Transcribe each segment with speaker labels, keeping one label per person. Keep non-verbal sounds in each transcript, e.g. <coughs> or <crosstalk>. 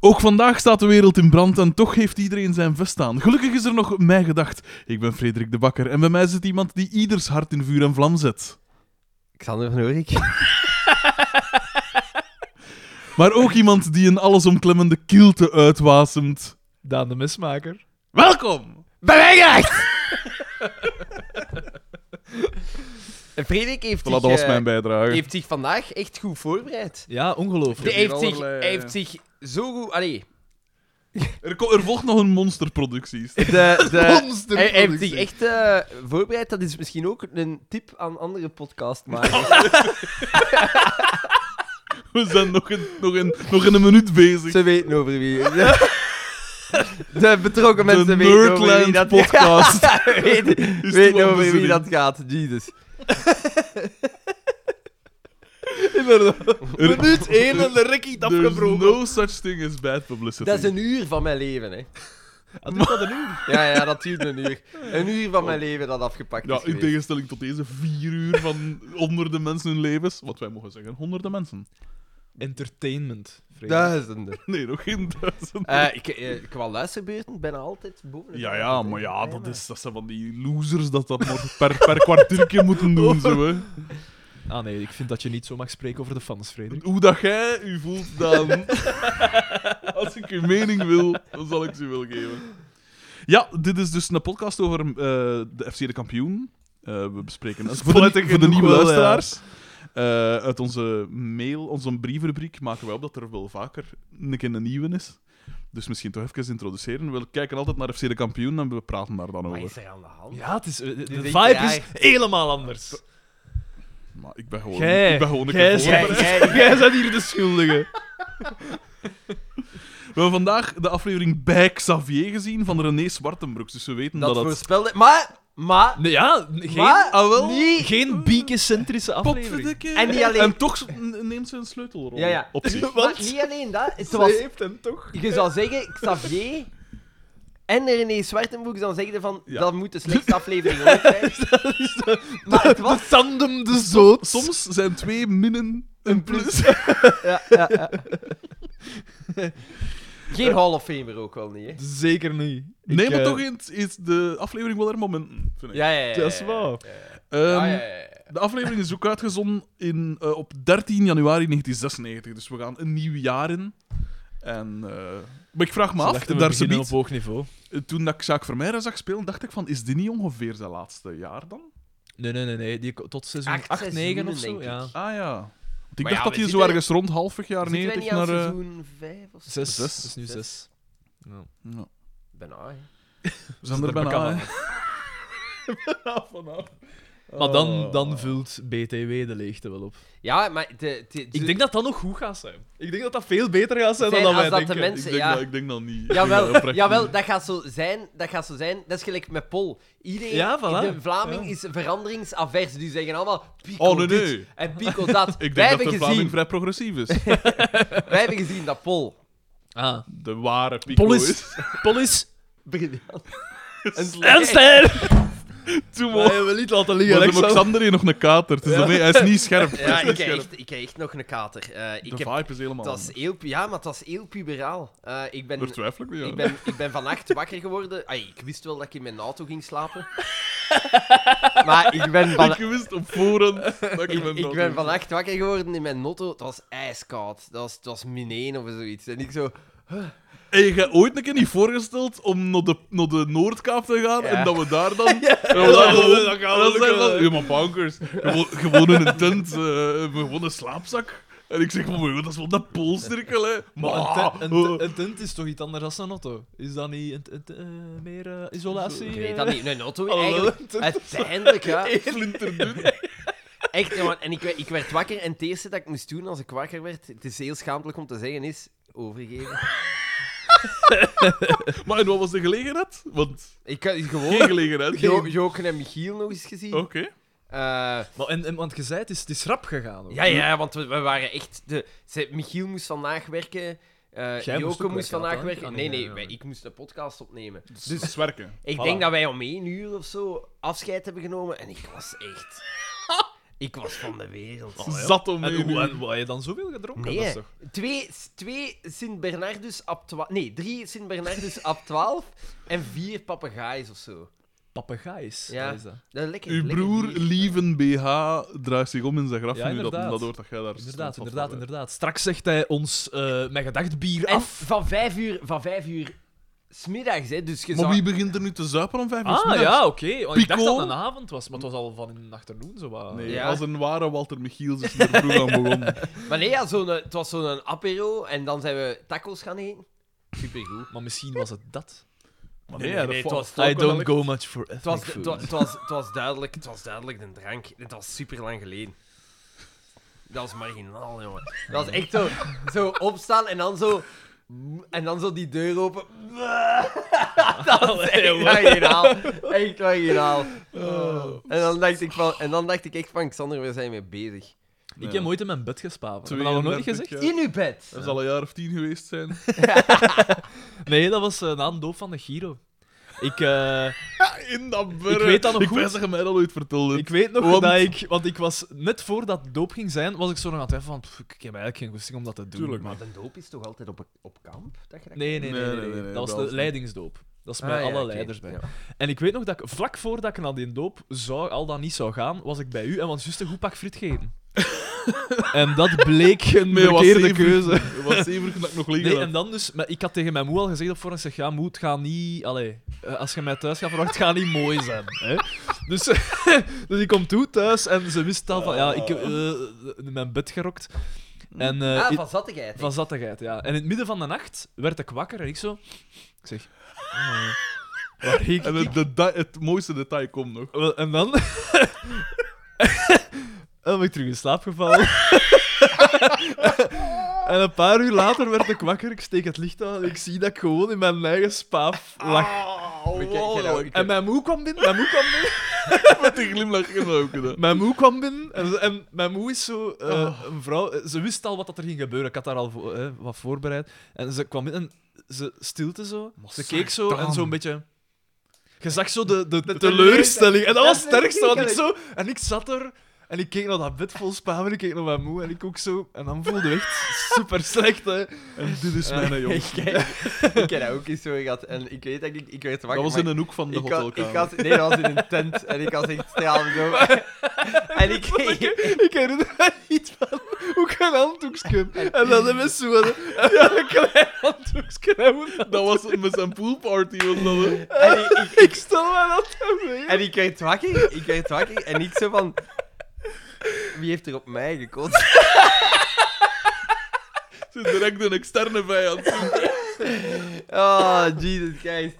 Speaker 1: Ook vandaag staat de wereld in brand en toch heeft iedereen zijn vest aan. Gelukkig is er nog mij gedacht. Ik ben Frederik de Bakker en bij mij zit iemand die ieders hart in vuur en vlam zet.
Speaker 2: Xander van Oorik.
Speaker 1: Maar ook iemand die een allesomklemmende kilte uitwasemt.
Speaker 3: Daan de Mismaker.
Speaker 1: Welkom!
Speaker 2: Beweegrecht! <laughs> Frederik heeft,
Speaker 1: Voilà, dat
Speaker 2: zich,
Speaker 1: was
Speaker 2: eh,
Speaker 1: mijn bijdrage.
Speaker 2: heeft zich vandaag echt goed voorbereid.
Speaker 3: Ja,
Speaker 2: Die
Speaker 1: hier
Speaker 3: ongelooflijk.
Speaker 2: heeft, zich,
Speaker 1: allerlei,
Speaker 2: hij
Speaker 1: eh,
Speaker 2: heeft zich zo goed... Allee,
Speaker 1: Er, ko- er volgt nog een monsterproductie.
Speaker 2: <laughs> de, de, hij, hij heeft zich
Speaker 1: Monsterproductie.
Speaker 2: echt eh, voorbereid. Dat is misschien ook een tip aan andere
Speaker 1: <laughs> Oh,
Speaker 2: podcastmakers.
Speaker 1: We zijn nog in, nog in, nog in een minuut bezig.
Speaker 2: Ze weten over wie. <laughs> De betrokken
Speaker 1: De
Speaker 2: mensen weten over wie
Speaker 1: Nerdland
Speaker 2: dat <laughs>
Speaker 1: podcast.
Speaker 2: Weet,
Speaker 1: Is
Speaker 2: weet
Speaker 1: wel
Speaker 2: over wie
Speaker 1: bezinning.
Speaker 2: dat gaat, <laughs> Jesus.
Speaker 1: Er-
Speaker 3: Minuut één en de rekkie
Speaker 1: There's no such thing as bad publicity.
Speaker 2: Dat is een uur van mijn leven,
Speaker 1: <laughs>
Speaker 2: hè. Ja, ja, dat duurt een uur. Een uur van mijn leven dat afgepakt
Speaker 1: Oh. Ja,
Speaker 2: is
Speaker 1: in
Speaker 2: geweest.
Speaker 1: tegenstelling tot deze vier uur van honderden mensen hun levens. Wat wij mogen zeggen, honderden mensen. e-
Speaker 3: Entertainment. Frederik.
Speaker 2: Duizenden.
Speaker 1: Nee, nog geen duizend.
Speaker 2: Eh ik, eh, qua luisterbeurten ben ik altijd boven. de
Speaker 1: ja, ja,
Speaker 2: duizend, hè.
Speaker 1: maar ja, dat,
Speaker 2: maar-
Speaker 1: is, dat zijn van die losers dat dat maar per, per
Speaker 3: <laughs>
Speaker 1: kwartiertje moeten doen. Zo, hè.
Speaker 3: Ah nee, ik vind dat je niet zo mag spreken over de fans, Frederik.
Speaker 1: Hoe dat jij u voelt, dan. <laughs> Als ik uw mening wil, dan zal ik ze wel geven. Ja, dit is dus een podcast over eh, de FC de kampioen. Eh, we bespreken het voor de,
Speaker 3: Spottig
Speaker 1: voor de
Speaker 3: genoeg
Speaker 1: nieuwe
Speaker 3: wel, ja.
Speaker 1: luisteraars. Eh, uit onze mail, onze brievenrubriek, maken wij op dat er wel vaker een keer een nieuwe is. Dus misschien toch even introduceren. We kijken altijd naar FC de kampioen en we praten daar dan
Speaker 2: Wat
Speaker 1: over.
Speaker 2: is er aan de hand?
Speaker 3: Ja, het is, eh, de, de
Speaker 2: Dit is
Speaker 3: vibe
Speaker 2: raar.
Speaker 3: is helemaal anders.
Speaker 1: Maar ik ben gewoon,
Speaker 3: Gij-
Speaker 1: ik ben gewoon een
Speaker 3: gij
Speaker 1: keer
Speaker 3: zijt-
Speaker 1: voorbereid.
Speaker 2: Jij-
Speaker 3: <laughs> Jij bent hier de schuldige.
Speaker 1: We hebben vandaag de aflevering bij Xavier gezien van René Zwartenbroek. Dus we weten dat,
Speaker 2: Dat
Speaker 1: dat het
Speaker 2: voorspelde... Maar, maar...
Speaker 3: Nee, ja, geen,
Speaker 2: Maar,
Speaker 1: ah, wel.
Speaker 2: niet...
Speaker 3: geen biekecentrische aflevering.
Speaker 1: Potverdikke.
Speaker 2: En niet alleen-
Speaker 1: En toch s- n- neemt ze een sleutelrol
Speaker 2: Ja, ja.
Speaker 1: op zich.
Speaker 2: <laughs> Maar niet alleen dat. Het
Speaker 3: Ze
Speaker 2: was
Speaker 3: heeft hem
Speaker 1: <laughs>
Speaker 3: toch.
Speaker 2: Je zou zeggen, Xavier en René Zwartenboek dan zeggen van,
Speaker 1: Ja.
Speaker 2: dat moet de slechtste aflevering
Speaker 1: <laughs>
Speaker 2: ooit zijn.
Speaker 3: <laughs>
Speaker 2: maar het was...
Speaker 3: De tandem de zoot.
Speaker 1: Soms zijn twee minnen een plus.
Speaker 2: eh, Ja, ja, ja. Geen Hall of Famer ook wel niet, hè?
Speaker 3: Zeker niet.
Speaker 1: Nee,
Speaker 3: Ik,
Speaker 1: maar
Speaker 3: eh,
Speaker 1: toch eens is de aflevering wel er momenten, vind ik.
Speaker 2: Ja, ja, ja.
Speaker 3: Dat is waar.
Speaker 1: Ehm,
Speaker 2: Ja, ja, ja, ja.
Speaker 1: De aflevering is ook uitgezonden in, eh, op 13 januari 1996. Dus we gaan een nieuw jaar in. En, eh, maar ik vraag me
Speaker 3: Ze
Speaker 1: af,
Speaker 3: dachten, we
Speaker 1: daar ze
Speaker 3: beginnen
Speaker 1: biedt,
Speaker 3: op hoog niveau.
Speaker 1: eh, toen dat ik Jacques Vermeijren zag spelen, dacht ik van, is dit niet ongeveer zijn laatste jaar dan?
Speaker 3: Nee, nee, nee, nee. Die, ko- tot seizoen
Speaker 2: Acht
Speaker 3: 8, 9 of zo.
Speaker 2: seizoenen, denk
Speaker 3: Ja.
Speaker 2: ik.
Speaker 1: Ah ja. Want ik
Speaker 2: Maar
Speaker 1: dacht
Speaker 2: ja,
Speaker 1: dat
Speaker 2: we
Speaker 1: hij zo
Speaker 2: zitten-
Speaker 1: ergens rond halfweg jaar
Speaker 2: Zitten wij
Speaker 1: 90
Speaker 2: niet
Speaker 1: naar...
Speaker 2: aan
Speaker 1: eh,
Speaker 2: seizoen 5 of 6?
Speaker 3: 6.
Speaker 1: Zes.
Speaker 3: Dat is nu
Speaker 2: Zes.
Speaker 3: 6.
Speaker 1: ja.
Speaker 2: Bijna, hè.
Speaker 1: We zijn er
Speaker 3: Er
Speaker 1: bijna, <laughs>
Speaker 3: bekam
Speaker 1: hè.
Speaker 3: Maar
Speaker 2: Oh.
Speaker 3: dan, dan vult BTW de leegte wel op.
Speaker 2: Ja, maar... De, de, de-
Speaker 3: Ik denk dat dat nog goed gaat zijn. Ik denk dat dat veel beter gaat zijn
Speaker 2: Zijn
Speaker 3: dan dat wij
Speaker 2: als dat de
Speaker 3: denken.
Speaker 2: mensen-
Speaker 1: Ik denk,
Speaker 2: ja.
Speaker 1: dat, ik denk dat niet. Ik denk <laughs> dat
Speaker 2: Jawel,
Speaker 1: oprecht
Speaker 2: jawel
Speaker 1: niet.
Speaker 2: dat, gaat zo zijn, dat gaat zo zijn. Dat is gelijk met Pol. Iedereen,
Speaker 3: Ja, voilà.
Speaker 2: de Vlaming
Speaker 3: Ja.
Speaker 2: is veranderingsavers. Die zeggen allemaal pico
Speaker 1: Oh, nee,
Speaker 2: dit
Speaker 1: nee.
Speaker 2: en pico dat.
Speaker 1: <laughs> Ik
Speaker 2: wij,
Speaker 1: denk dat
Speaker 2: hebben
Speaker 1: de
Speaker 2: gezien,
Speaker 1: Vlaming vrij progressief is.
Speaker 2: <laughs> wij hebben gezien dat Pol...
Speaker 3: Ah.
Speaker 1: De ware Pico is.
Speaker 3: Polis. <laughs>
Speaker 2: <laughs>
Speaker 3: Polis.
Speaker 2: Briljant.
Speaker 1: <laughs>
Speaker 3: En ster!
Speaker 1: Toen
Speaker 3: Maar je wil niet laten liggen,
Speaker 1: Maar de
Speaker 3: Alexander.
Speaker 1: Alexander hier nog een kater. Het is daarmee- hij is niet scherp. Hij
Speaker 2: <laughs> Ja,
Speaker 1: is niet
Speaker 2: ik heb,
Speaker 1: scherp.
Speaker 2: echt, ik heb echt nog een kater. Eh, ik
Speaker 1: de
Speaker 2: heb,
Speaker 1: vibe is helemaal
Speaker 2: dat is
Speaker 1: anders.
Speaker 2: heel, pu- ja, maar dat is heel puberaal. Eh, ik, ben,
Speaker 1: Daar twijfel ik niet aan.
Speaker 2: ik, ben, ik ben vannacht wakker geworden. Ai, ik wist wel dat ik in mijn auto ging
Speaker 1: <laughs>
Speaker 2: slapen. maar ik ben, van,
Speaker 1: Ik wist op voorhand dat ik
Speaker 2: <laughs> ik,
Speaker 1: ben
Speaker 2: ik ben vannacht wakker geworden in mijn notto. Het was ijskoud. Dat was, het was min 1 of zoiets. En ik zo...
Speaker 1: Heb je ooit een keer niet voorgesteld om naar de, naar de Noordkaap te gaan
Speaker 2: Ja.
Speaker 1: en dat we daar dan... Dat we
Speaker 3: <laughs> Ja,
Speaker 1: daar
Speaker 3: dat
Speaker 1: gewoon...
Speaker 3: gaat
Speaker 1: Dat
Speaker 3: ook eh.
Speaker 1: zijn
Speaker 3: wel.
Speaker 1: dan... Ja, maar bankers. Gewoon, gewoon in een tent. eh gewoon een slaapzak. En ik zeg van, "Mijn god, dat is wel dat polstirkel, hè. Maar...
Speaker 3: Maar een, te- een,
Speaker 1: eh,
Speaker 3: te- een tent is toch iets anders dan een auto? Is dat niet een, een, eh, meer eh, isolatie?
Speaker 2: Ik weet
Speaker 3: eh?
Speaker 2: dat niet. Een notto
Speaker 3: <laughs> Hallo,
Speaker 2: eigenlijk.
Speaker 3: dat-
Speaker 2: Uiteindelijk, ja.
Speaker 1: flinterdun.
Speaker 2: <laughs> Echt, jongen. En ik, we- ik werd wakker en het eerste dat ik moest doen als ik wakker werd, het is heel schaamtelijk om te zeggen, is overgeven.
Speaker 1: Maar en wat was de gelegenheid? Want
Speaker 2: Ik had gewoon...
Speaker 1: geen gelegenheid. Oh.
Speaker 2: Jo Joken en Michiel nog eens gezien.
Speaker 1: Oké.
Speaker 2: Eh,
Speaker 3: Maar, en, en, want je zei, het is, het is rap gegaan. hoor.
Speaker 2: ja, ja, want we, we waren echt... De, ze- Michiel moest vandaag werken. eh
Speaker 3: Jij moest ook
Speaker 2: Joke moest
Speaker 3: werken,
Speaker 2: vandaag
Speaker 3: had hij?
Speaker 2: werken.
Speaker 3: Ah,
Speaker 2: Nee,
Speaker 3: nee,
Speaker 2: nee,
Speaker 3: ja,
Speaker 2: wij-
Speaker 3: ja.
Speaker 2: ik moest een podcast opnemen.
Speaker 1: Dus dat is werken.
Speaker 2: Ik
Speaker 3: Voilà. <laughs>
Speaker 2: denk dat wij om één uur of zo afscheid hebben genomen. En ik was echt... Ik was van de wereld.
Speaker 3: Oh, ja.
Speaker 1: Zat om
Speaker 3: En
Speaker 1: één
Speaker 3: hoe
Speaker 1: uur.
Speaker 3: en wat heb je dan zoveel gedronken? Dat
Speaker 2: Nee,
Speaker 3: is toch...
Speaker 2: twee, twee Sint-Bernardus ab 12. Nee, drie Sint-Bernardus ab 12 en vier papegaaien of zo.
Speaker 3: Papegaais,
Speaker 2: Ja.
Speaker 3: wat is dat?
Speaker 2: Dat is lekker.
Speaker 1: Uw
Speaker 2: lekker
Speaker 1: broer,
Speaker 2: bier.
Speaker 1: Lieven BH, draagt zich om in zijn graf
Speaker 3: Ja,
Speaker 1: nu dat
Speaker 3: inderdaad.
Speaker 1: dat hoort dat jij daar
Speaker 3: Inderdaad,
Speaker 1: stond
Speaker 3: inderdaad,
Speaker 1: vaststaat.
Speaker 3: inderdaad. Straks zegt hij ons eh mijn gedacht bier
Speaker 2: En
Speaker 3: af.
Speaker 2: van vijf uur, van vijf uur smiddags, hè? Dus je
Speaker 1: Maar
Speaker 2: zou-
Speaker 1: wie begint er nu te zuipen om vijf uur? 's
Speaker 3: Ah,
Speaker 1: middags?
Speaker 3: ja, oké. Want Ik dacht
Speaker 1: Pico?
Speaker 3: dat het een avond was, maar het was al van in de achternoon. Zo wat.
Speaker 1: Nee,
Speaker 2: Ja.
Speaker 1: als een ware Walter Michiels is er vroeg aan <laughs> begonnen.
Speaker 2: Maar nee, ja, zo'n, het was zo'n apero en dan zijn we tacos gaan eten. Supergoed.
Speaker 3: Maar misschien was het dat.
Speaker 1: Maar
Speaker 2: Nee,
Speaker 1: nee,
Speaker 2: nee,
Speaker 1: dat
Speaker 2: nee,
Speaker 1: vo-
Speaker 2: het was
Speaker 1: vond
Speaker 3: I
Speaker 1: ik wel
Speaker 3: don't
Speaker 1: lekker.
Speaker 3: go much for
Speaker 2: Het was,
Speaker 3: ethnic
Speaker 2: het,
Speaker 3: food.
Speaker 2: was, het, was, het, was duidelijk, het was duidelijk een drank. Het was super lang geleden. Dat was marginaal, jongen. Dat was echt zo, zo opstaan en dan zo. En dan zo die deur open. <laughs> Dat was echt marginaal. Echt marginaal. En dan dacht ik, van, en dan dacht ik echt van, Xander, we zijn mee bezig.
Speaker 1: Nee.
Speaker 3: Ik heb ooit in mijn bed gespaven. Heb je dat nog nooit
Speaker 1: 32
Speaker 3: gezegd?
Speaker 1: jaar.
Speaker 2: In uw bed.
Speaker 1: Dat zal een jaar of tien geweest <laughs> zijn.
Speaker 3: Nee, dat was eh, na een doop van de Giro.
Speaker 1: <laughs>
Speaker 3: Ik, eh,
Speaker 1: In dat
Speaker 3: Ik weet dat nog
Speaker 1: ik
Speaker 3: goed.
Speaker 1: Ik weet dat je mij dat ooit vertelde.
Speaker 3: ik weet nog
Speaker 1: Want-
Speaker 3: dat ik... Want ik was... Net voordat de doop ging zijn, was ik zo nog aan het twijfelen van... "Pff, ik heb eigenlijk geen goesting om dat te doen.
Speaker 1: Tuurlijk,
Speaker 3: maar-
Speaker 2: Maar de doop is toch altijd op, op kamp? Dat je dat
Speaker 3: Nee, nee, nee. nee,
Speaker 1: Nee, nee, nee, nee,
Speaker 3: dat
Speaker 1: bij
Speaker 3: was
Speaker 1: ons
Speaker 3: de
Speaker 1: niet.
Speaker 3: leidingsdoop. Dat is
Speaker 2: Ah,
Speaker 3: met
Speaker 2: ja,
Speaker 3: alle
Speaker 2: oké.
Speaker 3: leiders bij.
Speaker 2: Ja.
Speaker 3: En ik weet nog dat ik vlak voordat ik naar die doop zou, al dan niet zou gaan, was ik bij u en was juist een goed pak
Speaker 1: <laughs>
Speaker 3: friet gegeten. en dat bleek een
Speaker 1: Nee, was
Speaker 3: verkeerde
Speaker 1: zeven-
Speaker 3: keuze.
Speaker 1: Het was zeverig dat ik nog liggen
Speaker 3: Nee,
Speaker 1: had.
Speaker 3: en dan dus, maar ik had tegen mijn moe al gezegd op voorhand, ik zeg, ja, moe, het gaat niet, allee, eh, als je mij thuis gaat verwachten, het gaat niet mooi zijn. Hè? Dus, <laughs> dus ik kom toe thuis en ze wist al van, ja, ik heb eh, in mijn bed gerokt. En, eh,
Speaker 2: ah,
Speaker 3: i-
Speaker 2: van zattigheid.
Speaker 3: van zattigheid, ja. En in het midden van de nacht werd ik wakker en ik zo... Ik zeg... "Oh, waar hik
Speaker 1: En
Speaker 3: ik?"
Speaker 1: het, deta- het mooiste detail komt nog.
Speaker 3: Wel, En dan... <laughs> dan ben ik terug in slaap
Speaker 1: <laughs>
Speaker 3: gevallen. en een paar uur later werd ik wakker, ik steek het licht aan en ik zie dat ik gewoon in mijn eigen spaaf lag.
Speaker 1: Ah,
Speaker 2: Ik- ik- ik- Oh, ik-
Speaker 3: En mijn moe kwam binnen, mijn moe kwam binnen,
Speaker 1: Met een glimlach in mijn ogen. hè.
Speaker 3: mijn moe kwam binnen en, ze- en mijn moe is zo eh,
Speaker 1: Oh.
Speaker 3: een vrouw, eh, ze wist al wat dat er ging gebeuren, ik had daar al vo- eh, wat voorbereid en ze kwam binnen en ze stilte zo, ze keek zo en
Speaker 1: satam.
Speaker 3: zo'n beetje... Je zag zo de, de, de teleurstelling. En dat was het sterkste. Want ik zo, en ik zat er en ik keek naar dat bed vol spaam en ik keek naar mijn moe en ik ook zo. En dan voelde ik
Speaker 1: <laughs>
Speaker 3: echt super slecht. Hè.
Speaker 1: En dit is mijn jongen.
Speaker 2: <laughs> Ik, ik, ik heb dat ook eens zo gehad. En ik weet dat ik, ik werd
Speaker 1: Dat
Speaker 2: wakker.
Speaker 1: was
Speaker 2: maar
Speaker 1: in een hoek van de
Speaker 2: ik had, ik
Speaker 1: hotelkamer.
Speaker 2: had, Nee, dat was in een tent. En ik had echt stralen
Speaker 1: <laughs>
Speaker 2: zo. En ik kreeg...
Speaker 3: Ik herinner me niet van hoe ik een handdoekje heb. En dan hebben we zo
Speaker 1: <laughs>
Speaker 3: een, een klein handdoekje. En hoe-
Speaker 1: Dat was met zijn poolparty. Was dat, hè?
Speaker 2: En ik, ik,
Speaker 3: Ik stel mij dat aan mee.
Speaker 2: en ik werd wakker. Ik werd wakker. En ik zo van... Wie heeft er op mij gekotst?
Speaker 1: Ze is direct een externe vijand.
Speaker 2: Oh, Jesus Christ.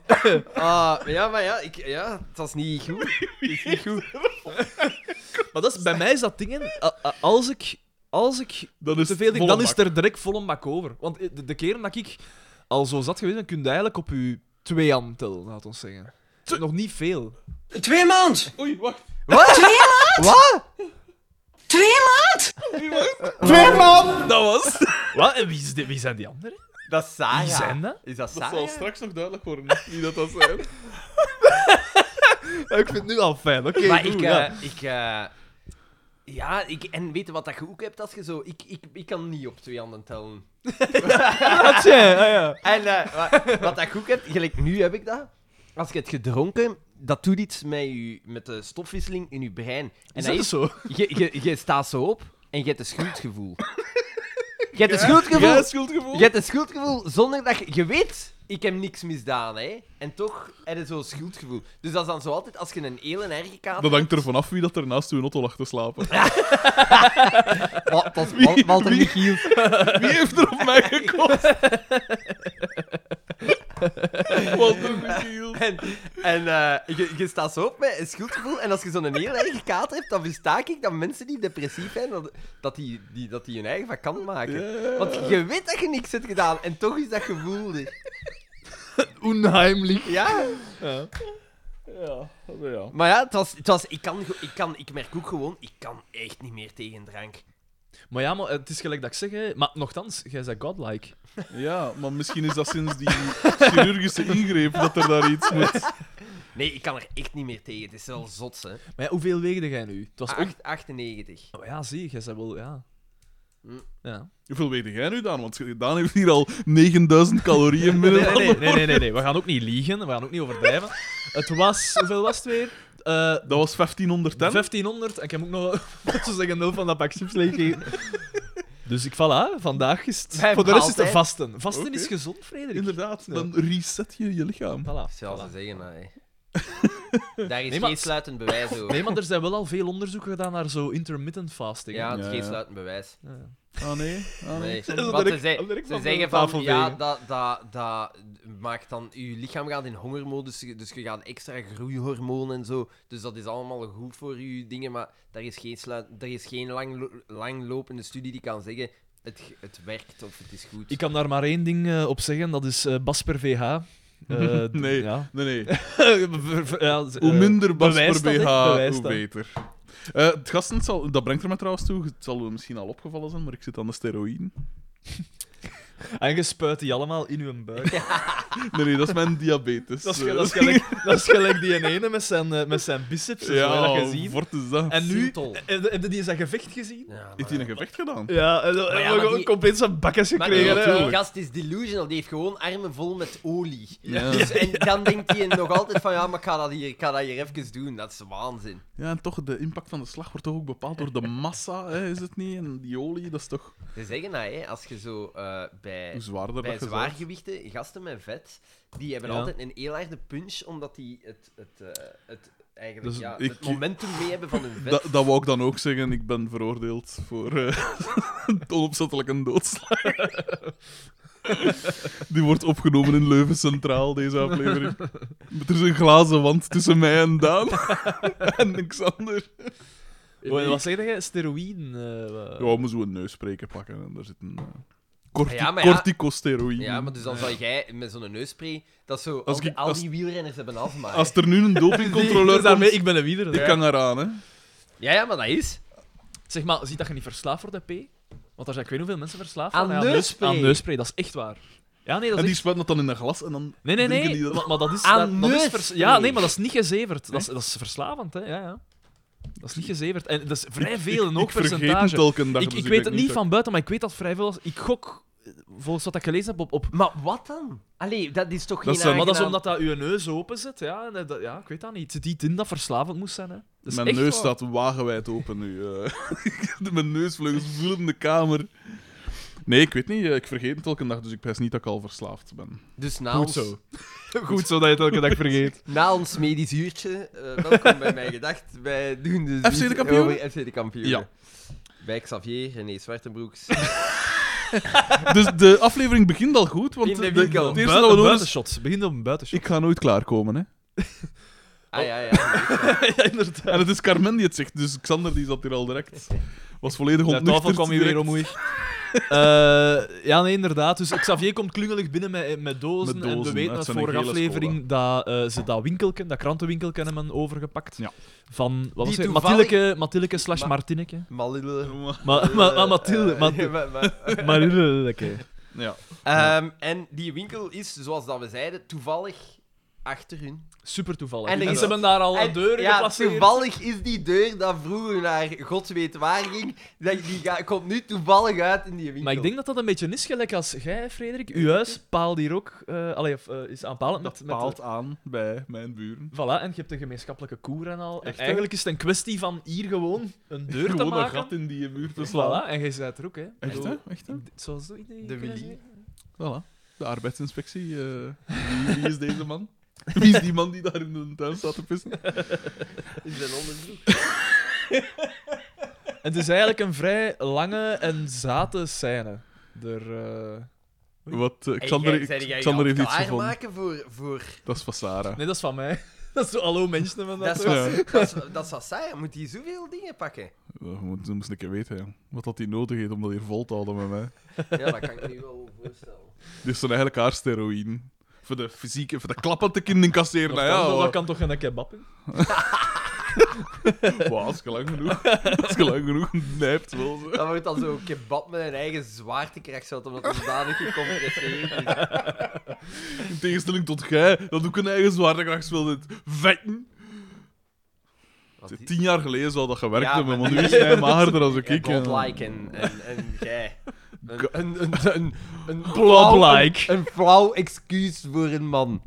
Speaker 2: Ah, ja, maar ja, ik, ja, het was niet goed. Het is niet goed.
Speaker 3: Maar dat is, bij mij is dat ding, hè. A- a- als ik, als ik
Speaker 1: Dan is
Speaker 3: te
Speaker 1: het
Speaker 3: veel denk,
Speaker 1: volle
Speaker 3: dan is
Speaker 1: bak.
Speaker 3: het er direct vol een Dus bak over. Want de, de keren dat ik al zo zat geweest, dan kun je eigenlijk op je twee aan tellen, laat ons zeggen. Nog niet veel.
Speaker 4: Twee maand!
Speaker 1: Oei, wacht.
Speaker 2: Wat? Wat?
Speaker 4: Twee maand!
Speaker 3: Dat was. <laughs> Wat? En Wie, is die- wie zijn die anderen?
Speaker 2: Dat is Sarah.
Speaker 3: Wie zijn dat?
Speaker 2: Is dat
Speaker 1: Dat
Speaker 2: Sarah?
Speaker 1: zal straks nog duidelijk worden wie dat dat zijn.
Speaker 3: Ja, ik vind het nu al fijn. Oké,
Speaker 2: maar
Speaker 3: doe,
Speaker 2: ik, eh,
Speaker 3: ja.
Speaker 2: ik, eh, ja, ik, en weet je wat dat je ook hebt als je zo, ik, ik, ik kan niet op twee handen tellen.
Speaker 3: Dat jij, ah, ja.
Speaker 2: En eh, wa- <laughs> wat dat je ook hebt, gelijk nu heb ik dat, als je het gedronken, dat doet iets met, je, met de stofwisseling in je brein. En
Speaker 3: Is dat
Speaker 2: is- <laughs>
Speaker 3: zo?
Speaker 2: je, je, je staat zo op en je hebt een schuldgevoel. Je hebt een schuldgevoel,
Speaker 1: Jij schuldgevoel?
Speaker 2: je hebt een schuldgevoel zonder dat je, je weet, ik heb niks misdaan, hè. En toch heb je zo'n schuldgevoel. Dus dat is dan zo altijd, als je een hele erge kaart
Speaker 1: Dat hangt er vanaf wie dat er naast uw auto lag te slapen.
Speaker 2: Wa- Dat is Wal- Walter
Speaker 1: wie-
Speaker 2: Michiels.
Speaker 1: Wie heeft er op <laughs> mij gekost? Walter Michiel.
Speaker 2: En, en eh, je, je staat zo op met een schuldgevoel. En als je zo'n heel eigen kaart hebt, dan versta ik dat mensen die depressief zijn, dat, dat, die, die, dat die hun eigen vakant maken. Want je weet dat je niks hebt gedaan. En toch is dat gevoel er.
Speaker 3: Unheimlich.
Speaker 2: Ja.
Speaker 3: Ja.
Speaker 1: Ja, nou ja.
Speaker 2: Maar ja, het was, het was, ik, kan, ge- ik, kan, ik merk ook gewoon, ik kan echt niet meer tegen drank.
Speaker 3: Maar ja, maar het is gelijk dat ik zeg, hè. Maar nogthans, jij bent godlike.
Speaker 1: Ja, maar misschien is dat sinds die chirurgische ingreep dat er daar iets moet.
Speaker 2: Nee, ik kan er echt niet meer tegen. Het is wel zot, hè.
Speaker 3: Maar ja, hoeveel weegde jij nu? Het was ook...
Speaker 2: 8, 98.
Speaker 3: Oh, ja, zie je, jij zei wel, ja.
Speaker 2: Hm.
Speaker 3: Ja.
Speaker 1: Hoeveel weet jij nu, Daan? Want Daan heeft hier al 9000 calorieën
Speaker 3: Nee,
Speaker 1: binnen.
Speaker 3: nee, nee, nee, nee, nee, nee. We gaan ook niet liegen, we gaan ook niet overdrijven. Het was, hoeveel was het weer? Eh,
Speaker 1: Dat was 1510.
Speaker 3: 1500. En ik heb ook nog, <laughs> wat zou zeggen, nul van dat pak chips leeggegeven. Dus ik, voilà, vandaag is het...
Speaker 2: Wij
Speaker 3: Voor de rest is
Speaker 2: altijd.
Speaker 3: het vasten. Vasten
Speaker 1: Oké.
Speaker 3: is gezond, Frederik.
Speaker 1: Inderdaad, dan reset je je lichaam.
Speaker 3: Voilà,
Speaker 2: Zelfs
Speaker 3: voilà.
Speaker 2: te zeggen,
Speaker 3: <laughs>
Speaker 2: hè. Daar is
Speaker 3: Nee, maar-
Speaker 2: geen sluitend bewijs over.
Speaker 3: Nee, maar er zijn wel al veel onderzoeken gedaan naar zo intermittent fasting.
Speaker 2: Ja, het is
Speaker 1: Ja,
Speaker 2: geen
Speaker 1: ja.
Speaker 2: sluitend bewijs.
Speaker 1: Ah nee. Ah, nee.
Speaker 2: Nee.
Speaker 3: dat is
Speaker 2: Want ze,
Speaker 3: direct-
Speaker 2: zei-
Speaker 3: dat is direct
Speaker 2: ze
Speaker 3: van de
Speaker 2: zeggen
Speaker 3: tafel
Speaker 2: van, ja,
Speaker 3: vegen.
Speaker 2: dat, dat, dat maakt dan... Je lichaam gaat in hongermodus, dus je gaat extra groeihormoon en zo. Dus dat is allemaal goed voor je dingen, maar daar is geen, sluit, daar is geen lang, langlopende studie die kan zeggen het, ge- het werkt of het is goed.
Speaker 3: Ik kan daar maar één ding eh, op zeggen, dat is eh Bas per
Speaker 1: <laughs>
Speaker 3: VH. Eh, d-
Speaker 1: Nee.
Speaker 3: Ja.
Speaker 1: Nee, nee.
Speaker 3: Ver- ver- ja, z-
Speaker 1: Hoe
Speaker 3: eh,
Speaker 1: minder Bas
Speaker 3: bewijs
Speaker 1: per
Speaker 3: dat, hè.
Speaker 1: BH,
Speaker 3: Bewijs
Speaker 1: hoe
Speaker 3: dat.
Speaker 1: beter. Eh, het gasten, zal, dat brengt er me trouwens toe, het zal u misschien al opgevallen zijn, maar ik zit aan de steroïden.
Speaker 3: En je spuit die allemaal in uw buik.
Speaker 1: Nee, nee, dat is mijn diabetes.
Speaker 3: <laughs> Dat is,
Speaker 1: Eh,
Speaker 3: ge- dat, is gelijk, dat is gelijk die ene met zijn, eh, met zijn biceps. Ja,
Speaker 1: <laughs> Ja,
Speaker 3: zo, hè, dat je ziet.
Speaker 1: wat is dat?
Speaker 3: En nu, eh,
Speaker 2: Sintol.
Speaker 3: heb je- heb je die zijn gevecht gezien?
Speaker 2: Ja,
Speaker 1: Heeft hij een gevecht gedaan?
Speaker 3: Ja, eh, en dan-
Speaker 2: Maar ja,
Speaker 3: en
Speaker 2: maar
Speaker 3: gewoon
Speaker 2: die-
Speaker 3: compleet zijn
Speaker 2: <laughs>
Speaker 3: bakjes
Speaker 2: Maar
Speaker 3: gekregen.
Speaker 2: die-
Speaker 3: hè.
Speaker 2: die gast is delusional, die heeft gewoon armen vol met olie.
Speaker 1: Ja.
Speaker 2: <laughs> Dus, en dan denkt hij nog altijd van, ja, maar ik ga dat hier, ik ga dat hier even doen. Dat is waanzin.
Speaker 1: Ja, en toch, de impact van de slag wordt toch ook bepaald door de massa, hè, is het niet? En die olie, dat is toch
Speaker 2: Ze zeggen dat, hè, als je zo eh, bij,
Speaker 1: hoe zwaarder
Speaker 2: bij
Speaker 1: dat je zwaar...
Speaker 2: zwaargewichten, gasten met vet, die hebben
Speaker 3: Ja.
Speaker 2: altijd een heel harde punch, omdat die het, het, eh, het, eigenlijk,
Speaker 1: Dus
Speaker 2: ja,
Speaker 1: ik-
Speaker 2: het momentum mee hebben van hun vet.
Speaker 1: Dat, dat wou ik dan ook zeggen, ik ben veroordeeld voor eh <laughs> onopzettelijke doodslag. <laughs> Die wordt opgenomen in Leuven Centraal, deze aflevering.
Speaker 3: <laughs>
Speaker 1: Er is een glazen wand tussen mij en Daan. en Xander.
Speaker 3: Wat- Wat zeg je? Steroïden? eh, wat-
Speaker 1: Ja, we moeten een neusspreker pakken en daar zit een... eh, corti-
Speaker 2: Ja, maar ja.
Speaker 1: Corticosteroïde.
Speaker 2: Ja, maar dus dan zou jij met zo'n neuspray, dat zo, al,
Speaker 1: ik-
Speaker 2: die, al
Speaker 1: als-
Speaker 2: die wielrenners hebben afmaakt.
Speaker 1: Als er
Speaker 3: <laughs>
Speaker 1: nu een
Speaker 3: Die-
Speaker 1: dopingcontroleur
Speaker 3: dus daarmee,
Speaker 1: komt,
Speaker 3: ik ben een wieler.
Speaker 1: ik kan eraan, hè.
Speaker 2: Ja, ja, maar dat is.
Speaker 3: Zeg maar, ziet dat je niet verslaafd wordt, hè, P? Want daar zijn ik weet niet hoeveel mensen verslaafd
Speaker 2: Aan
Speaker 3: worden.
Speaker 2: neusspray.
Speaker 3: Aan neusspray, dat is echt waar. Ja,
Speaker 1: En
Speaker 3: nee, dat is
Speaker 1: die
Speaker 3: echt-
Speaker 1: spuit dat dan in een glas en dan...
Speaker 3: Nee, nee,
Speaker 1: drinken
Speaker 3: nee.
Speaker 1: die dat-
Speaker 3: Maar, maar dat is,
Speaker 2: Aan
Speaker 3: dat, dat is
Speaker 2: neusspray.
Speaker 3: Ja, nee, maar dat is niet gezeverd. Dat is, dat is verslavend, hè. Ja, ja. Dat is niet gezeverd. En dat is vrij veel, en ook
Speaker 1: ik vergeet
Speaker 3: percentage.
Speaker 1: het elke dag,
Speaker 3: ik,
Speaker 1: dus
Speaker 3: ik weet
Speaker 1: denk
Speaker 3: het niet
Speaker 1: dat-
Speaker 3: van buiten, maar ik weet dat vrij veel als... Ik gok, eh, volgens wat ik gelezen heb, op... op
Speaker 2: Maar wat dan? Allee, dat is toch geen
Speaker 1: zijn-
Speaker 3: maar dat is
Speaker 2: aangenaam-
Speaker 3: omdat dat uw neus open zit, ja. En dat- dat, ja, ik weet dat niet. Het zit niet in dat verslavend moest zijn, hè. Dat is
Speaker 1: Mijn
Speaker 3: echt
Speaker 1: neus
Speaker 3: waar.
Speaker 1: staat wagenwijd open nu. eh. <laughs> Mijn neusvleugels vullen de kamer. Nee, ik weet niet. eh, Ik vergeet het elke dag, dus ik pijs niet dat ik al verslaafd ben.
Speaker 2: Dus na
Speaker 3: Goed
Speaker 2: ons-
Speaker 3: <laughs> zo. Goed zo dat je het elke dag vergeet.
Speaker 2: Na ons medisch uurtje, eh, welkom bij Mijn Gedacht. Wij doen dus
Speaker 1: FC de
Speaker 2: niet
Speaker 1: kampioenen?
Speaker 2: over FC de kampioenen.
Speaker 1: Ja. Oh.
Speaker 2: Bij Xavier, René Zwartenbroeks.
Speaker 1: Dus de aflevering begint al goed, want
Speaker 2: In de
Speaker 1: eh,
Speaker 2: winkel.
Speaker 1: het eerste dat we
Speaker 3: Buiten,
Speaker 1: doen is...
Speaker 3: buitenshot. Begin op een buitenshot.
Speaker 1: Ik ga nooit klaarkomen, hè.
Speaker 2: Ah ja, ja.
Speaker 3: ja, inderdaad.
Speaker 1: En het is Carmen die het zegt, dus Xander die zat hier al direct. Was volledig
Speaker 3: De tafel
Speaker 1: ontnuchterd.
Speaker 3: kwam hier
Speaker 1: direct.
Speaker 3: weer omhoog.
Speaker 1: <laughs>
Speaker 3: Eh, ja, nee, inderdaad. Dus Xavier komt klungelig binnen met, met, dozen,
Speaker 1: Met dozen,
Speaker 3: En we weten
Speaker 1: uit
Speaker 3: uit
Speaker 1: zijn
Speaker 3: vorige
Speaker 1: gele
Speaker 3: aflevering dat eh, ze dat winkelken, dat krantenwinkelken hebben overgepakt.
Speaker 1: Ja.
Speaker 3: Van, wat was
Speaker 2: Die
Speaker 3: het?
Speaker 2: toevallig-
Speaker 3: Mathilke, Mathilke slash
Speaker 2: Ma-
Speaker 3: Martineke.
Speaker 2: Malille.
Speaker 1: Maar-
Speaker 3: Maar <laughs> ma, ma, Mathilde.
Speaker 2: <laughs> Eh,
Speaker 3: Mathilde.
Speaker 2: maar- maar-
Speaker 3: Mathilde.
Speaker 1: Ja.
Speaker 2: Ehm, en die winkel is, zoals dat we zeiden, toevallig achter hun.
Speaker 3: Super toevallig.
Speaker 2: En
Speaker 3: En,
Speaker 2: er is-
Speaker 3: ze hebben daar al
Speaker 2: En-
Speaker 3: deuren
Speaker 2: ja,
Speaker 3: geplaatst.
Speaker 2: toevallig is die deur dat vroeger naar god weet waar ging, dat die ga- komt nu toevallig uit in die winkel.
Speaker 3: Maar ik denk dat dat een beetje is gelijk als jij, Frederik. Uw huis paalt hier ook... eh allee, of, eh, is aanpalend met...
Speaker 1: Dat
Speaker 3: met
Speaker 1: paalt aan bij mijn buren.
Speaker 3: Voilà, en je hebt een gemeenschappelijke koer en al. En
Speaker 1: Echt, hè?
Speaker 3: eigenlijk is het een kwestie van hier gewoon een deur te
Speaker 1: Gewoon een
Speaker 3: maken.
Speaker 1: gat in die muur te
Speaker 3: Dus
Speaker 1: slaan.
Speaker 3: voilà, en jij zei het er ook, hè?
Speaker 1: Echt, hè?
Speaker 3: Zo-
Speaker 1: Echt, hè?
Speaker 3: Zoals dat idee.
Speaker 2: De Willy.
Speaker 1: Voilà. De arbeidsinspectie. eh, wie, wie is deze man? <laughs> Wie is die man die daar in de tuin staat te pissen?
Speaker 2: Is een onderzoek.
Speaker 3: En het is eigenlijk een vrij lange en zate scène. Er, eh,
Speaker 1: Wat, eh,
Speaker 2: Hey,
Speaker 1: Xander,
Speaker 2: jij- zijn jij
Speaker 1: Xander
Speaker 2: al
Speaker 1: heeft iets gevonden.
Speaker 2: klaarmaken voor, voor
Speaker 1: Dat is van Sarah.
Speaker 3: Nee, dat is van mij. <laughs> Dat is zo, hallo mensen. Van dat
Speaker 2: Dat is,
Speaker 3: toch?
Speaker 1: Ja.
Speaker 2: wat, dat, is, dat is wat saai, moet hij zoveel dingen pakken.
Speaker 1: Dat moet, dat moest ik een keer weten, ja. Wat had hij nodig heeft om dat hier vol te houden met mij.
Speaker 2: Ja, dat kan ik me nu wel voorstellen.
Speaker 1: Dit zijn eigenlijk haar steroïden. Voor de fysieke, voor de klappen te kunnen incasseren.
Speaker 3: Nochtans,
Speaker 1: Nou ja,
Speaker 3: dat
Speaker 1: hoor.
Speaker 3: kan toch geen kebab in?
Speaker 1: Wow, als je lang genoeg, <laughs> als je lang genoeg nijpt wel. zo.
Speaker 2: Dan wordt dan zo'n kebab met een eigen zwaartekracht, zodat omdat het zodanig gecompresseerd is.
Speaker 1: In tegenstelling tot jij, dat ook een eigen zwaartekracht wil dit vetten.
Speaker 2: Wat
Speaker 1: Het is
Speaker 2: die-
Speaker 1: Tien jaar geleden zou dat gewerkt
Speaker 2: Ja,
Speaker 1: hebben,
Speaker 2: maar-
Speaker 1: maar nu is hij magerder als ik. eh,
Speaker 2: <laughs> Ja,
Speaker 1: ik,
Speaker 2: Bob
Speaker 1: ja.
Speaker 2: like en, en, en jij.
Speaker 1: Go-
Speaker 2: Een, een, een, een, een
Speaker 3: Bob
Speaker 2: flauw-
Speaker 3: like.
Speaker 2: Een, een flauw excuus voor een man.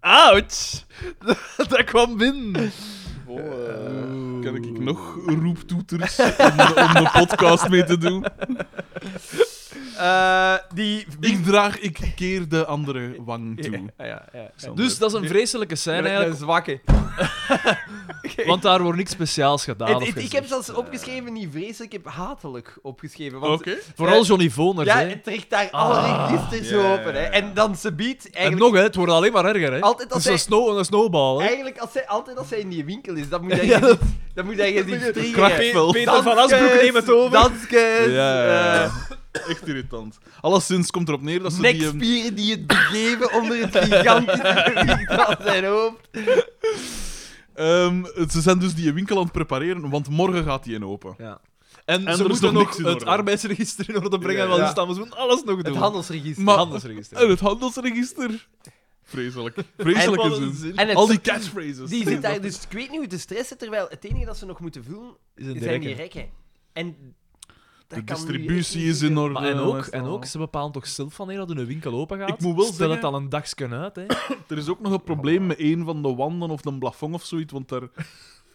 Speaker 3: Ouch! dat kwam binnen.
Speaker 1: Oh, eh, Kan ik nog roeptoeters om, de- om de podcast mee te doen?
Speaker 2: Eh, die...
Speaker 1: <laughs> Ik draag, ik keer de andere wang toe.
Speaker 2: Ja, ja, ja. Nou,
Speaker 1: Sander.
Speaker 3: Dus dat is een vreselijke scène
Speaker 2: Gelijk een
Speaker 3: eigenlijk,
Speaker 2: zwakke.
Speaker 3: want daar wordt niks speciaals gedaan.
Speaker 2: Het-
Speaker 3: of
Speaker 2: het- ik
Speaker 3: gezegd.
Speaker 2: heb zelfs opgeschreven, niet vreselijk, ik heb hatelijk opgeschreven. Want
Speaker 1: Oké.
Speaker 3: Vooral Johnny Voners,
Speaker 2: ja,
Speaker 3: hè.
Speaker 2: het trekt daar alle registers
Speaker 1: Ah, ja, ja,
Speaker 2: open. Hè.
Speaker 1: ja.
Speaker 2: En dan ze biedt
Speaker 3: En
Speaker 2: eigenlijk...
Speaker 3: nog, hè, het wordt alleen maar erger, hè.
Speaker 2: Altijd als
Speaker 3: Het is
Speaker 2: hij-
Speaker 3: een, snow, een snowball, hè.
Speaker 2: Eigenlijk, als zij, altijd als zij in die winkel is,
Speaker 1: <laughs>
Speaker 2: dan moet
Speaker 3: Ja,
Speaker 2: hij
Speaker 3: dat-
Speaker 2: niet, dan moet hij niet triggeren.
Speaker 1: Krachtvel.
Speaker 3: Peter van Asbroek
Speaker 2: Danskes,
Speaker 3: neemt het over.
Speaker 2: Danskes,
Speaker 1: Ja, ja, ja.
Speaker 2: eh,
Speaker 1: <laughs> Echt irritant. Alleszins komt erop neer dat ze die... ehm,
Speaker 2: nekspieren die het begeven onder het
Speaker 1: <laughs>
Speaker 2: gigantische gewicht van zijn hoofd.
Speaker 1: ehm, ze zijn dus die winkel aan het prepareren, want morgen gaat die in open.
Speaker 3: Ja. En,
Speaker 1: er is
Speaker 3: ze
Speaker 1: nog
Speaker 3: moeten
Speaker 1: niks
Speaker 3: nog
Speaker 1: in
Speaker 3: het
Speaker 1: orde.
Speaker 3: arbeidsregister in orde brengen,
Speaker 1: Ja,
Speaker 3: want
Speaker 1: ja.
Speaker 3: dus dan- ze moeten alles nog doen.
Speaker 2: Het handelsregister.
Speaker 1: Maar-
Speaker 3: handelsregister.
Speaker 1: En het handelsregister. Vreselijk. <laughs> Vreselijke
Speaker 3: En wat een
Speaker 1: zin.
Speaker 3: zin.
Speaker 2: En het-
Speaker 1: Al die catchphrases.
Speaker 2: Die zit daar dus, ik weet niet hoe te stressen, terwijl het enige dat ze nog moeten vullen,
Speaker 3: Is een
Speaker 2: zijn die
Speaker 3: direct-
Speaker 2: rekken. En dat
Speaker 1: De
Speaker 2: kan nu
Speaker 1: distributie
Speaker 2: echt niet
Speaker 1: is in
Speaker 2: zoveel.
Speaker 1: orde.
Speaker 3: Maar en ook,
Speaker 1: meestal.
Speaker 3: en ook, ze bepalen toch zelf wanneer dat hun winkel open gaat.
Speaker 1: Ik moet wel
Speaker 3: Stel
Speaker 1: zeggen-
Speaker 3: het al een dagsken uit, hè.
Speaker 1: Er is ook nog een probleem met een van de wanden of een plafond of zoiets, want daar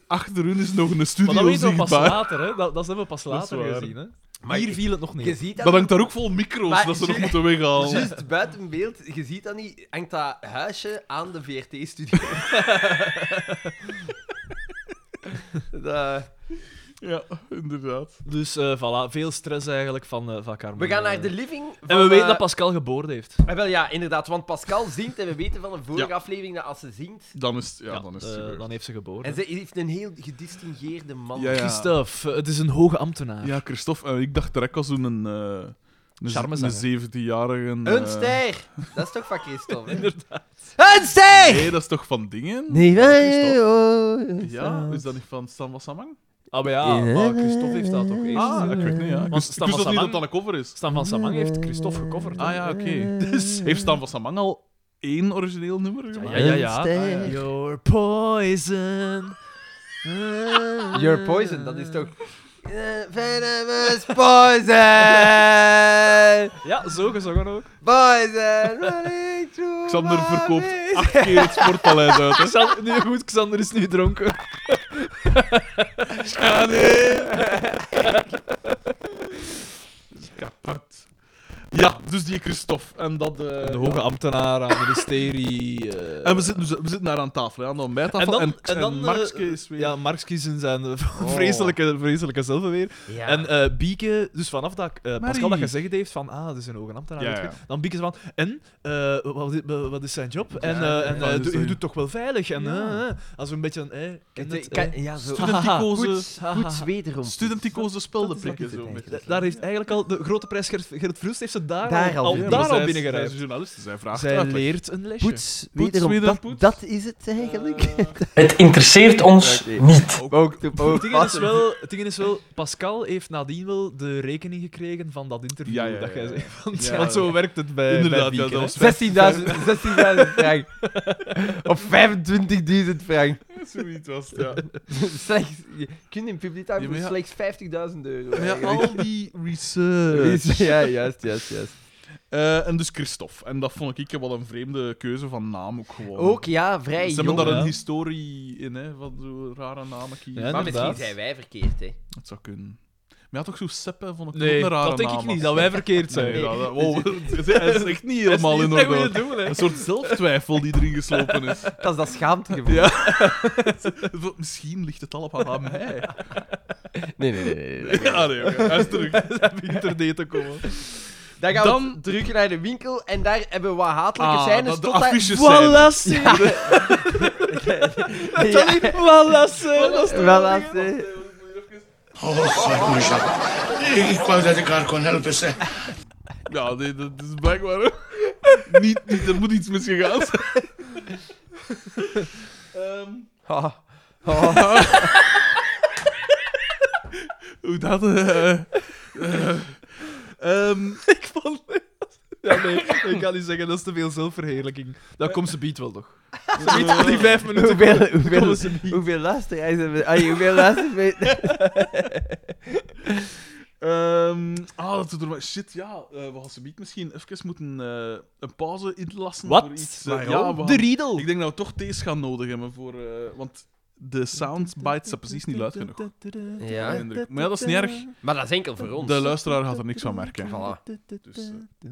Speaker 1: achter hun is nog een
Speaker 3: Maar dat
Speaker 1: studio
Speaker 3: weten we pas
Speaker 1: zichtbaar.
Speaker 3: later, hè. Dat, dat hebben we pas
Speaker 1: Dat is
Speaker 3: later
Speaker 1: waar.
Speaker 3: gezien, hè.
Speaker 2: Maar
Speaker 3: Hier
Speaker 2: ik-
Speaker 3: viel het nog
Speaker 2: Je
Speaker 3: niet.
Speaker 2: ziet dat
Speaker 1: Dat hangt daar ook vol micro's
Speaker 2: Maar-
Speaker 1: dat ze nog moeten weghalen.
Speaker 2: Juist buiten beeld, je ziet dat niet, hangt dat huisje aan de <laughs> VRT-studio.
Speaker 1: Ja, inderdaad.
Speaker 3: Dus eh voilà, veel stress eigenlijk van, eh van Carmen.
Speaker 2: we gaan naar
Speaker 3: Eh,
Speaker 2: de living. Van,
Speaker 3: En we weten
Speaker 2: eh,
Speaker 3: dat Pascal geboord heeft.
Speaker 2: eh, wel ja, inderdaad, want Pascal zingt en we weten van een vorige
Speaker 1: Ja.
Speaker 2: aflevering dat als ze zingt.
Speaker 1: Dan is het, ja,
Speaker 3: Ja,
Speaker 1: dan is het
Speaker 3: eh,
Speaker 1: gebeurd.
Speaker 3: dan heeft ze geboord.
Speaker 2: En ze heeft een heel gedistingeerde man.
Speaker 1: Ja, ja.
Speaker 3: Christophe, eh, het is een hoge ambtenaar.
Speaker 1: Ja, Christophe, eh, ik dacht direct als een, eh een,
Speaker 3: Charmezanger.
Speaker 1: een 17-jarige... eh,
Speaker 2: Een ster! Dat is toch van Christophe?
Speaker 3: <laughs>
Speaker 2: hè?
Speaker 4: Een ster!
Speaker 1: Nee, dat is toch van dingen?
Speaker 4: Nee,
Speaker 1: wij-
Speaker 4: wij...
Speaker 1: Ja, is dat niet van Stan Wassamang?
Speaker 3: Ah, maar ja, maar Christophe heeft dat toch eerst.
Speaker 1: Ah, ik weet niet, ja. Ik
Speaker 3: Want
Speaker 1: wist- ik
Speaker 3: Stan
Speaker 1: wist dat niet dat
Speaker 3: Wassamang-
Speaker 1: dat een cover is.
Speaker 3: Stan van Samang heeft Christophe gecoverd. hè.
Speaker 1: Ah ja, oké. Dus heeft Stan Wassamang al één origineel nummer gemaakt?
Speaker 3: Ja, ja, ja.
Speaker 4: Een ster.
Speaker 3: Ah, ja. Your poison.
Speaker 2: Your poison, dat is toch.
Speaker 4: Eh, Venomous poison!
Speaker 3: Ja, zo gezongen ook.
Speaker 4: Poison eh, running through
Speaker 1: Xander
Speaker 4: my
Speaker 1: verkoopt
Speaker 4: veins.
Speaker 1: acht keer het sportpaleis uit. Hè.
Speaker 3: Xan- nee, goed, Ah, Xander is nu dronken.
Speaker 1: Kapot. Ja, dus die Christophe. En, dat, eh,
Speaker 3: De hoge ambtenaar aan het ministerie. eh,
Speaker 1: en we zitten, dus, we zitten daar aan tafel, hè, aan de ontbijttafel.
Speaker 3: En dan-
Speaker 1: en,
Speaker 3: en dan, eh,
Speaker 1: Markske is weer...
Speaker 3: Ja, Marx kiezen zijn eh, vreselijke, vreselijke zelf weer.
Speaker 2: Ja.
Speaker 3: En eh, Bieke, dus vanaf dat eh,
Speaker 1: Marie.
Speaker 3: Pascal dat gezegd heeft van ah, dat is een hoge ambtenaar,
Speaker 1: Ja,
Speaker 3: weet je,
Speaker 1: ja.
Speaker 3: dan Bieke ze van en eh, wat, is- wat is zijn job? En,
Speaker 2: ja,
Speaker 3: eh, en
Speaker 1: ja.
Speaker 3: eh,
Speaker 1: Dus,
Speaker 3: doe- je
Speaker 1: eh,
Speaker 3: doet toch wel veilig en
Speaker 1: ja.
Speaker 3: eh, eh, als we een beetje eh, kent
Speaker 2: Het,
Speaker 3: het,
Speaker 2: eh,
Speaker 3: eh.
Speaker 2: kan- ja, zo. Ah,
Speaker 1: Studenticoze-
Speaker 2: Goed, goed wederom.
Speaker 1: Studenticoze speldenprikken.
Speaker 2: Dat is
Speaker 1: zo
Speaker 2: het
Speaker 1: met-
Speaker 2: eigenlijk.
Speaker 3: daar heeft eigenlijk al de grote prijs Gert, Gert Vroest heeft ze daar,
Speaker 2: Daar al
Speaker 3: al,
Speaker 2: binnen.
Speaker 3: daar
Speaker 1: maar
Speaker 3: al
Speaker 1: zij is- zij
Speaker 3: binnengereisd.
Speaker 1: is journalist, zij vraagt
Speaker 3: Zij
Speaker 1: uitleg.
Speaker 3: leert een lesje.
Speaker 2: Poets,
Speaker 1: wederom.
Speaker 2: wederom.
Speaker 1: wederom,
Speaker 2: Dat,
Speaker 1: Dat- poets. dat
Speaker 2: dat is het eigenlijk. <laughs>
Speaker 4: Het interesseert ons niet.
Speaker 2: ook de
Speaker 3: Het ding, is wel, het ding is wel, Pascal heeft nadien wel de rekening gekregen van dat interview
Speaker 1: Ja, ja, ja,
Speaker 3: dat jij
Speaker 1: ja.
Speaker 3: zegt. Want,
Speaker 1: Ja,
Speaker 3: want <laughs> zo
Speaker 1: ja.
Speaker 3: werkt het bij,
Speaker 1: Inderdaad,
Speaker 3: bij Bieke,
Speaker 1: ja, dat
Speaker 3: hè.
Speaker 1: was
Speaker 2: 16.000 16.000 frank. Of 25.000 frank.
Speaker 1: <laughs> Zoiets was het, ja.
Speaker 2: Slechts, je kunt in publiek
Speaker 1: Ja,
Speaker 2: voor
Speaker 1: maar ja.
Speaker 2: slechts 50.000 euro.
Speaker 1: Maar ja,
Speaker 2: eigenlijk.
Speaker 1: al die research.
Speaker 2: Ja, juist, juist, juist.
Speaker 1: Eh, en dus Christophe. En dat vond ik wel een vreemde keuze van naam ook gewoon.
Speaker 2: Ook ja, vrij
Speaker 1: Ze
Speaker 2: jong.
Speaker 1: hebben daar
Speaker 3: hè?
Speaker 1: een historie in, hè, van zo'n rare namen kiezen.
Speaker 3: Ja,
Speaker 2: Maar misschien
Speaker 3: Inderdaad.
Speaker 2: zijn wij verkeerd, hè.
Speaker 1: Dat zou kunnen. Maar ja, toch zo seppen vond ik
Speaker 3: Nee,
Speaker 1: ook een rare
Speaker 3: dat denk ik
Speaker 1: naam
Speaker 3: niet,
Speaker 1: had.
Speaker 3: dat wij verkeerd zijn.
Speaker 1: Nee, dat, dat- wow, <laughs> hij is echt niet helemaal in
Speaker 3: Dat is
Speaker 1: orde.
Speaker 3: niet het goede doel, hè.
Speaker 1: Een soort zelftwijfel die erin geslopen is.
Speaker 2: Dat is dat schaamtegevoel.
Speaker 1: Ja. Misschien ligt het allemaal aan mij.
Speaker 2: Nee, nee, nee. <laughs> nee, nee.
Speaker 1: <laughs> Ja, nee, oké, <laughs> hij is terug.
Speaker 3: <laughs> Interdate te komen.
Speaker 2: Dan gaan we
Speaker 1: Dan-
Speaker 2: terug naar de winkel en daar hebben we wat hatelijke
Speaker 1: Ah,
Speaker 2: scènes
Speaker 1: dat de
Speaker 2: dus tot dat-
Speaker 1: affiches zijn.
Speaker 3: Voilà, zie.
Speaker 2: <laughs> Ja.
Speaker 3: Voilà, zie.
Speaker 2: Wel als, eh,
Speaker 5: Ik wou dat ik haar kon helpen, zeg.
Speaker 1: <laughs> Ja, nee, dat is blijkbaar... Niet, niet, er moet iets misgegaan zijn. Ehm,
Speaker 2: Ha.
Speaker 1: <laughs> hoe dat... eh, eh, ehm,
Speaker 3: ik vond... Ja, nee, ik kan niet zeggen, dat is te veel zelfverheerlijking. Dat komt ze beat wel toch? Ze biedt van die <laughs> vijf minuten.
Speaker 4: Hoeveel,
Speaker 3: Komen
Speaker 4: hoeveel,
Speaker 3: ze niet.
Speaker 4: hoeveel luisteraars hebben we? Ai, hoeveel
Speaker 1: <laughs>
Speaker 4: luisteraars
Speaker 1: ehm, ah, dat doet er maar... Shit, ja. eh, we gaan ze niet misschien even moeten eh, een pauze inlassen
Speaker 3: Wat?
Speaker 1: voor iets. eh, ja,
Speaker 3: Waarom?
Speaker 1: we gaan-
Speaker 3: de riedel!
Speaker 1: Ik denk dat we toch deze gaan nodig hebben voor... eh, want de soundbites hebben precies niet luid genoeg.
Speaker 2: Ja.
Speaker 1: Indruk. Maar ja, dat is niet erg.
Speaker 2: Maar dat is enkel voor ons.
Speaker 1: De luisteraar gaat er niks van merken.
Speaker 2: Voilà.
Speaker 1: Dus, eh.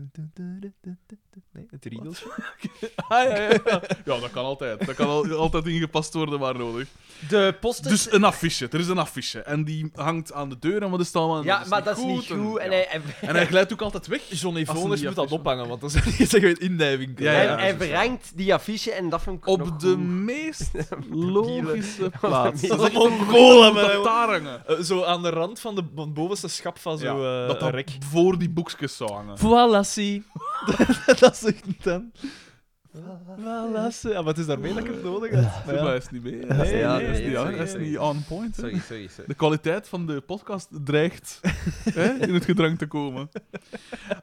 Speaker 3: Nee, het riedeltje.
Speaker 1: Ah, ja, ja, ja. ja, dat kan altijd. Dat kan al- altijd ingepast worden waar nodig.
Speaker 2: De posters...
Speaker 1: Dus een affiche. Er is een affiche. En die hangt aan de deur. En wat is het allemaal? En
Speaker 2: ja, maar dat is niet
Speaker 1: en-
Speaker 2: goed. En,
Speaker 1: ja.
Speaker 2: hij, hij,
Speaker 1: En hij glijdt ook altijd weg.
Speaker 3: John
Speaker 1: Als ze
Speaker 3: Evoners
Speaker 1: niet
Speaker 3: moet dat
Speaker 1: affiche-
Speaker 3: ophangen, want dan <laughs> zeg je het in die winkel.
Speaker 1: Ja, ja,
Speaker 2: hij-
Speaker 1: ja.
Speaker 2: hij verrangt die affiche en dat vond ik nog
Speaker 1: Op de
Speaker 2: goed.
Speaker 1: <laughs> meest logische plaats.
Speaker 2: meest-
Speaker 1: Dat is echt
Speaker 3: Mongolen, maar-
Speaker 1: dat daar hangen.
Speaker 3: Eh, zo aan de rand van, de, van het bovenste schap van
Speaker 1: Ja,
Speaker 3: zo'n eh
Speaker 1: dat dat
Speaker 3: rek.
Speaker 1: voor die boekjes zou hangen.
Speaker 3: Voilà, zie. <laughs> dat zegt het dan. Voilà, zie. Ah, maar het is daarmee dat ik het nodig had.
Speaker 1: Maar
Speaker 3: Maar
Speaker 1: hij
Speaker 3: ja.
Speaker 1: is niet mee.
Speaker 2: is
Speaker 1: Nee,
Speaker 2: niet aan,
Speaker 1: nee,
Speaker 2: dat is
Speaker 1: is
Speaker 2: niet
Speaker 1: niet aan.
Speaker 2: aan.
Speaker 1: Hij is niet on point. hè.
Speaker 2: Sorry, sorry, sorry.
Speaker 1: De kwaliteit van de podcast dreigt hè, in het gedrang te komen.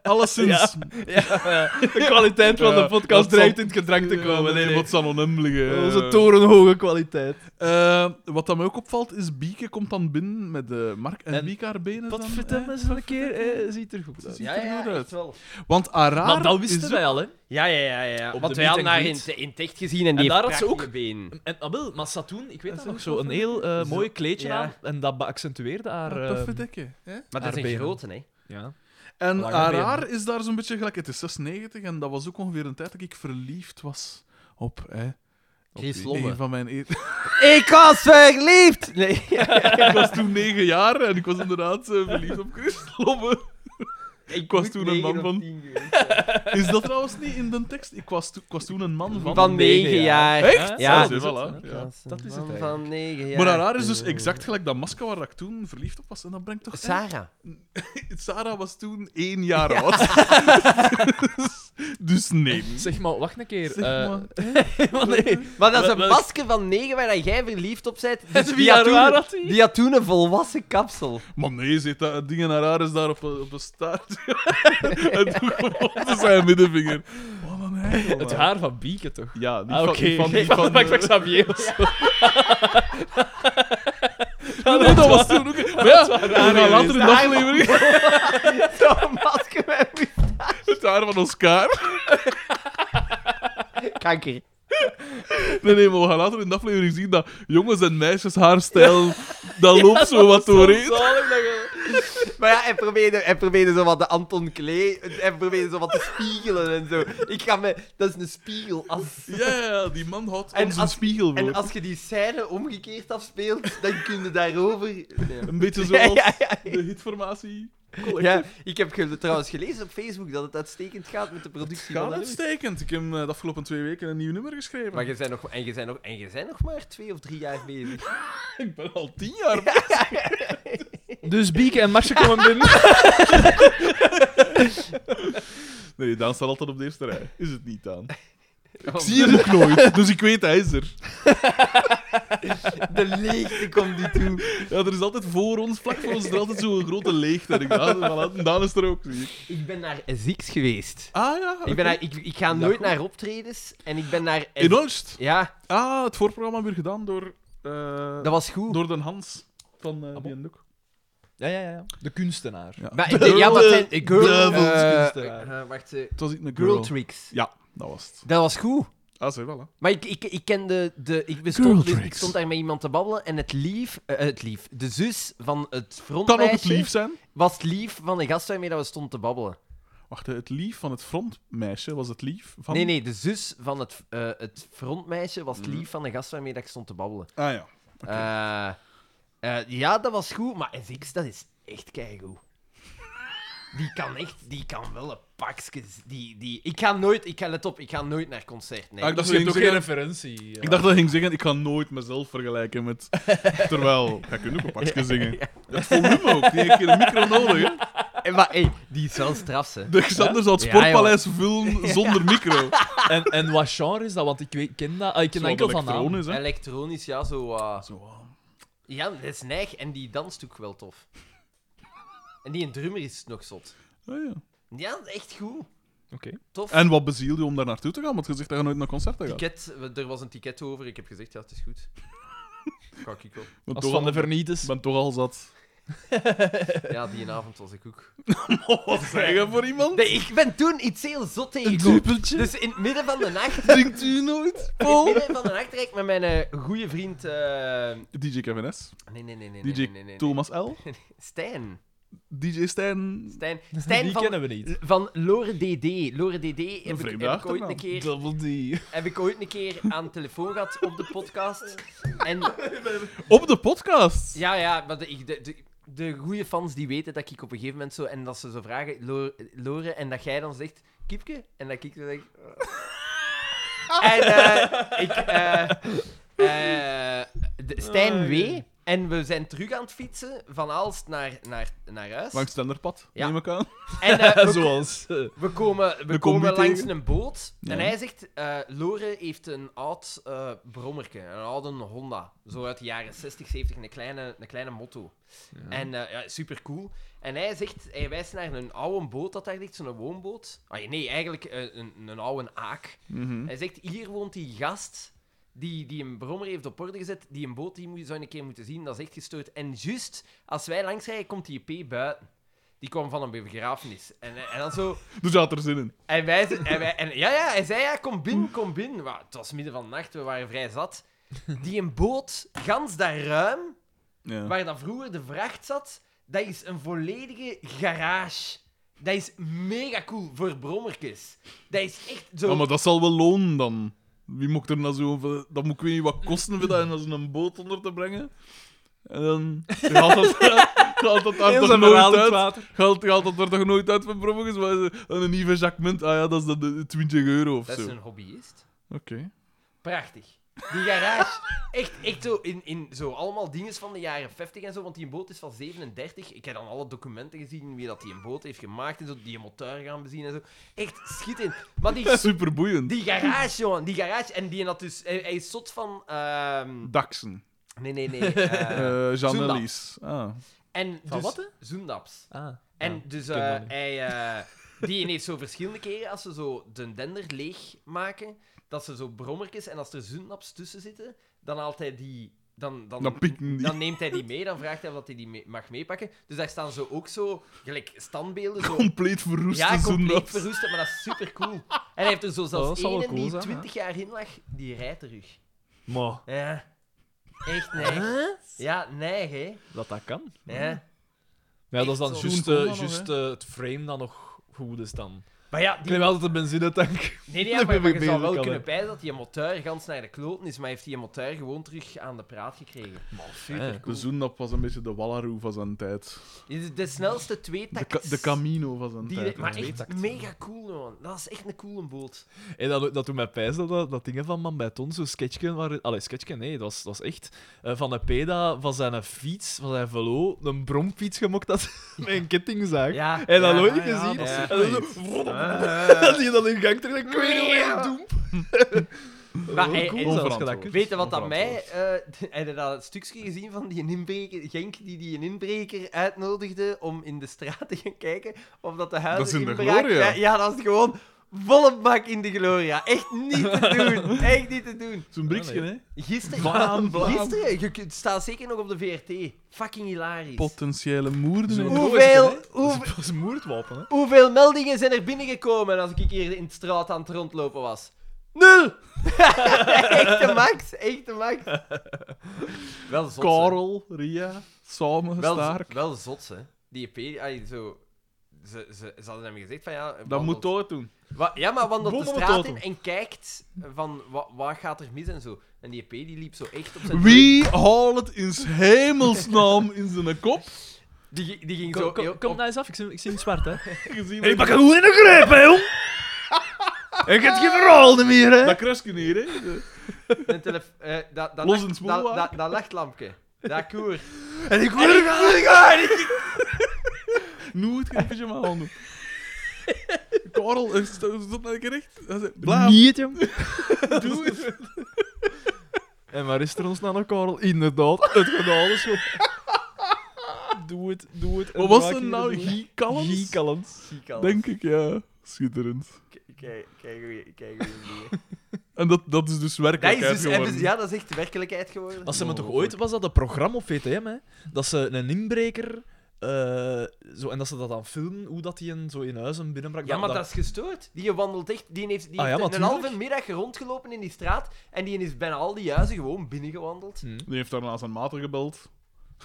Speaker 1: Alleszins.
Speaker 3: Ja, de kwaliteit van
Speaker 1: Ja,
Speaker 3: de podcast
Speaker 1: wat zal-
Speaker 3: dreigt in het gedrang te komen. Nee, nee.
Speaker 1: Wat zal onem liggen?
Speaker 3: Onze torenhoge kwaliteit.
Speaker 1: Eh, wat dat mij ook opvalt, is Bieke komt dan binnen met eh, Mark en,
Speaker 3: En-
Speaker 1: Bieke haar benen.
Speaker 3: Wat
Speaker 1: dan,
Speaker 3: vertel
Speaker 1: eh,
Speaker 3: me eens een keer, eh, ziet er goed uit.
Speaker 1: ziet
Speaker 2: Ja,
Speaker 1: er
Speaker 2: ja,
Speaker 1: goed
Speaker 2: ja,
Speaker 1: uit.
Speaker 2: echt wel.
Speaker 1: Want Araar
Speaker 3: Maar dat
Speaker 1: is
Speaker 3: wisten
Speaker 1: ook-
Speaker 3: wij al, hè.
Speaker 2: Ja, ja, ja. ja.
Speaker 3: Op
Speaker 2: Want
Speaker 3: de
Speaker 2: we hadden
Speaker 3: meet and
Speaker 2: haar in,
Speaker 3: greet.
Speaker 2: in het echt gezien en die
Speaker 3: En
Speaker 2: heeft
Speaker 3: daar had ze
Speaker 2: prachtige
Speaker 3: ook-
Speaker 2: benen.
Speaker 3: En Abel, maar ze had toen, ik weet dat
Speaker 1: zo
Speaker 3: nog, zo'n heel eh, mooi kleedje
Speaker 2: Ja.
Speaker 3: aan. En dat accentueerde haar...
Speaker 1: Een
Speaker 3: eh,
Speaker 1: Puffe dikke. ehm, hè?
Speaker 2: Maar dat
Speaker 3: Haar
Speaker 2: is een
Speaker 3: benen.
Speaker 2: grote, hè.
Speaker 3: ja.
Speaker 1: En
Speaker 3: Lange
Speaker 1: Araar is daar zo'n beetje gelijk. Het is 96 en dat was ook ongeveer een tijd dat ik verliefd was op hè,
Speaker 2: Chris
Speaker 1: een
Speaker 2: Lobbe.
Speaker 1: van mijn. e-
Speaker 2: Ik was
Speaker 1: <laughs>
Speaker 2: verliefd! Nee.
Speaker 1: ik was toen 9 jaar en ik was inderdaad eh, verliefd op Chris Lobbe.
Speaker 2: Ik
Speaker 1: was toen een man van-
Speaker 2: Van,
Speaker 1: Is dat trouwens niet in de tekst? Ik was, to- ik was toen een man van.
Speaker 2: van
Speaker 3: negen
Speaker 2: 9 jaar.
Speaker 1: Echt?
Speaker 2: Ja.
Speaker 1: Zie, voilà, ja.
Speaker 3: Dat
Speaker 2: Man
Speaker 3: is dus het eigenlijk.
Speaker 2: van 9 jaar.
Speaker 1: Maar Araar is dus exact gelijk dat masker waar ik toen verliefd op was. En dat brengt toch...
Speaker 2: Sarah.
Speaker 1: Sarah was toen één jaar oud. <laughs> dus, dus nee.
Speaker 3: Zeg maar, wacht een keer.
Speaker 1: Zeg
Speaker 3: eh,
Speaker 1: maar.
Speaker 3: want <laughs> nee.
Speaker 2: Maar dat is een
Speaker 3: Wel-
Speaker 2: masker van 9 waar dat jij verliefd op bent. Dus
Speaker 3: Wie
Speaker 2: die, had
Speaker 3: jaar waren dat
Speaker 2: toen,
Speaker 3: die?
Speaker 2: die had toen een volwassen kapsel.
Speaker 1: Maar nee, zit dat ding en Araar is daar op, een- op een staart. <laughs> en toen gewoon te zijn middenvinger. Wat een eikel,
Speaker 3: Het
Speaker 1: man.
Speaker 3: haar van Bieke, toch?
Speaker 1: Ja, die
Speaker 3: Ah,
Speaker 1: van...
Speaker 3: oké. <laughs>
Speaker 1: Die van, die
Speaker 3: Van-
Speaker 1: van,
Speaker 3: van
Speaker 1: eh,
Speaker 3: Xavier of zo.
Speaker 1: nee, dat was toen ook... Maar ja, we gaan later in de aflevering
Speaker 2: Zo'n masker met moe-
Speaker 1: <laughs> het haar van Oscar...
Speaker 2: kanker.
Speaker 1: Nee, nee, maar we gaan later in de aflevering zien dat jongens en meisjes haarstijl, dat loopt zo wat doorheen.
Speaker 2: Maar ja, hij probeerde, hij probeerde zo wat de Anton Klee. Hij probeerde zo wat te spiegelen en zo. Ik ga me. Dat is een spiegelas.
Speaker 1: Ja, ja, ja, die man houdt
Speaker 2: En
Speaker 1: ons een
Speaker 2: als-
Speaker 1: spiegel voor.
Speaker 2: En als je die scène omgekeerd afspeelt, dan kun je daarover. Nee.
Speaker 1: Een beetje
Speaker 2: Ja,
Speaker 1: zoals
Speaker 2: <laughs> ja, ja, ja.
Speaker 1: de hitformatie. Collectief.
Speaker 2: Ja, ik heb ge- trouwens gelezen op Facebook dat het uitstekend gaat met de productie
Speaker 1: Gaat
Speaker 2: van dat nummer.
Speaker 1: uitstekend. Ik heb eh, de afgelopen twee weken een nieuw nummer geschreven.
Speaker 2: Maar je bent nog, en je bent nog, en je bent nog maar twee of drie jaar bezig.
Speaker 1: Ik ben al tien jaar bezig.
Speaker 3: Dus Bieke en Marcia komen binnen.
Speaker 1: Nee, Daan staat altijd op de eerste rij. Is het niet,
Speaker 2: <laughs>
Speaker 1: Daan?
Speaker 2: Oh,
Speaker 1: Ik zie hem ook nooit, dus ik weet hij is er.
Speaker 2: De leegte komt niet toe.
Speaker 1: Ja, er is altijd voor ons, vlak voor ons, is er altijd zo'n grote leegte. En ik dacht, "Ah, voilà, en Daan is er ook. zie je.
Speaker 2: Ik ben naar Zieks geweest.
Speaker 1: Ah ja,
Speaker 2: Ik, ben naar, ik, ik ga nooit naar optredens en ik ben naar.
Speaker 1: in Olst.
Speaker 2: Ja,
Speaker 1: Ah, het voorprogramma weer gedaan door, eh,
Speaker 2: dat was goed.
Speaker 1: door Den Hans van eh
Speaker 3: bon.
Speaker 1: die en Doek.
Speaker 3: Ja, ja, ja. De kunstenaar.
Speaker 1: Ja.
Speaker 2: Maar ik denk, ja, dat zijn.
Speaker 3: Ik
Speaker 2: Girl,
Speaker 3: duivels
Speaker 2: eh,
Speaker 3: kunstenaar.
Speaker 2: eh, wacht, eh,
Speaker 1: Het was iets met
Speaker 2: girl,
Speaker 1: Girl.
Speaker 2: Tricks.
Speaker 1: Ja, dat was het.
Speaker 2: Dat was goed.
Speaker 1: Ah, zeg wel, hè.
Speaker 2: Maar ik, ik, ik kende de. Ik,
Speaker 1: Girl
Speaker 2: bestond,
Speaker 1: tricks.
Speaker 2: ik stond daar met iemand te babbelen en het lief. eh, het lief. De zus van het
Speaker 1: Kan ook het
Speaker 2: frontmeisje
Speaker 1: lief zijn.
Speaker 2: was het lief van de gast waarmee dat we stonden te babbelen.
Speaker 1: Wacht, hè, het lief van het frontmeisje was het lief van...
Speaker 2: Nee, nee, de zus van het, eh, het frontmeisje was het
Speaker 1: Mhm.
Speaker 2: lief van de gast waarmee dat ik stond te babbelen.
Speaker 1: Ah ja.
Speaker 2: Eh, eh, ja, dat was goed, maar Zix, dat is echt keigoed. Die kan echt, die kan wel een pakje. Die, die, ik ga nooit, ik ga let op, ik ga nooit naar concerten. nee.
Speaker 1: Ah, ik dacht,
Speaker 3: Dus
Speaker 1: ze
Speaker 3: je hebt
Speaker 1: ging
Speaker 3: ook geen
Speaker 1: zeggen,
Speaker 3: referentie. eh. ja.
Speaker 1: ik dacht dat hij ging zeggen, ik kan nooit mezelf vergelijken
Speaker 2: <laughs>
Speaker 1: met... Terwijl, ga ik nu ook een pakje zingen. Dat volume ook, die heeft een micro nodig, hè.
Speaker 2: Eh, Maar hey, die is wel straf, hè.
Speaker 1: De Xander zal het
Speaker 2: Ja,
Speaker 1: sportpaleis
Speaker 2: <laughs>
Speaker 1: vullen zonder micro.
Speaker 3: En, en wat genre is dat? Want ik weet, ken dat. ah, ik ken dat enkel van naam.
Speaker 1: Elektronisch, hè?
Speaker 2: Elektronisch, ja, zo... eh,
Speaker 1: Zo, ah.
Speaker 2: Ja, dat is neig. En die danst ook wel tof. En die een drummer is nog zot.
Speaker 1: Ah, ja.
Speaker 2: Ja, dat is echt goed.
Speaker 3: Oké.
Speaker 2: Tof.
Speaker 1: En wat bezielde je om daar naartoe te gaan? Want je zegt dat je nooit naar concerten gaat.
Speaker 2: Ticket, er was een ticket over. Ik heb gezegd, ja, het is goed. Kak ik wel.
Speaker 1: Ik
Speaker 3: Als het van de vernieters. <laughs>
Speaker 1: ben toch al
Speaker 2: <laughs>
Speaker 1: zat.
Speaker 2: Ja, die avond was ik ook. Oh,
Speaker 1: Wat zeggen voor iemand?
Speaker 2: Nee, ik ben toen iets heel zot tegengekomen.
Speaker 1: Dubbeltje.
Speaker 2: Dus in het midden van de nacht...
Speaker 1: Drinkt u nooit?
Speaker 2: In het midden van de nacht rijd ik met mijn eh, goede vriend... eh,
Speaker 1: <laughs> DJ Kevin S.
Speaker 2: Nee, nee, nee, nee.
Speaker 1: DJ
Speaker 2: nee, nee, nee.
Speaker 1: Thomas L.
Speaker 2: Stijn.
Speaker 1: DJ Stijn.
Speaker 2: Stijn,
Speaker 3: Die
Speaker 2: Stijn
Speaker 3: kennen
Speaker 2: van,
Speaker 3: we niet.
Speaker 2: van Lore DD. Lore DD heb ik,
Speaker 1: vreemde
Speaker 2: heb ik ooit
Speaker 1: achternaam.
Speaker 2: een keer...
Speaker 3: Double D.
Speaker 2: heb ik ooit een keer aan de telefoon gehad op de podcast. En
Speaker 1: Op de podcast.
Speaker 2: ja, ja, maar de, de, de, de goede fans die weten dat ik op een gegeven moment zo... En dat ze zo vragen, "Lo- Lore, en dat jij dan zegt, Kiepke? En dat ik dan zeg... eh. En eh, ik... eh, eh, de- Stijn W. En we zijn terug aan het fietsen van Aalst naar, naar, naar huis.
Speaker 1: Langs Tenderpad,
Speaker 2: Ja.
Speaker 1: neem ik aan.
Speaker 2: En eh,
Speaker 3: <laughs>
Speaker 2: we,
Speaker 3: Zoals. eh,
Speaker 2: we komen, we
Speaker 1: We komen
Speaker 2: komen
Speaker 1: u
Speaker 2: langs
Speaker 1: tegen.
Speaker 2: een boot en
Speaker 1: Ja.
Speaker 2: hij zegt: eh, Lore heeft een oud eh brommerke, een oude Honda. Zo uit de jaren 60, 70, een kleine, een kleine motto. En eh, ja, super cool. En hij zegt: Hij wijst naar een oude boot dat daar ligt, zo'n woonboot. Ah, nee, eigenlijk eh, een, een oude aak. Hij zegt: Hier woont die gast. Die, die een brommer heeft op orde gezet, die een boot die moet, zou je een keer moeten zien, dat is echt gestoord. En juist als wij langs rijden, komt die P buiten. Die kwam van een begrafenis. En, eh, en dan zo,
Speaker 1: Dus je had er zin in.
Speaker 2: en wij, ze- en wij- en, ja, ja, hij zei ja, kom binnen, kom binnen. Maar het was midden van de nacht, we waren vrij zat. Die een boot, gans dat ruim,
Speaker 1: Ja.
Speaker 2: waar dat vroeger de vracht zat, dat is een volledige garage. Dat is mega cool voor brommerkes. Dat is echt zo...
Speaker 1: Ja, maar dat zal wel lonen dan. Wie mocht er nou zo... Dat moet ik weet niet wat kosten voor dat en als een boot onder te brengen. En dan gaat dat, gaat dat daar
Speaker 3: Heel
Speaker 1: toch
Speaker 3: zijn verhaal
Speaker 1: nooit
Speaker 3: in het
Speaker 1: uit.
Speaker 3: water.
Speaker 1: Gaat, gaat dat er toch nooit uit van Promogus? Maar ze- dan een nieuwe Jacques Munt, ah ja, dat is dan de 20 euro of
Speaker 2: dat
Speaker 1: zo.
Speaker 2: is
Speaker 1: Oké.
Speaker 2: een hobbyist. Prachtig. Die garage. Echt, echt zo in, in zo allemaal dingen van de jaren 50 en zo, want die boot is van 37. Ik heb dan alle documenten gezien, wie dat die een boot heeft gemaakt en zo, die motor gaan bezien en zo. Echt schitterend.
Speaker 1: <laughs>
Speaker 2: Maar die,
Speaker 1: Super boeiend.
Speaker 2: die garage, jongen, die garage. En die had dus, hij, hij is zot van. ehm,
Speaker 1: Daxen.
Speaker 2: nee, nee, nee. eh,
Speaker 1: Eh Jean
Speaker 2: Zundap.
Speaker 1: Elise. Ah.
Speaker 2: en
Speaker 3: Van
Speaker 2: dus,
Speaker 3: wat,
Speaker 2: Zoendaps.
Speaker 3: Ah.
Speaker 2: En
Speaker 3: Ja,
Speaker 2: dus
Speaker 3: ik ken
Speaker 2: eh,
Speaker 3: dat niet.
Speaker 2: hij,
Speaker 3: <laughs>
Speaker 2: eh, die heeft zo verschillende keren, als ze zo de dender leeg maken, dat ze zo brommertjes en als er zundaps tussen zitten, dan haalt hij die. Dan, dan,
Speaker 1: Dan pikken die.
Speaker 2: dan neemt hij die mee, dan vraagt hij of dat hij die mee- mag meepakken. Dus daar staan zo ook zo, gelijk standbeelden.
Speaker 3: <laughs>
Speaker 2: Zo,
Speaker 1: Compleet verroeste
Speaker 2: ja, compleet
Speaker 1: Zundaps.
Speaker 2: verroesten, maar dat is super cool. En hij heeft er zo
Speaker 3: dat
Speaker 2: zelfs
Speaker 3: zal wel
Speaker 2: één
Speaker 3: cool
Speaker 2: die
Speaker 3: zijn, hè?
Speaker 2: 20 jaar in lag, die rijdt terug.
Speaker 3: Maar
Speaker 2: Ja. Echt neig. Ja, neig, hè.
Speaker 3: dat dat kan.
Speaker 2: Ja.
Speaker 3: Ja, dat is dan
Speaker 2: Echt
Speaker 1: zo.
Speaker 3: juist
Speaker 1: Toen kon
Speaker 3: eh,
Speaker 1: dat nog,
Speaker 3: juist, eh, het frame dat nog goed is dan.
Speaker 2: Maar ja,
Speaker 3: Ik
Speaker 2: die
Speaker 3: neem altijd een benzinetank. <laughs>
Speaker 2: Nee, nee, maar,
Speaker 3: Dat
Speaker 2: maar
Speaker 3: heb
Speaker 2: je
Speaker 3: ik
Speaker 2: zou
Speaker 3: beter
Speaker 2: wel
Speaker 3: kan,
Speaker 2: kunnen
Speaker 3: hè.
Speaker 2: pijzen dat die motor gans naar de kloten is, maar heeft die motor gewoon terug aan de praat gekregen.
Speaker 3: fijn.
Speaker 2: super
Speaker 1: De
Speaker 3: dus-
Speaker 2: cool.
Speaker 1: Zundap was een beetje de Wallaroo van zijn tijd.
Speaker 2: Dit is de snelste twee
Speaker 1: De, Ca-
Speaker 2: takt.
Speaker 1: de Camino van zijn tijd.
Speaker 2: die, Maar
Speaker 1: hè.
Speaker 2: echt mega cool, man. Dat is echt een coole boot.
Speaker 3: En dat, dat doet mij pijn dat, dat, dat ding van Man bij Ton, zo'n sketchje. Waar, allee, sketchje, nee, dat was, dat was echt. eh, van de peda van zijn fiets, van zijn velo, een bromfiets gemokt had <laughs> met een kettingzaak.
Speaker 2: Ja.
Speaker 3: En dat
Speaker 2: ja.
Speaker 3: nooit
Speaker 1: Ah, ja,
Speaker 3: gezien.
Speaker 1: dat
Speaker 3: en
Speaker 1: zegt
Speaker 3: dan
Speaker 1: mij
Speaker 3: zo-
Speaker 2: <laughs>
Speaker 3: dat zie je dan in gang terug. Ik weet niet hoe ik doe.
Speaker 2: Maar, hey,
Speaker 3: cool
Speaker 2: hey,
Speaker 3: zelfs dat
Speaker 1: onverantwoord.
Speaker 3: kunt.
Speaker 2: Weet je wat dat mij... eh <laughs> heb je dat stukje gezien van die inbreker, Genk, die die een inbreker uitnodigde om in de straat te gaan kijken of dat de huizen
Speaker 1: Dat is in de
Speaker 2: inbraak-
Speaker 1: Gloria.
Speaker 2: Ja, ja, dat is gewoon volle bak in de gloria. Echt niet te doen. Echt niet te doen.
Speaker 1: Zo'n briksje, hè?
Speaker 2: Gisteren,
Speaker 1: Vlaam, Vlaam.
Speaker 2: gisteren je kunt- staat zeker nog op de VRT. Fucking hilarisch.
Speaker 1: Potentiële moorden.
Speaker 3: Zo'n-
Speaker 2: hoeveel,
Speaker 3: Dat
Speaker 2: hoe-
Speaker 3: Dat is een moordwapen, hè?
Speaker 2: hoeveel meldingen zijn er binnengekomen als ik hier in de straat aan het rondlopen was? Nul! <laughs> echt de max, echt de max. Wel zot, hè.
Speaker 1: Karel, Ria, samen
Speaker 2: wel, z-
Speaker 1: sterk.
Speaker 2: wel zot, hè. Die EP, ay, zo... Ze, ze, ze hadden hem gezegd van ja...
Speaker 1: Dat
Speaker 2: wandelt-
Speaker 1: moet toch doen.
Speaker 2: Wa- ja, maar wandelt de
Speaker 1: Bommel moet
Speaker 2: straat
Speaker 1: auto.
Speaker 2: in en kijkt van wa- wat gaat er mis en zo. En die EP die liep zo echt op zijn...
Speaker 1: Wie haalt het in 's hemelsnaam in zijn
Speaker 2: <laughs>
Speaker 1: kop?
Speaker 2: Die, die ging zo...
Speaker 3: Kom, kom, kom
Speaker 2: op-
Speaker 3: nou eens af, ik zie, ik zie hem zwart, <laughs> hè?
Speaker 1: Gezien
Speaker 3: Ik pak een goed in de greep, hè, jong! Ik heb geen verhaal meer, hè?
Speaker 1: Dat krusje hier, hè?
Speaker 2: Een telef- eh, dat, dat,
Speaker 1: Los
Speaker 2: lacht-
Speaker 1: en smoel
Speaker 2: dat, dat,
Speaker 1: maken.
Speaker 2: dat lichtlampje. Dat koer.
Speaker 3: En ik wil er
Speaker 1: Nooit geen pyjama aan
Speaker 2: <laughs>
Speaker 1: Karel, eh, sto- stop naar keer recht. Hij zei, Blaam,
Speaker 3: Niet, <laughs> jong.
Speaker 1: doe het.
Speaker 3: En waar is er ons nou nog, Karel? Inderdaad, het gedaan is goed. Doe het, doe het.
Speaker 1: Wat was dat nou? Guy Callens?
Speaker 3: Giekallens.
Speaker 1: <laughs> Denk ik, ja. Schitterend.
Speaker 2: Kijk, kijk, kijk.
Speaker 1: <laughs> En dat, dat is dus
Speaker 2: Dat is
Speaker 1: werkelijkheid
Speaker 2: dus
Speaker 1: geworden.
Speaker 2: even, ja, dat is echt werkelijkheid geworden.
Speaker 3: Als ze me
Speaker 1: Oh,
Speaker 3: toch ooit was dat een programma op VTM, hè? Dat ze een inbreker. eh, zo, en dat ze dat dan filmen, hoe dat die een zo in huis een binnenbrak.
Speaker 2: Ja, maar dat is gestoord. Die wandelt echt. Die heeft, die
Speaker 3: Ah, ja,
Speaker 2: heeft
Speaker 3: maar
Speaker 2: een halve
Speaker 3: tuurlijk.
Speaker 2: middag rondgelopen in die straat. En die is bijna al die huizen gewoon binnengewandeld.
Speaker 3: Hm.
Speaker 1: Die heeft daarna zijn mater gebeld.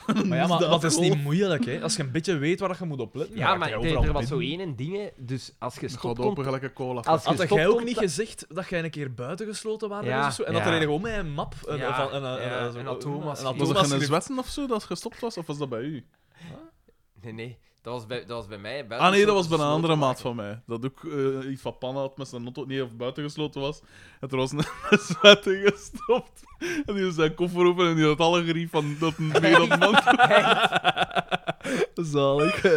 Speaker 3: Maar ja, maar
Speaker 1: dat
Speaker 3: dat is
Speaker 1: gewoon.
Speaker 3: niet moeilijk, hè? Als je een beetje weet waar je moet opletten.
Speaker 2: Ja,
Speaker 3: dan raak
Speaker 2: maar
Speaker 3: je
Speaker 2: er-
Speaker 3: overal
Speaker 2: er was zo
Speaker 3: binnen.
Speaker 2: één en dingen. Dus als je
Speaker 1: Het gaat
Speaker 2: stopt...
Speaker 1: open gelijk een cola.
Speaker 2: Als je
Speaker 3: Had
Speaker 2: stopt
Speaker 3: jij ook
Speaker 2: contact-
Speaker 3: niet gezegd dat jij een keer buitengesloten waren
Speaker 2: Ja,
Speaker 3: was of zo? En dat
Speaker 2: ja.
Speaker 3: er gewoon met een map, een,
Speaker 2: Ja,
Speaker 3: van, een, een,
Speaker 2: ja,
Speaker 3: zo-
Speaker 2: een atoomafschrift.
Speaker 3: een
Speaker 1: was er geen
Speaker 3: atoomafschrift.
Speaker 1: zwetsen of zo dat je gestopt was? Of was dat bij u?
Speaker 2: Nee, nee. Dat was bij, dat was bij mij.
Speaker 1: Ah nee, dat was bij een andere maat van mij. Dat ook eh, iets van pan had met zijn auto, niet of buiten gesloten was. En er was een <laughs> zwetten gestopt. En die had zijn koffer open en die had alle grief van dat
Speaker 2: <laughs>
Speaker 1: een wereld man. <coughs>
Speaker 3: Zalig.
Speaker 1: Die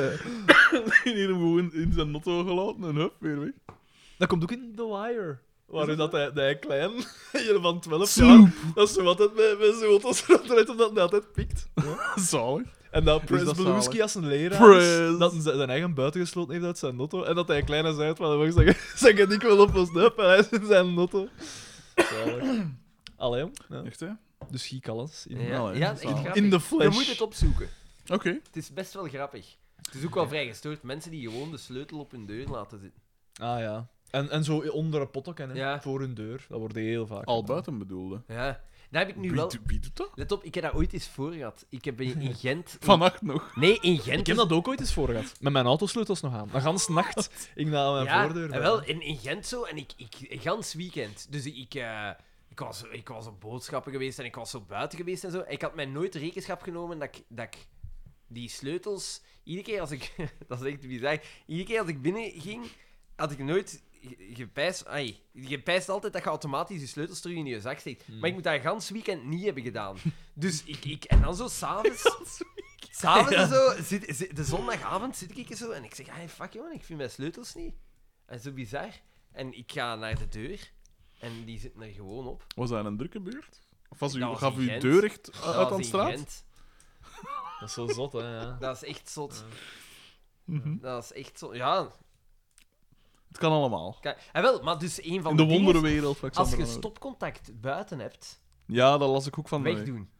Speaker 1: heeft hem gewoon in zijn auto gelaten en hup, weer weg. <laughs>
Speaker 3: Dat komt ook in The Wire. Waarin dat hij, dat hij klein, <laughs> hier van 12
Speaker 1: Sloop.
Speaker 3: jaar, dat is zo altijd met, met zijn auto's eruit, omdat hij altijd pikt.
Speaker 1: Zalig.
Speaker 3: En dat
Speaker 2: Dus
Speaker 3: Prins
Speaker 1: dat
Speaker 3: Beluski
Speaker 1: zalig?
Speaker 3: als een leraar is,
Speaker 1: Prins.
Speaker 3: dat hij zijn zijn eigen buiten gesloten heeft uit zijn auto. En dat hij kleine zei van, "Wacht, zeg <laughs> zeg het niet wel op ons nep, en hij is in zijn auto. Zalig.
Speaker 2: <clears throat>
Speaker 3: Allee, jong. Ja.
Speaker 1: Echt hè?
Speaker 3: Dus giek alles. In,
Speaker 2: Ja,
Speaker 1: Nou, hè,
Speaker 2: ja,
Speaker 1: dat
Speaker 2: echt
Speaker 1: is wel-
Speaker 2: grappig.
Speaker 3: in de
Speaker 2: Je
Speaker 3: flash.
Speaker 2: moet het opzoeken.
Speaker 1: Oké.
Speaker 2: Het is best wel grappig. Het is ook wel vrij gestoord. Mensen die gewoon de sleutel op hun deur laten zitten.
Speaker 3: Ah ja. En, en zo onder een pot ook, hè,
Speaker 2: Ja.
Speaker 3: voor hun deur. Dat wordt heel vaak.
Speaker 1: Al buiten bedoelde.
Speaker 2: Ja. Dat heb ik nu
Speaker 1: Wie,
Speaker 2: wel...
Speaker 1: doet- wie doet dat?
Speaker 2: Let op, ik heb dat ooit eens voor gehad. Ik heb in, in Gent...
Speaker 1: Vannacht nog.
Speaker 2: Nee, in Gent...
Speaker 3: Ik heb
Speaker 2: is-
Speaker 3: dat ook ooit eens voor gehad. Met mijn autosleutels nog aan. Een
Speaker 2: <laughs>
Speaker 3: ganse nacht. Ik naar mijn
Speaker 2: ja,
Speaker 3: voordeur.
Speaker 2: en wel, in, in Gent zo. En ik, ik... Gans weekend. Dus ik... eh, ik, was, ik was op boodschappen geweest en ik was zo buiten geweest en zo. Ik had mij nooit rekenschap genomen dat ik... Dat ik die sleutels... Iedere keer als ik... <laughs> dat is echt bizar. Iedere keer als ik binnen ging, had ik nooit... ge- Gepijst, ai, je pijst altijd dat je automatisch je sleutels terug in je zak steekt.
Speaker 3: Hmm.
Speaker 2: Maar ik moet dat gans weekend niet hebben gedaan. Dus ik, ik en dan
Speaker 3: <laughs>
Speaker 2: zo s'avonds. S'avonds en zo, zit, zit- de zondagavond zit ik er zo en ik zeg: hey, fuck jongen, ik vind mijn sleutels niet. En zo bizar. En ik ga naar de deur en die zitten er gewoon op.
Speaker 1: Was dat een drukke beurt? Of was u,
Speaker 2: Dat was
Speaker 1: gaf
Speaker 2: in
Speaker 1: u
Speaker 2: Gent.
Speaker 1: deur echt
Speaker 2: Dat
Speaker 1: uit
Speaker 2: was
Speaker 1: aan
Speaker 2: in
Speaker 1: de straat?
Speaker 2: Gent.
Speaker 3: Dat is zo zot, hè. Ja.
Speaker 2: Dat is echt zot.
Speaker 1: Mhm.
Speaker 2: Dat is echt zot. Ja,
Speaker 1: Het kan allemaal.
Speaker 2: kijk. En wel, maar dus een van
Speaker 1: In de
Speaker 2: dingen is,
Speaker 1: wonderwereld. van
Speaker 2: Als
Speaker 1: Xander
Speaker 2: je
Speaker 1: van Oort.
Speaker 2: stopcontact buiten hebt,
Speaker 1: Ja, dat las ik ook van de week.
Speaker 2: wegdoen.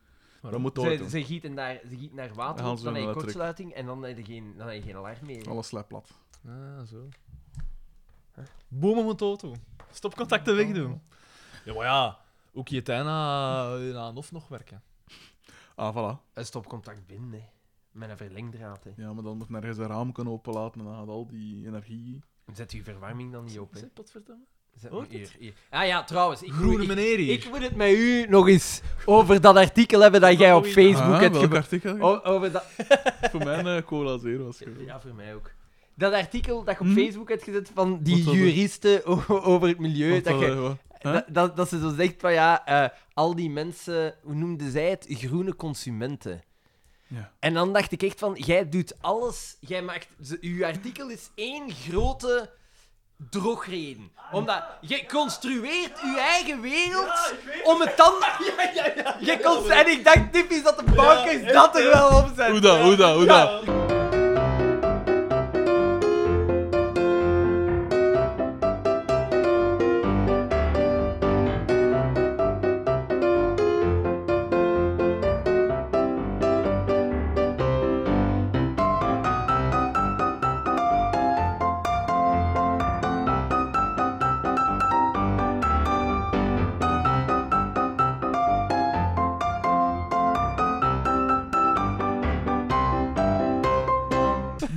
Speaker 1: Dat moet nooit
Speaker 2: Ze,
Speaker 1: doen.
Speaker 2: ze, gieten daar, ze gieten daar
Speaker 1: Dan
Speaker 2: water
Speaker 1: gaan
Speaker 2: op,
Speaker 1: ze
Speaker 2: dan
Speaker 1: naar
Speaker 2: heb je
Speaker 1: dat trek.
Speaker 2: kortsluiting en dan heb je geen, dan heb je geen alarm meer.
Speaker 1: Alles lijkt plat.
Speaker 3: Ah, zo. Boom op mijn auto. Stopcontacten wegdoen. Ja, maar ja. Ook je tijd na, na een of nog werken.
Speaker 1: Ah, voilà.
Speaker 2: Een stopcontact binnen, hè. met een verlengdraad. Hè.
Speaker 1: Ja, maar dan moet nergens een raam kunnen openlaten en dan gaat al die energie.
Speaker 2: Zet uw verwarming dan niet op. Hè.
Speaker 3: potverdomme?
Speaker 2: Zet
Speaker 3: Hoort
Speaker 2: hier, hier. Ah ja, trouwens. Ik,
Speaker 3: Groene
Speaker 2: ik,
Speaker 3: meneer hier.
Speaker 2: ik moet het met u nog eens over dat artikel hebben dat jij op
Speaker 3: Oei.
Speaker 2: Facebook
Speaker 1: ah,
Speaker 2: hebt
Speaker 1: welk
Speaker 2: gebruikt.
Speaker 1: artikel?
Speaker 2: Over dat...
Speaker 1: <laughs> Voor mijn eh, cola zero was het.
Speaker 2: Ja, voor mij ook. Dat artikel dat je op
Speaker 1: Hm?
Speaker 2: Facebook hebt gezet van die
Speaker 1: Wat was het?
Speaker 2: juristen o- over het milieu.
Speaker 1: Want
Speaker 2: Dat,
Speaker 1: dat,
Speaker 2: je,
Speaker 1: eh, wat- hè?
Speaker 2: dat, dat, dat ze zo zegt van ja, eh, al die mensen, hoe noemden zij het? Groene consumenten.
Speaker 1: Ja.
Speaker 2: En dan dacht ik echt van, jij doet alles, jij maakt, ze- uw artikel is één grote drogreden. Omdat, jij construeert uw eigen wereld om het dan... Jij const- En ik dacht typisch dat de bankers dat er wel op zijn.
Speaker 1: Hoe dat, hoe dat, hoe dat?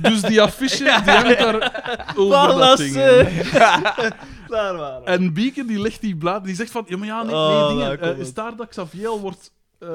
Speaker 1: Dus die affiche, die hangt
Speaker 2: <laughs>
Speaker 1: daar over dat ding. eh. hè.
Speaker 3: Daar waren we.
Speaker 1: En Bieke die legt die blaad, die zegt van, ja maar ja, nee,
Speaker 3: Oh,
Speaker 1: nee dingen,
Speaker 3: daar komt
Speaker 1: eh, is
Speaker 3: het.
Speaker 1: daar dat Xavier wordt eh,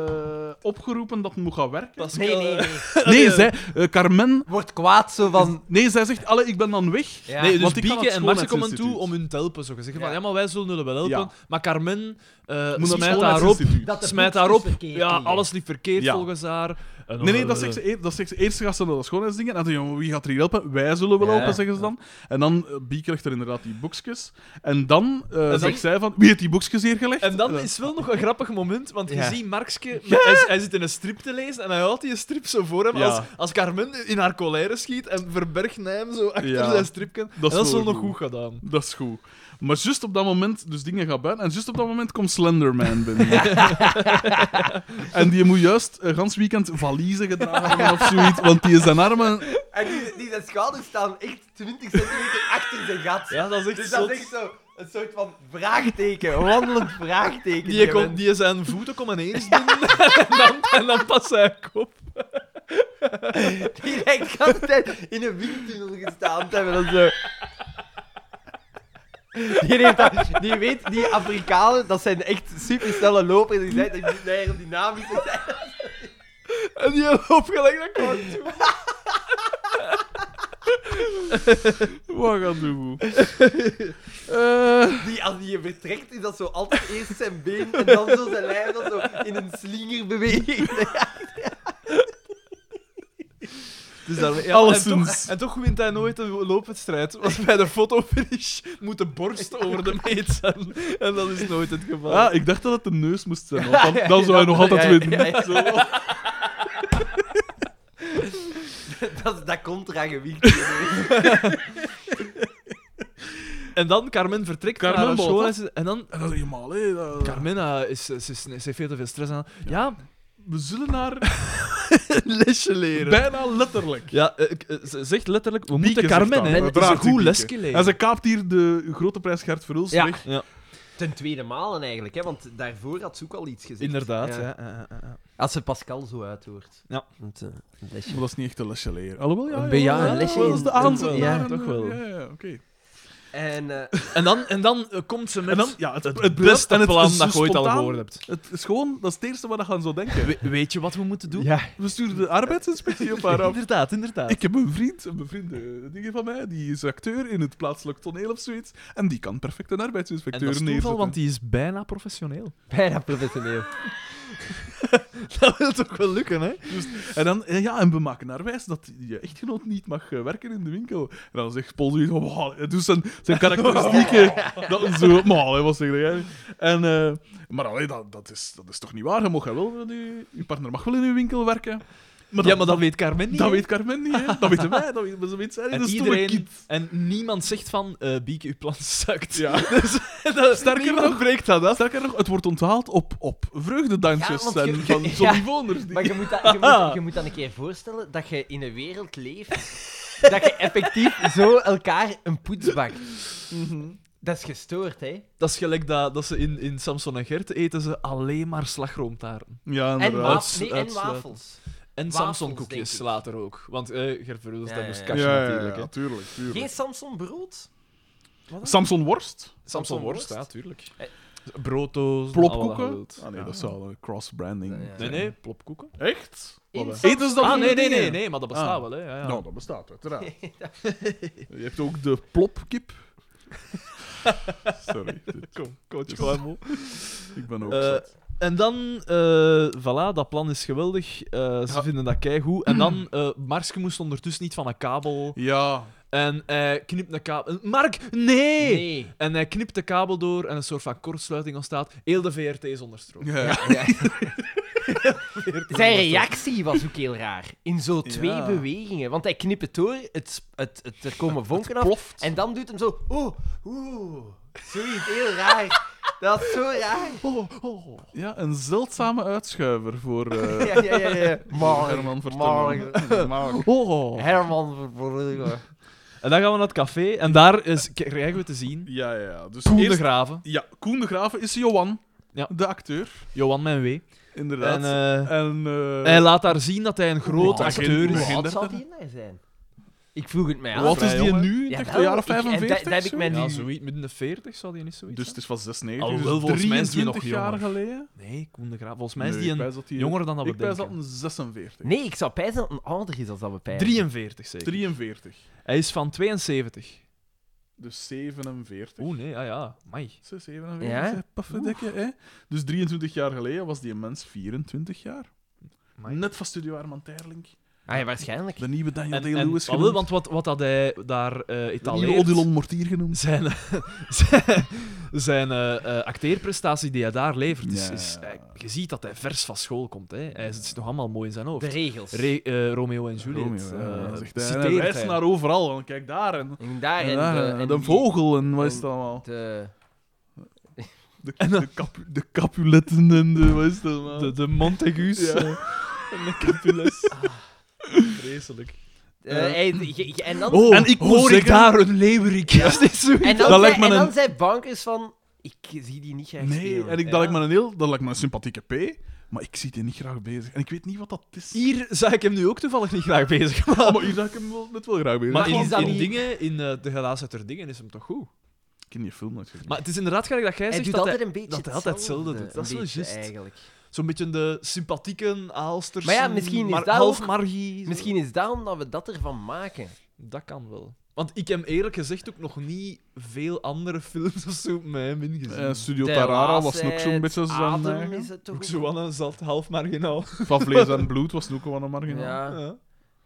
Speaker 1: opgeroepen dat hij moet gaan werken.
Speaker 3: Pascal,
Speaker 2: Nee, nee, <laughs> nee.
Speaker 1: Nee, zij, eh, Carmen...
Speaker 2: Wordt kwaad zo van...
Speaker 1: Nee, zij zegt, alle, ik ben dan weg.
Speaker 2: Ja.
Speaker 3: Nee, dus
Speaker 1: Want ik ga naar
Speaker 3: Bieke
Speaker 1: het
Speaker 3: en Marce komen toe
Speaker 1: schoonheidsinstituut.
Speaker 3: om hun te helpen. Zo gezegd. Van,
Speaker 2: Ja.
Speaker 3: ja, maar wij zullen jullie wel helpen.
Speaker 1: Ja.
Speaker 3: Maar Carmen eh
Speaker 1: Moet naar
Speaker 3: smijt
Speaker 1: het
Speaker 3: haar op.
Speaker 1: schoonheidsinstituut.
Speaker 2: Dat de
Speaker 3: Smijt
Speaker 2: poets
Speaker 3: haar
Speaker 2: is
Speaker 3: op.
Speaker 2: verkeerd
Speaker 3: Ja,
Speaker 2: liggen.
Speaker 3: alles liep verkeerd
Speaker 1: Ja.
Speaker 3: volgens haar. En
Speaker 1: Nee,
Speaker 3: dan,
Speaker 1: nee, dat
Speaker 3: eh,
Speaker 1: zegt ze eerst. Dat zegt ze eerst gaat ze naar dat schoonheidsding. En dan denkt wie gaat er hier helpen? Wij zullen wel
Speaker 2: Ja,
Speaker 1: helpen, zeggen ze dan. En dan, eh, Bie krijgt er inderdaad die boekjes. En dan eh,
Speaker 3: dan-
Speaker 1: zegt zij van, wie heeft die boekjes hier gelegd? Eh,
Speaker 3: En dan is wel nog een grappig moment, want je
Speaker 2: Ja.
Speaker 3: ziet Markske, hij, hij zit in een strip te lezen en hij houdt die strip zo voor hem
Speaker 1: Ja.
Speaker 3: als, als Carmen in haar colère schiet en verbergt hij hem zo achter
Speaker 1: Ja.
Speaker 3: zijn stripken.
Speaker 1: Dat is
Speaker 3: en dat is wel
Speaker 1: wel
Speaker 3: nog goed
Speaker 1: goed.
Speaker 3: gedaan.
Speaker 1: Dat is goed. Maar juist op dat moment, dus dingen gaan buiten, en juist op dat moment komt Slenderman
Speaker 3: <laughs>
Speaker 1: binnen. en die moet juist een gans weekend valiezen gedragen hebben of zoiets, want die is zijn armen...
Speaker 2: En die, die zijn schouders staan echt 20 centimeter achter zijn gat.
Speaker 3: Ja, dat is echt
Speaker 2: dus dat is echt zo een soort van vraagteken. Een wandelend vraagteken.
Speaker 3: Die,
Speaker 2: mens.
Speaker 3: kon, die zijn voeten komen eens binden en, dan, en dan past hij op.
Speaker 2: Die lijkt de hele tijd in een windtunnel gestaan te hebben en zo. Die, heeft dat- die weet, die Afrikanen, dat zijn echt supersnelle lopers. Die zijn dat die aerodynamisch zijn.
Speaker 3: En die loopt gelijk naar kort.
Speaker 1: Wat gaat doen? Eh
Speaker 2: Die, als die je vertrekt, is dat zo altijd eerst zijn been en dan zo zijn lijf dat zo in een slinger bewegen.
Speaker 3: Dus daar, ja, En
Speaker 1: Alleszins.
Speaker 3: toch, en toch wint hij nooit een loopwedstrijd. Want bij de fotofinish moet de borst over de meet zijn. En dat is nooit het geval.
Speaker 1: ah, ik dacht dat het de neus moest zijn, want dan, dan zou hij nog altijd winnen.
Speaker 2: Zo. <laughs> Dat, is- dat contragewicht.
Speaker 3: En dan Carmen vertrekt
Speaker 1: Carmen
Speaker 3: naar haar
Speaker 1: Bolt,
Speaker 3: school. en ze- En dan...
Speaker 1: En dat is helemaal, hè. dat-
Speaker 3: Carmen eh, is, ze, is, ze heeft veel te veel stress aan. Ja,
Speaker 1: We zullen haar
Speaker 3: een <laughs> lesje leren.
Speaker 1: bijna letterlijk.
Speaker 3: Ja, eh, ik- eh, ze zegt letterlijk, we
Speaker 1: Bieke
Speaker 3: moeten
Speaker 1: zegt
Speaker 3: Carmen
Speaker 1: dat,
Speaker 3: hè,
Speaker 1: we
Speaker 3: het is een
Speaker 1: dragen die
Speaker 3: goed
Speaker 1: Bieke.
Speaker 3: lesje leren.
Speaker 1: En ze kaapt hier de grote prijs Gert Verhulst
Speaker 2: Ja.
Speaker 1: weg.
Speaker 3: Ja,
Speaker 2: Ten tweede malen eigenlijk, hè, want daarvoor had ze ook al iets gezegd.
Speaker 3: inderdaad.
Speaker 2: Ja.
Speaker 3: Ja. Ja, ja, ja, ja.
Speaker 2: Als ze Pascal zo uithoort.
Speaker 3: Ja.
Speaker 2: Met, eh, een lesje.
Speaker 1: Maar dat is niet echt een lesje leren. Alhoewel, ja.
Speaker 2: Een be- ja,
Speaker 1: jawel,
Speaker 2: een
Speaker 1: ja,
Speaker 2: lesje
Speaker 1: wel, Dat
Speaker 2: in-
Speaker 1: is de aanzet
Speaker 3: in-
Speaker 1: naar
Speaker 3: ja,
Speaker 1: een-
Speaker 3: toch wel.
Speaker 1: Ja, ja, oké.
Speaker 2: En eh,
Speaker 3: En dan, en dan eh, komt ze met
Speaker 1: En dan, ja, het, het,
Speaker 3: het
Speaker 1: best
Speaker 3: beste
Speaker 1: en het
Speaker 3: plan
Speaker 1: is
Speaker 3: dat je
Speaker 1: zo
Speaker 3: ooit al
Speaker 1: spontaan.
Speaker 3: gehoord hebt.
Speaker 1: Het is gewoon, dat is het eerste wat we gaan zo denken.
Speaker 3: We- weet je wat we moeten doen?
Speaker 4: Ja.
Speaker 1: We sturen de arbeidsinspectie op haar af.
Speaker 3: Inderdaad, inderdaad.
Speaker 1: Ik heb een vriend, een vriend eh, dingen van mij, die is acteur in het plaatselijk toneel of zoiets. En die kan perfect een
Speaker 3: en
Speaker 1: arbeidsinspecteur
Speaker 3: dat is toeval,
Speaker 1: neerzetten.
Speaker 3: want die is bijna professioneel.
Speaker 2: <laughs> bijna professioneel.
Speaker 3: <laughs> Dat wil toch wel lukken, hè?
Speaker 1: En dan, eh, ja, en we maken haar wijs dat je echtgenoot niet mag eh, werken in de winkel. En dan zegt Paul zoiets van, "Wow, eh, dus zijn, zijn karakteristieken, dat is zo, maar allee, wat zeg jij? En, eh, maar allee, dat, dat, is, dat is toch niet waar? Je, mag wel, eh, die- je partner mag wel in uw winkel werken. Maar
Speaker 3: ja, maar dat weet Carmen niet.
Speaker 1: Dat
Speaker 3: hè?
Speaker 1: weet Carmen niet, hè? Dat weten wij, dat weet, dat weet zij niet.
Speaker 3: en
Speaker 1: Dat is
Speaker 3: iedereen
Speaker 1: kind.
Speaker 3: En niemand zegt van, eh Bieke, uw plan zakt.
Speaker 1: Ja.
Speaker 3: <laughs> Dus, dat, Sterker nog, breekt dat af.
Speaker 1: Sterker nog, het wordt onthaald op, op vreugdedansjes
Speaker 2: Ja, want
Speaker 1: en
Speaker 2: je-
Speaker 3: <laughs>
Speaker 1: van
Speaker 2: <laughs> ja.
Speaker 1: Johnny Voners.
Speaker 2: Maar je moet, dat, je, moet, je moet dan een keer voorstellen dat je in een wereld leeft <laughs> dat je effectief zo elkaar een poets bakt.
Speaker 3: Mhm.
Speaker 2: Dat is gestoord, hè?
Speaker 3: Dat is gelijk dat, dat ze in, in Samson en Gert eten ze alleen maar slagroomtaarten.
Speaker 1: Ja,
Speaker 2: En,
Speaker 1: inderdaad.
Speaker 2: waf- nee, en
Speaker 3: uitsluiten.
Speaker 2: wafels.
Speaker 3: En
Speaker 2: Wafels, denk ik.
Speaker 3: Samson-koekjes later ook. Want eh, Gert Verhulst,
Speaker 2: Ja,
Speaker 3: dat
Speaker 2: ja,
Speaker 3: moest
Speaker 2: ja.
Speaker 3: cashen
Speaker 1: ja,
Speaker 3: natuurlijk.
Speaker 1: Ja,
Speaker 3: hè.
Speaker 1: ja, tuurlijk, tuurlijk.
Speaker 2: Geen Samson brood?
Speaker 1: Samson Worst?
Speaker 3: Samson worst,
Speaker 2: worst?
Speaker 3: ja, tuurlijk.
Speaker 2: Eh.
Speaker 3: Brooddoos, allemaal
Speaker 1: Plopkoeken?
Speaker 3: wild.
Speaker 1: Ah nee,
Speaker 3: Ja.
Speaker 1: dat is wel een cross-branding.
Speaker 2: Ja.
Speaker 3: Nee, nee, plopkoeken.
Speaker 1: Echt?
Speaker 2: In
Speaker 1: Wat, hè?
Speaker 2: Samson-
Speaker 1: Eten ze dat
Speaker 3: Ah,
Speaker 1: voor
Speaker 3: nee,
Speaker 1: die
Speaker 3: nee, nee,
Speaker 1: dingen?
Speaker 3: nee, maar dat bestaat
Speaker 1: Ah.
Speaker 3: wel, hè. Ja, ja.
Speaker 1: Nou, dat bestaat
Speaker 2: <laughs>
Speaker 1: uiteraard. Je hebt ook de plopkip. Sorry, dit-
Speaker 3: Kom, coach
Speaker 1: Dus-
Speaker 3: Kruimel.
Speaker 1: <laughs> ik ben ook
Speaker 3: Eh,
Speaker 1: zat.
Speaker 3: En dan, eh voilà, dat plan is geweldig. Eh, ze
Speaker 1: Ja.
Speaker 3: vinden dat
Speaker 2: <clears throat>
Speaker 3: keigoed. En dan, eh Marske moest ondertussen niet van een kabel.
Speaker 1: Ja,
Speaker 3: En hij knipt een kabel... Mark, nee!
Speaker 2: Nee.
Speaker 3: En hij knipt de kabel door en een soort van kortsluiting ontstaat. Heel de VRT is onder stroom.
Speaker 1: ja.
Speaker 2: Zijn reactie was ook heel raar. In zo twee
Speaker 1: Ja.
Speaker 2: bewegingen. Want hij knipt het door, het, sp- het, het, er komen vonken af.
Speaker 1: ploft.
Speaker 2: En dan doet hem zo. Oeh, oeh. Zoiets, heel raar. Dat is zo raar.
Speaker 3: Oh, oh, oh.
Speaker 1: ja, een zeldzame uitschuiver voor
Speaker 3: <laughs>
Speaker 1: eh,
Speaker 2: Ja, ja, ja. ja.
Speaker 1: voor Herman Vertongen.
Speaker 3: Oh.
Speaker 2: Herman Verbrugge.
Speaker 3: En dan gaan we naar het café en daar is, k- krijgen we te zien
Speaker 1: Ja, ja, ja. Dus
Speaker 3: Koen de
Speaker 1: eerst-
Speaker 3: Graven,
Speaker 1: Ja, Koen de Graven is Johan,
Speaker 3: Ja.
Speaker 1: de acteur.
Speaker 3: Johan Mijn Wee.
Speaker 1: Inderdaad.
Speaker 3: En
Speaker 1: En,
Speaker 3: eh,
Speaker 1: eh,
Speaker 3: hij laat daar zien dat hij een groot
Speaker 1: Oh,
Speaker 3: acteur
Speaker 1: begin-
Speaker 3: is.
Speaker 1: begin-
Speaker 2: Wat zal die nou zijn? Ik vroeg het mij af.
Speaker 1: Wat is
Speaker 3: vrij
Speaker 1: die
Speaker 3: jong, hè?
Speaker 1: nu? Ja,
Speaker 2: Jawel,
Speaker 1: de jaren
Speaker 2: ik- en dat-
Speaker 1: 45?
Speaker 2: dat heb ik
Speaker 1: zo?
Speaker 2: mij- En
Speaker 3: Ja,
Speaker 2: die-
Speaker 3: zoiets. Midden de 40 zou die niet zoiets
Speaker 1: Dus
Speaker 3: zijn?
Speaker 1: het is van 96,
Speaker 3: Alhoewel,
Speaker 1: dus
Speaker 3: volgens mij is die nog
Speaker 1: 23 jaar
Speaker 3: jonger.
Speaker 1: geleden.
Speaker 3: Nee, Koen de Graaf. Volgens mij is
Speaker 1: Nee,
Speaker 3: die
Speaker 1: ik
Speaker 3: een
Speaker 1: wijs dat die-
Speaker 3: jonger dan dat we
Speaker 1: Ik ben dat
Speaker 3: denken.
Speaker 1: een 46.
Speaker 2: Nee, ik zou pijzen dat het een ouder is als dat we pijzen.
Speaker 3: 43 zeker.
Speaker 1: 43.
Speaker 3: Hij is van 72.
Speaker 1: Dus 47.
Speaker 3: Oeh, nee, ah ja. Mai.
Speaker 1: 47,
Speaker 2: Ja?
Speaker 1: ja? paffendekken, hè? Dus 23 jaar geleden was die mens 24 jaar.
Speaker 3: Amai.
Speaker 1: Net van Studio Armand Terling.
Speaker 2: Ah, ja, waarschijnlijk.
Speaker 1: De nieuwe Daniel
Speaker 3: En,
Speaker 1: Day-Lewis
Speaker 3: en,
Speaker 1: genoemd.
Speaker 3: want wat, wat dat hij daar eh
Speaker 1: de nieuwe
Speaker 3: etaleert...
Speaker 1: Odilon Mortier genoemd.
Speaker 3: zijn, eh, <laughs> zijn, zijn eh, eh, acteerprestatie die hij daar levert, is,
Speaker 1: Ja.
Speaker 3: is- hij- je ziet dat hij vers van school komt. Hè. Hij zit nog allemaal mooi in zijn
Speaker 2: De
Speaker 3: hoofd.
Speaker 2: regels.
Speaker 3: Re- eh, Romeo en Juliet.
Speaker 1: Romeo, ja,
Speaker 3: eh,
Speaker 1: dat zegt hij. En hij
Speaker 3: citeert
Speaker 1: wijst
Speaker 3: hij.
Speaker 1: naar overal. want kijk daar. En,
Speaker 2: en
Speaker 3: Ah,
Speaker 2: daar
Speaker 1: en,
Speaker 2: en,
Speaker 1: daar,
Speaker 2: de,
Speaker 1: en
Speaker 2: en
Speaker 1: de
Speaker 2: die-
Speaker 1: vogel. En wat is
Speaker 2: en-
Speaker 1: het
Speaker 3: Oh.
Speaker 1: allemaal?
Speaker 2: De,
Speaker 1: De, de, capu- de capuletten en de... Wat is het allemaal?
Speaker 3: de, de Montagu's.
Speaker 1: Ja.
Speaker 3: eh, en de
Speaker 2: <laughs>
Speaker 3: Capulets.
Speaker 2: Ah.
Speaker 3: Vreselijk.
Speaker 2: eh, hij- je- je- en dan,
Speaker 3: Oh,
Speaker 1: en ik moet
Speaker 3: hoor ik
Speaker 1: zeggen-
Speaker 3: daar een leeuwerik? Is dit zo?
Speaker 2: en dan,
Speaker 1: dat
Speaker 2: zei,
Speaker 1: lijkt me
Speaker 2: en dan
Speaker 1: een-
Speaker 2: zei Bankers van... Ik zie die niet graag
Speaker 1: Nee,
Speaker 2: spelen.
Speaker 1: en ik, dat lijkt me een heel... Dat lijkt me een sympathieke P. Maar ik zie die niet graag bezig. En ik weet niet wat dat is.
Speaker 3: Hier zag ik hem nu ook toevallig niet graag bezig. Maar,
Speaker 1: Oh, maar hier zag ik hem wel, met wel graag bezig.
Speaker 3: maar
Speaker 1: Ik
Speaker 3: in,
Speaker 2: is dat
Speaker 3: in
Speaker 2: niet-
Speaker 3: dingen, in eh, de gelaas uit haar dingen, is hem toch goed?
Speaker 1: ken die film nooit gezien.
Speaker 3: Maar het is inderdaad gelijk dat jij
Speaker 2: Hij
Speaker 3: zegt
Speaker 2: doet
Speaker 3: dat
Speaker 2: altijd
Speaker 3: hij-
Speaker 2: een beetje
Speaker 3: dat hij altijd hetzelfde doet. Dat
Speaker 2: een
Speaker 3: is wel
Speaker 2: beetje
Speaker 3: juist.
Speaker 2: Eigenlijk.
Speaker 3: Zo'n beetje de sympathieke Aalsters.
Speaker 2: Maar ja, misschien is
Speaker 3: maar,
Speaker 2: dat
Speaker 3: half
Speaker 2: ook-
Speaker 3: Margie. zo.
Speaker 2: Misschien is daarom dat we dat ervan maken.
Speaker 3: Dat kan wel. Want ik heb eerlijk gezegd ook nog niet veel andere films of zo met hem ingezien.
Speaker 1: Eh, Studio
Speaker 2: De
Speaker 1: Tarara was
Speaker 2: laatste,
Speaker 1: ook zo'n beetje eh, zijn
Speaker 2: Adem
Speaker 1: eigen.
Speaker 2: is het toch
Speaker 3: ook zo aan een zat half marginaal.
Speaker 1: Van Vlees en Bloed was het ook wel een marginaal.
Speaker 2: Ja.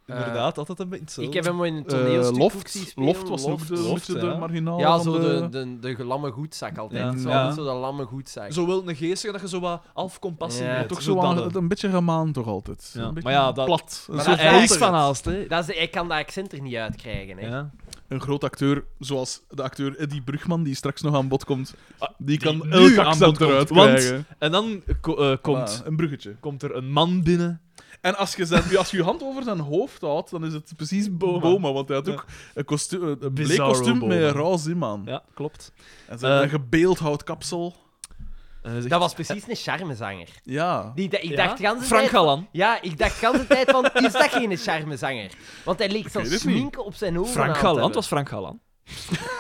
Speaker 3: Ja. Inderdaad, altijd een beetje hetzelfde.
Speaker 2: Ik heb hem in een
Speaker 1: Eh,
Speaker 2: toneelstuk ook zien
Speaker 1: Loft,
Speaker 2: spelen.
Speaker 1: Loft was ook de,
Speaker 3: Loft,
Speaker 1: beetje
Speaker 3: ja.
Speaker 1: de marginaal
Speaker 2: Ja,
Speaker 1: van
Speaker 2: zo de, de, de gelamme goedzak altijd.
Speaker 3: Ja.
Speaker 2: Zo,
Speaker 3: Ja.
Speaker 2: altijd zo de lamme goedzak.
Speaker 3: Zo wel een geestige dat je zo wat half compassie
Speaker 2: Ja,
Speaker 3: hebt.
Speaker 1: Toch
Speaker 3: zo
Speaker 1: zo aan-
Speaker 3: dat-
Speaker 1: een beetje gemaan toch altijd.
Speaker 3: Ja.
Speaker 1: Een beetje
Speaker 3: Maar ja, dat-
Speaker 1: plat. Een,
Speaker 2: Maar
Speaker 1: soort
Speaker 2: dat- hij
Speaker 3: Hij
Speaker 2: is
Speaker 3: is
Speaker 1: halter.
Speaker 3: van Aalst, hè.
Speaker 2: Dat is, hij kan dat accent er niet uit krijgen. Hè.
Speaker 3: Ja.
Speaker 1: een groot acteur, zoals de acteur Eddie Brugman, die straks nog aan bod komt, Ah, die, kan
Speaker 3: nu
Speaker 1: elk
Speaker 3: aan bod
Speaker 1: accent
Speaker 3: komt,
Speaker 1: eruit
Speaker 3: want-
Speaker 1: krijgen.
Speaker 3: En dan ko- eh, komt,
Speaker 1: Ah, een bruggetje.
Speaker 3: komt er een man binnen.
Speaker 1: En als je, zijn, als je je hand over zijn hoofd houdt, dan is het precies Boma. want hij had ook een, kostu- een bleek
Speaker 3: Bizarro
Speaker 1: kostuum
Speaker 3: Boma.
Speaker 1: met een rauw zim aan.
Speaker 3: Ja, klopt.
Speaker 1: En zijn
Speaker 3: Eh,
Speaker 1: een gebeeldhouwd kapsel.
Speaker 3: En hij zegt,
Speaker 2: Dat was precies een charmezanger.
Speaker 1: Ja.
Speaker 2: Die, ik
Speaker 3: Ja?
Speaker 2: dacht gans de
Speaker 3: Frank
Speaker 2: tijd...
Speaker 3: Galan.
Speaker 2: Ja, ik dacht gans de tijd van, is dat geen charmezanger? Want hij leek
Speaker 1: weet
Speaker 2: zelfs
Speaker 1: het niet.
Speaker 2: sminken op zijn ogen aan
Speaker 3: Frank
Speaker 2: te
Speaker 3: Galan. Het
Speaker 2: hebben.
Speaker 3: was Frank Galan. <laughs>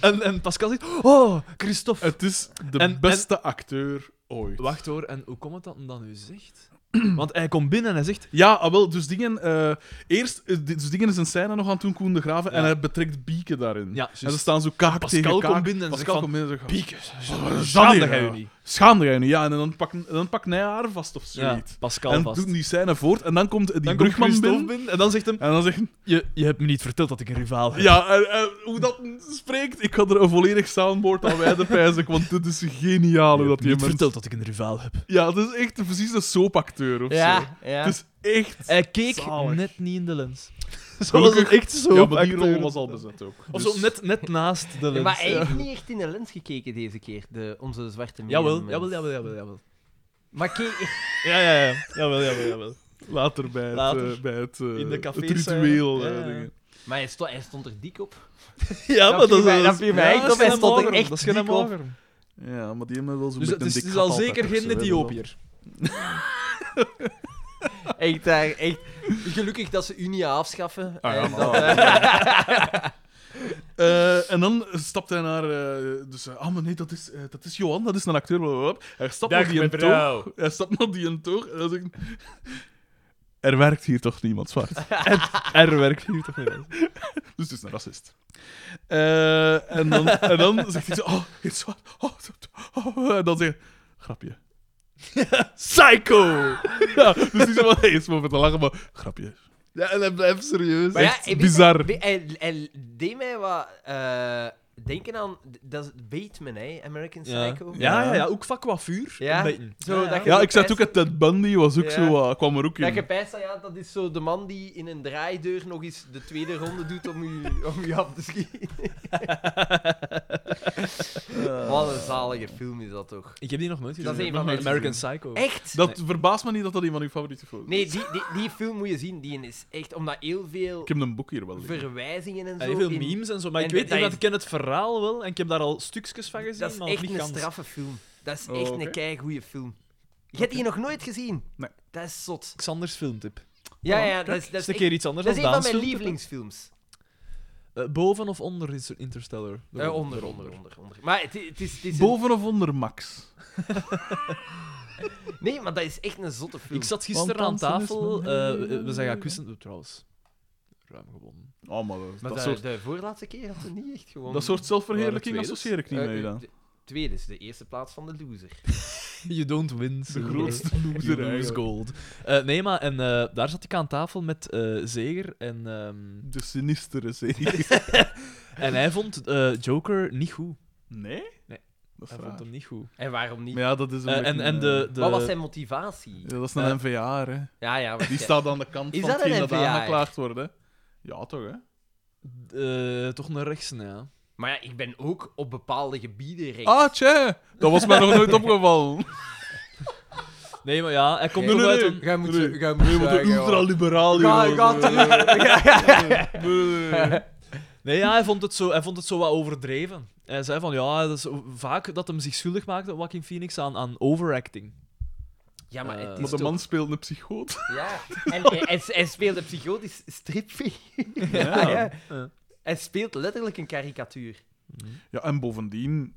Speaker 3: en, en Pascal zegt, oh, Christophe.
Speaker 1: Het is de
Speaker 3: En-
Speaker 1: beste acteur ooit.
Speaker 3: Wacht hoor, en hoe komt het dat hij dat nu zegt? <clears throat> Want hij komt binnen en hij zegt...
Speaker 1: Ja, ah, wel, dus dingen... eh, eerst, eh, dus dingen is een scène nog aan toen Koen de Graven en hij betrekt Bieke daarin.
Speaker 3: Ja,
Speaker 1: en ze
Speaker 3: juist.
Speaker 1: staan zo kaak
Speaker 3: Pascal
Speaker 1: tegen kaak.
Speaker 3: komt binnen en
Speaker 1: Pascal
Speaker 3: zegt
Speaker 1: komt binnen en zegt...
Speaker 3: Pieke,
Speaker 1: wat is dat
Speaker 3: schaamde
Speaker 1: hier,
Speaker 3: jij je
Speaker 1: ja?
Speaker 3: niet?
Speaker 1: Schaamde jij nu? Ja, en dan pakt dan pak hij haar vast of
Speaker 3: Ja,
Speaker 1: zoiets.
Speaker 3: Pascal
Speaker 1: en
Speaker 3: vast.
Speaker 1: doen die scène voort en dan komt die
Speaker 3: dan komt
Speaker 1: Brugman
Speaker 3: Christophe
Speaker 1: binnen.
Speaker 3: binnen. en dan zegt hem...
Speaker 1: En dan zegt hij,
Speaker 3: Je, je hebt me niet verteld dat ik een rivaal heb.
Speaker 1: Ja, en, en hoe dat spreekt, ik ga er een volledig soundboard aan wijden, pijs ik, want dit is geniaal.
Speaker 3: je
Speaker 1: hoe dat
Speaker 3: hebt me
Speaker 1: die
Speaker 3: niet
Speaker 1: mens-
Speaker 3: verteld dat ik een rivaal heb.
Speaker 1: Ja, het is echt precies een soapacteur of zo.
Speaker 2: Ja, ja.
Speaker 1: Het is
Speaker 3: <laughs>
Speaker 1: echt...
Speaker 3: Hij keek
Speaker 1: Zalig.
Speaker 3: net niet in de lens. <laughs> Zo was
Speaker 1: Gelukkig-
Speaker 3: het echt zo.
Speaker 1: ja, maar die
Speaker 3: acteur.
Speaker 1: rol was al bezet ook.
Speaker 3: Of
Speaker 1: Dus-
Speaker 3: zo net, net naast de
Speaker 2: Ja,
Speaker 3: lens.
Speaker 2: maar hij heeft niet echt in de lens gekeken deze keer, de, onze zwarte man.
Speaker 3: Jawel, jawel, jawel, jawel, jawel.
Speaker 2: Maar kijk,
Speaker 3: Ja, ja, ja. Jawel, jawel, jawel.
Speaker 1: Later bij het,
Speaker 3: Later.
Speaker 1: eh, bij het, eh,
Speaker 3: In de cafés,
Speaker 1: het ritueel.
Speaker 3: eh,
Speaker 1: eh,
Speaker 3: ja.
Speaker 1: dingen.
Speaker 2: maar hij, stond, hij stond er dik op.
Speaker 3: Ja,
Speaker 2: Dat viel mij- dat viel mij echt op. Hij
Speaker 3: geen
Speaker 2: stond er
Speaker 3: mager,
Speaker 2: echt
Speaker 3: Dat is geen
Speaker 2: dik op.
Speaker 3: mager.
Speaker 1: ja, maar die hebben wel zo'n
Speaker 3: Dus
Speaker 1: beetje
Speaker 3: het is,
Speaker 1: een
Speaker 3: het
Speaker 1: dik gat
Speaker 3: is al zeker
Speaker 1: altijd of
Speaker 3: geen
Speaker 1: zo, hè,
Speaker 3: Ethiopiër.
Speaker 2: Echt daar, echt. Gelukkig dat ze Unia afschaffen.
Speaker 1: Ah, ja,
Speaker 2: en
Speaker 1: maar-
Speaker 2: dat, eh,
Speaker 1: wel. Eh, en dan stapt hij naar... eh, dus, eh, ah, maar nee, dat is, eh, dat is Johan, dat is een acteur. blablabla. Hij stapt naar die een toog. Hij stapt naar die een toog en dan zegt... hij, Er werkt hier toch niemand zwart?
Speaker 3: <laughs> Er werkt hier toch niet aan.
Speaker 1: Dus het is een racist. Eh, en, dan, en dan zegt hij zo... Oh, het is zwart. Oh, het- oh," en dan zegt hij... Grapje.
Speaker 3: Psycho!
Speaker 1: Ja, dus hij zegt wel... Hij is maar voor te lachen, maar... Grapje.
Speaker 3: Ja, en hij blijft serieus.
Speaker 2: maar ja,
Speaker 1: echt
Speaker 2: hij-
Speaker 1: bizar.
Speaker 2: Hij, hij, hij deed mij wat eh, denken aan... Dat is Bateman, hè? American
Speaker 3: Ja.
Speaker 2: Psycho.
Speaker 3: Ja, ja, ja, ook van coiffure.
Speaker 2: Ja.
Speaker 3: Een beetje.
Speaker 2: Zo,
Speaker 3: ja.
Speaker 2: dat je-
Speaker 1: Ja, ik zat ook... het Ted Bundy was ook
Speaker 2: Ja.
Speaker 1: zo... eh, kwam er ook in.
Speaker 2: Dat je pijst, ja, dat is zo de man die in een draaideur nog eens de tweede ronde doet om u, <laughs> om u af te
Speaker 1: <laughs>
Speaker 2: schieten. Wat een zalige film is dat toch?
Speaker 3: Ik heb die nog nooit gezien.
Speaker 2: Dat is een van
Speaker 3: American,
Speaker 2: mijn
Speaker 3: Psycho.
Speaker 2: Echt?
Speaker 1: Dat verbaast me niet dat dat een van uw favoriete films is.
Speaker 2: Nee, die, die, die film moet je zien. Die is echt, omdat heel veel
Speaker 1: Ik heb een boek hier wel liggen.
Speaker 2: verwijzingen en zo.
Speaker 3: Hij heeft veel
Speaker 2: in-
Speaker 3: memes en zo, maar
Speaker 2: en
Speaker 3: ik weet
Speaker 2: dat
Speaker 3: niet, want
Speaker 2: je-
Speaker 3: ik ken het verhaal wel en ik heb daar al stukjes van gezien,
Speaker 2: Dat is
Speaker 3: maar nog
Speaker 2: echt
Speaker 3: niet
Speaker 2: een
Speaker 3: gans.
Speaker 2: straffe film. Dat is
Speaker 1: Oh,
Speaker 2: echt
Speaker 1: oké.
Speaker 2: een keigoeie film. Je hebt die nog nooit gezien?
Speaker 1: Nee.
Speaker 2: Dat is zot.
Speaker 3: Xanders filmtip.
Speaker 2: Ja,
Speaker 3: Voilà,
Speaker 2: ja, dat
Speaker 3: kijk.
Speaker 2: is, dat is,
Speaker 3: een
Speaker 2: echt-
Speaker 3: keer iets anders
Speaker 2: dat is
Speaker 3: dan
Speaker 2: een van mijn
Speaker 3: Daan's filter.
Speaker 2: lievelingsfilms.
Speaker 3: Eh, boven of onder Inter- Interstellar?
Speaker 2: Eh, onder, onder, onder, onder. Maar het, het is... Het is een-
Speaker 1: Boven of onder Max?
Speaker 2: Nee, maar dat is echt een zotte film.
Speaker 3: Ik zat gisteren aan
Speaker 1: Want dansen is
Speaker 3: tafel.
Speaker 1: mijn-
Speaker 3: eh, we- we zijn gaan kussen, trouwens. Ruim gewonnen.
Speaker 1: Oh, maar dat,
Speaker 2: Maar
Speaker 1: dat
Speaker 2: dat
Speaker 1: soort,
Speaker 2: de voorlaatste keer had het niet echt gewoon...
Speaker 1: dat soort zelfverheerlijking
Speaker 3: waren het
Speaker 1: associeer ik niet
Speaker 2: Eh,
Speaker 1: mee.
Speaker 2: eh,
Speaker 1: Dan.
Speaker 2: de- Tweede is de eerste plaats van de loser.
Speaker 3: <laughs> You don't win.
Speaker 1: De
Speaker 3: so-
Speaker 1: grootste
Speaker 3: You
Speaker 1: loser
Speaker 3: lose
Speaker 1: eigenlijk.
Speaker 3: gold. Eh, nee, maar en, eh, daar zat ik aan tafel met eh, Zeger en... ehm,
Speaker 1: De sinistere
Speaker 2: <laughs>
Speaker 1: serie.
Speaker 3: en hij vond eh, Joker niet goed.
Speaker 1: Nee?
Speaker 3: Nee.
Speaker 1: Dat is
Speaker 3: Hij
Speaker 1: raar.
Speaker 3: vond hem niet goed.
Speaker 2: En waarom niet?
Speaker 1: Maar ja, dat is een
Speaker 3: Eh, en,
Speaker 1: beetje
Speaker 3: en
Speaker 1: een,
Speaker 3: de...
Speaker 1: eh,
Speaker 3: de
Speaker 2: Wat was zijn motivatie?
Speaker 1: ja, dat is een
Speaker 3: eh,
Speaker 1: NVA, hè.
Speaker 2: Ja, ja.
Speaker 1: Die
Speaker 2: waarschijnlijk.
Speaker 1: staat aan de kant
Speaker 2: Is
Speaker 1: van
Speaker 2: dat een
Speaker 1: hetgeen dat
Speaker 2: NVA?
Speaker 1: aangeklaagd wordt, hè. Ja, toch, hè?
Speaker 3: eh, toch een rechtse, ja.
Speaker 2: Maar ja, ik ben ook op bepaalde gebieden rechts.
Speaker 1: Ah, tje! Dat was mij nog
Speaker 2: <laughs>
Speaker 1: nooit opgevallen.
Speaker 3: Nee, maar ja, hij komt
Speaker 2: Nee,
Speaker 3: toch
Speaker 1: nee,
Speaker 3: uit
Speaker 1: nee.
Speaker 3: een...
Speaker 2: Jij moet...
Speaker 1: Nee.
Speaker 2: Jij moet...
Speaker 1: Nee, want de
Speaker 2: zeggen,
Speaker 1: ultraliberaal hier
Speaker 2: Ga-
Speaker 1: was,
Speaker 2: ga
Speaker 1: eh. Nee,
Speaker 2: <laughs>
Speaker 1: nee, nee.
Speaker 3: Nee, ja, hij, vond het zo, hij vond het zo wat overdreven. Hij zei van, ja, dat is vaak dat hem zich schuldig maakte, Joaquin Phoenix, aan, aan overacting.
Speaker 2: joh. Ja, maar het
Speaker 3: Eh,
Speaker 2: is
Speaker 1: Maar de
Speaker 2: toch-
Speaker 1: man speelt een psychoot.
Speaker 2: Ja, en hij- hij- hij speelde psychotisch stripfiguur.
Speaker 1: Ja.
Speaker 2: <laughs> Ja.
Speaker 3: Ja.
Speaker 2: Hij speelt letterlijk een karikatuur.
Speaker 1: Ja, en bovendien...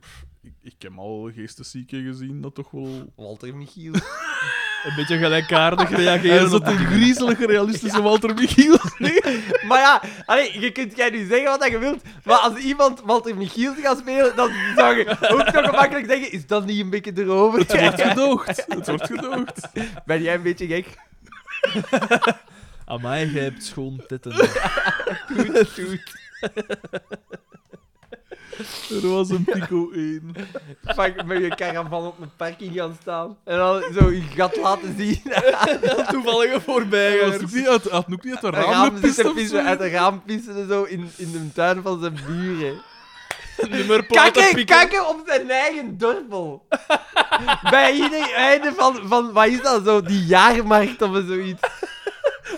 Speaker 1: pff, Ik, ik heb al geesteszieken gezien, dat toch wel...
Speaker 2: <laughs> Walter Michiel.
Speaker 3: Een beetje <laughs> gelijkaardig reageren.
Speaker 1: Hij is dat een
Speaker 3: <laughs>
Speaker 1: griezelige, realistische Walter Michiel? Nee.
Speaker 2: maar ja, allee, je kunt jij nu zeggen wat je wilt, maar als iemand Walter Michiel gaat spelen, dan zou je ook nog gemakkelijk zeggen, is dat niet een beetje erover?
Speaker 1: Het wordt gedoogd. Het wordt gedoogd.
Speaker 2: <laughs> Ben jij een beetje gek?
Speaker 3: Amai, jij hebt schoon titten.
Speaker 1: Er was een Pico 1.
Speaker 2: Pak met je caravan op een parking gaan staan en dan zo je gat laten
Speaker 1: <laughs>
Speaker 2: zien.
Speaker 3: Toevallige voorbij.
Speaker 1: Hij was ook niet uit, had ook niet uit de
Speaker 2: Een
Speaker 1: raam
Speaker 2: raam
Speaker 1: gepist
Speaker 2: zitten
Speaker 1: of zo.
Speaker 2: pissen, uit een raam pissen en zo in, in de tuin van zijn buren.
Speaker 3: Nummer
Speaker 2: Kakken, kakken op zijn eigen dorpel. Bij ieder einde van, van, wat is dat zo, die jaarmarkt of zoiets.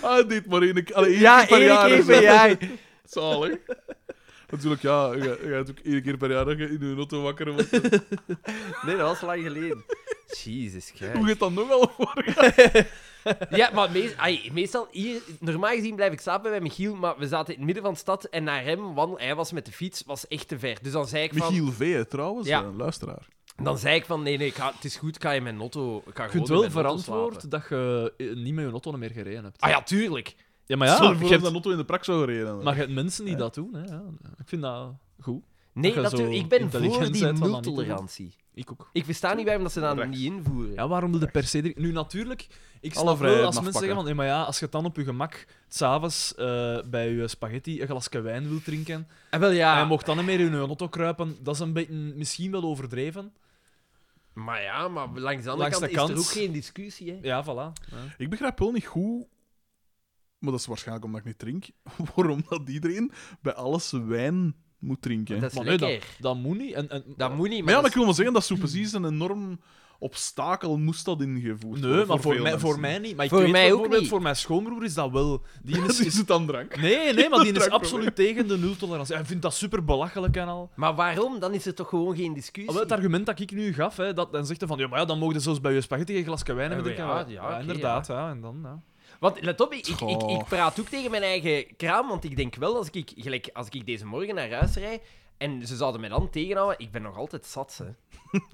Speaker 1: Ah, hij deed maar één keer. Allee, één
Speaker 2: Ja,
Speaker 1: keer per
Speaker 2: één
Speaker 1: jaar.
Speaker 2: keer
Speaker 1: is
Speaker 2: per
Speaker 1: dat. <laughs>
Speaker 2: jaar.
Speaker 1: Zalig. Natuurlijk, ja. Je je gaat ook één keer per jaar dat je in je auto wakker wordt. Hoe
Speaker 2: Nee, dat was lang geleden. Jezus Christus.
Speaker 1: gaat dat nogal voor?
Speaker 2: Ja, maar mees- ai, meestal hier, normaal gezien blijf ik slapen bij Michiel, maar we zaten in het midden van de stad en naar hem wandelen, hij was met de fiets, was echt te ver. Dus dan zei ik van,
Speaker 1: Michiel V, hè, trouwens,
Speaker 2: Ja.
Speaker 1: eh, luisteraar.
Speaker 2: dan zei ik van nee, nee, ik ga, het is goed, ik ga in mijn auto, ik ga gewoon
Speaker 3: Je kunt
Speaker 2: in
Speaker 3: wel
Speaker 2: mijn auto slapen.
Speaker 3: verantwoord dat je eh, niet met je auto meer gereden hebt.
Speaker 2: Ah ja, tuurlijk.
Speaker 3: Ja, maar
Speaker 1: Ja,
Speaker 3: ja,
Speaker 1: Stel je
Speaker 3: je
Speaker 1: voor dat
Speaker 3: hebt,
Speaker 1: een auto in de prak zou gereden. hebben.
Speaker 3: maar je hebt mensen die dat doen. Hè, ja. Ik vind dat goed.
Speaker 2: Nee,
Speaker 3: Dat je
Speaker 2: dat
Speaker 3: zo
Speaker 2: doe- ik ben voor
Speaker 3: intelligent
Speaker 2: die
Speaker 3: bent om dat niet te doen.
Speaker 2: nultolerantie.
Speaker 3: Ik ook.
Speaker 2: Ik versta niet waarom dat ze dat
Speaker 1: Rechts.
Speaker 2: niet invoeren.
Speaker 3: Ja, waarom wilde per se... drie- Nu, natuurlijk, ik
Speaker 1: Alle
Speaker 3: snap wel als
Speaker 1: vrijheden
Speaker 3: mensen
Speaker 1: afpakken.
Speaker 3: zeggen van... "Hey, maar ja, als je het dan op je gemak s'avonds eh bij je spaghetti een glasje wijn wilt drinken...
Speaker 2: En wel
Speaker 3: en
Speaker 2: ja,
Speaker 3: je mocht dan niet meer in je auto kruipen, dat is een beetje misschien wel overdreven.
Speaker 2: maar ja, maar langs de andere
Speaker 3: Langs
Speaker 2: kant
Speaker 3: de
Speaker 2: is er
Speaker 3: kant.
Speaker 2: ook geen discussie, hè.
Speaker 3: Ja, voilà. Ja.
Speaker 1: Ik begrijp wel niet hoe... Maar dat is waarschijnlijk omdat ik niet drink. <laughs> Waarom dat iedereen bij alles wijn moet drinken.
Speaker 2: Dat is
Speaker 3: Maar nee,
Speaker 2: lekker.
Speaker 3: dat, dat moet niet. En, en,
Speaker 2: Dat moet niet,
Speaker 1: Maar ja, maar
Speaker 2: dat
Speaker 1: ik wil wel zeggen, dat is zo precies een enorm obstakel moest dat ingevoerd
Speaker 3: Nee, maar voor,
Speaker 1: veel
Speaker 3: mij,
Speaker 1: mensen.
Speaker 3: voor mij niet. Maar ik
Speaker 2: Voor
Speaker 3: weet
Speaker 2: mij ook
Speaker 3: bijvoorbeeld,
Speaker 2: niet.
Speaker 3: Voor mijn schoonbroer is dat wel.
Speaker 2: <laughs>
Speaker 3: Die is,
Speaker 1: Dat is het dan drank.
Speaker 3: nee, nee, maar die is
Speaker 1: Drank
Speaker 3: absoluut tegen de nultolerantie. Hij vindt dat super belachelijk en al.
Speaker 2: Maar waarom? Dan is er toch gewoon geen discussie?
Speaker 3: Maar wel, het argument dat ik nu gaf, hè, dat, dan zegt hij van ja, maar ja, dan mogen ze zelfs bij je spaghetti een glasje wijn hebben.
Speaker 2: Ja,
Speaker 3: drinken.
Speaker 2: Eh, ja, ja, oké,
Speaker 3: inderdaad. Ja. en dan, ja.
Speaker 2: Want let op, ik, ik, ik,
Speaker 1: Goh.
Speaker 2: ik praat ook tegen mijn eigen kraam, want ik denk wel, als ik, gelijk, als ik deze morgen naar huis rijd en ze zouden mij dan tegenhouden, ik ben nog altijd zat. Hè.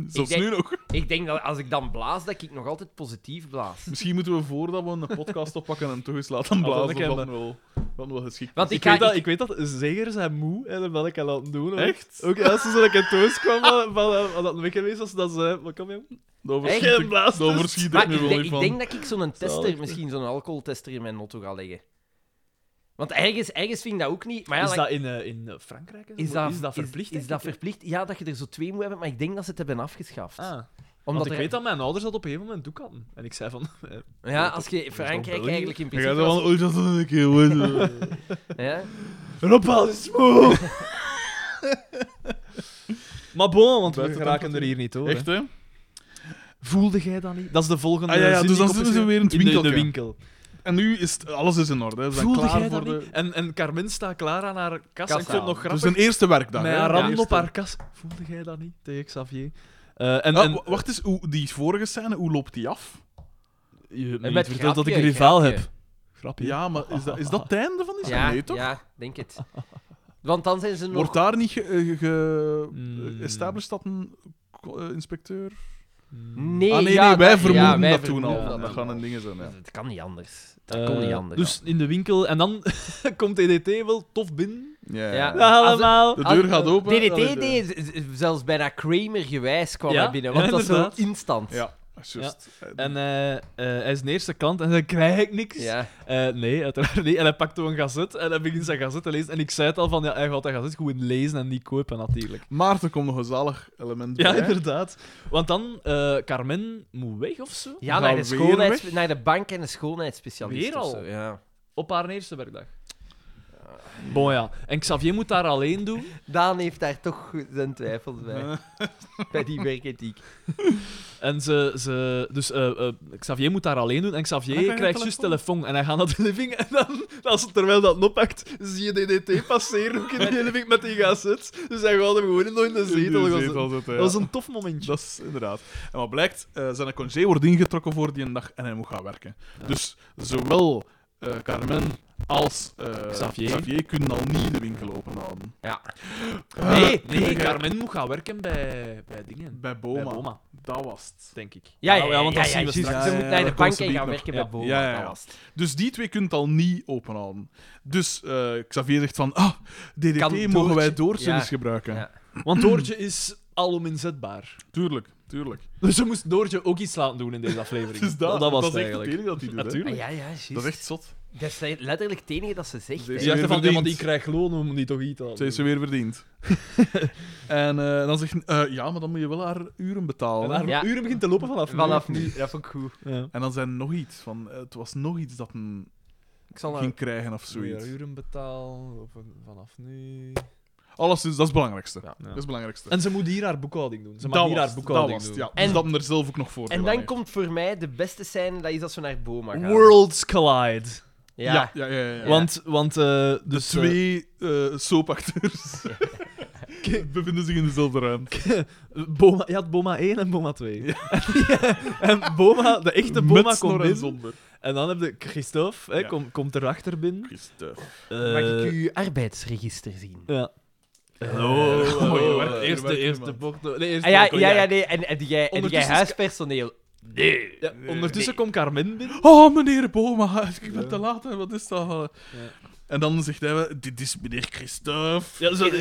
Speaker 1: Zelfs
Speaker 2: denk-
Speaker 1: nu nog.
Speaker 2: Ik denk dat als ik dan blaas, dat ik nog altijd positief blaas.
Speaker 1: Misschien moeten we voordat we een podcast oppakken hem toch eens laten
Speaker 3: dat
Speaker 1: blazen.
Speaker 3: ik hem-
Speaker 1: Dat wel, wat wel geschikt.
Speaker 2: Want
Speaker 1: is.
Speaker 2: ik, ga...
Speaker 3: Ik, weet dat,
Speaker 2: ik-
Speaker 3: ik weet dat zeker zijn moe en dat wil ik al laten doen. hoor.
Speaker 1: Echt?
Speaker 3: Ook als ze zo lekker thuis kwam van, van, eh, van dat weggeweest was, dat ze. Wat kom je?
Speaker 1: Dat <laughs>
Speaker 2: Echt?
Speaker 1: overschiet ik, dat overschiet ik
Speaker 2: maar
Speaker 1: nu
Speaker 2: ik,
Speaker 1: wel
Speaker 2: denk-
Speaker 1: weer
Speaker 2: ik
Speaker 1: van.
Speaker 2: denk dat ik zo'n tester,
Speaker 1: Zalig.
Speaker 2: misschien zo'n alcoholtester in mijn auto ga leggen. Want ergens, ergens vind ik dat ook niet. Maar ja,
Speaker 3: Is
Speaker 2: like-
Speaker 3: dat in, eh, in eh, Frankrijk? en zo? verplicht?
Speaker 2: Is,
Speaker 3: denk
Speaker 2: dat
Speaker 3: ik, hè?
Speaker 2: verplicht? Ja, dat je er zo twee moet hebben, maar ik denk dat ze het hebben afgeschaft.
Speaker 3: Ah.
Speaker 2: Omdat
Speaker 3: Want ik
Speaker 2: er-
Speaker 3: weet dat mijn ouders dat op een gegeven moment ook hadden. En ik zei van... <laughs> eh,
Speaker 2: Ja, als je Frankrijk
Speaker 3: België.
Speaker 2: eigenlijk in
Speaker 1: Ik ga
Speaker 2: principe...
Speaker 1: zo van, oei, dat is een keer,
Speaker 3: <laughs>
Speaker 1: oei, dat-
Speaker 2: was- Ja?
Speaker 3: Rob is moe! <laughs> maar bon, want we geraken er hier niet hoor.
Speaker 1: Echt, hè?
Speaker 3: Voelde jij dat niet? Dat is de volgende
Speaker 1: Ah, ja, ja,
Speaker 3: zin
Speaker 1: dus dan
Speaker 3: die ik
Speaker 1: zitten
Speaker 3: opgeschreven-
Speaker 1: we weer in het
Speaker 3: de,
Speaker 1: winkeltje.
Speaker 3: winkel.
Speaker 1: En nu is het, alles is in orde. hè. We zijn
Speaker 3: Voelde
Speaker 1: klaar
Speaker 3: jij dat
Speaker 1: voor
Speaker 3: niet? Dus
Speaker 1: de...
Speaker 3: En, en Carmen staat klaar aan haar kast.
Speaker 2: Kassa.
Speaker 3: Ik vond het nog
Speaker 1: Het is
Speaker 3: grappig.
Speaker 1: een eerste werkdag.
Speaker 3: Met
Speaker 1: hè.
Speaker 3: haar
Speaker 1: De
Speaker 3: rand
Speaker 1: eerste.
Speaker 3: op haar kast. Voelde jij dat niet? Tegen Xavier. Eh, en,
Speaker 1: Ah,
Speaker 3: en,
Speaker 1: wa- wacht eens, hoe, die vorige scène, hoe loopt die af?
Speaker 3: je hebt me
Speaker 2: met
Speaker 3: niet verteld dat ik een
Speaker 2: grapje,
Speaker 3: rivaal
Speaker 2: grapje.
Speaker 3: heb. Grapje.
Speaker 1: Ja, maar is dat, is dat het einde van die
Speaker 2: Ja,
Speaker 1: nee, toch?
Speaker 2: ja, denk het. Want dan zijn ze nog...
Speaker 1: Wordt daar niet ge,
Speaker 3: Mm.
Speaker 1: established dat een co- eh, inspecteur?
Speaker 3: Hmm.
Speaker 2: Nee,
Speaker 1: ah, nee,
Speaker 2: ja,
Speaker 1: nee, wij
Speaker 2: dat-
Speaker 1: vermoeden
Speaker 2: ja, wij
Speaker 1: dat toen al.
Speaker 2: vermoeden
Speaker 1: Dat,
Speaker 2: dat toen
Speaker 1: gaan
Speaker 2: al.
Speaker 1: een dingen zijn, ja.
Speaker 2: Dat kan niet anders. Dat
Speaker 3: Eh,
Speaker 2: kon niet anders.
Speaker 3: Dus in de winkel. En dan <laughs> komt DDT wel tof binnen.
Speaker 1: Ja,
Speaker 2: Ja.
Speaker 1: ja.
Speaker 3: Dag allemaal.
Speaker 1: De deur gaat open.
Speaker 2: DDT deed z- z- zelfs bijna Kramer gewijs kwam
Speaker 3: Ja,
Speaker 2: hij binnen, want
Speaker 3: ja,
Speaker 2: dat is wel
Speaker 3: inderdaad.
Speaker 2: instant.
Speaker 1: Ja, dat is juist.
Speaker 3: En eh, eh, hij is de eerste klant en dan krijg ik niks.
Speaker 2: Ja.
Speaker 3: Eh, nee, uiteraard niet. En hij pakt toen een gazet en hij begint zijn gazet te lezen. En ik zei het al van, ja, hij gaat dat gazet gewoon lezen en niet kopen natuurlijk.
Speaker 1: Maar er komt nog een zalig element
Speaker 3: Ja,
Speaker 1: bij.
Speaker 3: inderdaad. Want dan, eh, Carmen moet weg of zo?
Speaker 2: Ja,
Speaker 1: Gaan
Speaker 2: naar de,
Speaker 1: weer
Speaker 2: schoonheids- naar de bank en de schoonheidsspecialist.
Speaker 3: Weer
Speaker 2: of
Speaker 3: al?
Speaker 2: zo, Ja.
Speaker 3: Op haar eerste werkdag. Bon ja. En Xavier moet daar alleen doen.
Speaker 2: Daan heeft daar toch zijn twijfels bij. <laughs> bij die werkethiek.
Speaker 3: En ze, ze, dus eh, eh, Xavier moet daar alleen doen. En Xavier
Speaker 1: Hij krijgt
Speaker 3: krijgt
Speaker 1: Ah, een
Speaker 3: juist telefoon. En hij gaat naar de living. En dan, als, terwijl dat hem oppakt, zie je DDT passeren ook in de living met die gazet. Dus hij gaat hem gewoon nog in de
Speaker 1: In
Speaker 3: zetel.
Speaker 1: die
Speaker 3: Dat was-
Speaker 1: zetel zitten,
Speaker 3: Dat
Speaker 1: ja.
Speaker 3: was een tof momentje.
Speaker 1: <laughs> Dat is inderdaad. En wat blijkt, eh, zijn congé wordt ingetrokken voor die dag en hij moet gaan werken. Dus zowel eh, Carmen als eh,
Speaker 3: Xavier.
Speaker 1: kunnen al niet de winkel openhouden.
Speaker 2: Ja.
Speaker 3: Nee,
Speaker 1: Eh,
Speaker 3: nee,
Speaker 1: eh,
Speaker 3: Carmen moet gaan werken bij, bij dingen.
Speaker 1: Bij Boma.
Speaker 3: Bij Boma,
Speaker 1: Dat was het.
Speaker 3: denk ik.
Speaker 2: Ja, ja,
Speaker 3: Ah,
Speaker 2: ja,
Speaker 3: want
Speaker 2: ja,
Speaker 3: dat zien
Speaker 2: ja,
Speaker 3: we
Speaker 2: juist.
Speaker 3: straks.
Speaker 1: Ja,
Speaker 2: Ze
Speaker 1: ja,
Speaker 2: moet
Speaker 1: ja,
Speaker 2: naar
Speaker 1: dat
Speaker 2: de
Speaker 1: komt
Speaker 2: bank en
Speaker 1: er
Speaker 2: gaan
Speaker 1: niet
Speaker 2: werken
Speaker 3: nog.
Speaker 2: bij Boma.
Speaker 1: Ja, ja, ja.
Speaker 2: dat was het.
Speaker 1: Dus die twee kunnen het al niet openhouden. Dus eh, Xavier zegt van, ah, DDT
Speaker 2: Kan
Speaker 1: mogen wij
Speaker 2: Doortje-
Speaker 1: doorzinners
Speaker 2: Ja.
Speaker 1: gebruiken.
Speaker 2: Ja.
Speaker 3: Want Doortje is alom inzetbaar.
Speaker 1: Tuurlijk, tuurlijk.
Speaker 3: Dus ze moest Doortje ook iets laten doen in deze aflevering.
Speaker 1: Dus dat,
Speaker 3: dat was
Speaker 1: dat
Speaker 3: het
Speaker 1: is echt het
Speaker 3: eigenlijk.
Speaker 1: enige dat hij doet. hè.
Speaker 3: Natuurlijk.
Speaker 2: Ah, ja, ja, juist.
Speaker 1: Dat is echt zot.
Speaker 2: Dat is letterlijk het enige dat ze zegt.
Speaker 1: Ze
Speaker 2: hè.
Speaker 1: is
Speaker 3: Ze dachten van, ja,
Speaker 1: verdiend.
Speaker 3: want die krijgt loon om die toch iets te
Speaker 1: Ze
Speaker 3: laten
Speaker 1: heeft ze
Speaker 3: doen.
Speaker 1: weer verdiend. en eh, dan zegt hij, eh, ja, maar dan moet je wel haar uren betalen.
Speaker 3: En
Speaker 1: hè.
Speaker 3: haar
Speaker 2: Ja.
Speaker 3: uren begint te lopen vanaf nu.
Speaker 2: Vanaf nu, dat vond ik goed.
Speaker 3: Ja.
Speaker 1: En dan zijn nog iets van, eh, het was nog iets dat een
Speaker 2: Ik zal
Speaker 1: ging krijgen of zoiets.
Speaker 3: Weer uren betaal,
Speaker 2: eh,
Speaker 3: lopen vanaf nu.
Speaker 1: Alles is, dat is het belangrijkste.
Speaker 2: Ja.
Speaker 1: Dat is het belangrijkste.
Speaker 3: En ze moet hier haar boekhouding doen. Ze mag
Speaker 1: Dus- dat
Speaker 3: hier
Speaker 1: was
Speaker 3: haar
Speaker 1: het,
Speaker 3: boekhouding
Speaker 1: dat was het,
Speaker 3: doen.
Speaker 1: ja.
Speaker 2: En-
Speaker 1: En dat hem er zelf ook nog voor
Speaker 2: En
Speaker 1: gedaan
Speaker 2: dan
Speaker 1: heeft.
Speaker 2: komt voor mij de beste scène, dat is als we naar Boma gaan.
Speaker 3: Worlds collide.
Speaker 2: Ja.
Speaker 1: Ja, ja, ja. ja, ja.
Speaker 3: Want, want eh, dus, eh,
Speaker 1: Twee eh, soapacteurs bevinden zich in dezelfde ruimte.
Speaker 3: eh, Boma, je had Boma 1 en Boma 2. <laughs> en Boma, de echte Boma
Speaker 1: Met snor
Speaker 3: komt
Speaker 1: en
Speaker 3: binnen. En,
Speaker 1: zonder.
Speaker 3: dan heb je Christophe, hè,
Speaker 1: Ja.
Speaker 3: kom, komt erachter binnen.
Speaker 2: Mag ik
Speaker 3: Eh,
Speaker 2: uw arbeidsregister zien?
Speaker 3: Ja.
Speaker 1: Hallo,
Speaker 3: Eh,
Speaker 1: hallo,
Speaker 3: mooi,
Speaker 1: je
Speaker 3: werkt-
Speaker 1: werkt- je
Speaker 3: <laughs> eerste,
Speaker 1: werkt
Speaker 3: eerste
Speaker 1: iemand.
Speaker 3: bocht. Nee, eerste
Speaker 2: Ah, ja,
Speaker 3: bocht, Oh,
Speaker 2: ja, ja, nee. En, en, die jij, en die jij
Speaker 3: Ondertussen-
Speaker 2: huispersoneel? Nee.
Speaker 3: Ja, ondertussen komt Carmen binnen.
Speaker 1: Oh, meneer Boma, ik ben te laat. hè, Wat is dat? En dan zegt hij, wel, dit is meneer Christophe.
Speaker 2: <laughs>
Speaker 3: Ja, zou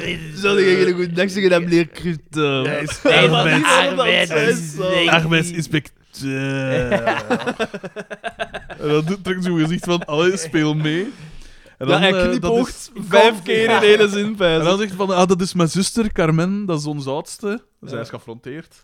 Speaker 3: ik een goed dag zeggen aan meneer Christophe?
Speaker 1: Hij
Speaker 3: <laughs>
Speaker 1: is
Speaker 3: Ja, maar
Speaker 1: arbeids-
Speaker 3: niet waarom dat is,
Speaker 2: arbeidsregister.
Speaker 3: eh. <laughs>
Speaker 1: arbeidsinspecteur. en dan doet- trekt zo'n gezicht van, allee, speel mee. En
Speaker 3: Ja, hij
Speaker 1: eh, dat
Speaker 3: knipoogt
Speaker 1: is-
Speaker 3: vijf keer in hele zin.
Speaker 1: En dan zegt hij van, ah, dat is mijn zuster, Carmen, dat is ons oudste. Zij
Speaker 3: Ja.
Speaker 1: is geaffronteerd. <laughs>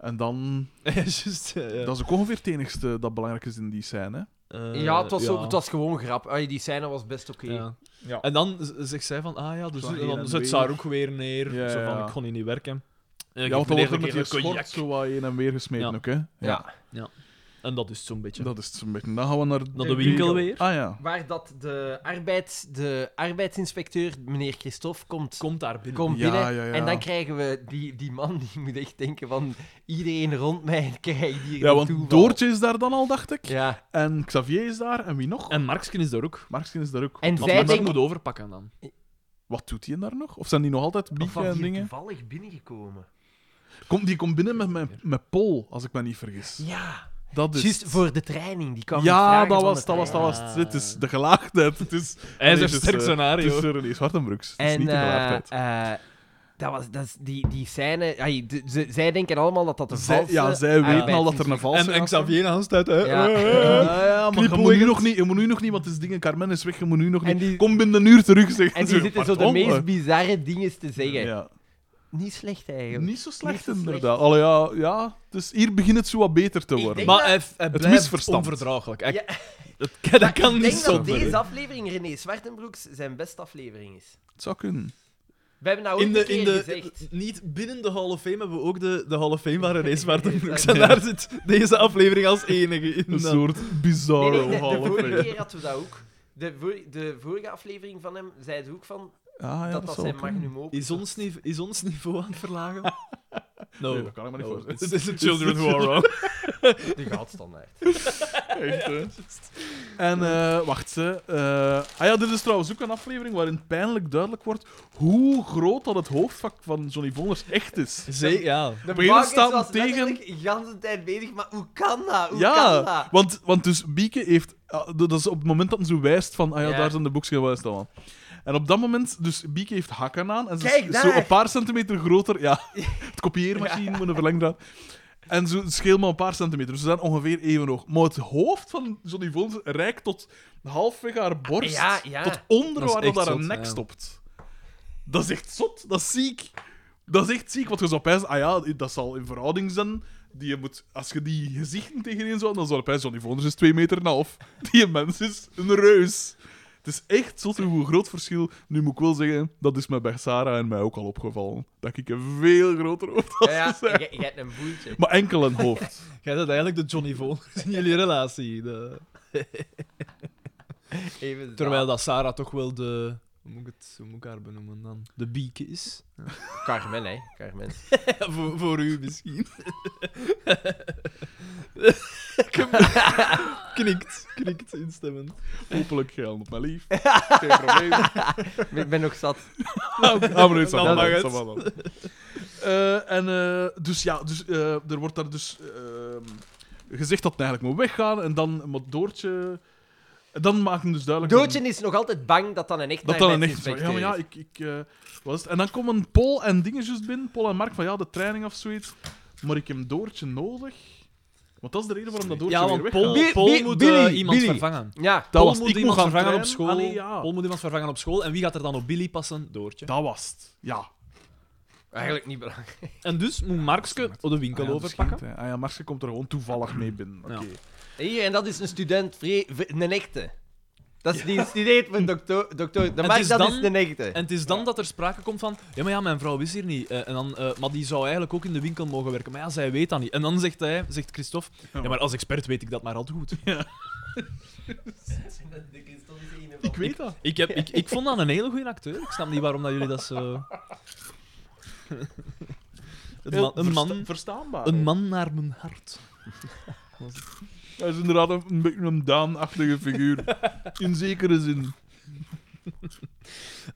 Speaker 1: En dan...
Speaker 3: Ja, Juist, ja, ja.
Speaker 1: Dat is ook ongeveer het enigste dat belangrijk is in die scène. hè.
Speaker 3: Eh,
Speaker 2: Ja, het was, Ook, het was gewoon grap. Ah, die scène was best oké.
Speaker 3: Ja.
Speaker 1: Ja.
Speaker 3: En dan z- zegt zij van, ah ja, dus,
Speaker 1: Slag
Speaker 3: en
Speaker 1: hier en
Speaker 3: dan zet ze
Speaker 1: weer.
Speaker 3: haar ook weer neer.
Speaker 1: Ja,
Speaker 3: zo
Speaker 1: ja,
Speaker 3: van,
Speaker 1: ja.
Speaker 3: ik kon hier niet werken.
Speaker 1: Ja,
Speaker 3: Eh, geef
Speaker 1: want dan
Speaker 3: meneer
Speaker 1: wordt er met
Speaker 3: een
Speaker 1: die
Speaker 3: keer een
Speaker 1: schort
Speaker 3: cognac.
Speaker 1: zo wat heen en weer gesmeten
Speaker 3: Ja.
Speaker 1: ook, hè. Ja.
Speaker 2: Ja.
Speaker 3: En dat is zo'n beetje.
Speaker 1: Dat is het zo'n beetje. Dan gaan we naar...
Speaker 3: Naar de winkel weer.
Speaker 1: Ah ja.
Speaker 2: Waar dat de, arbeids, de arbeidsinspecteur, meneer Christophe, komt,
Speaker 3: Komt daar binnen.
Speaker 2: komt
Speaker 1: Ja,
Speaker 2: binnen.
Speaker 1: ja, ja.
Speaker 2: En dan krijgen we die, die man die moet echt denken van... Iedereen rond mij <laughs> krijgt hier
Speaker 1: Ja,
Speaker 2: een
Speaker 1: want
Speaker 2: toeval.
Speaker 1: Doortje is daar dan al, dacht ik.
Speaker 2: Ja.
Speaker 1: En Xavier is daar. En wie nog?
Speaker 3: En Marksken is daar ook.
Speaker 1: Markskin is daar ook.
Speaker 2: En
Speaker 1: Want
Speaker 2: zij
Speaker 3: Zij
Speaker 1: Marksken-
Speaker 2: denkt-
Speaker 3: moet overpakken dan.
Speaker 1: Wat doet hij daar nog? Of zijn die nog altijd
Speaker 2: Of
Speaker 1: bieken
Speaker 2: was
Speaker 1: en
Speaker 2: die
Speaker 1: dingen?
Speaker 2: toevallig binnengekomen?
Speaker 1: Komt die komt binnen met, met, met Pol, als ik me niet vergis.
Speaker 2: Ja.
Speaker 1: Dat is...
Speaker 2: Juist voor de training. Die kwam niet
Speaker 1: Dus- ja,
Speaker 2: vragen
Speaker 1: dat
Speaker 2: van
Speaker 1: was,
Speaker 2: de
Speaker 1: dat was, dat
Speaker 2: training.
Speaker 1: was.
Speaker 3: Ah.
Speaker 1: Het is de gelaagdheid. Het is,
Speaker 3: Hij is
Speaker 1: Nee,
Speaker 3: een
Speaker 1: het is,
Speaker 3: sterk
Speaker 1: eh, het
Speaker 3: scenario.
Speaker 1: is René Zwartenbroeks. Het is
Speaker 2: En
Speaker 1: niet de gelaagdheid.
Speaker 2: eh, eh, dat was dat is die, die scène. ai, de- ze- zij denken allemaal dat dat de
Speaker 1: Zij-
Speaker 2: valse.
Speaker 1: ja, zij weten al
Speaker 2: arbeids-
Speaker 1: dat er een valse
Speaker 3: En, en
Speaker 1: gast is.
Speaker 3: Xavier Hans uit, hè. Eh,
Speaker 2: Ja.
Speaker 1: Ja, ja, maar je moet, nu
Speaker 3: Knipoogend.
Speaker 1: nog niet, je moet nu nog niet, want het is dingen, Carmen is weg, je moet nu nog
Speaker 2: En
Speaker 1: niet.
Speaker 2: die-
Speaker 1: Kom binnen een uur terug, zegt
Speaker 2: En
Speaker 1: ze.
Speaker 2: die zitten zo de
Speaker 1: Pardon?
Speaker 2: meest bizarre dingen te zeggen.
Speaker 1: Ja.
Speaker 2: Niet slecht eigenlijk.
Speaker 1: Niet zo slecht,
Speaker 2: Niet zo slecht.
Speaker 1: inderdaad. Allee, ja, ja, dus hier begint het zo wat beter te
Speaker 2: Ik
Speaker 1: worden.
Speaker 2: denk
Speaker 3: Maar hij, hij blijft
Speaker 1: misverstand.
Speaker 3: onverdraaglijk. Hij-
Speaker 2: Ja.
Speaker 3: dat, <laughs> dat kan
Speaker 2: Ik
Speaker 3: niet
Speaker 2: denk dat
Speaker 3: zonder.
Speaker 2: deze aflevering René Zwartenbroeks zijn beste aflevering is.
Speaker 1: Het zou kunnen.
Speaker 2: We hebben nou ook
Speaker 3: In de, in
Speaker 2: keer
Speaker 3: de,
Speaker 2: gezegd.
Speaker 3: niet binnen de Hall of Fame hebben we ook de, de Hall of Fame waar
Speaker 2: <laughs>
Speaker 3: René Zwartenbroeks. En daar zit deze aflevering als enige in. eh,
Speaker 1: Een
Speaker 3: dan.
Speaker 1: soort
Speaker 2: Nee,
Speaker 1: bizarre
Speaker 2: nee, de, de
Speaker 1: Hall of
Speaker 2: vorige
Speaker 1: Fame.
Speaker 2: keer hadden we dat ook. De, voor- de vorige aflevering van hem zei ze ook van
Speaker 1: Ah, ja,
Speaker 2: dat
Speaker 1: dat,
Speaker 2: dat
Speaker 1: zou
Speaker 2: zijn
Speaker 1: kunnen.
Speaker 2: magnum opus
Speaker 3: Is ons, nive- is ons niveau aan het verlagen? No.
Speaker 2: Oh.
Speaker 1: Nee, dat kan ik me niet
Speaker 2: <laughs>
Speaker 3: No,
Speaker 1: voorstellen.
Speaker 3: <laughs>
Speaker 1: <laughs>
Speaker 3: it's- it's the children who are wrong.
Speaker 2: De goudstandaard. <laughs>
Speaker 1: Echt, hè? En eh, wacht, ze. eh, ah ja, dit is trouwens ook een aflevering waarin pijnlijk duidelijk wordt hoe groot dat het hoofdvak van Johnny Vonders echt is.
Speaker 3: Zee, ja.
Speaker 2: De
Speaker 1: Bale
Speaker 2: Marcus
Speaker 1: staat
Speaker 2: was
Speaker 1: tegen-
Speaker 2: letterlijk de ganse tijd bezig, maar hoe kan dat? Hoe kan
Speaker 1: Ja, <laughs>
Speaker 2: dat?
Speaker 1: want, want dus Bieke heeft... ah, Dat is op het moment dat hij zo wijst van... Ah ja,
Speaker 2: Ja.
Speaker 1: daar zijn de boekjes gewijst allemaal. En op dat moment... Dus Bieke heeft hakken aan. En ze
Speaker 2: Kijk
Speaker 1: is
Speaker 2: daar!
Speaker 1: zo een paar centimeter groter...
Speaker 2: <laughs>
Speaker 1: Ja, het kopieermachine met een verlengdraad. En zo scheelt maar een paar centimeter. Dus ze zijn ongeveer even hoog. Maar het hoofd van Johnny Vons reikt tot halfweg haar borst.
Speaker 2: Ja, ja.
Speaker 1: Tot onder
Speaker 3: Dat is
Speaker 1: waar
Speaker 3: echt
Speaker 1: dat haar
Speaker 3: zot,
Speaker 1: nek
Speaker 3: ja.
Speaker 1: stopt. Dat is echt zot. Dat is ziek. Dat is echt ziek, want je zou pijzen, ah ja, dat zal in verhouding zijn. Die je moet, als je die gezichten tegenin zou, dan zou je pijzen, Johnny Vonders is 2 meter en een half. <laughs> Die mens is een reus. Het is echt zot hoe groot verschil. Nu moet ik wel zeggen, dat is mij bij Sarah en mij ook al opgevallen. Dat ik een veel groter hoofd had.
Speaker 2: Ja, ja,
Speaker 1: ze
Speaker 2: je,
Speaker 1: zei.
Speaker 2: je hebt een boeltje.
Speaker 1: Maar enkel een hoofd.
Speaker 3: Jij bent eigenlijk de Johnny Vonders in
Speaker 2: <laughs>
Speaker 3: jullie relatie. De-
Speaker 2: Even dat.
Speaker 3: Terwijl dat Sarah toch wel de... Hoe moet ik, het, hoe moet ik haar benoemen dan? De bieke is.
Speaker 2: Ah, Carmen, hè. Carmen.
Speaker 3: Ja, voor, voor u <laughs> misschien. knikt, knikt instemmend.
Speaker 1: Hopelijk geil op mijn lief. Geen probleem.
Speaker 2: Ik ben nog zat.
Speaker 1: Ah, maar
Speaker 3: Dan
Speaker 1: dat
Speaker 3: mag
Speaker 1: is
Speaker 3: het.
Speaker 1: allemaal dan. Eh, en eh, dus ja, dus, eh, er wordt daar dus ehm, gezegd dat hij eigenlijk moet weggaan. En dan moet Doortje... Dan maken we dus duidelijk...
Speaker 2: Doodje is nog altijd bang dat dan een echt
Speaker 1: Dat dan een
Speaker 2: Nijmegen
Speaker 1: echt... Ja,
Speaker 2: inspecteur
Speaker 1: maar ja,
Speaker 2: is.
Speaker 1: ik... ik eh, wat is het? En dan komen Paul en dingetjes binnen. Paul en Mark van ja, de training of zoiets. Maar ik heb Doortje nodig. Want dat is de reden waarom dat Doortje
Speaker 3: Ja,
Speaker 1: weer
Speaker 3: want
Speaker 1: weggaat.
Speaker 3: Paul,
Speaker 2: Bi-
Speaker 3: Paul
Speaker 2: Bi-
Speaker 3: moet
Speaker 2: Billy,
Speaker 3: eh, iemand
Speaker 2: Billy.
Speaker 3: vervangen.
Speaker 2: Ja,
Speaker 1: Dat
Speaker 3: Paul
Speaker 1: was het.
Speaker 3: moet
Speaker 1: Ik
Speaker 3: iemand
Speaker 1: moet gaan
Speaker 3: vervangen op
Speaker 1: trainen.
Speaker 3: school.
Speaker 1: Allee, ja.
Speaker 3: Paul moet iemand vervangen op school. En wie gaat er dan op Billy passen? Doortje.
Speaker 1: Dat was het. Ja.
Speaker 2: eigenlijk niet belangrijk.
Speaker 3: En dus moet Markske de winkel
Speaker 1: Ah ja,
Speaker 3: overpakken.
Speaker 1: verschiet, hè. Ah ja, Markske komt er gewoon toevallig mee binnen. Oké.
Speaker 3: Ja.
Speaker 2: Hier, en dat is een student, vrij- v- een echte. Dat is, die studeert voor doctor, doctor. De
Speaker 3: het
Speaker 1: dus
Speaker 2: Mark,
Speaker 3: is
Speaker 2: dat
Speaker 3: dan-
Speaker 2: is een echte.
Speaker 3: En het is dan dat er sprake komt van... Ja, maar ja, mijn vrouw is hier niet. Eh, en dan, eh, maar die zou eigenlijk ook in de winkel mogen werken. Maar ja, zij weet dat niet. En dan zegt hij, zegt Christophe... Ja, maar als expert weet ik dat maar al te goed.
Speaker 1: Ik weet dat.
Speaker 3: Ik, heb, ik, ik vond dat een hele goede acteur. Ik snap niet waarom dat jullie dat
Speaker 1: <laughs>
Speaker 3: zo... een, man, een,
Speaker 1: Versta-
Speaker 3: man,
Speaker 1: verstaanbaar.
Speaker 3: een man naar mijn hart.
Speaker 1: Hij is inderdaad een, een beetje een Daan-achtige figuur. In zekere zin.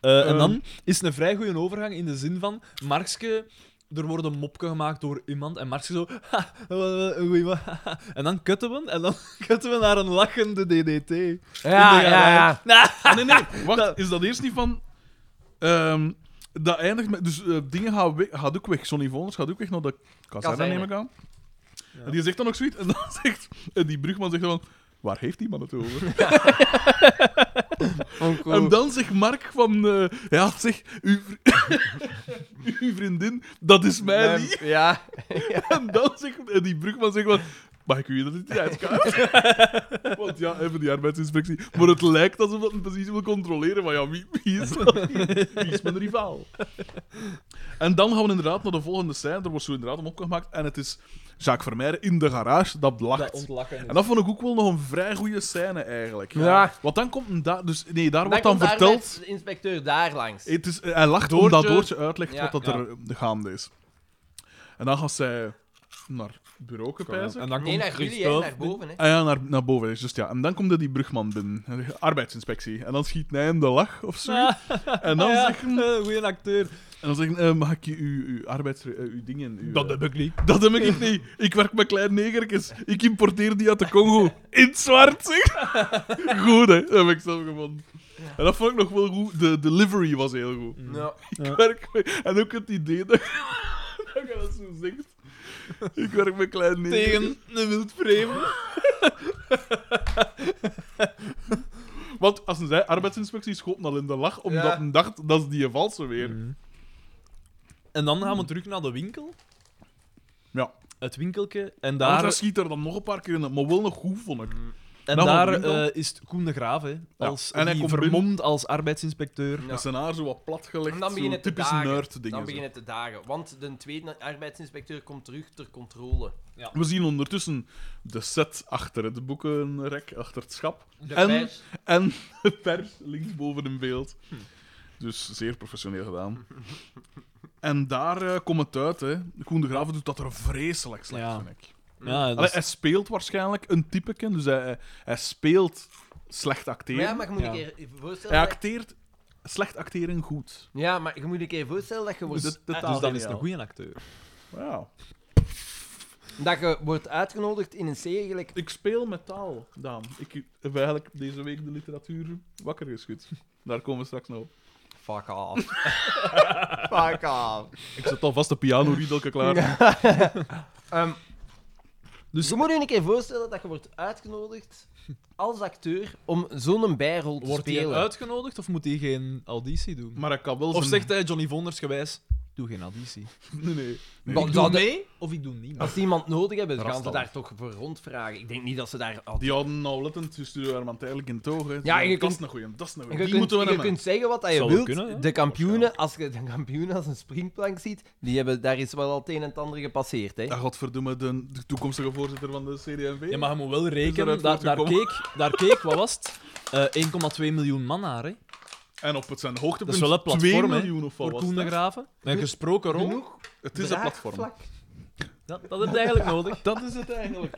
Speaker 3: Eh, en
Speaker 1: Ehm.
Speaker 3: dan is het een vrij goede overgang in de zin van Markske. Er wordt een mopje gemaakt door iemand en Markske zo. "Ha, wel, eh, goeie wa- haha." <laughs> en dan kutten we en dan <laughs> kutten we naar een lachende DDT.
Speaker 2: Ja,
Speaker 3: In de
Speaker 2: ja, ja.
Speaker 3: <laughs>
Speaker 1: Ah, nee, nee. Wacht,
Speaker 3: Dat-
Speaker 1: is dat eerst niet van... ehm, dat eindigt met... Dus eh, dingen gaan weg, gaat ook weg. Sonny Voners gaat ook weg naar de kazerne,
Speaker 2: Kazerne.
Speaker 1: neem ik aan. En die zegt dan ook zoiets. En dan <laughs> zegt... En die brugman zegt dan... Waar heeft die man het over? En dan zegt Mark van... eh, ja, zeg, uw, vri- <laughs> uw vriendin, dat is mij
Speaker 2: Mijn-
Speaker 1: niet.
Speaker 2: Ja.
Speaker 1: <laughs> En dan zegt en die Brugman zegt van... Mag ik u dat niet
Speaker 2: <laughs>
Speaker 1: uitkaart? Want ja, even die arbeidsinspectie. Maar het lijkt alsof dat men precies wil controleren. Maar ja, wie, wie is dat? Wie is mijn rivaal? En dan gaan we inderdaad naar de volgende scène. Er wordt zo inderdaad een opgemaakt En het is Jacques Vermeijden in de garage dat lacht.
Speaker 3: Dat ontlachen.
Speaker 1: en dat vond ik ook wel nog een vrij goede scène eigenlijk.
Speaker 2: Ja.
Speaker 1: Want dan komt een daar... Dus, nee, daar
Speaker 2: Dan
Speaker 1: wordt dan
Speaker 2: komt daar
Speaker 1: verteld...
Speaker 2: net de inspecteur daar langs.
Speaker 1: Het is, eh, hij lacht
Speaker 3: Doortje-
Speaker 1: omdat Doortje uitlegt
Speaker 2: Ja,
Speaker 1: wat dat
Speaker 3: ja.
Speaker 1: er eh, gaande is. En dan gaat zij naar het bureau pijzen.
Speaker 3: En dan
Speaker 2: Nee,
Speaker 3: komt
Speaker 2: naar jullie, hè,
Speaker 3: Christophe
Speaker 2: naar boven. Hè.
Speaker 1: Ah ja, naar, naar boven. is Just, ja. En dan komt er die brugman binnen. Hij zegt, Arbeidsinspectie. En dan schiet hij hem de lach of zo.
Speaker 3: Ah,
Speaker 1: En dan
Speaker 3: ah, ja,
Speaker 1: zeggen...
Speaker 3: <laughs> eh, goeie acteur.
Speaker 1: En dan zeggen eh, mag ik je uw, uw arbeids... eh, uw dingen... Uw, eh,
Speaker 3: ik niet.
Speaker 1: dat heb ik niet. Ik werk met kleine negertjes. Ik importeer die uit de Congo. In het zwart, zeg. <laughs> Goed, hè. Dat heb ik zelf gevonden. En dat vond ik nog wel goed. De delivery was heel goed.
Speaker 2: Ja.
Speaker 1: Ik werk met- En ook het idee dat, <laughs> dat je dat zo zegt. Ik werk met kleine negertjes.
Speaker 3: Tegen een wildvreemde.
Speaker 1: Want als ze zei, arbeidsinspectie schoot al in de lach, omdat
Speaker 2: Ja.
Speaker 1: men dacht, dat is die valse weer.
Speaker 3: Mm. En dan
Speaker 1: Hmm.
Speaker 3: gaan we terug naar de winkel.
Speaker 1: Ja.
Speaker 3: Het winkelke. En
Speaker 1: Daar...
Speaker 3: daar,
Speaker 1: schiet er dan nog een paar keer in, maar wel nog goed, vond ik.
Speaker 3: en
Speaker 1: dan
Speaker 3: daar
Speaker 1: de winkel.
Speaker 3: eh, is het Koen de Graaf, hè, als,
Speaker 1: en hij
Speaker 3: die
Speaker 1: komt
Speaker 3: vermomd als arbeidsinspecteur.
Speaker 2: Ja.
Speaker 1: Met zijn haar zo wat platgelegd,
Speaker 2: En Nou, dan
Speaker 1: zo
Speaker 2: beginnen te
Speaker 1: typisch
Speaker 2: dagen.
Speaker 1: nerd-dingen.
Speaker 2: Dan beginnen te dagen. Want de tweede arbeidsinspecteur komt terug ter controle.
Speaker 1: zo. We zien ondertussen de set achter het boekenrek, achter het schap.
Speaker 2: De
Speaker 1: En-
Speaker 2: pers-
Speaker 1: En <laughs> de pers linksboven in beeld. Dus zeer professioneel gedaan. En daar eh, komt het uit, hè. Koen de Graven doet dat er vreselijk slecht,
Speaker 3: Ja.
Speaker 1: vind ik.
Speaker 3: Ja, dat
Speaker 1: Allee,
Speaker 3: is-
Speaker 1: hij speelt waarschijnlijk een typeken, dus hij, hij- hij speelt slecht acteren.
Speaker 2: Maar ja, maar je moet
Speaker 3: Ja.
Speaker 2: een keer voorstellen...
Speaker 1: Hij
Speaker 2: dat-
Speaker 1: acteert slecht acteren goed.
Speaker 2: Ja, maar je moet een keer voorstellen dat je wordt,
Speaker 1: Dus-
Speaker 3: dus
Speaker 1: totaal
Speaker 3: dan is het
Speaker 1: geniaal.
Speaker 3: een goede acteur.
Speaker 1: Wauw.
Speaker 2: dat je wordt uitgenodigd in een serie gelijk...
Speaker 1: Ik speel met taal, Daan. Ik heb eigenlijk deze week de literatuur wakker geschud. Daar komen we straks nog op.
Speaker 2: Fuck
Speaker 1: <laughs>
Speaker 2: off. Fuck off.
Speaker 1: Ik zet alvast de piano-riedelke klaar.
Speaker 2: Ehm, dus je moet je een keer voorstellen dat je wordt uitgenodigd als acteur om zo'n bijrol te
Speaker 3: Wordt hij
Speaker 2: spelen.
Speaker 3: uitgenodigd of moet hij geen auditie doen?
Speaker 1: Maar ik kan wel
Speaker 3: Of
Speaker 1: zijn-
Speaker 3: zegt hij Johnny Vonders gewijs: doe geen auditie.
Speaker 1: Nee, nee.
Speaker 3: Ik
Speaker 2: Want
Speaker 3: doe
Speaker 2: dat-
Speaker 3: mee of ik doe niet mee.
Speaker 2: Als die iemand nodig hebben, dan gaan ze
Speaker 3: Rastal.
Speaker 2: daar toch voor rondvragen. Ik denk niet dat ze daar...
Speaker 1: Die hadden nauwlettend, dus sturen Armand eigenlijk in toog. hè.
Speaker 2: Ja, en je
Speaker 1: dat is
Speaker 2: kunt-
Speaker 1: een goeie, dat is een
Speaker 2: Je
Speaker 1: goeie. Die
Speaker 2: kunt,
Speaker 1: moeten we
Speaker 2: je
Speaker 1: nemen.
Speaker 2: kunt zeggen wat dat je
Speaker 3: Zou
Speaker 2: wilt.
Speaker 3: kunnen, hè?
Speaker 2: de kampioenen, als je de kampioenen als een springplank ziet, die hebben, daar is wel al het een en het ander gepasseerd. Hè?
Speaker 1: Ah, godverdomme, de, de toekomstige voorzitter van de CDMV.
Speaker 3: Ja, maar je moet wel
Speaker 1: eruit
Speaker 3: rekenen. Daar, daar,
Speaker 1: voortgekomen.
Speaker 3: keek, daar keek, wat was het? Eh, 1,2 miljoen man naar, hè?
Speaker 1: En op het zijn hoogtepunt
Speaker 3: Dat is wel een platform,
Speaker 1: 2
Speaker 3: hè,
Speaker 1: miljoen of wat
Speaker 3: Voor
Speaker 1: was
Speaker 3: Koen
Speaker 1: het,
Speaker 3: de
Speaker 1: hè?
Speaker 3: Graven. Een gesproken rol.
Speaker 2: Genoeg
Speaker 1: Het is een platform.
Speaker 2: draagvlak.
Speaker 3: Dat, dat heb je eigenlijk nodig.
Speaker 1: <laughs> Dat is het eigenlijk.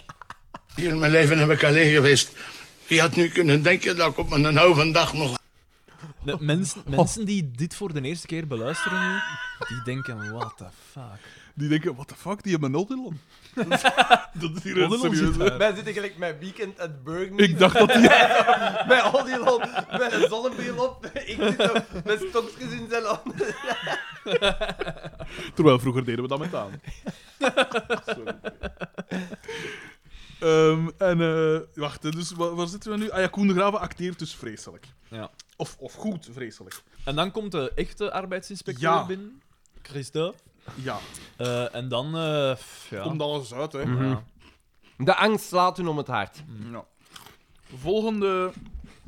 Speaker 5: Hier in mijn leven heb ik alleen geweest. Wie had nu kunnen denken dat ik op mijn oude dag nog...
Speaker 3: De
Speaker 1: Oh.
Speaker 3: mensen, mensen die dit voor de eerste keer beluisteren nu, die denken: what the fuck.
Speaker 1: Die denken, what the fuck, die hebben
Speaker 3: <laughs>
Speaker 1: Odilon. dat is hier een
Speaker 3: Odilon zit
Speaker 1: serieus. hè.
Speaker 3: daar.
Speaker 2: Wij zitten gelijk met Weekend at Burger.
Speaker 1: Ik dacht dat die...
Speaker 2: Met al die lol, met een zonnebril op. Ik zit op met stokjes in zijn handen.
Speaker 1: Terwijl vroeger deden we dat met aan. Sorry. Ehm, en eh, wacht, hè, dus waar, waar zitten we nu? Ah ja, Koen de Graven acteert dus vreselijk.
Speaker 3: Ja.
Speaker 1: Of, of goed, vreselijk.
Speaker 3: En dan komt de echte arbeidsinspecteur
Speaker 1: Ja.
Speaker 3: binnen, Christophe.
Speaker 1: Ja,
Speaker 3: Eh, en dan. eh, pff, ja. Mhm.
Speaker 1: komt Hm. alles uit, hè.
Speaker 3: Ja.
Speaker 2: De angst slaat hun om het hart.
Speaker 1: Ja. Volgende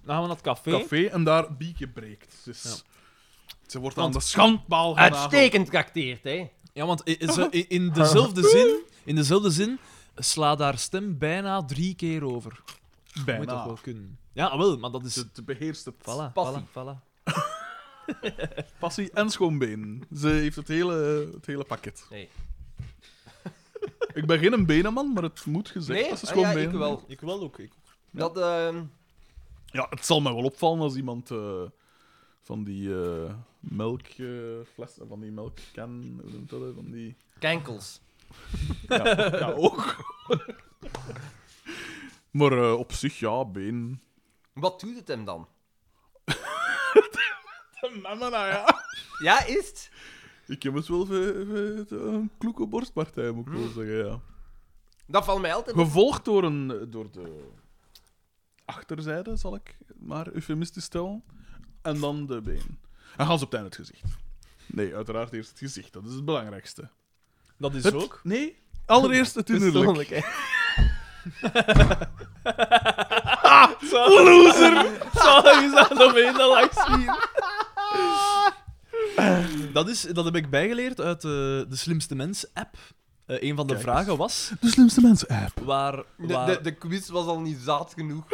Speaker 3: Dan gaan we naar het café.
Speaker 1: café en daar Bieke breekt. Dus ze wordt aan
Speaker 3: Want-
Speaker 1: de schandpaal genageld.
Speaker 2: Uitstekend acteert, hè?
Speaker 3: Ja, want i-
Speaker 1: <laughs>
Speaker 3: is- eh, i- in
Speaker 1: Hm.
Speaker 3: dezelfde zin, in dezelfde zin slaat haar stem bijna drie keer over.
Speaker 1: Bijna.
Speaker 3: Moet toch wel kunnen. Ja, ah, wel, maar dat is...
Speaker 1: Ze te beheerst het.
Speaker 3: Ah, Voilà,
Speaker 2: Passie.
Speaker 3: voilà, voilà.
Speaker 1: Passie en schoonbeen. Ze heeft het hele, het hele pakket.
Speaker 2: Nee.
Speaker 1: <laughs> Ik ben geen benenman, maar het moet gezegd
Speaker 2: Nee,
Speaker 1: dat ze
Speaker 2: ah, ja,
Speaker 1: schoonbeen
Speaker 2: ik wel.
Speaker 3: Ik wel ook. Ik...
Speaker 2: Dat, ehm,
Speaker 1: Ja, het zal mij wel opvallen als iemand eh, van die eh melkfles, van die melkkan, hoe noemt dat? hè? Van die...
Speaker 2: kenkels. <laughs>
Speaker 1: Ja, ja, ook. <laughs> maar eh, op zich, ja, been.
Speaker 2: Wat doet het hem dan?
Speaker 1: Mama, nou ja.
Speaker 2: Ja, is het?
Speaker 1: Ik heb het wel ve- ve- een kloeke borstpartij, moet ik wel zeggen, ja.
Speaker 2: Dat valt mij altijd op.
Speaker 1: Gevolgd door, een, door de achterzijde, zal ik maar eufemistisch stellen. En dan de been. En gaan ze op het einde het gezicht. Nee, uiteraard eerst het gezicht. Dat is het belangrijkste.
Speaker 3: Dat is
Speaker 1: Het-
Speaker 3: ook.
Speaker 1: Nee, allereerst <laughs> het innerlijk.
Speaker 2: Persoonlijk, hè.
Speaker 3: Loser! Zalig is dat Oh, nog één dat langs zien. Dat, is, dat heb ik bijgeleerd uit eh, de Slimste Mens app. Eh, een van de
Speaker 1: Kijk eens.
Speaker 3: vragen was
Speaker 1: De slimste eh. mensen app.
Speaker 3: waar...
Speaker 2: De,
Speaker 3: waar...
Speaker 2: de, de quiz was al niet zaad genoeg.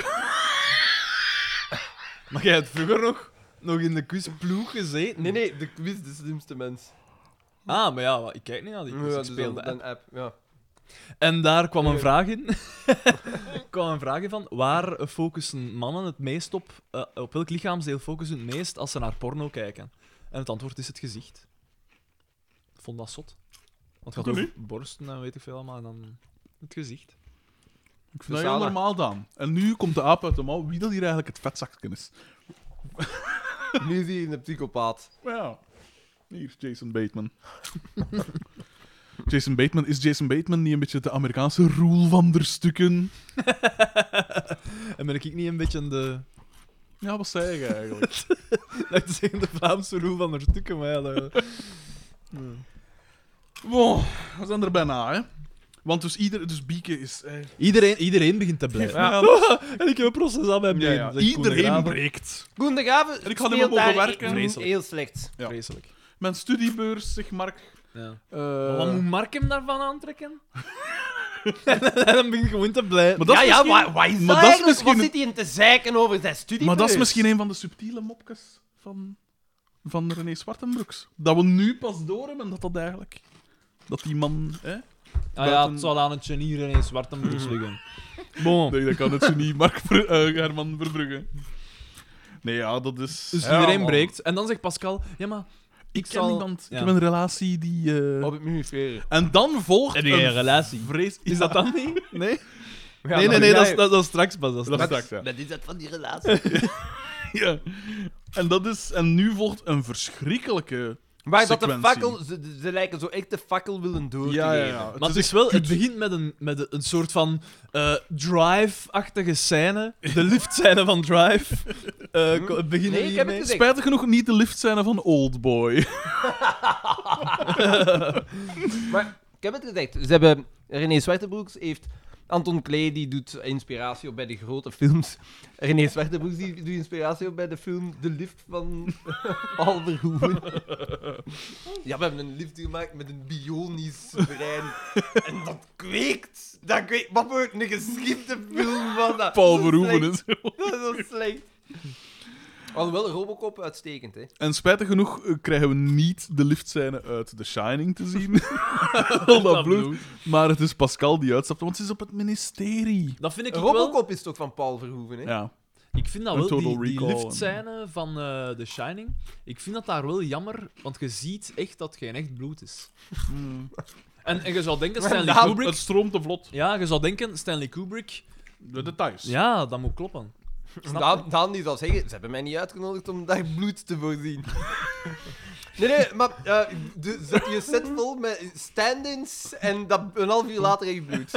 Speaker 3: Maar jij hebt vroeger nog, nog in de quizploeg gezeten.
Speaker 2: Nee, nee, de quiz de slimste mens.
Speaker 3: Ah, maar ja, maar ik kijk niet naar die
Speaker 2: Ja,
Speaker 3: quiz. ik
Speaker 2: dus dan,
Speaker 3: speel de app.
Speaker 2: dan app. Ja.
Speaker 3: En daar kwam een
Speaker 2: Eh.
Speaker 3: vraag in. <laughs> Er kwam een vraag in van waar focussen mannen het meest op? eh, op welk lichaamsdeel focussen ze het meest als ze naar porno kijken? En het antwoord is het gezicht. Ik vond dat zot. Want het gaat
Speaker 1: Oké.
Speaker 3: over borsten en weet ik veel allemaal. En dan het gezicht.
Speaker 1: Ik vind dat heel
Speaker 2: Zalig.
Speaker 1: Nou normaal, Daan. En nu komt de aap uit de mouw. Wie dat hier eigenlijk het vetzakje is.
Speaker 2: Nu zie je een psychopaat.
Speaker 1: Ja. Hier, Jason <laughs> Bateman. Jason Bateman, is Jason Bateman niet een beetje de Amerikaanse roel van der stukken?
Speaker 3: En ben ik niet een beetje de, <laughs>
Speaker 1: Ja, wat zei je eigenlijk?
Speaker 3: laat ik zeggen, de Vlaamse roel van de stukken? Maar ja, dat-
Speaker 1: Wow, we zijn er bijna, hè. Want dus, ieder, dus Bieke is... eh,
Speaker 3: iedereen, iedereen begint te blijven.
Speaker 1: Ja.
Speaker 3: <laughs> en ik heb een proces aan mijn been. zegt Koen de
Speaker 1: iedereen
Speaker 3: Graven.
Speaker 1: breekt.
Speaker 2: Koen de Graven
Speaker 1: En ik had hem
Speaker 2: speelt
Speaker 1: op mogen
Speaker 2: daar
Speaker 1: werken.
Speaker 2: e-
Speaker 3: Vreselijk.
Speaker 2: Heel slecht.
Speaker 1: Ja.
Speaker 3: Vreselijk.
Speaker 1: Mijn studiebeurs, zeg Mark.
Speaker 3: Ja.
Speaker 1: eh,
Speaker 3: Maar Wat moet Mark hem daarvan aantrekken? <laughs> en dan ben ik gewoon te blij.
Speaker 1: Maar dat
Speaker 2: ja,
Speaker 1: is
Speaker 2: ja,
Speaker 1: misschien-
Speaker 2: waar, waar is
Speaker 1: maar
Speaker 2: dat
Speaker 1: dat is
Speaker 2: eigenlijk?
Speaker 1: misschien
Speaker 2: Wat
Speaker 1: een-
Speaker 2: zit hij in te zeiken over zijn studie?
Speaker 1: Maar dat is misschien een van de subtiele mopjes van, van René Swartenbroeks. Dat we nu pas door hebben dat dat eigenlijk. Dat die man. Hè,
Speaker 3: Ah ja, het zal aan het genier en een zwarte broek
Speaker 2: Hmm. <laughs>
Speaker 3: liggen. Bon.
Speaker 1: Nee, dat kan het zo niet, Mark Ver- eh, Herman Verbrugge. Nee, ja, dat is...
Speaker 3: Dus
Speaker 1: Ja,
Speaker 3: iedereen
Speaker 1: man.
Speaker 3: breekt. En dan zegt Pascal, ja maar...
Speaker 1: Ik ken
Speaker 3: zal-
Speaker 1: iemand,
Speaker 3: ja.
Speaker 1: ik heb een relatie die... eh,
Speaker 2: Op het minister.
Speaker 1: En dan volgt
Speaker 3: Heb je een
Speaker 1: een
Speaker 3: relatie?
Speaker 1: vrees...
Speaker 3: Is dat dan niet? Nee?
Speaker 2: Ja,
Speaker 3: nee, nee,
Speaker 2: maar-
Speaker 3: nee, dat is, dat, dat is straks pas. Dat is
Speaker 1: Dat is
Speaker 3: straks.
Speaker 1: straks, ja.
Speaker 4: Dat is dat van die relatie.
Speaker 1: ja. En, dat is, en nu volgt een verschrikkelijke...
Speaker 2: Maar dat de
Speaker 1: sequentie.
Speaker 2: fakkel, ze, ze lijken zo echt de fakkel willen door te geven.
Speaker 3: Maar het, is wel, het begint met een, met een- een soort van eh, Drive-achtige scène. De liftscène van Drive. <laughs> Eh, ko- beginnen
Speaker 2: Nee,
Speaker 3: we
Speaker 2: ik heb
Speaker 3: hiermee?
Speaker 2: het gezegd.
Speaker 1: Spijtig genoeg niet de lift zijn van Oldboy.
Speaker 2: Maar ik heb het gezegd. Ze hebben René Zwartebroeks heeft Anton Klee die doet inspiratie op bij de grote films. René Zwartebroeks die doet inspiratie op bij de film De Lift van <laughs> Paul Verhoeven. Ja, we hebben een lift gemaakt met een bionisch brein. En dat kweekt. Dat kweekt. Wat voor een geschikte film van
Speaker 1: <laughs>
Speaker 2: dat.
Speaker 1: Paul
Speaker 2: Dat is
Speaker 1: Verhoeven
Speaker 2: slecht.
Speaker 1: en zo.
Speaker 2: Dat is zo slecht. Alhoewel, Robocop uitstekend, hè.
Speaker 1: En spijtig genoeg eh, krijgen we niet de liftscène uit The Shining te <laughs> zien. Al dat bloed. Maar het is Pascal die uitstapt, want ze is op het ministerie.
Speaker 3: Dat vind ik ook wel...
Speaker 2: Robocop is toch van Paul Verhoeven, hè?
Speaker 1: Ja.
Speaker 3: Ik vind dat
Speaker 1: Een
Speaker 3: wel, die,
Speaker 1: Total
Speaker 3: die
Speaker 1: Recall en-
Speaker 3: liftscène van eh, The Shining, ik vind dat daar wel jammer, want je ziet echt dat het geen echt bloed is.
Speaker 2: Hmm.
Speaker 3: <laughs> En, en je
Speaker 2: <laughs>
Speaker 3: zou denken, Stanley
Speaker 1: Nou,
Speaker 3: Kubrick...
Speaker 1: het stroomt te vlot.
Speaker 3: Ja, je zou denken, Stanley Kubrick...
Speaker 1: De details.
Speaker 3: Ja, dat moet kloppen. Snap je?
Speaker 2: Daan, Daan die zal zeggen, ze hebben mij niet uitgenodigd om daar bloed te voorzien. <laughs> nee, nee, maar eh, de, zet je set vol met stand-ins en dat, een half uur later heb je bloed.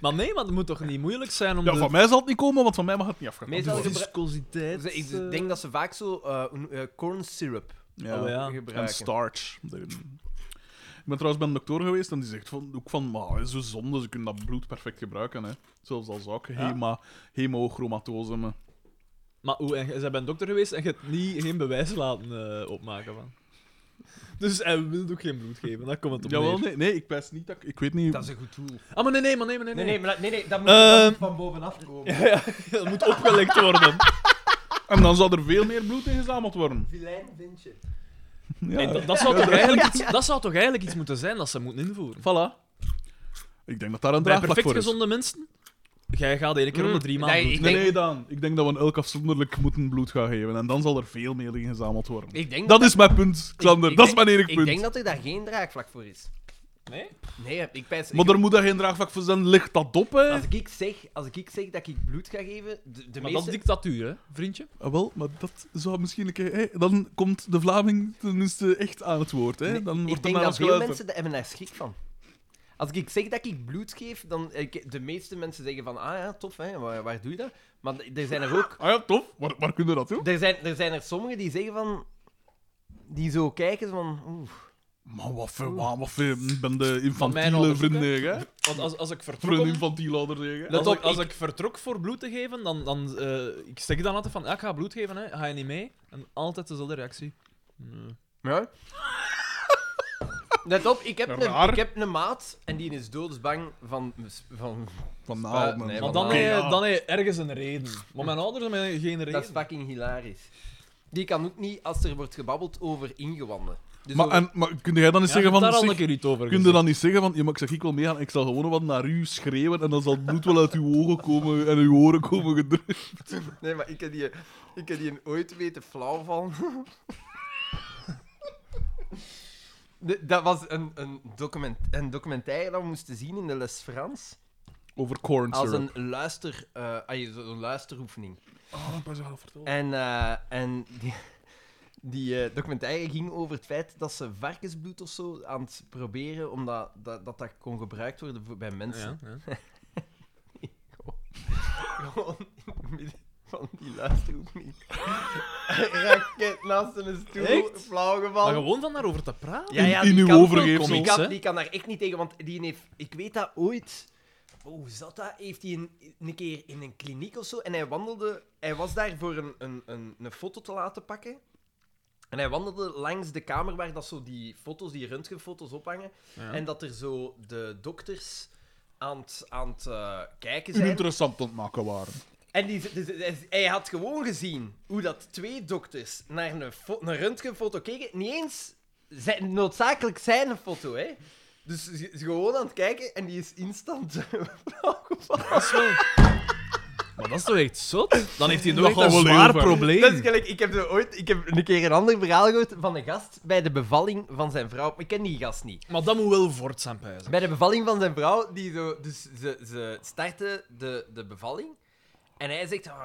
Speaker 3: Maar nee, maar het moet toch niet moeilijk zijn om
Speaker 1: Ja,
Speaker 3: de...
Speaker 1: van mij zal het niet komen, want van mij mag het niet afgaan.
Speaker 2: Meestal
Speaker 1: Dat is-
Speaker 2: gebru-
Speaker 3: viscositeit...
Speaker 2: Dus ik
Speaker 3: eh,
Speaker 2: denk dat ze vaak zo eh, een, eh, corn syrup
Speaker 1: Ja.
Speaker 3: Oh, ja.
Speaker 1: En
Speaker 2: gebruiken.
Speaker 1: starch. De- Ik ben trouwens bij een dokter geweest en die zegt van, ook van, maar het is zo zonde, ze kunnen dat bloed perfect gebruiken. Hè. Zelfs al zou ik hema, eh, hemochromatose... me-
Speaker 3: Maar hoe, en, je- ze hebben een dokter geweest en je hebt niet, geen bewijs laten eh, opmaken van. Dus hij wil ook geen bloed geven, daar komt het op
Speaker 1: Jawel,
Speaker 3: neer.
Speaker 1: nee, nee, ik wijs niet dat ik... Ik weet niet...
Speaker 2: Dat is een goed tool.
Speaker 3: Ah, maar nee, nee, maar nee, maar nee, nee.
Speaker 2: maar dat, nee, nee, dat
Speaker 1: Eh,
Speaker 2: moet,
Speaker 3: dat moet
Speaker 2: van bovenaf komen.
Speaker 3: Ja, ja, dat moet opgelekt worden.
Speaker 1: <laughs> En dan zou er veel meer bloed ingezameld worden.
Speaker 2: Vilijn vind je.
Speaker 1: Ja.
Speaker 3: En dat, dat, zou toch
Speaker 1: <laughs>
Speaker 3: eigenlijk iets, dat zou toch eigenlijk iets moeten zijn dat ze moeten invoeren?
Speaker 1: Voilà. Ik denk dat daar een
Speaker 3: Bij
Speaker 1: draagvlak
Speaker 3: perfect
Speaker 1: voor is.
Speaker 3: gezonde mensen? Jij gaat één keer om de drie
Speaker 2: Mm,
Speaker 3: maanden
Speaker 2: nee,
Speaker 3: bloed.
Speaker 1: Nee,
Speaker 2: Ik
Speaker 1: nee, Daan. Ik denk dat we een elk afzonderlijk moeten bloed gaan geven. En dan zal er veel meer ingezameld worden.
Speaker 2: Ik denk
Speaker 1: Dat is mijn punt, Xander.
Speaker 2: ik
Speaker 1: dat is
Speaker 2: denk-
Speaker 1: mijn enig
Speaker 2: Ik
Speaker 1: punt.
Speaker 2: denk dat er daar geen draagvlak voor is.
Speaker 3: Nee?
Speaker 2: Nee, ik pijs...
Speaker 1: Maar er moet daar geen draagvlak voor zijn. Ligt dat op, hè?
Speaker 2: Als ik, zeg, als ik zeg dat ik bloed ga geven, de, de
Speaker 3: Maar dat
Speaker 2: meeste...
Speaker 3: is dictatuur, hè, vriendje?
Speaker 1: Ah, wel, maar dat zou misschien een keer... hè, dan komt de Vlaming tenminste echt aan het woord, hè?
Speaker 2: Nee,
Speaker 1: Dan wordt
Speaker 2: ik
Speaker 1: er
Speaker 2: denk
Speaker 1: naar
Speaker 2: dat
Speaker 1: ons
Speaker 2: veel
Speaker 1: geluisterd.
Speaker 2: mensen daar hebben daar schrik van. Als ik zeg dat ik bloed geef, dan... Ik, de meeste mensen zeggen van, ah ja, tof, hè, waar, waar doe je dat? Maar d- er zijn er ook...
Speaker 1: Ah ja, tof. Waar, waar kunnen we dat doen?
Speaker 2: Er zijn er, zijn er sommigen die zeggen van... Die zo kijken van... Oeh,
Speaker 1: Maar wat voor... wa- Wat voor... Ik ben de
Speaker 3: mijn
Speaker 1: infantiele
Speaker 3: onderzoek, hè.
Speaker 1: vriendin, hè?
Speaker 3: Want als, als ik vertrok...
Speaker 1: Voor een
Speaker 3: om-
Speaker 1: infantiele ouder, Ah, zeg, hè?
Speaker 3: Let
Speaker 2: Als
Speaker 3: op,
Speaker 2: ik-
Speaker 3: als ik vertrok voor bloed te geven, dan, dan eh, ik zeg dan altijd van, ja, ik ga bloed geven, hè. ga je niet mee? En altijd dezelfde reactie. Nee.
Speaker 2: Ja. Let op, ik heb,
Speaker 1: Raar.
Speaker 2: een, ik heb een maat en die is doodsbang van... van
Speaker 1: Van nou,
Speaker 2: Ah,
Speaker 1: man.
Speaker 2: nee,
Speaker 3: Maar
Speaker 2: want
Speaker 3: dan
Speaker 2: Oké,
Speaker 3: heb
Speaker 1: ja.
Speaker 3: je dan heb je ergens een reden. Maar mijn ouders hebben geen
Speaker 2: dat is
Speaker 3: reden.
Speaker 2: fucking hilarisch. Die kan ook niet als er wordt gebabbeld over ingewanden. Dus
Speaker 1: Maar,
Speaker 2: over-
Speaker 1: en, maar kun jij dan niet
Speaker 3: Ja,
Speaker 1: zeggen
Speaker 3: ik heb
Speaker 1: van...
Speaker 3: daar al
Speaker 1: zeg,
Speaker 3: een keer iets over
Speaker 1: Kun je
Speaker 3: gezegd.
Speaker 1: dan niet zeggen van, ja, maar ik zeg ik wil meegaan, ik zal gewoon wat naar u schreeuwen en dan zal het bloed wel uit uw ogen komen en uw oren komen gedrukt.
Speaker 2: Nee, maar ik heb die, ik heb die ooit weten flauw van. De- dat was een, een, document, een documentaire dat we moesten zien in de les Frans.
Speaker 1: Over corn
Speaker 2: Als
Speaker 1: syrup.
Speaker 2: een, luister, eh, ah, je- zo'n luisteroefening. En, eh, en die, die eh, documentaire ging over het feit dat ze varkensbloed of zo aan het proberen, omdat dat dat, dat kon gebruikt worden voor, bij mensen.
Speaker 3: Ja, ja.
Speaker 2: Gewoon in het midden van die luisteroefening. Raket naast een stoel,
Speaker 3: Echt?
Speaker 2: flauw
Speaker 3: Maar
Speaker 2: gevallen.
Speaker 3: gewoon van daarover te praten?
Speaker 1: In- in
Speaker 2: die
Speaker 1: uw
Speaker 2: kan-
Speaker 1: overgeefsel.
Speaker 2: Die
Speaker 3: Comics, hè?
Speaker 2: kan, die kan daar echt niet tegen, want die heeft... Ik weet dat ooit... Oh, hoe zat dat? Heeft hij een, een keer in een kliniek of zo... En hij wandelde... Hij was daar voor een, een, een, een foto te laten pakken. En hij wandelde langs de kamer waar dat zo die foto's, die röntgenfoto's ophangen.
Speaker 3: Ja.
Speaker 2: En dat er zo de dokters aan het, aan het eh, kijken
Speaker 1: U
Speaker 2: zijn.
Speaker 1: interessant aan het maken waren.
Speaker 2: En die, dus- dus- hij had gewoon gezien hoe dat twee dokters naar een, fo- een röntgenfoto keken. Niet eens zijn, noodzakelijk zijn foto, hè. Dus ze ze is gewoon aan het kijken en die is instant <laughs>
Speaker 3: Dat is wel... Maar dat is toch echt zot? Dan heeft hij nog
Speaker 1: Dat
Speaker 3: een
Speaker 1: is wel heel
Speaker 3: zwaar
Speaker 1: ver.
Speaker 3: probleem.
Speaker 2: Dat is gelijk, ik heb, zo ooit, ik heb een keer een ander verhaal gehoord van een gast bij de bevalling van zijn vrouw. Ik ken die gast niet.
Speaker 3: Maar dat moet wel voort zijn, pijzen.
Speaker 2: Bij de bevalling van zijn vrouw, die zo, dus ze, ze starten de, de bevalling. En hij zegt, "Ah,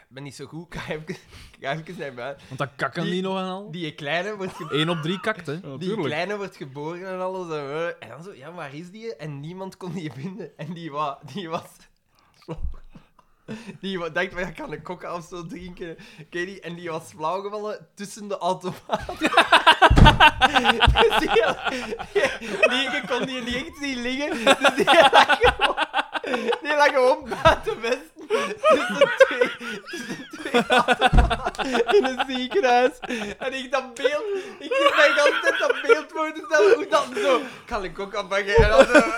Speaker 2: ik ben niet zo goed, ik ga even, ik ga even naar buiten.
Speaker 3: Want dat kakken die,
Speaker 2: Die-
Speaker 3: nog aan al.
Speaker 2: Die kleine wordt, ge-
Speaker 3: 1 op 3 kakt, hè.
Speaker 1: Ja,
Speaker 2: die
Speaker 1: tuurlijk.
Speaker 2: kleine wordt geboren en alles. En, eh, en dan zo, ja, waar is die? En niemand kon die vinden. En die, wa, die was... <laughs> Die wa- dacht, "Maar ik kan een coca of zo drinken. Ken je die? En die was flauwgevallen tussen de automaat. <laughs> dus die, die, die kon die niet echt zien liggen. Dus die lag gewoon, die lag gewoon buiten westen. Tussen twee, tussen twee automaten in een ziekenhuis. En ik dat beeld... Ik zit mij altijd dat beeld voor te stellen. Hoe dat zo... Ik ga een coca pakken. En dan zo... <laughs>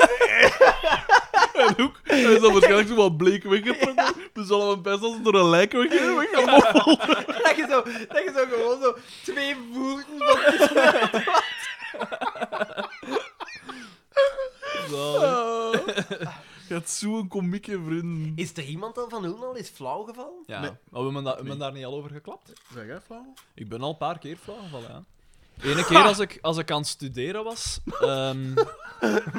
Speaker 1: En ook, hij is dan waarschijnlijk zo wat bleek weggetrokken. Dus zal hem best als het door een lijk weggeven. Ik ga hem opvallen.
Speaker 2: Dat je, zo, dat je zo gewoon zo twee voeten van tussen
Speaker 1: Je hebt zo'n komieke vriend.
Speaker 2: Is er iemand al van hun al is flauw <laughs> gevallen?
Speaker 3: Ja. Maar we hebben, da- we hebben daar niet al over geklapt.
Speaker 1: Zeg jij flauw?
Speaker 3: Ik ben al een paar keer flauw gevallen, ja. Ene keer als ik, als ik aan het studeren was... ehm,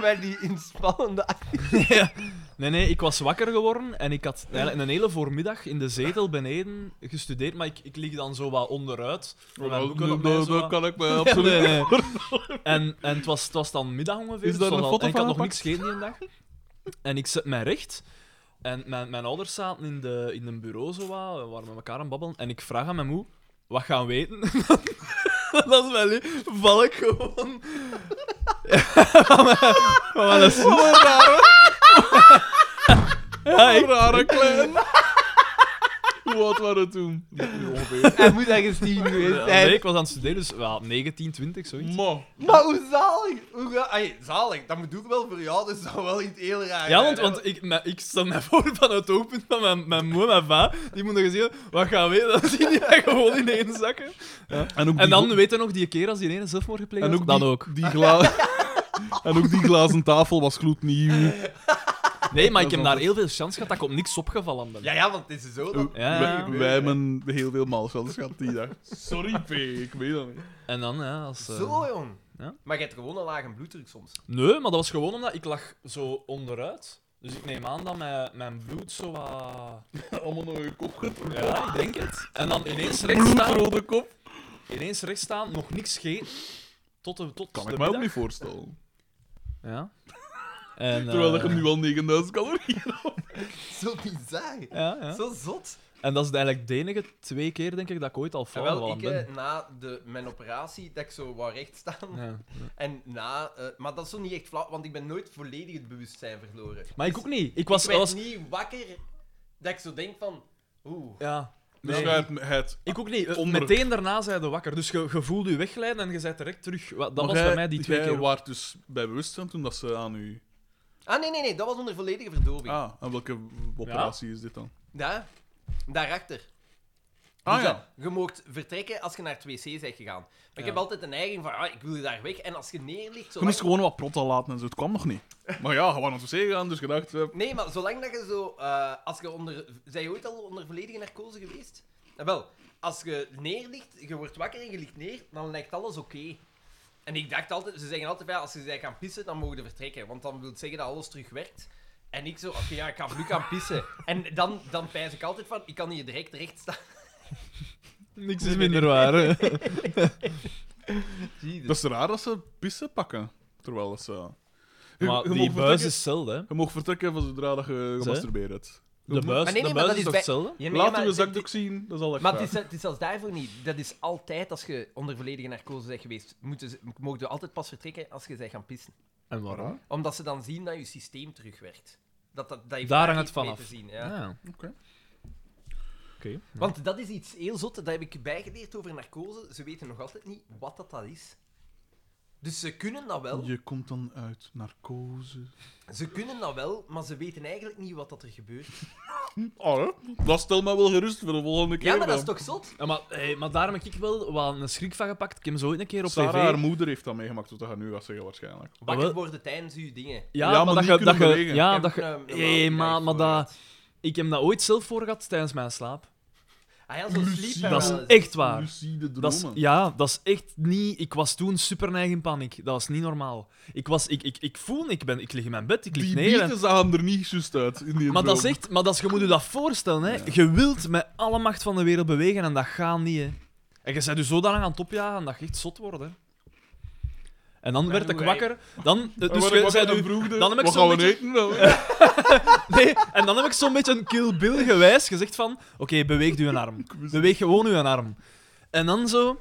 Speaker 2: Bij die inspannende act-
Speaker 3: Ja. Nee, nee, ik was wakker geworden en ik had eigenlijk een hele voormiddag in de zetel beneden gestudeerd, maar ik, ik lig dan zo wat onderuit. met mijn boeken op mij zo
Speaker 1: Nou, Dat
Speaker 3: wat.
Speaker 1: kan ik
Speaker 3: <laughs>
Speaker 1: mij absoluut
Speaker 3: Nee, nee.
Speaker 1: <laughs>
Speaker 3: En, en het, was, het was dan middag ongeveer. dus
Speaker 1: Is
Speaker 3: het
Speaker 1: daar
Speaker 3: was
Speaker 1: een
Speaker 3: al-
Speaker 1: foto
Speaker 3: en ik
Speaker 1: van
Speaker 3: had nog niks
Speaker 1: gepakt?
Speaker 3: gegeten die een dag. En ik zet mij recht. En mijn, mijn ouders zaten in, de, in een bureau zo wat, we waren met elkaar aan het babbelen. En ik vraag aan mijn moe, wat gaan we eten? <laughs> Dat is wel val ik gewoon. <laughs> Ja, maar dat is <laughs> Ja, ik-
Speaker 1: rare klein. Hoe oud waren we toen? Ongeveer.
Speaker 2: Hij moet ergens tien geweest
Speaker 3: Ja,
Speaker 2: zijn.
Speaker 3: nee, ik was aan het studeren, dus wel, 19, 20, zoiets.
Speaker 1: Ma.
Speaker 2: Maar hoe zalig? Hoe ga- Ai, zalig, dat moet ook wel voor jou, dus dat zou wel iets heel raar
Speaker 3: Ja,
Speaker 2: zijn,
Speaker 3: want,
Speaker 2: hè?
Speaker 3: want ik, maar ik stel mij voor van het oogpunt van mijn, mijn moe en mijn va, die moeten gezien wat gaan we <laughs> eten? Dan zien die mij gewoon in één zakken.
Speaker 1: En, ook
Speaker 3: En
Speaker 1: die
Speaker 3: dan
Speaker 1: gla-
Speaker 3: weten we nog die keer als die ene zelfmoord gepleegd
Speaker 1: en
Speaker 3: had,
Speaker 1: ook
Speaker 3: dan
Speaker 1: die,
Speaker 3: ook.
Speaker 1: Die gla-
Speaker 3: <laughs>
Speaker 1: en ook die glazen tafel was gloednieuw.
Speaker 3: Nee, maar ik
Speaker 1: Dat
Speaker 3: heb
Speaker 1: is
Speaker 3: daar heel veel chance gehad dat ik op niks opgevallen ben.
Speaker 2: Ja, ja, want het is zo dat...
Speaker 3: Ja,
Speaker 1: Wij-
Speaker 3: ja.
Speaker 1: Wij hebben heel veel maalschans gehad die dag. Sorry, P, ik weet dat niet.
Speaker 3: En dan, ja, als... eh,
Speaker 2: Zo, jong.
Speaker 3: Ja.
Speaker 2: Maar je hebt gewoon een lage bloeddruk soms.
Speaker 3: Nee, maar dat was gewoon omdat ik lag zo onderuit. Dus ik neem aan dat mijn, mijn bloed zo wat...
Speaker 1: Allemaal nog je kop getrokken.
Speaker 3: Ja, ik denk het. En dan ineens rechts staan,
Speaker 1: Bloedrode kop.
Speaker 3: ineens rechts staan nog niks gegeten. Tot de, tot
Speaker 1: Kan
Speaker 3: de
Speaker 1: ik mij ook
Speaker 3: middag.
Speaker 1: niet voorstellen.
Speaker 3: Ja. En,
Speaker 1: Terwijl
Speaker 3: eh,
Speaker 1: ik hem nu al 9000 calorieën
Speaker 2: Zo bizar.
Speaker 3: Ja, ja.
Speaker 2: Zo zot.
Speaker 3: En dat is eigenlijk de enige twee keer, denk ik, dat ik ooit al
Speaker 2: En wel,
Speaker 3: flauwgevallen
Speaker 2: ik, eh,
Speaker 3: ben.
Speaker 2: na de, mijn operatie, dat ik zo wou recht staan.
Speaker 3: Ja.
Speaker 2: En na... eh, maar dat is zo niet echt flauw, want ik ben nooit volledig het bewustzijn verloren.
Speaker 3: Maar ik ook niet. Ik was...
Speaker 2: Dus ik werd
Speaker 3: was
Speaker 2: niet wakker dat ik zo denk van... Oeh.
Speaker 3: ja.
Speaker 1: Dus
Speaker 3: Nee.
Speaker 1: jij hebt het.
Speaker 3: Ik ook niet. Eh,
Speaker 1: Onder-
Speaker 3: Meteen daarna zijn je wakker. Dus je, je voelde je wegglijden en je bent direct terug. Wa- Dat
Speaker 1: Maar
Speaker 3: was bij
Speaker 1: jij-
Speaker 3: mij die twee
Speaker 1: jij
Speaker 3: keer.
Speaker 1: waart dus bij bewustzijn toen dat ze aan u...
Speaker 2: Ah, nee, nee, nee. Dat was onder volledige verdoving.
Speaker 1: Ah, en welke operatie is dit dan?
Speaker 2: Daar. Daarachter.
Speaker 1: Ah
Speaker 2: Dus
Speaker 1: ja.
Speaker 2: dat- je moogt vertrekken als je naar het wc bent gegaan. Maar ik heb altijd een neiging van, ah, ik wil daar weg. En als je neerligt...
Speaker 1: Je
Speaker 2: Zolang...
Speaker 1: moest gewoon wat protten laten en zo. Het kwam nog
Speaker 2: <laughs>
Speaker 1: niet. Maar ja, gewoon naar het wc gaan, dus gedacht... eh,
Speaker 2: Nee, maar zolang dat je zo... eh, als je onder... Zijn je ooit al onder volledige narcose geweest? Nou, wel, als je neerligt, je wordt wakker en je ligt neer, dan lijkt alles oké. En ik dacht altijd... Ze zeggen altijd, ja, als je zij gaan pissen, dan mogen je vertrekken. Want dan wil het zeggen dat alles terug werkt. En ik zo, oké, ja, ik ga nu gaan pissen. En dan, dan pijs ik altijd van, ik kan hier direct recht staan.
Speaker 3: Niks is minder waar. hè.
Speaker 1: dat is raar dat ze pissen pakken. Terwijl dat ze... Je-
Speaker 3: Maar
Speaker 1: je mocht
Speaker 3: die buis
Speaker 1: vertrekken-
Speaker 3: is hetzelfde. hè.
Speaker 1: Je mag vertrekken van zodra dat je
Speaker 3: Ze?
Speaker 1: gemasturbeerd hebt.
Speaker 3: De
Speaker 1: moet-
Speaker 3: buis,
Speaker 2: Maar nee,
Speaker 3: de
Speaker 2: nee, maar
Speaker 3: buis
Speaker 2: dat
Speaker 3: is
Speaker 2: is
Speaker 3: toch
Speaker 2: bij-
Speaker 3: hetzelfde?
Speaker 2: Ja, nee,
Speaker 1: Laat
Speaker 2: maar
Speaker 1: uw
Speaker 2: dit-
Speaker 1: zakdoek zien, dat is al echt
Speaker 2: Maar het
Speaker 1: waar.
Speaker 2: is, het is zelfs daarvoor niet. Dat is altijd als je onder volledige narcose bent geweest. Moeten ze, mogen je altijd pas vertrekken als je bent gaan pissen.
Speaker 3: En waarom?
Speaker 2: Omdat ze dan zien dat je systeem terugwerkt. Dat, dat, dat heeft
Speaker 3: Daar
Speaker 2: daar
Speaker 3: hangt
Speaker 2: iets
Speaker 3: het
Speaker 2: mee
Speaker 3: vanaf.
Speaker 2: Te zien, ja.
Speaker 3: Ja.
Speaker 1: Oké.
Speaker 3: Oké.
Speaker 2: Want dat is iets heel zot. Dat heb ik bijgeleerd over narcose. Ze weten nog altijd niet wat dat, dat is. Dus ze kunnen dat wel.
Speaker 1: Je komt dan uit narcose.
Speaker 2: Ze kunnen dat wel, maar ze weten eigenlijk niet wat dat er gebeurt.
Speaker 1: Oh, hè? dat stel mij wel gerust voor de volgende keer.
Speaker 2: Ah, Ja, maar dat is
Speaker 1: dan.
Speaker 2: toch zot?
Speaker 3: Ja, maar, hey, maar daar heb ik wel wel een schrik van gepakt. Ik heb zo ooit een keer op
Speaker 1: Sarah,
Speaker 3: tv...
Speaker 1: haar moeder heeft dat meegemaakt, wat dat gaat nu gaat zeggen waarschijnlijk.
Speaker 2: Wakker
Speaker 3: wel.
Speaker 2: worden tijdens uw dingen.
Speaker 3: Ja,
Speaker 1: Ja, maar
Speaker 3: maar, dat
Speaker 1: die
Speaker 3: je... Dat
Speaker 1: kunnen
Speaker 3: je
Speaker 1: bewegen.
Speaker 3: ja,
Speaker 2: Ik
Speaker 3: dat
Speaker 2: heb eh,
Speaker 3: je...
Speaker 2: een- een
Speaker 3: Hé,
Speaker 2: maand
Speaker 3: maar, maar
Speaker 2: voor
Speaker 3: dat... Ik heb dat ooit zelf voor gehad tijdens mijn slaap.
Speaker 2: Ah ja, zo'n sleep
Speaker 3: Dat
Speaker 2: paralysis.
Speaker 3: is echt waar.
Speaker 1: Lucide dromen.
Speaker 3: Dat is, ja, dat is echt niet... Ik was toen super neig in paniek. Dat was niet normaal. Ik, was, ik, ik, ik voel... Ik, ben, ik lig in mijn bed, ik lig
Speaker 1: Die
Speaker 3: neer... en-
Speaker 1: bieten zagen er niet juist uit in die
Speaker 3: Maar dat is
Speaker 1: dromen.
Speaker 3: echt... Maar dat is, je moet je dat voorstellen, hè. Je wilt met alle macht van de wereld bewegen en dat gaat niet, hè. En je bent je zodanig aan het opjagen dat je echt zot wordt, hè. En dan werd ik
Speaker 2: hoe
Speaker 3: wakker. Dan, eh,
Speaker 1: En
Speaker 3: dus
Speaker 1: waar
Speaker 3: je,
Speaker 1: ik
Speaker 3: zei
Speaker 1: wakker
Speaker 3: u-
Speaker 1: en vroegde,
Speaker 3: dan heb ik
Speaker 1: wat
Speaker 3: zo'n
Speaker 1: gaan we
Speaker 3: beetje-
Speaker 1: eten? wel?
Speaker 3: nee, en dan heb ik zo'n beetje een Kill Bill gewijs gezegd van... Oké, beweeg uw arm. Beweeg gewoon uw arm. En dan zo...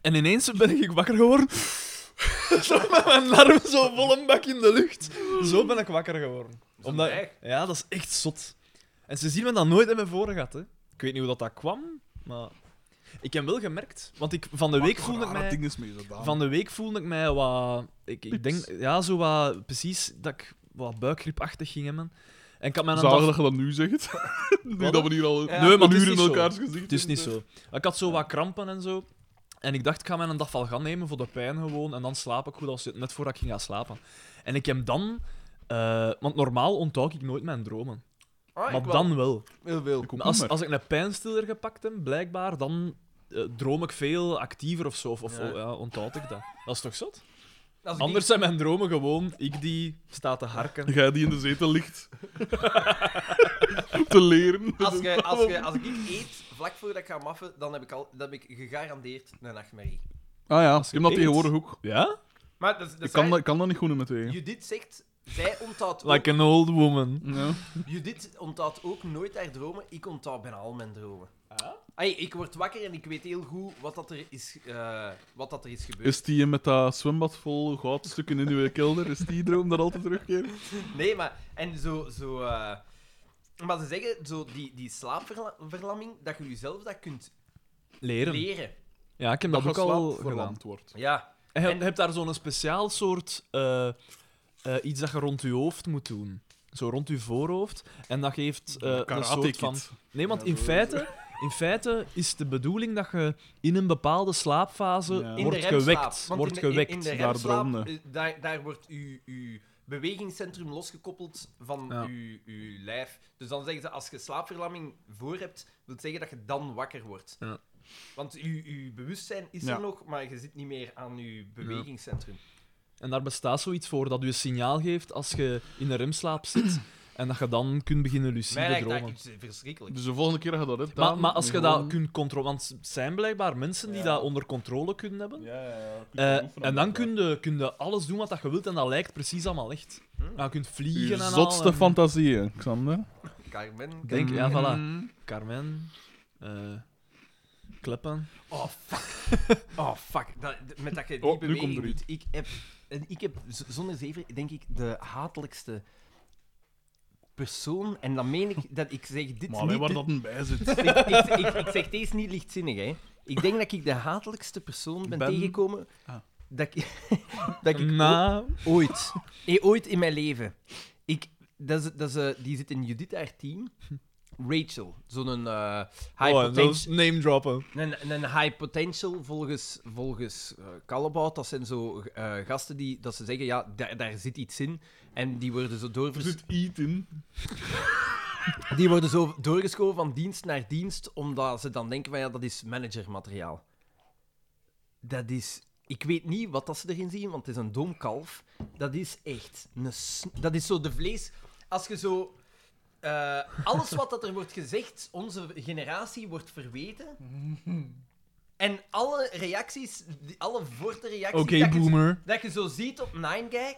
Speaker 3: En ineens ben ik wakker geworden. <laughs> zo met mijn arm zo vol een bak in de lucht. Zo ben ik wakker geworden. Omdat,
Speaker 2: erg?
Speaker 3: ja, dat is echt zot. En ze zien me dat nooit in mijn voren gehad, hè. Ik weet niet hoe dat, dat kwam, maar... Ik heb wel gemerkt, want ik, van de week
Speaker 1: Wat
Speaker 3: voelde ik
Speaker 1: rare
Speaker 3: mij...
Speaker 1: dingen is mee gedaan.
Speaker 3: Van de week voelde ik mij wat... Ik, ik denk,
Speaker 1: Pips.
Speaker 3: ja, zo wat... Precies dat ik wat buikgriepachtig ging hebben. En ik had mijn
Speaker 1: Zalig dat je dat nu <laughs> zegt. nu
Speaker 3: Wat?
Speaker 1: dat we hier al
Speaker 3: Nee, maar
Speaker 1: een
Speaker 3: het is
Speaker 1: uur in
Speaker 3: niet zo.
Speaker 1: elkaars gezicht
Speaker 3: Het is dus niet zo. Ik had zo wat krampen en zo. En ik dacht, ik ga mij een dafalgan nemen voor de pijn gewoon. En dan slaap ik goed, als, net voordat ik ging gaan slapen. En ik heb dan... eh, want normaal onthoud ik nooit mijn dromen.
Speaker 2: Ah, ik
Speaker 3: maar
Speaker 2: wel.
Speaker 3: dan wel.
Speaker 2: Heel veel.
Speaker 1: Ik ook
Speaker 3: Maar als,
Speaker 1: niet
Speaker 3: als ik een pijnstiller gepakt heb, blijkbaar, dan eh, droom ik veel actiever of zo. Of, of
Speaker 2: Ja.
Speaker 3: oh, ja, onthoud ik dat. Dat is toch zot?
Speaker 2: Als ik
Speaker 3: Anders zijn mijn dromen gewoon ik die sta te harken.
Speaker 1: meer. Jij die in de zetel ligt. <laughs> te leren.
Speaker 2: <laughs> Als, ge, als, ge, als ik eet, vlak voordat ik ga maffen, dan heb ik, al, dan heb ik gegarandeerd een nachtmerrie.
Speaker 1: Ah ja, ik heb dat
Speaker 3: eet.
Speaker 1: tegenwoordig ook.
Speaker 3: Ja?
Speaker 2: Maar dat, is- dat
Speaker 1: Ik kan,
Speaker 2: is
Speaker 1: dat,
Speaker 2: waar.
Speaker 1: ik kan dat niet goed doen met twee.
Speaker 2: Judith zegt, zij onthoudt, ook,
Speaker 3: Like an old woman.
Speaker 1: Ja.
Speaker 2: Judith onthoudt ook nooit haar dromen. Ik onthoud bijna al mijn dromen. Ai, ik word wakker en ik weet heel goed wat dat er is, eh, wat dat er is gebeurd.
Speaker 1: Is die met dat zwembad vol goudstukken in uw kelder, is die droom dat altijd terugkeert?
Speaker 2: Nee, maar... En zo... zo eh, maar ze zeggen, zo die, die slaapverlamming, dat je jezelf dat kunt
Speaker 3: Leren.
Speaker 2: leren.
Speaker 3: Ja, ik heb dat, ook al gedaan.
Speaker 1: wordt.
Speaker 2: Ja.
Speaker 3: En je
Speaker 2: En-
Speaker 3: je hebt daar zo'n speciaal soort eh, eh, iets dat je rond je hoofd moet doen. Zo rond je voorhoofd. En dat geeft eh, een
Speaker 1: Karate
Speaker 3: soort
Speaker 1: kid.
Speaker 3: van. Nee, want
Speaker 1: Ja,
Speaker 3: in
Speaker 1: zo.
Speaker 3: feite, in feite is de bedoeling dat je in een bepaalde slaapfase
Speaker 1: Ja. In
Speaker 2: In
Speaker 3: wordt
Speaker 2: de remslaap.
Speaker 3: gewekt.
Speaker 2: Want
Speaker 3: Wordt
Speaker 2: in de- in-
Speaker 3: gewekt.
Speaker 2: In de
Speaker 1: daar
Speaker 2: remslaap,
Speaker 1: droomde.
Speaker 2: eh, daar, daar wordt uw, uw bewegingscentrum losgekoppeld van
Speaker 3: Ja.
Speaker 2: uw, uw lijf. Dus dan zeggen ze, als je slaapverlamming voor hebt, wil zeggen dat je dan wakker wordt.
Speaker 3: Ja.
Speaker 2: Want uw, uw bewustzijn is
Speaker 1: Ja.
Speaker 2: er nog, maar je zit niet meer aan uw bewegingscentrum.
Speaker 3: En daar bestaat zoiets voor dat je een signaal geeft als je in de
Speaker 2: <clears throat>
Speaker 3: remslaap zit. en dat je dan kunt beginnen lucide
Speaker 2: Mij lijkt dat
Speaker 3: dromen.
Speaker 2: iets eh, verschrikkelijk.
Speaker 1: Dus de volgende keer dat je dat hebt
Speaker 3: Maar,
Speaker 1: Daan,
Speaker 3: maar als je
Speaker 1: gewoon-
Speaker 3: dat kunt controleren. Want het zijn blijkbaar mensen die
Speaker 1: Ja.
Speaker 3: dat onder controle kunnen hebben.
Speaker 1: Ja, ja, ja. Kun je
Speaker 3: Eh,
Speaker 1: oefenen
Speaker 3: en
Speaker 1: met
Speaker 3: dan
Speaker 1: dat.
Speaker 3: kun je, kun je alles doen wat dat je wilt en dat lijkt precies allemaal echt.
Speaker 1: Hm.
Speaker 3: Ja, je kunt vliegen
Speaker 1: Uw
Speaker 3: en al.
Speaker 1: zotste
Speaker 3: en-
Speaker 1: fantasieën, Xander.
Speaker 2: Carmen...
Speaker 3: Denk, ja, voilà.
Speaker 2: Mm-hmm.
Speaker 1: Mm.
Speaker 3: Carmen. eh kleppen.
Speaker 2: Oh, fuck.
Speaker 1: <laughs>
Speaker 2: Oh, fuck. Dat, d- met dat je die
Speaker 1: Oh, nu
Speaker 2: beweging
Speaker 1: komt er
Speaker 2: doet. Ik heb, en ik heb z- zonder zeven, denk ik, de hatelijkste persoon. En dan meen ik dat ik zeg dit
Speaker 1: Maar
Speaker 2: niet...
Speaker 1: wij waar
Speaker 2: dit-
Speaker 1: dat een bij zit.
Speaker 2: ik, ik, ik, ik zeg deze niet lichtzinnig, hè. Ik denk dat ik de hatelijkste persoon ben,
Speaker 3: Ben?
Speaker 2: tegengekomen
Speaker 1: Ah.
Speaker 2: dat ik, dat ik
Speaker 3: Na.
Speaker 2: o- ooit, eh, ooit in mijn leven... Ik, dat is, dat is, eh, die zit in Judith haar team. Rachel, zo'n eh high
Speaker 3: Oh, en
Speaker 2: potential...
Speaker 3: zelfs name droppen.
Speaker 2: Een, een high potential volgens, volgens eh, Callebaut, dat zijn zo eh, gasten die dat ze zeggen, ja, daar, daar zit iets in. En die worden zo,
Speaker 1: Er
Speaker 2: doorvers
Speaker 1: zit eat
Speaker 2: <laughs>
Speaker 1: in.
Speaker 2: die worden zo doorgeschoven van dienst naar dienst, omdat ze dan denken van, ja, dat is managermateriaal. Dat is... Ik weet niet wat dat ze erin zien, want het is een dom kalf. Dat is echt... Een s- dat is zo de vlees... Als je zo... eh, alles wat dat er wordt gezegd, onze generatie wordt verweten. En alle reacties, die- alle forte reacties...
Speaker 3: Oké,
Speaker 2: dat je-
Speaker 3: boomer.
Speaker 2: dat je zo ziet op Ninegag,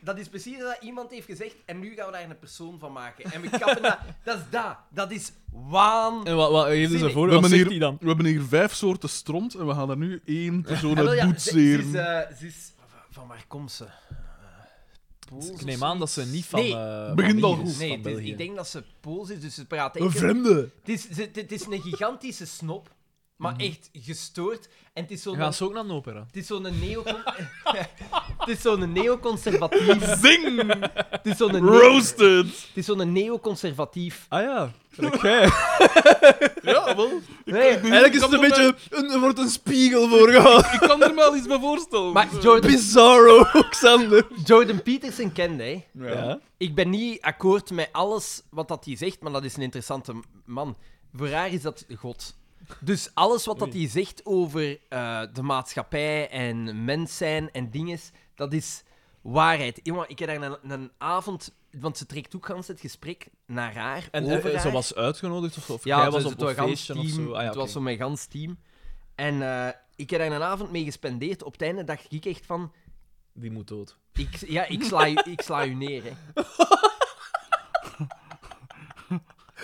Speaker 2: dat is precies dat iemand heeft gezegd en nu gaan we daar een persoon van maken. En we kappen
Speaker 3: <laughs>
Speaker 2: dat. Dat is dat. Dat is waan.
Speaker 3: En wat, wat geven ze
Speaker 2: Zie-
Speaker 3: voor?
Speaker 1: We
Speaker 3: Wat
Speaker 1: hebben,
Speaker 3: zegt
Speaker 1: hier,
Speaker 3: hij dan?
Speaker 1: we hebben hier vijf soorten stront en we gaan er nu één persoon
Speaker 2: <laughs> En Ah, wel,
Speaker 1: uit
Speaker 2: ja, ze, ze is,
Speaker 1: boetseren.
Speaker 2: eh, ze is- Van waar komt ze? Eh, Pools
Speaker 3: Ik
Speaker 2: of
Speaker 3: neem
Speaker 2: zo?
Speaker 3: aan dat ze niet van...
Speaker 2: Nee.
Speaker 3: eh,
Speaker 1: Begint
Speaker 3: van
Speaker 1: al
Speaker 3: hier
Speaker 1: goed.
Speaker 3: is,
Speaker 2: Nee,
Speaker 3: van
Speaker 2: het is-
Speaker 3: België.
Speaker 2: ik denk dat ze Pools is, dus ze praat
Speaker 3: Een
Speaker 2: enkel...
Speaker 3: vreemde.
Speaker 2: Het is, ze- het is een gigantische snop. Maar echt gestoord. En het is zo'n
Speaker 3: Mhm. Gaan ze ook naar een opera?
Speaker 2: het is zo'n neo <laughs> Het is zo'n neoconservatief. <laughs>
Speaker 1: Zing!
Speaker 2: Het is zo'n neo-
Speaker 1: Roasted!
Speaker 2: het is zo'n neoconservatief.
Speaker 3: Ah ja. Oké.
Speaker 1: Ja, wel.
Speaker 2: Nee,
Speaker 3: Eigenlijk is het een beetje... Een, er wordt een spiegel voor gehad.
Speaker 1: Ik kan er me al iets bij voorstellen.
Speaker 2: maar Jordan,
Speaker 3: Bizarro, <laughs> Xander.
Speaker 2: Jordan Peterson kende, hè.
Speaker 1: Ja.
Speaker 3: Ja.
Speaker 2: Ik ben niet akkoord met alles wat dat hij zegt, maar dat is een interessante man. Voor haar is dat God. Dus alles wat dat hij zegt over eh, de maatschappij en mens zijn en dingen, dat is waarheid. Jongen, ik heb daar een, een avond... Want ze trekt ook gans het gesprek naar haar,
Speaker 3: En
Speaker 2: over
Speaker 3: eh,
Speaker 2: haar.
Speaker 3: ze was uitgenodigd of, of
Speaker 2: Ja,
Speaker 3: jij
Speaker 2: het
Speaker 3: was
Speaker 2: was
Speaker 3: op een
Speaker 2: gans
Speaker 3: feestje of
Speaker 2: team,
Speaker 3: zo. Ah, ja,
Speaker 2: Het was
Speaker 3: oké.
Speaker 2: zo mijn gans team. En eh, ik heb daar een avond mee gespendeerd. Op het einde dacht ik echt van...
Speaker 3: Die moet dood.
Speaker 2: Ik, ja, ik sla, u- ik sla u neer, hè.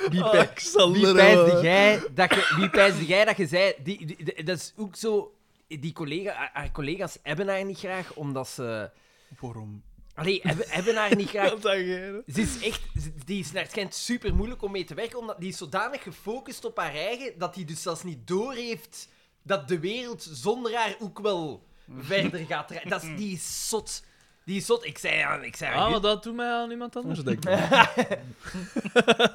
Speaker 2: Wie, pij- wie pijsde
Speaker 1: eh,
Speaker 2: jij dat je, wie pijsde jij dat je zei... Die, die- die- dat is ook zo... Die collega, haar- haar collega's hebben haar niet graag, omdat ze...
Speaker 1: Waarom?
Speaker 2: Allee, hebben, hebben haar niet
Speaker 1: <laughs>
Speaker 2: graag...
Speaker 3: dat jij?
Speaker 2: Ze is echt... ze- Die is naar het schijnt super moeilijk om mee te werken, omdat die is zodanig gefocust op haar eigen, dat die dus zelfs niet doorheeft dat de wereld zonder haar ook wel verder gaat draaien. Dat is, die is zot. Die is zot. Ik zei aan... Ik zei aan
Speaker 3: Ah,
Speaker 2: Jut-
Speaker 3: maar dat doet mij aan
Speaker 2: <laughs>
Speaker 3: iemand anders denken.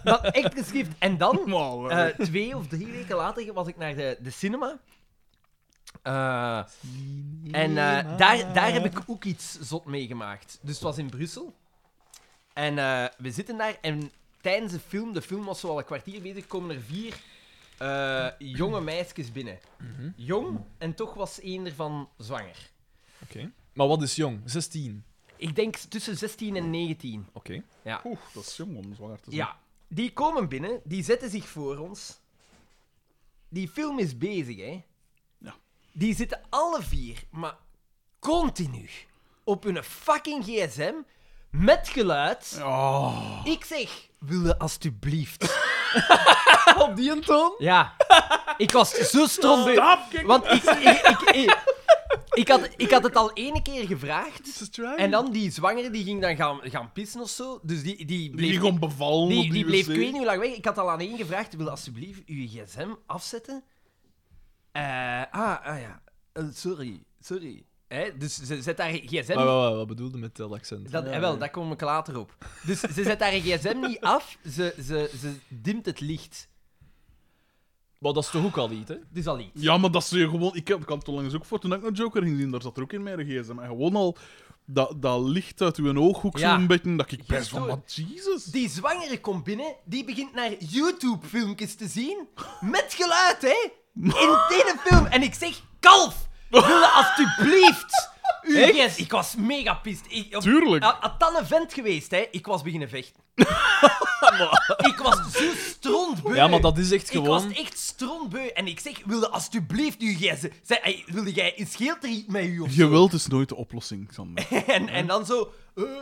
Speaker 2: Dat echt geschrift. En dan,
Speaker 1: Wow,
Speaker 2: eh, twee of drie weken later, was ik naar de, de cinema. Eh, en eh, daar, daar heb ik ook iets zot meegemaakt. Dus het was in Brussel. En eh, we zitten daar en tijdens de film, de film was zo al een kwartier bezig, komen er vier eh, jonge meisjes binnen.
Speaker 3: Mhm.
Speaker 2: Jong en toch was één ervan zwanger.
Speaker 3: Oké. Maar wat is jong? 16.
Speaker 2: Ik denk tussen 16 en 19.
Speaker 3: Oké.
Speaker 1: Oeh, dat is jong om zwanger te zijn.
Speaker 2: Ja, die komen binnen, die zetten zich voor ons. Die film is bezig, hè?
Speaker 1: Ja.
Speaker 2: Die zitten alle vier, maar continu op hun fucking gsm met geluid.
Speaker 1: Oh.
Speaker 2: Ik zeg, wil je
Speaker 1: <laughs>
Speaker 2: alstublieft?
Speaker 3: <laughs> Op die een toon?
Speaker 2: Ja, ik was zo stom. bij- Want ik, ik, ik, ik, ik had, ik had het al ene keer gevraagd. En dan die zwangere die ging dan gaan, gaan pissen of zo. Dus die, die
Speaker 1: Die
Speaker 2: bleef
Speaker 1: ging gewoon bevallen op
Speaker 2: Die, die
Speaker 1: die
Speaker 2: bleef
Speaker 1: wc.
Speaker 2: ik weet niet hoe lang weg. Ik had al aan één gevraagd: wil alsjeblieft uw gsm afzetten? Eh, ah, ah ja. Eh, sorry, sorry. Hè, dus ze zet haar gsm.
Speaker 3: Maar, wat- wat- wat bedoelde met dat accent?
Speaker 2: dat, eh, wel, daar kom ik later op. Dus ze zet haar gsm niet af, ze, ze, ze dimt het licht.
Speaker 3: Maar dat is toch ook al iets, hè?
Speaker 2: Dus al iets.
Speaker 1: Ja, maar dat ze je gewoon... Ik heb- ik kan het onlangs ook voor toen ik naar Joker ging zien, daar zat er ook in mijn gsm. En gewoon al dat, dat licht uit uw ooghoek
Speaker 2: Ja.
Speaker 1: zo'n beetje, dat ik best van,
Speaker 2: Gestoord.
Speaker 1: wat Jesus.
Speaker 2: Die zwangere komt binnen, die begint naar YouTube-filmpjes te zien. Met geluid, hè? In deze film. En ik zeg: kalf, wil je alsjeblieft. uw gsm. Ik was mega pist. Ik, op-
Speaker 1: Tuurlijk.
Speaker 2: Had had dat een vent geweest, hè, ik was beginnen
Speaker 3: <laughs>
Speaker 2: vechten. <laughs> ik was zo strontbeu.
Speaker 3: Ja, maar dat is echt
Speaker 2: Ik was
Speaker 3: gewoon...
Speaker 2: echt strontbeu. En ik zeg, wilde alstublieft uw gsm... Zeg, ey, wilde jij... Is scheelt er iets met u of zo?
Speaker 1: Geweld is dus nooit de oplossing, Xander.
Speaker 2: <laughs> En, en dan zo... eh, eh,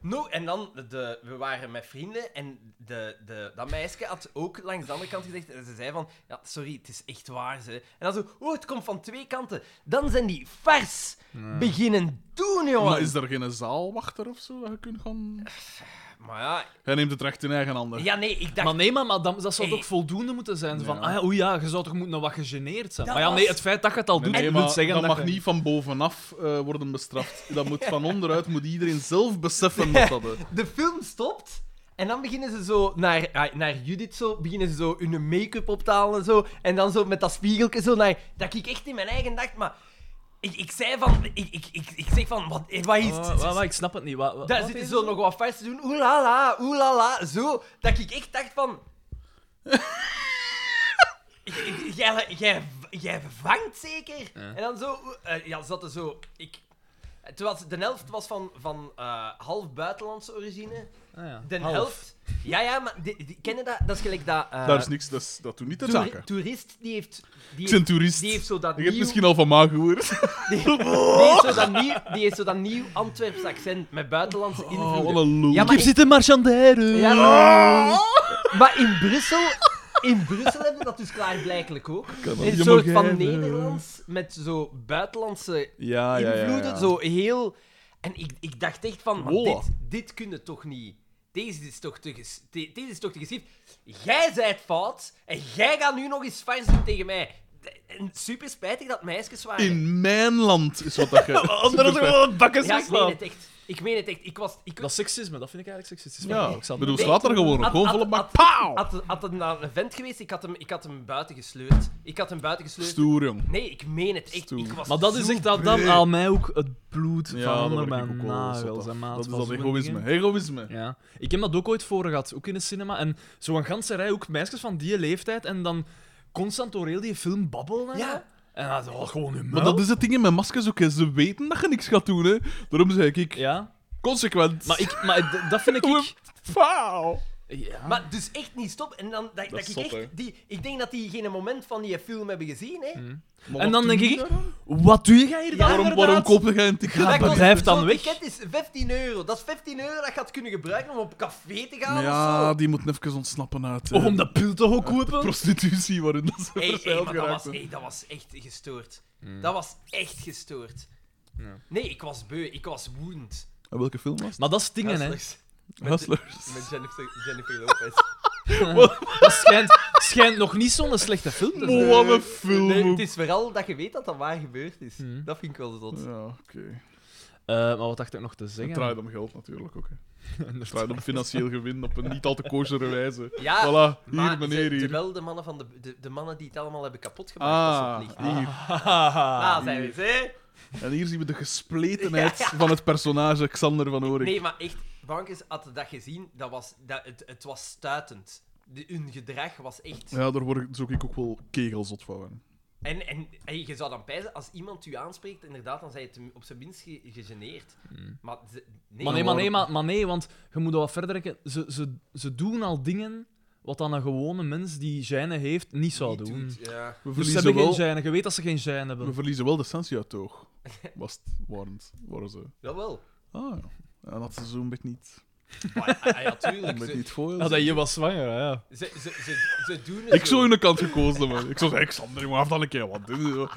Speaker 2: no. En dan, de, we waren met vrienden en de, de, dat meisje had ook langs de andere kant gezegd... En ze zei van, ja, sorry, het is echt waar, ze. En dan zo, oh, het komt van twee kanten. Dan zijn die vers beginnen doen, jongen.
Speaker 1: Maar is er geen zaalwachter of zo dat je kunt gaan...
Speaker 2: Maar ja,
Speaker 1: Hij neemt het recht in eigen handen.
Speaker 2: ja, nee, ik dacht...
Speaker 3: Maar nee, maar, maar dat, dat zou
Speaker 2: Hey.
Speaker 3: toch voldoende moeten zijn? Van,
Speaker 1: Ja.
Speaker 3: ah ja, oei ja, je zou toch moeten wat gegeneerd zijn?
Speaker 2: Dat
Speaker 3: maar ja, nee,
Speaker 2: was-
Speaker 3: het feit dat je het al doet,
Speaker 1: Nee,
Speaker 3: wil
Speaker 1: maar
Speaker 3: zeggen
Speaker 1: dat
Speaker 3: dat,
Speaker 1: mag
Speaker 3: je-
Speaker 1: niet van bovenaf eh, worden bestraft. Dat moet van onderuit, moet iedereen zelf
Speaker 2: <laughs>
Speaker 1: beseffen dat dat... eh,
Speaker 2: de film stopt. En dan beginnen ze zo naar, ah, naar Judith zo, beginnen ze zo hun make-up op te halen en zo. En dan zo met dat spiegeltje zo naar... Dat ik echt in mijn eigen dacht, maar... Ik, ik zei van... Ik, ik, ik, ik zeg van, wat, eh, wat is...
Speaker 3: Wa- wa- wa- ik snap het niet. Wa, wa-
Speaker 2: daar
Speaker 3: wat
Speaker 2: zitten
Speaker 3: is
Speaker 2: zo nog wat vers te doen. Oelala, oelala, zo. Dat ik echt dacht van...
Speaker 3: <laughs>
Speaker 2: ik- ik- Jij jij- jij vangt zeker? En dan zo... eh, ja, ze hadden zo... Ik, terwijl de helft was van, van eh, half buitenlandse origine.
Speaker 3: het? Ah, ja.
Speaker 2: De
Speaker 3: Half.
Speaker 2: helft. Ja, ja, maar die, die, kennen dat? Dat is gelijk dat. eh,
Speaker 1: Daar is niks, dat, is- dat doet niet de
Speaker 2: toeri-
Speaker 1: zaken.
Speaker 2: toerist die heeft. Die
Speaker 1: Ik
Speaker 2: heeft,
Speaker 1: ben toerist.
Speaker 2: die heeft zo dat
Speaker 1: Je hebt
Speaker 2: nieuw-
Speaker 1: misschien al van ma gehoord.
Speaker 2: die heeft zo dat nieuw, die heeft zo dat nieuw Antwerps accent met buitenlandse
Speaker 1: Oh, <laughs>
Speaker 2: invloeden.
Speaker 1: wat een lul.
Speaker 2: Ja, maar, in,
Speaker 3: zitten marchanderen. Oh.
Speaker 2: ja, maar, maar in Brussel. In Brussel hebben we dat dus klaarblijkelijk ook. Een
Speaker 1: Je mag
Speaker 2: soort
Speaker 1: eh,
Speaker 2: van
Speaker 1: hebben.
Speaker 2: Nederlands met zo buitenlandse
Speaker 1: Ah, Ja, ja, ja,
Speaker 2: invloeden.
Speaker 1: ja.
Speaker 2: Zo heel. En ik, ik dacht echt van: maar
Speaker 1: Wow.
Speaker 2: dit, dit kunnen toch niet? Deze is toch te, ges- de- deze is toch te geschikt? Jij zijt fout en jij gaat nu nog eens vars doen tegen mij. En super spijtig dat meisjes waren.
Speaker 1: In mijn land is wat dat ge...
Speaker 3: Omdat het gewoon het bakken
Speaker 2: Ja,
Speaker 3: is
Speaker 2: ik meen het echt. Ik meen het echt. Ik was... Ik,
Speaker 3: Dat is seksisme, dat vind ik eigenlijk
Speaker 1: <laughs>
Speaker 3: seksisme.
Speaker 1: Ja,
Speaker 3: ik zal
Speaker 1: bedoel,
Speaker 3: het-
Speaker 1: slaat er gewoon op.
Speaker 2: Had-
Speaker 1: Gewoon
Speaker 2: had-
Speaker 1: volle bak.
Speaker 2: had-
Speaker 1: Pauw!
Speaker 2: Had, had het naar een eh, vent geweest, ik had hem, ik had hem buiten gesleurd. Ik had hem buiten gesleurd.
Speaker 1: Stoer, jong.
Speaker 2: Nee, ik meen het echt.
Speaker 1: Stoer.
Speaker 2: Ik was
Speaker 3: Maar dat is
Speaker 2: zo
Speaker 3: echt dat dan
Speaker 1: breed.
Speaker 3: aan mij ook het bloed
Speaker 1: Ja,
Speaker 3: van
Speaker 1: dat
Speaker 3: onder
Speaker 1: ben ik
Speaker 3: mijn
Speaker 1: ook wel zot
Speaker 3: nagels
Speaker 1: af.
Speaker 3: en maat.
Speaker 1: Dat is
Speaker 3: van
Speaker 1: dat
Speaker 3: zo'n
Speaker 1: egoïsme.
Speaker 3: dingen.
Speaker 1: Egoïsme.
Speaker 3: Ja. Ik heb dat ook ooit voor gehad, ook in een cinema. En zo'n ganse rij, ook meisjes van die leeftijd. En dan constant door heel die film babbelen. en
Speaker 2: Ja.
Speaker 3: zo. En dan oh, gewoon hun
Speaker 1: Maar
Speaker 3: muil.
Speaker 1: dat is het ding met maskers ook. hè. Ze weten dat je niks gaat doen, hè. Daarom zeg ik,
Speaker 3: Ja.
Speaker 1: consequent.
Speaker 3: Maar, ik, maar d- dat vind ik... ik
Speaker 1: Pauw!
Speaker 3: ja.
Speaker 2: Maar dus echt niet stop. En dan, dat, dat
Speaker 1: is
Speaker 2: ik
Speaker 1: zot,
Speaker 2: echt...
Speaker 1: hè.
Speaker 2: Die, ik denk dat die geen moment van die film hebben gezien, hè.
Speaker 3: Hmm.
Speaker 1: Maar
Speaker 3: En
Speaker 1: wat
Speaker 3: dan
Speaker 1: doe
Speaker 3: denk
Speaker 1: je
Speaker 3: ik,
Speaker 1: daar?
Speaker 3: wat doe jij hier dan
Speaker 1: Waarom,
Speaker 3: inderdaad?
Speaker 1: waarom koop jij een ticket?
Speaker 3: Ja,
Speaker 2: Dat kost-
Speaker 3: blijf dan
Speaker 2: zo'n
Speaker 3: weg.
Speaker 2: ticket is 15 euro. Dat is 15 euro dat je had kunnen gebruiken om op café te gaan of
Speaker 1: Ja,
Speaker 2: zo.
Speaker 1: die moet even ontsnappen uit... eh,
Speaker 3: Of om dat pil toch ook kopen?
Speaker 1: prostitutie waarin dat ze
Speaker 2: Hey, hey,
Speaker 1: verzeild
Speaker 2: maar dat, was,
Speaker 1: geraakt Hmm. zijn.
Speaker 2: hey, dat was echt gestoord. Dat was echt gestoord.
Speaker 3: Ja.
Speaker 2: Nee, ik was beu. Ik was woedend.
Speaker 1: En welke film was
Speaker 3: Maar dat is dingen, hè.
Speaker 1: <laughs>
Speaker 2: Hustlers.
Speaker 1: het? Hustlers.
Speaker 2: Met Jennifer, Jennifer
Speaker 1: <laughs>
Speaker 2: Lopez.
Speaker 3: Eh, Dat schijnt, schijnt nog niet zo'n slechte film te zijn.
Speaker 1: Oh, wat een film.
Speaker 2: Nee,
Speaker 1: ook.
Speaker 2: het is vooral dat je weet dat dat waar gebeurd is.
Speaker 3: Mhm.
Speaker 2: Dat vind ik wel zot.
Speaker 1: Ja, oké.
Speaker 3: Eh, maar wat dacht ik nog te
Speaker 1: Het
Speaker 3: zeggen? <laughs>
Speaker 1: draait om geld natuurlijk ook. hè.
Speaker 3: Inderdaad.
Speaker 1: Het draait om financieel gewin op een niet al te koosere
Speaker 3: <laughs>
Speaker 1: wijze.
Speaker 3: Ah,
Speaker 2: Ja,
Speaker 1: voilà, hier
Speaker 2: maar
Speaker 1: meneer,
Speaker 2: ze-
Speaker 1: hier.
Speaker 2: Terwijl de mannen, van de, de, de mannen die het allemaal hebben kapot gemaakt,
Speaker 1: Ah,
Speaker 2: dat ze opnieuw-
Speaker 1: hier.
Speaker 2: Ah, zijn we eens, hè?
Speaker 1: En hier zien we de gespletenheid van het personage Xander van Oorik.
Speaker 2: Nee, maar echt, Bankers had dat gezien, dat was, dat, het, het was stuitend. De, hun gedrag was echt...
Speaker 1: Ja, daar word ik, zou ik ook wel kegelzot van worden.
Speaker 2: En, en hey, je zou dan pijzen, als iemand u aanspreekt, inderdaad, dan zijn je ten- op zijn minst ge- gegeneerd. Maar, ze- nee,
Speaker 3: Hmm. Maar nee, maar nee, maar, maar nee, want je moet dat wat verder rekken. Ze, ze, ze doen al dingen wat dan een gewone mens die gijnen heeft niet zou
Speaker 2: niet
Speaker 3: doen.
Speaker 2: doet, ja.
Speaker 1: We
Speaker 3: Dus ze
Speaker 1: verliezen,
Speaker 3: hebben geen
Speaker 1: wel,
Speaker 3: gijnen. Je weet dat ze geen gijnen
Speaker 1: we
Speaker 3: hebben.
Speaker 1: verliezen wel de sensie uit het oog.
Speaker 3: <laughs>
Speaker 1: Was het, waren, het- waren ze. <laughs>
Speaker 2: Jawel.
Speaker 1: Ah ja. En dat ze zo'n beetje niet,
Speaker 2: Maar, ah, ja,
Speaker 1: een
Speaker 2: tuurlijk.
Speaker 1: beetje
Speaker 2: Ze,
Speaker 1: niet voor. dus
Speaker 3: Ja, dat je was zwanger, hè, ja.
Speaker 2: ze, ze, ze, ze doen het
Speaker 1: Ik
Speaker 2: zo.
Speaker 1: zou hun kant gekozen hebben. Ik zou zeggen, Xander, jongen, af dan een keer wat. Dit is-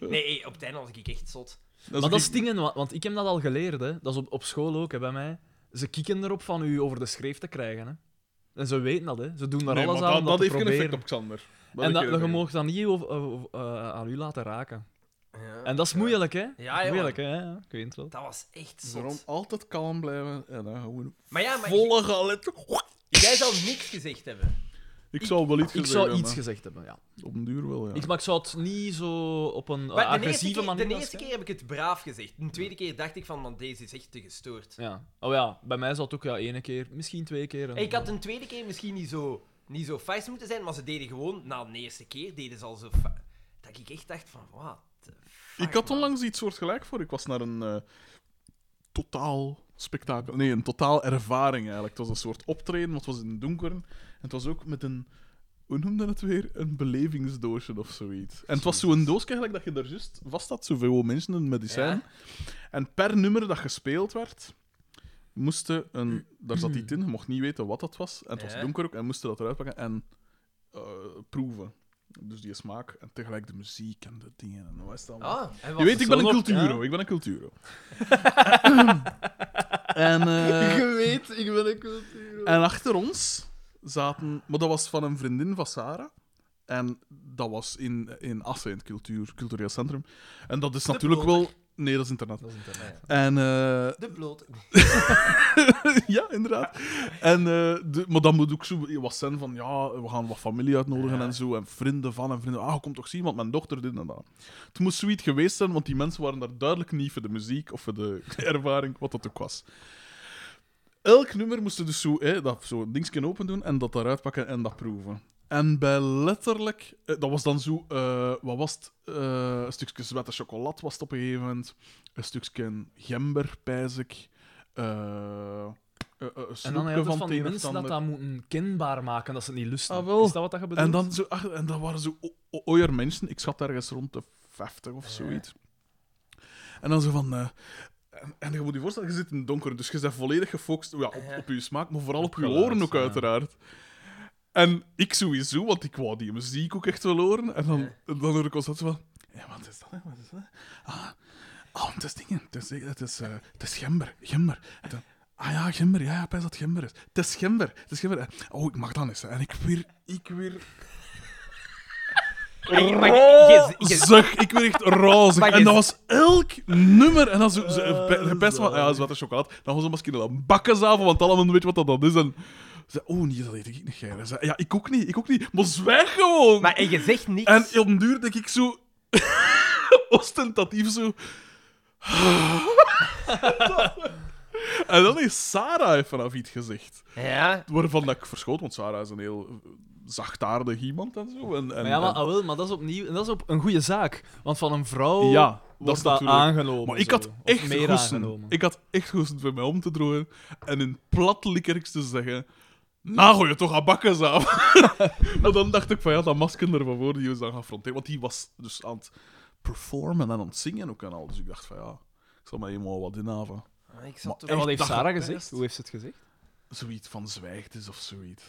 Speaker 2: Nee, hey, op het einde was ik echt zot.
Speaker 3: Maar dat
Speaker 1: ik-
Speaker 3: is dingen, wa- want ik heb dat al geleerd, hè. Dat is op, op school ook, hè, bij mij. Ze kieken erop van u over de schreef te krijgen, hè. En ze weten dat, hè. Ze doen daar
Speaker 1: Nee,
Speaker 3: alles
Speaker 1: maar
Speaker 3: aan om
Speaker 1: dat, dat
Speaker 3: te
Speaker 1: heeft geen
Speaker 3: proberen.
Speaker 1: effect op Xander.
Speaker 3: en
Speaker 1: heeft
Speaker 3: dat, je
Speaker 1: geen effect.
Speaker 3: mag dat niet over- over- eh, aan u laten raken.
Speaker 2: Ja.
Speaker 3: En dat is moeilijk, hè.
Speaker 2: Ja, ja,
Speaker 3: moeilijk, hè. ja, Ik weet het wel.
Speaker 2: Dat was echt zot.
Speaker 1: Daarom altijd kalm blijven en dan gewoon
Speaker 2: Maar ja, maar
Speaker 1: volle galet.
Speaker 2: jij zou niks gezegd hebben.
Speaker 1: Ik zou wel iets
Speaker 3: Ik
Speaker 1: gezegd
Speaker 3: zou
Speaker 1: hebben,
Speaker 3: iets
Speaker 1: hè.
Speaker 3: gezegd hebben, ja.
Speaker 1: Op een duur wel, ja.
Speaker 3: Ik, maar ik zou het niet zo op een eh,
Speaker 2: Maar de eerste,
Speaker 3: agressieve
Speaker 2: keer,
Speaker 3: manier...
Speaker 2: de
Speaker 3: als-
Speaker 2: eerste keer heb ik het braaf gezegd. De tweede keer dacht ik van, man, deze is echt te gestoord.
Speaker 3: Ja. Oh ja, bij mij zou het ook ja, ene keer, misschien twee keer. en-
Speaker 2: Ik had een tweede keer misschien niet zo, niet zo fijn moeten zijn, maar ze deden gewoon, na de eerste keer, deden ze al zo fa- Dat ik echt dacht van, wat
Speaker 1: Ik had onlangs iets soortgelijk voor. Ik was naar een eh, totaal spektakel. Nee, een totaal ervaring eigenlijk. Het was een soort optreden, want het was in het donker. En het was ook met een. Hoe noemde het weer? Een belevingsdoosje of zoiets. En het was zo'n doosje eigenlijk dat je er juist vast had, zoveel mensen in medicijn. En per nummer dat gespeeld werd, moesten een. Daar zat iets in, je mocht niet weten wat dat was. En het was
Speaker 2: Ja.
Speaker 1: donker ook, en moesten dat eruit pakken en eh, proeven. Dus die smaak en tegelijk de muziek en de dingen en wat is dat allemaal.
Speaker 2: Ah, en
Speaker 1: Je
Speaker 2: wat...
Speaker 1: weet, ik ben een
Speaker 3: Zo nog,
Speaker 1: culturo.
Speaker 3: ja.
Speaker 1: Ik ben een <laughs> culturo. en, eh,
Speaker 3: weet, ik ben een cultuur.
Speaker 1: en achter ons zaten... Maar dat was van een vriendin van Sarah. En dat was in, in Assen, in het cultuur, cultureel centrum. En dat is natuurlijk wel... Nee, dat is internet.
Speaker 3: Dat is internet.
Speaker 1: En eh, <laughs>
Speaker 2: De bloot.
Speaker 1: ja, inderdaad. En, eh, de, maar dan moet ook zo wat zijn van, ja, we gaan wat familie uitnodigen en zo, en vrienden van, en vrienden, ah, kom toch zien, want mijn dochter dit en dat. Het moest zoiets geweest zijn, want die mensen waren daar duidelijk niet voor de muziek of voor de <laughs> ervaring, wat dat ook was. Elk nummer moesten dus zo, hè, dat zo een dingetje open doen en dat daaruit pakken en dat proeven. En bij letterlijk, eh, dat was dan zo, eh, wat was het? Eh, een stukje zwette chocolat was het op een gegeven moment, een stukje gember, pijs ik. eh, eh, eh, een
Speaker 3: En dan
Speaker 1: snoepje
Speaker 3: heel
Speaker 1: van,
Speaker 3: van
Speaker 1: het
Speaker 3: die
Speaker 1: een of
Speaker 3: mensen
Speaker 1: het ander.
Speaker 3: dat dat moeten kenbaar maken, dat ze het niet lusten.
Speaker 1: Ah, wel.
Speaker 3: Is dat wat dat je bedoelt?
Speaker 1: En dan zo, ach, en dat waren zo o- o- oier mensen. Ik schat ergens rond de 50 of zoiets. En dan zo van. eh, en, en je moet je voorstellen, je zit in het donker, dus je bent volledig gefocust ja, op, op je smaak, maar vooral op je
Speaker 3: geluid,
Speaker 1: oren ook,
Speaker 3: ja.
Speaker 1: uiteraard. En ik sowieso, want ik wou die muziek ook echt wel horen. En dan, en dan hoor ik constant zo van... Ja, wat is dat? hè? Wat is dat? Ah, oh, het is dingen. Het is, het is, eh, het is gember. Gember. En dan, ah ja, gember. Ja, ja, pijs dat het gember is. Het is gember. Het is gember. En, oh, ik mag dat eens. hè. En ik weer... Ik weer...
Speaker 2: ik- maar je- je- je-
Speaker 1: Zeg, ik werd echt rozig.
Speaker 2: Maar je-
Speaker 1: En dat was elk nummer. En dan zo, ze,
Speaker 3: Ah.
Speaker 1: ze- gepest van, ah ja, zwarte chocolade. Dan gaan ze misschien een bakkenzavel, want allemaal weet wat dat dan is. En ze, oh nee, dat weet ik niet. Gij. Ze, ja, ik ook niet, ik ook niet. Maar zwijg gewoon!
Speaker 2: <laughs> maar je zegt niks.
Speaker 1: En op den duur denk ik zo... <laughs> ostentatief zo... <laughs> en dan heeft Sarah even af iets gezegd.
Speaker 2: Ja.
Speaker 1: Waarvan dat ik verschoot, want Sarah is een heel eh, zachtaardig iemand en zo. En, en,
Speaker 3: Maar ja, maar,
Speaker 1: en-
Speaker 3: ah, wel, maar dat is opnieuw en dat is op een goede zaak. Want van een vrouw
Speaker 1: Ja, dat
Speaker 3: wordt
Speaker 1: is
Speaker 3: dat
Speaker 1: natuurlijk-
Speaker 3: aangenomen.
Speaker 1: maar ik
Speaker 3: zo,
Speaker 1: had
Speaker 3: of
Speaker 1: echt
Speaker 3: meer
Speaker 1: goesten.
Speaker 3: aangenomen.
Speaker 1: Ik had echt goesten voor mij om te drooien en in plat likkerks te zeggen... Nou, gooi je toch aan bakken samen. <laughs> maar dan dacht ik van ja, dat masker ervan voor, die was dan gefronteerd. Want die was dus aan het performen en aan het zingen ook en al. Dus ik dacht van ja, ik zal maar helemaal wat inhaven.
Speaker 2: Ah, Ik
Speaker 1: Maar
Speaker 2: zat toch-
Speaker 3: En wat heeft
Speaker 1: dacht
Speaker 3: Sarah
Speaker 1: gepest.
Speaker 3: gezegd? Hoe heeft ze het gezegd?
Speaker 1: Zoiets van zwijgt is of zoiets.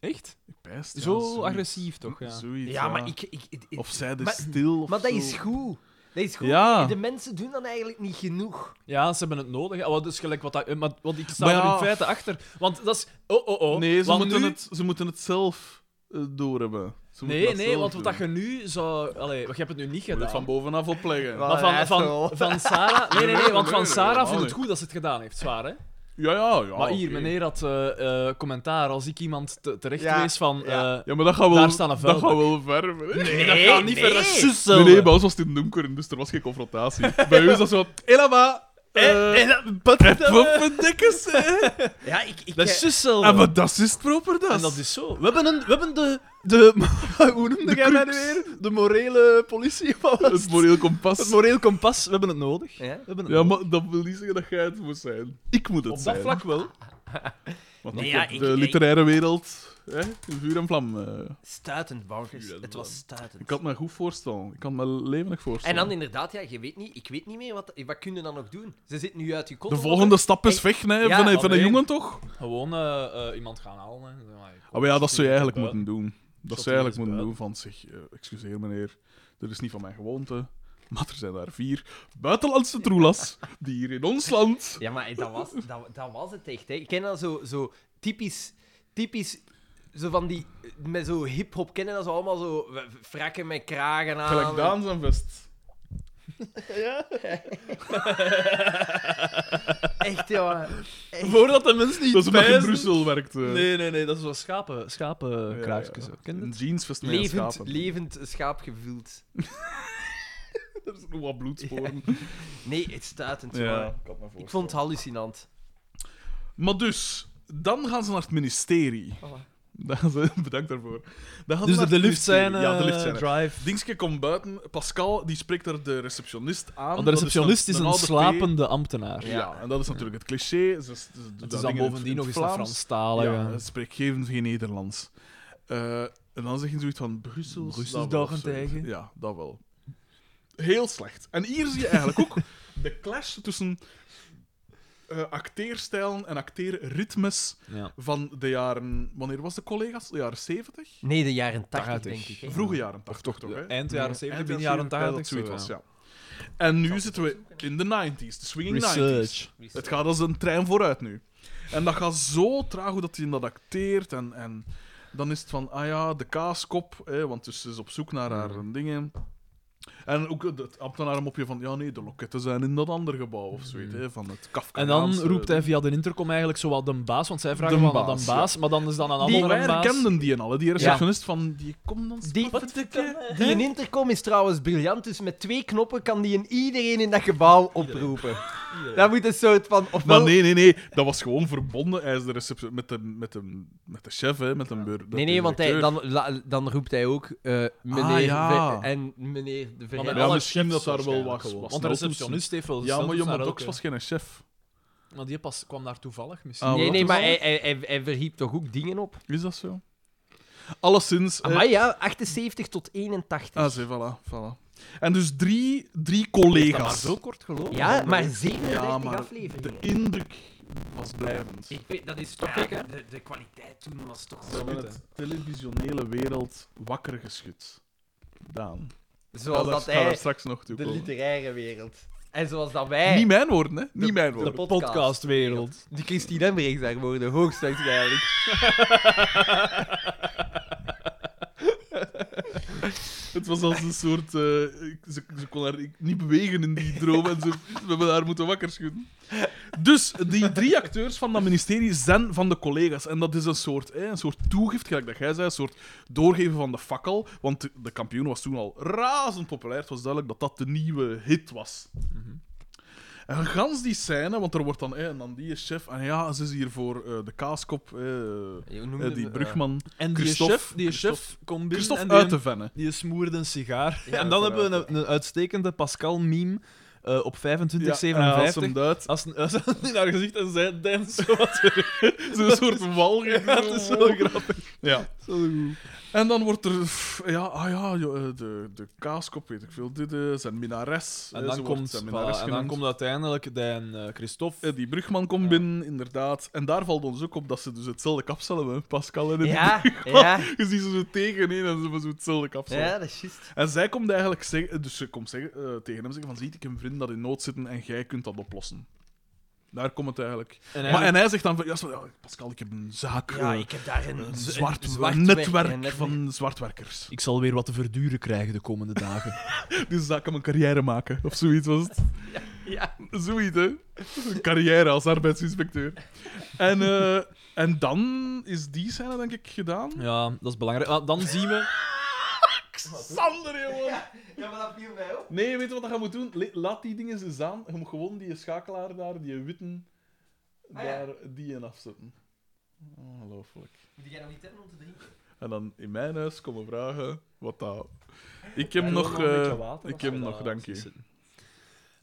Speaker 3: Echt?
Speaker 1: Ik pijst, ja,
Speaker 3: Zo
Speaker 1: zoiets.
Speaker 3: agressief toch? Ja.
Speaker 1: Zoiets,
Speaker 2: ja, maar ik... ik, ik- ik-
Speaker 1: Of zij is
Speaker 2: maar-
Speaker 1: stil of
Speaker 2: Maar dat
Speaker 1: zo.
Speaker 2: is goed. Dat is goed.
Speaker 1: Ja.
Speaker 2: De mensen doen dat eigenlijk niet genoeg.
Speaker 3: Ja, ze hebben het nodig. Ah, wat is gelijk wat dat, eh, maar, want ik sta
Speaker 1: Maar
Speaker 3: er
Speaker 1: ja.
Speaker 3: in feite achter. Want dat is. Oh, oh, oh.
Speaker 1: Nee, ze
Speaker 3: Want
Speaker 1: moeten,
Speaker 3: nu-
Speaker 1: het, ze moeten het zelf eh, doorhebben. Ze moeten
Speaker 3: Nee,
Speaker 1: dat
Speaker 3: nee,
Speaker 1: zelf
Speaker 3: want
Speaker 1: doen.
Speaker 3: wat dat je nu zou. Allee, je hebt het nu niet
Speaker 1: Je moet
Speaker 3: gedaan.
Speaker 1: het van bovenaf opleggen.
Speaker 2: Wat?
Speaker 3: maar van,
Speaker 2: Asshole.
Speaker 3: van, van
Speaker 1: <laughs>
Speaker 3: Sarah. Nee, nee, nee, want van
Speaker 1: Nee, nee,
Speaker 3: Sarah
Speaker 1: helemaal
Speaker 3: vindt het
Speaker 1: niet.
Speaker 3: goed dat ze het gedaan heeft, zwaar hè?
Speaker 1: Ja, ja, ja.
Speaker 3: Maar hier,
Speaker 1: oké.
Speaker 3: meneer had eh, eh, commentaar. Als ik iemand te- terecht
Speaker 2: Ja,
Speaker 3: wees van.
Speaker 2: ja.
Speaker 3: eh,
Speaker 1: Ja, maar dat gaat wel,
Speaker 3: Daar staan een
Speaker 1: dat gaat
Speaker 3: vuilbak.
Speaker 1: wel ver. meneer.
Speaker 3: nee, dat gaat niet verder.
Speaker 2: nee.
Speaker 3: Zus,
Speaker 1: Nee, nee,
Speaker 3: zelden.
Speaker 1: bij ons was het in donker, dus er was geen <laughs> confrontatie. bij u is dat zo... Helemaal...
Speaker 3: Eh, eh,
Speaker 1: Eh,
Speaker 3: dat- wat-
Speaker 1: Peppendikkes, hè?
Speaker 2: Ja, ik... ik
Speaker 3: Dat
Speaker 2: eh,
Speaker 3: is zus zelden.
Speaker 1: Ah, maar dat is het proper, dat.
Speaker 3: En dat is zo. We hebben, een, we hebben de, de. <laughs> Hoe noemde
Speaker 1: De
Speaker 3: jij mij nu
Speaker 1: crux.
Speaker 3: weer? De morele politie? <laughs> Wat was
Speaker 1: Het moreel kompas.
Speaker 3: Het moreel kompas, we hebben het nodig.
Speaker 2: Ja?
Speaker 3: We hebben het
Speaker 1: Ja,
Speaker 3: nodig.
Speaker 1: maar dat wil niet zeggen dat jij het moet zijn. Ik moet het
Speaker 3: Op
Speaker 1: zijn.
Speaker 3: dat vlak wel.
Speaker 1: Want
Speaker 2: Nee,
Speaker 1: ik
Speaker 2: ja,
Speaker 1: heb
Speaker 2: ik-
Speaker 1: de
Speaker 2: ik-
Speaker 1: literaire wereld hè, in vuur en vlam. eh.
Speaker 2: Stuitend, Barkers.
Speaker 1: Vuur en
Speaker 2: Het was
Speaker 1: vlam.
Speaker 2: stuitend.
Speaker 1: ik kan het me goed voorstellen. Ik kan het me levendig
Speaker 2: En
Speaker 1: voorstellen.
Speaker 2: dan inderdaad, ja, je weet niet, ik weet niet meer, wat, wat kun je dan nog doen? Ze zit nu uit je kot.
Speaker 1: de volgende stap is
Speaker 2: Ik-
Speaker 1: vechten hè,
Speaker 2: Ja,
Speaker 1: van, een- van een
Speaker 3: alleen.
Speaker 1: jongen, toch?
Speaker 3: Gewoon eh, eh, iemand gaan halen. hè. Zo, maar ik-
Speaker 1: Ah, maar ja, dat zou je eigenlijk
Speaker 3: Buiten.
Speaker 1: moeten doen. Dat
Speaker 3: Shot
Speaker 1: zou je eigenlijk
Speaker 3: in
Speaker 1: moeten
Speaker 3: is
Speaker 1: doen van zich, eh, excuseer meneer, dat is niet van mijn gewoonte, maar er zijn daar vier buitenlandse troelas die hier in ons land...
Speaker 2: Ja, maar dat was, dat, dat was het echt. Hè. Ik ken dat zo, zo typisch, typisch, zo van die, eh, met zo hip-hop kennen dat ze allemaal zo w- w- frakken met kragen aan.
Speaker 1: Gelijk Daan zijn vest.
Speaker 2: Echt, ja.
Speaker 3: Voordat de mensen niet
Speaker 1: Dat is omdat je in
Speaker 3: pijzen.
Speaker 1: Brussel werkt. eh.
Speaker 3: Nee, nee, nee, dat is wel schapen,
Speaker 1: Ja, ja,
Speaker 3: schapenkraagjes.
Speaker 1: ja.
Speaker 3: Ken je
Speaker 1: Een
Speaker 3: het?
Speaker 1: jeansvest met
Speaker 2: Levend,
Speaker 1: schapen.
Speaker 2: levend schaap gevuld.
Speaker 1: Er zijn nog wat bloedsporen.
Speaker 2: Nee, het stuitend.
Speaker 1: Ja,
Speaker 2: maar.
Speaker 1: ik had me
Speaker 2: Ik vond het hallucinant.
Speaker 1: Maar dus, dan gaan ze naar het ministerie.
Speaker 2: Voilà.
Speaker 1: Dan gaan ze- <laughs> bedankt daarvoor. Dan gaan
Speaker 3: Oh, Dus
Speaker 1: ze
Speaker 3: de,
Speaker 1: naar
Speaker 3: de
Speaker 1: het
Speaker 3: lift zijn,
Speaker 1: ministerie. Ja, de
Speaker 3: eh,
Speaker 1: lift zijn.
Speaker 3: drive.
Speaker 1: Dingske komt buiten. Pascal die spreekt daar de receptionist aan.
Speaker 3: Want de
Speaker 1: Dat
Speaker 3: receptionist is een
Speaker 1: oude P.
Speaker 3: slapende ambtenaar.
Speaker 1: Ja. en dat is natuurlijk het cliché. Ze, ze, ze doen
Speaker 3: Het
Speaker 1: dat
Speaker 3: is dan
Speaker 1: ding in het-
Speaker 3: bovendien nog
Speaker 1: in het
Speaker 3: eens een
Speaker 1: Vlaams.
Speaker 3: Franstalige.
Speaker 1: Ja, het spreekt geen, geen Nederlands. Eh, en dan zeg je zoiets van Brussel.
Speaker 3: Brussels
Speaker 1: dat wel, of
Speaker 3: daarentegen.
Speaker 1: zoiets. Ja, dat wel. Heel slecht. En hier zie je eigenlijk
Speaker 3: <laughs>
Speaker 1: ook de clash tussen eh, acteerstijlen en acteerritmes
Speaker 3: Ja.
Speaker 1: van de jaren... Wanneer was de collega's? De jaren 70?
Speaker 2: Nee, de jaren 80,
Speaker 3: Tachtig.
Speaker 2: denk ik. hè.
Speaker 1: Vroege jaren 80, toch? toch hè?
Speaker 3: Eind jaren 70,
Speaker 1: Eind
Speaker 3: begin jaren 80.
Speaker 1: dat zoiets was,
Speaker 3: zo, ja.
Speaker 1: ja. En nu zitten we in de 90s, de swinging 90s.
Speaker 3: Research.
Speaker 1: Het gaat als een trein vooruit nu. En dat gaat zo traag hoe dat hij dat acteert. En, en dan is het van, ah ja, de kaaskop, hè, want dus ze is op zoek naar haar dingen. En ook het ambtenarenmopje van, ja nee, de loketten zijn in dat andere gebouw of zoiets, hè, van het Kafka.
Speaker 3: En dan roept hij via de intercom eigenlijk zowat de baas, want zij vragen
Speaker 1: De
Speaker 3: wel aan
Speaker 1: baas,
Speaker 3: de baas, maar dan is dan een andere
Speaker 1: Die, wij
Speaker 3: baas.
Speaker 1: herkenden die en alle, die receptionist van, die komt dan...
Speaker 2: Die-
Speaker 1: spattedekke.
Speaker 2: Die een intercom is trouwens briljant, dus met twee knoppen kan die in iedereen in dat gebouw oproepen. Dat moet een soort van... Ofwel,
Speaker 1: Maar nee, nee, nee. Dat was gewoon verbonden. Hij is de receptie met de, met de, met de chef, hè, met de beur.
Speaker 2: nee, nee, want hij, dan, la- dan roept hij ook eh, meneer
Speaker 1: ja.
Speaker 2: Ve- en meneer de
Speaker 3: Maar met
Speaker 1: Ja,
Speaker 2: Verheij.
Speaker 3: alle
Speaker 1: misschien
Speaker 3: chefs
Speaker 1: dat daar wel was-
Speaker 3: waarschijnlijk gewoon.
Speaker 1: was
Speaker 3: Want de
Speaker 1: noodtoetsen.
Speaker 3: receptionist heeft wel dus
Speaker 1: Ja, maar
Speaker 3: sneltoets
Speaker 1: Jomme
Speaker 3: naar
Speaker 1: Dox
Speaker 3: elke-
Speaker 1: was geen chef.
Speaker 3: Maar die pas, kwam daar toevallig misschien.
Speaker 1: Ah,
Speaker 2: Nee, nee,
Speaker 1: wat
Speaker 2: maar
Speaker 1: is Eh.
Speaker 2: hij, hij, hij, hij verhiep toch ook dingen op?
Speaker 1: Is dat zo? Alleszins... eh,
Speaker 2: Maar ja, 78 tot 81.
Speaker 1: ah, zie, voilà, voilà. En dus drie, drie
Speaker 3: Heeft dat maar
Speaker 1: collega's.
Speaker 3: zo kort gelopen.
Speaker 2: ja, maar 37
Speaker 1: Ja, maar de
Speaker 2: afleveringen.
Speaker 1: indruk was blijvend.
Speaker 2: Ik weet, dat is toch...
Speaker 3: gek,
Speaker 2: ja,
Speaker 3: hè?
Speaker 2: de, de kwaliteit toen was toch
Speaker 1: Ze
Speaker 2: zo...
Speaker 1: hebben het televisionele wereld wakker geschud. Daan.
Speaker 2: Zoals
Speaker 1: Ga
Speaker 2: dat
Speaker 1: daar- ga daar
Speaker 2: hij...
Speaker 1: straks nog toe
Speaker 2: De
Speaker 1: komen.
Speaker 2: literaire wereld. En zoals dat wij...
Speaker 1: Niet mijn woorden, hè. Niet mijn
Speaker 2: de
Speaker 1: woorden.
Speaker 3: De
Speaker 2: podcast.
Speaker 3: podcastwereld.
Speaker 2: De Christine Embrechts daar worden, hoogstwaarschijnlijk.
Speaker 1: Het was als een soort. eh, ik- ze, ze kon haar ik- niet bewegen in die droom en ze, we hebben haar moeten wakker schudden. Dus die drie acteurs van dat ministerie zijn van de collega's. En dat is een soort, eh, een soort toegift, gelijk dat jij zei, een soort doorgeven van de fakkel. Want de- de kampioen was toen al razend populair. Het was duidelijk dat dat de nieuwe hit was. En gans die scène, want er wordt dan, eh, en dan die is chef, en ja, ze is hier voor eh, de kaaskop, eh,
Speaker 2: Je
Speaker 1: eh,
Speaker 2: noemde
Speaker 1: die
Speaker 2: me-
Speaker 1: brugman.
Speaker 3: En die
Speaker 1: Christophe-
Speaker 3: chef, die chef
Speaker 1: Christophe-
Speaker 3: komt binnen
Speaker 1: Christophe
Speaker 3: en
Speaker 1: uit
Speaker 3: die,
Speaker 1: te vennen.
Speaker 3: die smoerde een sigaar.
Speaker 2: Ja,
Speaker 3: en dan
Speaker 2: dat is
Speaker 3: hebben we een, een uitstekende Pascal-meme eh, op 25,
Speaker 1: als
Speaker 3: 57.
Speaker 1: hem duidt.
Speaker 3: Als een <laughs> als een in haar gezicht en zij dans zo wat terug.
Speaker 1: Zo'n soort walging.
Speaker 3: Ja, dat is zo grappig.
Speaker 1: Ja.
Speaker 3: Zo goed.
Speaker 1: En dan wordt er... pff, Ja, ah ja, jo- eh, de, de kaaskop, weet ik veel, dit, eh, zijn minares.
Speaker 3: En
Speaker 1: eh,
Speaker 3: dan,
Speaker 1: ze wordt
Speaker 3: komt,
Speaker 1: zijn
Speaker 3: voilà,
Speaker 1: minares
Speaker 3: en dan
Speaker 1: genoemd.
Speaker 3: komt uiteindelijk dan, eh Christophe.
Speaker 1: Eh, Die brugman komt binnen, inderdaad. En daar valt ons ook op dat ze dus hetzelfde kapsel hebben, Pascal en die
Speaker 2: Ja,
Speaker 1: brugman.
Speaker 2: ja.
Speaker 1: <laughs> Je ziet ze zo tegenin en ze hebben zo hetzelfde kapsel.
Speaker 2: Ja, dat is juist.
Speaker 1: En zij komt eigenlijk zeggen, dus ze komt zeggen, eh, tegen hem zeggen van, ziet, ik heb een vriend dat in nood zit en jij kunt dat oplossen. Daar komt het eigenlijk.
Speaker 3: en
Speaker 1: Maar, en hij zegt dan van, ja, zo, ja, Pascal, ik heb een zaak...
Speaker 2: Ja,
Speaker 1: eh,
Speaker 2: ik heb daar een,
Speaker 1: een
Speaker 2: z-
Speaker 1: zwart,
Speaker 2: een
Speaker 1: netwerk
Speaker 2: een netwerk.
Speaker 1: van zwartwerkers.
Speaker 3: Ik zal weer wat te verduren krijgen de komende dagen.
Speaker 1: Dus daar kan mijn carrière maken, of zoiets was het.
Speaker 2: Ja.
Speaker 1: Zoiets, hè. Een carrière als arbeidsinspecteur. En, eh, en dan is die scène, denk ik, gedaan.
Speaker 3: <laughs> ja, dat is belangrijk. Ah, Dan zien we...
Speaker 1: Sander, jongen!
Speaker 2: Ja, maar dat viel mij op.
Speaker 1: Nee, weet je wat je moet doen? Le- Laat die dingen eens aan. Je moet gewoon die schakelaar daar, die witten,
Speaker 2: Ah, ja.
Speaker 1: daar, die in afzetten. Ongelooflijk.
Speaker 2: Moet jij nog niet hebben om te drinken?
Speaker 1: En dan in mijn huis komen vragen wat dat... Ik heb
Speaker 3: Ja,
Speaker 1: nog...
Speaker 3: een beetje
Speaker 1: eh,
Speaker 3: water, Ah,
Speaker 1: ik
Speaker 3: als
Speaker 1: heb
Speaker 3: we
Speaker 1: nog,
Speaker 3: daar
Speaker 1: dank je.
Speaker 3: zitten.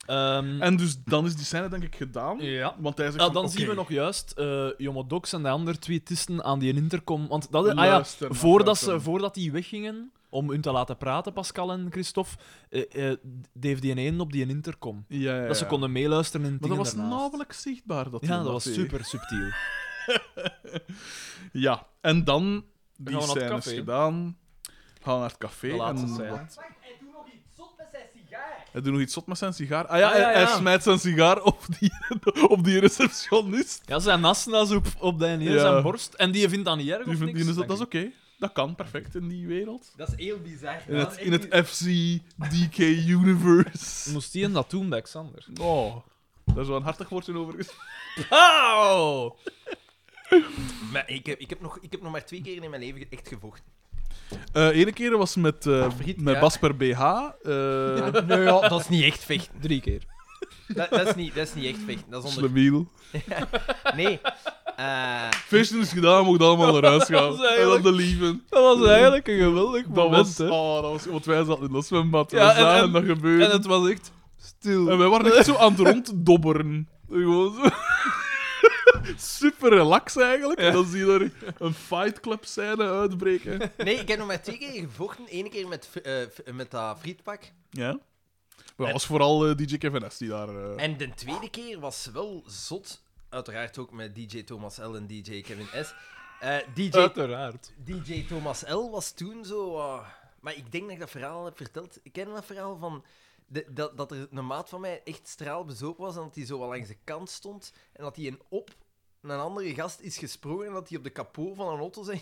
Speaker 3: Ehm,
Speaker 1: En dus dan is die scène, denk ik, gedaan.
Speaker 3: ja.
Speaker 1: Want hij zegt
Speaker 3: Ah,
Speaker 1: van,
Speaker 3: dan
Speaker 1: oké,
Speaker 3: zien we nog juist eh Jomo Dox en de andere twee tisten aan die intercom. Want dat, ah ja,
Speaker 1: Luister naar
Speaker 3: voordat, ze,
Speaker 1: Fransman.
Speaker 3: voordat die weggingen, om hun te laten praten, Pascal en Christophe, eh eh deed die een op die intercom.
Speaker 1: Ja, ja, ja.
Speaker 3: Dat ze konden meeluisteren in het
Speaker 1: Maar dat
Speaker 3: dingen
Speaker 1: was
Speaker 3: daarnaast.
Speaker 1: nauwelijks zichtbaar. Dat
Speaker 3: Ja,
Speaker 1: hij
Speaker 3: dat was
Speaker 1: deed.
Speaker 3: super subtiel.
Speaker 1: Ja, en dan...
Speaker 3: gaan we
Speaker 1: Die
Speaker 3: naar het
Speaker 1: scène is
Speaker 3: café.
Speaker 1: gedaan. Gaan we naar het café.
Speaker 3: De laatste
Speaker 1: en
Speaker 3: scène.
Speaker 1: wat-
Speaker 2: Wacht, hij doet nog iets zot met zijn sigaar.
Speaker 1: Hij doet nog iets zot met zijn sigaar. Ah ja,
Speaker 3: Ah, ja,
Speaker 1: hij- hij
Speaker 3: ja.
Speaker 1: smijt zijn sigaar op die, <laughs> op die receptionist.
Speaker 3: Ja, zijn nassen als op, op die ene
Speaker 1: Ja.
Speaker 3: zijn borst. En die vindt dat niet erg
Speaker 1: Die
Speaker 3: of
Speaker 1: vindt-
Speaker 3: niks.
Speaker 1: die is, dat
Speaker 3: denk
Speaker 1: is
Speaker 3: ik.
Speaker 1: oké. Dat kan perfect in die wereld.
Speaker 2: Dat is heel bizar.
Speaker 1: In het, in het FC DK universe.
Speaker 3: <laughs> Moest die en dat doen bij Xander?
Speaker 1: Oh, daar is wel een hartig woordje over gesproken.
Speaker 3: Auw!
Speaker 2: Maar ik heb, ik, heb nog, ik heb nog maar twee keer in mijn leven echt gevochten.
Speaker 1: Eh Ene keer was met, eh,
Speaker 3: Ah,
Speaker 2: Friet,
Speaker 1: met
Speaker 2: ja.
Speaker 1: Basper BH. eh
Speaker 2: Nee, ja, dat is niet echt vechten.
Speaker 3: Drie keer.
Speaker 2: Dat, dat, is, niet, dat is niet echt vechten. Dat is onder...
Speaker 1: Slemiel.
Speaker 2: Nee. Eh,
Speaker 1: Feestje is gedaan, mocht allemaal naar huis gaan.
Speaker 3: <laughs> Dat
Speaker 1: en
Speaker 3: was
Speaker 1: dan
Speaker 3: eigenlijk-
Speaker 1: de lieven.
Speaker 3: Dat was eigenlijk een geweldig
Speaker 1: Dat
Speaker 3: moment,
Speaker 1: was,
Speaker 3: hè.
Speaker 1: oh, dat was, want wij zaten in dat zwembad.
Speaker 3: Ja,
Speaker 1: we
Speaker 3: en-
Speaker 1: zagen
Speaker 3: en-
Speaker 1: dat gebeuren.
Speaker 3: En
Speaker 1: En,
Speaker 3: het was echt stil.
Speaker 1: wij waren echt zo aan het ronddobberen. <laughs> Gewoon zo. Super relax eigenlijk. En dan zie je er een Fight Club scène
Speaker 3: <laughs>
Speaker 1: uitbreken.
Speaker 2: nee, ik heb nog maar twee keer gevochten. Eén keer met, v- eh, v- met dat frietpak.
Speaker 1: Ja. Maar dat was vooral eh, DJ Kevin S die daar. eh,
Speaker 2: En de tweede keer was wel zot. Uiteraard ook met DJ Thomas L en DJ Kevin S. Eh, DJ,
Speaker 3: Uiteraard.
Speaker 2: DJ Thomas L was toen zo... eh, maar ik denk dat ik dat verhaal al heb verteld. Ik ken dat verhaal van... de- dat, dat er een maat van mij echt straalbezopen was en dat hij zo wel langs de kant stond en dat hij een op een andere gast is gesprongen en dat hij op de kapot van een auto zijn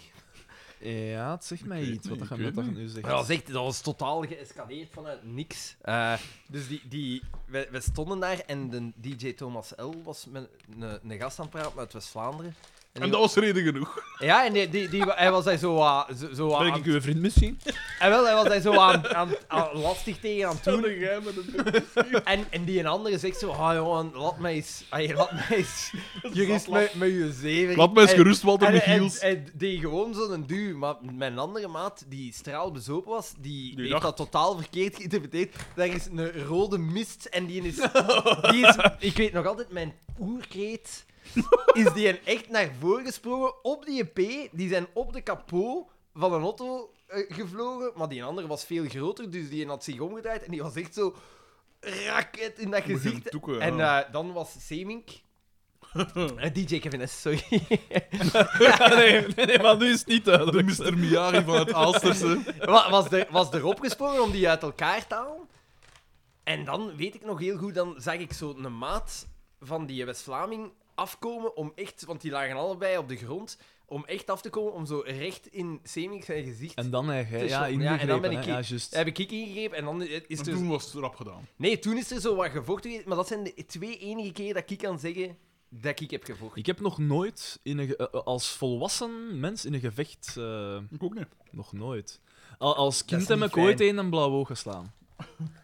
Speaker 3: Ja, het zegt mij
Speaker 1: Ik weet
Speaker 3: iets wat
Speaker 1: niet,
Speaker 3: dat
Speaker 1: ik
Speaker 3: je
Speaker 1: weet
Speaker 3: nu zegt.
Speaker 2: Maar dat, was echt, dat was totaal geëscaleerd vanuit niks. Eh, dus die, die, we, we stonden daar en de DJ Thomas L. was met een, een gast aan het praten uit West-Vlaanderen. En
Speaker 1: en
Speaker 2: die-
Speaker 1: dat was reden genoeg.
Speaker 2: Ja, en die, die, die, hij was daar zo, eh, zo, zo aan...
Speaker 3: Ben ik uw vriend
Speaker 1: <laughs>
Speaker 3: misschien?
Speaker 2: En wel, hij was daar zo aan, aan, aan- lastig tegen aan het doen.
Speaker 1: een geheim met een
Speaker 2: <laughs> En, en die een andere zegt zo, ah jongen, laat mij eens... Ay, laat mij eens... Jurist, met, met je zeven.
Speaker 1: Laat mij eens
Speaker 2: En-
Speaker 1: gerust, Walter
Speaker 2: en,
Speaker 1: Michiels.
Speaker 2: en, en die gewoon zo'n duw. Maar mijn andere maat, die straalbezopen was, die, heeft
Speaker 1: dacht-
Speaker 2: dat totaal verkeerd geïnterpreteerd. Daar is een rode mist en die is... Die is ik weet nog altijd, mijn oerkreet... Is die een echt naar voren gesprongen op die EP? Die zijn op de kapot van een auto eh, gevlogen. Maar die andere was veel groter, dus die had zich omgedraaid. En die was echt zo... Raket in dat
Speaker 1: Moet je hem
Speaker 2: gezicht.
Speaker 1: toeken,
Speaker 2: en
Speaker 1: ja.
Speaker 2: eh, dan was Semink... Eh, DJ Kevin S, sorry.
Speaker 3: <laughs> nee, nee, nee, maar nu is het niet
Speaker 1: De
Speaker 3: duidelijk.
Speaker 1: Mr. Miyagi van het Aalsterse.
Speaker 2: Wa- was, er, was erop gesprongen om die uit elkaar te halen. En dan, weet ik nog heel goed, dan zag ik zo een maat van die West-Vlaming afkomen om echt... Want die lagen allebei op de grond. om echt af te komen, om zo recht in Semik zijn gezicht.
Speaker 3: En dus- dan heb jij,
Speaker 2: is
Speaker 3: ja,
Speaker 2: zo- ja, en dan ben
Speaker 3: ingegrepen,
Speaker 2: ik
Speaker 3: hè. Ja,
Speaker 2: hier.
Speaker 3: juist.
Speaker 2: heb ik ik ingegrepen en dan is
Speaker 1: En
Speaker 2: er...
Speaker 3: dus-
Speaker 1: toen was het rap gedaan.
Speaker 2: Nee, toen is er zo wat gevochten, geweest, maar dat zijn de twee enige keer dat ik kan zeggen dat ik heb gevochten.
Speaker 3: Ik heb nog nooit in een, ge- eh, eh, als volwassen mens in een gevecht. eh,
Speaker 1: Ik ook niet.
Speaker 3: nog nooit. Al- als kind
Speaker 2: is
Speaker 3: heb
Speaker 2: niet
Speaker 3: ik ooit
Speaker 2: fijn.
Speaker 3: een en blauw oog geslaan.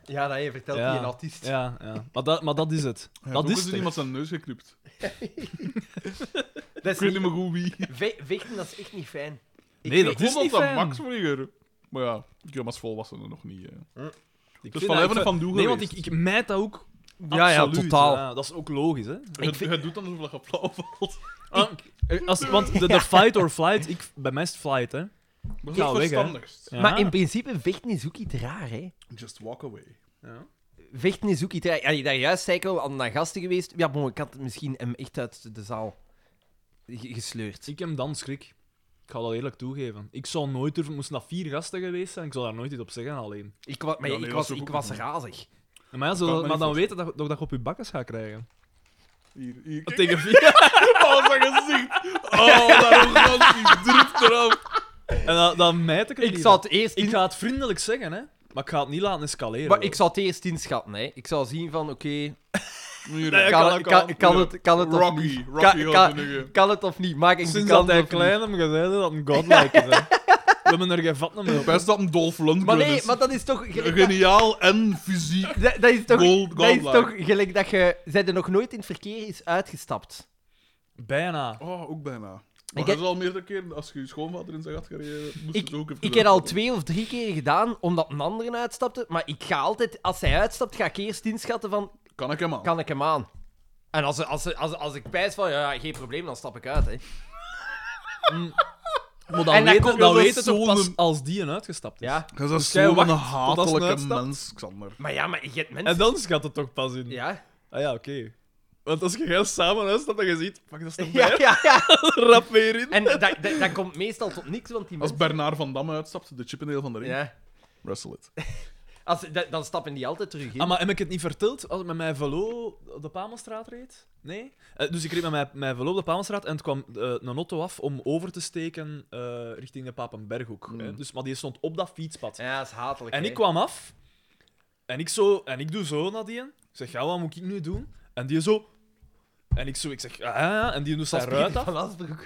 Speaker 2: Ja, dat je vertelt
Speaker 3: Ja.
Speaker 2: die een autist.
Speaker 3: Ja, ja. Maar, dat, maar dat is het.
Speaker 1: Hij
Speaker 3: dat
Speaker 1: heeft ook
Speaker 3: is
Speaker 1: eens
Speaker 3: het. dus.
Speaker 1: iemand zijn neus geknipt.
Speaker 2: Dat is
Speaker 1: Ik weet
Speaker 2: niet-
Speaker 1: niet meer goed wie.
Speaker 2: Ve- vechten, dat is echt niet fijn.
Speaker 3: Nee,
Speaker 1: Ik
Speaker 3: dat
Speaker 1: vond
Speaker 3: is niet
Speaker 1: dat
Speaker 3: fijn.
Speaker 1: Max Vlieger. Maar ja, ik heb als volwassene nog niet. eh.
Speaker 3: Ik
Speaker 1: Dus
Speaker 3: vind
Speaker 1: van
Speaker 3: dat-
Speaker 1: Leven en van Doe
Speaker 3: Nee, want
Speaker 1: geweest.
Speaker 3: ik, ik mijt dat ook.
Speaker 4: Ja, ja,
Speaker 3: absoluut.
Speaker 4: totaal.
Speaker 3: Ja, dat is ook logisch, hè?
Speaker 1: Het, het doet dan alsof dat je flauw <laughs> valt.
Speaker 3: Ah, eh, als, want <laughs> de, de fight or flight, ik, bij mij is het flight, hè?
Speaker 1: Dat is
Speaker 3: Ga
Speaker 1: het
Speaker 3: weg, hè.
Speaker 1: verstandigst.
Speaker 3: Ja.
Speaker 2: Maar in principe, vechten is ook iets raar, hè.
Speaker 1: Just walk away.
Speaker 2: Vechten is ook iets raar. Allee, daar juist zei ik al aan dat gasten geweest. Ja, bon, ik had misschien hem echt uit de zaal ge- gesleurd.
Speaker 3: Ik heb dan schrik. Ik ga dat eerlijk toegeven. Ik zou nooit durven, moest dat vier gasten geweest zijn, ik zou daar nooit iets op zeggen alleen.
Speaker 2: Ik, wa- maar
Speaker 1: Ja, nee,
Speaker 2: ik
Speaker 1: dat
Speaker 2: was,
Speaker 1: is ook
Speaker 2: ik
Speaker 1: goed.
Speaker 2: was razig.
Speaker 3: Maar, ja, zo-
Speaker 1: Kan me niet
Speaker 3: maar dan
Speaker 1: voorstellen.
Speaker 3: weten dat, je- dat je op je bakkes gaat krijgen.
Speaker 1: Hier, hier. Kijk, <laughs>
Speaker 3: Tegen vier.
Speaker 1: oh, zijn gezicht. Oh, daarom gaat die drukt eraf.
Speaker 3: En dan, dan mijt ik het
Speaker 2: Ik
Speaker 3: niet.
Speaker 2: zou het eerst,
Speaker 3: Ik
Speaker 2: in-
Speaker 3: ga het vriendelijk zeggen, hè. Maar ik ga het niet laten escaleren.
Speaker 2: maar
Speaker 3: hoor.
Speaker 2: ik zou het eerst inschatten, hè. Ik zou zien van, oké,
Speaker 1: Hier, eh,
Speaker 3: Nee,
Speaker 2: kan,
Speaker 3: kan
Speaker 2: het-
Speaker 3: ook
Speaker 2: kan,
Speaker 3: al.
Speaker 2: kan het, kan het of
Speaker 1: Rocky.
Speaker 2: niet?
Speaker 1: Rocky
Speaker 2: Kan-
Speaker 1: gaat
Speaker 2: kan,
Speaker 1: de nuggen.
Speaker 2: kan het of niet? Maak ik de
Speaker 3: Sinds
Speaker 2: kans
Speaker 3: dat hij
Speaker 2: of
Speaker 3: klein hem gezegd dat een godlike is, hè. <laughs> We hebben er geen vat meer op.
Speaker 1: Best dat een Dolph
Speaker 2: niet? Maar
Speaker 1: Lundgren
Speaker 2: nee,
Speaker 1: is.
Speaker 2: maar dat is toch... gelijk dat-
Speaker 1: Geniaal en fysiek.
Speaker 2: Dat, dat is toch,
Speaker 1: Gold-
Speaker 2: dat is
Speaker 1: godlike.
Speaker 2: toch gelijk dat je... Zij er nog nooit in het verkeer is uitgestapt.
Speaker 3: Bijna.
Speaker 1: Oh, ook bijna.
Speaker 2: Ik
Speaker 1: Maar
Speaker 2: heb-
Speaker 1: je al meerdere keer, als je je schoonvader in zijn gat gereden, moest
Speaker 2: Ik,
Speaker 1: het ook even...
Speaker 2: ik heb al
Speaker 1: uitkomen.
Speaker 2: twee of drie keer gedaan, omdat een ander uitstapte. Maar ik ga altijd... Als hij uitstapt, ga ik eerst inschatten van...
Speaker 1: Kan ik hem aan?
Speaker 2: Kan ik hem aan? En als, als, als, als ik pijs van... Ja, ja, geen probleem, dan stap ik uit, hè.
Speaker 3: Maar
Speaker 2: En
Speaker 3: dan
Speaker 2: dat
Speaker 3: weet
Speaker 2: komt-
Speaker 3: het, dan
Speaker 1: dat is
Speaker 3: weet het toch
Speaker 1: zo'n-
Speaker 3: pas als die een uitgestapt is.
Speaker 2: Ja.
Speaker 1: Je bent
Speaker 3: jij
Speaker 1: zo'n
Speaker 3: wacht totdat ze
Speaker 1: hatelijke
Speaker 3: uitstapt?
Speaker 1: mens, Xander.
Speaker 2: Maar ja, maar je hebt mensen...
Speaker 3: En dan schat het toch pas in.
Speaker 2: Ja.
Speaker 3: Ah ja, oké. <laughs> Want als je heel samen uitstapt en je ziet, pak dat is <laughs> toch
Speaker 2: Ja, ja, ja.
Speaker 3: rap weer in.
Speaker 2: En dat, dat, dat komt meestal tot niks, want die
Speaker 1: Als
Speaker 2: mensen...
Speaker 1: Bernard van Damme uitstapt, de chippendeel van de ring,
Speaker 2: Ja.
Speaker 1: wrestle it.
Speaker 2: Als, da- dan stappen die altijd terug in.
Speaker 3: Ah, maar heb ik het niet verteld als ik met mijn velo op de Pamelstraat reed? Nee? Eh, dus ik reed met mijn, mijn velo op de Pamelstraat en het kwam eh, een auto af om over te steken eh, richting de Papenberghoek.
Speaker 1: Hmm.
Speaker 3: hè. Dus, maar die stond op dat fietspad.
Speaker 2: Ja, dat is hatelijk.
Speaker 3: En
Speaker 2: hè.
Speaker 3: ik kwam af. En ik, zo, en ik doe zo naar die. Ik zeg, ja, wat moet ik nu doen? En die zo... En ik zo, ik zeg, ah, ja, ja. en die doet
Speaker 2: Dat
Speaker 3: zijn
Speaker 2: is
Speaker 3: ruit
Speaker 2: Peter
Speaker 3: af.
Speaker 2: van Asbroek.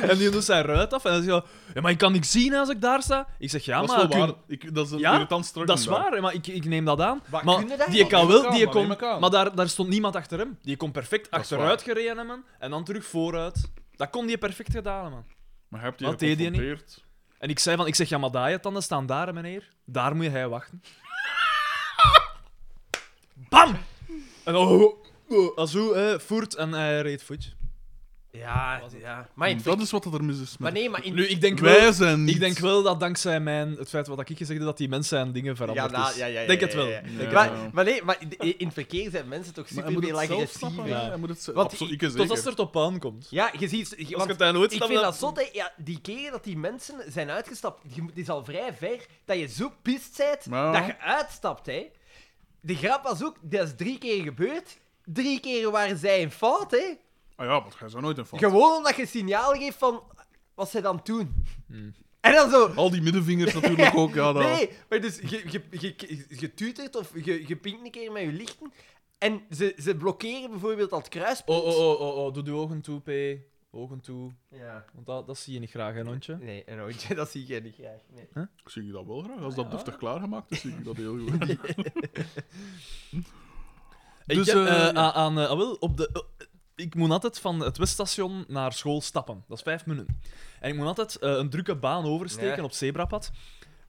Speaker 3: En die doet zijn ruit af. En dan zegt hij, ja, maar ik kan niks zien als ik daar sta. Ik zeg, ja,
Speaker 1: dat is
Speaker 3: maar...
Speaker 1: wel
Speaker 3: kun-
Speaker 1: waar. Ik, dat is een
Speaker 3: Ja,
Speaker 1: irritant strak.
Speaker 3: Dat is waar, hè, maar ik, ik neem dat aan.
Speaker 2: Wat kun je
Speaker 3: maar
Speaker 2: daar?
Speaker 3: die
Speaker 2: Wat
Speaker 3: kan
Speaker 1: neem ik
Speaker 3: wel,
Speaker 1: aan,
Speaker 3: die
Speaker 1: wat
Speaker 3: kon,
Speaker 1: neem ik aan?
Speaker 3: maar daar, daar stond niemand achter hem. Die kon perfect
Speaker 1: is
Speaker 3: achteruit gereden hebben en dan terug vooruit. Dat kon die perfect gedaan, man.
Speaker 1: Maar heb je
Speaker 3: Wat deed die niet?
Speaker 1: geconfronteerd?
Speaker 3: En ik zei van, ik zeg, ja, maar daar je tanden staan daar, hè, meneer. Daar moet hij wachten. <laughs> Bam! En dan, oh, oh, als hoe, hè, voert en hij reed voet.
Speaker 2: Ja, ja. Maar, in-
Speaker 1: Dat is wat er mis is met...
Speaker 2: maar nee, maar in...
Speaker 3: Nu, ik denk
Speaker 1: Wij
Speaker 3: wel,
Speaker 1: zijn niet...
Speaker 3: ik denk wel dat dankzij mijn, het feit wat ik gezegd heb, dat die mensen zijn dingen veranderd
Speaker 2: nou,
Speaker 3: is. denk het wel.
Speaker 2: ja, ja.
Speaker 1: Denk
Speaker 2: Maar,
Speaker 1: het wel.
Speaker 2: maar nee, maar in- in het verkeer zijn mensen toch
Speaker 1: Maar hij moet
Speaker 2: super veel
Speaker 1: het zelf snappen,
Speaker 2: agressiever.
Speaker 1: hè.
Speaker 3: ja.
Speaker 1: Hij moet het zelf...
Speaker 2: Want
Speaker 1: Absoluut,
Speaker 2: ik-
Speaker 1: ik zeker.
Speaker 3: Tot als het erop aankomt.
Speaker 2: Ja, je ziet... je-
Speaker 3: Als
Speaker 2: want
Speaker 3: je het daar nooit
Speaker 2: ik
Speaker 3: snapt,
Speaker 2: vind
Speaker 3: dan-
Speaker 2: dat zot, hè. Ja, die keren dat die mensen zijn uitgestapt, je moet- het is al vrij ver dat je zo pist bent
Speaker 1: Ja.
Speaker 2: dat je uitstapt, hè. De grap was ook, dat is drie keer gebeurd. Drie keer waren zij in fout, hè.
Speaker 1: Ah ja, want jij zou nooit een fout.
Speaker 2: Gewoon omdat je signaal geeft van... Wat zij dan doen.
Speaker 3: Hmm.
Speaker 2: En dan zo...
Speaker 1: Al die middenvingers natuurlijk ook, ja. Dat...
Speaker 2: Nee, maar dus je, je, je, je, je tutert of je, je pinkt een keer met je lichten. En ze, ze blokkeren bijvoorbeeld dat kruispunt.
Speaker 3: Oh, oh, oh, oh, oh, doe je ogen toe, P. Ogen toe.
Speaker 2: Ja.
Speaker 3: Want dat, dat zie je niet graag, hè, hondje?
Speaker 2: Nee, een hondje, <laughs> dat zie je niet graag. Nee.
Speaker 1: Ik zie je dat wel graag. Als dat deftig klaargemaakt is, zie ik dat heel
Speaker 3: <laughs>
Speaker 1: goed.
Speaker 3: Dus,
Speaker 1: Dus,
Speaker 3: ik heb,
Speaker 1: eh,
Speaker 3: eh,
Speaker 1: ja.
Speaker 3: a- aan, eh, ah, wel, op de, eh, ik moet altijd van het Weststation naar school stappen. Dat is vijf minuten. En ik moet altijd eh, een drukke baan oversteken
Speaker 2: Ja.
Speaker 3: op zebrapad.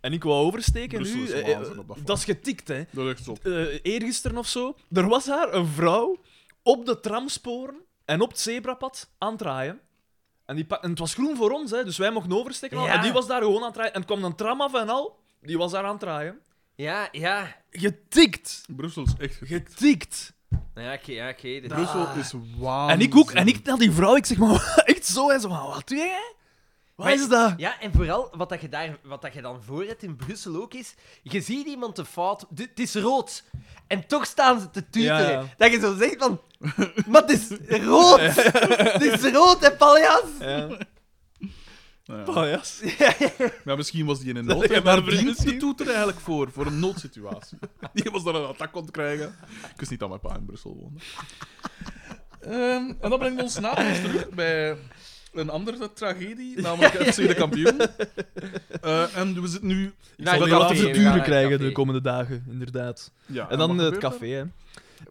Speaker 3: En ik wou oversteken
Speaker 1: Brussel
Speaker 3: nu.
Speaker 1: is
Speaker 3: eh, eh,
Speaker 1: waanzin op dat vlak.
Speaker 3: dat is getikt, hè.
Speaker 1: Dat is echt zot.
Speaker 3: eh eergisteren of zo, er was daar een vrouw op de tramsporen en op het zebrapad aan het draaien. En, die pak- en het was groen voor ons, hè, dus wij mochten oversteken. al.
Speaker 2: Ja.
Speaker 3: En die was daar gewoon aan het draaien. En er kwam een tram af en al, die was daar aan het draaien.
Speaker 2: Ja, ja.
Speaker 3: Getikt!
Speaker 1: Brussel is echt...
Speaker 3: Getikt!
Speaker 2: Ja, oké, ja, oké. dit-
Speaker 1: Ah. Brussel is waanzin.
Speaker 3: En ik ook, en ik naar die vrouw, ik zeg maar <laughs> echt zo, en zo, maar wat doe jij? Wat
Speaker 2: Maar-
Speaker 3: is dat?
Speaker 2: Ja, en vooral wat, dat je, daar, wat dat je dan voor hebt in Brussel ook is. Je ziet iemand de fout, d- het is rood. En toch staan ze te tuteren.
Speaker 3: Ja, ja.
Speaker 2: Dat je zo zegt van. Maar het is
Speaker 1: <laughs>
Speaker 2: rood! Het is rood, hè, paljas?
Speaker 3: <laughs>
Speaker 1: Nou ja.
Speaker 3: Paljas.
Speaker 1: Maar misschien was
Speaker 3: <laughs>
Speaker 1: die in een
Speaker 3: Dat
Speaker 1: nood.
Speaker 3: je
Speaker 1: En
Speaker 3: maar
Speaker 1: Waar dient de
Speaker 3: misschien-
Speaker 1: toeter eigenlijk voor? Voor een noodsituatie. <laughs> Die was daar een attack kon krijgen. Ik wist niet dat mijn pa in Brussel woonde. Ehm, en dat brengt ons naadloos terug bij een andere <laughs> tragedie, namelijk FC de kampioen. Eh, en we zitten nu...
Speaker 2: Ik
Speaker 3: Ik
Speaker 1: zal
Speaker 3: zal
Speaker 1: die
Speaker 3: die laten
Speaker 1: café, we
Speaker 3: verduren krijgen de komende dagen, inderdaad.
Speaker 1: Ja,
Speaker 3: En dan
Speaker 1: wat
Speaker 3: het
Speaker 1: gebeurt er?
Speaker 3: café, hè.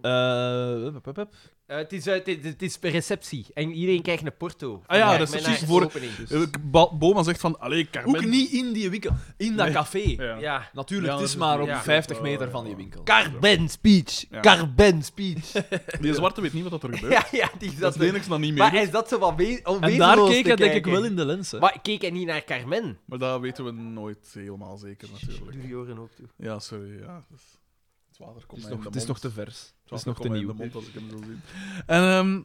Speaker 3: Eh, hup, hup, hup.
Speaker 2: het, is, eh, het, is- het is receptie. En iedereen krijgt een porto.
Speaker 1: Ah ja,
Speaker 2: Vandaar
Speaker 1: dat is
Speaker 2: mijn
Speaker 1: precies
Speaker 2: eigen
Speaker 1: voor-
Speaker 2: opening. Dus-
Speaker 1: Eh, Ba- Boma zegt van, allee, Carmen...
Speaker 3: Ook niet in die winkel, in dat
Speaker 1: Nee.
Speaker 3: café.
Speaker 1: Ja.
Speaker 2: Ja.
Speaker 3: Natuurlijk,
Speaker 1: Ja, dat
Speaker 3: het is
Speaker 1: is-
Speaker 3: maar op
Speaker 2: ja.
Speaker 3: 50
Speaker 1: Ja.
Speaker 3: meter van die winkel.
Speaker 2: Carben speech.
Speaker 1: Ja.
Speaker 2: Carben speech.
Speaker 1: Die zwarte weet niet wat er gebeurt.
Speaker 2: <laughs> ja, ja, die
Speaker 1: Dat
Speaker 2: zat
Speaker 1: is niks dan niet meer.
Speaker 2: Maar hij zat zo van we- om
Speaker 3: En daar
Speaker 2: wezenloos
Speaker 3: keek
Speaker 2: te
Speaker 3: hij denk ik
Speaker 2: kijken.
Speaker 3: wel in de lens, hè.
Speaker 2: Maar ik keek hij niet naar Carmen?
Speaker 1: Maar dat weten we nooit helemaal zeker, natuurlijk.
Speaker 2: Doe je oren ook toe.
Speaker 1: Ja, sorry. Ja. dat is- Het water komt
Speaker 3: Het is
Speaker 1: mij in
Speaker 3: nog,
Speaker 1: de
Speaker 3: het is nog
Speaker 1: mond.
Speaker 3: te vers. Het is
Speaker 1: Het
Speaker 3: nog te
Speaker 1: in de
Speaker 3: nieuw.
Speaker 1: mond als ik hem zo zie. En ehm,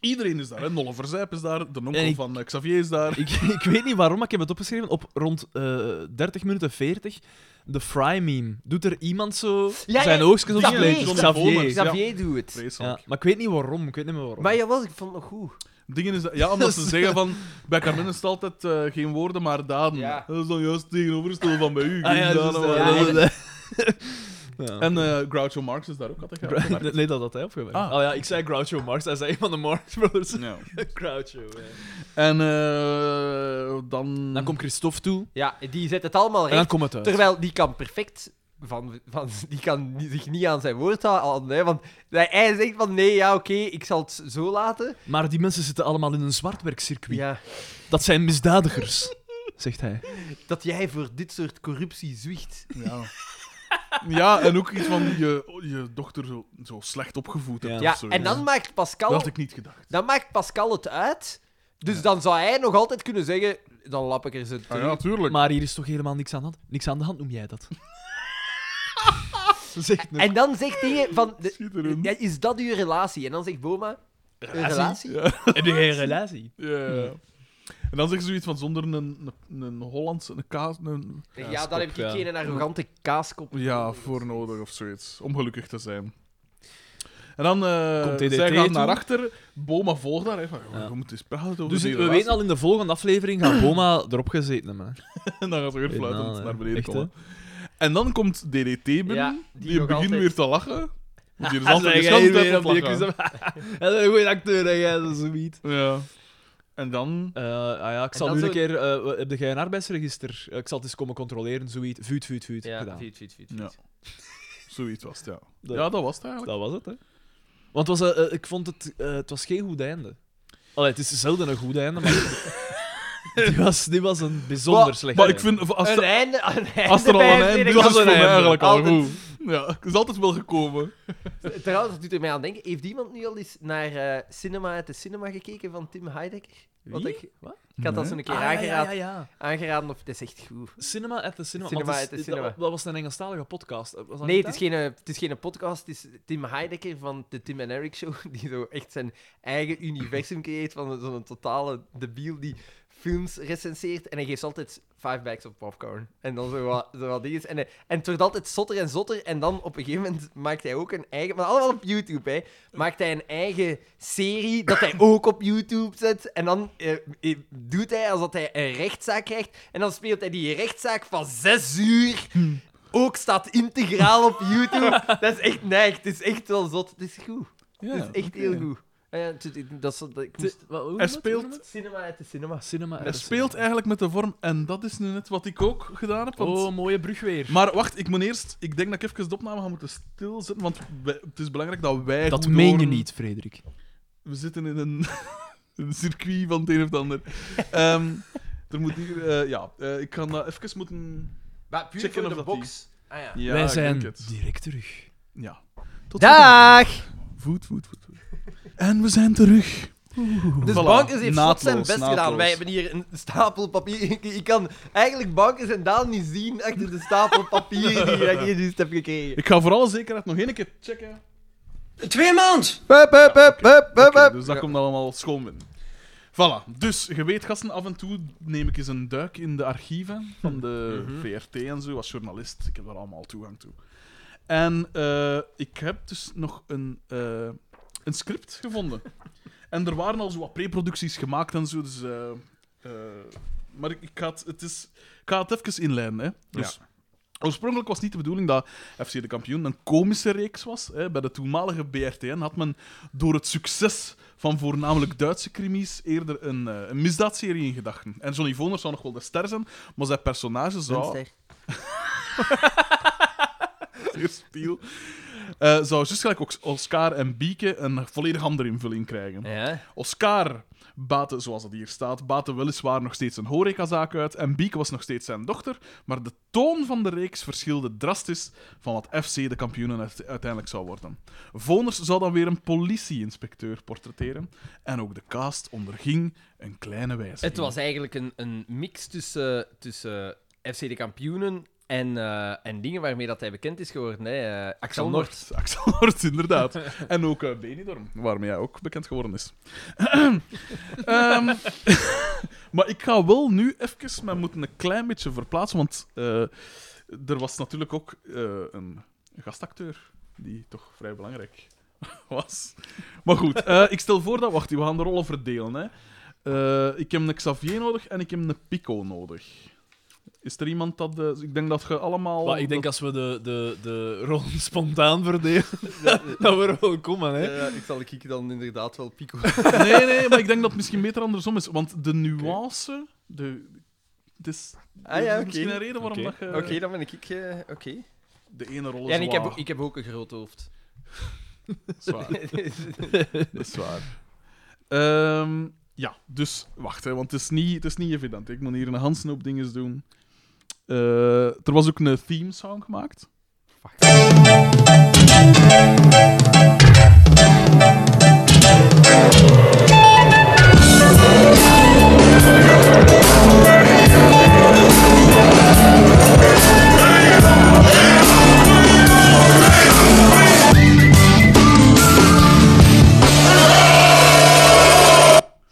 Speaker 1: iedereen is daar. Hè. Nolle Verzijp is daar. De onkel
Speaker 3: En ik-
Speaker 1: van eh, Xavier is daar.
Speaker 3: <laughs> Ik, ik weet niet waarom, maar ik heb het opgeschreven. Op rond eh 30 minuten 40, de fry-meme. Doet er iemand zo
Speaker 2: ja,
Speaker 3: zijn oogstjes op
Speaker 2: ja,
Speaker 3: zijn plek?
Speaker 2: nee,
Speaker 1: Xavier.
Speaker 3: Xavier.
Speaker 2: Xavier doet het.
Speaker 1: Vreselijk.
Speaker 3: Ja, maar ik weet niet waarom. Ik weet niet meer waarom. Ah,
Speaker 2: Maar jawel, ik vond het nog goed.
Speaker 1: Dingen is dat- ja,
Speaker 3: <laughs>
Speaker 1: omdat ze zeggen van... Bij Carmen is het altijd eh, geen woorden, maar daden.
Speaker 2: Ja.
Speaker 1: Dat is dan juist tegenovergestelde van bij u.
Speaker 3: Ah, ja,
Speaker 1: Geen
Speaker 3: dus,
Speaker 1: daden,
Speaker 3: eh,
Speaker 1: maar
Speaker 2: ja,
Speaker 1: daden.
Speaker 3: dat- <laughs> Ja.
Speaker 1: En eh, Groucho Marx is daar ook altijd.
Speaker 3: Groucho- <laughs> nee, dat had hij opgewerkt.
Speaker 1: Ah.
Speaker 3: Oh ja, ik zei Groucho Marx. Hij zei een van de Marx Brothers. <laughs>
Speaker 1: Ja.
Speaker 3: Groucho. ja.
Speaker 1: En eh, dan...
Speaker 3: Dan komt Christophe toe.
Speaker 2: Ja, die zet het allemaal
Speaker 3: En dan
Speaker 2: recht.
Speaker 3: komt het uit.
Speaker 2: Terwijl die kan perfect. Van, van, die kan ni- zich niet aan zijn woord houden. Hè, want hij, hij zegt van nee, ja, oké, ik zal het zo laten.
Speaker 3: Maar die mensen zitten allemaal in een zwartwerkcircuit.
Speaker 2: Ja,
Speaker 3: Dat zijn misdadigers, <laughs> zegt hij.
Speaker 2: dat jij voor dit soort corruptie zwicht.
Speaker 1: Ja. ja, en ook iets van je, je dochter zo, zo slecht opgevoed hebt.
Speaker 3: Ja.
Speaker 1: of
Speaker 2: Ja,
Speaker 1: zoiets.
Speaker 2: en dan maakt
Speaker 1: Dat
Speaker 2: Pascal,
Speaker 1: had ik niet gedacht.
Speaker 2: dan maakt Pascal het uit. Dus dan zou hij nog altijd kunnen zeggen: dan lap ik er ze
Speaker 1: Ah,
Speaker 2: terug.
Speaker 1: ja, natuurlijk.
Speaker 3: Maar hier is toch helemaal niks aan de hand? Niks aan de hand noem jij <laughs> dat? Zegt een
Speaker 2: En dan zegt hij van, de-
Speaker 1: Schitterend.
Speaker 2: ja, is dat uw relatie? En dan zegt Boma, een relatie?
Speaker 3: Heb je geen relatie?
Speaker 1: Ja. En dan zegt ze zoiets van zonder een, een, een Hollandse een kaas. Een,
Speaker 2: Ja,
Speaker 3: Kaaskop,
Speaker 2: dan heb ik
Speaker 3: ja.
Speaker 2: geen arrogante kaaskop.
Speaker 1: ja, voor nodig of zoiets. Om gelukkig te zijn. En dan eh,
Speaker 3: Komt DDT
Speaker 1: zij gaan
Speaker 3: toe?
Speaker 1: naar achter. Boma volgt daar. Hè, van,
Speaker 3: Ja.
Speaker 1: We moeten eens praten over
Speaker 3: Dus
Speaker 1: die
Speaker 3: we
Speaker 1: relatie.
Speaker 3: weten al in de volgende aflevering gaat Boma erop gezeten hebben. <laughs> hè.
Speaker 1: En <laughs> dan gaat ze weer
Speaker 3: Weet
Speaker 1: fluitend
Speaker 3: nou, hè.
Speaker 1: naar beneden
Speaker 3: Echt, hè?
Speaker 1: komen. En dan komt DDT binnen.
Speaker 2: Ja, die
Speaker 1: die
Speaker 2: nog
Speaker 1: begint
Speaker 2: altijd-
Speaker 1: weer te lachen. Want die is
Speaker 3: Hij
Speaker 1: altijd
Speaker 3: zei,
Speaker 1: de
Speaker 3: jij
Speaker 1: hele
Speaker 3: weer
Speaker 1: tijd aan
Speaker 3: op
Speaker 1: het
Speaker 3: je
Speaker 1: lachen.
Speaker 3: kussen. Hij is een goede acteur, hè, jij, dat is zo niet.
Speaker 1: Ja. En dan...
Speaker 3: Eh, ah ja, ik zal
Speaker 2: dan
Speaker 3: nu een
Speaker 2: zo-
Speaker 3: keer... eh, heb jij een arbeidsregister? Eh, ik zal het eens komen controleren, zoiets. Vuut, vuut, vuut.
Speaker 2: Ja,
Speaker 3: gedaan.
Speaker 2: fiet, fiet, fiet.
Speaker 1: Ja. <laughs> Zoiets was het, ja.
Speaker 3: Dat-
Speaker 1: Ja, dat was het eigenlijk.
Speaker 3: Dat was het, hè. Want het was, eh, eh, ik vond het... eh, het was geen goed einde. Allee, het is zelden een goed einde, maar... die, was, die was een bijzonder
Speaker 2: Maar-
Speaker 3: slecht
Speaker 1: Maar ik
Speaker 3: einde.
Speaker 1: vind... Als
Speaker 2: Een
Speaker 1: de-
Speaker 2: einde, een einde
Speaker 1: Als er al
Speaker 2: bij
Speaker 1: een
Speaker 2: een
Speaker 1: eind is,
Speaker 2: tweede
Speaker 1: is het
Speaker 3: was
Speaker 1: voor
Speaker 3: een
Speaker 1: mij
Speaker 3: einde.
Speaker 1: eigenlijk al
Speaker 2: Altijd.
Speaker 1: goed. Ja, het is altijd wel gekomen.
Speaker 2: kant. Trouwens, dat doet er mij aan denken. Heeft iemand nu al eens naar eh, Cinema uit de Cinema gekeken van Tim Heidecker? Wat
Speaker 3: Wie?
Speaker 2: ik,
Speaker 3: Wat?
Speaker 2: ik had dat
Speaker 1: Nee.
Speaker 2: zo'n keer
Speaker 3: Ah, ja,
Speaker 2: aangeraden,
Speaker 3: ja, ja, ja.
Speaker 2: aangeraden of het is echt goed.
Speaker 3: Cinema at the Cinema.
Speaker 2: Cinema
Speaker 3: Want het
Speaker 2: at the
Speaker 3: is-
Speaker 2: Cinema.
Speaker 3: Dat, dat was een Engelstalige podcast. Was dat
Speaker 2: Nee,
Speaker 3: niet
Speaker 2: het is,
Speaker 3: dat?
Speaker 2: geen, eh, het is geen podcast. Het is Tim Heidecker van de Tim en Eric Show. <laughs> Die zo echt zijn eigen universum creëert van zo'n totale debiel die films recenseert. En hij geeft altijd five bags of popcorn. En dan zo wat, zo wat dingen. En, hij- en het wordt altijd zotter en zotter. En dan op een gegeven moment maakt hij ook een eigen... Maar allemaal op YouTube, hè. Maakt hij een eigen serie dat hij ook op YouTube zet. En dan eh, eh, doet hij alsof hij een rechtszaak krijgt. En dan speelt hij die rechtszaak van zes uur ook staat integraal op YouTube. <laughs> dat is echt neig. Het is echt wel zot. Het is goed.
Speaker 1: Ja,
Speaker 2: het is echt heel goed. Ah ja, het- het- dat is, dat, ik moest...
Speaker 3: Ti- wat- hoe noem
Speaker 1: Hij
Speaker 3: het? Hoe noem
Speaker 1: speelt,
Speaker 3: het? Ah,
Speaker 2: Cinema uit de cinema.
Speaker 3: Cinema at
Speaker 1: hij
Speaker 3: the
Speaker 1: speelt
Speaker 3: Cinema.
Speaker 1: eigenlijk met de vorm, en dat is nu net wat ik ook gedaan heb. want-
Speaker 3: Oh, mooie brug weer.
Speaker 1: Maar wacht, ik moet eerst... Ik denk dat ik even de opname ga moeten stilzetten, want wij- het is belangrijk dat wij
Speaker 3: Dat
Speaker 1: goed
Speaker 3: meen je
Speaker 1: horen.
Speaker 3: niet, Frederik.
Speaker 1: We zitten in een, <laughs> een circuit van het een of het
Speaker 3: <laughs>
Speaker 1: ander. Ehm, er moet hier... eh, ja, eh, ik ga dat even moeten...
Speaker 2: Maar puur
Speaker 1: Checken
Speaker 2: voor
Speaker 1: of dat
Speaker 2: de box. Ah ja.
Speaker 1: Ja,
Speaker 3: Wij
Speaker 1: ik
Speaker 3: zijn
Speaker 1: denk het.
Speaker 3: direct terug.
Speaker 1: Ja. Tot
Speaker 2: Dag!
Speaker 1: Voet, voet, voet, voet. En we zijn terug.
Speaker 2: Dus
Speaker 1: Voilà,
Speaker 2: Bankers heeft zot zijn
Speaker 1: naadloos,
Speaker 2: best gedaan.
Speaker 1: naadloos.
Speaker 2: Wij hebben hier een stapel papier. <laughs> Ik, ik kan eigenlijk Bankers en Daan niet zien achter de stapel
Speaker 1: <laughs>
Speaker 2: papier die ik hier juist heb gekregen.
Speaker 1: Ik ga voor alle zekerheid nog één keer checken.
Speaker 6: Twee maand!
Speaker 2: Hup, hup, hup, hup, hup,
Speaker 1: Oké,
Speaker 2: hup.
Speaker 1: dus dat komt allemaal schoon binnen. Voilà. Dus, je weet, gasten, af en toe neem ik eens een duik in de archieven van de VRT en zo, als journalist. Ik heb daar allemaal toegang toe. En eh, ik heb dus nog een eh, een script gevonden. En er waren al zo wat preproducties gemaakt en zo, dus... eh, eh, maar ik, ik ga het, het is, ik ga het even inleiden, hè. Dus, Oorspronkelijk was niet de bedoeling dat FC de Kampioen een komische reeks was. Hè. Bij de toenmalige BRTN had men door het succes van voornamelijk Duitse crimies eerder een, eh, een misdaadserie in gedachten. En Johnny Voners zou nog wel de ster zijn, maar zijn personage zou... <laughs>
Speaker 4: Dunster.
Speaker 1: Zeer Spiel. Eh, zou juist gelijk ook Oscar en Bieke een volledig andere invulling krijgen.
Speaker 2: Ja.
Speaker 1: Oscar baatte, zoals dat hier staat, baatte weliswaar nog steeds een horecazaak uit en Bieke was nog steeds zijn dochter, maar de toon van de reeks verschilde drastisch van wat FC de kampioenen uite- uiteindelijk zou worden. Voners zou dan weer een politieinspecteur portretteren en ook de cast onderging een kleine wijziging.
Speaker 2: Het was eigenlijk een, een mix tussen, tussen FC de kampioenen en, eh, en dingen waarmee dat hij bekend is geworden. Hè. Eh, Axel Noord.
Speaker 1: Axel Noord, <laughs>
Speaker 3: <laughs>
Speaker 1: inderdaad. En ook eh Benidorm, waarmee hij ook bekend geworden is.
Speaker 3: <clears throat>
Speaker 1: Ehm, <laughs> maar ik ga wel nu even, maar moeten een klein beetje verplaatsen, want eh, er was natuurlijk ook eh, een gastacteur die toch vrij belangrijk <laughs> was. Maar goed, eh, ik stel voor dat... Wacht, we gaan de rollen verdelen. Hè. Eh, ik heb een Xavier nodig en ik heb een Pico nodig. Is er iemand dat... eh, ik denk Oh, dat je allemaal...
Speaker 3: Maar ik denk als we de, de, de rollen <laughs> spontaan verdelen, <laughs>
Speaker 2: <laughs>
Speaker 3: dat we er wel komen, hè.
Speaker 2: ik zal ik dan inderdaad wel pico.
Speaker 1: Nee, nee, maar ik denk dat het misschien beter andersom is. Want de nuance. De, het is,
Speaker 2: Ah
Speaker 1: er
Speaker 2: ja,
Speaker 1: is
Speaker 2: oké.
Speaker 1: misschien een reden waarom
Speaker 3: Oké.
Speaker 1: dat je
Speaker 2: Oké, dan ben ik. ik eh, Oké.
Speaker 1: de ene rol is.
Speaker 2: Ja, en ik
Speaker 1: waar.
Speaker 2: heb, ik heb ook een groot hoofd.
Speaker 1: Zwaar. dat is waar. Ehm, ja, dus wacht, hè, want het is, niet, het is niet evident. Ik moet hier een handsnoop dinges doen. Eh, er was ook een theme song gemaakt.
Speaker 2: <laughs>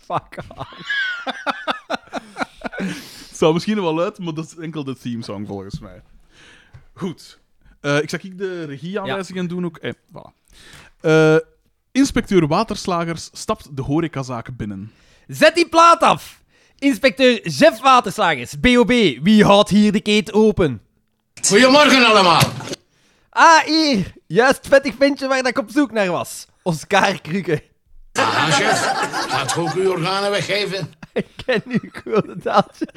Speaker 2: Fuck
Speaker 1: Het zou misschien wel uit, maar dat is enkel de theme song volgens mij. Goed. Eh, ik zag ik de regieaanwijzingen doen ook. Eh, voilà. Eh, inspecteur Waterslagers stapt de horecazaak binnen.
Speaker 2: Zet die plaat af! Inspecteur Jeff Waterslagers, BOB, wie houdt hier de keet open?
Speaker 5: Goedemorgen allemaal.
Speaker 2: Ah, hier! Juist vettig ventje waar dat ik op zoek naar was. Oscar Krukke.
Speaker 5: Aha, chef. Gaat ook uw organen weggeven.
Speaker 2: Ik ken uw code taaltje.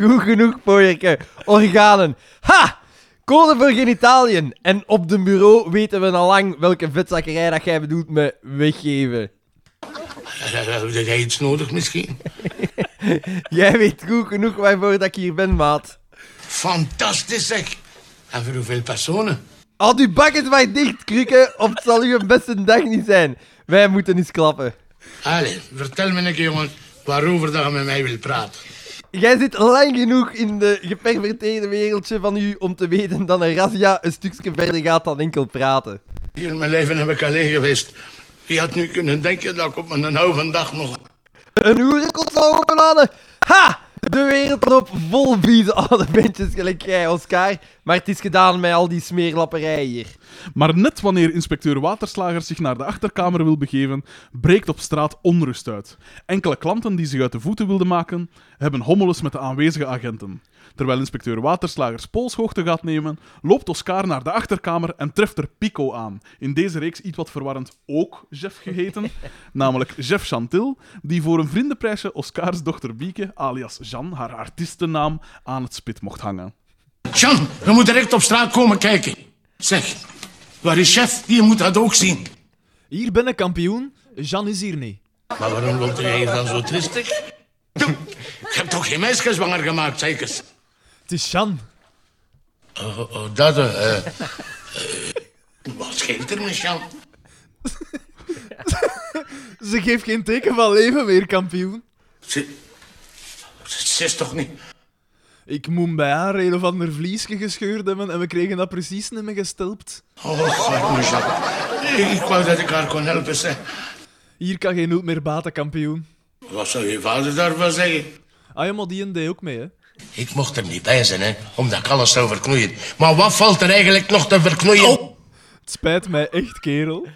Speaker 2: Goed genoeg, pooierke. Organen. Ha! Code voor genitaliën. En op de bureau weten we al lang welke vetzakkerij dat jij bedoelt met weggeven.
Speaker 5: Heb jij Eh, iets nodig misschien?
Speaker 2: Jij weet goed genoeg waarvoor dat ik hier ben, maat.
Speaker 5: Fantastisch zeg. En voor hoeveel personen?
Speaker 2: Houd uw bakjes maar dicht, Krukke, of het zal uw beste dag niet zijn. Wij moeten eens klappen.
Speaker 5: Allee, vertel me een keer, jongen, waarover dat je met mij wil praten.
Speaker 2: Jij zit lang genoeg in de geperverteerde wereldje van u om te weten dat een razzia een stukje verder gaat dan enkel praten.
Speaker 5: Hier in mijn leven heb ik alleen geweest. Wie had nu kunnen denken dat ik op mijn oude dag nog...
Speaker 2: Een hoerenkot zou openhalen? Ha! De wereld loopt vol vieze oude bandjes gelijk jij, Oscar. Maar het is gedaan met al die smeerlapperij hier.
Speaker 1: Maar net wanneer inspecteur Waterslager zich naar de achterkamer wil begeven, breekt op straat onrust uit. Enkele klanten die zich uit de voeten wilden maken, hebben hommeles met de aanwezige agenten. Terwijl inspecteur Waterslagers polshoogte gaat nemen, loopt Oscar naar de achterkamer en treft er Pico aan. In deze reeks iets wat verwarrend ook Jeff geheten, namelijk Jeff Chantil, die voor een vriendenprijsje Oscars dochter Bieke, alias Jean, haar artiestennaam, aan het spit mocht hangen.
Speaker 5: Jan, je moet direct op straat komen kijken. Zeg, waar is chef? Die moet dat ook zien.
Speaker 3: Hier ben ik kampioen, Jean is hier niet.
Speaker 5: Maar waarom loopt jij hier dan zo tristig? Doe, Je hebt toch geen meisje zwanger gemaakt, zeker?
Speaker 3: Het is Jean.
Speaker 5: Oh, oh, dat... eh, eh, wat scheelt er met Jan?
Speaker 3: Ze geeft geen teken van leven meer, kampioen.
Speaker 5: Ze, ze, ze is toch niet...
Speaker 3: Ik moet bij haar een of ander vliesje gescheurd hebben en we kregen dat precies niet meer gestelpt.
Speaker 5: Oh, arme Jan. Ik wou dat ik haar kon helpen, zeg.
Speaker 3: Hier kan geen hulp meer baten, kampioen.
Speaker 5: Wat zou je vader daarvan zeggen?
Speaker 3: Ah ja, maar die en die ook mee, hè.
Speaker 5: Ik mocht er niet bij zijn, hè, omdat ik alles zou verknoeien. Maar wat valt Oh. er eigenlijk nog te verknoeien?
Speaker 3: Het spijt mij echt, kerel.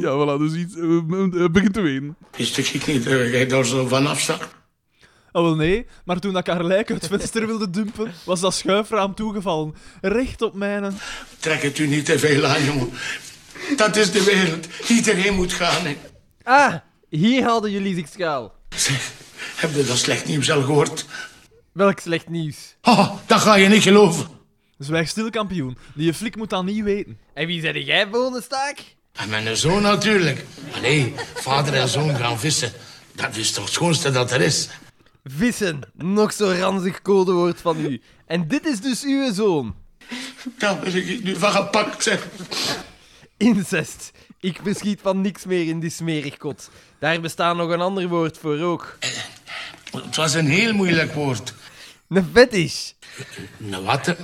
Speaker 1: Ja, voilà, dus iets, eh, eh, begint te wenen.
Speaker 5: Is de kiek niet dat jij daar zo vanaf zag?
Speaker 3: Oh wel nee, maar toen dat ik haar lijk uit het venster wilde dumpen, was dat schuifraam toegevallen. Recht op mijne.
Speaker 5: Trek het u niet te veel aan, jongen. Dat is de wereld. Iedereen moet gaan. Hè.
Speaker 2: Ah, hier hadden jullie zich schuil.
Speaker 5: Zeg, heb je dat slecht nieuws al gehoord?
Speaker 2: Welk slecht nieuws.
Speaker 5: Oh, dat ga je niet geloven.
Speaker 3: Zwijg stil, kampioen. Die flik moet dat niet weten.
Speaker 2: En wie zei jij volgende staak?
Speaker 5: En mijn zoon natuurlijk. Allee, vader en zoon gaan vissen. Dat is toch het schoonste dat er is.
Speaker 2: Vissen, nog zo'n ranzig codewoord van u. En dit is dus uw zoon.
Speaker 5: Daar ben ik nu van gepakt, zeg.
Speaker 2: Incest. Ik beschiet van niks meer in die smerig kot. Daar bestaat nog een ander woord voor ook.
Speaker 5: Het was een heel moeilijk woord.
Speaker 2: Een fetish.
Speaker 5: Een watte.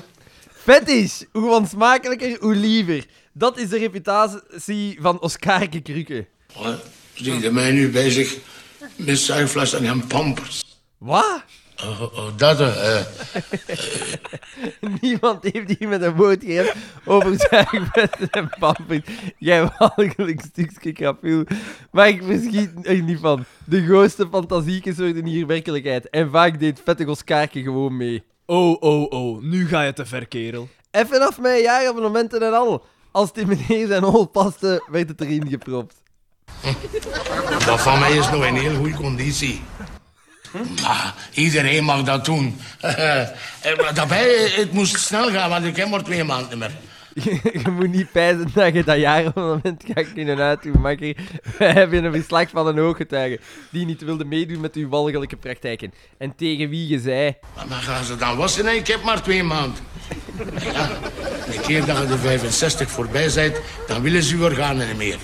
Speaker 2: Fetish. Hoe onsmakelijker, hoe liever. Dat is de reputatie van Oscarke Krukke.
Speaker 5: Oh, Zie je mij nu bezig met zuigflessen en pampers?
Speaker 2: Wat? <laughs>
Speaker 5: Oh, oh, oh, dat, eh... eh,
Speaker 2: Niemand heeft hier met een woord gegeven over <laughs> zuigvesten en pampers. Jij walgelijk stukje kapiel. Maar ik verschiet er niet van. De grootste fantasiekes worden hier werkelijkheid. En vaak deed vettig Oscarke gewoon mee.
Speaker 3: Oh, oh, oh, nu ga je te ver, kerel.
Speaker 2: Even af mijn jaarabonnementen en al. Als die meneer zijn hol paste, werd het erin gepropt.
Speaker 5: Dat van mij is nog in heel goede conditie. Maar iedereen mag dat doen. <laughs> Eh, maar daarbij, eh, het moest snel gaan, want ik heb maar twee maanden meer.
Speaker 2: <laughs> Je, je moet niet pijzen dat je dat jaarabonnement gaat kunnen uitdoen, <laughs> makker. We hebben een verslag van een ooggetuige die niet wilde meedoen met uw walgelijke praktijken. En tegen wie je zei...
Speaker 5: Maar dan gaan ze dan wassen en ik heb maar twee maanden. Ja, de keer dat je de 65 voorbij bent, dan willen ze uw organen niet meer.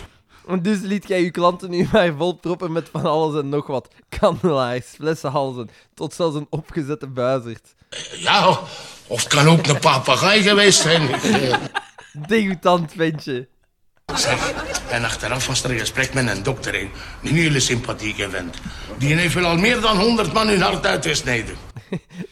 Speaker 2: Dus liet jij uw klanten nu maar volproppen met van alles en nog wat. Kandelaars, flessenhalzen, tot zelfs een opgezette buizerd.
Speaker 5: Ja, of het kan ook een papegaai geweest zijn. Eh,
Speaker 2: Degoutant ventje.
Speaker 5: Zeg, en achteraf was er een gesprek met een dokter in. Een hele sympathieke vent. Die heeft wel al meer dan 100 man hun hart uitgesneden.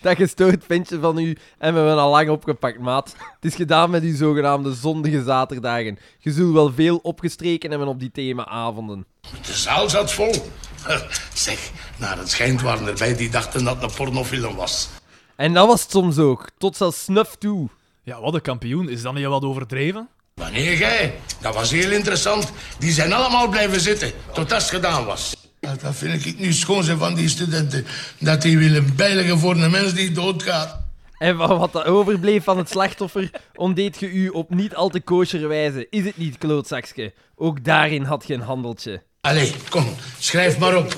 Speaker 2: Dat gestoord ventje van u en we hebben al lang opgepakt, maat. Het is gedaan met uw zogenaamde zondige zaterdagen. Je zult wel veel opgestreken hebben op die themaavonden.
Speaker 5: De zaal zat vol. <laughs> Zeg, naar het schijnt waren erbij die dachten dat het een pornofilm was.
Speaker 2: En dat was het soms ook, tot zelfs snuf toe.
Speaker 3: Ja, wat een kampioen. Is dat niet wat overdreven?
Speaker 5: Wanneer jij? Dat was heel interessant. Die zijn allemaal blijven zitten, totdat het gedaan was. Dat dat vind ik nu schoon zijn van die studenten. Dat die willen beiligen voor een mens die doodgaat.
Speaker 2: En van wat er overbleef van het slachtoffer, ontdeed je u op niet al te kosher wijze. Is het niet, klootzakske? Ook daarin had je een handeltje.
Speaker 5: Allee, kom, schrijf maar op.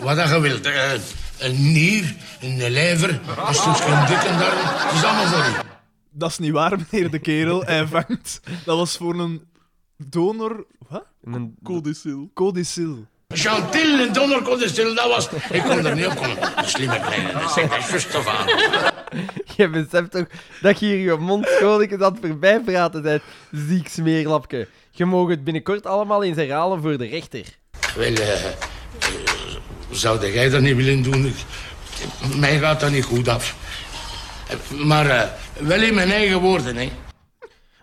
Speaker 5: Wat dat je wilt. Eh, een nier, een lijver, een stukje dikke darm. Het is allemaal voor u.
Speaker 3: Dat is niet waar, meneer de kerel. <laughs> Hij vangt. Dat was voor een donor... Wat?
Speaker 2: Een
Speaker 1: Codicil.
Speaker 3: Codicil.
Speaker 5: Chantil en Donner kon stil, dat was... Ik kon er niet op komen. Een Slimme kleine, dat zeg ik juist af aan.
Speaker 2: Je beseft toch dat je hier je mond schoonlijk aan het voorbijpraten bent, ziek smeerlapke. Je mag het binnenkort allemaal eens herhalen voor de rechter.
Speaker 5: Wel, eh, eh, zou jij dat niet willen doen? Ik, mij gaat dat niet goed af. Eh, Maar eh, wel in mijn eigen woorden, hè.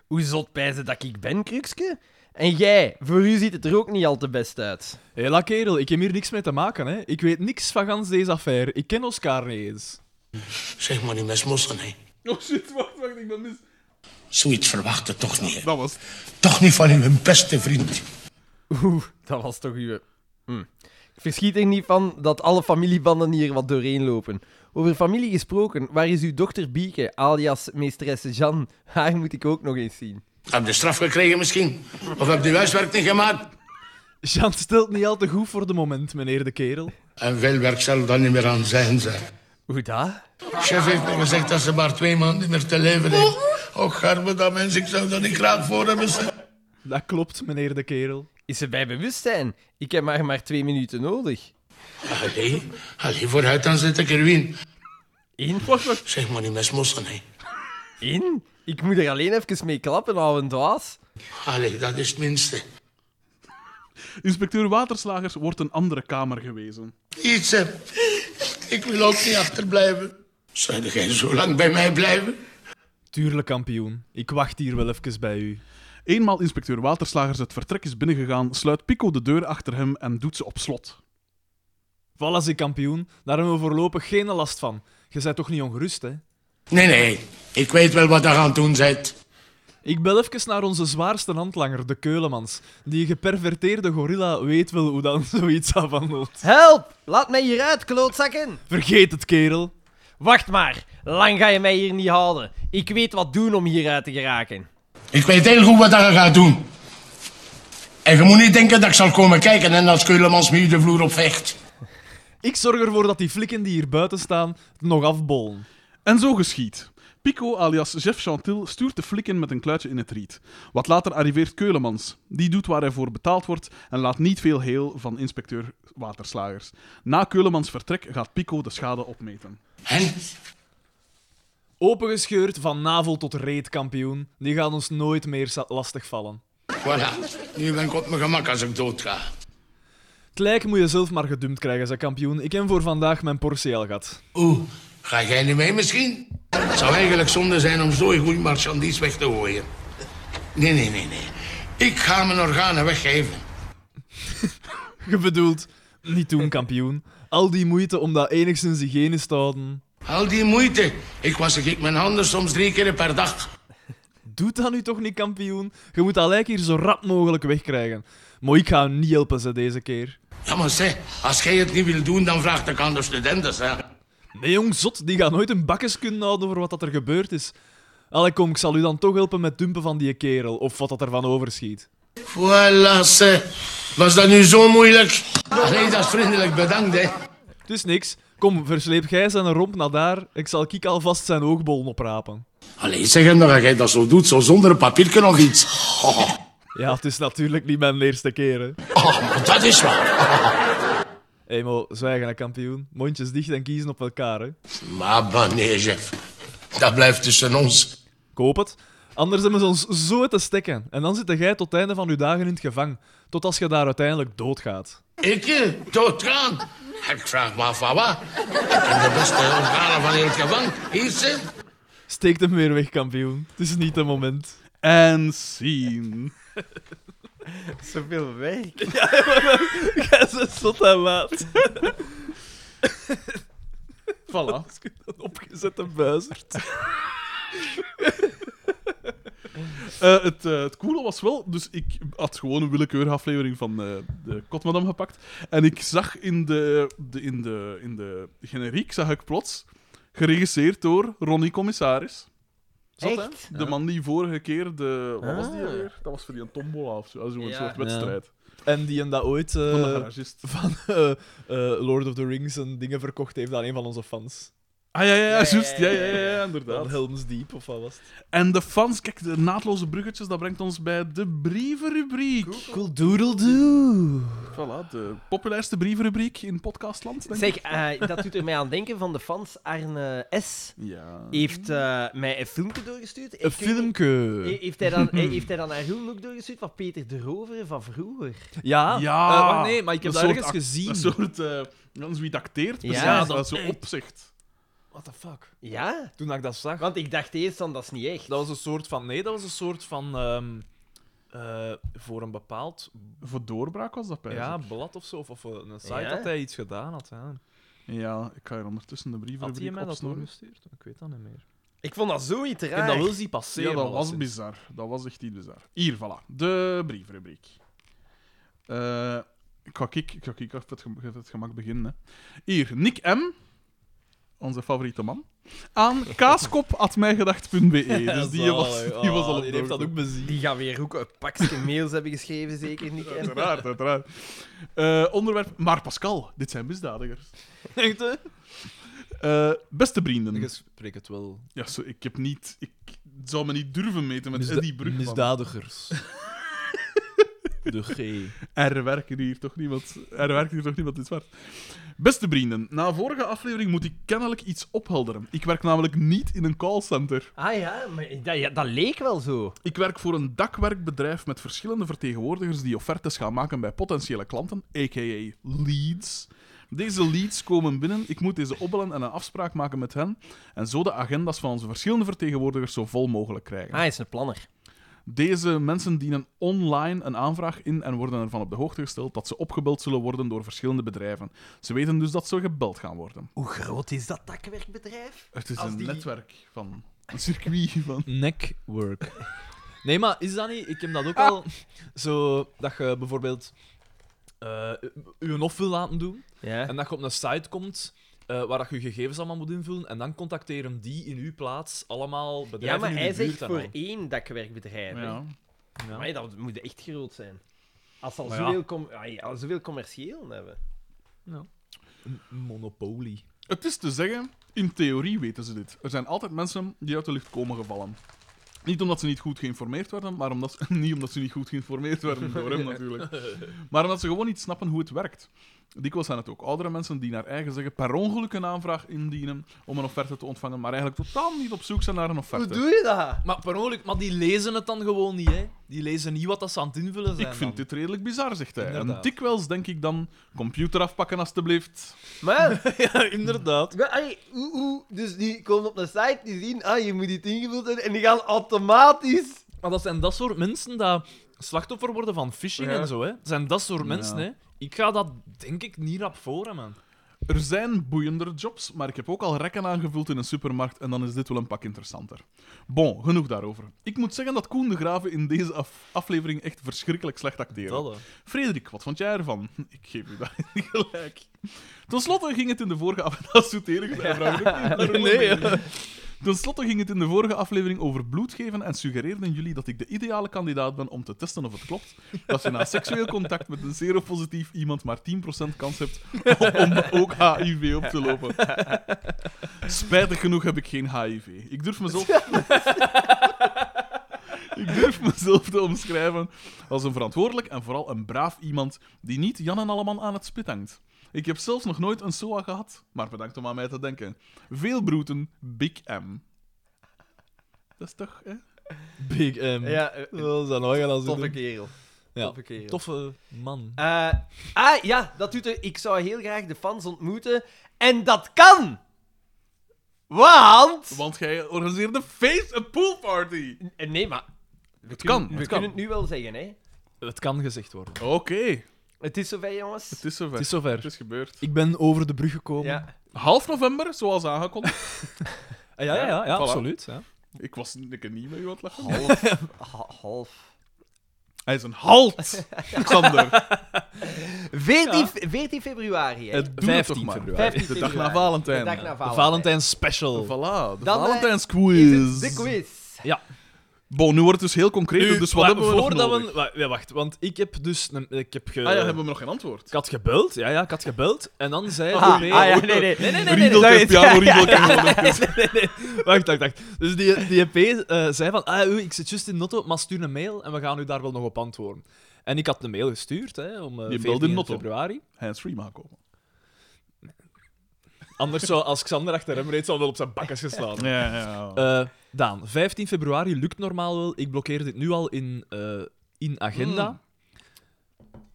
Speaker 2: Hoe zot pijzen dat ik ben, Krukske? En jij, voor u ziet het er ook niet al te best uit.
Speaker 3: Hela, kerel. Ik heb hier niks mee te maken, hè. Ik weet niks van gans deze affaire. Ik ken Oscar niet eens.
Speaker 5: Zeg maar niet met smossen, hè.
Speaker 1: Oh shit, wacht, wacht, ik ben mis.
Speaker 5: Zoiets verwachten toch niet, hè.
Speaker 1: Dat was het.
Speaker 5: Toch niet van uw beste vriend.
Speaker 2: Oeh, dat was toch uw... Hm. Ik verschiet er niet van dat alle familiebanden hier wat doorheen lopen. Over familie gesproken, waar is uw dochter Bieke, alias meesteresse Jeanne? Haar moet ik ook nog eens zien.
Speaker 5: Heb je straf gekregen misschien? Of heb je huiswerk niet gemaakt?
Speaker 3: Jean stelt niet al te goed voor de moment, meneer de kerel.
Speaker 5: En veel werk zal daar niet meer aan zijn, zeg.
Speaker 2: Hoe dat?
Speaker 5: Chef heeft me gezegd dat ze maar twee maanden meer te leven heeft. Och, arme dat mens, ik zou dat niet graag voor hebben, zeg.
Speaker 3: Dat klopt, meneer de kerel.
Speaker 2: Is ze bij bewustzijn? Ik heb maar maar twee minuten nodig.
Speaker 5: Allee, allee, vooruit, dan zit ik er weer in.
Speaker 2: <laughs> In?
Speaker 5: Zeg maar niet met smossen, hè.
Speaker 2: In? Ik moet er alleen even mee klappen, ouwe dwaas.
Speaker 5: Allee, dat is het minste.
Speaker 1: Inspecteur Waterslagers wordt een andere kamer gewezen.
Speaker 5: Iets, hè. Ik wil ook niet achterblijven. Zou jij zo lang bij mij blijven?
Speaker 3: Tuurlijk, kampioen. Ik wacht hier wel even bij u.
Speaker 1: Eenmaal inspecteur Waterslagers het vertrek is binnengegaan, sluit Pico de deur achter hem en doet ze op slot.
Speaker 3: Voilà, ze kampioen. Daar hebben we voorlopig geen last van. Je bent toch niet ongerust, hè?
Speaker 5: Nee, nee. Ik weet wel wat daar aan het doen bent.
Speaker 3: Ik bel even naar onze zwaarste handlanger, de Keulemans. Die geperverteerde gorilla weet wel hoe dan <laughs> zoiets afhandelt.
Speaker 2: Help! Laat mij hieruit, klootzakken!
Speaker 3: Vergeet het, kerel.
Speaker 2: Wacht maar, lang ga je mij hier niet halen. Ik weet wat doen om hieruit te geraken.
Speaker 5: Ik weet heel goed wat daar gaat doen. En je moet niet denken dat ik zal komen kijken en als Keulemans me hier de vloer op vecht.
Speaker 3: Ik zorg ervoor dat die flikken die hier buiten staan het nog afbollen.
Speaker 1: En zo geschiet. Pico alias Jeff Chantil stuurt de flikken met een kluitje in het riet. Wat later arriveert Keulemans. Die doet waar hij voor betaald wordt en laat niet veel heel van inspecteur Waterslagers. Na Keulemans vertrek gaat Pico de schade opmeten.
Speaker 5: En?
Speaker 3: Opengescheurd van navel tot reet, kampioen. Die gaan ons nooit meer za- lastigvallen.
Speaker 5: Voilà. Nu ben ik op mijn gemak als ik doodga.
Speaker 3: Het lijk moet je zelf maar gedumpt krijgen, zei kampioen. Ik heb voor vandaag mijn portie al gehad.
Speaker 5: Oeh, ga jij niet mee misschien? Het zou eigenlijk zonde zijn om zo'n goede marchandise weg te gooien. Nee, nee, nee, nee. Ik ga mijn organen weggeven.
Speaker 3: Je bedoelt, niet doen, kampioen. Al die moeite om dat enigszins hygiënisch te houden.
Speaker 5: Al die moeite. Ik was ik mijn handen soms drie keer per dag.
Speaker 3: Doe dat nu toch niet, kampioen? Je moet dat lijk hier zo rap mogelijk wegkrijgen. Maar ik ga u niet helpen, ze deze keer.
Speaker 5: Ja, maar zeg, als jij het niet wil doen, dan vraagt ik aan de studenten. Hè.
Speaker 3: Nee, jong, zot, die gaat nooit een bakjes kunnen houden over wat dat er gebeurd is. Allee, kom, ik zal u dan toch helpen met dumpen van die kerel, of wat dat ervan overschiet.
Speaker 5: Voilà, zeg. Was dat nu zo moeilijk? Nee, dat is vriendelijk bedankt, hè.
Speaker 3: Dus niks. Kom, versleep jij zijn romp naar daar. Ik zal Kik alvast zijn oogbollen oprapen.
Speaker 5: Allee, zeg hem nou dat jij dat zo doet, zo zonder een papiertje of iets.
Speaker 3: Ja, het is natuurlijk niet mijn eerste keer, hè.
Speaker 5: Oh, maar dat is waar.
Speaker 3: Hé, hey, mo, zwijgen, hè, kampioen. Mondjes dicht en kiezen op elkaar, hè.
Speaker 5: Maar bah, nee, chef. Dat blijft tussen ons.
Speaker 3: Koop het. Anders hebben ze ons zo te stekken. En dan zit jij tot het einde van uw dagen in het gevang. Tot als je daar uiteindelijk doodgaat.
Speaker 5: Ik, eh, doodgaan. Ik vraag me af van wat. Ik heb de beste organen van heel het gevangen. Hier, zeg.
Speaker 3: Steek hem weer weg, kampioen. Het is niet het moment.
Speaker 1: En zien.
Speaker 4: Zoveel werk.
Speaker 3: Jij <laughs> bent zot en <laughs> laat.
Speaker 1: Voilà.
Speaker 3: Een opgezette buizerd.
Speaker 1: Eh, het, eh, het coole was wel, dus ik had gewoon een willekeurige aflevering van eh de Kotmadam gepakt. En ik zag in de, de, in de, in de generiek, zag ik plots, geregisseerd door Ronnie Commissaris. Zat, hè?
Speaker 2: Echt?
Speaker 1: De man die vorige keer de... Wat was die alweer? Dat was voor die een tombola of zo. Zo'n
Speaker 2: Ja.
Speaker 1: soort wedstrijd.
Speaker 3: En die en dat ooit eh,
Speaker 1: Van de garagist.
Speaker 3: van <laughs> eh, eh, Lord of the Rings en dingen verkocht heeft aan een van onze fans.
Speaker 1: Ah ja, ja, ja,
Speaker 2: ja,
Speaker 1: juist. Ja,
Speaker 2: ja,
Speaker 1: ja, ja, ja,
Speaker 3: Van
Speaker 1: inderdaad.
Speaker 3: Helms Deep of wat was het?
Speaker 1: En de fans, kijk, de naadloze bruggetjes, dat brengt ons bij de brievenrubriek.
Speaker 3: Cool doodle doo.
Speaker 1: Voilà, de populairste brievenrubriek in podcastland, denk ik.
Speaker 2: Zeg, eh, dat doet er mij aan denken van de fans. Arne S.
Speaker 1: Ja.
Speaker 2: heeft eh, mij een filmpje doorgestuurd. Ik
Speaker 3: Een
Speaker 2: weet niet- He-
Speaker 3: filmke.
Speaker 2: Heeft hij, dan, <laughs> he- heeft hij dan naar Roem ook doorgestuurd van Peter de Rover van vroeger?
Speaker 3: Ja.
Speaker 1: Ja.
Speaker 3: Eh, wacht, nee, maar ik heb
Speaker 1: Een
Speaker 3: dat
Speaker 1: soort
Speaker 3: ergens
Speaker 1: act-
Speaker 3: gezien.
Speaker 1: Een soort, eh dan zoiets acteert, precies,
Speaker 2: Ja,
Speaker 1: dat,
Speaker 2: dat
Speaker 1: zo opzicht.
Speaker 3: What the fuck?
Speaker 2: Ja,
Speaker 3: Toen ik dat zag,
Speaker 2: want ik dacht eerst dan dat is niet echt.
Speaker 3: dat was een soort van... Nee, dat was een soort van... ehm, eh, voor een bepaald
Speaker 1: Voor doorbraak was dat bij
Speaker 3: ja, blad of zo, of, of een site
Speaker 2: Ja.
Speaker 3: dat hij iets gedaan had. Ja.
Speaker 1: ja, ik ga hier ondertussen de brievenrubriek
Speaker 3: Had hij mij dat
Speaker 1: opsnorren.
Speaker 3: doorgestuurd? Ik weet dat niet meer.
Speaker 2: Ik vond dat zoiets
Speaker 3: Ik heb
Speaker 2: raar.
Speaker 3: dat wel zien passeren.
Speaker 1: Ja, dat was
Speaker 3: alleszins.
Speaker 1: bizar. Dat was echt iets bizar. Hier, voilà. De brievenrubriek. Eh, ik ga kik, ik ga kik op het, gem- op het gemak beginnen. Hè. Hier, Nick M., onze favoriete man,
Speaker 3: <laughs>
Speaker 1: aan kaaskop.mijgedacht.be. Dus die
Speaker 3: Zalig.
Speaker 1: was, die was
Speaker 3: Ah,
Speaker 1: al op
Speaker 3: die
Speaker 1: de
Speaker 3: heeft dat
Speaker 1: hoogte.
Speaker 3: ook bezien.
Speaker 2: Die gaan weer ook een pakje mails hebben geschreven, zeker niet. hè?
Speaker 1: Uiteraard, uiteraard. Eh, onderwerp... Maar Pascal, dit zijn misdadigers.
Speaker 3: Echt, hè? <laughs>
Speaker 1: Eh, beste vrienden.
Speaker 3: Je spreekt het wel.
Speaker 1: Ja, zo, ik heb niet... Ik zou me niet durven meten met Eddie Brugman.
Speaker 3: misdadigers. <laughs> De G.
Speaker 1: Er werken hier toch niemand. Er werkt hier toch niemand in zwart. Beste vrienden, na vorige aflevering moet ik kennelijk iets ophelderen. Ik werk namelijk niet in een callcenter.
Speaker 2: Ah ja, maar dat, ja, dat leek wel zo.
Speaker 1: Ik werk voor een dakwerkbedrijf met verschillende vertegenwoordigers die offertes gaan maken bij potentiële klanten, a.k.a. leads. Deze leads komen binnen, ik moet deze opbellen en een afspraak maken met hen en zo de agenda's van onze verschillende vertegenwoordigers zo vol mogelijk krijgen.
Speaker 2: Ah, hij is een planner.
Speaker 1: Deze mensen dienen online een aanvraag in en worden ervan op de hoogte gesteld dat ze opgebeld zullen worden door verschillende bedrijven. Ze weten dus dat ze gebeld gaan worden.
Speaker 2: Hoe groot is dat takkenwerkbedrijf?
Speaker 1: Het is
Speaker 2: Als
Speaker 1: een
Speaker 2: die-
Speaker 1: netwerk van een
Speaker 2: <laughs>
Speaker 1: circuit van.
Speaker 3: Neckwork. Nee, maar is dat niet? Ik heb dat ook al. Zo dat je bijvoorbeeld eh je hof wil laten doen.
Speaker 4: Ja.
Speaker 3: En dat je op een site komt eh, waar dat je je gegevens allemaal moet invullen. En dan contacteren die in uw plaats allemaal
Speaker 4: Ja,
Speaker 3: bedrijven
Speaker 4: maar
Speaker 3: in
Speaker 4: hij
Speaker 3: uw buurt.
Speaker 4: zegt
Speaker 3: en
Speaker 4: voor
Speaker 3: al.
Speaker 4: één dakwerkbedrijf. hè.
Speaker 1: Ja.
Speaker 3: Ja.
Speaker 4: Maar dat moet echt groot zijn. Als ze al
Speaker 3: Maar ja.
Speaker 4: zoveel, com- ai, al zoveel commercieel hebben.
Speaker 3: Een Monopolie.
Speaker 1: Het is te zeggen, in theorie weten ze dit. Er zijn altijd mensen die uit de lucht komen gevallen. Niet omdat ze niet goed geïnformeerd werden, maar omdat ze, <laughs> niet omdat ze niet goed geïnformeerd werden door
Speaker 3: <laughs>
Speaker 1: hem natuurlijk. Maar omdat ze gewoon niet snappen hoe het werkt. Dikwijls zijn het ook oudere mensen die naar eigen zeggen per ongeluk een aanvraag indienen om een offerte te ontvangen, maar eigenlijk totaal niet op zoek zijn naar een offerte.
Speaker 4: Hoe doe je dat?
Speaker 3: Maar per ongeluk, maar die lezen het dan gewoon niet, hè? Die lezen niet wat dat ze aan het invullen zijn.
Speaker 1: Ik vind
Speaker 3: dan.
Speaker 1: dit redelijk bizar, zegt hij. En
Speaker 3: Inderdaad.
Speaker 1: dikwijls denk ik dan, computer afpakken alstublieft.
Speaker 4: <laughs> Maar,
Speaker 3: <laughs> ja, inderdaad.
Speaker 4: maar ai, hoe, hoe- dus die komen op een site, die zien, ah, je moet dit ingevuld hebben, en die gaan automatisch...
Speaker 3: Maar dat zijn dat soort mensen dat slachtoffer worden van phishing
Speaker 4: Ja.
Speaker 3: en zo, hè? Dat zijn dat soort mensen,
Speaker 1: Ja.
Speaker 3: hè? Ik ga dat denk ik niet rap voor, hè, man.
Speaker 1: Er zijn boeiender jobs, maar ik heb ook al rekken aangevuld in een supermarkt en dan is dit wel een pak interessanter. Bon, genoeg daarover. Ik moet zeggen dat Koen de Graven in deze af- aflevering echt verschrikkelijk slecht acteerde.
Speaker 3: <laughs> Dat, hè.
Speaker 1: Frederik, wat vond jij ervan? <laughs> Ik geef u daarin gelijk. Ten slotte ging het in de vorige <laughs> aflevering... Dat is zo terig, hij vraagt ook niet naar
Speaker 3: Nee,
Speaker 1: woorden. Ten slotte ging het in de vorige aflevering over bloed geven en suggereerden jullie dat ik de ideale kandidaat ben om te testen of het klopt. Dat je na seksueel contact met een seropositief iemand maar 10% kans hebt <laughs> om ook HIV op te lopen. Spijtig genoeg heb ik geen HIV. Ik durf mezelf... <laughs> Ik durf mezelf te omschrijven als een verantwoordelijk en vooral een braaf iemand die niet Jan en Alleman aan het spit hangt. Ik heb zelfs nog nooit een SOA gehad, maar bedankt om aan mij te denken. Veel broeten, Big M. Dat is toch, hè?
Speaker 3: Big M.
Speaker 4: Ja, eh,
Speaker 3: Dat is dan nog als
Speaker 4: toffe kerel.
Speaker 3: Ja.
Speaker 4: Toffe kerel.
Speaker 3: Toffe man.
Speaker 4: Eh, ah, ja, dat doet er. Ik zou heel graag de fans ontmoeten. En dat kan! Want...
Speaker 1: Want jij organiseerde een feest, een poolparty.
Speaker 4: Eh, Nee, maar... We het
Speaker 1: kan,
Speaker 4: We
Speaker 1: het kan.
Speaker 4: kunnen het nu wel zeggen, hè.
Speaker 3: Eh, Het kan gezegd worden.
Speaker 1: Oké,
Speaker 4: Het is zover, jongens.
Speaker 1: het is zover.
Speaker 3: Het is zover.
Speaker 1: gebeurd.
Speaker 3: Ik ben over de brug gekomen.
Speaker 4: Ja.
Speaker 1: Half november, zoals aangekondigd. <laughs>
Speaker 3: Ah, ja, ja, ja, ja,
Speaker 1: Voilà.
Speaker 3: absoluut. Ja.
Speaker 1: ik was ik kan niet mee wat lachen.
Speaker 4: Ha- half.
Speaker 1: Hij is een halt, Xander.
Speaker 4: 14, fe- 14 februari, hè.
Speaker 1: Het doet het
Speaker 3: 15
Speaker 1: toch maar.
Speaker 3: februari.
Speaker 4: 15
Speaker 1: De dag na
Speaker 4: februari.
Speaker 1: Valentijn.
Speaker 4: De dag na
Speaker 3: De
Speaker 4: Valentijn.
Speaker 3: Valentijn special.
Speaker 1: Voilà, de
Speaker 4: Dan, eh, Is
Speaker 1: Valentijns quiz.
Speaker 4: het de quiz.
Speaker 1: Bon, nu wordt het dus heel concreet,
Speaker 3: Nu,
Speaker 1: dus wat
Speaker 3: wa-
Speaker 1: hebben we nog
Speaker 3: voordat
Speaker 1: nodig?
Speaker 3: we- wa- ja, wacht, want ik heb dus... Een, ik heb ge...
Speaker 1: Ah ja, hebben we nog geen antwoord.
Speaker 3: Ik had gebeld, ja, ja, ik had gebeld. En dan zei
Speaker 4: Ah, ah,
Speaker 3: de-
Speaker 4: ja,
Speaker 3: <laughs>
Speaker 4: nee, nee.
Speaker 3: nee, nee, nee, nee,
Speaker 1: Riedelke,
Speaker 4: nee,
Speaker 1: piano,
Speaker 4: sorry.
Speaker 1: riedelke.
Speaker 3: <laughs>
Speaker 1: riedelke.
Speaker 3: Wacht, wacht, wacht. Dus die, die EP eh, zei van, ah, oei, ik zit juist in Notto, maar stuur een mail en we gaan u daar wel nog op antwoorden. En ik had een mail gestuurd, hè, om eh,
Speaker 1: belde in
Speaker 3: 14
Speaker 1: Notto.
Speaker 3: februari.
Speaker 1: Hands-free maken komen.
Speaker 3: Anders zou, als Xander achter hem reed, zou hij wel op zijn bakkes geslaan. hebben.
Speaker 1: Ja, ja,
Speaker 3: Eh, Daan, 15 februari lukt normaal wel. Ik blokkeer dit nu al in, eh, in agenda.
Speaker 1: Hmm.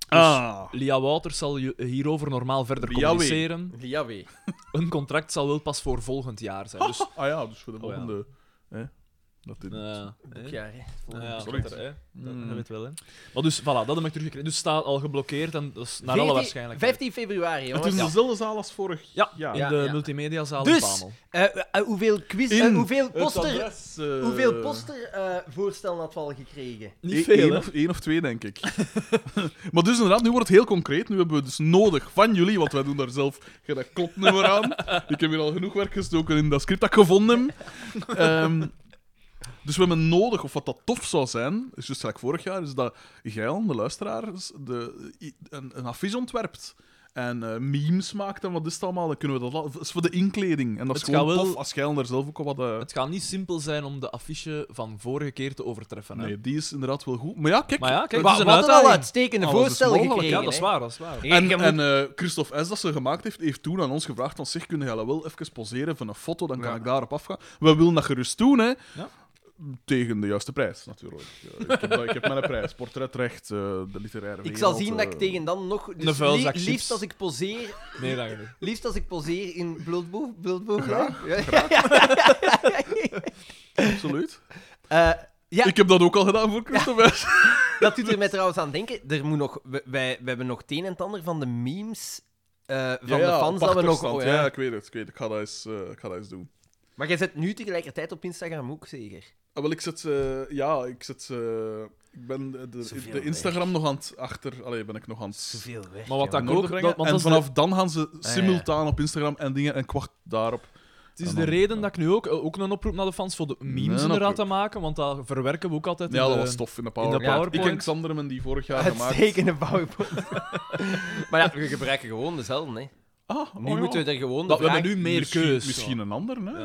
Speaker 1: Ah.
Speaker 3: Lia Wouters zal ju- hierover normaal verder
Speaker 1: Lia
Speaker 3: communiceren.
Speaker 4: Ja, wee.
Speaker 3: Een contract zal wel pas voor volgend jaar
Speaker 1: <laughs>
Speaker 3: zijn. Dus,
Speaker 1: Ah ja, dus voor de
Speaker 3: <laughs> Oh ja.
Speaker 1: volgende... hè? Dat dit...
Speaker 3: eh, hè?
Speaker 4: Ja, hè.
Speaker 3: Nou ja,
Speaker 1: Sorry.
Speaker 3: dat er, hè. Dat,
Speaker 1: Mm.
Speaker 3: dat weet wel, hè. Maar dus, voilà, dat heb ik teruggekregen. Dus staat al geblokkeerd en dat is naar alle
Speaker 4: 14
Speaker 3: waarschijnlijkheid.
Speaker 4: 15 februari,
Speaker 1: het
Speaker 4: jongens.
Speaker 1: is dezelfde zaal als vorig
Speaker 3: Ja,
Speaker 1: jaar.
Speaker 3: in de
Speaker 4: ja.
Speaker 3: multimediazaal
Speaker 4: Dus,
Speaker 3: in Pamel.
Speaker 4: Eh, eh, hoeveel quiz... eh,
Speaker 1: In
Speaker 4: hoeveel
Speaker 1: het
Speaker 4: poster...
Speaker 1: adres, eh,
Speaker 4: Hoeveel postervoorstellen had we al gekregen?
Speaker 1: Eén-
Speaker 3: Niet veel,
Speaker 1: E- één of, één of twee, denk ik. <laughs> maar dus inderdaad, nu wordt het heel concreet. Nu hebben we dus nodig van jullie, want wij doen daar zelf geen klopnummer aan. <laughs> Ik heb hier al genoeg werk gestoken in dat script dat ik gevonden
Speaker 3: <laughs>
Speaker 1: heb. Ehm, dus we hebben nodig, of wat dat tof zou zijn, is dus gelijk vorig jaar, is dat jij, Jan, de luisteraars, de, i- een, een affiche ontwerpt. En eh, memes maakt en wat is het allemaal, dan kunnen we dat... la- Dat is voor de inkleding. En dat is
Speaker 3: Het
Speaker 1: gewoon
Speaker 3: gaat wel-
Speaker 1: tof als jij daar zelf ook al wat... eh,
Speaker 3: Het gaat niet simpel zijn om de affiche van vorige keer te overtreffen. Hè.
Speaker 1: Nee, die is inderdaad wel goed. Maar ja, kijk,
Speaker 3: Maar ja, kijk,
Speaker 4: Wat
Speaker 3: het is
Speaker 4: een
Speaker 3: een
Speaker 4: al
Speaker 3: uitdaging.
Speaker 4: uitstekende
Speaker 1: Alles is
Speaker 4: voorstellen
Speaker 1: mogelijk,
Speaker 4: gekregen.
Speaker 3: ja, dat is waar, dat is waar.
Speaker 4: hè.
Speaker 1: En,
Speaker 4: Je moet-
Speaker 1: en eh, Christophe S. dat ze gemaakt heeft, heeft toen aan ons gevraagd van zeg, kunnen jullie wel even poseren van een foto, dan kan ik daarop afgaan. We willen dat gerust doen, hè.
Speaker 3: Ja.
Speaker 1: Tegen de juiste prijs, natuurlijk. Ja, ik, heb, dat- ik heb mijn prijs. Portretrecht, eh, de literaire
Speaker 4: Ik zal
Speaker 1: wereld,
Speaker 4: zien dat ik
Speaker 1: eh.
Speaker 4: tegen dan nog... Dus
Speaker 3: vuilzak
Speaker 4: li-
Speaker 3: chips.
Speaker 4: liefst als ik poseer...
Speaker 3: Nee, dat genoeg.
Speaker 4: Liefst als ik poseer in Bloodboog. Bloodboog
Speaker 1: Graag,
Speaker 4: ja.
Speaker 1: Absoluut.
Speaker 4: Eh,
Speaker 2: Ja.
Speaker 1: Ik heb dat ook al gedaan voor Christophe.
Speaker 2: Dat doet er mij trouwens aan denken. Er moet nog, we- wij, we hebben nog het een en het ander van de memes eh, van de fans dat we nog...
Speaker 1: pachtafstand.
Speaker 2: oh,
Speaker 1: ja.
Speaker 2: ja.
Speaker 1: ik weet het. Ik, weet het. ik, ga dat eens, eh, ik ga dat eens doen.
Speaker 2: Maar jij zit nu tegelijkertijd op Instagram ook, zeker?
Speaker 1: Ah, wel, ik zit... eh, ja, ik zit... eh, ik ben de, de,
Speaker 2: Zoveel
Speaker 1: de Instagram nog aan het achter... Allee, ben ik nog aan het...
Speaker 2: Veel weg.
Speaker 3: Maar wat
Speaker 1: aan
Speaker 3: dat
Speaker 1: orde
Speaker 3: ook...
Speaker 1: brengen.
Speaker 3: Dat, want dat
Speaker 1: en
Speaker 3: is de-
Speaker 1: vanaf dan gaan ze simultaan op Instagram en dingen en kwart daarop.
Speaker 3: Het is
Speaker 1: En
Speaker 3: de
Speaker 1: dan-
Speaker 3: reden dat ik nu ook, eh, ook een oproep naar de fans voor de memes
Speaker 1: Een
Speaker 3: inderdaad
Speaker 1: oproep.
Speaker 3: te maken, want dat verwerken we ook altijd. in
Speaker 1: Ja, dat
Speaker 3: de-
Speaker 1: was tof in de
Speaker 3: in de
Speaker 1: PowerPoint. Ik en
Speaker 3: PowerPoint.
Speaker 1: Xander hebben die vorig
Speaker 3: <laughs>
Speaker 1: jaar gemaakt.
Speaker 2: Uitstekende PowerPoint. <laughs> maar ja, we gebruiken gewoon dezelfde, hè.
Speaker 1: Ah,
Speaker 2: Nu moeten we er gewoon de
Speaker 1: dat, we
Speaker 2: vraag...
Speaker 1: hebben nu meer
Speaker 3: Misschien-
Speaker 1: keus.
Speaker 3: misschien
Speaker 1: Misschien een ander, hè?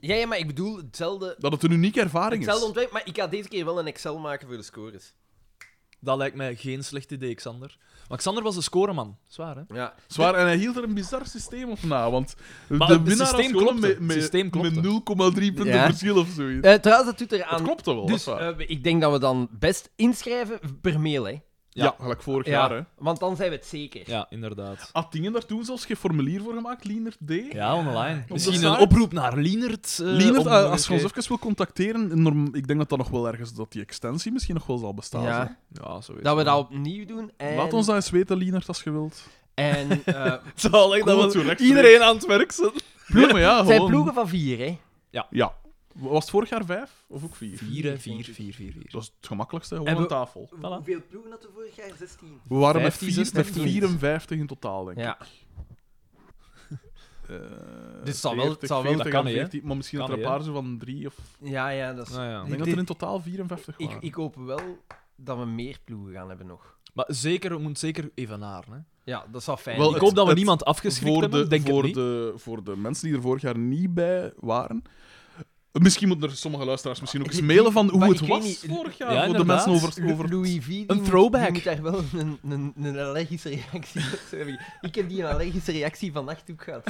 Speaker 2: Ja, ja, maar ik bedoel hetzelfde,
Speaker 1: Dat het een unieke ervaring is.
Speaker 2: hetzelfde ontwerp, maar ik ga deze keer wel een Excel maken voor de scores.
Speaker 3: Dat lijkt mij geen slecht idee, Xander. Maar Xander was de scoreman. Zwaar, hè?
Speaker 2: Ja.
Speaker 1: Zwaar, en hij hield er een bizar systeem op na, want
Speaker 3: Maar
Speaker 1: de
Speaker 3: het
Speaker 1: winnaar
Speaker 3: systeem
Speaker 1: was gewoon
Speaker 3: klopte.
Speaker 1: met,
Speaker 3: Het systeem
Speaker 1: met,
Speaker 3: klopte.
Speaker 1: met 0,3 punten
Speaker 2: Ja.
Speaker 1: verschil of zoiets.
Speaker 2: Eh, trouwens, dat doet er aan...
Speaker 1: dat klopte wel,
Speaker 2: Dus
Speaker 1: dat is waar.
Speaker 2: eh, ik denk dat we dan best inschrijven per mail, hè.
Speaker 1: ja. gelijk vorig jaar, hè.
Speaker 2: Want dan zijn we het zeker.
Speaker 3: Ja, inderdaad.
Speaker 1: Had dingen daar toen zelfs geen formulier voor gemaakt, Lienert D?
Speaker 3: Ja, online. Misschien
Speaker 1: site?
Speaker 3: een oproep naar Lienert. eh,
Speaker 1: Lienert,
Speaker 3: om-
Speaker 1: eh, als je ons even wil contacteren, norm- ik denk dat dat nog wel ergens, dat die extensie misschien nog wel zal bestaan.
Speaker 2: Ja.
Speaker 1: zo.
Speaker 3: Ja, zo is
Speaker 2: Dat we
Speaker 3: het.
Speaker 2: dat opnieuw doen. En,
Speaker 1: Laat ons dat eens weten, Lienert, als je wilt.
Speaker 2: En <laughs> eh,
Speaker 3: Het is wel echt
Speaker 1: Kom
Speaker 3: dat
Speaker 1: het
Speaker 3: we
Speaker 1: toe, rechtstreeks.
Speaker 3: iedereen aan het werk zit.
Speaker 1: Ja, maar ja,
Speaker 2: het zijn
Speaker 1: gewoon.
Speaker 2: ploegen van vier, hè?
Speaker 1: Ja. Was het vorig jaar vijf? Of ook vier?
Speaker 3: Vier, vier, vier, vier, vier.
Speaker 1: Dat is het gemakkelijkste, gewoon
Speaker 2: En we-
Speaker 1: aan tafel.
Speaker 2: Hoeveel ploegen hadden we vorig jaar? 16.
Speaker 1: We waren met,
Speaker 3: 15,
Speaker 1: vier- met
Speaker 3: 16.
Speaker 1: 54 in totaal, denk ik.
Speaker 2: Ja.
Speaker 1: Eh,
Speaker 2: Dus het zal wel- het zal wel-
Speaker 1: 40
Speaker 3: Dat kan
Speaker 1: en
Speaker 3: niet, hè?
Speaker 1: 14, maar misschien
Speaker 3: Kan
Speaker 1: dat er een
Speaker 3: niet, hè?
Speaker 1: paar zo van drie of...
Speaker 2: Ja, ja, dat is...
Speaker 3: Nou ja.
Speaker 1: Ik denk dat er in totaal 54
Speaker 2: ik,
Speaker 1: waren.
Speaker 2: ik hoop wel dat we meer ploegen gaan hebben nog.
Speaker 3: Maar zeker, we moeten zeker evenaren. Hè?
Speaker 2: Ja, dat zou fijn
Speaker 1: Wel,
Speaker 3: ik
Speaker 1: het-
Speaker 3: hoop dat we
Speaker 1: het-
Speaker 3: niemand afgeschrikt
Speaker 1: voor,
Speaker 3: hebben,
Speaker 1: de,
Speaker 3: denk
Speaker 1: voor,
Speaker 3: ik niet.
Speaker 1: de, voor de mensen die er vorig jaar niet bij waren... Misschien moeten er sommige luisteraars misschien ook eens mailen van hoe
Speaker 2: Maar
Speaker 1: het
Speaker 2: ik weet
Speaker 1: was
Speaker 2: niet,
Speaker 1: vorig jaar.
Speaker 3: Ja,
Speaker 1: voor de
Speaker 3: inderdaad.
Speaker 1: mensen over...
Speaker 2: Lu-
Speaker 3: <laughs>
Speaker 1: over...
Speaker 2: Louis V. die
Speaker 3: Een
Speaker 2: moet-
Speaker 3: throwback.
Speaker 2: die moet daar wel een, een, een allergische reactie op <laughs> hebben. Ik heb die allergische reactie vannacht ook
Speaker 3: <laughs>
Speaker 2: gehad.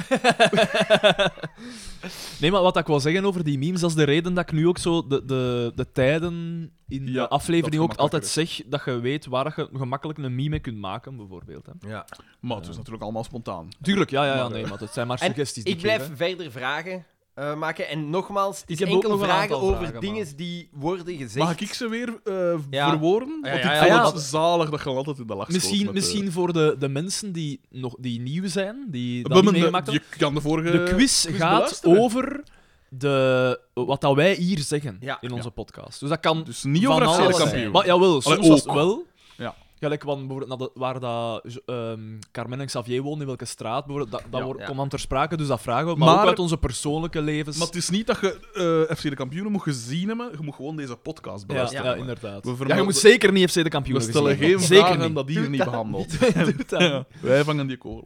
Speaker 3: Nee, maar wat ik wil zeggen over die memes, dat is de reden dat ik nu ook zo de, de, de tijden in
Speaker 1: Ja,
Speaker 3: de aflevering
Speaker 1: dat
Speaker 3: ook altijd
Speaker 1: gemakkelijker
Speaker 3: zeg dat je weet waar je gemakkelijk een meme mee kunt maken, bijvoorbeeld. Hè.
Speaker 1: Maar het is natuurlijk allemaal spontaan.
Speaker 3: Tuurlijk, ja, ja, ja
Speaker 1: Maar,
Speaker 3: nee,
Speaker 1: eh,
Speaker 3: maar dat zijn maar
Speaker 2: En
Speaker 3: suggesties. die
Speaker 2: ik blijf
Speaker 3: geef, hè.
Speaker 2: verder vragen eh, maken. En nogmaals, het
Speaker 3: Ik
Speaker 2: is
Speaker 3: heb ook
Speaker 2: enkel
Speaker 3: nog een
Speaker 2: vragen
Speaker 3: aantal
Speaker 2: over
Speaker 3: vragen, maar-
Speaker 2: dingen die worden gezegd.
Speaker 1: Mag ik ze weer eh,
Speaker 2: Ja.
Speaker 1: verwoorden?
Speaker 2: Ja,
Speaker 1: Want
Speaker 2: ja,
Speaker 1: ik
Speaker 2: ja,
Speaker 1: vond
Speaker 2: ja.
Speaker 1: het zalig dat je altijd in de lach schoot
Speaker 3: Misschien,
Speaker 1: met eh, de-
Speaker 3: misschien voor de, de mensen die, nog, die nieuw zijn, die
Speaker 1: We
Speaker 3: dat niet
Speaker 1: hebben de-
Speaker 3: meegemaakt hebben.
Speaker 1: Je kan de vorige...
Speaker 3: De quiz gaat
Speaker 1: beluisteren.
Speaker 3: over de, wat dat wij hier zeggen
Speaker 2: Ja.
Speaker 3: in onze podcast. Dus dat kan
Speaker 1: Dus niet
Speaker 3: van
Speaker 1: over FC
Speaker 3: alles
Speaker 1: de
Speaker 3: zijn.
Speaker 1: kampioen.
Speaker 3: Maar jawel, soms
Speaker 1: Allee,
Speaker 3: was het
Speaker 1: ook.
Speaker 3: wel.
Speaker 1: Ja.
Speaker 3: Gelijk want bijvoorbeeld naar de- waar dat, ehm, Carmen en Xavier wonen, in welke straat, bijvoorbeeld, dat, dat
Speaker 1: Ja.
Speaker 3: wordt-
Speaker 2: Ja.
Speaker 3: komt dan ter sprake, dus dat vragen we. Maar,
Speaker 1: Maar-
Speaker 3: ook uit onze persoonlijke levens.
Speaker 1: Maar het is niet dat je eh, FC de Kampioenen moet gezien hebben, je moet gewoon deze podcast
Speaker 3: ja, ja,
Speaker 1: beluisteren.
Speaker 3: inderdaad.
Speaker 1: We vermelden-
Speaker 3: ja, je moet zeker niet FC de kampioen
Speaker 1: We stellen geen
Speaker 3: Zeker
Speaker 1: vragen
Speaker 3: niet.
Speaker 1: dat
Speaker 3: <laughs>
Speaker 1: die hier niet behandeld.
Speaker 3: Doet dat niet.
Speaker 1: Wij vangen die kogel.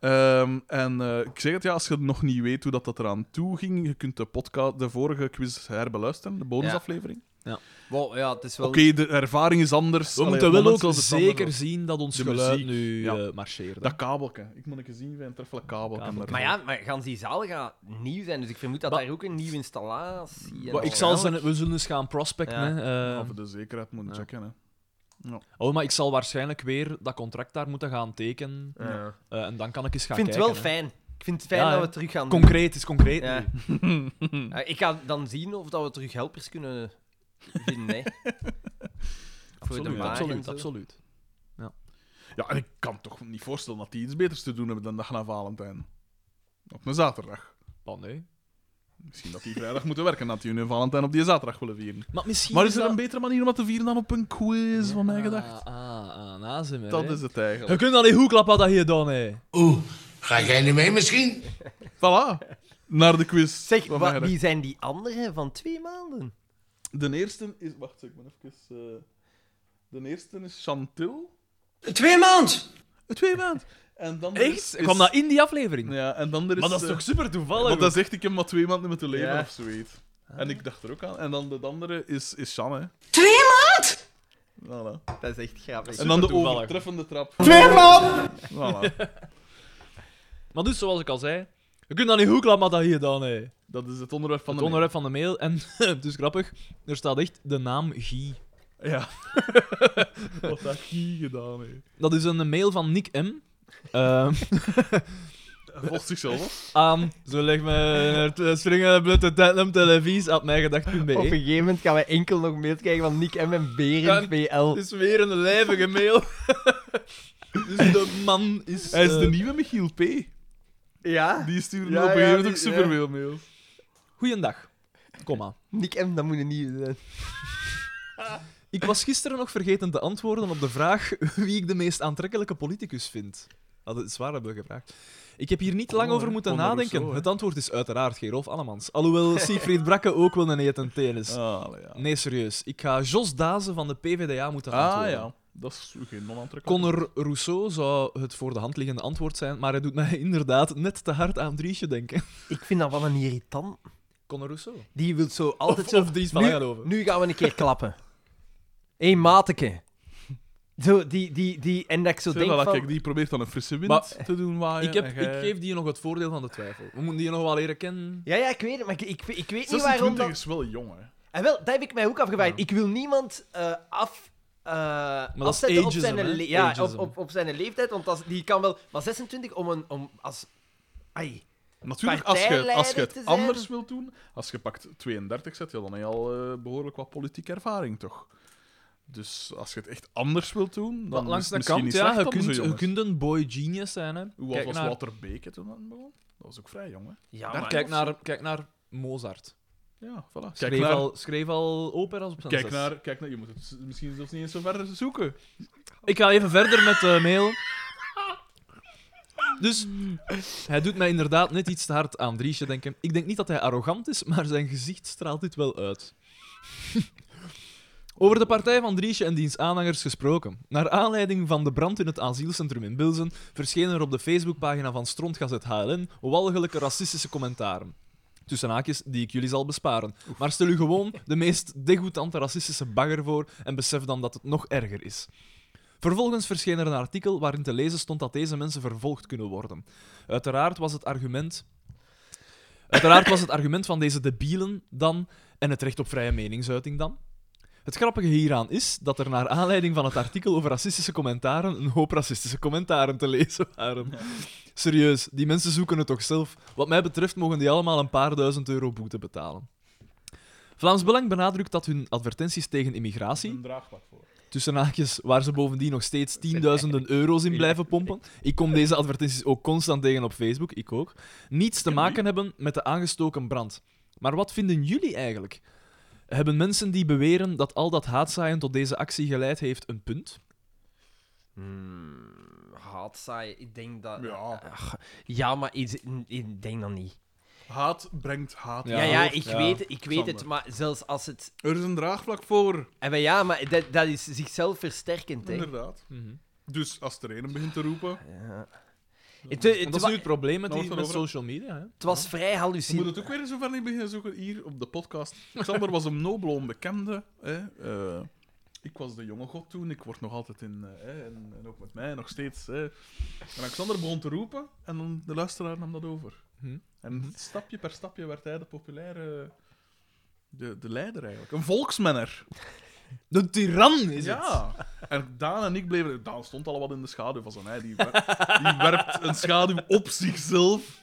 Speaker 1: Ehm, en eh, ik zeg het ja, als je nog niet weet hoe dat, dat eraan toe ging, je kunt de, podcast, de vorige quiz herbeluisteren, de bonusaflevering.
Speaker 2: Wow, ja, het is wel...
Speaker 1: Oké, de ervaring is anders.
Speaker 3: We
Speaker 1: Allee,
Speaker 3: moeten
Speaker 1: op
Speaker 3: wel
Speaker 1: het moment
Speaker 3: ook
Speaker 1: zelfs het
Speaker 3: zeker
Speaker 1: andere-
Speaker 3: zien dat ons
Speaker 1: De
Speaker 3: geluid
Speaker 1: muziek,
Speaker 3: nu
Speaker 1: ja.
Speaker 3: eh, marcheert. hè.
Speaker 1: Dat kabelke. Ik moet een zien, wij een treffelijk kabelke.
Speaker 3: Kabelke.
Speaker 2: Maar ja, maar gans die zaal gaat nieuw zijn, dus ik vermoed dat
Speaker 3: Ba-
Speaker 2: daar ook een nieuwe installatie... en
Speaker 3: Maar
Speaker 2: al
Speaker 3: ik zal
Speaker 2: is.
Speaker 3: ze, we zullen eens gaan prospecten.
Speaker 2: Ja.
Speaker 3: hè, eh.
Speaker 1: Of we de zekerheid moeten checken. Hè.
Speaker 3: Oh, maar ik zal waarschijnlijk weer dat contract daar moeten gaan tekenen.
Speaker 2: Ja.
Speaker 3: Eh, en dan kan ik eens
Speaker 2: Ik
Speaker 3: gaan
Speaker 2: vind het wel
Speaker 3: kijken. hè.
Speaker 2: fijn. Ik vind het fijn
Speaker 3: Ja,
Speaker 2: dat
Speaker 3: hè.
Speaker 2: we het terug gaan doen.
Speaker 3: Concreet is concreet.
Speaker 2: Ja.
Speaker 3: nu.
Speaker 2: Eh, ik ga dan zien of dat we terug helpers kunnen vinden, hè. Voor de
Speaker 3: <laughs> Absoluut,
Speaker 2: maag en
Speaker 3: absoluut,
Speaker 2: zo.
Speaker 3: absoluut.
Speaker 1: Ja, en ik kan toch niet voorstellen dat die iets beters te doen hebben dan dag na Valentijn. Op een zaterdag.
Speaker 3: Oh, nee.
Speaker 1: Misschien dat die vrijdag moeten werken, dat die hun Valentijn op die zaterdag willen vieren.
Speaker 3: Maar misschien
Speaker 1: Maar is er
Speaker 3: dat-
Speaker 1: een betere manier om dat te vieren dan op een quiz, van mij gedacht?
Speaker 3: Ah, ah, ah, nazim, hè.
Speaker 1: Dat is het
Speaker 3: Je
Speaker 1: eigenlijk.
Speaker 3: kunt alleen hoe klappen dat je dan, hè.
Speaker 5: Oeh, ga jij niet mee misschien?
Speaker 1: Voilà. Naar de quiz.
Speaker 2: Zeg,
Speaker 1: van
Speaker 2: wa-
Speaker 1: mij
Speaker 2: wie zijn die anderen van twee maanden?
Speaker 1: gedacht. De eerste is... Wacht, ik ben even... eh, De eerste is Chantil.
Speaker 6: Twee maand.
Speaker 1: De tweede maand. En dan er is-
Speaker 3: Echt?
Speaker 1: is-
Speaker 3: Kwam dat in die aflevering?
Speaker 1: Ja, en dan er is...
Speaker 3: Maar dat is
Speaker 1: eh,
Speaker 3: toch super toevallig?
Speaker 1: Want dan zegt ik hem maar twee maanden moeten leven
Speaker 2: Ja.
Speaker 1: of zoiets. En ik dacht er ook aan. En dan de andere is, is Shan, hè.
Speaker 6: Twee maand?
Speaker 1: Voilà.
Speaker 2: Dat is echt grappig.
Speaker 1: En dan de
Speaker 3: toevallig.
Speaker 1: overtreffende trap. Twee man! Voilà.
Speaker 3: Maar dus, zoals ik al zei, je kunt alleen hoe klappen dat je dan, hè.
Speaker 1: Dat is het onderwerp van
Speaker 3: Het
Speaker 1: de
Speaker 3: onderwerp van de mail. En <laughs> het is grappig, er staat echt de naam Guy.
Speaker 1: mail. Ja. Wat dat hier gedaan heeft. <laughs>
Speaker 3: Dat is een mail van Nick M. Ehm,
Speaker 1: Hij volgt zichzelf af.
Speaker 3: aan. Zo leg me naar springen blutte tandem televisie op mijn
Speaker 4: Op een
Speaker 3: gedacht.be.
Speaker 4: gegeven moment gaan wij enkel nog mails krijgen van Nick M. en
Speaker 3: Ja.
Speaker 4: Berend PL.
Speaker 3: Het is weer een lijvige mail. <laughs> dus de man is.
Speaker 1: Hij is
Speaker 3: eh,
Speaker 1: de nieuwe Michiel P.
Speaker 4: Ja?
Speaker 1: Die stuurde
Speaker 4: Ja,
Speaker 1: op een
Speaker 4: ja,
Speaker 1: gegeven moment
Speaker 4: die-
Speaker 1: ook superveel mails.
Speaker 3: Goeiedag. Kom aan.
Speaker 4: Nick M, dat moet een nieuwe zijn.
Speaker 3: Ik was gisteren nog vergeten te antwoorden op de vraag wie ik de meest aantrekkelijke politicus vind. Dat is zwaar hebben we gevraagd. Ik heb hier niet lang over moeten
Speaker 1: Oh, Conor
Speaker 3: nadenken.
Speaker 1: Rousseau, hè?
Speaker 3: het antwoord is uiteraard Gerolf
Speaker 1: <laughs>
Speaker 3: Annemans. Alhoewel Siegfried Brakke ook wel een eten tennis.
Speaker 1: Ah, allee, ja.
Speaker 3: Nee, serieus. Ik ga Jos Dazen van de PVDA moeten
Speaker 1: Ah
Speaker 3: antwoorden.
Speaker 1: ja, dat is geen non-aantrekkelijk.
Speaker 3: Conor Rousseau zou het voor de hand liggende antwoord zijn, maar hij doet mij <laughs> inderdaad net te hard aan Driesje denken.
Speaker 4: Ik vind dat wel een irritant.
Speaker 3: Conor Rousseau?
Speaker 4: Die wil zo altijd
Speaker 3: Of,
Speaker 4: zo...
Speaker 3: of Dries van
Speaker 4: nu,
Speaker 3: Langenhoven.
Speaker 4: nu gaan we een keer klappen. Hé, hey, mateke. Zo, die, die, die... En dat ik zo
Speaker 1: Zeg
Speaker 4: denk
Speaker 1: dat,
Speaker 4: van...
Speaker 1: kijk, die probeert dan een frisse wind
Speaker 3: Maar-
Speaker 1: te doen waaien.
Speaker 3: Ik, heb,
Speaker 1: en
Speaker 3: ik
Speaker 1: jij-
Speaker 3: geef die nog het voordeel van de twijfel. We moeten die nog wel leren kennen.
Speaker 4: Ja, ja, ik weet het, maar ik, ik, ik weet niet
Speaker 1: 26
Speaker 4: waarom dat...
Speaker 1: is wel jong, hè.
Speaker 4: En wel, dat heb ik mij ook afgevraagd. Ik wil niemand eh, af... eh,
Speaker 3: dat is
Speaker 4: afzetten op
Speaker 3: ageism,
Speaker 4: zijn,
Speaker 3: hè?
Speaker 4: le- ja, op,
Speaker 3: Ageism.
Speaker 4: op, op zijn leeftijd, want dat is- die kan wel... Maar 26 om een... Om, als, ai,
Speaker 1: Natuurlijk, als je, als je
Speaker 4: Partijleider te
Speaker 1: het
Speaker 4: zijn.
Speaker 1: anders wilt doen, als je pakt 32 zet, ja, dan heb je al eh, behoorlijk wat politieke ervaring, toch? Dus als je het echt anders wilt doen, dan
Speaker 3: Maar langs
Speaker 1: is
Speaker 3: de
Speaker 1: het
Speaker 3: kant,
Speaker 1: misschien
Speaker 3: ja,
Speaker 1: niet
Speaker 3: je
Speaker 1: slecht om zo
Speaker 3: kunt,
Speaker 1: jong
Speaker 3: je
Speaker 1: is.
Speaker 3: kunt een boy genius zijn. Hè.
Speaker 1: Hoe oud
Speaker 3: kijk,
Speaker 1: was
Speaker 3: naar,
Speaker 1: Walter Beke toen dat begon? Dat was ook vrij jong, hè?
Speaker 4: ja,
Speaker 1: Daar
Speaker 4: maar...
Speaker 3: kijk, naar, kijk naar Mozart.
Speaker 1: Ja, voilà. Kijk
Speaker 3: Schreef,
Speaker 1: naar,
Speaker 3: al, schreef al opera's op zijn
Speaker 1: kijk,
Speaker 3: zes.
Speaker 1: naar, kijk naar... Je moet het s- misschien zelfs niet eens zo ver zoeken.
Speaker 3: Ik ga even verder met de mail. Dus hij doet mij inderdaad net iets te hard aan Driesje denken. Ik denk niet dat hij arrogant is, maar zijn gezicht straalt dit wel uit. Over de partij van Driesje en diens aanhangers gesproken. Naar aanleiding van de brand in het asielcentrum in Bilzen verschenen er op de Facebookpagina van Strontgazet HLN walgelijke racistische commentaren. Tussen haakjes die ik jullie zal besparen. Maar stel u gewoon de meest degoutante racistische bagger voor en besef dan dat het nog erger is. Vervolgens verscheen er een artikel waarin te lezen stond dat deze mensen vervolgd kunnen worden. Uiteraard was het argument. Uiteraard was het argument van deze debielen dan en het recht op vrije meningsuiting dan. Het grappige hieraan is dat er naar aanleiding van het artikel over racistische commentaren een hoop racistische commentaren te lezen waren. Serieus, die mensen zoeken het toch zelf. Wat mij betreft mogen die allemaal een paar duizend euro boete betalen. Vlaams Belang benadrukt dat hun advertenties tegen immigratie,
Speaker 1: Een draagvlak voor.
Speaker 3: tussen haakjes, waar ze bovendien nog steeds tienduizenden euro's in blijven pompen. Ik kom deze advertenties ook constant tegen op Facebook, ik ook. Niets te maken hebben met de aangestoken brand. Maar wat vinden jullie eigenlijk? Hebben mensen die beweren dat al dat haatzaaien tot deze actie geleid heeft een punt?
Speaker 4: Hmm,
Speaker 2: Haatzaaien, ik denk dat...
Speaker 1: Ja,
Speaker 2: Ja, maar ik, ik denk dat niet.
Speaker 1: haat brengt haat.
Speaker 3: Ja,
Speaker 2: Ja, ja, ik,
Speaker 3: ja,
Speaker 2: Weet, het, ik weet het,
Speaker 1: Sander.
Speaker 2: maar zelfs als het...
Speaker 1: Er is een draagvlak voor,
Speaker 2: En maar ja, maar dat, dat is zichzelf versterkend, hè.
Speaker 1: inderdaad. Dus als er een begint te roepen...
Speaker 2: Het, het,
Speaker 3: Want
Speaker 2: wa-
Speaker 3: dat is nu het probleem met,
Speaker 1: Nou,
Speaker 3: die,
Speaker 1: we
Speaker 3: met
Speaker 1: gaan over-
Speaker 3: social media. Hè?
Speaker 2: het was vrij
Speaker 1: Je moet
Speaker 2: hallucinant.
Speaker 1: het ook weer zo ver niet beginnen zoeken hier op de podcast. Xander was een nobel onbekende. Hè? Eh, ik was de jonge god toen, ik word nog altijd in. eh, hè, en, en ook met mij nog steeds. Hè. En Alexander begon te roepen en dan de luisteraar nam dat over.
Speaker 3: Hm.
Speaker 1: En stapje per stapje werd hij de populaire. De, de leider eigenlijk. Een volksmenner.
Speaker 3: De tiran is het!
Speaker 1: ja. <laughs> En Daan en ik bleven. Daan stond al wat in de schaduw van zijn. Hè. Die, wer- die werpt een schaduw op zichzelf.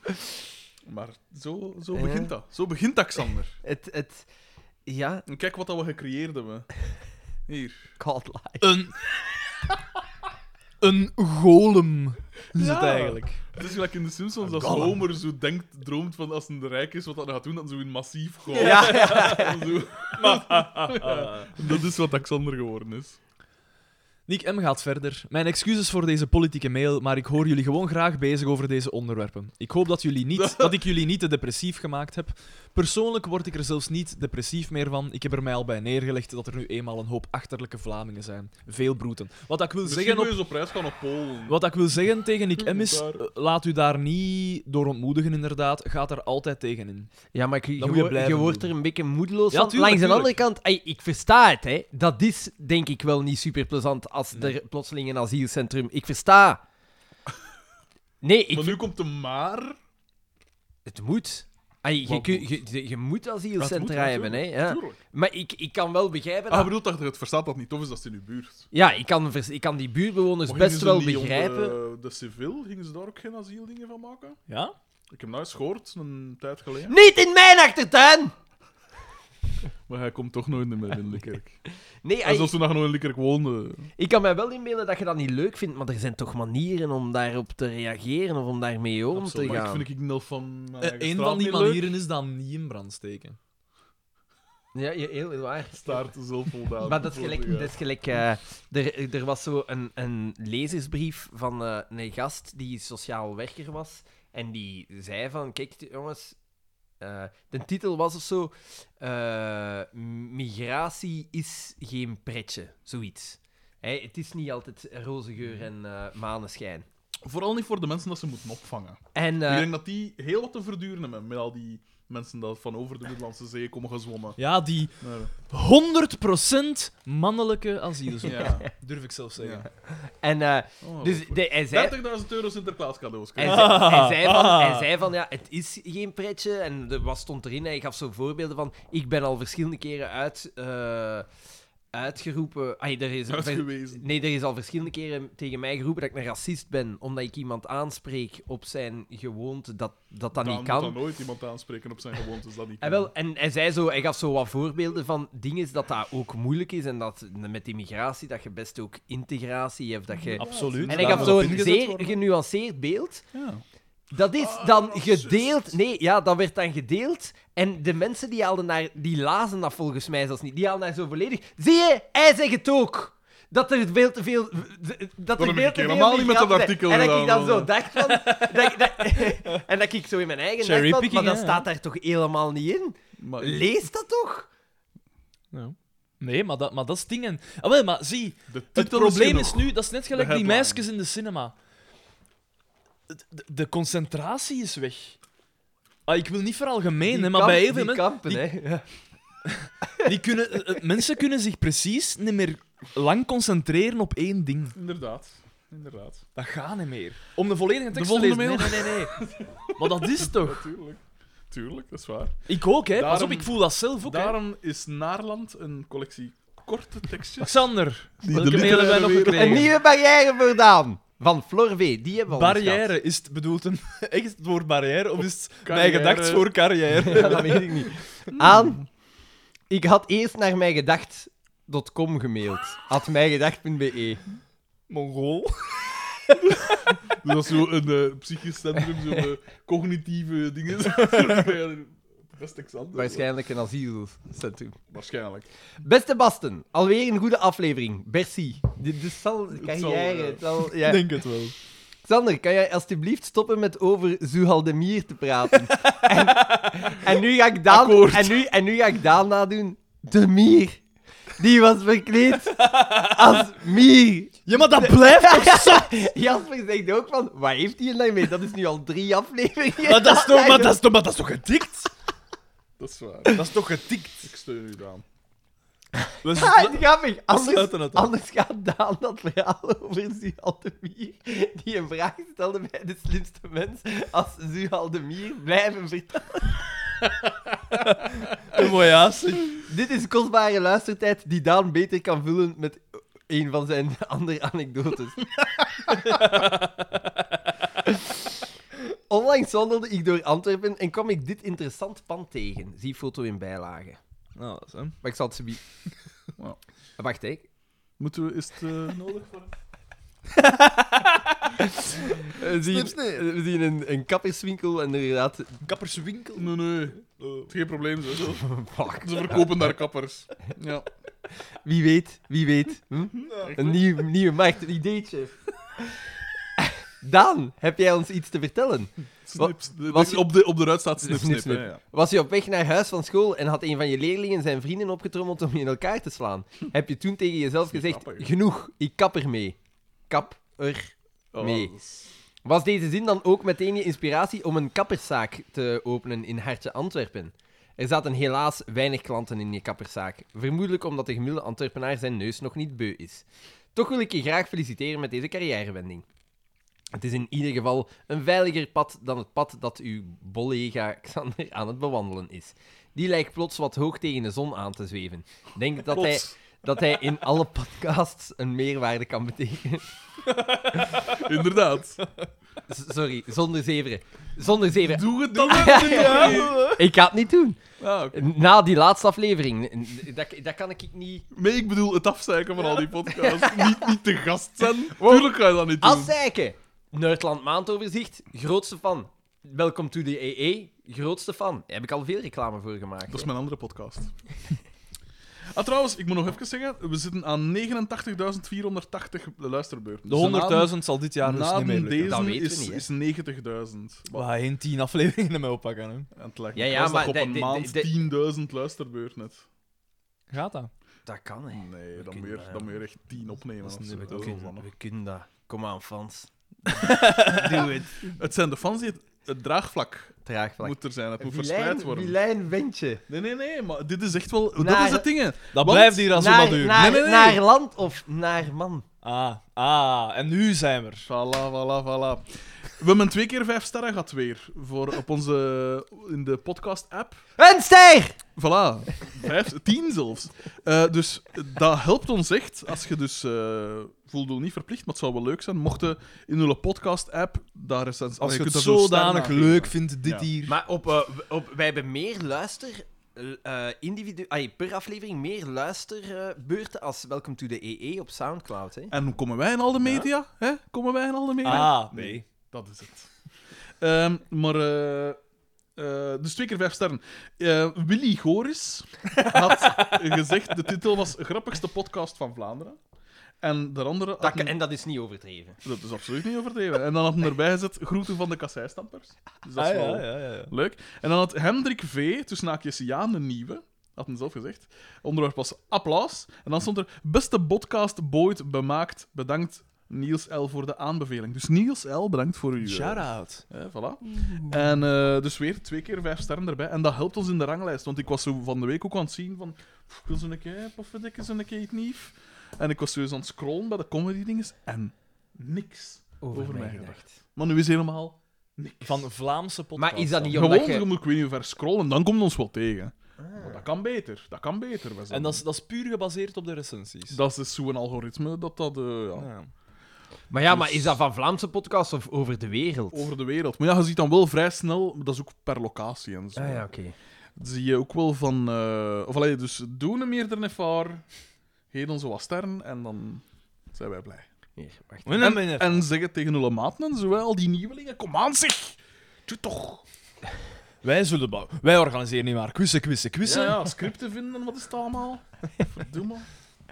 Speaker 1: Maar zo, zo begint dat. Zo begint dat, Xander.
Speaker 2: Het, het... Ja,
Speaker 1: En kijk wat dat we gecreëerd hebben. Hier.
Speaker 2: God life.
Speaker 3: Een... <laughs> Een golem is
Speaker 1: Ja.
Speaker 3: het eigenlijk.
Speaker 1: Het is gelijk in de Simpsons als
Speaker 3: Gollum.
Speaker 1: Homer zo denkt, droomt van als hij de rijk is, wat dat gaat doen, dan zo in massief gewoon. <laughs> Zo. <laughs> Ja. Dat is wat Alexander geworden is.
Speaker 3: Nick M. gaat verder. Mijn excuses voor deze politieke mail, maar ik hoor jullie gewoon graag bezig over deze onderwerpen. Ik hoop dat, jullie
Speaker 1: <laughs>
Speaker 3: niet, dat ik jullie niet te depressief gemaakt heb. Persoonlijk word ik er zelfs niet depressief meer van. Ik heb er mij al bij neergelegd dat er nu eenmaal een hoop achterlijke Vlamingen zijn. Veel broeten. Wat ik wil
Speaker 1: Misschien
Speaker 3: zeggen
Speaker 1: moet
Speaker 3: op
Speaker 1: je eens op reis gaan op Polen.
Speaker 3: wat ik wil zeggen tegen Nick M is,
Speaker 1: Daar.
Speaker 3: eh, laat u daar niet door ontmoedigen inderdaad. Gaat er altijd tegen in.
Speaker 2: Ja, maar ik, je,
Speaker 3: moet je
Speaker 2: wo-
Speaker 3: blijven
Speaker 2: je wordt
Speaker 3: doen.
Speaker 2: er een beetje moedeloos
Speaker 3: Ja,
Speaker 2: van.
Speaker 3: tuurlijk,
Speaker 2: Langs de andere
Speaker 3: tuurlijk.
Speaker 2: kant, ey, ik versta het, hè. Dat is, denk ik, wel niet super plezant als er plotseling een asielcentrum... Ik versta. Nee, ik...
Speaker 1: Maar nu komt de maar.
Speaker 2: Het moet. Ai, je,
Speaker 1: Wat
Speaker 2: kun- je, je, je moet
Speaker 1: Dat moet,
Speaker 2: asielcentra hebben, hè.
Speaker 1: natuurlijk,
Speaker 2: Ja.
Speaker 1: natuurlijk.
Speaker 2: Maar ik, ik kan wel begrijpen...
Speaker 1: Ah,
Speaker 2: dat-
Speaker 1: je bedoelt dat je het verstaat dat het niet tof is dat ze in uw buurt.
Speaker 2: Ja, ik kan, vers- ik kan die buurtbewoners
Speaker 1: Maar gingen
Speaker 2: Dus best
Speaker 1: ze
Speaker 2: wel
Speaker 1: niet
Speaker 2: begrijpen.
Speaker 1: Onder, eh, de civiel, gingen ze daar ook geen asieldingen van maken?
Speaker 3: Ja?
Speaker 1: Ik heb nou eens gehoord, een tijd geleden.
Speaker 2: Niet in mijn achtertuin!
Speaker 1: Maar hij komt toch nooit meer in Likkerk.
Speaker 2: Nee,
Speaker 1: En
Speaker 2: ai,
Speaker 1: zelfs toen hij nog in Likkerk woonde.
Speaker 2: ik kan mij wel inbeelden dat je dat niet leuk vindt, maar er zijn toch manieren om daarop te reageren of om daarmee om
Speaker 1: Absoluut.
Speaker 2: te
Speaker 1: Maar ik
Speaker 2: gaan. Eh,
Speaker 1: vind ik nog van mijn eigen
Speaker 3: Eh, een
Speaker 1: straat
Speaker 3: van die
Speaker 1: niet leuk.
Speaker 3: manieren is dan niet in brand steken.
Speaker 2: Ja, ja, heel waar.
Speaker 1: Staart zelfvoldaan.
Speaker 2: Maar dat is
Speaker 1: voor
Speaker 2: gelijk.
Speaker 1: de-
Speaker 2: Dat is gelijk eh, er, er was zo een, een lezersbrief van eh, een gast die sociaal werker was. En die zei van, kijk jongens, eh, de titel was of zo, eh, migratie is geen pretje, zoiets. Hè, het is niet altijd roze geur en eh, maneschijn.
Speaker 1: Vooral niet voor de mensen dat ze moeten opvangen.
Speaker 2: En eh,
Speaker 1: Ik denk dat die heel wat te verduren hebben met al die mensen dat van over de Middellandse Zee komen gezwommen.
Speaker 3: Ja, die
Speaker 1: Ja.
Speaker 3: 100%
Speaker 2: <laughs>
Speaker 3: mannelijke asielzoeker.
Speaker 1: Ja.
Speaker 3: Durf ik zelf zeggen.
Speaker 1: Ja.
Speaker 2: en eh,
Speaker 1: Oh,
Speaker 2: dus
Speaker 1: goed.
Speaker 2: de- hij zei...
Speaker 1: 30.000 euro Sinterklaas cadeaus.
Speaker 2: Hij,
Speaker 1: kijk.
Speaker 2: zei- hij, zei van,
Speaker 3: Ah.
Speaker 2: hij zei van, ja, het is geen pretje. En de, wat stond erin? Hij gaf zo voorbeelden van, ik ben al verschillende keren uit, eh, uitgeroepen... Ai, er is,
Speaker 1: Uitgewezen.
Speaker 2: nee, er is al verschillende keren tegen mij geroepen dat ik een racist ben, omdat ik iemand aanspreek op zijn gewoonte dat dat, dat
Speaker 1: Dan
Speaker 2: niet
Speaker 1: moet
Speaker 2: kan.
Speaker 1: dan nooit iemand aanspreken op zijn gewoontes dat niet
Speaker 2: En,
Speaker 1: kan.
Speaker 2: Ah, wel, en hij, zei zo, hij gaf zo wat voorbeelden van dingen dat dat ook moeilijk is en dat met immigratie dat je best ook integratie hebt. Dat je...
Speaker 3: Absoluut.
Speaker 2: En
Speaker 3: Daar
Speaker 2: hij gaf
Speaker 3: moet
Speaker 2: zo
Speaker 3: op
Speaker 2: een
Speaker 3: ingezet
Speaker 2: zeer
Speaker 3: worden.
Speaker 2: genuanceerd beeld
Speaker 1: Ja.
Speaker 2: Ah, dat is dan gedeeld. Nee, ja, dat werd dan gedeeld. En de mensen die haalden naar. Die lazen dat volgens mij zelfs niet. Die haalden daar zo volledig. Zie je, hij zegt het ook. Dat er veel te veel. Dat
Speaker 1: heb
Speaker 2: er
Speaker 1: ik
Speaker 2: veel te veel.
Speaker 1: helemaal niet met dat
Speaker 2: migranten-
Speaker 1: artikel
Speaker 2: En dat ik
Speaker 1: gedaan, man.
Speaker 2: dan zo dacht van. dat ik- dat- <laughs> en dat ik zo in mijn eigen dacht van.
Speaker 3: Cherrypicking,
Speaker 2: Maar dat
Speaker 3: hè,
Speaker 2: staat daar toch helemaal niet in?
Speaker 1: Maar,
Speaker 2: Lees dat toch?
Speaker 3: Ja. Nee, maar dat, maar dat is dingen. Ah, wel, maar zie,
Speaker 1: de
Speaker 3: het
Speaker 1: titel
Speaker 3: probleem
Speaker 1: genoeg.
Speaker 3: is, nu, dat is net gelijk
Speaker 1: De
Speaker 3: die
Speaker 1: headline.
Speaker 3: meisjes in de cinema. Het- De, de concentratie is weg. Ah, ik wil niet veralgemeen, hè, maar bij heel
Speaker 2: Die
Speaker 3: veel mensen...
Speaker 2: kampen,
Speaker 3: die-
Speaker 2: hè. Ja.
Speaker 3: Die kunnen, eh, eh, mensen kunnen zich precies niet meer lang concentreren op één ding.
Speaker 1: Inderdaad. Inderdaad.
Speaker 3: Dat gaat niet meer. Om de volledige tekst te
Speaker 1: volgende
Speaker 3: lezen. Nee, nee, nee, nee. Maar dat is toch?
Speaker 1: Natuurlijk. Tuurlijk, dat is waar.
Speaker 3: Ik ook, hè. Pas
Speaker 1: Daarom-
Speaker 3: op, ik voel dat zelf ook, hè.
Speaker 1: Daarom is Naarland een collectie korte tekstjes.
Speaker 3: Xander,
Speaker 1: Die
Speaker 3: welke
Speaker 1: de
Speaker 3: mail hebben wij nog
Speaker 1: literaire
Speaker 3: gekregen?
Speaker 2: Een nieuwe barrière voordaan. Van Flor V. Die hebben we al gehad.
Speaker 3: Barrière, is het bedoeld een, <laughs> echt het woord barrière of is het bij
Speaker 1: carrière.
Speaker 3: gedacht voor carrière? <laughs>
Speaker 2: Ja, <laughs> dat weet ik niet. Aan. Ik had eerst naar mijngedacht.com gemaild. Had mijngedacht.be.
Speaker 3: Mongool.
Speaker 1: Dus dat is zo een eh, psychisch centrum, zo eh, cognitieve dingen. Best exander.
Speaker 2: Waarschijnlijk een asielcentrum.
Speaker 1: Waarschijnlijk.
Speaker 2: Beste Basten, alweer een goede aflevering. Merci. Dit is al
Speaker 1: zal,
Speaker 2: carrière.
Speaker 1: eh,
Speaker 2: het zal- ja.
Speaker 3: denk het wel.
Speaker 2: Xander, kan jij alstublieft stoppen met over Zuhaldemir te praten? <laughs> en, en, nu ga ik Daan, en, nu, en nu ga ik Daan nadoen. De mier. Die was verkleed als mier.
Speaker 3: Ja, maar dat blijft toch zo?
Speaker 2: <laughs> Jasper zegt ook van, wat heeft hij daarmee? Dat is nu al drie afleveringen.
Speaker 3: <laughs> Maar dat is toch, maar dat is toch, maar dat is toch getikt?
Speaker 1: Dat is waar.
Speaker 3: Dat is toch getikt?
Speaker 1: Ik steun u dan.
Speaker 3: We
Speaker 2: <laughs> Ah,
Speaker 3: <laughs>
Speaker 2: het is grappig. Anders,
Speaker 3: sluiten het af.
Speaker 2: anders gaat Daan dat verhaal over Zuhal de Mier, die een vraag stelde bij de slimste mens, als Zuhal de Mier blijven vertellen.
Speaker 3: mooi
Speaker 2: Dit is kostbare luistertijd die Daan beter kan vullen met een van zijn <laughs> andere anekdotes. Onlangs wandelde ik door Antwerpen en kwam ik dit interessant pand tegen. Zie foto in bijlage.
Speaker 3: Nou, dat is hem.
Speaker 2: Maar ik zal het ze
Speaker 1: Wow.
Speaker 2: Wacht, hè.
Speaker 1: Moeten we, is het eh, nodig voor
Speaker 2: We zien, eh, we zien een, een kapperswinkel en inderdaad...
Speaker 3: Kapperswinkel.
Speaker 1: Nee, nee. Het is Geen probleem, zo. zo.
Speaker 2: Fuck.
Speaker 1: Ze verkopen daar kappers. Ja.
Speaker 2: Wie weet, wie weet. Hm? Een nieuw, nieuwe markt, een <laughs> ideetje. Daan, heb jij ons iets te vertellen?
Speaker 1: Snip, snip.
Speaker 2: was-
Speaker 1: op, de, op de ruit staat snip, snip.
Speaker 2: Snip, snip.
Speaker 1: hè, ja.
Speaker 2: Was je op weg naar huis van school en had een van je leerlingen zijn vrienden opgetrommeld om je in elkaar te slaan? Heb je toen tegen jezelf
Speaker 1: niet
Speaker 2: gezegd,
Speaker 1: grappig.
Speaker 2: genoeg, ik kap ermee. Kap er.
Speaker 1: Oh,
Speaker 2: Nee.
Speaker 1: dat is-
Speaker 2: Was deze zin dan ook meteen je inspiratie om een kapperszaak te openen in Hartje Antwerpen? Er zaten helaas weinig klanten in je kapperszaak, vermoedelijk omdat de gemiddelde Antwerpenaar zijn neus nog niet beu is. Toch wil ik je graag feliciteren met deze carrièrewending. Het is in ieder geval een veiliger pad dan het pad dat uw collega Xander aan het bewandelen is. Die lijkt plots wat hoog tegen de zon aan te zweven. Denk dat hij, dat hij in alle podcasts een meerwaarde kan betekenen.
Speaker 1: Inderdaad.
Speaker 2: S- Sorry, zonder zeveren. Zonder zeveren.
Speaker 1: Doe het dan even niet.
Speaker 2: Ik ga het niet doen.
Speaker 1: Ah, oké.
Speaker 2: Na die laatste aflevering. n- Dat, dat kan ik niet...
Speaker 1: Nee, ik bedoel het afzeiken van al die <laughs> podcasts. niet, niet te gast zijn. Tuurlijk ga je dat niet doen.
Speaker 2: Afzeiken! Noordland Maandoverzicht, grootste fan. Welkom to the EE, grootste fan. Daar heb ik al veel reclame voor gemaakt.
Speaker 1: Dat is
Speaker 2: hè.
Speaker 1: mijn andere podcast. Ah, trouwens, ik moet nog even zeggen, we zitten aan 89.480 luisterbeurten. Dus
Speaker 3: De 100.000 zal dit jaar dus
Speaker 1: na
Speaker 3: niet meer lukken.
Speaker 2: Dat
Speaker 1: deze
Speaker 2: weten we
Speaker 1: is,
Speaker 2: niet, hè.
Speaker 1: is 90.000.
Speaker 3: We gaan geen tien afleveringen mee oppakken. Hè.
Speaker 1: En het lijkt
Speaker 2: Ja,
Speaker 1: me
Speaker 2: ja,
Speaker 1: trouwens
Speaker 2: maar
Speaker 1: dat je op een
Speaker 2: de- de-
Speaker 1: maand
Speaker 2: de-
Speaker 1: 10.000 luisterbeurt net.
Speaker 3: Gaat dat?
Speaker 2: Dat kan, hè.
Speaker 1: Nee, dan
Speaker 2: kunnen
Speaker 1: weer,
Speaker 2: dat,
Speaker 1: dan
Speaker 2: ja.
Speaker 1: weer echt 10 opnemen.
Speaker 3: Dat is
Speaker 1: of zo. Dat
Speaker 3: niet-
Speaker 2: We
Speaker 1: is wel
Speaker 2: kunnen,
Speaker 1: mannen.
Speaker 2: we kunnen dat. Kom aan, fans.
Speaker 1: <laughs> Het zijn de fans die het, het draagvlak
Speaker 2: Traag vlak.
Speaker 1: moet er zijn. Het moet verspreid
Speaker 4: Vilijn,
Speaker 1: worden.
Speaker 4: Vilijn Wendje.
Speaker 1: Nee, nee, nee, maar dit is echt wel... dat
Speaker 4: Naar-
Speaker 1: is het ding, hè.
Speaker 3: Dat
Speaker 1: Want-
Speaker 3: blijft hier als een
Speaker 4: Naar,
Speaker 3: maduur.
Speaker 4: naar,
Speaker 3: Nee, nee, nee.
Speaker 4: naar land of naar man?
Speaker 3: Ah, ah, en nu zijn we er.
Speaker 1: Voilà, voilà, voilà. We hebben twee keer vijf sterren gehad weer voor op onze, in de podcast-app.
Speaker 4: Een ster!
Speaker 1: Voilà, vijf, tien zelfs. Eh, dus dat helpt ons echt. Als je dus eh voelt niet verplicht, maar het zou wel leuk zijn. Mochten in jullie podcast-app daar eens
Speaker 3: Als je het
Speaker 1: kunt daar zo'n ster
Speaker 3: zodanig
Speaker 1: aan geven.
Speaker 3: leuk vindt, dit
Speaker 1: Ja.
Speaker 3: hier.
Speaker 2: Maar op, eh, op, wij hebben meer luister... eh, eh, individu ah, per aflevering meer luisterbeurten als Welcome to the EE op Soundcloud. Hè?
Speaker 1: En komen wij in al de media? Hè? Komen wij in al de media?
Speaker 3: ah, nee.
Speaker 1: Dat is het. Ehm, maar, eh, eh, dus twee keer vijf sterren. Eh, Willy Goris had gezegd: de titel was Grappigste podcast van Vlaanderen. En de andere. had
Speaker 2: Dat,
Speaker 1: een-
Speaker 2: kan- en dat is niet overdreven.
Speaker 1: dat is absoluut niet overdreven. En dan had hij erbij gezet: Groeten van de kasseistampers. Dus dat is
Speaker 3: Ah,
Speaker 1: wel
Speaker 3: ja, ja, ja, ja.
Speaker 1: leuk. En dan had Hendrik V, tussen haakjes Jaan de Nieuwe, had hem zelf gezegd. Onderwerp was applaus. En dan stond er: Beste podcast ooit bemaakt. Bedankt Niels L voor de aanbeveling. Dus Niels L, bedankt voor uw. eh,
Speaker 3: Shout-out.
Speaker 1: Hè, voilà. En eh, dus weer twee keer vijf sterren erbij. En dat helpt ons in de ranglijst. Want ik was zo van de week ook aan het zien van... "Pff, Ik wil zo'n keer, pofferdikke, zo'n keer iets nieuws. En ik was zo eens aan het scrollen bij de comedy-dinges. En niks over, mij gedacht. Maar nu is helemaal...
Speaker 3: Van Vlaamse podcast.
Speaker 2: Maar is dat niet
Speaker 1: Gewoon,
Speaker 2: omdat
Speaker 1: je...
Speaker 2: je...
Speaker 1: moet ik weet niet hoe ver scrollen, dan komt ons wel tegen. Maar dat kan beter. Dat kan beter. we zijn-
Speaker 3: En dat is, dat is puur gebaseerd op de recensies.
Speaker 1: Dat is zo'n algoritme dat dat... eh, ja,
Speaker 3: Ja.
Speaker 2: Maar ja, maar is dat van Vlaamse podcast of over de wereld?
Speaker 1: Over de wereld. Maar ja, je ziet dan wel vrij snel... Dat is ook per locatie en zo.
Speaker 2: Ah ja, oké.
Speaker 1: zie je ook wel van. eh, of allee, dus doen hem meer dan ervaar. Heet onze wat sterren en dan zijn wij blij.
Speaker 2: Hier, wacht.
Speaker 3: We hebben
Speaker 1: En,
Speaker 3: het.
Speaker 1: en zeg het tegen hun maten en zo, hè, al die nieuwelingen. Kom aan, zeg! Doe toch!
Speaker 3: Wij zullen bouwen. Wij organiseren niet maar quizzen, quizzen,
Speaker 1: Ja,
Speaker 3: quizzen.
Speaker 1: ja, scripten vinden, wat is het allemaal? Verdomme.
Speaker 2: <laughs>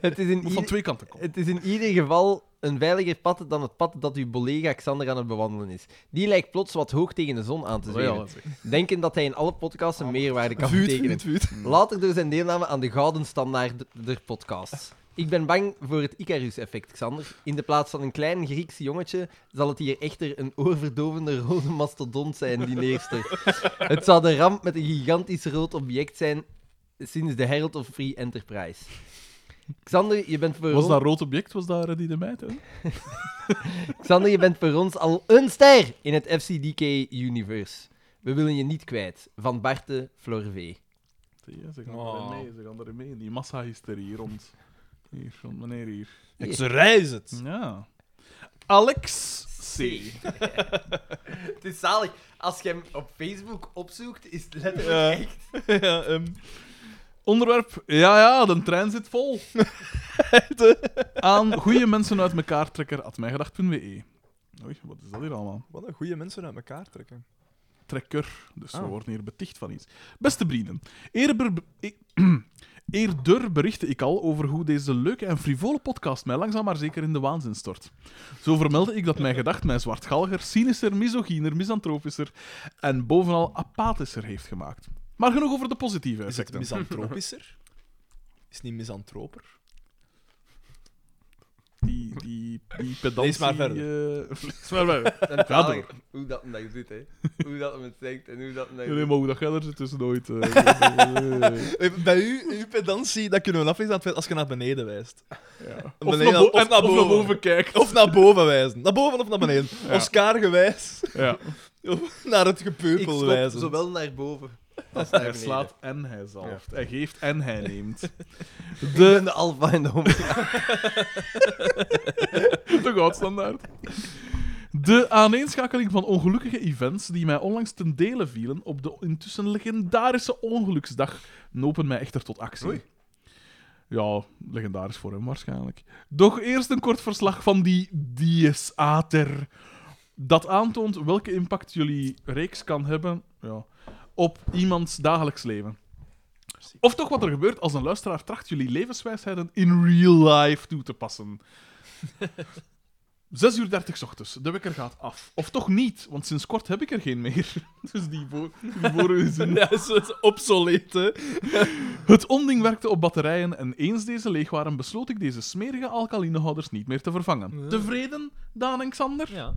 Speaker 2: Het is in
Speaker 1: Moet van twee kanten komen.
Speaker 2: Het is in ieder geval een veiliger pad dan het pad dat uw collega Xander aan het bewandelen is. Die lijkt plots wat hoog tegen de zon aan te zweven. Denken dat hij in alle podcasts een meerwaarde kan
Speaker 3: Vuut,
Speaker 2: betekenen.
Speaker 3: vuut, vuut.
Speaker 2: Later door zijn dus deelname aan de gouden standaard der podcasts. Ik ben bang voor het Icarus-effect, Xander. In de plaats van een klein Grieks jongetje zal het hier echter een oorverdovende rode mastodont zijn die neerstort. Het zou de ramp met een gigantisch rood object zijn sinds de Herald of Free Enterprise. Xander, je bent voor
Speaker 1: Was
Speaker 2: ons-
Speaker 1: dat rood object? Was dat Reddy de Meid? hè?
Speaker 2: Xander, je bent voor ons al een ster in het FCDK-universe. We willen je niet kwijt. Van Barte Florvé.
Speaker 1: Zie je, Ze gaan
Speaker 3: Oh.
Speaker 1: erin mee, ze gaan erin mee. Die massa-hysterie rond. Hier, rond meneer hier.
Speaker 3: Ik ze reis het.
Speaker 1: Ja. Alex C.
Speaker 2: <laughs> Het is zalig. Als je hem op Facebook opzoekt, is het letterlijk
Speaker 3: Ja.
Speaker 2: echt...
Speaker 3: <laughs> ja, ehm,
Speaker 1: Onderwerp, ja, ja, de trein zit
Speaker 3: <laughs>
Speaker 1: vol. Aan goede mensen uit elkaar trekker at mijgedacht.be. Oei, wat is dat hier allemaal?
Speaker 3: wat een goede mensen uit elkaar trekken.
Speaker 1: Trekker, dus we
Speaker 3: Ah.
Speaker 1: worden hier beticht van iets. Beste vrienden, eerder, e- <clears throat> eerder berichtte ik al over hoe deze leuke en frivole podcast mij langzaam maar zeker in de waanzin stort. Zo vermeldde ik dat mijn gedacht mij zwartgalger, cynischer, misogyner, misantropischer en bovenal apathischer heeft gemaakt. Maar genoeg over de positieve
Speaker 3: Is het
Speaker 1: effecten.
Speaker 3: <laughs> misantropischer? Is het niet misantroper?
Speaker 1: Die die, die, die pedantie... eh,
Speaker 3: Lees maar
Speaker 1: verder. lees maar <laughs> verder.
Speaker 4: En
Speaker 1: Ga
Speaker 4: talig,
Speaker 1: door.
Speaker 4: hoe dat hem dat doet, hè. Hoe dat hem het zegt en hoe dat hem dat
Speaker 1: Nee,
Speaker 4: doet.
Speaker 1: maar hoe dat jij er zit, is nooit... <laughs> eh,
Speaker 3: Eh, Bij u, uw pedantie, dat kunnen we afwezen aan het feit als je naar beneden wijst.
Speaker 1: ja.
Speaker 3: En
Speaker 1: Of
Speaker 3: beneden-
Speaker 1: naar, bo-
Speaker 3: en
Speaker 1: of, of naar
Speaker 3: naar boven.
Speaker 1: boven kijkt.
Speaker 3: Of naar boven wijzen. Naar boven of naar beneden.
Speaker 1: Ja.
Speaker 3: Oscar gewijs.
Speaker 1: Ja.
Speaker 3: Of naar het
Speaker 4: Ik
Speaker 3: gepeupel
Speaker 4: stop
Speaker 3: wijzen.
Speaker 4: zowel naar
Speaker 1: <laughs>
Speaker 4: boven als naar
Speaker 1: Hij
Speaker 4: beneden.
Speaker 1: slaat en hij zalft. Hij geeft en hij neemt.
Speaker 4: Ik ben de alfa en de omega.
Speaker 1: <laughs> De goudstandaard. De aaneenschakeling van ongelukkige events die mij onlangs ten dele vielen op de intussen legendarische ongeluksdag nopen mij echter tot actie. Ja, legendarisch voor hem waarschijnlijk. Doch eerst een kort verslag van die Diesater. Dat aantoont welke impact jullie reeks kan hebben ja, op iemands dagelijks leven. Of toch wat er gebeurt als een luisteraar tracht jullie levenswijsheden in real life toe te passen. 6 uur 30 's ochtends, de wekker gaat af. Of toch niet, want sinds kort heb ik er geen meer. <laughs> Dus die, voor, die vorige zin
Speaker 3: <laughs> Ja, dat is obsoleet, hè.
Speaker 1: het onding werkte op batterijen en eens deze leeg waren, besloot ik deze smerige alkalinehouders niet meer te vervangen. Tevreden, Daan en Xander?
Speaker 3: Ja.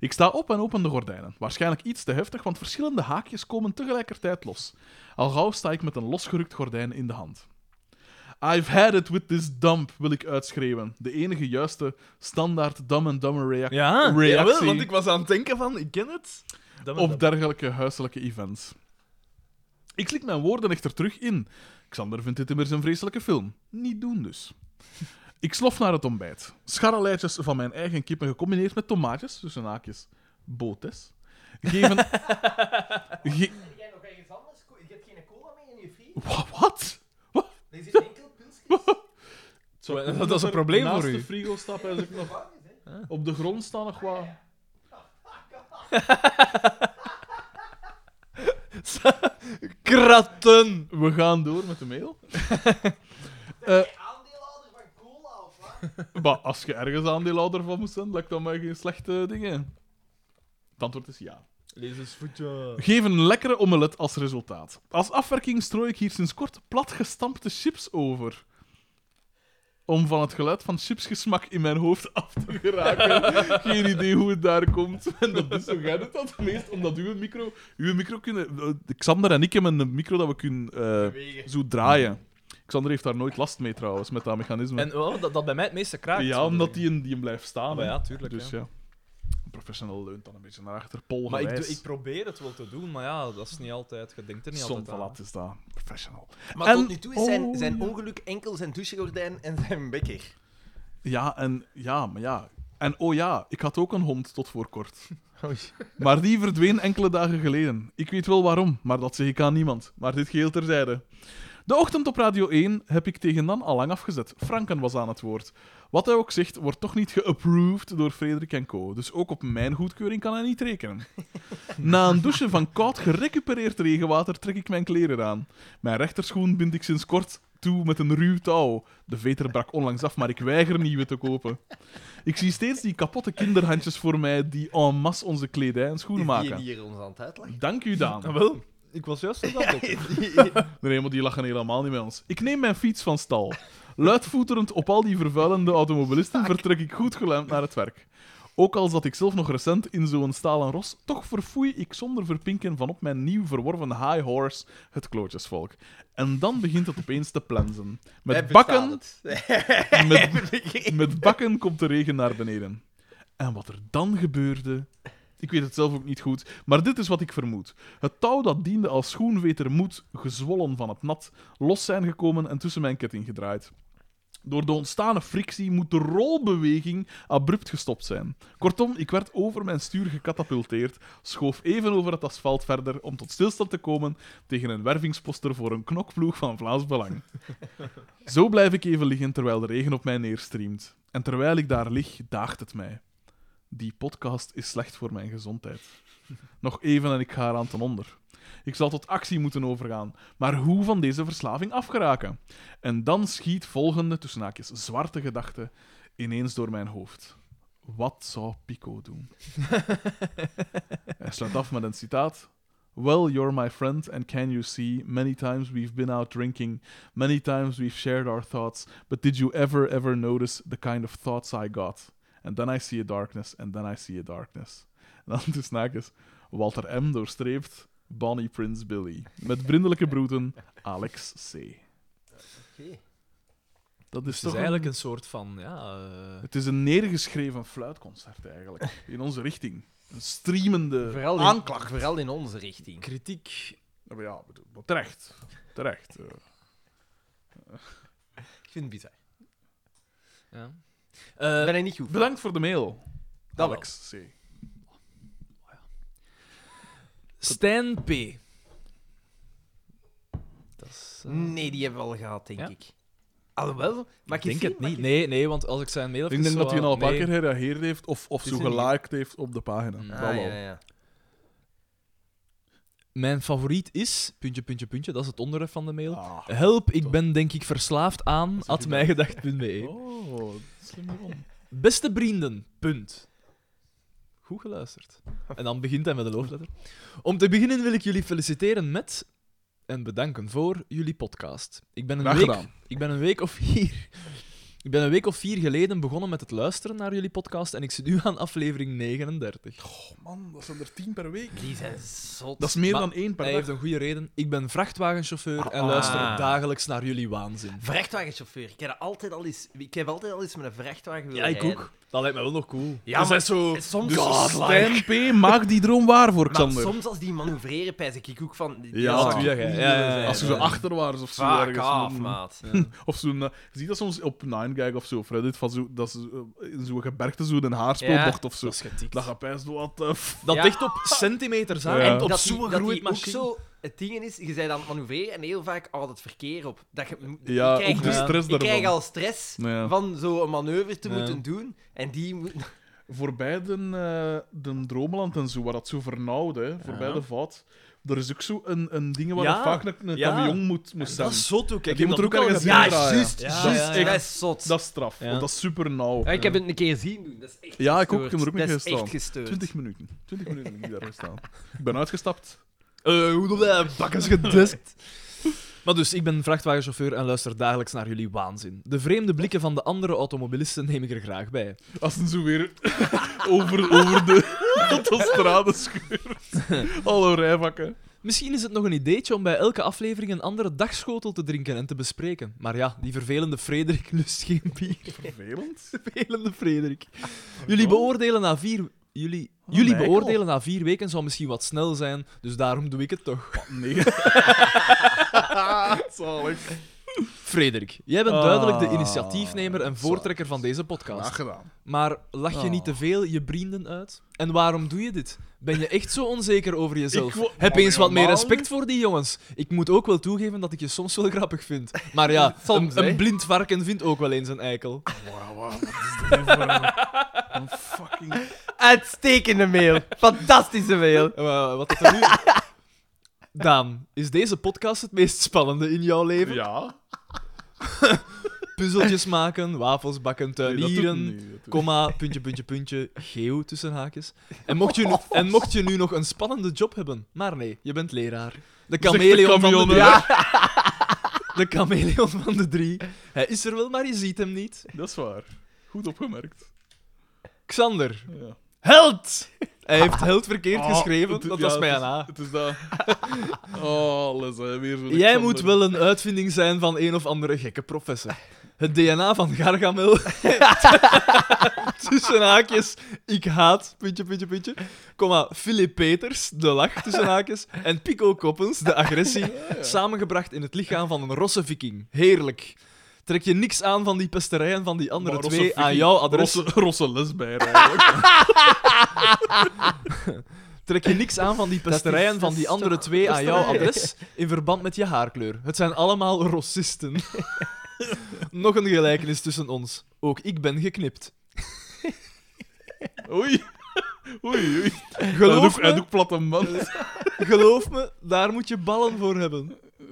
Speaker 1: Ik sta op en open de gordijnen. Waarschijnlijk iets te heftig, want verschillende haakjes komen tegelijkertijd los. Al gauw sta ik met een losgerukt gordijn in de hand. I've had it with this dump, wil ik uitschreeuwen. De enige juiste standaard Dumb and Dumber reac-
Speaker 3: Ja,
Speaker 1: reactie
Speaker 3: jawel, want ik was aan het denken van, ik ken het. Dat
Speaker 1: of dergelijke huiselijke events. Ik slik mijn woorden echter terug in. Xander vindt dit immers een vreselijke film. Niet doen dus. Ik slof naar het ontbijt. Scharrelijtjes van mijn eigen kippen gecombineerd met tomaatjes, tussen haakjes, botes, geven...
Speaker 3: <laughs>
Speaker 1: Ge-
Speaker 2: Jij nog ergens anders? Je hebt geen cola mee in je friet?
Speaker 1: Wa- Wat? Wat?
Speaker 2: Er zit enkel pilsjes.
Speaker 3: Zo, dat is een probleem
Speaker 1: Naast
Speaker 3: voor
Speaker 1: de
Speaker 3: u.
Speaker 1: frigo stap hij zich nog... Op de grond staan nog wat...
Speaker 3: Kratten!
Speaker 1: We gaan door met de
Speaker 3: <laughs>
Speaker 1: mail. Eh,
Speaker 2: Aandeelhouder van cola of wat?
Speaker 1: Maar als je ergens aandeelhouder van moest zijn, lijkt dat mij geen slechte dingen. Het antwoord is ja.
Speaker 3: Lees eens eh. voetje.
Speaker 1: Geef een lekkere omelet als resultaat. Als afwerking strooi ik hier sinds kort platgestampte chips over. Om van het geluid van chipsgesmak in mijn hoofd af te geraken. Geen idee hoe het daar komt. En dat is zo gij doet dat het meest, omdat uw micro... Uw micro kunnen... eh, Xander en ik hebben een micro dat we kunnen eh, zo draaien. Xander heeft daar nooit last mee trouwens, met dat mechanisme.
Speaker 3: En oh, dat, dat bij mij het meeste kraakt.
Speaker 1: ja,
Speaker 3: moet ik
Speaker 1: omdat
Speaker 3: zeggen.
Speaker 1: die, een- die hem blijft staan.
Speaker 3: Maar
Speaker 1: hè.
Speaker 3: ja, tuurlijk,
Speaker 1: Dus
Speaker 3: ja.
Speaker 1: ja. Een professional leunt dan een beetje naar achter. Pol
Speaker 3: Maar ik,
Speaker 1: gewijs.
Speaker 3: doe- ik probeer het wel te doen, maar ja, dat is niet altijd. Je denkt er niet
Speaker 1: Som
Speaker 3: altijd
Speaker 1: van
Speaker 3: aan.
Speaker 1: wat is dat? Professional.
Speaker 2: Maar
Speaker 1: En-
Speaker 2: tot nu toe is zijn,
Speaker 1: oh,
Speaker 2: zijn
Speaker 1: ja.
Speaker 2: ongeluk enkel zijn douchegordijn en zijn bekker.
Speaker 1: Ja, en ja, maar ja. En oh ja, ik had ook een hond tot voor kort. Maar die verdween enkele dagen geleden. Ik weet wel waarom, maar dat zeg ik aan niemand. Maar dit geheel terzijde. De ochtend op Radio 1 heb ik tegen dan al lang afgezet. Franken was aan het woord. Wat hij ook zegt, wordt toch niet geapproved door Frederik en Co. Dus ook op mijn goedkeuring kan hij niet
Speaker 2: <laughs>
Speaker 1: rekenen. Na een douche van koud gerecupereerd regenwater trek ik mijn kleren aan. Mijn rechterschoen bind ik sinds kort toe met een ruw touw. De veter brak onlangs af, maar ik weiger nieuwe te kopen. Ik zie steeds die kapotte kinderhandjes voor mij die en masse onze kledij en schoenen
Speaker 2: Is die
Speaker 1: maken.
Speaker 2: hier ons aan het uitleggen?
Speaker 1: Dank u, Daan.
Speaker 3: Ah, wel, ik was juist <laughs> aan dat denken.
Speaker 1: <laughs> Nee, maar die lachen helemaal niet bij ons. Ik neem mijn fiets van stal. Luidvoeterend op al die vervuilende automobilisten vertrek ik goed geluimd naar het werk. Ook al zat ik zelf nog recent in zo'n stalen ros, toch verfoei ik zonder verpinken van op mijn nieuw verworven high horse het klootjesvolk. En dan begint het opeens te plensen. Met bakken, <laughs> met, met bakken komt de regen naar beneden. En wat er dan gebeurde. Ik weet het zelf ook niet goed, maar dit is wat ik vermoed. Het touw dat diende als schoenveter moet, gezwollen van het nat, los zijn gekomen en tussen mijn ketting gedraaid. Door de ontstane frictie moet de rolbeweging abrupt gestopt zijn. Kortom, ik werd over mijn stuur gecatapulteerd, schoof even over het asfalt verder om tot stilstand te komen tegen een wervingsposter voor een knokploeg van Vlaams Belang. Zo blijf ik even liggen terwijl de regen op mij neerstreamt. En terwijl ik daar lig, daagt het mij. Die podcast is slecht voor mijn gezondheid. Nog even en ik ga eraan ten onder. Ik zal tot actie moeten overgaan. Maar hoe van deze verslaving afgeraken? En dan schiet volgende, tussen haakjes, zwarte gedachte ineens door mijn hoofd. Wat zou Pico doen? Hij sluit af met een citaat Well, you're my friend, and can you see? Many times we've been out drinking, many times we've shared our thoughts, but did you ever, ever notice the kind of thoughts I got? And then I see a darkness, and then I see a darkness. <laughs> En dan de snack is Walter M. doorstreept Bonnie Prince Billy. Met vriendelijke broeten, Alex C. Dat is
Speaker 3: Het
Speaker 1: toch
Speaker 3: is
Speaker 1: een-
Speaker 3: eigenlijk een soort van, ja... eh,
Speaker 1: Het is een neergeschreven fluitconcert eigenlijk. In onze richting. Een streamende
Speaker 2: Vooral in,
Speaker 1: aanklacht.
Speaker 2: Vooral in onze richting.
Speaker 3: kritiek.
Speaker 1: Ja, maar ja, bedoel, maar terecht. Terecht. eh.
Speaker 2: Ik vind het bizar.
Speaker 3: Ja. Eh,
Speaker 2: ben ik niet goed.
Speaker 1: Bedankt voor de mail,
Speaker 2: Dat
Speaker 1: Alex C.
Speaker 3: Stijn P. Dat is... eh,
Speaker 2: Nee, die hebben we al gehad, denk
Speaker 3: Ja?
Speaker 2: ik. Alhoewel, maar
Speaker 3: ik denk het niet. Nee, nee, want als ik zijn mail...
Speaker 1: Ik denk dat hij al een paar keer gereageerd heeft of, of
Speaker 2: Is
Speaker 1: zo
Speaker 2: hij niet?
Speaker 1: geliked heeft op de pagina.
Speaker 3: Mm.
Speaker 1: Dat
Speaker 2: Ah,
Speaker 1: wel.
Speaker 2: ja, ja.
Speaker 3: Mijn favoriet is... Puntje, puntje, puntje. Dat is het onderwerp van de mail.
Speaker 1: Ah.
Speaker 3: Help, ik ben denk ik verslaafd aan...
Speaker 1: zeg je dan?
Speaker 3: Atmijgedacht.be
Speaker 1: <laughs> Oh, slim hierom.
Speaker 3: E. Beste vrienden, punt. Goed
Speaker 1: <laughs>
Speaker 3: geluisterd. En dan begint hij met de loofletter. Om te beginnen wil ik jullie feliciteren met en bedanken voor jullie podcast. Ik ben een,
Speaker 1: Graag
Speaker 3: week,
Speaker 1: gedaan.
Speaker 3: ik ben een week of vier. Ik ben een week of vier geleden begonnen met het luisteren naar jullie podcast en ik zit nu aan aflevering 39.
Speaker 1: Oh man, dat zijn er tien per week.
Speaker 2: Die zijn zot.
Speaker 1: Dat Ah. is meer
Speaker 3: Maar
Speaker 1: dan één per
Speaker 3: Hij heeft
Speaker 1: dag.
Speaker 3: een goede reden. Ik ben vrachtwagenchauffeur en luister dagelijks naar jullie waanzin.
Speaker 2: Vrachtwagenchauffeur. Ik heb, dat altijd al eens, ik heb altijd al eens met een vrachtwagen willen
Speaker 3: Ja, ik
Speaker 2: rijden.
Speaker 3: ook. Dat lijkt me wel nog cool.
Speaker 2: Ja,
Speaker 1: Dus
Speaker 2: maar
Speaker 1: hij is zo-
Speaker 2: soms...
Speaker 1: Dus
Speaker 2: Maar
Speaker 1: Stijn P. maakt die droom waar voor Xander.
Speaker 2: soms als die manoeuvreren, pijs ik ook van... die- die
Speaker 1: Ja,
Speaker 2: zou ik
Speaker 3: tuurlijk, hè.
Speaker 2: niet
Speaker 3: Ja,
Speaker 2: willen
Speaker 3: ja, ja.
Speaker 2: zijn,
Speaker 1: Als je
Speaker 2: hè.
Speaker 1: zo achterwaarts of zo
Speaker 2: Fuck
Speaker 1: ergens
Speaker 2: off,
Speaker 1: moet-
Speaker 2: maat.
Speaker 1: Of zo'n... eh, je ziet dat soms op 9gag of zo, of Reddit, van zo, dat ze eh, in zo'n gebergte zo een haarspeelbocht of zo.
Speaker 3: Dat is getikt.
Speaker 1: Dat gaat pijs, what the f...
Speaker 3: Dat
Speaker 2: Ja.
Speaker 3: ligt op centimeters aan.
Speaker 1: Ja.
Speaker 3: En
Speaker 1: Dat
Speaker 3: op
Speaker 2: dat
Speaker 3: zo'n
Speaker 2: die, dat die
Speaker 3: groeit
Speaker 2: ook
Speaker 3: machine.
Speaker 2: zo... Het ding is, je bent aan het manoeuvreren en heel vaak houdt het verkeer op. Dat je,
Speaker 1: Ja,
Speaker 2: ik krijg,
Speaker 1: ook de
Speaker 3: dus-
Speaker 2: ik
Speaker 1: stress daarvan.
Speaker 2: krijg al stress
Speaker 1: Ja.
Speaker 2: van zo'n manoeuvre te
Speaker 3: Ja.
Speaker 2: moeten doen. En die moet...
Speaker 1: Voorbij de, eh, de Droomland en zo, waar dat zo vernauwd, hè, voorbij
Speaker 3: Ja.
Speaker 1: de vat, er is ook zo een, een ding waar
Speaker 3: Ja.
Speaker 1: dat vaak een, een
Speaker 3: Ja.
Speaker 1: camion moet, moet staan.
Speaker 3: Dat is zot ook.
Speaker 1: Die
Speaker 3: Ik heb
Speaker 1: moet
Speaker 3: dat
Speaker 1: er ook
Speaker 3: al
Speaker 1: ergens
Speaker 3: gedaan.
Speaker 1: in
Speaker 3: Ja,
Speaker 1: draaien.
Speaker 2: juist.
Speaker 3: Ja,
Speaker 2: juist,
Speaker 3: ja,
Speaker 1: ja.
Speaker 2: Dat is zot.
Speaker 1: Dat is straf,
Speaker 3: Ja.
Speaker 1: want dat is super nauw.
Speaker 2: Ja, ik heb het een keer zien doen. Dat is echt
Speaker 3: Ah,
Speaker 1: Ja, ik ook. Ik
Speaker 2: gestoord.
Speaker 1: heb er ook mee
Speaker 2: Dat is
Speaker 1: gestaan.
Speaker 2: echt gestoord.
Speaker 1: 20 minuten. 20 minuten heb ik daar gestaan. Ik ben uitgestapt.
Speaker 3: Eh, hoe noem je dat? Bakkers geduskt. <laughs> Maar dus, ik ben vrachtwagenchauffeur en luister dagelijks naar jullie waanzin. De vreemde blikken van de andere automobilisten neem ik er graag bij.
Speaker 1: Als ze zo <laughs> weer over, over de autostrade scheurt. Hallo rijvakken.
Speaker 3: Misschien is het nog een ideetje om bij elke aflevering een andere dagschotel te drinken en te bespreken. Maar ja, die vervelende Frederik lust geen bier.
Speaker 1: Vervelend.
Speaker 3: Vervelende Frederik. Jullie beoordelen na vier... Jullie, jullie
Speaker 1: Michael.
Speaker 3: beoordelen na vier weken zou misschien wat snel zijn, dus daarom doe ik het toch.
Speaker 1: <laughs> Nee. Zalig.
Speaker 3: Frederik, jij bent
Speaker 1: Ah,
Speaker 3: duidelijk de initiatiefnemer en voortrekker van deze
Speaker 1: Graag
Speaker 3: podcast.
Speaker 1: gedaan.
Speaker 3: Maar lach je niet te veel je vrienden uit? En waarom doe je dit? Ben je echt zo onzeker over jezelf?
Speaker 1: Ik wou-
Speaker 3: Heb
Speaker 1: Maar
Speaker 3: eens wat meer
Speaker 1: helemaal
Speaker 3: respect voor die jongens. Ik moet ook wel toegeven dat ik je soms wel grappig vind. Maar ja,
Speaker 2: Soms,
Speaker 3: een,
Speaker 2: hè?
Speaker 3: een blind varken vindt ook wel eens een eikel.
Speaker 1: Wauw, wauw, wat is dit hier voor een, een fucking...
Speaker 2: Uitstekende <laughs> mail. Fantastische mail.
Speaker 3: Eh, wa- wat dat er nu... <laughs> Daan, is deze podcast het meest spannende in jouw leven?
Speaker 1: Ja.
Speaker 3: Puzzeltjes maken, wafels bakken,
Speaker 1: Nee, dat doet
Speaker 3: tuinieren...
Speaker 1: niet, dat doet niet.
Speaker 3: Komma, puntje, puntje, puntje, geo tussen
Speaker 1: <laughs>
Speaker 3: haakjes. En mocht, je nu, en mocht je nu nog een spannende job hebben, maar nee, je bent leraar. De
Speaker 1: Zegt de
Speaker 3: chameleon van de
Speaker 1: kameleon,
Speaker 3: drie.
Speaker 1: hè.
Speaker 3: De chameleon van de drie. Hij is er wel, maar je ziet hem niet.
Speaker 1: <laughs> Dat is waar. Goed opgemerkt.
Speaker 3: Xander,
Speaker 1: Ja.
Speaker 3: held! Hij heeft held verkeerd
Speaker 1: Ah,
Speaker 3: geschreven,
Speaker 1: het-
Speaker 3: dat
Speaker 1: ja,
Speaker 3: was
Speaker 1: het
Speaker 3: mijn
Speaker 1: is-
Speaker 3: A.
Speaker 1: Het is dat. <laughs> Oh, les, hè. weer zo'n
Speaker 3: Jij
Speaker 1: Xander.
Speaker 3: moet wel een uitvinding zijn van een of andere gekke professor. Het DNA van
Speaker 1: <laughs>
Speaker 3: Gargamel. tussen haakjes, ik haat, puntje, puntje, puntje. Komma, Philip Peters, de lach, tussen haakjes. En Pico Koppens, de agressie.
Speaker 1: Ah,
Speaker 3: Samengebracht in het lichaam van een rosse viking. Heerlijk. Trek je niks aan van die pesterijen van die andere
Speaker 1: Maar rosse
Speaker 3: twee aan
Speaker 1: viking-
Speaker 3: jouw adres.
Speaker 1: Rosse, rosse les bij,
Speaker 3: <laughs>
Speaker 1: eigenlijk.
Speaker 3: Trek je niks aan van die pesterijen van die andere twee aan jouw adres in verband met je haarkleur. Het zijn allemaal
Speaker 1: <laughs>
Speaker 3: rossisten. Nog een gelijkenis tussen ons. Ook ik ben geknipt.
Speaker 1: Oei. <laughs> Oei, oei. Hij
Speaker 3: Geloof
Speaker 1: doet- Hij
Speaker 3: me,
Speaker 1: doet platte man.
Speaker 3: <laughs> geloof me, daar moet je ballen voor hebben. Ik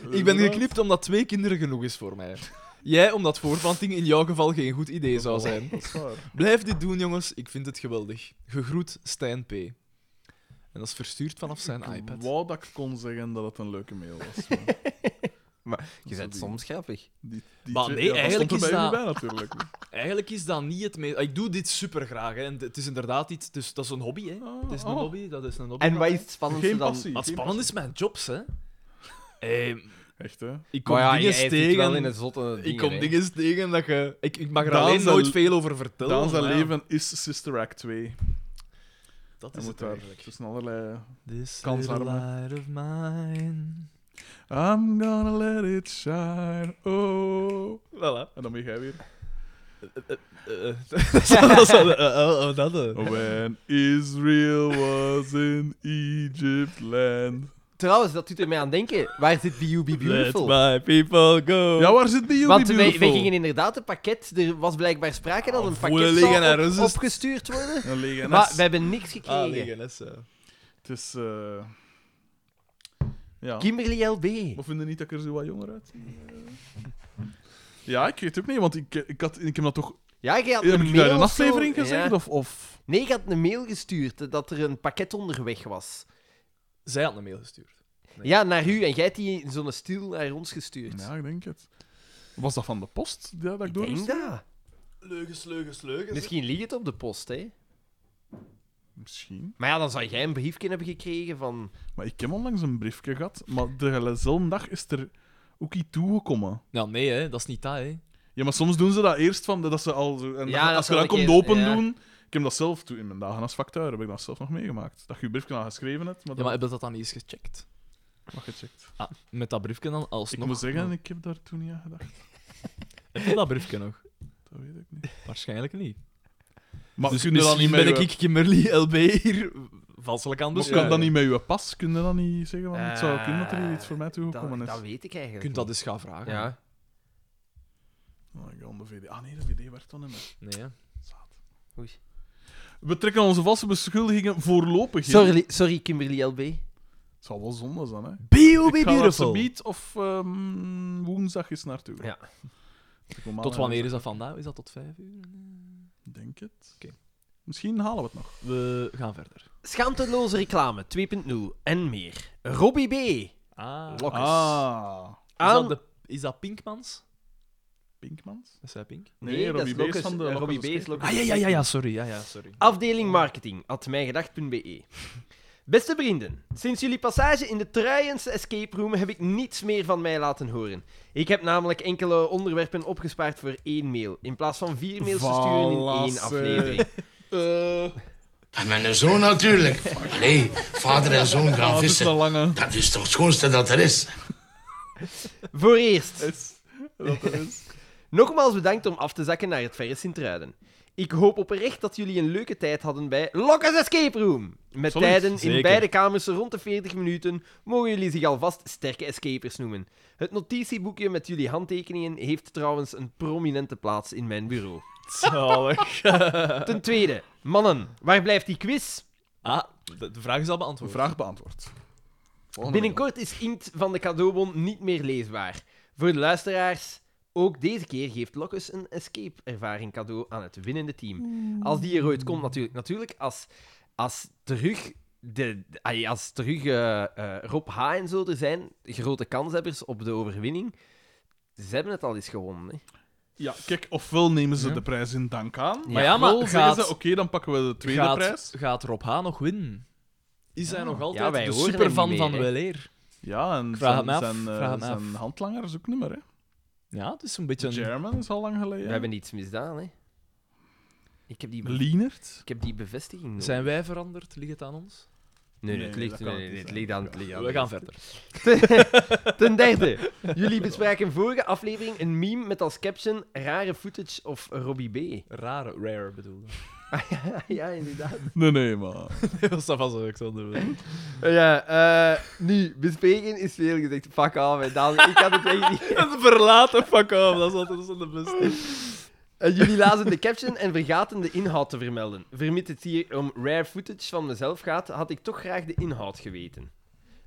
Speaker 3: ben
Speaker 1: Inderdaad.
Speaker 3: geknipt omdat twee kinderen genoeg is voor mij. Jij omdat voortplanting in jouw geval geen goed idee zou zijn.
Speaker 1: Dat is waar.
Speaker 3: Blijf dit doen, jongens. Ik vind het geweldig. Gegroet, Stijn P. En En dat is verstuurd vanaf zijn
Speaker 1: Ik
Speaker 3: iPad.
Speaker 1: wou dat ik kon zeggen dat het een leuke mail was. maar
Speaker 2: Je bent soms grappig.
Speaker 1: die, die
Speaker 3: Maar
Speaker 1: twee-
Speaker 3: nee,
Speaker 1: ja, dat
Speaker 3: eigenlijk
Speaker 1: stond er
Speaker 3: is
Speaker 1: bij u
Speaker 3: dat-
Speaker 1: bij,
Speaker 3: <laughs>
Speaker 1: natuurlijk.
Speaker 3: Eigenlijk is dat niet het meest... Ah, Ik doe dit super graag. Hè. En het is inderdaad iets... Dus dat is een hobby, hè.
Speaker 1: Ah,
Speaker 3: Het is een
Speaker 1: ah.
Speaker 3: hobby, dat is een hobby.
Speaker 2: En wat is het spannendste
Speaker 1: Geen
Speaker 2: dan?
Speaker 1: passie.
Speaker 3: Wat
Speaker 1: geen
Speaker 3: spannend is mijn jobs, hè. Eh,
Speaker 1: passie. Echt, hè?
Speaker 3: ik kom
Speaker 2: Maar ja,
Speaker 3: dingen
Speaker 2: je eiert het wel
Speaker 3: tegen...
Speaker 2: in een zotte dingen,
Speaker 3: ik kom
Speaker 2: hè.
Speaker 3: dingen tegen dat je... Ik, ik mag er
Speaker 1: Daan
Speaker 3: alleen
Speaker 1: zijn-
Speaker 3: nooit veel over vertellen.
Speaker 1: Daan zijn
Speaker 3: maar ja,
Speaker 1: leven is Sister Act 2.
Speaker 3: Dat
Speaker 1: Hij
Speaker 3: is
Speaker 1: moet
Speaker 3: het
Speaker 1: daar
Speaker 3: eigenlijk.
Speaker 1: tussen allerlei...
Speaker 3: This
Speaker 1: kansarmen.
Speaker 3: little light of mine...
Speaker 1: I'm gonna let it shine, oh...
Speaker 3: <laughs> Voilà.
Speaker 1: En dan ben jij weer...
Speaker 3: Oh, dat... eh.
Speaker 1: <laughs> When Israel was in Egypt land.
Speaker 2: Trouwens, dat doet er mij aan denken. Waar zit Be You Be Beautiful?
Speaker 3: my people go.
Speaker 1: Ja, waar zit die jullie
Speaker 2: Want wij,
Speaker 1: beautiful?
Speaker 2: wij gingen indaad een pakket... Er was blijkbaar sprake dat een
Speaker 3: Oh, voelen
Speaker 2: pakket zou
Speaker 3: liggen
Speaker 2: op-
Speaker 3: en rusten.
Speaker 2: opgestuurd worden.
Speaker 1: Een legenes.
Speaker 2: Maar we hebben niks gekregen.
Speaker 3: Ah, liggen, dat is, eh.
Speaker 1: Het is... eh, Ja.
Speaker 2: Kimberly LB.
Speaker 1: Maar vinden niet dat ik er zo wat jonger uitzie? Ja, ik weet het ook niet, want ik, ik, had, ik heb dat toch...
Speaker 2: Ja, jij had
Speaker 1: Heb
Speaker 2: een
Speaker 1: ik
Speaker 2: mail
Speaker 1: daar een
Speaker 2: of zo.
Speaker 1: aflevering gezegd?
Speaker 2: Ja.
Speaker 1: Of, of...
Speaker 2: Nee, ik had een mail gestuurd eh, dat er een pakket onderweg was.
Speaker 3: Zij had een mail gestuurd. Nee.
Speaker 2: Ja, naar u. En jij hebt die in zo'n stil naar ons gestuurd.
Speaker 1: Ja, ik denk het. Was dat van de post ja, dat ik
Speaker 2: ik
Speaker 1: door
Speaker 2: denk dat.
Speaker 3: Leugens, leugens, leugens.
Speaker 2: Misschien ligt het op de post, hè.
Speaker 1: Misschien.
Speaker 2: Maar ja, dan zou jij een briefje hebben gekregen van...
Speaker 1: Maar ik heb onlangs een briefje gehad, maar dezelfde dag is er ook iets toegekomen.
Speaker 3: Nou, nee, hè. Dat is niet dat, hè.
Speaker 1: Ja, maar soms doen ze dat eerst van dat ze al zo. En
Speaker 2: Ja,
Speaker 1: dan-
Speaker 2: dat
Speaker 1: als je
Speaker 2: zal
Speaker 1: dat
Speaker 2: ik
Speaker 1: komt
Speaker 2: eerst-
Speaker 1: open
Speaker 2: ja.
Speaker 1: doen. Ik heb dat zelf toen in mijn dagen als facteur heb ik dat zelf nog meegemaakt. Dat je je briefje al geschreven hebt, maar
Speaker 3: Ja,
Speaker 1: dat
Speaker 3: maar heb je dat dan niet eens gecheckt?
Speaker 1: mag gecheckt.
Speaker 3: Ah, met dat briefje dan
Speaker 1: Ik
Speaker 3: alsnog.
Speaker 1: moet zeggen, ik heb daar toen niet aan gedacht.
Speaker 3: Heb je dat briefje nog?
Speaker 1: Dat weet ik
Speaker 3: <laughs>
Speaker 1: niet.
Speaker 3: Waarschijnlijk niet.
Speaker 1: Maar
Speaker 3: dus
Speaker 1: kun je dan Ah, niet
Speaker 3: misschien
Speaker 1: met
Speaker 3: ben
Speaker 1: je-
Speaker 3: ik Kimberly LB hier valselijk aan
Speaker 1: maar
Speaker 3: dus.
Speaker 1: kan dat niet met je pas? Kun je dat niet zeggen? Want Oh, het zou
Speaker 2: Eh,
Speaker 1: kunnen dat er hier iets voor mij toegekomen
Speaker 2: Dat,
Speaker 1: is.
Speaker 2: dat weet ik
Speaker 3: Je
Speaker 2: eigenlijk
Speaker 3: kunt dat eens gaan vragen.
Speaker 2: niet. Ja.
Speaker 1: Oh, ik ga aan de VD. Ah nee, de VD werd dan niet meer.
Speaker 3: Nee, hè.
Speaker 1: We trekken onze valse beschuldigingen voorlopig in.
Speaker 2: Sorry, sorry, Kimberly LB.
Speaker 1: Het zou wel zonde zijn, hè?
Speaker 3: B.O.B.
Speaker 1: Ik ga er
Speaker 3: Beautiful.
Speaker 1: subiet of ehm, woensdag eens naartoe.
Speaker 2: Ja.
Speaker 1: Ik kom aan
Speaker 3: Tot
Speaker 1: en-
Speaker 3: wanneer is dat vandaag? Is dat tot vijf uur?
Speaker 1: Denk het.
Speaker 3: Oké.
Speaker 1: Misschien halen we het nog.
Speaker 3: We gaan verder.
Speaker 2: Schaamteloze reclame 2.0 en meer. Robbie B.
Speaker 3: Ah. Is
Speaker 2: Lokkes.
Speaker 1: Ah.
Speaker 3: dat,
Speaker 2: Aan...
Speaker 3: de, is dat Pinkmans?
Speaker 1: Pinkmans?
Speaker 3: Dat zei Pink.
Speaker 1: Nee,
Speaker 2: dat
Speaker 1: Robbie
Speaker 2: is
Speaker 1: B is
Speaker 2: Lokkes.
Speaker 1: van de
Speaker 2: Eh,
Speaker 1: Lokkes
Speaker 2: Robbie B is
Speaker 1: Escape.
Speaker 2: Lokkes
Speaker 3: Ah, ja, ja, ja, ja, sorry. Ja, ja, sorry.
Speaker 2: Afdeling marketing, at mijgedacht.be. Beste vrienden, sinds jullie passage in de truienste escape room heb ik niets meer van mij laten horen. Ik heb namelijk enkele onderwerpen opgespaard voor één mail, in plaats van vier mails te sturen in één
Speaker 1: Valasse.
Speaker 2: aflevering.
Speaker 5: En mijn zoon natuurlijk. Nee, vader en zoon gaan
Speaker 1: Ah, dat is een
Speaker 5: vissen.
Speaker 1: lange.
Speaker 5: Dat is toch het schoonste dat er is.
Speaker 2: Voor eerst,
Speaker 1: Is, <laughs> dat er is.
Speaker 2: nogmaals bedankt om af te zakken naar het verre Sint-Truiden. Ik hoop oprecht dat jullie een leuke tijd hadden bij Lokkers Escape Room. Met
Speaker 1: Absoluut,
Speaker 2: tijden in
Speaker 3: zeker.
Speaker 2: beide kamers rond de 40 minuten mogen jullie zich alvast sterke escapers noemen. Het notitieboekje met jullie handtekeningen heeft trouwens een prominente plaats in mijn bureau.
Speaker 3: Zalig.
Speaker 2: Ten tweede, mannen, waar blijft die quiz?
Speaker 3: Ah, de, de vraag is al
Speaker 1: De
Speaker 3: beantwoord.
Speaker 1: vraag beantwoord. Volgende
Speaker 2: Binnenkort is inkt van de cadeaubon niet meer leesbaar. Voor de luisteraars, ook deze keer geeft Lokkes een escape-ervaring cadeau aan het winnende team. Als die er ooit komt, natuurlijk. Natuurlijk, als, als terug, de, ai, als terug eh, eh, Rob H. en zo er zijn, grote kanshebbers op de overwinning. Ze hebben het al eens gewonnen. Hè.
Speaker 1: Ja, kijk, ofwel nemen ze de prijs in dank aan.
Speaker 3: Maar ja, maar
Speaker 1: ofwel zeggen
Speaker 3: gaat-
Speaker 1: ze, oké, dan pakken we de tweede
Speaker 3: gaat,
Speaker 1: prijs.
Speaker 3: Gaat Rob H. nog winnen? Is hij nog altijd
Speaker 2: Ja, wij
Speaker 3: de
Speaker 2: horen hem
Speaker 3: superfan
Speaker 2: niet
Speaker 3: van
Speaker 2: meer, hè.
Speaker 3: Weleer?
Speaker 1: Ja, en
Speaker 3: Vraag
Speaker 1: zijn,
Speaker 3: het me af,
Speaker 1: zijn, eh,
Speaker 3: vraag het me
Speaker 1: zijn
Speaker 3: af.
Speaker 1: handlanger is ook niet meer, hè.
Speaker 3: Ja, het is een beetje een...
Speaker 1: German is al lang geleden.
Speaker 2: We hebben iets misdaan. Hè. Ik, heb die be-
Speaker 1: Lienert.
Speaker 3: <laughs>
Speaker 2: ik heb die bevestiging nodig.
Speaker 3: Zijn wij veranderd? Ligt het aan ons?
Speaker 2: Nee,
Speaker 1: Nee,
Speaker 2: nee, het
Speaker 1: nee,
Speaker 2: ligt,
Speaker 1: dat kan
Speaker 2: nee,
Speaker 1: het
Speaker 2: nee,
Speaker 1: niet
Speaker 2: het
Speaker 1: zijn.
Speaker 2: ligt aan het ligt aan
Speaker 3: We
Speaker 2: het-
Speaker 3: gaan verder.
Speaker 2: <laughs> Ten derde, jullie bespraken vorige aflevering een meme met als caption rare footage of Robbie B. <laughs>
Speaker 3: Rare, rare bedoelde.
Speaker 2: ja, inderdaad.
Speaker 1: Nee, nee, maar...
Speaker 3: <laughs> dat was ook zo. <laughs>
Speaker 2: Ja, eh, nu, bespreken is veel gezegd. Fuck af, en dan, ik had het echt niet.
Speaker 3: Een verlaten fuck off, dat is altijd zo de beste.
Speaker 2: <laughs> Eh, jullie lazen de caption en vergaten de inhoud te vermelden. Vermits het hier om rare footage van mezelf gaat, had ik toch graag de inhoud geweten.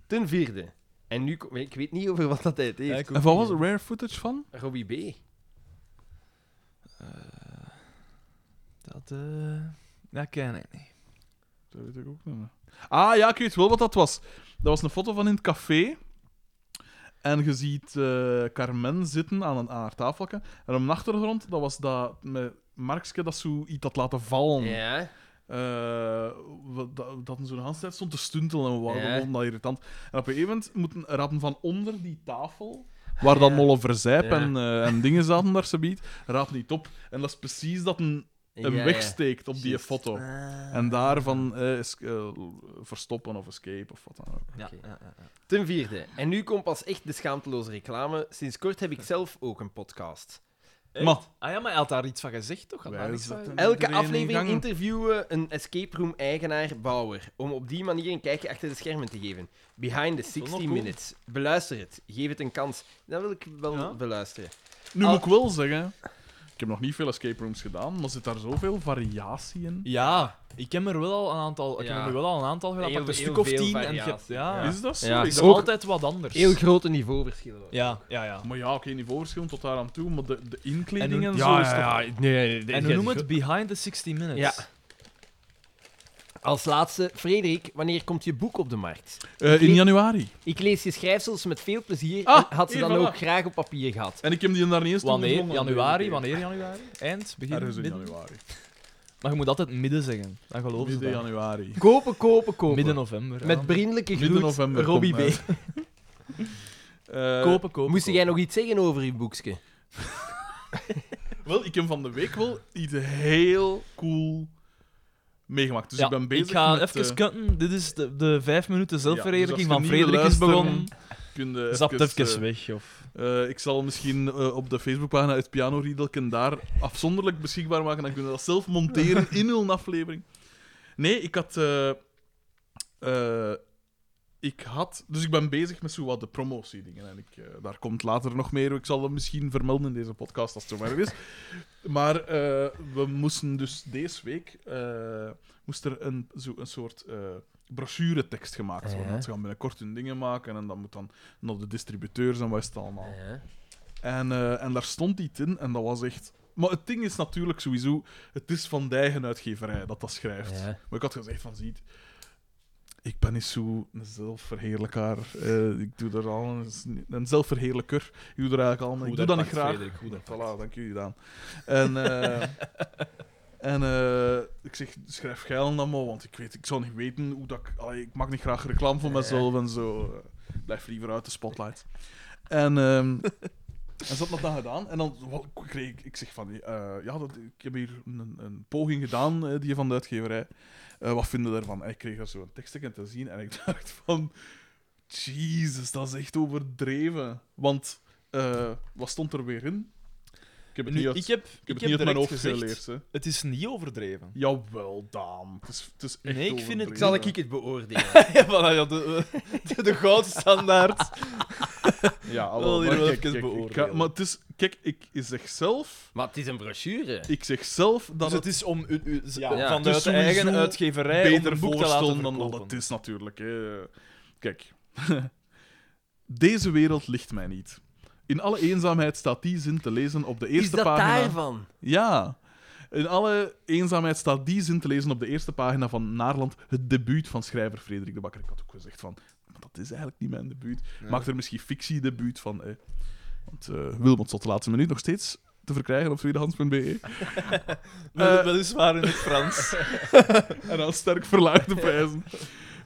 Speaker 2: Ten vierde, en nu, kom- ik weet niet over wat dat hij heeft.
Speaker 1: En wat was er rare footage van?
Speaker 2: Robbie B.
Speaker 3: Dat, eh, dat ken ik niet.
Speaker 1: Dat weet ik ook niet meer. Ah ja, ik weet wel wat dat was. Dat was een foto van in het café. En je ziet eh, Carmen zitten aan, een, aan haar tafeltje. En op de achtergrond, dat was dat met Markske dat zo iets had laten vallen.
Speaker 2: Ja.
Speaker 1: Eh, wat- dat, dat in zo'n handstijd stond te stuntelen en we waren
Speaker 2: Ja.
Speaker 1: gewoon dat irritant. En op een gegeven moment moeten ratten van onder die tafel, waar dan Molle Verzijp
Speaker 2: Ja.
Speaker 1: en, eh, en dingen zaten daar, ze biedt, raapt niet op. En dat is precies dat een, een
Speaker 2: Ja,
Speaker 1: weg
Speaker 2: ja.
Speaker 1: steekt op die
Speaker 2: Juist. Ah.
Speaker 1: foto. En daarvan eh, es- eh, verstoppen of escape of wat dan ook.
Speaker 3: Ja,
Speaker 2: Oké.
Speaker 3: ja, ja.
Speaker 2: Ten vierde, en nu komt pas echt de schaamteloze reclame. Sinds kort heb ik zelf ook een podcast.
Speaker 1: Maar
Speaker 3: Ah ja, maar hij had daar iets van gezegd, toch? Had
Speaker 1: Wij
Speaker 3: daar niks van
Speaker 1: zetten-
Speaker 3: gezegd?
Speaker 2: Elke
Speaker 1: Iedereen in gang.
Speaker 2: aflevering interviewen een escape room eigenaar Bauer. Om op die manier een kijkje achter de schermen te geven. Behind the 60
Speaker 3: nog cool.
Speaker 2: minutes. Beluister het. Geef het een kans. Dat wil ik wel
Speaker 3: Ja.
Speaker 2: beluisteren.
Speaker 1: nu
Speaker 2: Al-
Speaker 3: Ah.
Speaker 1: moet ik wel zeggen, ik heb nog niet veel escape rooms gedaan, maar zit daar zoveel variatie in.
Speaker 3: Ja, ik heb er wel al een aantal, ik
Speaker 2: Ja.
Speaker 3: heb er wel al een aantal gedaan,
Speaker 2: Heel-
Speaker 3: maar een
Speaker 2: heel
Speaker 3: stuk of
Speaker 2: veel
Speaker 3: tien. En je
Speaker 2: variatie.
Speaker 3: hebt- ja,
Speaker 2: Ja.
Speaker 1: Is dat zo?
Speaker 2: Ja,
Speaker 1: Ik
Speaker 3: Het is
Speaker 1: dacht-
Speaker 3: altijd wat anders.
Speaker 2: Heel grote niveauverschillen.
Speaker 3: Ja, ja, ja.
Speaker 1: Maar ja, oké, niveauverschil tot daar aan toe, maar de, de inkleding
Speaker 3: En
Speaker 1: en,
Speaker 3: hoe-
Speaker 1: zo is toch...
Speaker 2: Nee,
Speaker 3: En we noemen het Behind the 60 Minutes.
Speaker 2: Ja. Als laatste, Frederik, wanneer komt je boek op de markt?
Speaker 1: Eh, in januari.
Speaker 2: Ik lees je schrijfsels met veel plezier
Speaker 1: Ah,
Speaker 2: en had ze
Speaker 1: hier,
Speaker 2: dan
Speaker 1: voilà.
Speaker 2: ook graag op papier gehad.
Speaker 1: En ik heb die daar niet eens
Speaker 3: Wanneer?
Speaker 1: toegevonden.
Speaker 3: Januari? Wanneer januari? Eind? Begin?
Speaker 1: Ergens in
Speaker 3: midden?
Speaker 1: januari.
Speaker 3: Maar je moet altijd midden zeggen. Dan geloven ze
Speaker 1: Midden
Speaker 3: dat. <laughs>
Speaker 1: januari.
Speaker 2: Kopen, kopen, kopen.
Speaker 3: Midden november.
Speaker 2: met
Speaker 3: ja.
Speaker 2: vriendelijke
Speaker 1: Midden
Speaker 2: groet,
Speaker 1: november
Speaker 2: Robbie B.
Speaker 1: komt hij. Eh,
Speaker 3: Kopen, kopen.
Speaker 2: Moest
Speaker 3: kopen.
Speaker 2: jij nog iets zeggen over je boekje?
Speaker 1: Wel, ik heb van de week wel iets heel cool meegemaakt. Dus
Speaker 3: Ja,
Speaker 1: ik ben bezig
Speaker 3: ik ga
Speaker 1: met...
Speaker 3: even
Speaker 1: eh,
Speaker 3: cutten. Dit is de, de vijf minuten zelfverheerlijking
Speaker 1: dus als
Speaker 3: van
Speaker 1: je
Speaker 3: Frederik is
Speaker 1: nieuwe
Speaker 3: begonnen.
Speaker 1: luisteren- kun je
Speaker 3: Zapt
Speaker 1: even,
Speaker 3: even
Speaker 1: eh,
Speaker 3: weg. Of...
Speaker 1: eh, ik zal misschien eh, op de Facebookpagina het piano riedelken daar afzonderlijk beschikbaar maken. Dan kunnen we dat zelf monteren in hun aflevering. Nee, ik had... eh, eh, ik had... Dus ik ben bezig met zo wat de promotiedingen. En ik, eh, daar komt later nog meer. Ik zal dat misschien vermelden in deze podcast als het zover is. Maar eh, we moesten dus deze week... eh, moest er een, zo, een soort... eh brochure-tekst gemaakt worden.
Speaker 2: Ja.
Speaker 1: Want Ze gaan binnenkort hun dingen maken en dat moet dan naar de distributeurs en wat is het allemaal. En, eh, en daar stond iets in en dat was echt... Maar het ding is natuurlijk sowieso... Het is van de eigen uitgeverij dat dat schrijft.
Speaker 2: Ja.
Speaker 1: Maar ik had gezegd van, ziet... Ik ben niet zo een zelfverheerlijkaar. Eh, ik doe er al een, een zelfverheerlijker. Ik doe er eigenlijk al een... Ik doe dat niet graag. voilà, dank jullie dan. En... eh, <laughs> En eh, ik zeg, schrijf geil dan maar, want ik, weet, ik zou niet weten hoe dat ik... allee, ik maak niet graag reclame voor mezelf en zo. eh, blijf liever uit de spotlight. En, ehm en ze had dat dan gedaan. En dan wat kreeg ik, ik zeg van, eh, ja, dat, ik heb hier een, een poging gedaan, eh, die van de uitgeverij. Eh, wat vinden daarvan? En ik kreeg daar zo een tekstje te zien en ik <laughs> dacht van... Jezus, dat is echt overdreven. Want eh, wat stond er weer in? Ik heb het
Speaker 3: Nu,
Speaker 1: niet uit,
Speaker 3: ik heb,
Speaker 1: ik heb
Speaker 3: ik
Speaker 1: het niet uit mijn
Speaker 3: direct
Speaker 1: hoofd
Speaker 3: gezegd,
Speaker 1: geleerd. Hè.
Speaker 3: het is niet
Speaker 1: <laughs>
Speaker 3: overdreven.
Speaker 1: Jawel, Daan. Het is, het is echt
Speaker 3: Nee, ik vind het-
Speaker 1: overdreven.
Speaker 2: Zal ik het beoordelen?
Speaker 3: Ja, voilà, ja, de, de, de goudstandaard.
Speaker 1: Ja,
Speaker 3: Wel,
Speaker 1: hallo,
Speaker 3: hier
Speaker 1: maar
Speaker 3: wel
Speaker 1: kijk,
Speaker 3: even
Speaker 1: kijk, ik ga,
Speaker 3: beoordelen.
Speaker 1: maar het is... Kijk, ik zeg zelf...
Speaker 2: <laughs> maar het is een brochure.
Speaker 1: Ik zeg zelf dat
Speaker 3: <laughs> Dus
Speaker 1: het
Speaker 3: het is om u, u, z-
Speaker 1: Ja.
Speaker 3: vanuit
Speaker 1: Het is
Speaker 3: de eigen
Speaker 1: sowieso
Speaker 3: uitgeverij om
Speaker 1: beter
Speaker 3: een boek te
Speaker 1: voorstel
Speaker 3: laten
Speaker 1: dan dat
Speaker 3: verkopen.
Speaker 1: het is, natuurlijk. Hè. Kijk. <laughs> Deze wereld ligt mij niet. In alle eenzaamheid staat die zin te lezen op de eerste
Speaker 2: is dat
Speaker 1: pagina...
Speaker 2: daarvan?
Speaker 1: Ja. In alle eenzaamheid staat die zin te lezen op de eerste pagina van Naarland, het debuut van schrijver Frederik de Bakker. Ik had ook gezegd van, maar dat is eigenlijk niet mijn debuut. Maak er misschien fictiedebuut van. Eh. Want eh Wilmot tot de laatste minuut nog steeds te verkrijgen op tweedehands.be.
Speaker 3: Wel- Weliswaar in het Frans.
Speaker 1: en aan sterk verlaagde prijzen.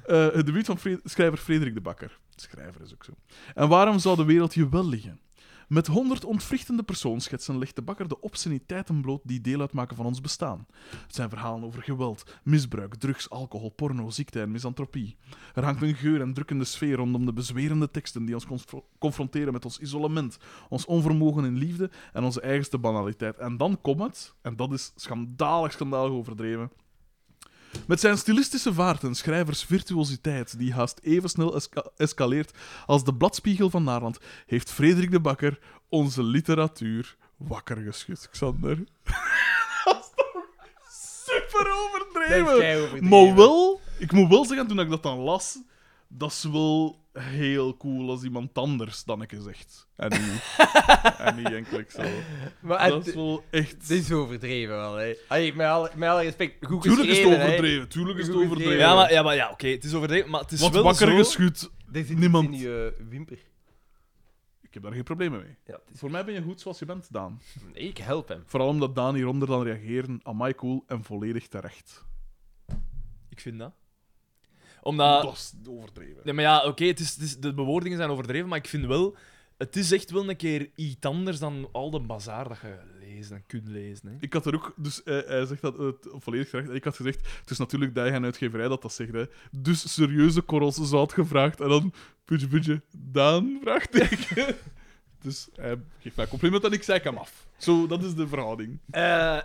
Speaker 1: Eh, het debuut van Fre- schrijver Frederik de Bakker. Schrijver is ook zo. En waarom zou de wereld je wel liggen? Met honderd ontwrichtende persoonschetsen legt de bakker de obsceniteiten bloot die deel uitmaken van ons bestaan. Het zijn verhalen over geweld, misbruik, drugs, alcohol, porno, ziekte en misantropie. Er hangt een geur en drukkende sfeer rondom de bezwerende teksten die ons confro- confronteren met ons isolement, ons onvermogen in liefde en onze eigenste banaliteit. En dan komt het, en dat is schandalig, schandalig overdreven, met zijn stilistische vaart en schrijversvirtuositeit, die haast even snel esca- escaleert als de bladspiegel van Naarland, heeft Frederik de Bakker onze literatuur wakker geschud, Xander. <laughs> Dat is toch super overdreven!
Speaker 2: Kei overdreven.
Speaker 1: Maar wel, ik moet wel zeggen, toen ik dat dan las, dat is wel heel cool als iemand anders Danneke zegt. En niet,
Speaker 3: <laughs>
Speaker 1: en niet enkel ikzelf.
Speaker 3: Ah,
Speaker 2: Maar
Speaker 1: Dat is
Speaker 2: het
Speaker 1: wel echt...
Speaker 2: het is overdreven wel, hè. Allee, met, alle, met alle respect, goed
Speaker 1: Tuurlijk is het
Speaker 2: geschreven, hè.
Speaker 1: overdreven, tuurlijk is het
Speaker 2: Goed geschreven.
Speaker 1: overdreven.
Speaker 3: <laughs> Ja, maar ja, maar, ja oké, het is overdreven, maar het is
Speaker 1: Wat
Speaker 3: wel
Speaker 1: wakker
Speaker 3: zo...
Speaker 1: geschud.
Speaker 2: Er zit iets
Speaker 1: Niemand.
Speaker 2: in je eh, wimper.
Speaker 1: Ik heb daar geen problemen mee.
Speaker 2: Ja, het is-
Speaker 1: Voor mij ben je goed zoals je bent, Daan.
Speaker 2: Nee, ik help hem.
Speaker 1: Vooral omdat Daan hieronder dan reageren. Amai, cool en volledig terecht.
Speaker 3: Ik vind dat.
Speaker 2: Ah.
Speaker 3: Omdat...
Speaker 1: dat is overdreven.
Speaker 3: Nee, maar ja, oké, het is, het is- de bewoordingen zijn overdreven, maar ik vind wel... Het is echt wel een keer iets anders dan al de bazaar dat je leest en kunt lezen. Hè.
Speaker 1: Ik had er ook, dus eh, hij zegt dat het volledig terecht. En ik had gezegd, het is natuurlijk die en uitgeverij dat dat zegt. Hè. Dus serieuze korrels zout gevraagd. En dan, putje, putje, Daan,
Speaker 2: <laughs>
Speaker 1: vraagteken. dus hij geeft mij een compliment en ik zeik hem af. Zo, dat is de verhouding.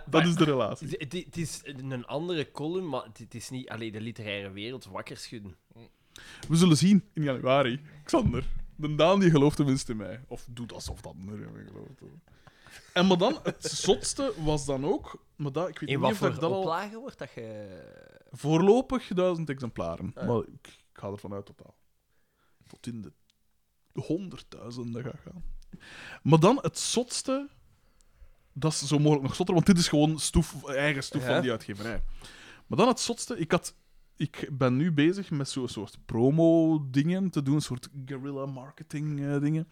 Speaker 1: Dat is de relatie.
Speaker 2: Eh, Het- Het het is een andere column, maar het- het is niet alleen de literaire wereld wakker schudden.
Speaker 1: We zullen zien in januari. Xander. De Daan die gelooft tenminste in mij. Of doet alsof dat er in mij gelooft. hoor. En maar dan, het zotste was dan ook... Maar dat, ik weet
Speaker 2: In
Speaker 1: niet
Speaker 2: wat
Speaker 1: of dat
Speaker 2: voor
Speaker 1: ik dat al...
Speaker 2: oplage wordt dat je...
Speaker 1: Voorlopig duizend exemplaren. Maar ik, ik ga ervan uit totaal. Tot in de honderdduizenden gaat gaan. Maar dan het zotste... Dat is zo mogelijk nog zotter, want dit is gewoon stoef, eigen stoef van die uitgeverij. Maar dan het zotste. Ik, had, ik ben nu bezig met zo'n soort promo-dingen te doen, een soort guerrilla marketing-dingen.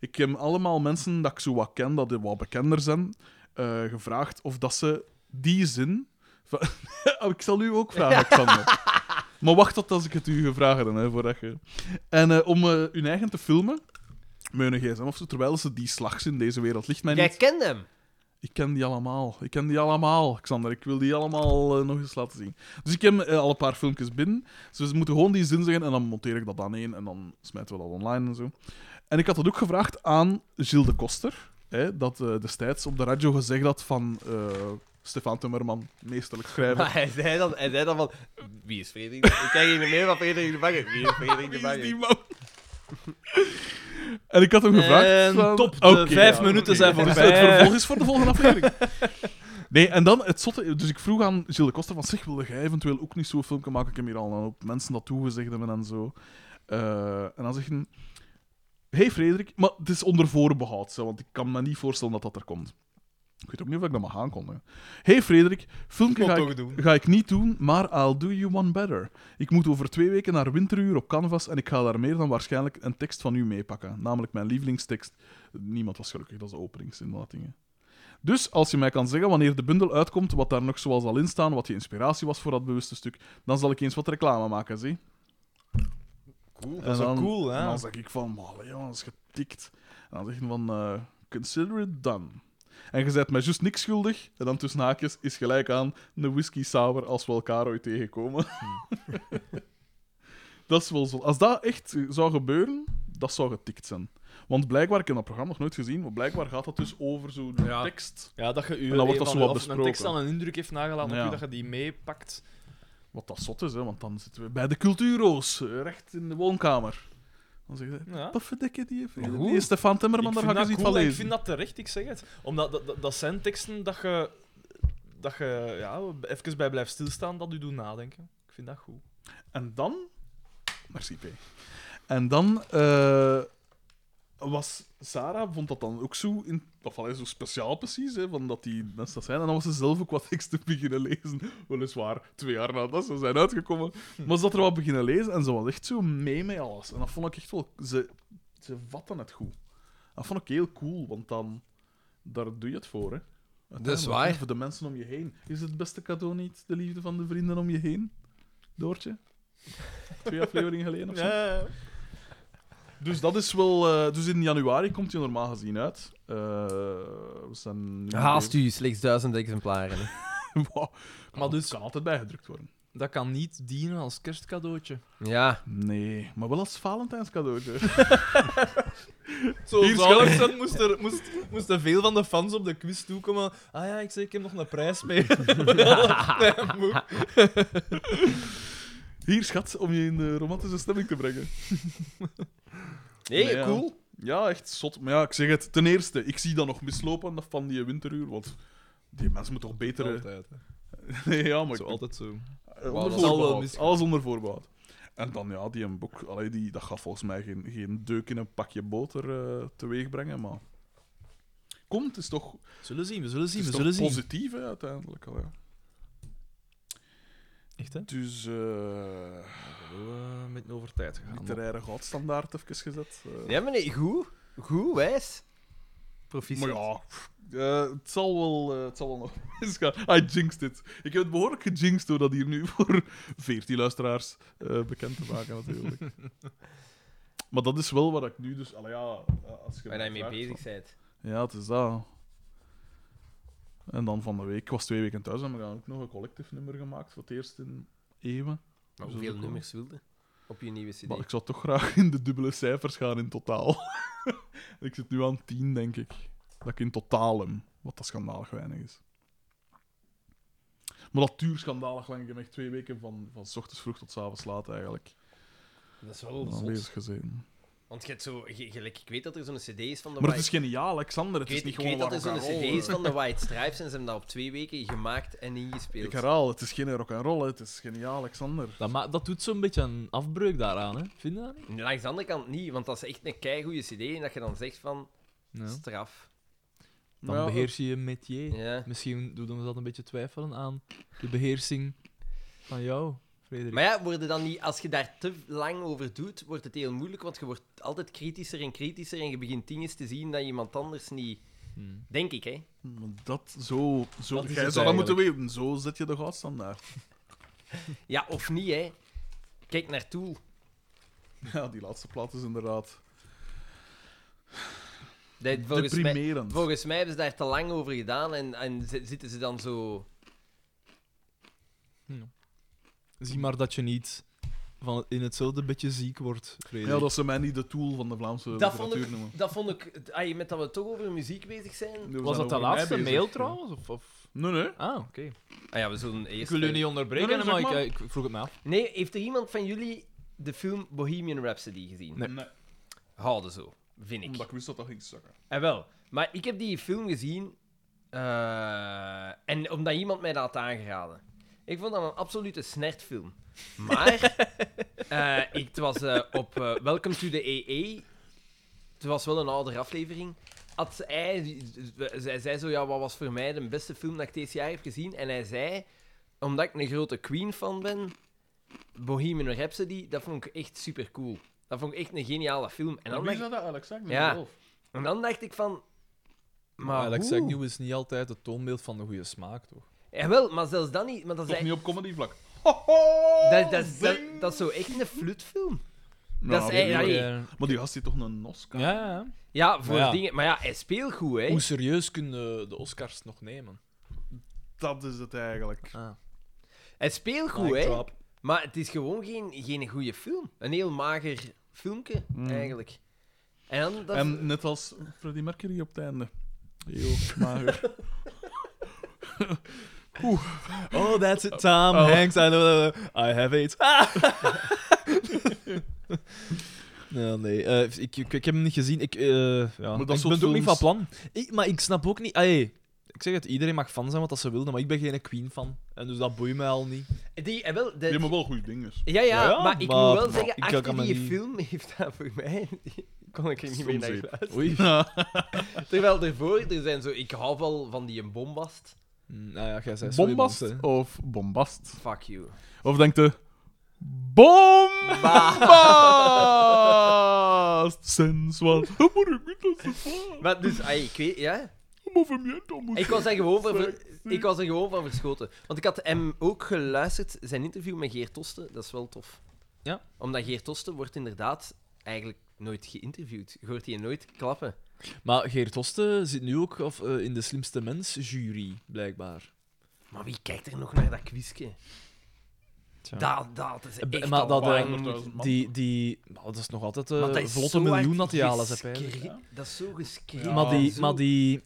Speaker 1: ik heb allemaal mensen dat ik zo wat ken, dat die wat bekender zijn, eh, gevraagd of dat ze die zin... van- <laughs> Oh, ik zal u ook vragen, Xander. maar wacht tot als ik het u ga vragen, dan, hè, voordat je... En eh, om eh, hun eigen te filmen, met hun gsm of zo, terwijl ze die slags in deze wereld ligt mij
Speaker 2: Jij
Speaker 1: niet...
Speaker 2: kent hem.
Speaker 1: Ik ken die allemaal. Ik ken die allemaal, Xander. Ik wil die allemaal eh, nog eens laten zien. Dus ik heb eh, al een paar filmpjes binnen. Dus ze moeten gewoon die zin zeggen en dan monteer ik dat dan in en dan smijten we dat online en zo. En ik had dat ook gevraagd aan Gilles de Koster. Hè, dat eh, destijds op de radio gezegd had van eh Stefan Timmerman, meesterlijk schrijven.
Speaker 2: Maar <laughs> hij zei dan, hij zei dan van... Wie is Frederik? de- Ik krijg hier meer van Frederik de Bakker. Wie is Frederik de
Speaker 1: Wie is die
Speaker 2: Bakker?
Speaker 1: man? <laughs> En ik had hem gevraagd.
Speaker 3: En
Speaker 1: van-
Speaker 3: top, de
Speaker 1: Oké,
Speaker 3: vijf
Speaker 1: ja, oké.
Speaker 3: minuten zijn
Speaker 1: Dus
Speaker 3: voorbij.
Speaker 1: het vervolg is voor de volgende aflevering. <laughs> Nee, en dan het zotte. Dus ik vroeg aan Gilles de Koster: van, zeg, wilde jij eventueel ook niet zo'n filmpje maken? Ik heb hier al een hoop mensen dat toegezegd hebben en zo. Eh, en dan zeggen: Hey Frederik, maar het is onder voorbehoud, hè, want ik kan me niet voorstellen dat dat er komt. Ik weet ook niet of ik dat mag aankondigen. Hey Frederik, filmpje
Speaker 3: Moet
Speaker 1: ga
Speaker 3: toch
Speaker 1: ik,
Speaker 3: doen.
Speaker 1: ga ik niet doen, maar I'll do you one better. Ik moet over twee weken naar winteruur op Canvas en ik ga daar meer dan waarschijnlijk een tekst van u meepakken. Namelijk mijn lievelingstekst. Niemand was gelukkig, dat is de openingszin van dat ding. hè. Dus als je mij kan zeggen wanneer de bundel uitkomt, wat daar nog zoal zal in staan, wat je inspiratie was voor dat bewuste stuk, dan zal ik eens wat reclame maken, zie.
Speaker 3: Cool.
Speaker 1: En
Speaker 3: Dat is ook
Speaker 1: dan-
Speaker 3: cool, hè?
Speaker 1: En dan zeg ik van, man, jongens, getikt. En dan zeg je van, eh, consider it done. En je zet mij juist niks schuldig. En dan tussen haakjes is gelijk aan een whisky sour als we elkaar ooit tegenkomen. <laughs> dat is wel zo. Als dat echt zou gebeuren, dat zou getikt zijn. Want blijkbaar, ik heb dat programma nog nooit gezien, maar blijkbaar gaat dat dus over zo'n
Speaker 3: Ja.
Speaker 1: tekst.
Speaker 3: Ja, dat je u
Speaker 1: En dan wordt dat
Speaker 3: van-
Speaker 1: zo wat
Speaker 3: of een tekst
Speaker 1: besproken.
Speaker 3: dan een indruk heeft nagelaten op
Speaker 1: Ja.
Speaker 3: u, dat je die meepakt.
Speaker 1: Wat dat zot is, hè, want dan zitten we bij de cultuurroos, eh, recht in de woonkamer. Dan zeg je,
Speaker 3: Ja.
Speaker 1: pafferdikke die heeft...
Speaker 3: Maar
Speaker 1: Die
Speaker 3: goed.
Speaker 1: is Stefan Timmerman,
Speaker 3: ik
Speaker 1: daar
Speaker 3: vind
Speaker 1: ga ik eens
Speaker 3: dat
Speaker 1: iets
Speaker 3: cool
Speaker 1: van
Speaker 3: en
Speaker 1: lezen.
Speaker 3: Ik vind dat terecht, ik zeg het. Omdat dat, dat, dat zijn teksten dat je, dat je ja, even bij blijft stilstaan, dat u doet nadenken. Ik vind dat goed.
Speaker 1: En dan. Merci, P. En dan. eh, was Sarah vond dat dan ook zo, in, of allee, zo speciaal precies, hè, van dat die mensen dat zijn. En dan was ze zelf ook wat teksten beginnen lezen. Weliswaar twee jaar nadat ze zijn uitgekomen. Maar ze had er wat beginnen lezen en ze was echt zo mee met alles. En dat vond ik echt wel... Ze, ze vatten het goed. Dat vond ik heel cool, want dan... Daar doe je het voor, hè. Uiteindelijk,
Speaker 2: waar.
Speaker 1: hè, Voor de mensen om je heen. Is het beste cadeau niet de liefde van de vrienden om je heen? Doortje? Twee afleveringen geleden of zo? Dus dat is wel. eh, dus in januari komt hij normaal gezien uit. Eh, we zijn nu
Speaker 2: Haast u, slechts duizend exemplaren. hè.
Speaker 1: <laughs> Wow. Kan,
Speaker 3: Maar dus-
Speaker 1: kan altijd bijgedrukt worden.
Speaker 3: Dat kan niet dienen als kerstcadeautje.
Speaker 2: Ja.
Speaker 1: Nee, maar wel als Valentijns cadeautje.
Speaker 3: Zo
Speaker 1: Hier,
Speaker 3: zalig zijn, moest er, moest, moesten veel van de fans op de quiz toekomen. Ah ja, ik zeg, ik heb nog een prijs mee. <laughs> Mijn boek.
Speaker 1: Hier, schat, om je in de romantische stemming te brengen.
Speaker 2: Nee,
Speaker 1: Nee, ja.
Speaker 2: cool.
Speaker 1: Ja, echt zot. Maar ja, ik zeg het. Ten eerste, ik zie dat nog mislopen dat van die winteruur. Want die mensen moeten toch betere.
Speaker 3: Altijd, hè.
Speaker 1: <laughs> Nee, ja, maar ik-
Speaker 3: Zo altijd zo.
Speaker 1: eh,
Speaker 2: Wauw,
Speaker 1: onder
Speaker 2: dat zal wel
Speaker 1: voorbehoud.
Speaker 3: misgaan.
Speaker 1: Alles onder voorbehoud. En dan ja, die een boek, allee, die, dat gaat volgens mij geen, geen deuk in een pakje boter eh teweeg brengen, maar... Komt, het is toch, het
Speaker 3: Zullen zien, we zullen zien,
Speaker 1: is
Speaker 3: we
Speaker 1: toch
Speaker 3: zullen zien.
Speaker 1: positief hè, uiteindelijk. Al, ja.
Speaker 3: Echt, hè?
Speaker 1: Dus eh
Speaker 3: met over tijd gaan.
Speaker 1: literaire goudstandaard even gezet. eh.
Speaker 2: Ja, maar nee, goed. Goed, wijs.
Speaker 1: Maar ja, pff, eh, het, zal wel, eh, het zal wel nog <laughs> eens gaan. Hij jinxed dit. Ik heb het behoorlijk gejinxed door dat hier nu <laughs> voor 14 luisteraars eh, bekend te maken, natuurlijk. maar dat is wel wat ik nu dus... Allee, ja, eh, als je
Speaker 2: Waar
Speaker 1: mij
Speaker 2: je mee
Speaker 1: vraagt
Speaker 2: bezig bent.
Speaker 1: van- Ja, het is dat. En dan van de week, ik was twee weken thuis en we gaan ook nog een collectief nummer gemaakt. Voor het eerst in eeuwen. Dus
Speaker 2: Maar hoeveel
Speaker 1: dat is ook
Speaker 2: nummers wilde? Op je nieuwe CD.
Speaker 1: wel- Maar ik zou toch graag in de dubbele cijfers gaan in totaal. <laughs> ik zit nu aan 10, denk ik. Dat ik in totaal hem, wat dat schandalig weinig is. Maar dat duurt schandalig lang. Ik heb echt twee weken van, van 's ochtends vroeg tot 's avonds laat eigenlijk.
Speaker 2: Dat is wel
Speaker 1: aan
Speaker 2: zot.
Speaker 1: bezig gezeten.
Speaker 2: Want je hebt zo, ge- gelijk, ik weet dat er zo'n CD is van de
Speaker 1: Maar het
Speaker 2: White-
Speaker 1: is geniaal, Alexander. Het
Speaker 2: Ik weet,
Speaker 1: is niet
Speaker 2: ik weet
Speaker 1: gewoon
Speaker 2: dat er
Speaker 1: rock
Speaker 2: zo'n
Speaker 1: and roll,
Speaker 2: CD is
Speaker 1: hè.
Speaker 2: van de White Stripes en ze hebben dat op twee weken gemaakt en ingespeeld.
Speaker 1: Ik herhaal, het is geen rock and roll, hè. het is geniaal, Alexander.
Speaker 3: Dat, ma- dat doet zo'n beetje een afbreuk daaraan, hè? Vind je dat niet?
Speaker 2: Langs de andere kant niet, want dat is echt een keigoede CD en dat je dan zegt van
Speaker 3: Ja.
Speaker 2: straf.
Speaker 3: Dan
Speaker 1: Ja,
Speaker 3: beheers je je métier.
Speaker 2: Ja.
Speaker 3: Misschien doen we dat een beetje twijfelen aan de beheersing van jou, Frederik.
Speaker 2: Maar ja, worden dan niet, als je daar te lang over doet, wordt het heel moeilijk, want je wordt altijd kritischer en kritischer en je begint dingen te zien dat iemand anders niet.
Speaker 3: Hmm.
Speaker 2: Denk ik, hè?
Speaker 1: hm, Want Dat, zo... zo
Speaker 3: Dat is
Speaker 1: jij
Speaker 3: het
Speaker 1: zou dat moeten
Speaker 3: eigenlijk.
Speaker 1: weten. Zo zet je de goudstandaard.
Speaker 2: Ja, of niet, hè? Kijk naar Tool.
Speaker 1: <laughs> Ja, die laatste plaat is inderdaad
Speaker 2: Dat- Volgens mij,
Speaker 1: deprimerend.
Speaker 2: volgens mij hebben ze daar te lang over gedaan en, en zi- zitten ze dan zo.
Speaker 3: Zie maar dat je niet van in hetzelfde beetje ziek wordt, Frederik.
Speaker 1: Ja, dat ze mij niet de tool van de Vlaamse
Speaker 2: Dat vond
Speaker 1: literatuur
Speaker 2: ik,
Speaker 1: noemen.
Speaker 2: dat vond ik ai, met dat we toch over muziek bezig zijn.
Speaker 1: We
Speaker 3: Was
Speaker 1: zijn
Speaker 3: dat de
Speaker 1: over mij
Speaker 3: laatste
Speaker 1: bezig.
Speaker 3: mail trouwens? Of, of...
Speaker 1: Nee, nee.
Speaker 3: Ah, oké.
Speaker 2: Ah ja, we zullen eerst.
Speaker 3: Ik wil u niet onderbreken,
Speaker 1: Nee, nee,
Speaker 3: maar,
Speaker 1: zeg maar.
Speaker 3: Ik, ik vroeg het me af.
Speaker 2: Nee, heeft er iemand van jullie de film Bohemian Rhapsody gezien?
Speaker 3: Nee.
Speaker 2: Houden zo, vind ik.
Speaker 1: Omdat ik wist dat dat ging zakken.
Speaker 2: En wel, maar ik heb die film gezien eh, en omdat iemand mij dat had aangeraden. Ik vond dat een absolute snertfilm. Maar eh, ik, het was eh, op eh, Welcome to the EE. Het was wel een oudere aflevering. Had hij, zij zei zo, ja, wat was voor mij de beste film dat ik dit jaar heb gezien? En hij zei, omdat ik een grote Queen-fan ben, Bohemian Rhapsody, dat vond ik echt super cool. Dat vond ik echt een geniale film. En dan dacht ik-
Speaker 1: dat Alexander?
Speaker 2: Ja. zelf. en dan dacht ik van... Maar
Speaker 3: Alex
Speaker 2: hoe?
Speaker 3: Agnew is niet altijd het toonbeeld van de goede smaak, toch?
Speaker 2: Ja, wel, maar zelfs dat niet. Maar dat, is
Speaker 1: Toch niet
Speaker 2: eigenlijk-
Speaker 1: op comedy vlak.
Speaker 2: dat, dat, is- dat, dat is zo echt een flutfilm. dat is eigenlijk...
Speaker 1: nee.
Speaker 2: allee,
Speaker 1: Maar die gast heeft toch een Oscar?
Speaker 3: Ja, ja, ja.
Speaker 2: ja, voor
Speaker 3: Maar ja.
Speaker 2: dingen... Maar ja, hij speelt goed, hè.
Speaker 3: Hoe serieus kunnen de Oscars nog nemen?
Speaker 1: Dat is het eigenlijk.
Speaker 3: Ah,
Speaker 2: Hij speelt goed, hè. Maar het is gewoon geen, geen goede film. Een heel mager filmpje,
Speaker 3: Hmm.
Speaker 2: eigenlijk. En dan... Dat
Speaker 3: Ehm,
Speaker 1: En net als Freddie Mercury op het einde.
Speaker 3: <laughs>
Speaker 1: Heel
Speaker 2: <laughs>
Speaker 1: mager.
Speaker 3: Oh, that's it, Tom Hanks. I, know, I have AIDS. Ah! <laughs> Ja, nee, eh, ik, ik, ik heb hem niet gezien. Ik, eh, ja.
Speaker 1: dat
Speaker 3: ik ben het
Speaker 1: soort
Speaker 3: ook niet van
Speaker 1: films-
Speaker 3: plan. Ik, maar ik snap ook niet. Allee, ik zeg het, iedereen mag fan zijn wat dat ze wilden, maar ik ben geen Queen-fan. En dus dat boeit mij al niet.
Speaker 2: Die, eh, wel, dat-
Speaker 1: Die hebben wel goede dingen. dus.
Speaker 2: ja, ja,
Speaker 3: Ja, ja,
Speaker 2: maar ik
Speaker 3: maar-
Speaker 2: moet wel
Speaker 3: maar
Speaker 2: zeggen,
Speaker 3: ik
Speaker 2: achter
Speaker 3: kan me
Speaker 2: die
Speaker 3: niet-
Speaker 2: film <laughs> heeft dat voor mij... kon ik er niet meer naar
Speaker 1: Stomzeep.
Speaker 2: geluisterd.
Speaker 3: Oei.
Speaker 2: Terwijl ervoor, er zijn zo... Ik hou wel van die bombast.
Speaker 3: Mm, Nou ja, jij zei sorry,
Speaker 1: Bombast
Speaker 3: mensen.
Speaker 1: of bombast?
Speaker 2: Fuck you.
Speaker 1: Of denkt de... Bombast!
Speaker 3: <laughs>
Speaker 1: Sensual. Dat moet ik niet, dat is een
Speaker 2: Maar dus, ai, ik weet... Ja?
Speaker 1: movimiento. moet
Speaker 2: Ik was, er gewoon van ver- ik was er gewoon van verschoten. Want ik had hem ook geluisterd, zijn interview met Geert Tosten. Dat is wel tof.
Speaker 3: Ja.
Speaker 2: Omdat Geert Tosten wordt inderdaad eigenlijk nooit geïnterviewd. Je hoort die nooit klappen.
Speaker 3: Maar Geert Hoste zit nu ook of, eh, in de slimste mens-jury, blijkbaar.
Speaker 2: Maar wie kijkt er nog naar dat quizje?
Speaker 3: Tja.
Speaker 2: Dat, dat is
Speaker 3: Eh,
Speaker 2: echt
Speaker 3: maar
Speaker 2: al
Speaker 3: dat, eh,
Speaker 2: lang.
Speaker 1: honderdduizend man.
Speaker 3: Die, die, nou, dat is nog altijd eh,
Speaker 2: Want dat is
Speaker 3: vlotte
Speaker 2: zo
Speaker 3: miljoen
Speaker 2: hard
Speaker 3: dat hij al eens heeft. hè.
Speaker 2: gescre- Dat is zo geschreven.
Speaker 1: Ja,
Speaker 3: maar die,
Speaker 2: zo.
Speaker 3: maar die,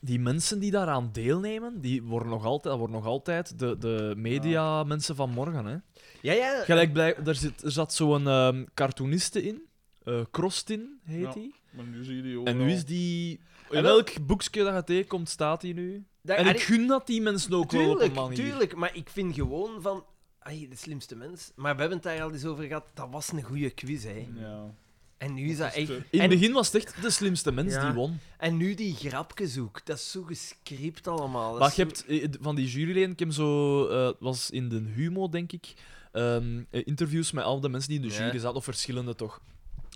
Speaker 3: die mensen die daaraan deelnemen, die worden nog altijd, dat worden nog altijd de, de media-mensen van morgen. Hè.
Speaker 2: Ja, ja.
Speaker 3: Gelijk, blij, er, zit, er zat zo'n ehm cartooniste in. eh Krostin heet
Speaker 1: Ja,
Speaker 3: hij.
Speaker 1: Maar nu zie je die
Speaker 3: En nu is die...
Speaker 2: Oh, En
Speaker 3: In
Speaker 2: wel-
Speaker 3: elk boekje dat je tegenkomt, staat hij nu.
Speaker 2: Daar-
Speaker 3: En
Speaker 2: en
Speaker 3: ik gun dat die mensen ook wel op een
Speaker 2: Tuurlijk,
Speaker 3: manier.
Speaker 2: tuurlijk, maar ik vind gewoon van... ai, de slimste mens. Maar we hebben het daar al eens over gehad. Dat was een goede quiz, hè.
Speaker 1: Ja.
Speaker 2: En nu is dat echt... <laughs>
Speaker 1: te-
Speaker 2: en-
Speaker 3: In het begin was het echt de slimste mens
Speaker 2: Ja.
Speaker 3: die won.
Speaker 2: En nu die grapjes ook. Dat is zo gescript allemaal. Dat
Speaker 3: Maar
Speaker 2: is
Speaker 3: je
Speaker 2: zo-
Speaker 3: hebt eh, d- van die juryleden, ik heb zo, eh, was in de Humo, denk ik, ehm, eh, interviews met al de mensen die in de
Speaker 2: Ja.
Speaker 3: jury zaten, of verschillende toch.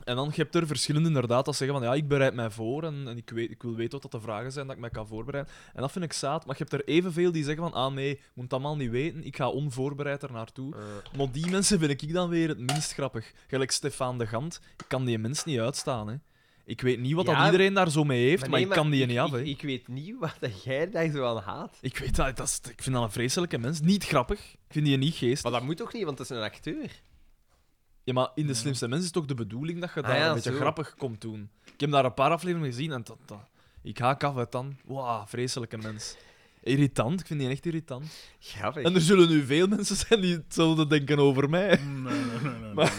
Speaker 3: En dan je hebt er verschillende inderdaad dat zeggen van ja, ik bereid mij voor en, en ik, weet, ik wil weten wat dat de vragen zijn, dat ik mij kan voorbereiden. En dat vind ik zaad, maar je hebt er evenveel die zeggen van ah nee, ik moet dat allemaal niet weten, ik ga onvoorbereid er naartoe.
Speaker 2: Eh,
Speaker 3: Maar die mensen vind ik dan weer het minst grappig. Gelijk Stefan de Gant, ik kan die mens niet uitstaan. Hè. Ik weet niet wat
Speaker 2: Ja,
Speaker 3: dat iedereen daar zo mee heeft,
Speaker 2: nee,
Speaker 3: maar, ik kan die niet af. hè.
Speaker 2: Ik, ik weet niet wat dat jij daar zo aan haat.
Speaker 3: Ik weet dat, dat is, ik vind dat een vreselijke mens. Niet grappig. Ik vind die niet geest.
Speaker 2: Maar dat moet toch niet, want dat is een acteur.
Speaker 3: Ja, maar in de slimste mens is toch de bedoeling dat je daar
Speaker 2: Ah ja,
Speaker 3: een beetje
Speaker 2: zo.
Speaker 3: grappig komt doen. Ik heb daar een paar afleveringen gezien en dat, dat, ik haak af uit dan. Wauw, vreselijke mens. Irritant, ik vind die echt irritant.
Speaker 2: Grappig.
Speaker 3: En dus- er zullen nu veel mensen zijn die hetzelfde denken over mij.
Speaker 2: Mm.
Speaker 1: Nee, nee, nee, nee.
Speaker 3: Maar-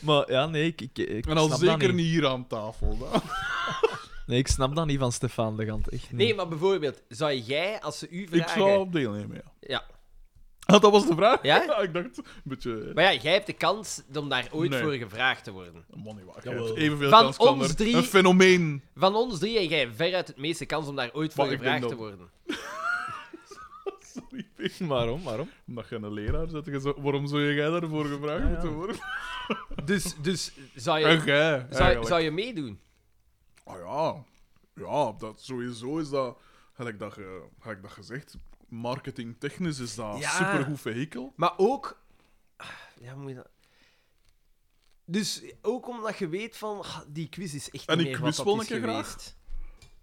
Speaker 3: Maar ja, nee, ik, ik, ik
Speaker 1: en al
Speaker 3: snap
Speaker 1: zeker
Speaker 3: dat
Speaker 1: niet. hier aan tafel. Dan.
Speaker 3: Nee, ik snap dat niet van Stefan de Gant, echt niet.
Speaker 2: Nee, maar bijvoorbeeld, zou jij, als ze u
Speaker 1: Ik
Speaker 2: vragen...
Speaker 1: zou op deelnemen, ja.
Speaker 2: Ja.
Speaker 1: Ah, dat was de vraag? <laughs>
Speaker 2: Ja?
Speaker 1: ik dacht, een beetje...
Speaker 2: Maar ja, jij hebt de kans om daar ooit
Speaker 1: Nee.
Speaker 2: voor gevraagd te worden.
Speaker 1: Man, niet waar.
Speaker 3: Jawel.
Speaker 1: Je hebt eh, Evenveel
Speaker 2: Van
Speaker 1: kans kan
Speaker 2: ons
Speaker 1: er.
Speaker 2: drie-
Speaker 1: Een fenomeen. <laughs>
Speaker 2: Van ons drie heb jij veruit het meeste kans om daar ooit voor
Speaker 1: Maar ik ben
Speaker 2: gevraagd te
Speaker 1: dat-
Speaker 2: worden.
Speaker 1: Sorry, Peter.
Speaker 3: Waarom, waarom?
Speaker 1: Omdat je een leraar bent, je zo- waarom zou jij daarvoor gevraagd moeten worden?
Speaker 2: Dus, dus
Speaker 3: <laughs>
Speaker 2: zou,
Speaker 1: En
Speaker 2: je,
Speaker 1: jij,
Speaker 2: zou,
Speaker 1: eigenlijk.
Speaker 2: zou je meedoen?
Speaker 1: Ah ja, ja dat, sowieso is dat, gelijk dat, ge, gelijk dat gezegd, marketingtechnisch is dat
Speaker 2: Ja.
Speaker 1: supergoed vehikel.
Speaker 2: Maar ook... Ah, Ja, hoe moet je dat... Dus ook omdat je weet van, ah, die quiz is echt
Speaker 1: En
Speaker 2: niet
Speaker 1: ik
Speaker 2: meer wat
Speaker 1: quiz
Speaker 2: dat
Speaker 1: wel
Speaker 2: is
Speaker 1: een keer graag.
Speaker 2: geweest.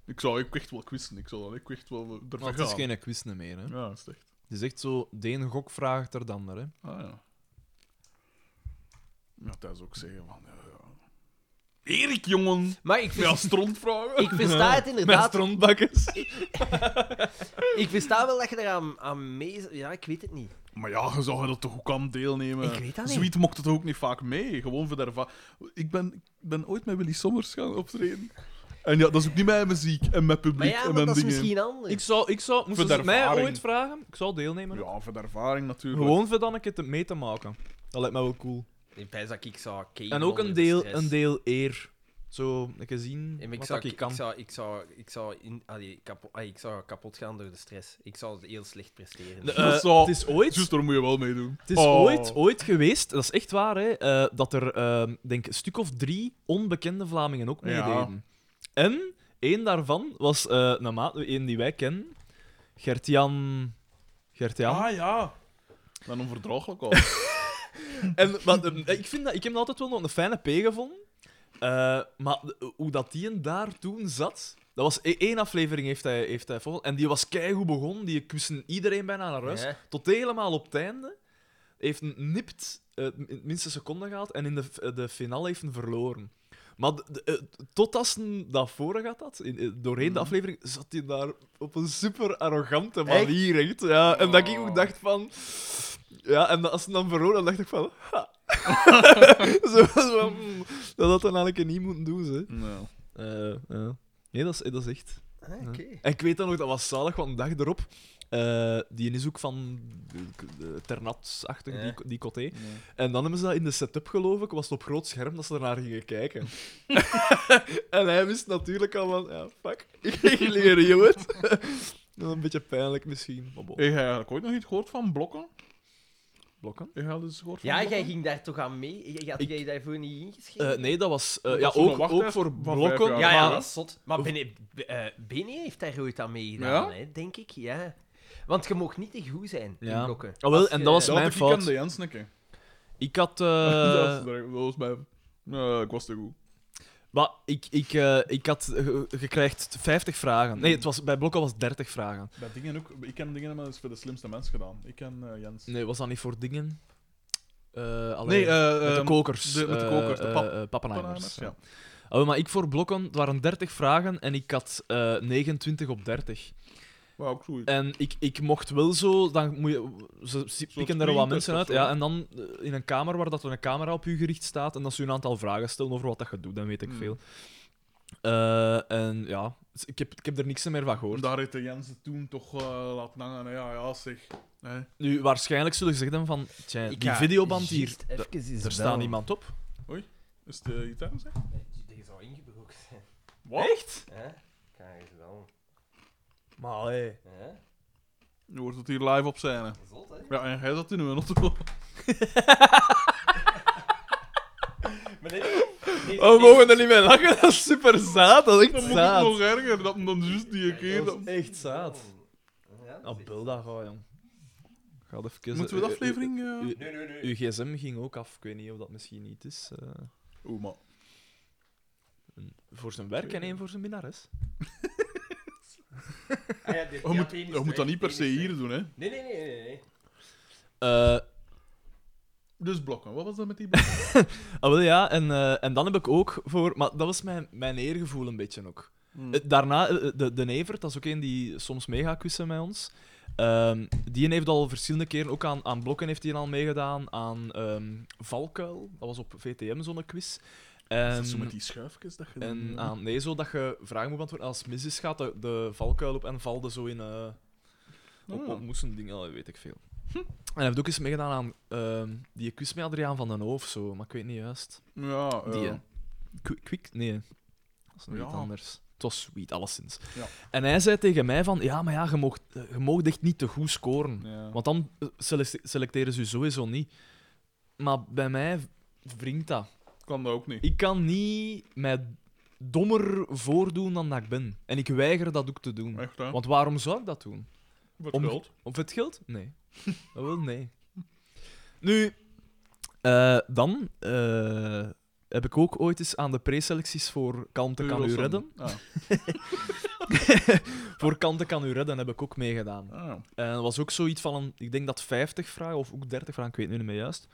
Speaker 1: Ik zou ik echt wel quizzen, ik zou dan ook echt wel ervan
Speaker 3: Want
Speaker 1: gaan.
Speaker 3: het is geen quiz meer, hè.
Speaker 1: Ja, dat is echt.
Speaker 3: Het is echt zo, de ene gok vraagt er dan naar, hè.
Speaker 1: Ah ja. Ja, dat is ook zeggen van, ja, ja. Erik, jongen!
Speaker 2: Maar ik, vers-
Speaker 1: Ja, strontvragen!
Speaker 2: ik versta het
Speaker 3: Met
Speaker 2: inderdaad.
Speaker 3: <laughs> strontbakkers.
Speaker 2: Ik versta wel dat je eraan aan mee... Ja, ik weet het niet.
Speaker 1: Maar ja, je zou dat toch ook aan deelnemen.
Speaker 2: Ik weet dat niet.
Speaker 1: Sweet mocht het ook niet vaak mee. Gewoon voor de erva- Ik ben, ik ben ooit met Willy Sommers gaan optreden. En ja, dat is ook niet mijn muziek en mijn
Speaker 2: Maar
Speaker 1: publiek
Speaker 2: ja,
Speaker 1: en
Speaker 2: maar
Speaker 1: mijn
Speaker 2: dat is
Speaker 1: dingen.
Speaker 2: misschien anders.
Speaker 3: Ik zou, ik zou, moesten
Speaker 1: de
Speaker 3: ze het mij
Speaker 1: ervaring.
Speaker 3: ooit vragen? Ik zou deelnemen.
Speaker 1: Ja, voor de ervaring natuurlijk.
Speaker 3: Gewoon voor dan een keer te- mee te maken. Dat lijkt mij wel cool.
Speaker 2: Ik pijs dat ik zou cave
Speaker 3: En ook
Speaker 2: onder
Speaker 3: een
Speaker 2: de
Speaker 3: deel,
Speaker 2: stress.
Speaker 3: een deel eer. Zo, een keer zien
Speaker 2: Ja, maar
Speaker 3: wat
Speaker 2: ik, zou,
Speaker 3: dat ik
Speaker 2: ik,
Speaker 3: kan.
Speaker 2: zou, ik zou, ik zou, in, allee, kapo- allee, ik zou kapot gaan door de stress. Ik zou heel slecht presteren.
Speaker 3: De-
Speaker 1: Dat
Speaker 3: eh,
Speaker 1: zou-
Speaker 3: het is ooit...
Speaker 1: Juist, daar moet je wel mee doen.
Speaker 3: Het is ooit, ooit geweest, dat is echt waar, hè, eh, dat er ehm, denk, een stuk of drie onbekende Vlamingen ook
Speaker 1: Ja.
Speaker 3: meededen. En één daarvan was eh een maat, één die wij kennen, Gert-Jan. Gert-Jan.
Speaker 1: Ah ja. Dan onverdraaglijk
Speaker 2: <laughs>
Speaker 1: al.
Speaker 3: <laughs> En, maar, ehm, ik, vind dat, ik heb dat altijd wel nog een fijne P gevonden. Eh, maar de- hoe dat die en daar toen zat... Dat was e- één aflevering heeft hij, heeft hij volgen. En die was keigoed begonnen. Die kussen iedereen bijna naar huis.
Speaker 2: Ja.
Speaker 3: Tot helemaal op het einde. Heeft een nipt eh, in het minste seconde gehaald. En in de, f- de finale heeft een verloren. Maar de- de- eh, tot als een dat voren gaat had, in, eh, doorheen de aflevering, zat hij daar op een super arrogante manier. Echt? Ja, en dat ik ook dacht van... Ja, en als ze dan verloren, dan dacht ik van... ha. <laughs> zo, zo, mm, dat had dan eigenlijk niet moeten doen, ze.
Speaker 1: nou.
Speaker 3: Eh, ja. Nee, dat is, dat is echt...
Speaker 2: Ah, Oké.
Speaker 3: En ik weet dan ook, dat was zalig, want een dag erop... eh, die is ook van eh, Ternat-achtig,
Speaker 2: Ja.
Speaker 3: die, die coté. En dan hebben ze dat in de setup, geloof ik, was het op groot scherm dat ze ernaar gingen
Speaker 2: <laughs>
Speaker 3: kijken. en hij wist natuurlijk al van, ja, fuck, <laughs> ik leer je <laughs> het. een beetje pijnlijk misschien, Eh, maar bon.
Speaker 1: Heb jij eigenlijk ooit nog iets gehoord van blokken?
Speaker 3: Blokken?
Speaker 1: Heb jij al eens gehoord van
Speaker 2: Ja,
Speaker 1: blokken?
Speaker 2: jij ging daar toch aan mee? Je- Had
Speaker 3: Ik-
Speaker 2: jij daarvoor niet ingeschreven?
Speaker 3: Eh, nee, dat was... eh,
Speaker 1: Dat
Speaker 3: ja,
Speaker 1: was voor
Speaker 3: ook,
Speaker 1: een wachttijd
Speaker 3: ook voor
Speaker 1: van
Speaker 3: blokken.
Speaker 1: vijf
Speaker 2: Ja,
Speaker 1: jaar.
Speaker 2: ja,
Speaker 3: maar-
Speaker 2: dat is zot. Maar Benny, eh, Benny heeft daar ooit aan meegedaan,
Speaker 1: Ja?
Speaker 2: hè, denk ik. Ja. Want je mag niet te goed zijn in
Speaker 3: Ja.
Speaker 2: blokken.
Speaker 3: Ah, wel,
Speaker 2: Als
Speaker 3: en
Speaker 2: je-
Speaker 3: dat was-
Speaker 1: Dat
Speaker 3: mijn
Speaker 1: had ik
Speaker 3: fout.
Speaker 1: aan de Jens
Speaker 3: <laughs>
Speaker 1: een
Speaker 3: Eh,
Speaker 1: keer.
Speaker 3: Ik had... eh, <laughs>
Speaker 1: Dat is- dat was mijn... Nee, ik was te goed.
Speaker 3: Maar ik, ik, eh, ik had gekregen 50 vragen. Nee, het was, bij blokken was 30 vragen.
Speaker 1: Bij dingen ook... Ik ken dingen maar dat is voor de slimste mens gedaan. Ik ken eh, Jens.
Speaker 3: Nee, was dat niet voor dingen? Eh, allee,
Speaker 1: Nee, eh,
Speaker 3: met de
Speaker 1: ehm,
Speaker 3: kokers.
Speaker 1: de- met de kokers, de
Speaker 3: eh,
Speaker 1: pap-
Speaker 3: eh, eh, pappenheimers.
Speaker 1: Panamers, ja.
Speaker 3: Oh, maar ik voor blokken, het waren 30 vragen en ik had eh, 29 op 30.
Speaker 1: Maar ook zoiets.
Speaker 3: En ik, ik mocht wel zo, dan moet je, ze ze pikken er wat
Speaker 1: screentest
Speaker 3: mensen
Speaker 1: of
Speaker 3: uit.
Speaker 1: zo.
Speaker 3: Ja, en dan eh, in een kamer waar dat er een camera op u gericht staat en dat ze u een aantal vragen stellen over wat dat je doet, dan weet ik
Speaker 1: Hmm.
Speaker 3: veel. Eh, en ja, dus ik heb, ik heb er niks meer van gehoord.
Speaker 1: Daar heeft de Jensen toen toch eh, laten hangen. hè. Ja, ja, zeg. Hè?
Speaker 3: Nu, waarschijnlijk zullen ze zeggen van, tja,
Speaker 2: Ik
Speaker 3: die
Speaker 2: ga
Speaker 3: videoband hier,
Speaker 2: juist even eens
Speaker 3: daar staat
Speaker 2: bellen.
Speaker 3: niemand op.
Speaker 1: Is het eh, gitaar, zeg?
Speaker 2: Die zou ingebroken zijn.
Speaker 1: Wat?
Speaker 2: Hè? Ik ga eens wel.
Speaker 3: Maar hé.
Speaker 2: Hè?
Speaker 1: Je hoort het hier live op scène.
Speaker 2: Zot, hè?
Speaker 1: Ja, en jij zat in een <laughs> auto.
Speaker 2: Maar dit... dit-
Speaker 3: Oh, we
Speaker 2: dit-
Speaker 3: mogen er niet mee lachen, dat is super zaad, dat is
Speaker 1: Dan
Speaker 3: echt
Speaker 1: moet het
Speaker 3: zaad.
Speaker 1: nog erger dan, dan juist die keer.
Speaker 3: Dat
Speaker 1: dat-
Speaker 3: is echt
Speaker 2: Oh,
Speaker 3: zaad.
Speaker 2: Ja, dat is
Speaker 3: Ah,
Speaker 2: echt-
Speaker 3: bel dat gewoon, jong. Ga het even...
Speaker 1: Moeten we de
Speaker 3: eh,
Speaker 1: aflevering... eh,
Speaker 3: u-
Speaker 2: Nee, nee, nee.
Speaker 3: Uw gsm ging ook af, ik weet niet of dat misschien niet is. eh,
Speaker 1: Oeh, Oh, maar...
Speaker 3: voor zijn werk en één voor zijn minnares.
Speaker 2: Ah, ja,
Speaker 1: Je
Speaker 2: dit- ja,
Speaker 1: moet,
Speaker 2: het een is
Speaker 1: je moet dat
Speaker 2: weg,
Speaker 1: niet per
Speaker 2: het
Speaker 1: se
Speaker 2: een is
Speaker 1: hier
Speaker 2: weg.
Speaker 1: doen, hè.
Speaker 2: Nee, nee, nee, nee, nee.
Speaker 3: Eh,
Speaker 1: Dus blokken. Wat was dat met die blokken?
Speaker 3: Ah, wel ja, en, eh, en dan heb ik ook voor. Maar dat was mijn, mijn eergevoel een beetje ook. Eh, Daarna, eh, de, de Evert, dat is ook een die soms mee gaat kussen met ons. Ehm, die heeft al verschillende keren ook aan, aan blokken heeft hij al meegedaan. Aan ehm, Valkuil, dat was op VTM zo'n quiz.
Speaker 1: Is
Speaker 3: En,
Speaker 1: dat zo met die schuifjes dat je...
Speaker 3: Ehm,
Speaker 1: eh,
Speaker 3: en
Speaker 1: dan-
Speaker 3: aan nee, zo dat je vragen moet beantwoorden. Als mis is, gaat de, de valkuil op en valde zo in. eh, op,
Speaker 1: Ah. Hm.
Speaker 3: op moesten dingen, allee, weet ik veel. En hij heeft ook eens meegedaan aan ehm, die quiz met Adriaan van den Hoof, zo, maar ik weet niet juist.
Speaker 1: Ja, Oh, ja.
Speaker 3: Die, eh, hè. Qu- Quick? Nee. Dat is nog
Speaker 1: Ja.
Speaker 3: iets anders. Het was sweet, alleszins.
Speaker 1: Ja.
Speaker 3: En hij zei tegen mij van, ja, maar ja, je moogt, eh, je moogt echt niet te goed scoren.
Speaker 1: Ja.
Speaker 3: Want dan eh, selec- selecteren ze je sowieso niet. Maar bij mij wringt dat.
Speaker 1: kan dat ook niet.
Speaker 3: Ik kan niet mij dommer voordoen dan dat ik ben. En ik weiger dat ook te doen.
Speaker 1: Echt, hè.
Speaker 3: Want waarom zou ik dat doen?
Speaker 1: Wat
Speaker 3: om-
Speaker 1: geld.
Speaker 3: Of het geld? Nee. <laughs> Dat wil nee. Nu, eh, dan eh, heb ik ook ooit eens aan de preselecties voor Kalmte kan u
Speaker 1: Eurosom.
Speaker 3: redden.
Speaker 1: Ah,
Speaker 3: Voor Kalmte kan u redden heb ik ook meegedaan.
Speaker 1: ah.
Speaker 3: En dat was ook zoiets van, een, ik denk dat 50 vragen of ook 30 vragen, ik weet nu niet meer juist.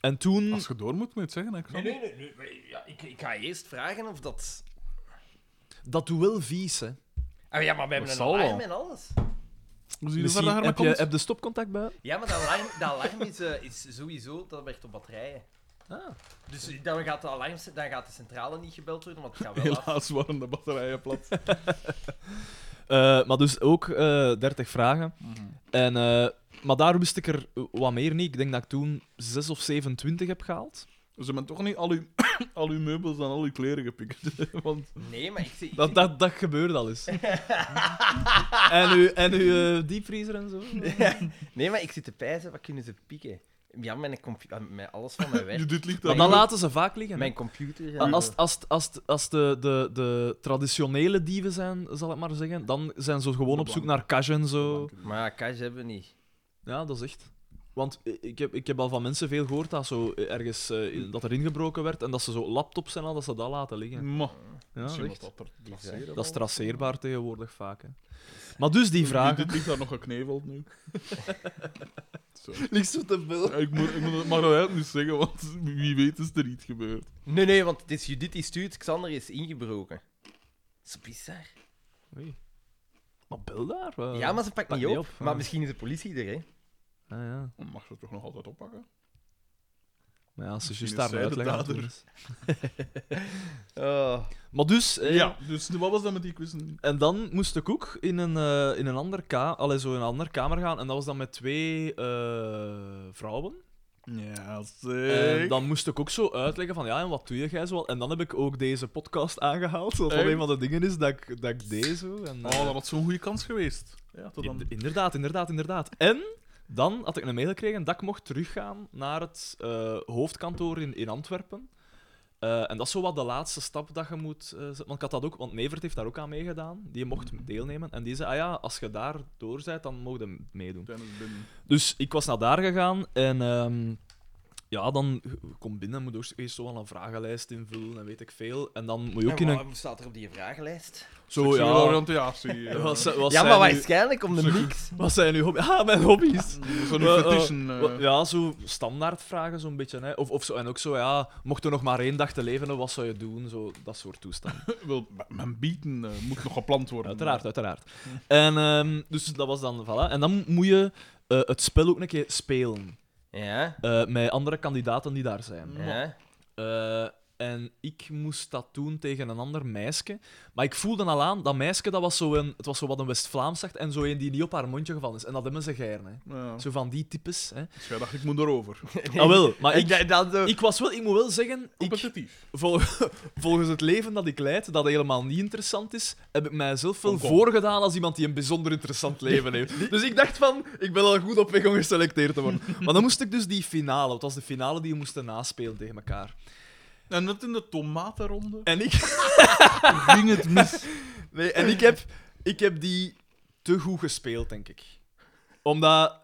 Speaker 3: En toen.
Speaker 1: Als je door moet, moet je het zeggen. Hè,
Speaker 2: Nee,
Speaker 1: Xander.
Speaker 2: nee, nee. nee, maar Ja, ik, ik ga eerst vragen of dat...
Speaker 3: Dat doe wel vies, hè?
Speaker 2: Ah, ja, maar we hebben
Speaker 1: Dat
Speaker 2: een
Speaker 1: zal wel.
Speaker 2: alarm en alles.
Speaker 1: We zien
Speaker 3: Misschien
Speaker 1: verder
Speaker 3: heb, je,
Speaker 1: komt.
Speaker 3: heb de stopcontact bij?
Speaker 2: Ja, maar dat alarm, dat alarm is, eh, is sowieso... Dat werkt op batterijen.
Speaker 3: Ah.
Speaker 2: Dus dan gaat, de alarm, dan gaat de centrale niet gebeld worden, want het gaat wel
Speaker 1: <laughs>
Speaker 2: af.
Speaker 1: Helaas waren de batterijen plat.
Speaker 3: Eh, maar dus ook eh 30 vragen.
Speaker 1: Mhm.
Speaker 3: En, eh, maar daar wist ik er wat meer niet. Ik denk dat ik toen 6 of 27 heb gehaald.
Speaker 1: Ze hebben toch niet al uw, <coughs> al uw meubels en al uw kleren gepikt. <laughs> hè, Want
Speaker 2: Nee, maar ik zie...
Speaker 3: Dat, dat, dat gebeurde al eens. en uw, en uw eh, diepvriezer en zo.
Speaker 2: Nee, maar ik zit te pijzen, wat kunnen ze pieken? Ja, mijn compu- ah, mijn, alles van
Speaker 3: <laughs>
Speaker 2: mijn werk.
Speaker 1: dit ligt daar.
Speaker 3: Maar dat
Speaker 1: niet op.
Speaker 3: laten ze vaak liggen. hè.
Speaker 2: Mijn computer. eh, en-
Speaker 3: Ah, Als, als, als, als de, de, de traditionele dieven zijn, zal ik maar zeggen, dan zijn ze gewoon op zoek naar cash en zo.
Speaker 2: Maar ja, cash hebben we niet.
Speaker 3: Ja, dat is echt. Want i- ik heb, ik heb al van mensen veel gehoord dat, zo ergens, eh, in- dat er ingebroken werd en dat ze zo laptops en al, dat ze dat laten liggen.
Speaker 1: Maar,
Speaker 3: Ja,
Speaker 1: Mm. misschien
Speaker 3: echt.
Speaker 1: dat er
Speaker 2: traceerbaar
Speaker 3: Dat is traceerbaar tegenwoordig vaak. Hè. Maar dus die vragen.
Speaker 1: Dit ligt daar nog gekneveld
Speaker 3: <laughs>
Speaker 1: nu. Zo.
Speaker 3: Niks zo te veel.
Speaker 1: Ja, Ik moet, ik moet het maar uit niet zeggen, want wie weet is er iets gebeurd.
Speaker 2: Nee, nee, want het is Judith die stuurt, Xander is ingebroken. Dat is bizar.
Speaker 3: Maar bel daar. eh.
Speaker 2: ja, maar ze pakt
Speaker 3: pak
Speaker 2: niet
Speaker 3: niet
Speaker 2: op.
Speaker 3: op, eh.
Speaker 2: maar
Speaker 3: ja.
Speaker 2: misschien is de politie er, hè?
Speaker 3: Ah, ja.
Speaker 1: Dan mag ze toch nog altijd oppakken?
Speaker 3: Maar ja, ze is
Speaker 1: Misschien
Speaker 3: juist
Speaker 1: is
Speaker 3: daar
Speaker 1: zij
Speaker 3: een
Speaker 1: de
Speaker 3: uitleg aan het
Speaker 1: dader.
Speaker 3: doen is. Maar dus, eh,
Speaker 1: Ja, dus wat was dat met die quizzen?
Speaker 3: En dan moest de koek in een, eh, in een andere ka allee, zo in een andere kamer gaan. En dat was dan met twee eh, vrouwen.
Speaker 1: Ja, eh,
Speaker 3: En
Speaker 1: zeker.
Speaker 3: dan moest ik ook zo uitleggen van, ja, en wat doe je, jij zoal? En dan heb ik ook deze podcast aangehaald. Wat
Speaker 1: Echt?
Speaker 3: een van de dingen is dat ik, dat ik deed zo. En, eh,
Speaker 1: Oh, dat was zo'n goede kans geweest. Ja, tot dan.
Speaker 3: ind- inderdaad, inderdaad, inderdaad. En dan had ik een mail gekregen dat ik mocht teruggaan naar het eh, hoofdkantoor in, in Antwerpen. Eh, en dat is zo wat de laatste stap dat je moet eh, zetten. Want ik had dat ook, want Nevert heeft daar ook aan meegedaan. Die mocht deelnemen. En die zei, ah ja, als je daar door bent, dan mogen je meedoen.
Speaker 1: Tijdens binnen.
Speaker 3: Dus ik was naar daar gegaan en ehm, ja, dan kom binnen, moet ook eerst zo wel een vragenlijst invullen en weet ik veel. En dan moet je ook in een.
Speaker 2: Waarom staat er op die vragenlijst?
Speaker 3: Zo
Speaker 1: Seksuele
Speaker 3: ja.
Speaker 1: oriëntatie. <laughs> eh.
Speaker 3: Wat, zijn- wat
Speaker 2: ja,
Speaker 3: zijn
Speaker 2: maar
Speaker 3: uw-
Speaker 2: waarschijnlijk om de mix.
Speaker 3: wat zijn uw hobby's? <laughs> Ah, mijn hobby's.
Speaker 1: Zo'n
Speaker 3: Eh, eh,
Speaker 1: petition.
Speaker 3: Wa- Ja, zo standaardvragen zo'n beetje. Hè. Of, of zo, en ook zo, ja, mocht er nog maar één dag te leven, hebben, wat zou je doen? Zo, dat soort toestanden.
Speaker 1: Wel, mijn bieten eh, moet nog gepland worden.
Speaker 3: <laughs> Uiteraard, uiteraard. <laughs> En ehm, dus dat was dan, voilà. En dan moet je eh, het spel ook een keer spelen
Speaker 2: Ja,
Speaker 3: <laughs> eh, met andere kandidaten die daar zijn.
Speaker 2: ja.
Speaker 3: Eh, En ik moest dat doen tegen een ander meisje. Maar ik voelde al aan, dat meisje dat was zo een, het was zo wat een West-Vlaams zegt en zo een die niet op haar mondje gevallen is. En dat hebben ze geiren. Hè.
Speaker 1: Ja.
Speaker 3: Zo van die types. <laughs> Hè.
Speaker 1: Dus jij dacht, ik moet <laughs> erover.
Speaker 3: Ah, wel, maar
Speaker 2: En da-
Speaker 3: ik,
Speaker 2: dan zo...
Speaker 3: ik, was wel, ik moet wel zeggen, ik,
Speaker 1: Competitief.
Speaker 3: Vol- <laughs> volgens het leven dat ik leid, dat helemaal niet interessant is, heb ik mijzelf wel
Speaker 1: Kom, kom.
Speaker 3: voorgedaan als iemand die een
Speaker 1: <laughs>
Speaker 3: bijzonder interessant leven heeft. Dus ik dacht van, ik ben al goed op weg om geselecteerd te worden. Maar dan moest ik dus die finale, het was de finale die we moesten naspelen tegen elkaar.
Speaker 1: En net in de <laughs> tomatenronde
Speaker 3: En ik, <laughs>
Speaker 1: ging het mis.
Speaker 3: nee, en ik, heb, ik heb die te goed gespeeld, denk ik. Omdat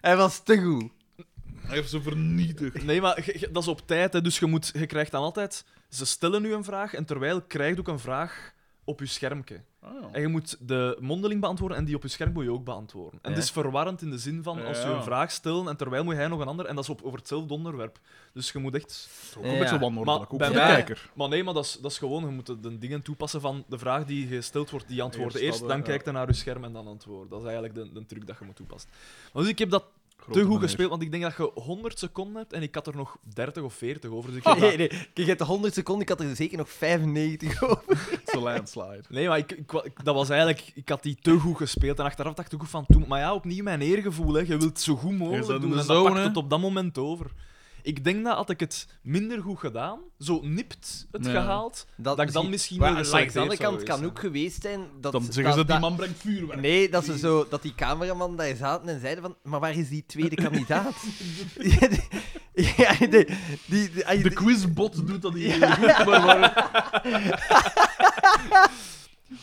Speaker 2: Hij was te goed.
Speaker 1: <laughs> Hij heeft ze vernietigd.
Speaker 3: Nee, maar ge- ge- dat is op tijd, hè. dus je, moet, je krijgt dan altijd... Ze stellen u een vraag en terwijl krijgt ook een vraag op je schermpje.
Speaker 1: Ah,
Speaker 3: En je moet de mondeling beantwoorden en die op je scherm moet je ook beantwoorden. En het is verwarrend in de zin van, als ze
Speaker 1: Ja.
Speaker 3: een vraag stellen en terwijl moet hij nog een ander, en dat is op, over hetzelfde onderwerp. Dus je moet echt...
Speaker 1: Zo, een beetje wanordelijk, ook
Speaker 3: bij
Speaker 1: voor de
Speaker 3: mij-
Speaker 1: kijker.
Speaker 3: Maar nee, maar dat is, dat is gewoon, je moet de, de dingen toepassen van de vraag die gesteld wordt, die antwoorden
Speaker 1: Eerst
Speaker 3: eerst,
Speaker 1: dat,
Speaker 3: dan
Speaker 1: ja.
Speaker 3: kijkt hij naar je scherm en dan antwoord. Dat is eigenlijk de, de truc dat je moet toepassen. Maar dus ik heb dat
Speaker 1: Grote
Speaker 3: te goed
Speaker 1: meneer.
Speaker 3: gespeeld, want ik denk dat je 100 seconden hebt en ik had er nog 30 of 40
Speaker 1: <laughs>
Speaker 3: over. Dus ik heb
Speaker 2: Nee,
Speaker 3: dat-
Speaker 2: nee. Kijk, je hebt de 100 seconden, ik had er zeker nog 95 over.
Speaker 1: Het is een landslide.
Speaker 3: Nee, maar ik, ik, wa- ik- dat was eigenlijk, ik had die te goed gespeeld en achteraf dacht ik ook van toen. Maar ja, opnieuw mijn eergevoel, hè. je wilt zo goed
Speaker 1: Is dat
Speaker 3: mogelijk
Speaker 1: in de
Speaker 3: doen en
Speaker 1: zone,
Speaker 3: dat pakt
Speaker 1: hè?
Speaker 3: het op dat moment over. Ik denk dat had ik het minder goed gedaan, zo nipt het
Speaker 1: Ja.
Speaker 3: gehaald, dat, ik dan misschien
Speaker 2: Maar
Speaker 3: wel
Speaker 2: langs de andere
Speaker 3: geselecteerd zou
Speaker 2: kant kan
Speaker 3: geweest
Speaker 2: ook geweest zijn dat...
Speaker 1: Dan zeggen
Speaker 2: dat-
Speaker 1: ze, die
Speaker 2: dat-
Speaker 1: man brengt vuurwerk.
Speaker 2: Nee, dat ze zo... Dat die cameraman daar zaten en zeiden van... Maar waar is die
Speaker 1: <laughs>
Speaker 2: tweede kandidaat? <laughs> ja, die... Ja, die, die, die-
Speaker 1: De quizbot doet dat hier <laughs> heel goed, maar- maar...
Speaker 3: zijn.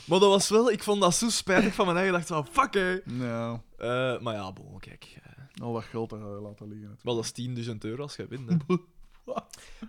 Speaker 3: Maar dat was wel, ik vond dat zo spijtig van mijn eigen, ik dacht van fuck hè.
Speaker 1: Nou,
Speaker 3: Eh, maar ja, bon, kijk. eh,
Speaker 1: al dat geld dat je laten liggen.
Speaker 3: Wel, dat is 10.000 euro als je
Speaker 1: <laughs>
Speaker 3: wint. hè.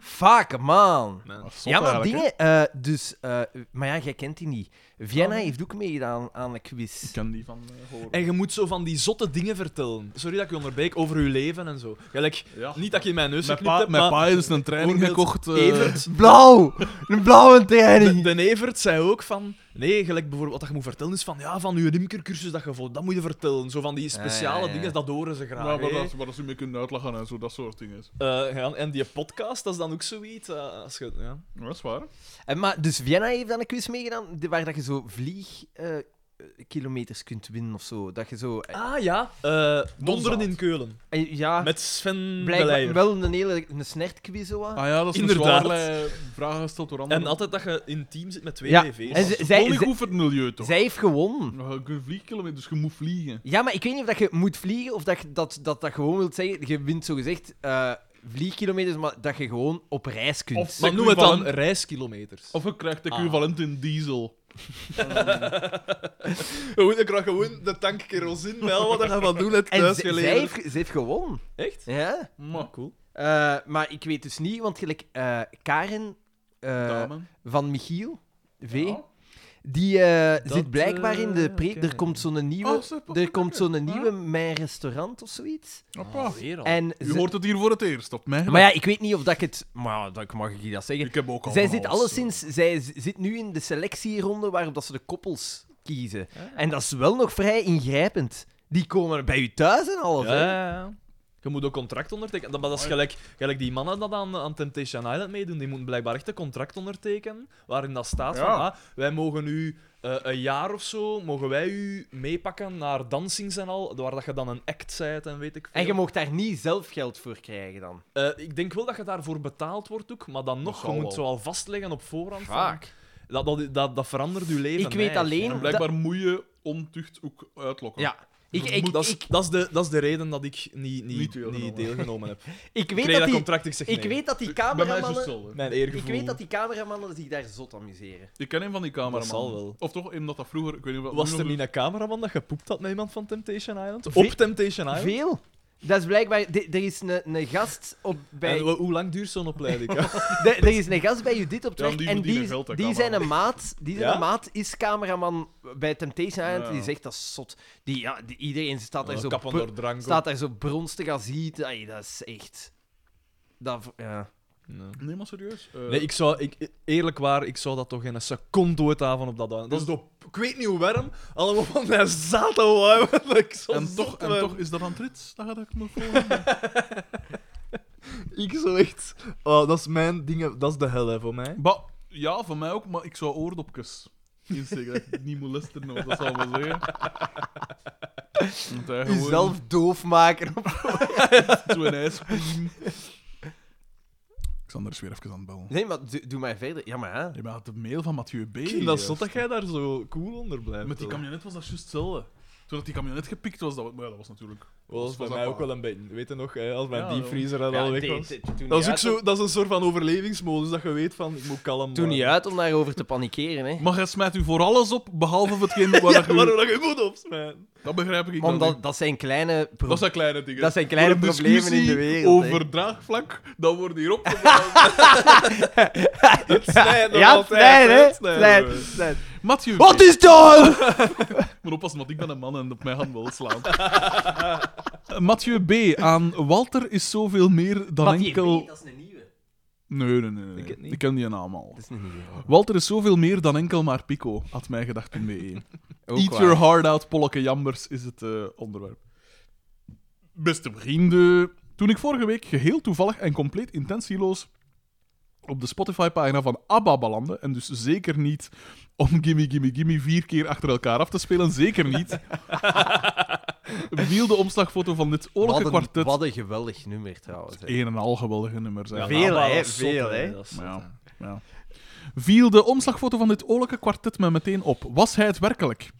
Speaker 2: Fuck, man.
Speaker 3: Man.
Speaker 1: Dat is zot
Speaker 2: Ja, maar
Speaker 1: eigenlijk, hè. Oh.
Speaker 2: dingen... eh, dus... eh, maar ja, jij kent die niet. Vienna heeft ook meegedaan aan een quiz.
Speaker 1: Ik ken die van eh, horen.
Speaker 3: En je moet zo van die zotte dingen vertellen. Sorry dat ik je onderbreek, over je leven en zo. Ja, like,
Speaker 1: Ja.
Speaker 3: Niet dat je in mijn neus
Speaker 1: Mijn
Speaker 3: geknipt
Speaker 1: pa,
Speaker 3: hebt,
Speaker 1: mijn
Speaker 3: maar...
Speaker 1: pa heeft dus een training
Speaker 3: Bijvoorbeeld
Speaker 1: gekocht. eh,
Speaker 3: Evert,
Speaker 1: <laughs>
Speaker 2: Blauw! Een blauwe training.
Speaker 3: de, de Evert zei ook van... Nee, gelijk bijvoorbeeld wat je moet vertellen is van... Ja, van je rimkercursus dat je volgt, dat moet je vertellen. Zo van die speciale
Speaker 2: Ja, ja, ja.
Speaker 3: dingen, dat horen ze graag.
Speaker 1: Ja, maar
Speaker 3: hè.
Speaker 1: dat, waar dat ze mee kunnen uitlachen en zo, dat soort dingen.
Speaker 3: Eh, ja, en die podcast, dat is dan ook zoiets. eh, als je, ja.
Speaker 1: Ja, Dat is waar.
Speaker 2: En maar, dus Vienna heeft dan een quiz meegedaan de- waar dat je zo vliegkilometers kunt winnen of zo. Dat je zo... eh,
Speaker 3: Ah ja, eh, Donderen
Speaker 1: Mozart.
Speaker 3: in Keulen.
Speaker 2: eh, ja,
Speaker 3: Met Sven de
Speaker 2: blijkbaar
Speaker 3: Leijer.
Speaker 2: wel een hele een snertquiz. Zo. wat.
Speaker 1: Ah ja, dat is
Speaker 3: Inderdaad.
Speaker 1: Inderdaad. vragen gesteld door anderen.
Speaker 3: En altijd dat je in team zit met twee
Speaker 2: Ja, en
Speaker 3: BV's. Dat
Speaker 2: ze-
Speaker 3: is
Speaker 1: Het is
Speaker 2: zij-
Speaker 1: wel niet
Speaker 2: zij-
Speaker 1: goed voor het milieu, toch?
Speaker 2: Zij heeft gewonnen.
Speaker 1: Je kunt vliegkilometers, dus je moet vliegen.
Speaker 2: Ja, maar ik weet niet of dat je moet vliegen of dat je- dat, dat, dat gewoon wilt zeggen. Je wint zogezegd eh vliegkilometers, maar dat je gewoon op reis kunt.
Speaker 1: Of-
Speaker 3: maar noem het dan
Speaker 1: equivalent.
Speaker 3: reiskilometers.
Speaker 1: Of je krijgt
Speaker 2: Ah.
Speaker 1: equivalent in diesel.
Speaker 3: Gewoon, ik krijg gewoon de tank kerosine wel, wat gaan van doen, het
Speaker 2: en
Speaker 3: thuis
Speaker 2: z- zij heeft, ze heeft gewonnen.
Speaker 3: Echt?
Speaker 2: Ja.
Speaker 1: Maar,
Speaker 3: cool.
Speaker 2: Eh, maar ik weet dus niet, want gelijk eh, Karen eh,
Speaker 1: dame.
Speaker 2: van Michiel, V,
Speaker 1: Ja.
Speaker 2: Die eh,
Speaker 3: Dat,
Speaker 2: zit blijkbaar in de
Speaker 3: eh,
Speaker 2: preek.
Speaker 3: ken
Speaker 2: Er komt zo'n nieuwe,
Speaker 1: Oh, super,
Speaker 2: er komt
Speaker 1: super.
Speaker 2: zo'n nieuwe Mijn Restaurant of zoiets.
Speaker 1: Appa.
Speaker 2: En
Speaker 1: Ah. U
Speaker 2: Ah, ze-
Speaker 1: hoort het hier voor het eerst, op mij.
Speaker 2: maar ja, ik weet niet of dat ik het. Maar dat mag ik je dat zeggen.
Speaker 1: ik heb ook al
Speaker 2: zij
Speaker 1: van
Speaker 2: zit
Speaker 1: alles, eh.
Speaker 2: alleszins. Zij z- zit nu in de selectieronde waarop dat ze de koppels kiezen. En dat is wel nog vrij ingrijpend. Die komen er bij u thuis en alles.
Speaker 3: Ja,
Speaker 2: hè.
Speaker 3: ja, ja. Je moet ook contract ondertekenen. Dat, maar dat
Speaker 2: Oh,
Speaker 3: is gelijk, gelijk die mannen dat aan, aan Temptation Island meedoen. Die moeten blijkbaar echt een contract ondertekenen. Waarin dat staat van,
Speaker 1: Ja.
Speaker 3: ah, wij mogen u eh, een jaar of zo, mogen wij u meepakken naar dansings en al. Waar dat je dan een act zijt en weet ik veel.
Speaker 2: En je mocht daar niet zelf geld voor krijgen dan.
Speaker 3: Eh, ik denk wel dat je daarvoor betaald wordt ook. Maar dan nog,
Speaker 1: zal
Speaker 3: je
Speaker 1: wel.
Speaker 3: moet zo al vastleggen op voorhand. van- Dat, dat, dat, dat verandert je leven.
Speaker 2: Ik weet
Speaker 3: eigenlijk.
Speaker 2: alleen-
Speaker 1: En blijkbaar moet je ontucht ook uitlokken.
Speaker 2: Ja. Ik, ik,
Speaker 3: Dat, is,
Speaker 2: ik,
Speaker 3: dat, is de, dat is de reden dat ik niet, niet,
Speaker 1: Niet
Speaker 3: niet
Speaker 1: deelgenomen.
Speaker 3: deelgenomen, heb. Ik
Speaker 2: <laughs> ik weet
Speaker 3: kreeg
Speaker 2: dat
Speaker 3: dat
Speaker 2: die,
Speaker 3: contract, ik zeg
Speaker 2: ik
Speaker 3: nee.
Speaker 2: weet dat die
Speaker 1: Eh, Bij mij is het
Speaker 2: cameramannen.
Speaker 1: hetzelfde.
Speaker 3: Mijn eergevoel.
Speaker 2: Ik weet dat die cameramannen zich daar zot amuseren.
Speaker 1: Ik ken een van die cameramannen.
Speaker 3: Dat zal wel.
Speaker 1: Of toch, omdat dat vroeger... Ik weet niet of dat
Speaker 3: Was
Speaker 1: nu
Speaker 3: er
Speaker 1: nog-
Speaker 3: niet een cameraman dat gepoept had met iemand van Temptation Island?
Speaker 2: Ve-
Speaker 3: Op Temptation Island?
Speaker 2: Veel. Dat is blijkbaar... de- Er is een, een gast op bij...
Speaker 3: En wa- hoe lang duurt zo'n <laughs> opleiding? Ja.
Speaker 2: de- er is een gast bij Judith op het
Speaker 1: Ja,
Speaker 2: werk
Speaker 1: die
Speaker 2: en
Speaker 1: verdienen
Speaker 2: die,
Speaker 1: geld, hè,
Speaker 2: die zijn
Speaker 1: cameraman.
Speaker 2: een maat. Die zijn
Speaker 3: Ja?
Speaker 2: een maat is cameraman bij Temptation Island.
Speaker 1: Ja.
Speaker 2: Die zegt dat is zot. Die, ja, die, iedereen staat daar, zo,
Speaker 3: Kap
Speaker 2: br-
Speaker 3: onder drank.
Speaker 2: staat daar zo bronstig als ziet. Ai, dat is echt... Dat, v- ja.
Speaker 1: Nee, maar serieus. Eh,
Speaker 3: Nee, ik zou, ik, eerlijk waar, ik zou dat toch geen seconde ooit avond op dat doen. Dat is toch, ik weet niet hoe warm, allemaal van mijn zaten wauw. <laughs>
Speaker 1: en, toch, en toch is dat aan het rits, dat gaat ik me voor.
Speaker 3: Ik zo echt... Oh, dat is mijn ding, dat is de hel hè, voor mij.
Speaker 1: Ba ja, van mij ook, maar ik zou oordopjes insteken. dat ik niet moet luisteren, of dat zal maar zeggen. Want hij gewoon
Speaker 4: Jezelf doof maken.
Speaker 1: <laughs> zo'n ijspriem. Xander is weer even aan het bellen.
Speaker 2: <laughs> Nee, maar doe, doe maar verder. Ja, maar hè.
Speaker 1: Je had de mail van Mathieu B. Eh,
Speaker 3: Ik vind dat zot dat jij daar zo cool onder blijft.
Speaker 1: Met die
Speaker 3: hoor.
Speaker 1: camionet was dat juist hetzelfde. Toen dat die camionet gepikt was, dat, maar ja, dat was natuurlijk...
Speaker 3: Wel, Dat was bij
Speaker 1: was
Speaker 3: mij
Speaker 1: ook
Speaker 3: ook wel een beetje... Weet je nog, hè, als mijn
Speaker 1: Ja,
Speaker 3: diepvriezer er al weg was?
Speaker 2: toen
Speaker 3: Dat is ook zo... Dat is een soort van overlevingsmodus, dat je weet van, ik moet kalm
Speaker 2: Toen niet
Speaker 3: blijven.
Speaker 2: uit om daarover te panikeren, hè.
Speaker 1: Maar hij smijt u voor alles op, behalve voor hetgeen waar dat
Speaker 3: Ja,
Speaker 1: u-
Speaker 3: waarom dat je moet opsmijten?
Speaker 1: Dat begrijp ik
Speaker 2: Maar
Speaker 1: dan
Speaker 2: Omdat, dat zijn kleine... pro-
Speaker 1: Dat zijn kleine dingen.
Speaker 2: Dat zijn kleine
Speaker 1: Voor een
Speaker 2: problemen in de
Speaker 1: discussie
Speaker 2: wereld, hè.
Speaker 1: Over draagvlak, dan wordt hier
Speaker 2: <laughs>
Speaker 1: opgeblazen.
Speaker 3: Het snijden
Speaker 2: Ja,
Speaker 3: altijd,
Speaker 2: snijden, hè.
Speaker 3: het snijden.
Speaker 2: Snijden, snijden.
Speaker 1: Mathieu,
Speaker 2: Wat is dat?
Speaker 1: ik moet oppassen, want ik ben een man en op mijn hand wel slaan. Mathieu B. Aan Walter is zoveel meer dan enkel...
Speaker 2: dat is een nieuwe.
Speaker 1: Nee, nee, nee. nee.
Speaker 3: ken het niet.
Speaker 1: Ik ken die naam al.
Speaker 2: Dat is een nieuwe.
Speaker 1: Walter is zoveel meer dan enkel maar Pico, had mij gedacht in de
Speaker 2: <laughs>
Speaker 1: Eat your heart out, Polke Jambers, is het eh, onderwerp. Beste vrienden, toen ik vorige week geheel toevallig en compleet intentieloos op de Spotify-pagina van ABBA belandde, en dus zeker niet om Gimme Gimme Gimme vier keer achter elkaar af te spelen, zeker
Speaker 2: <laughs>
Speaker 1: niet, viel de omslagfoto van dit oorlijke
Speaker 2: Wat een,
Speaker 1: kwartet...
Speaker 2: wat een geweldig nummer, trouwens. hè.
Speaker 1: Een en al geweldige nummer zijn.
Speaker 2: Veel,
Speaker 3: maar
Speaker 2: hè.
Speaker 3: dat is zot,
Speaker 2: Veel,
Speaker 3: hè,
Speaker 2: hè.
Speaker 3: dat is
Speaker 1: Maar ja, ja. Viel de omslagfoto van dit oorlijke kwartet me meteen op. Was hij het werkelijk?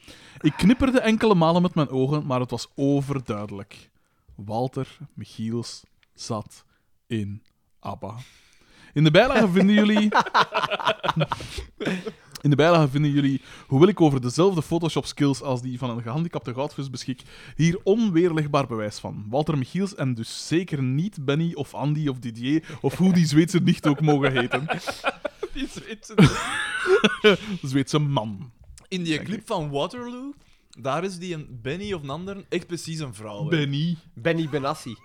Speaker 1: Ik knipperde enkele malen met mijn ogen, maar het was overduidelijk. Walter Michiels zat in ABBA. In de bijlage vinden jullie... In de bijlage vinden jullie, hoewel ik over dezelfde Photoshop-skills als die van een gehandicapte goudvis beschik, hier onweerlegbaar bewijs van. Walter Michiels en dus zeker niet Benny of Andy of Didier of hoe die Zweedse nicht ook mogen heten.
Speaker 3: Die
Speaker 2: <laughs>
Speaker 3: Zweedse
Speaker 1: Zweedse man.
Speaker 3: In die
Speaker 1: Dank u.
Speaker 3: clip van Waterloo, daar is die een Benny of een ander echt precies een vrouw. hè.
Speaker 1: Benny.
Speaker 2: Benny Benassi.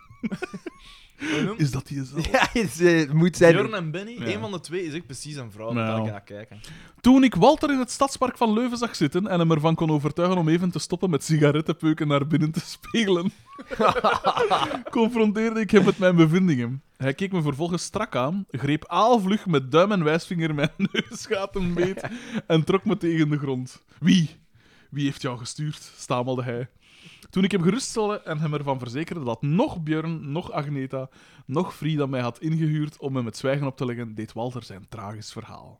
Speaker 3: Hoe noemt-
Speaker 1: Is dat die zelf?
Speaker 2: <laughs> Ja, het moet zijn.
Speaker 3: Björn en Benny,
Speaker 1: Ja.
Speaker 3: één van de twee is echt precies een vrouw.
Speaker 1: Nou.
Speaker 3: Daar ga ik naar kijken.
Speaker 1: Toen ik Walter in het stadspark van Leuven zag zitten en hem ervan kon overtuigen om even te stoppen met sigarettenpeuken naar binnen te spelen, <laughs> confronteerde ik hem met mijn bevindingen. Hij keek me vervolgens strak aan, greep aalvlug met duim en wijsvinger mijn <laughs> neusgaten beet en trok me tegen de grond. Wie? Wie heeft jou gestuurd? stamelde hij. Toen ik hem geruststelde en hem ervan verzekerde dat nog Björn, nog Agneta, nog Frida mij had ingehuurd om hem het zwijgen op te leggen, deed Walter zijn tragisch verhaal.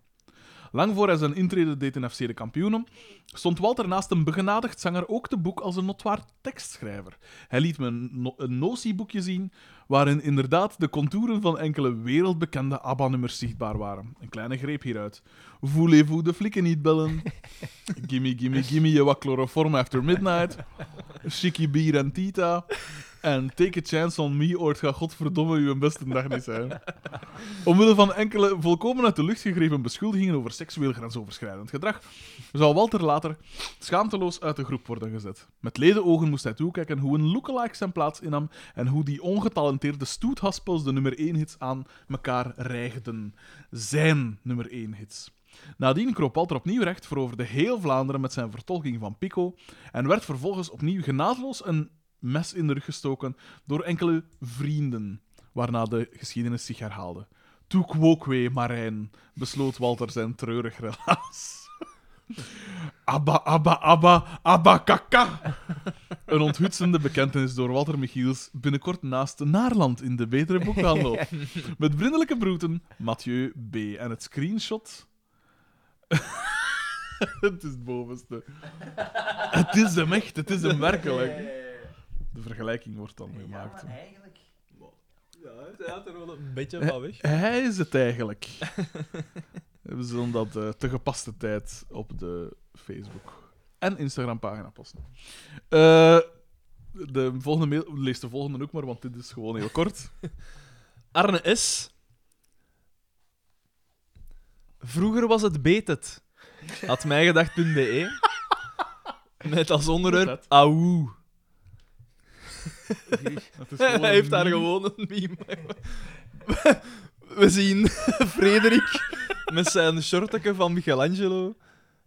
Speaker 1: Lang voor hij zijn intrede deed in FC de Kampioenen, stond Walter naast een begenadigd zanger ook te boek als een notwaar tekstschrijver. Hij liet me een, no een notieboekje zien, waarin inderdaad de contouren van enkele wereldbekende ABBA-nummers zichtbaar waren. Een kleine greep hieruit. Voulez-vous de flikken niet bellen? gimme, gimme, gimme je wat chloroform after midnight? Chicky bier en tita? En take a chance on me, ooit ga godverdomme uw beste dag niet zijn. Omwille van enkele volkomen uit de lucht gegrepen beschuldigingen over seksueel grensoverschrijdend gedrag, zou Walter later schaamteloos uit de groep worden gezet. Met ledenogen moest hij toekijken hoe een lookalike zijn plaats innam en hoe die ongetalenteerde stoethaspels de nummer 1 hits aan elkaar reigden. Zijn nummer 1 hits. Nadien kroop Walter opnieuw recht voor over de heel Vlaanderen met zijn vertolking van Pico en werd vervolgens opnieuw genadeloos een mes in de rug gestoken door enkele vrienden, waarna de geschiedenis zich herhaalde. Toe kwokwe, Marijn, besloot Walter zijn treurig relaas. <laughs> Abba, abba, abba, abba, kaka. Een onthutsende bekentenis door Walter Michiels binnenkort naast Naarland in de betere boekhandel. Met vriendelijke groeten, Mathieu B. En het screenshot... het is het bovenste. Het is hem echt, het is hem werkelijk. De vergelijking wordt dan gemaakt.
Speaker 3: Ja, hij had er wel een beetje van weg.
Speaker 1: Hij is het
Speaker 3: <laughs>
Speaker 1: eigenlijk. We zullen dat eh, te gepaste tijd op de Facebook- en Instagram-pagina posten. Eh, de volgende mail... Lees de volgende ook maar, want dit is gewoon heel kort.
Speaker 3: Arne S. Vroeger was het betet. Had mijgedacht.be. E. Met als onderwerp
Speaker 1: dat?
Speaker 3: Auw.
Speaker 1: Het
Speaker 3: <laughs>
Speaker 1: is gewoon
Speaker 3: Hij heeft daar
Speaker 1: een
Speaker 3: gewoon een meme. We zien <laughs> Frederik met zijn shortje van Michelangelo.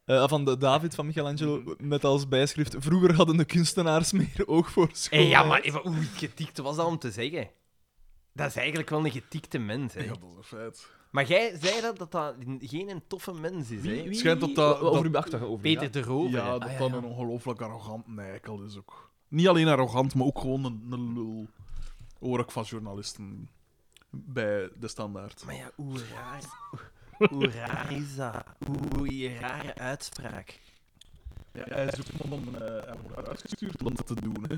Speaker 3: eh, van de David van Michelangelo. Met als bijschrift: Vroeger
Speaker 2: Eh,
Speaker 3: hadden de kunstenaars meer oog voor schoon.
Speaker 2: Hey, ja, maar even, hoe kritiek was dat om te zeggen? Dat is eigenlijk wel een getikte mens, hè.
Speaker 1: Ja, dat is een feit.
Speaker 2: Maar jij zei dat dat, dat geen toffe mens is, hè.
Speaker 1: wie- Schijnt dat dat-
Speaker 3: Over
Speaker 1: dat-
Speaker 3: uw achtergrond. over-
Speaker 2: Peter
Speaker 3: ja.
Speaker 2: de Rover.
Speaker 1: Ah, Ja, dat
Speaker 2: hè.
Speaker 1: dan een ongelooflijk arrogant neikel is dus ook. Niet alleen arrogant, maar ook gewoon een, een lul. Hoor ik van journalisten bij de standaard.
Speaker 2: Maar ja, hoe raar, hoe raar is dat? Hoe rare uitspraak.
Speaker 1: Ja, hij is ook iemand om eh, hij wordt uitgestuurd om dat te doen. Hè.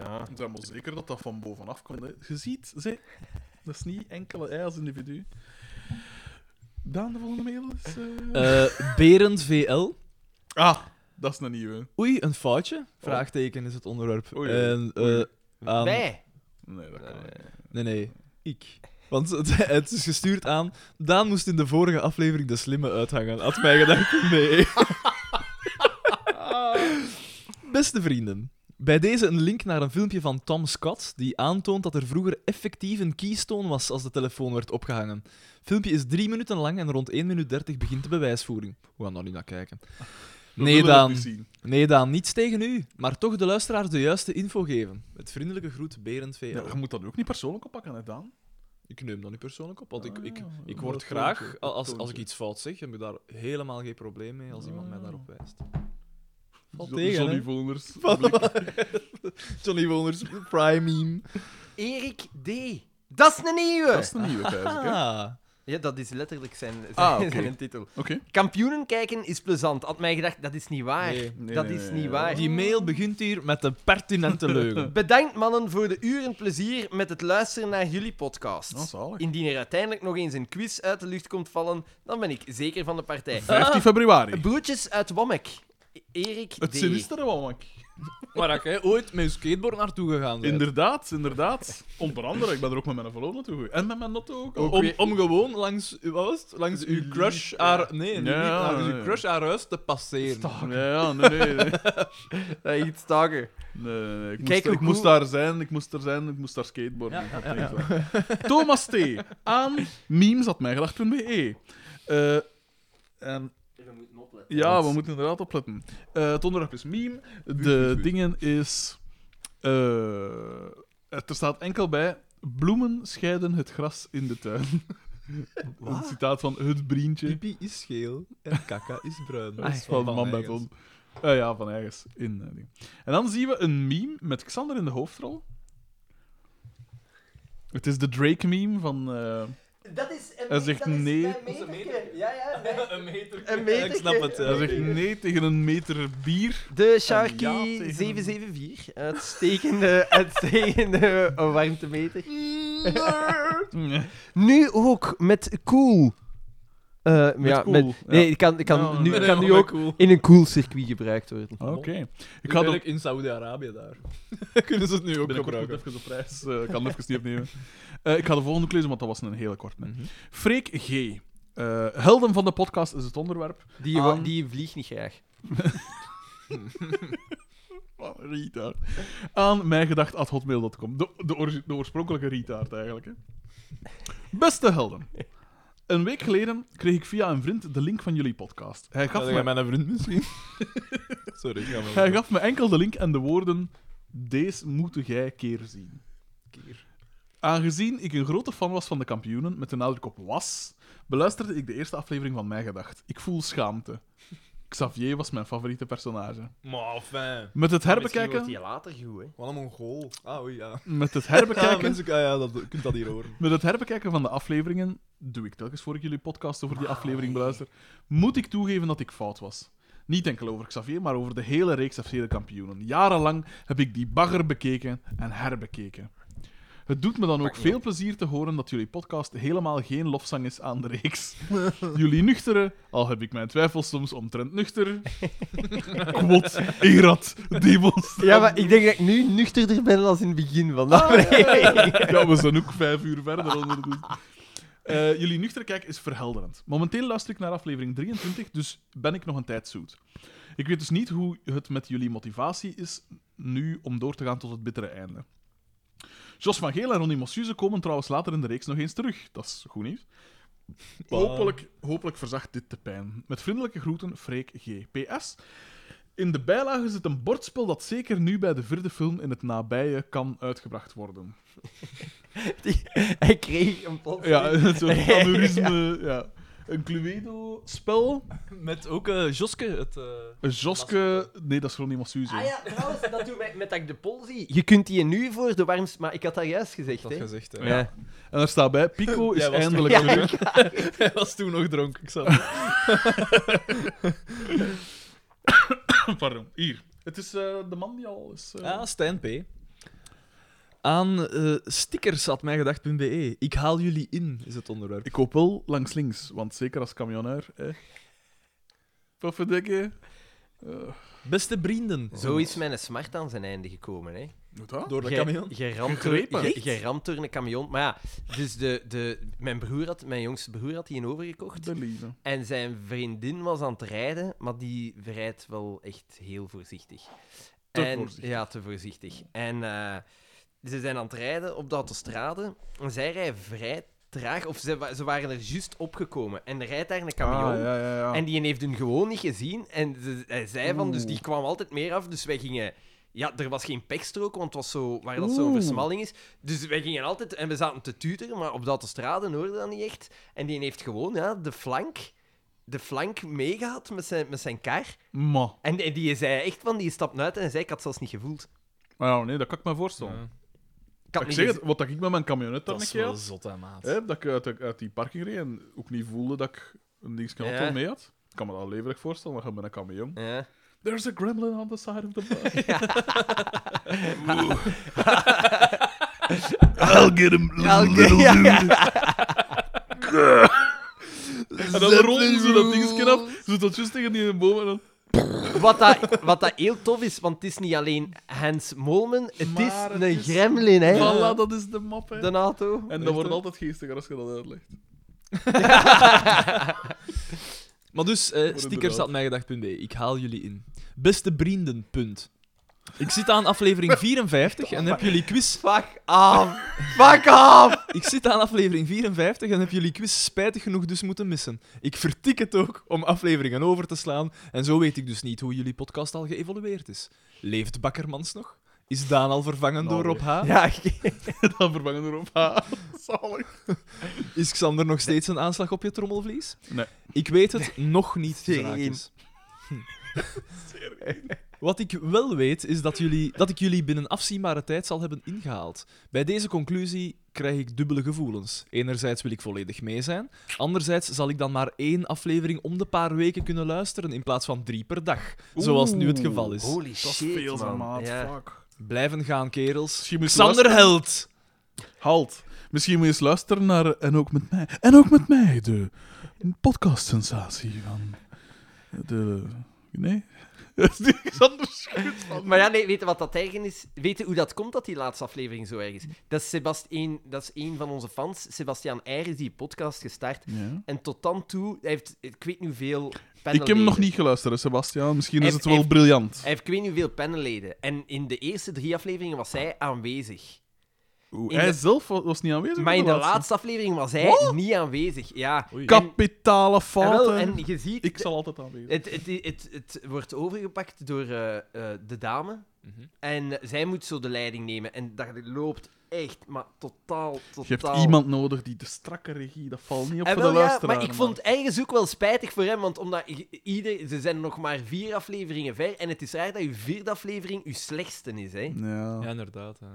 Speaker 2: Ja.
Speaker 1: Zijn maar zeker dat dat van bovenaf komt. Hè. Je ziet, ze, dat is niet enkele hij als individu. Daan, de volgende mail is... eh,
Speaker 3: Eh, Berend VL.
Speaker 1: Ah, dat is een nieuwe.
Speaker 3: Oei, een foutje? Vraagteken is het onderwerp.
Speaker 1: Oei.
Speaker 3: En, eh,
Speaker 1: Ehm,
Speaker 3: aan-
Speaker 2: Wij?
Speaker 1: Nee, dat kan niet.
Speaker 3: Eh, Nee, nee, ik. Want het, <laughs> het is gestuurd aan. Daan moest in de vorige aflevering de slimme uithangen. Had mij gedacht, <laughs> nee. Beste vrienden. Bij deze een link naar een filmpje van Tom Scott, die aantoont dat er vroeger effectief een keystone was als de telefoon werd opgehangen. filmpje is 3 minuten lang en rond 1 minuut 30 begint de bewijsvoering. We gaan daar niet naar kijken.
Speaker 1: We
Speaker 3: Nee,
Speaker 1: willen
Speaker 3: Daan.
Speaker 1: het niet zien.
Speaker 3: Nee, Daan, niets tegen u, maar toch de luisteraars de juiste info geven. Met vriendelijke groet, Berend VL.
Speaker 1: Ja, je moet dat ook niet persoonlijk oppakken, hè, Daan?
Speaker 3: Ik neem dat niet persoonlijk op, want ik,
Speaker 1: Ah,
Speaker 3: ik,
Speaker 1: ja,
Speaker 3: ik
Speaker 1: dat
Speaker 3: word
Speaker 1: toont je,
Speaker 3: graag,
Speaker 1: dat
Speaker 3: als,
Speaker 1: toont
Speaker 3: als ik
Speaker 1: je.
Speaker 3: iets fout zeg, heb ik daar helemaal geen probleem mee als iemand mij daarop wijst. Valt
Speaker 1: Jo-
Speaker 3: tegen,
Speaker 1: Ah. Johnny
Speaker 3: hè?
Speaker 1: Voners.
Speaker 3: <laughs> Johnny Woners, prime meme.
Speaker 2: Erik D. Dat is een
Speaker 1: <laughs>
Speaker 2: nieuwe!
Speaker 1: Dat is een nieuwe, eigenlijk,
Speaker 3: <laughs>
Speaker 1: hè?
Speaker 3: Ah,
Speaker 2: Ja, dat is letterlijk zijn, zijn,
Speaker 1: Ah, oké.
Speaker 2: zijn titel.
Speaker 1: Oké.
Speaker 2: Kampioenen kijken is plezant. Had mij gedacht, dat is niet waar.
Speaker 3: Nee.
Speaker 1: Nee,
Speaker 2: dat
Speaker 1: nee,
Speaker 2: is
Speaker 1: nee,
Speaker 2: niet
Speaker 1: nee.
Speaker 2: waar.
Speaker 3: die mail begint hier met een pertinente
Speaker 1: <laughs>
Speaker 3: leugen.
Speaker 2: Bedankt mannen voor de uren plezier met het luisteren naar jullie podcast.
Speaker 1: Oh, zalig.
Speaker 2: Indien er uiteindelijk nog eens een quiz uit de lucht komt vallen, dan ben ik zeker van de partij.
Speaker 1: 15 februari.
Speaker 2: Broertjes uit Wammek. Erik
Speaker 1: Het
Speaker 2: D.
Speaker 1: sinistere Womack.
Speaker 3: Waar jij ooit met je skateboard naartoe gegaan bent.
Speaker 1: Inderdaad, inderdaad. Onder andere, ik ben er ook met mijn verloofde naartoe gegaan. En met mijn notto ook. al.
Speaker 2: Ook
Speaker 3: Om,
Speaker 2: weer-
Speaker 3: om gewoon langs, wat was het? langs uw crush haar... Nee, niet,
Speaker 1: Ja,
Speaker 3: niet, langs
Speaker 1: nee.
Speaker 3: uw crush haar huis te passeren.
Speaker 1: Ja, ja, nee, nee. nee.
Speaker 2: Dat is iets staker.
Speaker 1: Nee, nee, nee. Ik,
Speaker 2: Kijk
Speaker 1: moest,
Speaker 2: ook
Speaker 1: ik moest
Speaker 2: hoe-
Speaker 1: daar zijn, ik moest daar zijn, ik moest daar skateboarden. Dat denk ik wel. Thomas T. aan memes.mijgedacht.be. Eh en... Ja, we moeten inderdaad opletten. Eh, het onderwerp is meme. De dingen is... eh, het- er staat enkel bij... Bloemen scheiden het gras in de tuin. <laughs> Een citaat van het brientje
Speaker 3: Pipi is geel en kaka is bruin.
Speaker 1: <laughs>
Speaker 3: Dat is
Speaker 1: van
Speaker 3: wel
Speaker 1: Man bij
Speaker 3: nergens.
Speaker 1: Tom. Eh, ja, van ergens. In, eh, ding. En dan zien we een meme met Xander in de hoofdrol. Het is de Drake-meme van... eh,
Speaker 4: Dat is een
Speaker 1: Hij zegt
Speaker 4: dat is
Speaker 1: nee.
Speaker 4: een meterke. Ja, ja, nee.
Speaker 3: <laughs> Een meter.
Speaker 4: Een meter.
Speaker 3: Ik snap het.
Speaker 1: hij
Speaker 3: Ja.
Speaker 1: zegt nee tegen een meter bier. <laughs>
Speaker 2: De
Speaker 1: ja tegen-
Speaker 2: Sharky774. Uitstekende, <laughs> uitstekende warmtemeter. Nu ook met cool. Eh, ja,
Speaker 1: cool,
Speaker 2: met- nee,
Speaker 1: ja.
Speaker 2: ik kan, ik kan,
Speaker 1: Ja,
Speaker 2: nu,
Speaker 1: nee,
Speaker 2: kan
Speaker 3: nee,
Speaker 2: nu
Speaker 3: maar
Speaker 2: ook
Speaker 3: cool.
Speaker 2: in een cool circuit gebruikt worden.
Speaker 1: Oké. Ik
Speaker 3: Ik
Speaker 1: ga
Speaker 3: had
Speaker 1: er
Speaker 3: in Saudi-Arabië daar. <laughs> Kunnen ze het nu ook
Speaker 1: binnenkort
Speaker 3: gebruiken?
Speaker 1: moet even op reis. eh, ik kan het even niet opnemen. Eh, ik ga de volgende ook lezen, want dat was een hele korte. hè. Freek G. Eh, helden van de podcast is het onderwerp.
Speaker 2: Die,
Speaker 1: Aan-
Speaker 2: die vliegt niet graag.
Speaker 1: Oh, retard. Aan mijngedacht.hotmail.com. De, de, oorz- de oorspronkelijke retard, eigenlijk. Hè. Beste helden. Een week geleden kreeg ik via een vriend de link van jullie podcast. Hij gaf, me,
Speaker 3: mijn vriend misschien? Sorry, ik ga wel.
Speaker 1: hij gaf me enkel de link en de woorden... Deze moeten jij keer zien. Aangezien ik een grote fan was van de kampioenen, met de nadruk op was, beluisterde ik de eerste aflevering van Mijn Gedacht. Ik voel schaamte. Xavier was mijn favoriete personage.
Speaker 3: Maar fijn.
Speaker 1: Met het
Speaker 2: Misschien wordt
Speaker 1: herbekijken...
Speaker 2: die later goed, hè.
Speaker 3: Wat een Mongool. Ah, oei, ja.
Speaker 1: Met het
Speaker 3: <laughs> Ja,
Speaker 1: herbekijken...
Speaker 3: mensen, ah, ja, dat, je kunt dat hier horen.
Speaker 1: Met het herbekijken van de afleveringen, doe ik telkens voor ik jullie podcast over die aflevering beluister, moet ik toegeven dat ik fout was. Niet enkel over Xavier, maar over de hele reeks FC de kampioenen. Jarenlang heb ik die bagger bekeken en herbekeken. Het doet me dan ook veel plezier te horen dat jullie podcast helemaal geen lofzang is aan de reeks. <laughs> Jullie nuchtere, al heb ik mijn twijfels soms omtrent nuchter. Kwot, erat, demons.
Speaker 2: Ja, maar ik denk dat ik nu nuchterder ben dan in het begin van dat
Speaker 1: <laughs> Ja, we zijn ook vijf uur verder ondertussen. Eh, jullie nuchter kijk is verhelderend. Momenteel luister ik naar aflevering 23, dus ben ik nog een tijd zoet. Ik weet dus niet hoe het met jullie motivatie is nu om door te gaan tot het bittere einde. Jos van Geel en Ronnie Mossuze komen trouwens later in de reeks nog eens terug. Dat is goed nieuws. Hopelijk, hopelijk verzacht dit de pijn. Met vriendelijke groeten, Freek G. PS. In de bijlage zit een bordspel dat zeker nu bij de vierde film in het nabije kan uitgebracht worden.
Speaker 4: Die, hij kreeg een pot.
Speaker 1: <laughs> Ja, een soort aneurysme. Ja. Een Cluedo-spel.
Speaker 3: Met ook eh, Joske. Het, eh,
Speaker 1: Een Joske. Nee, dat is Ronnie Massuze.
Speaker 4: Ah ja, trouwens, dat doet mij met dat ik de pol zie. Je kunt die nu voor de warmste... Maar ik had dat juist gezegd,
Speaker 3: dat
Speaker 4: hè.
Speaker 3: gezegd, hè.
Speaker 1: Ja. En daar staat bij: <laughs> Pico is
Speaker 3: Jij was
Speaker 1: eindelijk
Speaker 3: <laughs>
Speaker 4: Ja,
Speaker 1: terug.
Speaker 3: Hij was toen nog dronken. Ik zal...
Speaker 1: Pardon, hier. Het is eh, de man die al is. eh,
Speaker 3: Ah, Stijn P. Aan eh stickers had mij gedacht.be. E. Ik haal jullie in, is het onderwerp.
Speaker 1: Ik hoop wel langs links, want zeker als camionair. Hè. Pofferdikke.
Speaker 3: Beste vrienden.
Speaker 2: Zo is mijn smart aan zijn einde gekomen, hè.
Speaker 1: Hoe dat?
Speaker 3: Door de
Speaker 2: Ge-
Speaker 3: camion.
Speaker 2: Geramd door,
Speaker 1: Gegrepen.
Speaker 2: ge- geramd door een camion. Maar ja, dus de, de, mijn, broer had, mijn jongste broer had die een overgekocht.
Speaker 1: De lieve.
Speaker 2: En zijn vriendin was aan het rijden, maar die rijdt wel echt heel voorzichtig.
Speaker 1: Te
Speaker 2: en,
Speaker 1: voorzichtig.
Speaker 2: Ja, te voorzichtig. En eh, ze zijn aan het rijden op de autostrade. En zij rijden vrij traag, of ze, wa- ze waren er juist opgekomen. En er rijdt daar een camion.
Speaker 1: Ah, ja, ja, ja.
Speaker 2: En die heeft hun gewoon niet gezien. En ze, hij zei van, dus
Speaker 1: Oeh.
Speaker 2: die kwam altijd meer af. Dus wij gingen... Ja, er was geen pekstrook, want het was zo, waar dat zo'n
Speaker 1: Oeh.
Speaker 2: versmalling is. Dus wij gingen altijd... En we zaten te tuteren, maar op de autostrade hoorde dat niet echt. En die heeft gewoon ja, de flank... De flank meegehad met zijn, met zijn kar.
Speaker 1: Ma.
Speaker 2: En die, die zei echt van, die stapt uit en hij zei, ik had zelfs niet gevoeld.
Speaker 1: Maar ja, nee, dat kan ik me voorstellen.
Speaker 3: Ja.
Speaker 2: Ik had
Speaker 1: Ik
Speaker 2: niet
Speaker 1: zeg het,
Speaker 2: gezien.
Speaker 1: wat dat ik met mijn camionet dan
Speaker 3: Dat
Speaker 1: een
Speaker 3: is
Speaker 1: keer
Speaker 3: wel
Speaker 1: had,
Speaker 3: zot, hè, maat.
Speaker 1: hè, dat ik uit, de- uit die parking reed en ook niet voelde dat ik een dingetje had
Speaker 2: Ja.
Speaker 1: wel mee had. Ik kan me dat al levendig voorstellen, dan gaan we met een camion.
Speaker 2: Ja.
Speaker 1: There's a gremlin on the side of the bus. <laughs> I'll get him,
Speaker 2: <laughs>
Speaker 1: little dude. en dan rollen ze dat dingetje af, ze tot juist tegen die boom en dan...
Speaker 2: Wat, dat, wat dat heel tof is, want het is niet alleen Hans Molmen, het
Speaker 1: Maar
Speaker 2: is
Speaker 1: het
Speaker 2: een
Speaker 1: is-
Speaker 2: gremlin, hè.
Speaker 1: Voilà, dat is de map, hè.
Speaker 2: De auto.
Speaker 1: En dat wordt altijd geestiger als je dat uitlegt. <laughs>
Speaker 3: Maar dus, eh stickers had mij gedacht.be. Ik haal jullie in. Beste vrienden, punt. Ik zit aan <laughs> aflevering 54 en heb jullie quiz...
Speaker 2: Fuck af! Fuck af!
Speaker 3: Ik zit aan aflevering 54 en heb jullie quiz spijtig genoeg dus moeten missen. Ik vertik het ook om afleveringen over te slaan en zo weet ik dus niet hoe jullie podcast al geëvolueerd is. Leeft Bakkermans nog? Is Daan al vervangen
Speaker 1: Nou,
Speaker 3: door Rob H?
Speaker 2: Ja,
Speaker 1: Dan vervangen we erop. Ah, <laughs> Zalig.
Speaker 3: Is Xander nog steeds een aanslag op je trommelvlies?
Speaker 1: Nee.
Speaker 3: Ik weet het nog niet,
Speaker 2: Geen.
Speaker 3: Draakjes. <laughs> Wat ik wel weet, is dat, jullie, dat ik jullie binnen afzienbare tijd zal hebben ingehaald. Bij deze conclusie krijg ik dubbele gevoelens. Enerzijds wil ik volledig mee zijn, anderzijds zal ik dan maar één aflevering om de paar weken kunnen luisteren in plaats van drie per dag, zoals nu het geval is.
Speaker 2: Holy
Speaker 1: Dat is
Speaker 2: shit,
Speaker 1: veel, man.
Speaker 2: man.
Speaker 1: maat.
Speaker 2: Ja.
Speaker 1: Fuck.
Speaker 3: Blijven gaan, kerels.
Speaker 1: Misschien moet je
Speaker 3: Xander
Speaker 1: luisteren.
Speaker 3: Held!
Speaker 1: Halt. Misschien moet je eens luisteren naar En ook met mij. En ook met mij, de podcast-sensatie van. De. Nee? <laughs> Dat is niks anders.
Speaker 2: Maar ja, nee, weet je wat dat eigen is? Weet je hoe dat komt dat die laatste aflevering zo erg is? Dat is, Sebastien, dat is een van onze fans, Sebastian Eier, is die podcast gestart.
Speaker 1: Ja.
Speaker 2: En tot dan toe, hij heeft, ik weet niet hoeveel panelleden.
Speaker 1: Ik heb hem nog niet geluisterd, hè, Sebastiaan. Misschien is
Speaker 2: Hij-
Speaker 1: het wel
Speaker 2: hij-
Speaker 1: briljant.
Speaker 2: Hij heeft, ik weet niet hoeveel panelleden. En in de eerste drie afleveringen was hij aanwezig.
Speaker 1: Oeh,
Speaker 2: in
Speaker 1: hij
Speaker 2: de-
Speaker 1: zelf wa- was niet aanwezig.
Speaker 2: Maar in de
Speaker 1: laatste.
Speaker 2: laatste aflevering was hij niet aanwezig. Ja.
Speaker 3: Oei.
Speaker 2: En-
Speaker 1: Kapitale
Speaker 2: en wel,
Speaker 1: fouten.
Speaker 2: en je ziet...
Speaker 1: Ik zal altijd aanwezig zijn.
Speaker 2: Het, het, het, het wordt overgepakt door eh, eh, de dame.
Speaker 3: Mhm.
Speaker 2: En zij moet zo de leiding nemen. En dat loopt echt, maar totaal, totaal...
Speaker 1: Je hebt iemand nodig die de strakke regie, dat valt niet op
Speaker 2: Eh,
Speaker 1: voor
Speaker 2: wel,
Speaker 1: de
Speaker 2: ja,
Speaker 1: luisteraar.
Speaker 2: maar
Speaker 1: man.
Speaker 2: ik vond het ergens ook wel spijtig voor hem, want omdat i- ieder, ze zijn nog maar vier afleveringen ver en het is raar dat je vierde aflevering je slechtste is. Hè?
Speaker 1: Ja.
Speaker 3: Ja, inderdaad. hè.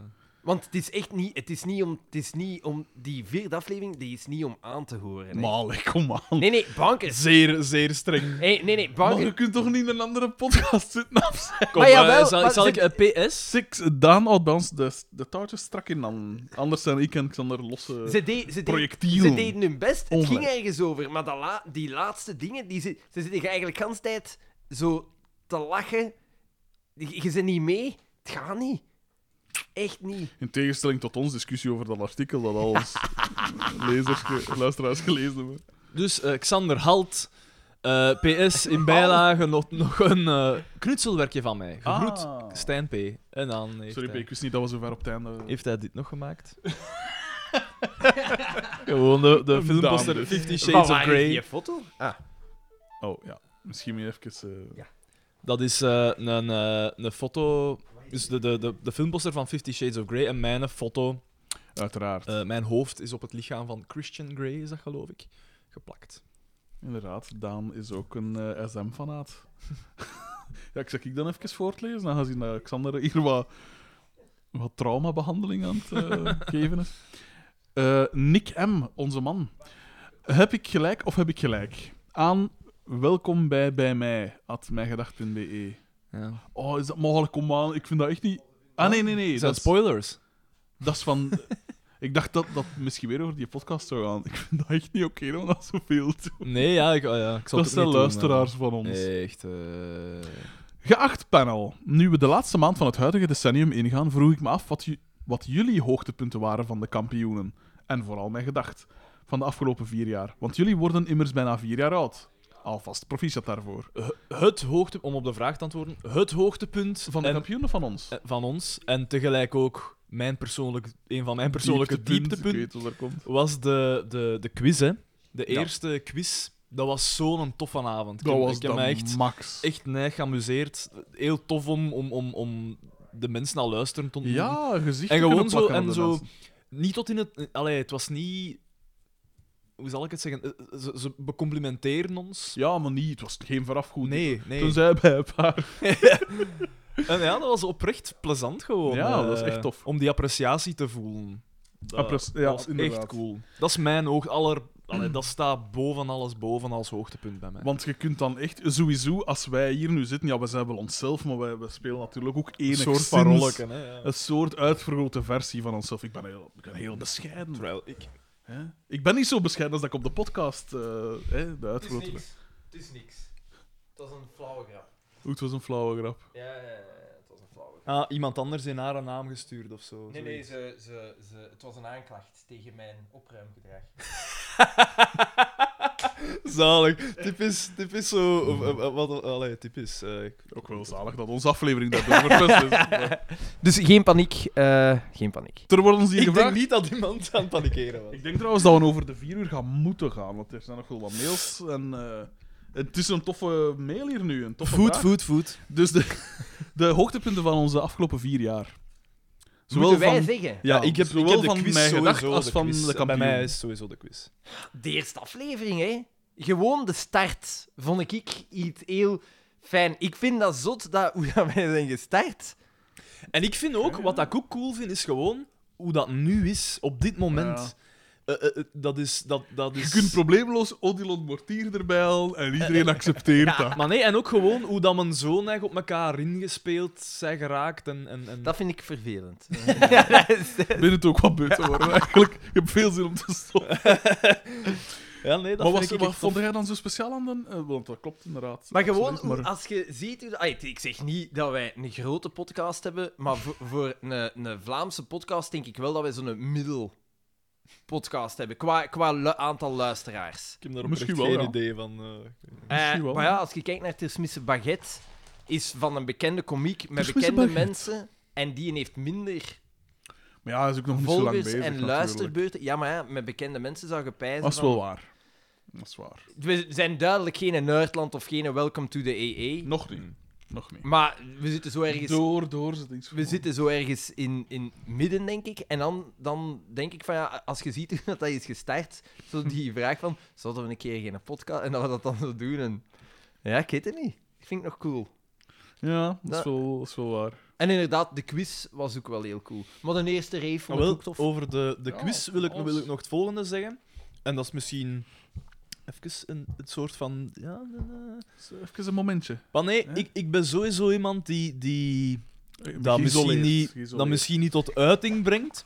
Speaker 2: Want het is echt niet, het is niet, om, het is niet om die vierde aflevering, die is niet om aan te horen. Hè?
Speaker 1: Malig, kom aan.
Speaker 2: Nee, nee, bankers.
Speaker 3: Zeer, zeer streng.
Speaker 2: Hey, nee, nee,
Speaker 1: Maar je
Speaker 2: bankers.
Speaker 1: kunt toch niet in een andere podcast zitten <laughs> afzetten?
Speaker 3: Kom,
Speaker 2: Maar jawel,
Speaker 3: eh, zal,
Speaker 2: maar
Speaker 3: zal
Speaker 2: ze-
Speaker 3: ik eh, PS?
Speaker 1: Six, Daan houdt bij ons de, de touwtjes strak in dan. Anders zijn ik en Xander losse...
Speaker 3: eh,
Speaker 2: Ze, de- ze, de-
Speaker 1: projectielen.
Speaker 2: ze deden hun best. Het ging
Speaker 1: Onrecht.
Speaker 2: ergens over. Maar dat la- die laatste dingen, die ze, ze zitten eigenlijk de hele tijd zo te lachen. Je, je bent niet mee. Het gaat niet. Echt niet.
Speaker 1: In tegenstelling tot ons discussie over dat artikel dat al
Speaker 2: <laughs>
Speaker 1: ons lezers, ge- luisteraars gelezen hebben.
Speaker 3: Dus eh, Xander Halt. eh, PS in bijlage nog, nog een eh, knutselwerkje van mij. Gegroet,
Speaker 1: Ah.
Speaker 3: Stijn P. En dan heeft,
Speaker 1: Sorry, P,
Speaker 3: hij,
Speaker 1: ik wist niet dat we zo ver op het einde...
Speaker 3: heeft hij dit nog gemaakt. Gewoon de, de
Speaker 1: Een
Speaker 3: filmposter
Speaker 1: dame. dus.
Speaker 3: Fifty
Speaker 2: Maar
Speaker 3: Shades of
Speaker 2: waar is
Speaker 3: Grey.
Speaker 2: die foto? Ah,
Speaker 1: Oh, ja. Misschien weer even... eh,
Speaker 2: Ja.
Speaker 3: Dat is eh, een, eh, een foto... Dus de, de, de, de filmposter van Fifty Shades of Grey en mijn foto
Speaker 1: Uiteraard.
Speaker 3: Eh, mijn hoofd is op het lichaam van Christian Grey, is dat geloof ik, geplakt.
Speaker 1: Inderdaad, Daan is ook een eh, SM-fanaat. <laughs> ja, ik zeg ik dan even voortlezen, dan gaan zien dat Xander hier wat, wat traumabehandeling aan het
Speaker 3: <laughs>
Speaker 1: eh, geven is. Eh, Nick M., onze man. Heb ik gelijk of heb ik gelijk? Aan welkom bij, bij mij, at mijgedacht.be.
Speaker 3: Ja.
Speaker 1: E. Oh, is dat mogelijk? Kom aan, ik vind dat echt niet... Ah, nee, nee, nee.
Speaker 3: Is dat
Speaker 1: Dat is,
Speaker 3: spoilers?
Speaker 1: dat is van... <laughs> Ik dacht dat dat misschien weer over die podcast zou gaan. Ik vind dat echt niet oké om dat zoveel te
Speaker 3: Nee, ja, ik, oh ja, ik zal
Speaker 1: Dat
Speaker 3: het ook
Speaker 1: zijn
Speaker 3: niet
Speaker 1: luisteraars van ons.
Speaker 3: Doen, maar- Echt. eh,
Speaker 1: Geacht panel, nu we de laatste maand van het huidige decennium ingaan, vroeg ik me af wat, ju- wat jullie hoogtepunten waren van de kampioenen. En vooral mijn gedacht van de afgelopen vier jaar. Want jullie worden immers bijna vier jaar oud. Alvast proficiat daarvoor.
Speaker 3: het hoogtepunt, om op de vraag te antwoorden, het hoogtepunt
Speaker 1: Van de
Speaker 3: en-
Speaker 1: kampioenen van ons.
Speaker 3: eh, van ons en tegelijk ook mijn persoonlijk, een van mijn persoonlijke dieptepunten
Speaker 1: Ik weet wat er komt.
Speaker 3: was de, de, de quiz, hè. De
Speaker 1: Ja.
Speaker 3: eerste quiz. Dat was zo'n toffe avond. Ik
Speaker 1: Dat
Speaker 3: heb-
Speaker 1: was
Speaker 3: ik heb me echt,
Speaker 1: de max.
Speaker 3: echt neig geamuseerd. Heel tof om, om, om, om de mensen al luisteren te ontmoeten.
Speaker 1: Ja, gezicht.
Speaker 3: En gewoon zo- en zo- Niet tot in het... eh, Allee, het was niet... Hoe zal ik het zeggen? Eh, Ze, ze becomplimenteren ons.
Speaker 1: Ja, maar niet. Het was geen voorafgoed.
Speaker 3: Nee, nee.
Speaker 1: Toen zei bij een paar.
Speaker 3: En ja, dat was oprecht plezant gewoon.
Speaker 1: Ja,
Speaker 3: eh,
Speaker 1: dat is echt tof.
Speaker 3: Om die appreciatie te voelen. Dat
Speaker 1: Appres- ja,
Speaker 3: was
Speaker 1: inderdaad.
Speaker 3: echt cool. Dat is mijn hoog... Aller... Allee, dat staat boven alles, boven als hoogtepunt bij mij.
Speaker 1: Want je kunt dan echt, sowieso, als wij hier nu zitten, ja, we zijn wel onszelf, maar wij, wij spelen natuurlijk ook
Speaker 3: een
Speaker 1: enigszins...
Speaker 3: soort parolleken, hè. ja.
Speaker 1: Een soort uitvergrote versie van onszelf. Ik ben heel, ik ben heel bescheiden.
Speaker 3: Terwijl ik...
Speaker 1: Hè? Ik ben niet zo bescheiden als dat ik op de podcast... eh, hè, de uitvergrote...
Speaker 2: niks. Het is niks. Het was een flauwe grap.
Speaker 1: Oeh, het was een flauwe grap.
Speaker 2: Ja, ja, ja, het was een flauwe grap.
Speaker 3: Ah, iemand anders in haar naam gestuurd of zo.
Speaker 2: Nee, nee,
Speaker 3: zoiets.
Speaker 2: ze, ze, ze, het was een aanklacht tegen mijn opruimgedrag.
Speaker 3: Zalig. Typisch, typisch zo... of, eh, eh, wat, allee, typisch. eh, ik-
Speaker 1: Ook wel zalig dat onze aflevering daardoor verpest is. Maar
Speaker 2: Dus geen paniek, eh, geen paniek.
Speaker 1: Er wordt ons hier
Speaker 3: ik denk
Speaker 1: gevraagd...
Speaker 3: niet dat iemand aan het panikeren was.
Speaker 1: Ik denk trouwens dat we over de vier uur gaan moeten gaan, want er zijn nog wel wat mails en... eh, het is een toffe mail hier nu, een toffe vraag.
Speaker 3: food, food.
Speaker 1: Dus de, <laughs> de hoogtepunten van onze afgelopen vier jaar.
Speaker 2: Moeten wij
Speaker 1: van-
Speaker 2: zeggen?
Speaker 1: Ja,
Speaker 3: ik heb,
Speaker 1: zowel
Speaker 3: ik heb de
Speaker 1: van
Speaker 3: quiz
Speaker 1: mijn gedacht
Speaker 3: sowieso
Speaker 1: als van
Speaker 3: quiz.
Speaker 1: de
Speaker 3: Bij
Speaker 1: kampioen. <laughs>
Speaker 3: mij is sowieso de quiz.
Speaker 2: De eerste aflevering, hè? Gewoon de start vond ik iets heel fijn. Ik vind dat zot dat, hoe dat wij zijn gestart.
Speaker 3: En ik vind ook, wat ik ook cool vind, is gewoon hoe dat nu is, op dit moment. Eh, eh, eh, dat is... Dat, dat is...
Speaker 1: Je kunt probleemloos Odilon Mortier erbij halen en iedereen accepteert dat.
Speaker 3: maar nee, en ook gewoon hoe dat men zo neig op elkaar ingespeeld zijn geraakt. En, en, en... <laughs>
Speaker 2: Dat vind ik vervelend.
Speaker 1: Binnen het ook wat beu te worden eigenlijk. Ik heb veel zin om
Speaker 2: <laughs>
Speaker 1: te stoppen.
Speaker 3: Ja, nee, dat
Speaker 1: maar
Speaker 3: vind
Speaker 1: wat,
Speaker 3: ik
Speaker 1: wat
Speaker 3: echt
Speaker 1: vond
Speaker 3: tof.
Speaker 1: jij dan zo speciaal aan dan? eh, want dat klopt inderdaad.
Speaker 2: Maar gewoon,
Speaker 1: absoluut,
Speaker 2: hoe-
Speaker 1: maar-
Speaker 2: als je ziet hoe... dat- Ai, ik zeg niet dat wij een grote podcast hebben, maar voor, voor een, een Vlaamse podcast denk ik wel dat wij zo'n middel podcast hebben, qua, qua lu- aantal luisteraars.
Speaker 3: Ik heb daar
Speaker 1: Misschien
Speaker 3: misschien
Speaker 1: wel,
Speaker 3: geen
Speaker 1: ja.
Speaker 3: idee van. eh,
Speaker 2: Eh,
Speaker 1: wel.
Speaker 2: maar ja, als je kijkt naar Tersmisse Baguette, is van een bekende komiek met
Speaker 1: Tersmisse
Speaker 2: bekende
Speaker 1: Baguette.
Speaker 2: mensen, en die heeft minder
Speaker 1: Maar ja, hij is ook nog niet zo lang
Speaker 2: volgers
Speaker 1: bezig.
Speaker 2: en
Speaker 1: natuurlijk.
Speaker 2: luisterbeurten. Ja, maar ja, met bekende mensen zou je pijzen
Speaker 1: Dat is
Speaker 2: van-
Speaker 1: wel waar. Dat is waar.
Speaker 2: We zijn duidelijk geen Nerdland of geen Welcome to the EE.
Speaker 1: Nog niet. Nog niet.
Speaker 2: Maar we zitten zo ergens...
Speaker 1: Door, door zit iets.
Speaker 2: We zitten zo ergens in, in midden, denk ik. En dan, dan denk ik van ja, als je ziet <laughs> hoe dat, dat is gestart,
Speaker 1: <laughs>
Speaker 2: zo die vraag van, zouden we een keer geen podcast en dat we dat dan zo doen. En, ja, ik weet het niet. Ik vind het nog cool.
Speaker 1: Ja, dat is
Speaker 2: Ja.
Speaker 1: wel, dat is wel waar.
Speaker 2: En inderdaad, de quiz was ook wel heel cool. Maar de eerste rave vond ik
Speaker 1: Ah,
Speaker 3: Wel,
Speaker 2: ook tof.
Speaker 1: Oh,
Speaker 3: over de, de
Speaker 1: Ja,
Speaker 3: quiz wil ik,
Speaker 1: alles.
Speaker 3: wil ik nog het volgende zeggen. En dat is misschien even een, het soort van. Ja, eh.
Speaker 1: Dus Even een momentje.
Speaker 3: maar nee,
Speaker 1: Ja.
Speaker 3: ik, ik ben sowieso iemand die, die dat,
Speaker 1: Eh, Geïsoleerd,
Speaker 3: misschien niet, dat
Speaker 1: geïsoleerd.
Speaker 3: misschien niet tot uiting brengt.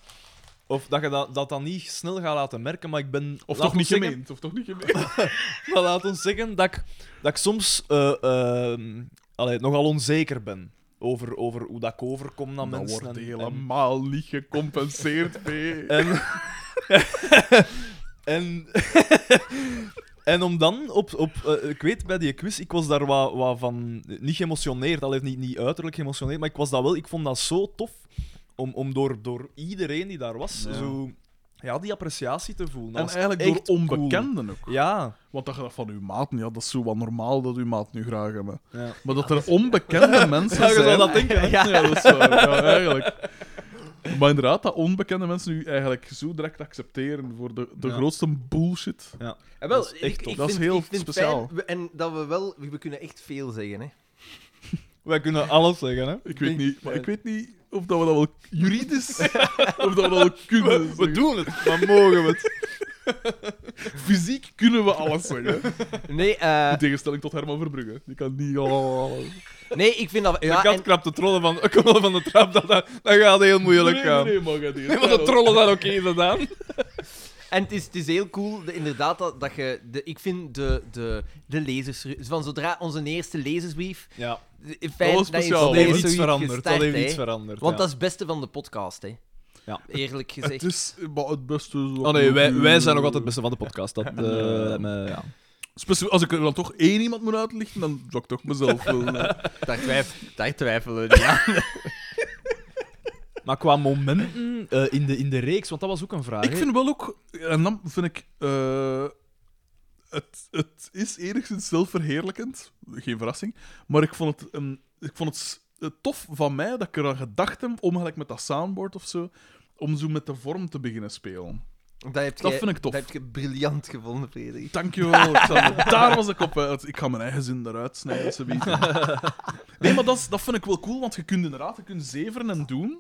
Speaker 3: Of dat je dat, dat dan niet snel gaat laten merken, maar ik ben.
Speaker 1: Of
Speaker 3: laat
Speaker 1: toch
Speaker 3: ons
Speaker 1: niet Ah,
Speaker 3: zeggen-
Speaker 1: gemeend. Of toch niet gemeend.
Speaker 3: Maar laat ons zeggen dat ik, dat ik soms eh, ehm, allee, nogal onzeker ben over, over hoe dat ik overkom naar
Speaker 1: Dat
Speaker 3: mensen.
Speaker 1: wordt
Speaker 3: en- en-
Speaker 1: helemaal niet gecompenseerd, <laughs> P.
Speaker 3: En, <laughs> en, en om dan op, op eh, ik weet bij die quiz, ik was daar wat, wat van, niet geëmotioneerd, al niet, niet uiterlijk geëmotioneerd, maar ik was dat wel, ik vond dat zo tof om, om door, door iedereen die daar was,
Speaker 1: Ja.
Speaker 3: zo, ja, die appreciatie te voelen. Dat
Speaker 1: En
Speaker 3: was
Speaker 1: eigenlijk
Speaker 3: echt
Speaker 1: door
Speaker 3: cool.
Speaker 1: onbekenden ook.
Speaker 3: Ja.
Speaker 1: Want dat je dat van uw maten, ja, dat is zo wat normaal dat uw maat nu graag hebben.
Speaker 3: ja. <laughs>
Speaker 1: Maar dat er onbekende mensen
Speaker 3: Ja, je
Speaker 1: zijn... <laughs>
Speaker 3: zou dat denken, hè?
Speaker 1: Ja, dat is waar. Ja, eigenlijk. Maar inderdaad, dat onbekende mensen nu eigenlijk zo direct accepteren voor de, de
Speaker 3: Ja.
Speaker 1: grootste bullshit.
Speaker 2: Ja, wel,
Speaker 1: Dat is echt
Speaker 2: ik-
Speaker 1: tof.
Speaker 2: ik
Speaker 1: Dat is
Speaker 2: vind-
Speaker 1: heel
Speaker 2: ik vind
Speaker 1: speciaal.
Speaker 2: fijn, we- en dat we wel... We we kunnen echt veel zeggen, hè.
Speaker 3: Wij kunnen alles zeggen, hè?
Speaker 1: Ik weet niet, maar ik weet niet of dat we dat wel
Speaker 3: <laughs>
Speaker 1: juridisch of dat we dat wel kunnen.
Speaker 3: We doen het, maar mogen we het?
Speaker 1: <laughs>
Speaker 3: <laughs>
Speaker 1: Fysiek kunnen we alles zeggen.
Speaker 2: Nee,
Speaker 1: <laughs>
Speaker 2: eh,
Speaker 1: In tegenstelling tot Herman Verbrugge. Die kan niet al.
Speaker 2: nee ik vind dat... Ja,
Speaker 3: de kat
Speaker 2: en-
Speaker 3: krapt de trollen van, <laughs> de trollen van de trap, dat, dat, dat gaat heel moeilijk
Speaker 1: Nee,
Speaker 3: gaan.
Speaker 1: nee, mag het niet.
Speaker 3: Nee, maar de trollen zijn oké gedaan.
Speaker 2: En het is, het is heel cool, de- inderdaad, dat, dat je... De, ik vind de, de, de lezers... Van zodra onze eerste lezersbrief...
Speaker 3: Ja,
Speaker 2: de- In feite,
Speaker 1: was
Speaker 2: dat je
Speaker 1: speciaal.
Speaker 2: zo-
Speaker 1: Dat
Speaker 3: dat
Speaker 1: heeft
Speaker 2: is
Speaker 3: heeft iets
Speaker 2: zoiets
Speaker 3: veranderd. Dat
Speaker 2: gestart,
Speaker 3: heeft
Speaker 2: hè.
Speaker 3: iets veranderd.
Speaker 2: Want
Speaker 3: ja.
Speaker 2: dat is het beste van de podcast, hè.
Speaker 3: Ja.
Speaker 2: Eerlijk gezegd.
Speaker 1: Het is maar het beste. zo-
Speaker 3: Oh nee, wij, wij zijn nog altijd het beste van de podcast. Dat, eh, me- ja.
Speaker 1: Specie- Als ik er dan toch één iemand moet uitlichten, dan zou ik toch
Speaker 3: <laughs>
Speaker 1: mezelf
Speaker 3: Ah,
Speaker 1: willen.
Speaker 2: Daar, twijf, daar twijfelen we niet aan.
Speaker 3: Maar qua momenten eh, in, de, in de reeks, want dat was ook een vraag.
Speaker 1: Ik
Speaker 3: hè.
Speaker 1: vind wel ook, en dan vind ik, eh, het, het is enigszins zelfverheerlijkend, geen verrassing, maar ik vond het, een, ik vond het s- eh, tof van mij dat ik eraan gedacht heb, om gelijk met dat soundboard of zo, om zo met de vorm te beginnen spelen.
Speaker 2: Dat, heb
Speaker 1: Dat
Speaker 2: jij-
Speaker 1: vind ik tof.
Speaker 2: Dat heb je briljant gevonden, Frederik.
Speaker 1: Dankjewel,
Speaker 3: <laughs>
Speaker 1: Xander. Daar was ik op uit. Ik ga mijn eigen zin eruit snijden, alsjeblieft. Nee, maar dat, is- dat vind ik wel cool, want je kunt inderdaad je kunt zeveren en doen,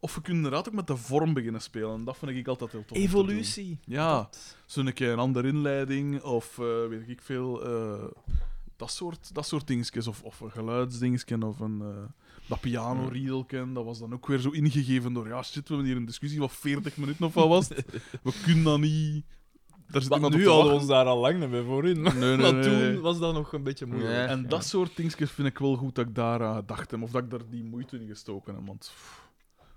Speaker 1: of je kunt inderdaad ook met de vorm beginnen spelen. Dat vind ik altijd heel tof. om te doen.
Speaker 3: Evolutie.
Speaker 1: Ja, zo'n keer een andere inleiding of eh, weet ik veel. eh, dat, soort, dat soort dingetjes. Of, of een geluidsdingetje of een. eh, dat pianoriedelken, dat was dan ook weer zo ingegeven door. Ja, shit, we hebben hier een discussie van 40 minuten of wat was
Speaker 3: <laughs>
Speaker 1: het. We kunnen dat niet. Daar zit
Speaker 3: Maar
Speaker 1: iemand op
Speaker 3: nu
Speaker 1: te
Speaker 3: hadden we
Speaker 1: wachten.
Speaker 3: ons daar al lang niet meer voor in. <laughs> Maar
Speaker 1: Nee, nee, nee, nee.
Speaker 3: toen was dat nog een beetje moeilijk.
Speaker 2: Nee.
Speaker 1: En dat soort dingetjes vind ik wel goed dat ik daar aan gedacht heb. Of dat ik daar die moeite in gestoken heb. Want pff,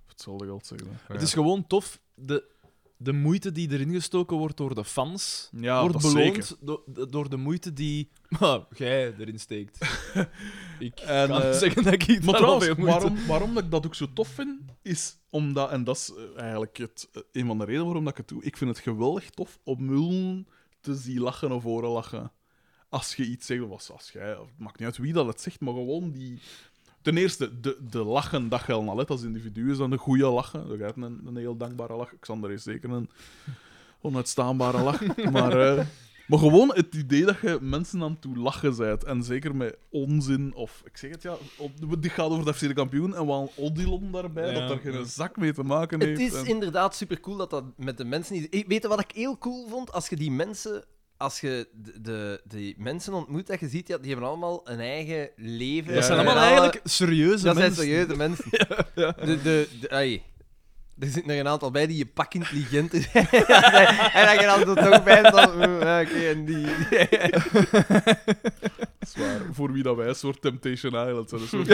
Speaker 1: hetzelfde geld zeggen.
Speaker 3: Het is gewoon tof, de, de moeite die erin gestoken wordt door de fans,
Speaker 1: Ja,
Speaker 3: wordt
Speaker 1: dat zeker.
Speaker 3: beloond do- de- door de moeite die <laughs> ah, jij erin
Speaker 1: <laughs>
Speaker 3: steekt. ik
Speaker 1: En,
Speaker 3: kan
Speaker 1: eh,
Speaker 3: zeggen dat ik
Speaker 1: Maar
Speaker 3: daar al
Speaker 1: trouwens,
Speaker 3: veel moeite...
Speaker 1: waarom, waarom dat ik dat ook zo tof vind, is omdat, en dat is eh, eigenlijk het, eh, een van de redenen waarom dat ik het doe, ik vind het geweldig tof om mullen te zien lachen of horen lachen. Als je iets zegt, of als, als jij, of het maakt niet uit wie dat het zegt, maar gewoon die... Ten eerste, de, de lachen dat je al net als individu is dan een goede lachen. Dat gaat een, een heel dankbare lach. Xander is zeker een onuitstaanbare
Speaker 2: <laughs>
Speaker 1: lach. maar, eh, maar gewoon het idee dat je mensen aan toe lachen bent. En zeker met onzin of... Ik zeg het, ja. Op, dit gaat over de FC de kampioen en wel een odilon daarbij.
Speaker 3: Ja.
Speaker 1: Dat daar geen zak mee te maken heeft.
Speaker 2: Het is
Speaker 1: En-
Speaker 2: inderdaad super cool dat dat met de mensen. is. Ik- Weet je wat ik heel cool vond? Als je die mensen. Als je de, de, die mensen ontmoet, dat je ziet, ja, die hebben allemaal een eigen leven.
Speaker 1: Ja,
Speaker 3: Dat zijn
Speaker 1: ja,
Speaker 3: allemaal
Speaker 2: En
Speaker 3: eigenlijk serieuze
Speaker 2: Dat zijn
Speaker 3: mensen. <laughs>
Speaker 2: serieuze mensen. De, de, de, ai. Er zitten er een aantal bij die je pak intelligenter <laughs> zijn. en dan je dan tot ook bij van... mm, <laughs> ja, oké, en die...
Speaker 1: Dat is waar. Voor wie dat wij een soort Temptation Island zijn. Een
Speaker 2: <laughs>
Speaker 1: soort,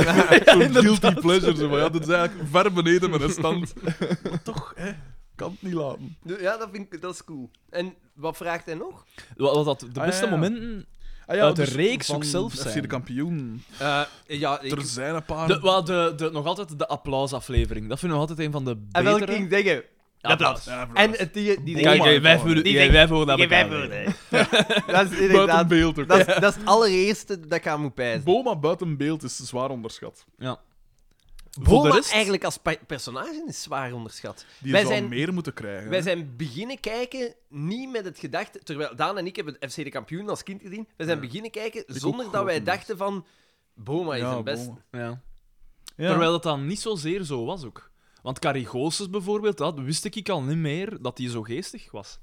Speaker 1: zo'n guilty pleasure. Zo van, ja, dat is eigenlijk ver beneden mijn
Speaker 2: <laughs>
Speaker 1: stand. Maar toch, hè. Kan het niet laten.
Speaker 2: Ja, dat vind ik... Dat is cool. En wat vraagt hij nog?
Speaker 3: Wat wat dat de
Speaker 1: Ah,
Speaker 3: beste
Speaker 1: ja, ja.
Speaker 3: momenten...
Speaker 1: Ah,
Speaker 3: Uit de reeks ook zelf
Speaker 1: FC de
Speaker 3: zijn.
Speaker 1: kampioen.
Speaker 2: Eh, ja, ik...
Speaker 1: Er zijn een paar...
Speaker 3: De, wel, de, de, nog altijd de applausaflevering. Dat vinden we altijd een van de
Speaker 2: En welke
Speaker 3: betere.
Speaker 2: ging zeggen?
Speaker 3: applaus.
Speaker 2: En het die... die
Speaker 1: Oh
Speaker 3: Kijk, jij vijf minuten-
Speaker 2: Die
Speaker 3: jij
Speaker 2: denkt-
Speaker 3: vijf woorden aan
Speaker 2: Ik heb
Speaker 3: elkaar.
Speaker 2: woorden. Dat is
Speaker 1: Buiten
Speaker 2: inderdaad...
Speaker 1: beeld ook.
Speaker 2: Dat is, dat is het allereerste dat ik aan moet pijzen.
Speaker 1: <laughs> Boma buiten beeld is zwaar onderschat.
Speaker 3: Ja. Voor
Speaker 2: Boma
Speaker 3: de rest...
Speaker 2: eigenlijk als pe- personage is zwaar onderschat.
Speaker 1: Die
Speaker 2: Wij
Speaker 1: zou
Speaker 2: zijn-
Speaker 1: meer moeten krijgen.
Speaker 2: Wij zijn beginnen kijken niet met het gedachte... Terwijl Daan en ik hebben FC de kampioen als kind gezien. Wij zijn beginnen kijken zonder
Speaker 1: ook
Speaker 2: dat wij
Speaker 1: grotendeels.
Speaker 2: dachten van... Boma is
Speaker 1: Ja,
Speaker 2: een best.
Speaker 1: Boma.
Speaker 3: Ja.
Speaker 1: Ja.
Speaker 3: Terwijl dat dan niet zozeer zo was ook. Want Carrie Goossens bijvoorbeeld, dat wist ik al niet meer dat die zo geestig was.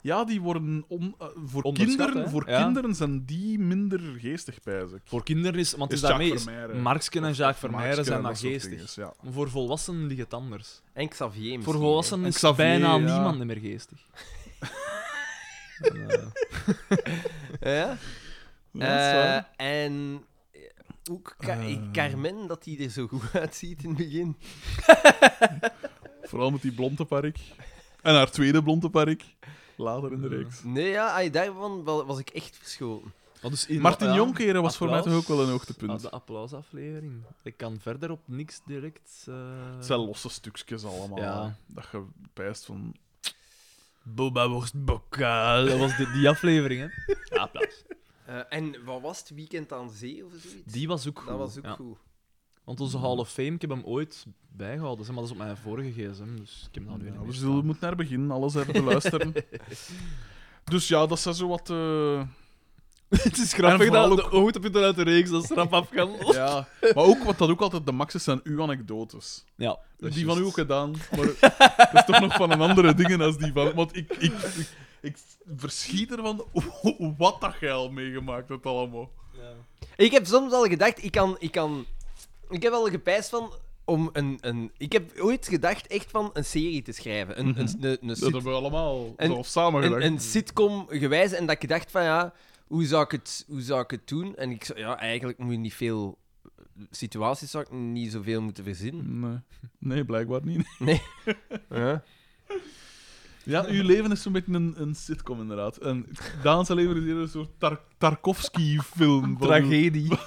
Speaker 1: ja, die worden on- eh, voor,
Speaker 3: Onderschat,
Speaker 1: kinderen,
Speaker 3: hè?
Speaker 1: voor
Speaker 3: Ja.
Speaker 1: kinderen zijn die minder geestig, pijs ik.
Speaker 3: Voor kinderen is, want
Speaker 1: Is
Speaker 3: is daarmee
Speaker 1: Jacques
Speaker 3: is
Speaker 1: Vermeijren.
Speaker 3: Marksken en Jacques
Speaker 1: Marksken
Speaker 3: Vermeijren
Speaker 1: en
Speaker 3: zijn maar
Speaker 1: dat soort
Speaker 3: geestig.
Speaker 1: dinges, ja.
Speaker 3: Maar Voor volwassenen ligt het anders.
Speaker 2: En Xavier misschien,
Speaker 3: voor
Speaker 2: hè.
Speaker 3: volwassenen is
Speaker 1: Xavier,
Speaker 3: bijna
Speaker 1: ja.
Speaker 3: niemand meer geestig.
Speaker 2: Ja?
Speaker 1: Ja, dat is waar.
Speaker 2: Eh, en... eh, Ook Ka-
Speaker 1: Eh.
Speaker 2: Carmen, dat hij er zo goed <laughs> uitziet in het begin.
Speaker 3: Eh.
Speaker 1: Vooral met die blonde park. En haar tweede blonde park. Later in de reeks.
Speaker 2: Nee, ja, ai, daarvan wa- was ik echt verschoten.
Speaker 3: Wat dus in-
Speaker 1: Martin
Speaker 3: ja,
Speaker 1: Jonkeren was voor mij toch
Speaker 3: applaus.
Speaker 1: ook wel een
Speaker 3: Ah,
Speaker 1: hoogtepunt.
Speaker 3: de applausaflevering. Ik kan verder op niks direct. eh,
Speaker 1: Het zijn losse stukjes allemaal.
Speaker 3: Ja.
Speaker 1: hè. Dat je pijst van...
Speaker 3: Boba worst bokaal. Dat was die, die aflevering, hè? Ja, applaus.
Speaker 2: Eh, en wat was het? Weekend aan zee of zoiets?
Speaker 3: Die was ook goed.
Speaker 2: dat was ook
Speaker 3: ja.
Speaker 2: goed.
Speaker 3: Want onze Hall of Fame, ik heb hem ooit bijgehouden, zeg maar dat is op mijn vorige gsm, dus ik heb hem dan nu
Speaker 1: Ja,
Speaker 3: niet
Speaker 1: we
Speaker 3: meer
Speaker 1: zullen,
Speaker 3: staan.
Speaker 1: moeten naar beginnen, alles even te luisteren. dus ja, dat zijn zo wat. eh,
Speaker 3: <laughs> Het is
Speaker 1: En
Speaker 3: grappig
Speaker 1: vooral
Speaker 3: dat de hoogtepunten uit de reeks dat is rap afgaan.
Speaker 1: <laughs> ja. Maar ook wat dat ook altijd de max is, zijn uw anekdotes.
Speaker 3: Ja, dat is
Speaker 1: die van u
Speaker 3: juist.
Speaker 1: ook gedaan,
Speaker 3: <laughs>
Speaker 1: maar dat is toch nog van een andere dingen als die van. Want ik, ik, ik, ik verschiet ervan <laughs> wat dat geil meegemaakt hebt allemaal.
Speaker 2: Ik heb soms al gedacht, ik kan... Ik, kan, ik heb al gepijst van... Om een, een, ik heb ooit gedacht echt van een serie te schrijven. Een, een, een, een
Speaker 1: Mhm. Dat
Speaker 2: sit-
Speaker 1: hebben we allemaal
Speaker 2: En-
Speaker 1: zelf samen
Speaker 2: een,
Speaker 1: gedacht.
Speaker 2: een sitcom gewijs en dat ik dacht van ja, hoe zou ik het, hoe zou ik het doen? En ik zo, ja, eigenlijk moet je niet veel situaties zou ik niet zoveel moeten verzinnen.
Speaker 1: Nee. nee, blijkbaar niet. <laughs>
Speaker 2: Ja.
Speaker 1: Ja, uw leven is zo'n beetje een, een sitcom, inderdaad. En Daanse leven is hier een soort tar Tarkovsky-film. van- <laughs>
Speaker 3: Tragedie.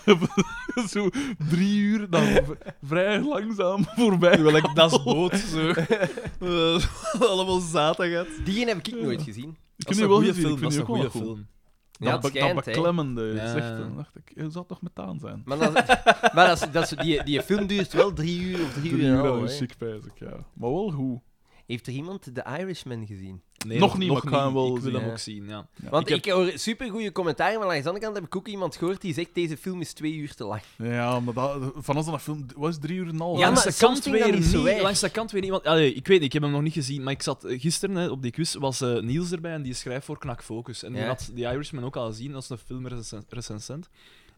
Speaker 1: zo drie uur, dan v- vrij langzaam <laughs> voorbij.
Speaker 3: Terwijl ik dasboot
Speaker 2: <laughs>
Speaker 3: zo. Eh,
Speaker 1: <laughs>
Speaker 3: allemaal zaterdag. Ik
Speaker 2: Die heb ik nooit gezien.
Speaker 1: Ik
Speaker 3: dat
Speaker 1: heb
Speaker 3: is
Speaker 1: die
Speaker 3: een
Speaker 1: wel
Speaker 3: goede
Speaker 1: gezien,
Speaker 3: film.
Speaker 1: ik
Speaker 3: Dat
Speaker 1: vind die
Speaker 3: is
Speaker 1: ook
Speaker 3: een
Speaker 1: wel
Speaker 3: goede
Speaker 1: goed.
Speaker 3: film.
Speaker 2: Ja,
Speaker 1: dat,
Speaker 2: dat
Speaker 1: be- dat
Speaker 2: schijnt, hè.
Speaker 1: beklemmende
Speaker 3: Ja.
Speaker 1: zegt, dan dacht ik, zou het toch metaan zijn?
Speaker 2: Maar, dat, <laughs> maar dat, is- dat, is- die, die film duurt wel drie uur of drie,
Speaker 1: Drie
Speaker 2: uur. dus en
Speaker 1: uur aan
Speaker 2: een half,
Speaker 1: een
Speaker 2: hè.
Speaker 1: chic pijs ik, ja. Maar wel goed.
Speaker 2: Heeft er iemand The Irishman gezien?
Speaker 3: Nee,
Speaker 1: Nog niet, maar ik ga hem wel
Speaker 3: Ik wil
Speaker 1: zien,
Speaker 3: hem
Speaker 2: ja.
Speaker 3: ook zien, ja.
Speaker 2: Want
Speaker 1: ik
Speaker 2: ik, hoor supergoeie commentaren, maar aan de andere kant heb ik ook iemand gehoord die zegt deze film is twee uur te lang.
Speaker 1: Ja, maar dat, van als dat een film... Wat is drie uur en een half?
Speaker 2: Ja,
Speaker 1: hè?
Speaker 2: maar
Speaker 3: langs de
Speaker 2: soms
Speaker 3: kant
Speaker 2: vind ik
Speaker 3: weer
Speaker 2: dat niet zo
Speaker 3: niet.
Speaker 2: erg.
Speaker 3: Langs de kant weer niet. Want, allee, ik weet niet, ik heb hem nog niet gezien, maar ik zat eh, gisteren hè, op die quiz, was eh, Niels erbij en die schrijft voor Knak Focus. En die
Speaker 2: Ja.
Speaker 3: had The Irishman ook al gezien, dat is een filmrecensent.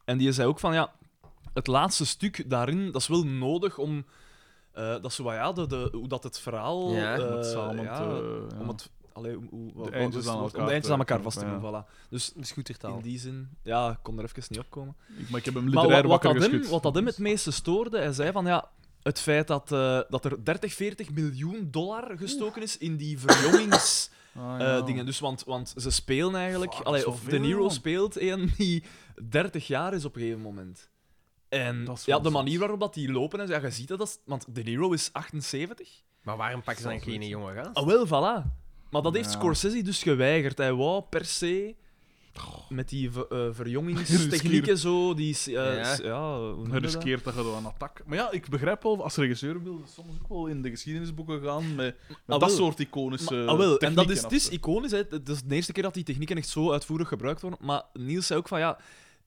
Speaker 3: En die zei ook van, ja, het laatste stuk daarin, dat is wel nodig om... eh, dat is zo, wat, ja, de, de, hoe dat het verhaal...
Speaker 2: Ja.
Speaker 3: eh,
Speaker 1: Om het samen
Speaker 3: ja,
Speaker 1: te- ja.
Speaker 3: Om het... Allee, hoe, hoe, wat- wat
Speaker 1: eindjes
Speaker 3: is het
Speaker 1: aan
Speaker 3: woord? Om
Speaker 1: elkaar
Speaker 3: de eindjes aan
Speaker 1: te
Speaker 3: elkaar vast te doen,
Speaker 1: knopen,
Speaker 3: voilà. Dus
Speaker 2: Dat is goed
Speaker 3: in
Speaker 2: vertaald.
Speaker 3: die zin... Ja, ik kon er even niet op komen.
Speaker 1: Ik- Maar ik heb hem
Speaker 3: Maar
Speaker 1: literair
Speaker 3: wat, wat,
Speaker 1: wakker
Speaker 3: dat hem,
Speaker 1: geschud.
Speaker 3: wat dat hem het meeste stoorde, hij zei van ja, het feit dat, eh, dat er 30, 40 miljoen dollar gestoken is
Speaker 1: <coughs>
Speaker 3: in die verjongingsdingen.
Speaker 1: Ah, ja.
Speaker 3: dus want, want ze spelen eigenlijk,
Speaker 1: Fuck,
Speaker 3: allee,
Speaker 1: dat is wel
Speaker 3: of De
Speaker 1: veel,
Speaker 3: Niro
Speaker 1: man.
Speaker 3: speelt een die 30 jaar is op een gegeven moment. En
Speaker 1: Dat is wel
Speaker 3: ja, de
Speaker 1: zot.
Speaker 3: manier waarop dat die lopen, en zo, ja, je ziet dat, dat is, want De Niro is 78.
Speaker 2: Maar waarom pakken ze dan geen jonge gast?
Speaker 3: Ah, wel, voilà. Maar dat heeft
Speaker 1: Ja.
Speaker 3: Scorsese dus geweigerd. Hij wou per se met die ver- eh, verjongingstechnieken
Speaker 1: Riskeer.
Speaker 3: zo, die... eh,
Speaker 2: Ja.
Speaker 3: s- ja, hoe noem je
Speaker 1: Hij
Speaker 3: dat?
Speaker 1: riskeert dat je door een attack. Maar ja, ik begrijp wel, als regisseur wil je soms ook wel in de geschiedenisboeken gaan met, met
Speaker 3: Ah,
Speaker 1: dat
Speaker 3: wel.
Speaker 1: soort iconische
Speaker 3: Maar- ah, wel, en dat
Speaker 1: eh, technieken
Speaker 3: is, het
Speaker 1: af
Speaker 3: is
Speaker 1: te-
Speaker 3: iconisch. Hè. Het is de eerste keer dat die technieken echt zo uitvoerig gebruikt worden. Maar Niels zei ook van ja,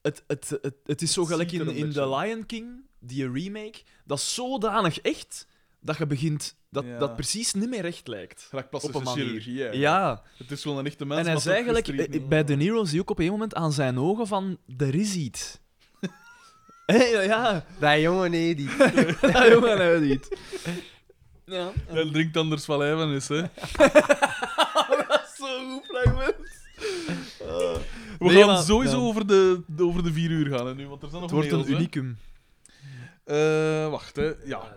Speaker 3: het, het, het, het is zo
Speaker 1: Het
Speaker 3: gelijk
Speaker 1: ziet er
Speaker 3: in,
Speaker 1: een
Speaker 3: in
Speaker 1: beetje
Speaker 3: The Lion King, die remake. Dat is zodanig echt dat je begint dat
Speaker 1: Ja.
Speaker 3: dat precies niet meer recht lijkt.
Speaker 1: Gelijk
Speaker 3: Op een
Speaker 1: plastische
Speaker 3: manier.
Speaker 1: chirurgie.
Speaker 3: Ja,
Speaker 1: hè. Het is wel een echte mens.
Speaker 3: en hij
Speaker 1: maar
Speaker 3: is eigenlijk
Speaker 1: gestreken
Speaker 3: eh,
Speaker 1: is.
Speaker 3: bij De Niro zie je ook op een moment aan zijn ogen van er is <laughs> iets. Hé, ja, ja,
Speaker 2: Dat jongen, nee, die. <laughs>
Speaker 3: ja, jongen, hij weet niet. Ja,
Speaker 1: Hij drinkt anders van lijvenis, hè.
Speaker 3: zo goed fragment.
Speaker 1: We
Speaker 3: Nee,
Speaker 1: gaan
Speaker 3: maar-
Speaker 1: sowieso
Speaker 3: ja.
Speaker 1: over, de, de- over de vier uur gaan, hè, nu, want er zijn nog
Speaker 3: Het wordt
Speaker 1: mails,
Speaker 3: een
Speaker 1: hè.
Speaker 3: unicum.
Speaker 1: Eh, wacht, hè. Ja.
Speaker 2: dat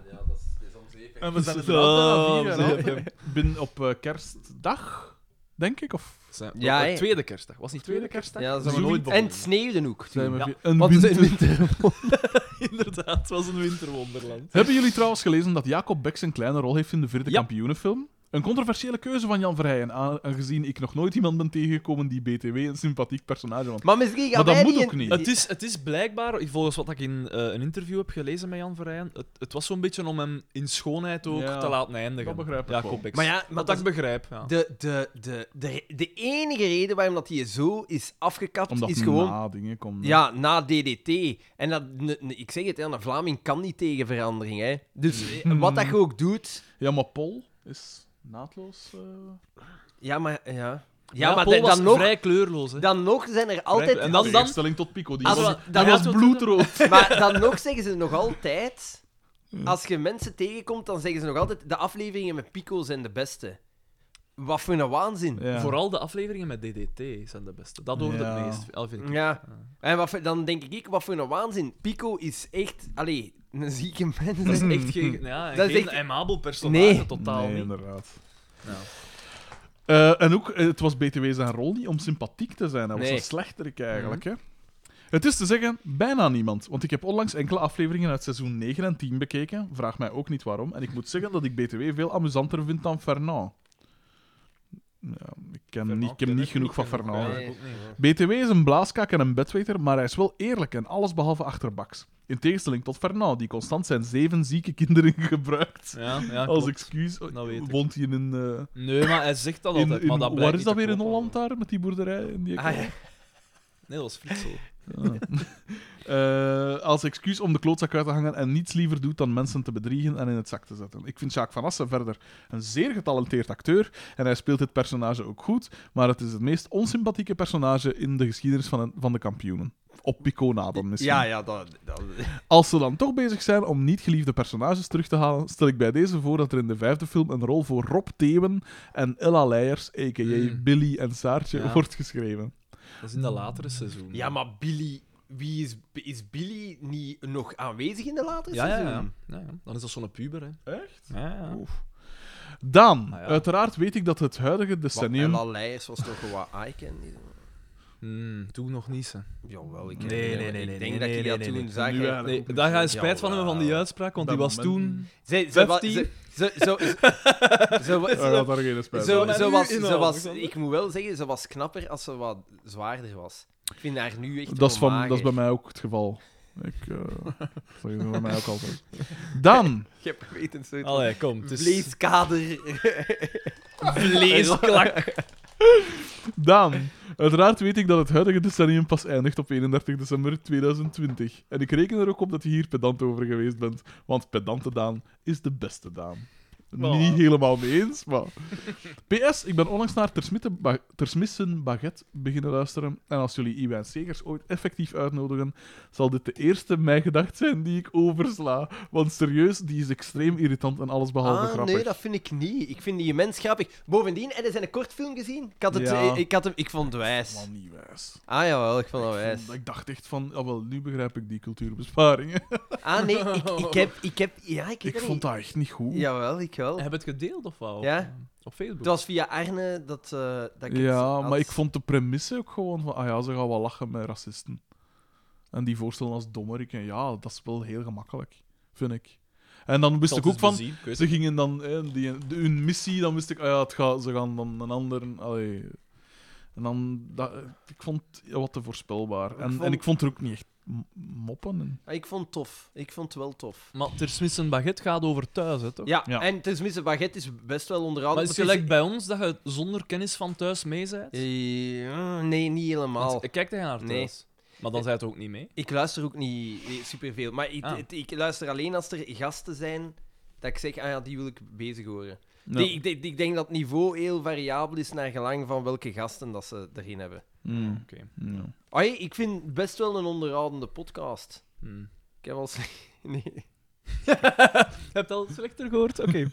Speaker 2: is onzeker.
Speaker 1: En we
Speaker 3: <laughs>
Speaker 1: zijn
Speaker 3: Dus,
Speaker 1: inderdaad
Speaker 3: eh,
Speaker 1: bijna vier jaar
Speaker 3: ja, ja.
Speaker 1: oud. Bin op eh, kerstdag, denk ik, of...
Speaker 3: Zijn-
Speaker 2: Ja,
Speaker 3: eh,
Speaker 2: hè.
Speaker 3: tweede kerstdag. Was niet tweede kerstdag?
Speaker 2: Ja, dat
Speaker 1: zijn
Speaker 2: is
Speaker 1: we nooit
Speaker 2: nooit En
Speaker 1: begonnen.
Speaker 2: het sneeuwde ook.
Speaker 1: Zijn we
Speaker 3: Ja.
Speaker 1: vi- een
Speaker 2: Want het is
Speaker 1: winter-
Speaker 2: een winter.
Speaker 3: Inderdaad, het was een winterwonderland.
Speaker 1: <laughs> Hebben jullie trouwens gelezen dat Jacob Beck zijn kleine rol heeft in de vierde
Speaker 3: Ja.
Speaker 1: kampioenenfilm? Een controversiële keuze van Jan Verheyen, a- aangezien ik nog nooit iemand ben tegengekomen die BTW een sympathiek personage vond.
Speaker 2: Maar misschien
Speaker 1: Maar
Speaker 2: gaan
Speaker 1: dat
Speaker 2: wij
Speaker 1: moet
Speaker 2: die
Speaker 1: ook
Speaker 2: een-
Speaker 1: niet.
Speaker 3: Het is, het is blijkbaar, volgens wat ik in eh, een interview heb gelezen met Jan Verheyen, het, het was zo'n beetje om hem in schoonheid ook
Speaker 1: Ja,
Speaker 3: te laten eindigen.
Speaker 1: dat begrijp ik
Speaker 3: ja,
Speaker 1: wel.
Speaker 3: Kopex.
Speaker 2: Maar ja, maar
Speaker 3: wat
Speaker 2: dat
Speaker 3: ik begrijp. Ja.
Speaker 2: De, de, de, de, de enige reden waarom dat hij zo is afgekapt,
Speaker 1: Omdat
Speaker 2: is gewoon...
Speaker 1: na dingen komt.
Speaker 3: Hm.
Speaker 1: hè.
Speaker 2: Ja, na DDT. En dat, ne- ne- ik zeg het, hè, een Vlaming kan niet tegen verandering. Hè. Dus eh, wat dat je ook doet...
Speaker 1: ja, maar Paul is naadloos. eh,
Speaker 2: Ja, maar... eh, Ja, ja,
Speaker 3: Ja,
Speaker 2: maar
Speaker 3: Paul
Speaker 2: dan,
Speaker 3: was
Speaker 2: dan nog,
Speaker 3: vrij kleurloos. Hè.
Speaker 2: dan nog zijn er altijd...
Speaker 3: En dan-
Speaker 1: in
Speaker 3: dan-
Speaker 1: tegenstelling tot Pico, die
Speaker 2: Als
Speaker 1: was,
Speaker 2: we-
Speaker 1: die
Speaker 2: dan
Speaker 1: was
Speaker 2: laten we-
Speaker 1: bloedrood.
Speaker 3: <laughs>
Speaker 2: <laughs> Maar dan nog zeggen ze nog altijd...
Speaker 3: Hm.
Speaker 2: Als je mensen tegenkomt, dan zeggen ze nog altijd... De afleveringen met Pico zijn de beste. Wat voor een waanzin.
Speaker 1: Ja.
Speaker 3: Vooral de afleveringen met DDT zijn de beste. Dat hoort
Speaker 1: Ja.
Speaker 3: het meest. al vind ik.
Speaker 2: Ja. En wat voor- dan denk ik, wat voor een waanzin. Pico is echt... Allee, een zieke mens.
Speaker 3: Dat is echt geen, ja,
Speaker 2: Dat is
Speaker 3: geen
Speaker 2: echt-
Speaker 3: aimabel personage,
Speaker 2: Nee.
Speaker 3: totaal
Speaker 1: nee,
Speaker 3: niet.
Speaker 1: inderdaad.
Speaker 3: Ja.
Speaker 1: Eh, en ook, eh, het was BTW zijn rol niet om sympathiek te zijn. Hij was
Speaker 2: Nee.
Speaker 1: een slechterik eigenlijk.
Speaker 3: Mhm.
Speaker 1: Hè? Het is te zeggen, bijna niemand. Want ik heb onlangs enkele afleveringen uit seizoen 9 en 10 bekeken. Vraag mij ook niet waarom. En ik moet zeggen dat ik BTW veel amusanter vind dan Fernand. Ja, ik, ken
Speaker 3: Fernand
Speaker 1: niet, ik heb
Speaker 3: ken
Speaker 1: niet
Speaker 3: ik
Speaker 1: genoeg
Speaker 3: niet
Speaker 1: van
Speaker 3: genoeg,
Speaker 1: Fernand.
Speaker 3: hè.
Speaker 1: BTW is een blaaskak en een bedweter, maar hij is wel eerlijk en allesbehalve achterbaks. In tegenstelling tot Fernand, die constant zijn zeven zieke kinderen <laughs> gebruikt
Speaker 3: Ja, ja,
Speaker 1: als
Speaker 3: klopt.
Speaker 1: excuus.
Speaker 3: Dat weet ik.
Speaker 1: Woont hij in... eh,
Speaker 3: Nee, maar hij zegt dat
Speaker 1: in,
Speaker 3: altijd. maar
Speaker 1: in-
Speaker 3: dat blijkt
Speaker 1: waar is
Speaker 3: niet
Speaker 1: dat
Speaker 3: te
Speaker 1: weer in
Speaker 3: kloppen.
Speaker 1: Holland daar, met die boerderij? In die
Speaker 3: Ah, ja. Nee, dat was Friesel.
Speaker 1: Eh, als excuus om de klootzak uit te hangen en niets liever doet dan mensen te bedriegen en in het zak te zetten. Ik vind Jacques Van Assen verder een zeer getalenteerd acteur en hij speelt dit personage ook goed, maar het is het meest onsympathieke personage in de geschiedenis van, een- van de kampioenen. Op Pico na dan misschien.
Speaker 2: Ja, ja, dat... dat...
Speaker 1: Als ze dan toch bezig zijn om niet geliefde personages terug te halen, stel ik bij deze voor dat er in de vijfde film een rol voor Rob Thewen en Ella Leijers, a.k.a.
Speaker 3: Mm.
Speaker 1: Billy en Saartje,
Speaker 3: Ja.
Speaker 1: wordt geschreven.
Speaker 3: Dat is in de latere seizoen.
Speaker 2: Ja, maar Billy... Wie is, is Billy niet nog aanwezig in de latere
Speaker 3: Ja, ja,
Speaker 2: seizoen?
Speaker 3: ja. ja, ja. Dan is dat zo'n puber, hè. Echt? Ja, ja.
Speaker 1: Dan,
Speaker 3: Ah, ja.
Speaker 1: uiteraard weet ik dat het huidige
Speaker 2: Wat,
Speaker 1: decennium...
Speaker 2: Ella Leijers was toch wel wat icon?
Speaker 3: Hmm, toen nog niet, ze.
Speaker 2: Jawel, ik,
Speaker 3: Nee,
Speaker 2: herinner
Speaker 3: nee,
Speaker 2: me.
Speaker 3: nee,
Speaker 2: ik
Speaker 3: nee,
Speaker 2: denk
Speaker 3: nee,
Speaker 2: dat
Speaker 3: nee,
Speaker 2: ik die
Speaker 3: nee,
Speaker 2: dat
Speaker 3: nee,
Speaker 2: toen
Speaker 3: nee.
Speaker 2: zag.
Speaker 1: Nu eigenlijk.
Speaker 3: Nee, daar ga je spijt van hebben van die
Speaker 2: Jawel.
Speaker 3: uitspraak, want
Speaker 1: Dat
Speaker 3: die was
Speaker 1: moment-
Speaker 3: toen...
Speaker 2: Zij- zij wa-
Speaker 3: 15?
Speaker 2: ze- ze- zo-
Speaker 3: <laughs>
Speaker 2: ze- ze wa-
Speaker 1: Hij had Ah, daar geen spijt
Speaker 2: Zo,
Speaker 1: van.
Speaker 3: maar
Speaker 2: zo
Speaker 3: nu
Speaker 2: was,
Speaker 3: in
Speaker 2: ze
Speaker 3: al,
Speaker 2: was,
Speaker 3: Alexander.
Speaker 2: ik moet wel zeggen, ze was knapper als ze wat zwaarder was. Ik vind haar nu echt
Speaker 1: Dat is,
Speaker 2: wel
Speaker 1: van, dat is bij
Speaker 2: <laughs> mager.
Speaker 1: mij ook het geval. Ik, eh <laughs> dat is bij mij ook altijd. Dan,
Speaker 2: Ik heb geweten, zo'n
Speaker 3: Allee, kom. Het is... <laughs>
Speaker 2: vleeskader.
Speaker 3: Vleesklak.
Speaker 1: dan. Uiteraard weet ik dat het huidige decennium pas eindigt op 31 december 2020. En ik reken er ook op dat je hier pedant over geweest bent. Want pedante Daan is de beste Daan. Niet helemaal mee eens, maar... <laughs> PS, ik ben onlangs naar Tersmitte ba- Tersmissen Baguette beginnen luisteren. En als jullie Iwijn Segers ooit effectief uitnodigen, zal dit de eerste mijgedacht zijn die ik oversla. Want serieus, die is extreem irritant en allesbehalve
Speaker 2: Ah,
Speaker 1: grappig.
Speaker 2: nee, dat vind ik niet. Ik vind die immens grappig. Bovendien, heb je zijn een kort film gezien? Ik, had het,
Speaker 1: Ja.
Speaker 2: eh, ik, had hem, ik vond het wijs.
Speaker 1: Man, niet wijs.
Speaker 2: Ah, jawel, ik vond het wijs.
Speaker 1: Ik dacht echt van, ah, wel, nu begrijp ik die <laughs> cultuurbesparingen.
Speaker 2: Ah, nee, ik, ik heb... Ik heb ja, ik, heb
Speaker 1: Ik
Speaker 2: dat
Speaker 1: vond
Speaker 2: niet-
Speaker 1: dat echt niet goed.
Speaker 2: Jawel, ik wel.
Speaker 3: Heb het gedeeld of wel?
Speaker 2: Ja.
Speaker 3: Op Facebook.
Speaker 2: Het was via Arne dat, eh, dat ik het
Speaker 1: Ja,
Speaker 2: had.
Speaker 1: maar ik vond de premisse ook gewoon van, ah ja, ze gaan wel lachen met racisten. En die voorstellen als dommerik. En ja, dat is wel heel gemakkelijk, vind ik. En dan wist
Speaker 3: zal
Speaker 1: ik
Speaker 3: het
Speaker 1: ook van,
Speaker 3: eens bezien, ik weet
Speaker 1: ze gingen dan, hè, die, de- hun missie, dan wist ik, ah ja, het gaat, ze gaan dan een ander. Allee. En dan, dat, ik vond het wat te voorspelbaar. En,
Speaker 2: vond-
Speaker 1: en ik vond er ook niet echt m- moppen. En...
Speaker 2: Ah, ik vond het tof. Ik vond het wel tof.
Speaker 3: Maar Tersmissen Baguette gaat over thuis, hè, toch?
Speaker 2: Ja,
Speaker 1: Ja.
Speaker 2: en tenminste, baguette is best wel onderhouden.
Speaker 3: Maar is het
Speaker 2: maar het
Speaker 3: gelijk bij ons dat je zonder kennis van thuis mee bent?
Speaker 2: Ja, nee, niet
Speaker 3: Want
Speaker 2: helemaal.
Speaker 3: Ik kijk tegen haar
Speaker 2: Nee.
Speaker 3: thuis. Maar dan zei het ook niet mee.
Speaker 2: Ik luister ook niet eh, superveel. Maar ik,
Speaker 3: Ah.
Speaker 2: het- ik luister alleen als er gasten zijn dat ik zeg, ah ja, die wil ik bezig horen.
Speaker 1: Ja.
Speaker 2: Die- ik, denk- ik denk dat het niveau heel variabel is naar gelang van welke gasten dat ze erin hebben.
Speaker 1: Mm,
Speaker 3: Oké.
Speaker 1: ja.
Speaker 2: Ai, ik vind het best wel een onderhoudende podcast.
Speaker 3: Hmm.
Speaker 2: Ik heb al... <laughs> s- Nee.
Speaker 3: Je hebt al slechter gehoord? Oké.
Speaker 2: <laughs>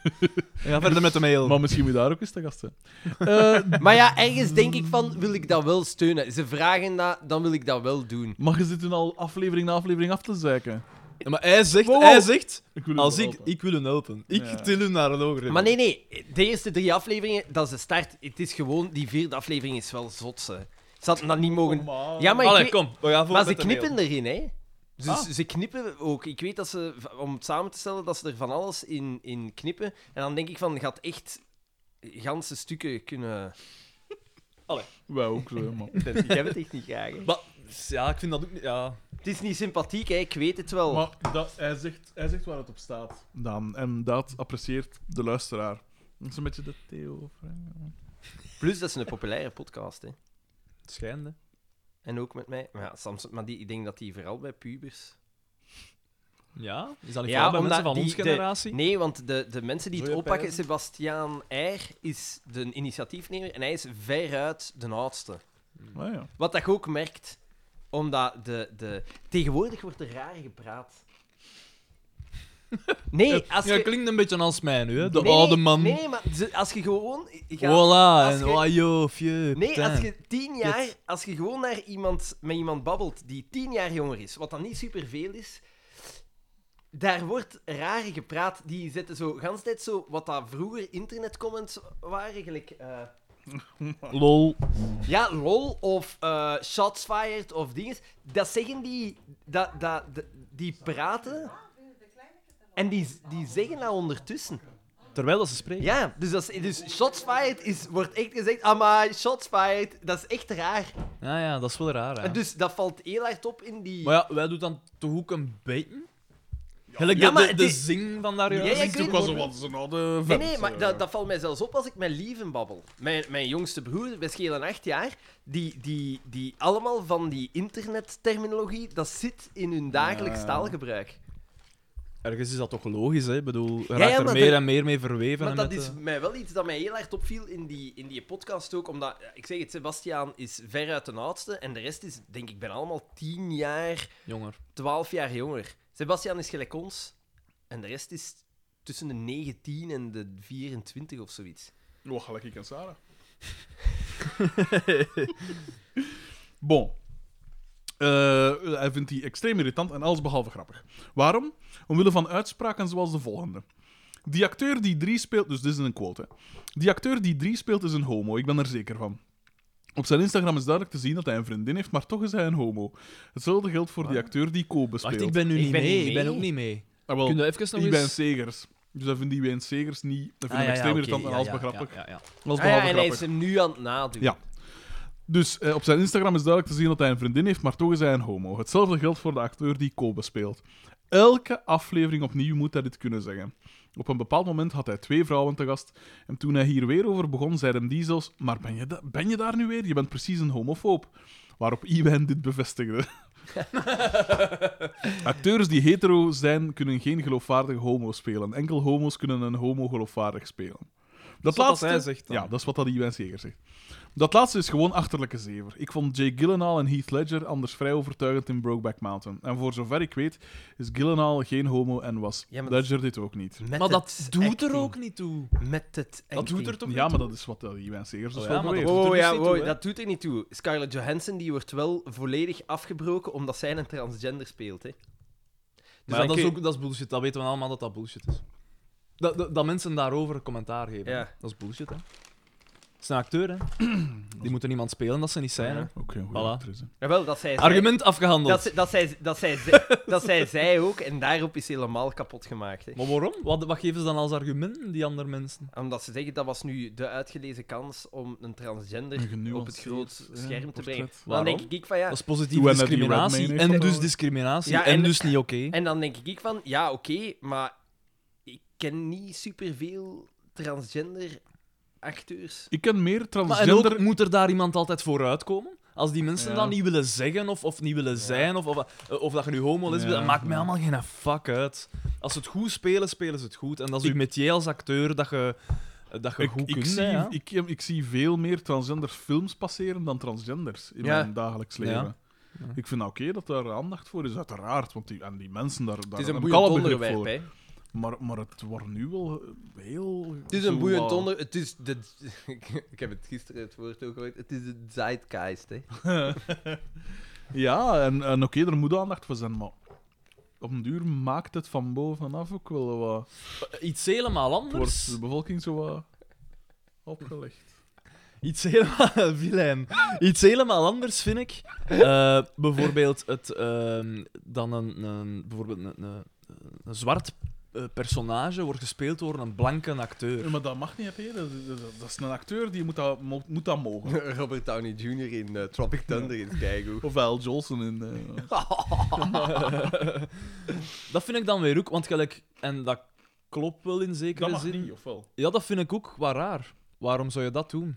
Speaker 3: Ja, verder met de mail.
Speaker 1: Maar misschien moet daar ook eens te gast zijn. Eh,
Speaker 2: Maar ja, ergens denk ik van, wil ik dat wel steunen? Ze vragen dat, dan wil ik dat wel doen.
Speaker 1: maar je zit toen al aflevering na aflevering af te zeiken.
Speaker 3: Ja, maar hij zegt,
Speaker 2: Wow, wow.
Speaker 3: hij zegt,
Speaker 1: Ik wil u
Speaker 3: als
Speaker 1: wel
Speaker 3: ik,
Speaker 1: helpen.
Speaker 3: ik wil hem helpen. Ik
Speaker 1: Ja.
Speaker 3: til hem naar een hoger
Speaker 2: Maar nee, nee. De eerste drie afleveringen, dat is de start. Het is gewoon... Die vierde aflevering is wel zotse. Ze hadden dat niet mogen... Ja, maar ik
Speaker 3: Allee,
Speaker 2: weet-
Speaker 3: kom, we gaan voor
Speaker 2: Maar ze
Speaker 3: met de
Speaker 2: knippen
Speaker 3: mail.
Speaker 2: erin, hè? Dus ze knippen ook. Ik weet dat ze, v- om het samen te stellen, dat ze er van alles in, in knippen. En dan denk ik van, gaat echt ganse stukken kunnen...
Speaker 1: Wij ook zo, man.
Speaker 2: <laughs> Ik heb het echt niet graag, hè.
Speaker 3: Maar, ja, ik vind dat ook niet... Ja.
Speaker 2: Het is niet sympathiek, hè. Ik weet het wel.
Speaker 1: Maar dat, hij, zegt, hij zegt waar het op staat. Dan, en dat apprecieert de luisteraar. Dat is een beetje de Theo.
Speaker 2: Plus, dat is een populaire podcast, hè.
Speaker 3: Schijnde.
Speaker 2: En ook met mij. Maar ja, Samson, maar die, ik denk dat die vooral bij pubers...
Speaker 3: Ja? Is dat niet
Speaker 2: Ja,
Speaker 3: vooral bij
Speaker 2: omdat
Speaker 3: mensen van
Speaker 2: die-
Speaker 3: onze
Speaker 2: de-
Speaker 3: generatie?
Speaker 2: Nee, want de, de mensen die het
Speaker 3: Zo je
Speaker 2: oppakken,
Speaker 3: pijn.
Speaker 2: Sebastiaan Eyre is de initiatiefnemer en hij is veruit de oudste.
Speaker 1: Nou ja.
Speaker 2: Wat dat je ook merkt, omdat de, de... tegenwoordig wordt er raar gepraat. Nee, als
Speaker 3: <laughs> Ja,
Speaker 2: je...
Speaker 3: klinkt een beetje als mij nu, hè. De
Speaker 2: Nee,
Speaker 3: oude man.
Speaker 2: Nee, nee, maar ze- als je gewoon... je gaat-
Speaker 3: Voilà,
Speaker 2: als
Speaker 3: en
Speaker 2: je-
Speaker 3: oh, yo, fje,
Speaker 2: Nee,
Speaker 3: putain.
Speaker 2: als je tien jaar... Als je gewoon naar iemand, met iemand babbelt die tien jaar jonger is, wat dan niet superveel is... Daar wordt raar gepraat. Die zetten zo, gans tijd zo, wat dat vroeger internetcomments waren, gelijk... eh,
Speaker 3: Lol.
Speaker 2: Ja, lol of eh, shots fired of dingen. Dat zeggen die. Dat, dat, dat- die praten. En die, die zeggen dat ondertussen.
Speaker 3: Terwijl dat ze spreken.
Speaker 2: Ja, dus, dat is, dus shots fired is, wordt echt gezegd, amai, shots fired. Dat is echt raar.
Speaker 3: Ja, ja, dat is wel raar. hè.
Speaker 2: En dus dat valt heel hard op in die...
Speaker 3: Maar ja, wij doen dan toch ook een beetje.
Speaker 2: Ja,
Speaker 3: Gelijk de,
Speaker 2: maar
Speaker 3: de,
Speaker 2: het
Speaker 3: de
Speaker 2: is-
Speaker 3: zing van daar.
Speaker 2: Ja, ja, ik
Speaker 1: Dat is
Speaker 2: weet
Speaker 1: ook wel
Speaker 2: het.
Speaker 1: zo wat zo'n oude
Speaker 2: Nee,
Speaker 1: vent.
Speaker 2: nee, maar
Speaker 1: eh.
Speaker 2: dat, dat valt mij zelfs op als ik met lieven babbel. Mijn, mijn jongste broer, we schelen acht jaar, die, die, die allemaal van die internetterminologie, dat zit in hun dagelijks
Speaker 1: Ja.
Speaker 2: taalgebruik.
Speaker 3: Ergens is dat toch logisch, hè? Ik bedoel, je
Speaker 2: Ja,
Speaker 3: raakt
Speaker 2: ja,
Speaker 3: er
Speaker 2: maar
Speaker 3: meer
Speaker 2: dat-
Speaker 3: en meer mee verweven.
Speaker 2: Maar
Speaker 3: en
Speaker 2: dat
Speaker 3: met,
Speaker 2: is
Speaker 3: eh,
Speaker 2: mij wel iets dat mij heel erg opviel in die, in die podcast ook, omdat, eh, ik zeg het, Sebastiaan is veruit de oudste en de rest is, denk ik, ben allemaal tien jaar,
Speaker 3: Jonger.
Speaker 2: twaalf jaar jonger. Sebastiaan is gelijk ons en de rest is tussen de 19 en de 24 of zoiets.
Speaker 1: Oh, gelijk ik en Sarah. <laughs> bon. Eh, hij vindt die extreem irritant en allesbehalve grappig. Waarom? Omwille van uitspraken zoals de volgende. Die acteur die drie speelt... Dus dit is een quote, hè. Die acteur die drie speelt is een homo, ik ben er zeker van. Op zijn Instagram is duidelijk te zien dat hij een vriendin heeft, maar toch is hij een homo. Hetzelfde geldt voor die acteur die Kobe speelt.
Speaker 3: Wacht, ik ben nu
Speaker 2: Ik
Speaker 3: niet
Speaker 2: ben
Speaker 3: mee.
Speaker 2: niet
Speaker 3: Ik ben
Speaker 2: mee.
Speaker 3: ook niet mee.
Speaker 1: Ah, wel,
Speaker 3: Kun je even
Speaker 1: die
Speaker 3: nog
Speaker 1: bij een
Speaker 3: eens-
Speaker 1: Segers. Dus hij vindt die bij een Segers niet... Dat
Speaker 3: Ah,
Speaker 1: vind ik
Speaker 3: ja, ja,
Speaker 1: extreem
Speaker 3: oké,
Speaker 1: irritant en
Speaker 3: ja, ja,
Speaker 1: allesbehalve grappig.
Speaker 3: ja, ja,
Speaker 2: Ah
Speaker 1: Allesbehalve
Speaker 2: ja, en hij
Speaker 1: grappig.
Speaker 2: is hem nu aan het nadoen.
Speaker 1: Ja. Dus eh, op zijn Instagram is duidelijk te zien dat hij een vriendin heeft, maar toch is hij een homo. Hetzelfde geldt voor de acteur die Kobe speelt. Elke aflevering opnieuw moet hij dit kunnen zeggen. Op een bepaald moment had hij twee vrouwen te gast. En toen hij hier weer over begon, zeiden hem die zelfs: Maar ben je, da- ben je daar nu weer? Je bent precies een homofoob. Waarop Iwan dit bevestigde. <laughs> Acteurs die hetero zijn, kunnen geen geloofwaardige homo spelen. Enkel homo's kunnen een homo geloofwaardig spelen. Dat,
Speaker 3: wat
Speaker 1: laatste,
Speaker 3: hij zegt dan.
Speaker 1: Ja, dat is wat dat Iwan Seger zegt. Dat laatste is gewoon achterlijke zever. Ik vond Jay Gyllenhaal en Heath Ledger anders vrij overtuigend in Brokeback Mountain. En voor zover ik weet, is Gyllenhaal geen homo en was
Speaker 2: Ja, maar dat-
Speaker 1: Ledger dit ook niet.
Speaker 2: Met
Speaker 3: Maar dat
Speaker 2: het
Speaker 3: doet
Speaker 2: acting.
Speaker 3: er ook niet toe.
Speaker 2: Met het
Speaker 3: Dat doet er toch niet
Speaker 1: Ja, maar
Speaker 3: toe?
Speaker 1: dat is wat uh, Iwan Segers dus
Speaker 3: Oh ja,
Speaker 1: wel
Speaker 3: maar dat
Speaker 1: beweert.
Speaker 3: doet
Speaker 2: Oh,
Speaker 3: er
Speaker 2: ja,
Speaker 3: niet
Speaker 2: wow,
Speaker 3: toe, hè?
Speaker 2: dat doet er niet toe. Scarlett Johansson die wordt wel volledig afgebroken omdat zij een transgender speelt. Hè.
Speaker 3: Maar
Speaker 2: dan
Speaker 3: ja, Dus dat, is
Speaker 2: kun-
Speaker 3: ook, dat is bullshit. Dat weten we allemaal dat dat bullshit is. Dat, dat, dat mensen daarover commentaar geven.
Speaker 2: Ja.
Speaker 3: Dat is bullshit, hè. Het is een acteur, hè. <clears throat> Die moeten iemand spelen dat ze niet zijn, hè.
Speaker 1: Ook geen goede
Speaker 3: Voilà.
Speaker 1: actrice.
Speaker 2: Jawel, dat zij
Speaker 3: Argument afgehandeld.
Speaker 2: Dat, ze- dat, zij, dat, zij, <laughs> ze- dat zij zij ook en daarop is ze helemaal kapot gemaakt. Hè.
Speaker 3: Maar waarom? Wat, wat geven ze dan als argument, die andere mensen?
Speaker 2: Omdat ze zeggen dat was nu de uitgelezen kans om een
Speaker 1: Een
Speaker 2: transgender
Speaker 1: genuanceerd,
Speaker 2: op het groot
Speaker 1: eh,
Speaker 2: scherm te
Speaker 1: portret.
Speaker 2: brengen. Dan
Speaker 3: Waarom?
Speaker 2: denk ik van ja.
Speaker 3: Dat is positieve
Speaker 1: Hoe hij naar die
Speaker 3: discriminatie.
Speaker 1: Redmayne
Speaker 3: En
Speaker 1: heeft
Speaker 3: dus
Speaker 1: gedaan.
Speaker 3: discriminatie.
Speaker 2: Ja,
Speaker 3: en,
Speaker 2: en-
Speaker 3: dus niet oké.
Speaker 2: En dan denk ik van, ja, oké, maar ik ken niet superveel transgender acteurs.
Speaker 1: Ik ken meer
Speaker 3: Maar en ook,
Speaker 1: transgender...
Speaker 3: moet er daar iemand altijd vooruit komen? Als die mensen
Speaker 1: Ja.
Speaker 3: dat niet willen zeggen of, of niet willen zijn, of, of, eh, of dat je nu homo is,
Speaker 1: Ja,
Speaker 3: dat maakt mij
Speaker 1: ja.
Speaker 3: allemaal geen fuck uit. Als ze het goed spelen, spelen ze het goed. En dat is
Speaker 1: Ik-
Speaker 3: je metier als acteur dat je, dat je
Speaker 1: Ik,
Speaker 3: goed
Speaker 1: ik
Speaker 3: kunt.
Speaker 1: zie,
Speaker 3: hè, ja.
Speaker 1: ik, ik zie veel meer transgender films passeren dan transgenders in
Speaker 2: Ja.
Speaker 1: mijn dagelijks leven.
Speaker 3: Ja.
Speaker 1: Ik vind dat oké dat daar aandacht voor is, uiteraard. Want die, en die mensen daar, daar
Speaker 2: Het is een
Speaker 1: heb ik
Speaker 2: boeiend
Speaker 1: alle begrip
Speaker 2: onderwerp, hè.
Speaker 1: voor. Maar, maar het wordt nu wel eh, heel...
Speaker 2: Het is een boeiend onderwerp. Het is de... <laughs> Ik heb het gisteren het woord ook gehoord. Het is de zeitgeist, hè. <laughs>
Speaker 1: Ja, en, en oké, er moet aandacht voor zijn, maar... Op een duur maakt het van bovenaf ook wel wat...
Speaker 3: Iets helemaal
Speaker 1: Het wordt de
Speaker 3: anders.
Speaker 1: bevolking zo wat opgelegd.
Speaker 3: Iets helemaal, <laughs> Wilhelm. Iets helemaal anders vind ik. Eh, bijvoorbeeld het, ehm, dan een, een, bijvoorbeeld een, een, een zwart eh, personage wordt gespeeld door een blanke acteur.
Speaker 1: <laughs> Ja, maar dat mag niet, hè. Dat, dat, dat is een acteur, die moet dat, mo- moet dat <laughs> mogen.
Speaker 2: Robert Downey Jr. in eh, Tropic Thunder in Skygo.
Speaker 1: Of Al Jolson in... eh,
Speaker 3: dat vind ik dan weer ook, want gelijk, en dat klopt wel in zekere
Speaker 1: dat mag
Speaker 3: zin.
Speaker 1: niet, ofwel?
Speaker 3: Ja, dat vind ik ook wel raar. Waarom zou je dat doen?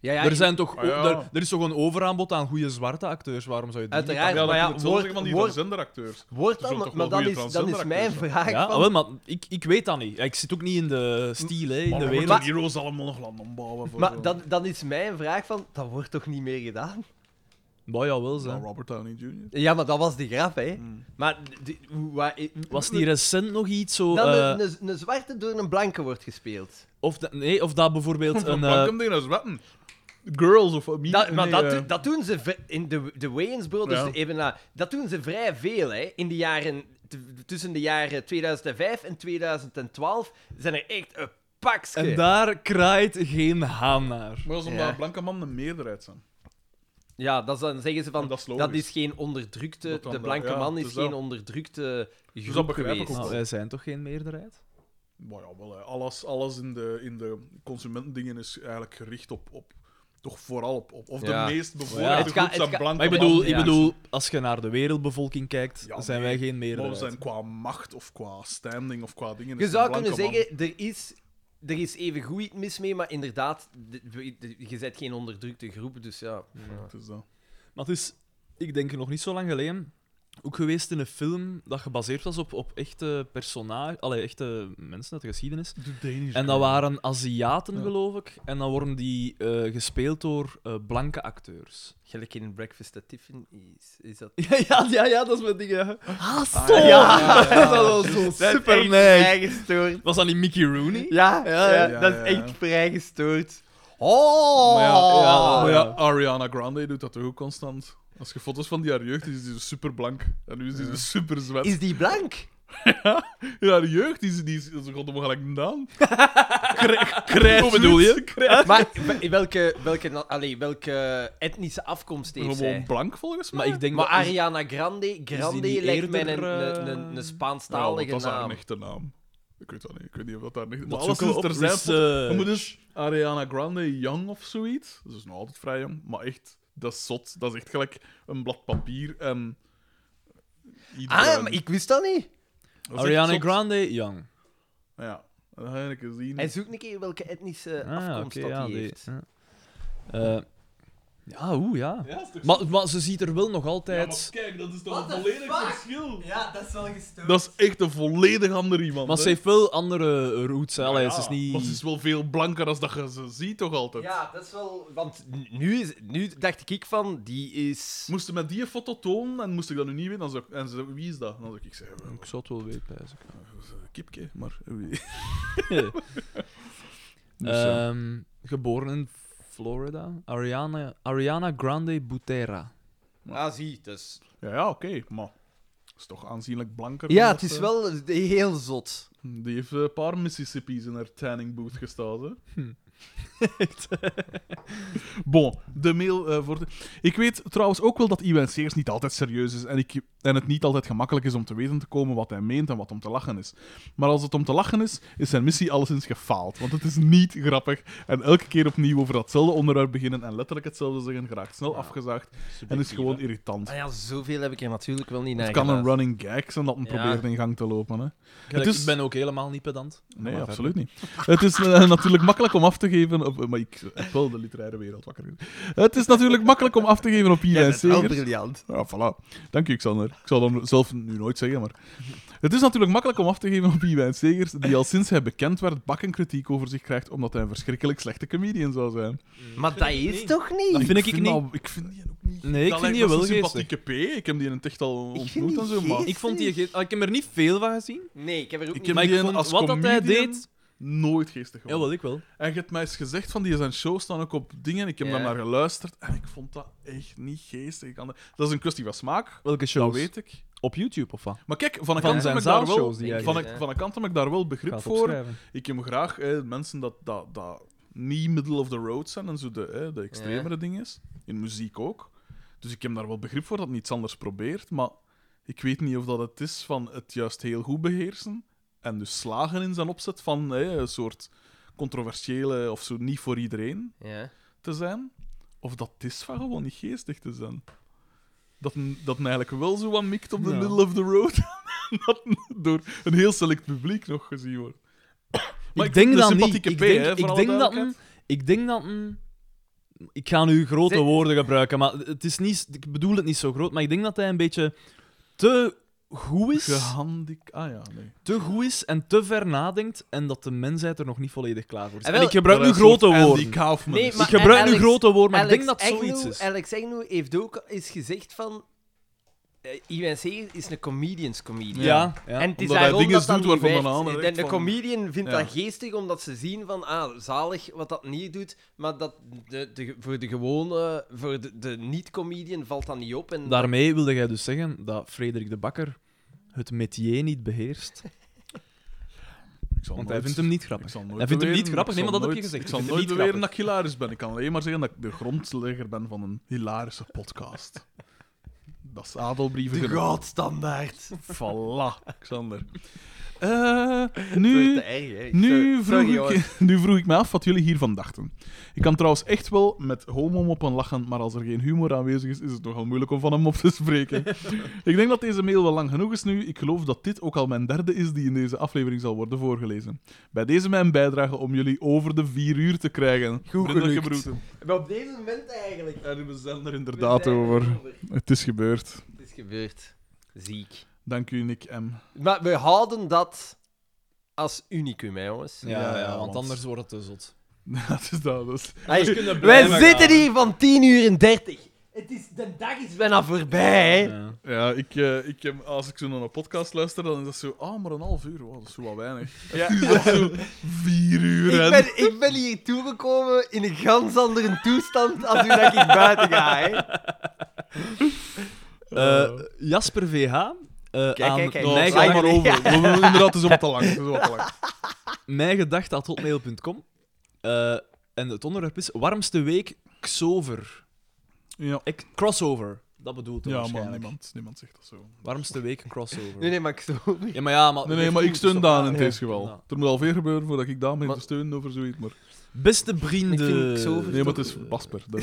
Speaker 2: Ja, ja,
Speaker 3: er, zijn toch,
Speaker 1: Ah, ja.
Speaker 3: o- er, er is toch een overaanbod aan goede zwarte acteurs, waarom zou je die
Speaker 2: Uiteraard,
Speaker 1: Ja,
Speaker 2: maar
Speaker 1: maar
Speaker 2: ja,
Speaker 1: het zo
Speaker 2: wordt-
Speaker 1: zeggen van die
Speaker 2: wordt-
Speaker 1: transgenderacteurs.
Speaker 2: Wordt
Speaker 1: Ze zullen
Speaker 2: dan...
Speaker 1: toch
Speaker 2: Maar
Speaker 1: wel
Speaker 2: dan
Speaker 1: goede
Speaker 2: is, dan is mijn
Speaker 1: transgenderacteurs
Speaker 2: vraag
Speaker 3: Ja,
Speaker 2: van...
Speaker 3: wel, maar ik, ik weet dat niet. Ik zit ook niet in de stijl, hè, in de wereld.
Speaker 1: Maar heroes allemaal nog land ombouwen voor eh,
Speaker 2: Maar dan, dan is mijn vraag van... Dat wordt toch niet meer gedaan?
Speaker 3: Maar ja, wel, hè.
Speaker 1: Robert Downey Jr.
Speaker 2: Ja, maar dat was de grap, hè.
Speaker 1: Hmm.
Speaker 2: Maar... die- hoe- waar-
Speaker 3: Was niet recent nog iets zo...
Speaker 1: Nou,
Speaker 2: Dan
Speaker 3: eh,
Speaker 2: een, een, een zwarte door een blanke wordt gespeeld.
Speaker 3: of dat, nee, of dat
Speaker 1: <laughs>
Speaker 3: bijvoorbeeld een... eh,
Speaker 1: Welkom dingen als wetten. Girls of me.
Speaker 2: Dat, maar
Speaker 1: nee,
Speaker 2: dat,
Speaker 1: eh,
Speaker 2: do- dat doen ze vri- in de, de Wayans Brothers,
Speaker 1: Ja.
Speaker 2: even na, dat doen ze vrij veel. Hè. In de jaren, t- tussen de jaren 2005 en 2012 zijn er echt een pakske.
Speaker 3: en daar kraait geen haan naar.
Speaker 1: Maar dat is omdat
Speaker 2: Ja.
Speaker 1: blanke mannen de meerderheid zijn.
Speaker 2: Ja, dat is, dan zeggen ze van,
Speaker 1: Dat
Speaker 2: dat
Speaker 1: is
Speaker 2: is,
Speaker 1: logisch.
Speaker 2: geen onderdrukte,
Speaker 1: Dat dan
Speaker 2: de
Speaker 1: wel,
Speaker 2: blanke
Speaker 1: ja,
Speaker 2: man
Speaker 1: het
Speaker 2: is
Speaker 1: is
Speaker 2: geen
Speaker 1: dat.
Speaker 2: onderdrukte groep
Speaker 1: dat begrijp ik
Speaker 2: geweest. Nou,
Speaker 1: ook.
Speaker 3: Nou, wij zijn toch geen meerderheid?
Speaker 1: Maar ja, wel, hè. alles, alles in de, in de consumentendingen is eigenlijk gericht op, op toch vooral op, op of
Speaker 2: Ja.
Speaker 1: de meest bevoorreelde
Speaker 3: Ja,
Speaker 2: het
Speaker 1: groep
Speaker 2: gaat- het
Speaker 1: zijn
Speaker 2: gaat-
Speaker 1: blanke
Speaker 3: Maar ik bedoel,
Speaker 1: mannen.
Speaker 3: ik bedoel, als je naar de wereldbevolking kijkt,
Speaker 1: Ja,
Speaker 3: zijn
Speaker 1: nee.
Speaker 3: wij geen
Speaker 1: Maar we
Speaker 3: meerderheid.
Speaker 1: zijn qua macht of qua standing of qua dingen...
Speaker 2: Je
Speaker 1: is de
Speaker 2: zou
Speaker 1: blanke
Speaker 2: kunnen
Speaker 1: man-
Speaker 2: zeggen, er is, er is even goed iets mis mee, maar inderdaad, de- we- de- je bent geen onderdrukte groep, dus ja.
Speaker 1: Het is dat.
Speaker 3: Maar het is, ik denk nog niet zo lang geleden, ook geweest in een film dat gebaseerd was op, op echte personages, allee, echte mensen uit de geschiedenis.
Speaker 1: De Danish
Speaker 3: En dat
Speaker 1: Girl.
Speaker 3: waren Aziaten,
Speaker 1: Ja.
Speaker 3: geloof ik. En dan worden die eh, gespeeld door eh, blanke acteurs.
Speaker 2: Gelijk in Breakfast at Tiffin is, is dat...
Speaker 3: <laughs> Ja, ja, ja, ja, dat is mijn ding. hè. Ah, zo! <laughs> dat was zo super
Speaker 2: vrij gestoord.
Speaker 3: Was dat niet Mickey Rooney?
Speaker 2: Ja,
Speaker 1: ja, ja, dat is ja. echt
Speaker 2: vrij gestoord. Oh!
Speaker 1: Maar ja,
Speaker 3: ja,
Speaker 1: maar
Speaker 3: ja.
Speaker 1: ja, Ariana Grande doet dat toch ook constant. Als je foto's van die haar jeugd is, is die super blank. En nu is die super zwet.
Speaker 2: Is die blank?
Speaker 1: Ja, haar jeugd is, die is, is god mogelijk
Speaker 2: <laughs>
Speaker 1: gedaan. Krijt. Hoe
Speaker 3: bedoel je?
Speaker 2: Maar wel- welke, welke, na- allee, welke etnische afkomst heeft
Speaker 1: Gewoon
Speaker 2: zij?
Speaker 1: blank volgens mij.
Speaker 3: Maar ik denk
Speaker 2: Maar
Speaker 3: dat...
Speaker 2: Ariana Grande, Grande
Speaker 3: niet
Speaker 2: lijkt mij een,
Speaker 3: eerder,
Speaker 2: een,
Speaker 3: eh,
Speaker 2: een, een
Speaker 1: Ja, want
Speaker 2: Spaanstalige
Speaker 1: dat is haar
Speaker 2: naam.
Speaker 1: echte naam. Ik weet dat niet. Ik weet niet of dat haar echte Maar
Speaker 3: Dat
Speaker 1: alles
Speaker 3: zoeken we
Speaker 1: is
Speaker 3: op eh,
Speaker 1: er zijn. foto-
Speaker 3: research.
Speaker 1: We moeten dus Ariana Grande Young of zoiets. Dat is nog altijd vrij jong. Maar echt, dat is zot. Dat is echt gelijk een blad papier en... eh,
Speaker 2: Ah, maar ik wist dat niet.
Speaker 3: Ariana Grande, young.
Speaker 1: Ja, dat heb ik gezien.
Speaker 2: Hij zoekt een keer welke etnische
Speaker 3: Ah,
Speaker 2: afkomst
Speaker 3: oké,
Speaker 2: dat
Speaker 3: ja,
Speaker 2: hij
Speaker 3: die-
Speaker 2: heeft.
Speaker 3: ja. Eh, ja, oeh, ja.
Speaker 1: Ja, is toch zo?
Speaker 3: Maar, maar ze ziet er wel nog
Speaker 1: Ja,
Speaker 3: altijd...
Speaker 1: maar kijk, dat is toch
Speaker 2: What
Speaker 1: een
Speaker 2: the
Speaker 1: volledig
Speaker 2: fuck?
Speaker 1: verschil.
Speaker 2: Ja, dat is wel gestoord.
Speaker 1: Dat is echt een volledig ander iemand.
Speaker 3: Maar ze
Speaker 1: hè.
Speaker 3: heeft wel andere roots. hè. Allee,
Speaker 1: Ja,
Speaker 3: ze is
Speaker 1: Maar ze is
Speaker 3: niet...
Speaker 1: wel veel blanker als dat je ze ziet, toch altijd?
Speaker 2: Ja, dat is wel... Want nu, is, nu dacht ik van, die is...
Speaker 1: Moesten met die foto tonen en moest ik dat nu niet weten, dan zou ik- en ze zei, wie is dat? En dan zou ik, ik zei, "Wel,
Speaker 3: Ik zou het wel weten, pijs ik.
Speaker 1: kipke, maar <laughs> wie? Dus, eh,
Speaker 3: Ehm, geboren in Florida. Ariana, Ariana Grande Butera.
Speaker 2: Ah, zie, dus...
Speaker 1: Ja, ja oké, maar is toch aanzienlijk blanker.
Speaker 2: Ja,
Speaker 1: dan
Speaker 2: het
Speaker 1: dat,
Speaker 2: is
Speaker 1: eh,
Speaker 2: wel heel zot.
Speaker 1: Die heeft eh, een paar Mississippi's in haar tanning booth gestaan. Hè?
Speaker 2: Hm. <laughs>
Speaker 1: bon, de mail eh, voor de... Ik weet trouwens ook wel dat Iwan Sears niet altijd serieus is en, ik, en het niet altijd gemakkelijk is om te weten te komen wat hij meent en wat om te lachen is. Maar als het om te lachen is, is zijn missie alleszins gefaald. Want het is niet grappig en elke keer opnieuw over datzelfde onderwerp beginnen en letterlijk hetzelfde zeggen geraakt snel afgezaagd en is gewoon irritant.
Speaker 2: Ah ja, zoveel heb ik er natuurlijk wel niet naar
Speaker 1: Het kan een
Speaker 2: geluisterd.
Speaker 1: running gag zijn dat men
Speaker 2: Ja.
Speaker 1: probeert in gang te lopen. Hè.
Speaker 3: Kijk,
Speaker 1: is-
Speaker 3: Ik ben ook helemaal niet pedant.
Speaker 1: dus- Nee,
Speaker 3: Maar
Speaker 1: absoluut niet. Het is eh, natuurlijk makkelijk om af te geven op... eh, Maar ik heb wel de literaire wereld wakker gezet. Het is natuurlijk makkelijk om af te geven op Ida en Segers.
Speaker 2: briljant.
Speaker 1: Ja, voilà. Dank u, Xander. Ik zal dat zelf nu nooit zeggen, maar... Het is natuurlijk makkelijk om af te geven op Ida en Segers, die al sinds hij bekend werd bakken kritiek over zich krijgt omdat hij een verschrikkelijk slechte comedian zou zijn.
Speaker 2: Maar dat is toch
Speaker 3: Dat
Speaker 2: niet?
Speaker 3: vind ik, ik niet.
Speaker 1: dat- ik vind die ook niet...
Speaker 3: Nee, ik
Speaker 1: Dat
Speaker 3: vind
Speaker 1: lijkt
Speaker 3: die
Speaker 1: me
Speaker 3: wel
Speaker 1: zo'n
Speaker 3: geestig.
Speaker 1: sympathieke P. Ik heb die in het echt al
Speaker 2: vind
Speaker 1: ontmoet
Speaker 2: die
Speaker 1: en zo, maar...
Speaker 3: Ik vond die geest- ah, Ik heb er niet veel van gezien.
Speaker 2: Nee, ik heb er ook
Speaker 1: Ik
Speaker 2: niet...
Speaker 1: heb
Speaker 3: Maar ik
Speaker 1: die
Speaker 3: vond
Speaker 1: als
Speaker 3: wat dat hij
Speaker 1: comedian
Speaker 3: deed-
Speaker 1: Nooit geestig gevonden.
Speaker 3: Jawel, ik wel.
Speaker 1: En je hebt mij eens gezegd van die zijn shows staan ook op dingen. Ik heb
Speaker 2: Ja.
Speaker 1: daar naar geluisterd en ik vond dat echt niet geestig. Ik kan dat- Dat is een kwestie van smaak.
Speaker 3: Welke
Speaker 1: Dat
Speaker 3: shows?
Speaker 1: weet ik.
Speaker 3: Nou, Op YouTube of wat?
Speaker 1: Maar kijk, van een
Speaker 3: Van
Speaker 1: kant
Speaker 3: zijn
Speaker 1: heb ik daar wel,
Speaker 3: zaalshows die hij
Speaker 1: van
Speaker 2: deed,
Speaker 1: een,
Speaker 2: hè?
Speaker 1: van een kant heb ik daar wel
Speaker 3: Ik
Speaker 1: begrip
Speaker 3: ga het
Speaker 1: voor.
Speaker 3: opschrijven.
Speaker 1: Ik heb graag hè, mensen dat, dat, dat niet middle of the road zijn en zo de, hè, de extremere dingen is. In muziek ook. Dus ik heb daar wel begrip voor dat het iets anders probeert. Maar ik weet niet of dat het is van het juist heel goed beheersen en dus slagen in zijn opzet van hè, een soort controversiële of zo niet voor iedereen
Speaker 2: Ja.
Speaker 1: te zijn, of dat het is van gewoon niet geestig te zijn. Dat een, dat een eigenlijk wel zo wat mikt op de
Speaker 3: Ja.
Speaker 1: middle of the road, <laughs> en dat een door een heel select publiek nog gezien wordt. Maar
Speaker 3: ik, denk
Speaker 1: vind
Speaker 3: dat
Speaker 1: een
Speaker 3: niet.
Speaker 1: sympathieke
Speaker 3: Ik
Speaker 1: P, hè,
Speaker 3: denk,
Speaker 1: voor
Speaker 3: ik
Speaker 1: alle
Speaker 3: denk dat een,
Speaker 1: duidelijkheid.
Speaker 3: Ik denk dat een... Ik ga nu grote
Speaker 2: Ze-
Speaker 3: woorden gebruiken, maar het is niet, ik bedoel het niet zo groot, maar ik denk dat hij een beetje te goed is,
Speaker 1: Gehandik... Ah ja, nee.
Speaker 3: te goed is en te ver nadenkt en dat de mensheid er nog niet volledig klaar voor is.
Speaker 2: En
Speaker 3: En,
Speaker 2: wel-
Speaker 3: ik gebruik
Speaker 1: Dat
Speaker 3: nu
Speaker 1: is een soort
Speaker 3: grote woorden.
Speaker 1: Andy Kaufman.
Speaker 2: Nee,
Speaker 1: is.
Speaker 2: maar-
Speaker 3: ik gebruik nu
Speaker 2: Alex-
Speaker 3: grote woorden, maar
Speaker 2: Alex
Speaker 3: ik denk dat het
Speaker 2: Agnew-
Speaker 3: zoiets is.
Speaker 2: Alex Agnew heeft ook eens gezegd van... eh Iwan Segers is een comedians comedian.
Speaker 3: Ja, ja.
Speaker 2: En het
Speaker 1: Omdat
Speaker 2: is
Speaker 1: hij
Speaker 2: daarom
Speaker 1: dingen
Speaker 2: dat dat
Speaker 1: doet
Speaker 2: niet
Speaker 1: waarvan
Speaker 2: werkt.
Speaker 1: een ander
Speaker 2: De-
Speaker 1: denkt
Speaker 2: De
Speaker 1: van-
Speaker 2: comedian vindt
Speaker 1: Ja.
Speaker 2: dat geestig, omdat ze zien van, ah, zalig wat dat niet doet, maar dat de, de, voor de gewone, voor de, de niet-comedian valt dat niet op. En
Speaker 3: Daarmee wilde jij dus zeggen dat Frederik de Bakker het métier niet beheerst.
Speaker 1: Ik zal
Speaker 3: Want hij
Speaker 1: nooit-
Speaker 3: vindt hem niet
Speaker 1: ik
Speaker 3: grappig.
Speaker 1: zal nooit
Speaker 3: Hij vindt hem
Speaker 1: beweren-
Speaker 3: niet grappig.
Speaker 1: ik
Speaker 3: Nee, maar
Speaker 1: zal
Speaker 3: dat heb je
Speaker 1: nooit-
Speaker 3: gezegd.
Speaker 1: Ik zal
Speaker 3: Ik
Speaker 1: nooit
Speaker 3: vind hem
Speaker 1: beweren
Speaker 3: niet
Speaker 1: dat ik hilarisch ben. Ik kan alleen maar zeggen dat ik de grondlegger ben van een hilarische podcast. <laughs> Dat is adelbrieven
Speaker 4: De
Speaker 1: genoeg.
Speaker 4: goudstandaard.
Speaker 1: Voilà,
Speaker 3: <laughs>
Speaker 1: Xander. Eh, nu,
Speaker 2: te erg, hè. Ik
Speaker 1: nu,
Speaker 2: zou-
Speaker 1: vroeg
Speaker 2: sorry, jongens.
Speaker 1: ik, <laughs> nu vroeg ik me af wat jullie hiervan dachten. Ik kan trouwens echt wel met homo op lachen, maar als er geen humor aanwezig is, is het nogal moeilijk om van hem op te spreken. <laughs> ik denk dat deze mail wel lang genoeg is nu. Ik geloof dat dit ook al mijn derde is die in deze aflevering zal worden voorgelezen. Bij deze mijn bijdrage om jullie over de vier uur te krijgen. Goed gelukt.
Speaker 2: Maar op deze moment eigenlijk.
Speaker 1: En we zijn er inderdaad over. Het is gebeurd.
Speaker 2: Het is gebeurd. Ziek.
Speaker 1: Dank u, Nick M. <laughs>
Speaker 2: Maar we houden dat als unicum, hè, jongens.
Speaker 3: Ja, ja,
Speaker 1: ja, ja,
Speaker 3: want
Speaker 1: want-
Speaker 3: anders wordt het te zot.
Speaker 1: Dat is dat. dat is-
Speaker 2: Hey,
Speaker 3: kunnen
Speaker 2: wij
Speaker 3: blijven
Speaker 2: zitten
Speaker 3: gaan.
Speaker 2: hier van 10 uur en 30. Het is, de dag is bijna voorbij, hè.
Speaker 1: Ja, ik, eh, ik heb, als ik zo naar een podcast luister, dan is dat zo, ah, maar een half uur, wow, dat is zo wat weinig. Ja. is dat zo vier uur
Speaker 2: Ik
Speaker 1: en...
Speaker 2: ben, ik ben hier toegekomen in een gans andere toestand als u dat ik buiten ga, hè.
Speaker 3: Jasper VH. eh
Speaker 2: kijk,
Speaker 3: aan
Speaker 2: kijk.
Speaker 1: Oh,
Speaker 3: Mijn,
Speaker 1: sla
Speaker 3: gedacht,
Speaker 1: maar over. We- we- Inderdaad, het is wat te lang. Het is wat te lang.
Speaker 3: <laughs> mijn gedachte at hotmail.com. Eh, en het onderwerp is warmste week Xover.
Speaker 1: Ja,
Speaker 3: Ik, crossover. Dat bedoelt hij
Speaker 1: ja maar
Speaker 3: waarschijnlijk. Oh,
Speaker 1: niemand, niemand zegt dat zo.
Speaker 3: Warmste week een crossover.
Speaker 2: Nee, nee, maar ik zo.
Speaker 3: Ja, maar ja, maar...
Speaker 1: Nee, nee, maar ik steun Daan in deze geval.
Speaker 3: Ja. Dus
Speaker 1: Er moet al veel gebeuren voordat ik Daan begin te steunen over zoiets, maar...
Speaker 3: Beste vrienden.
Speaker 2: Ik vind Xover
Speaker 1: Nee, maar het is Basper.
Speaker 3: <laughs>
Speaker 1: Dan...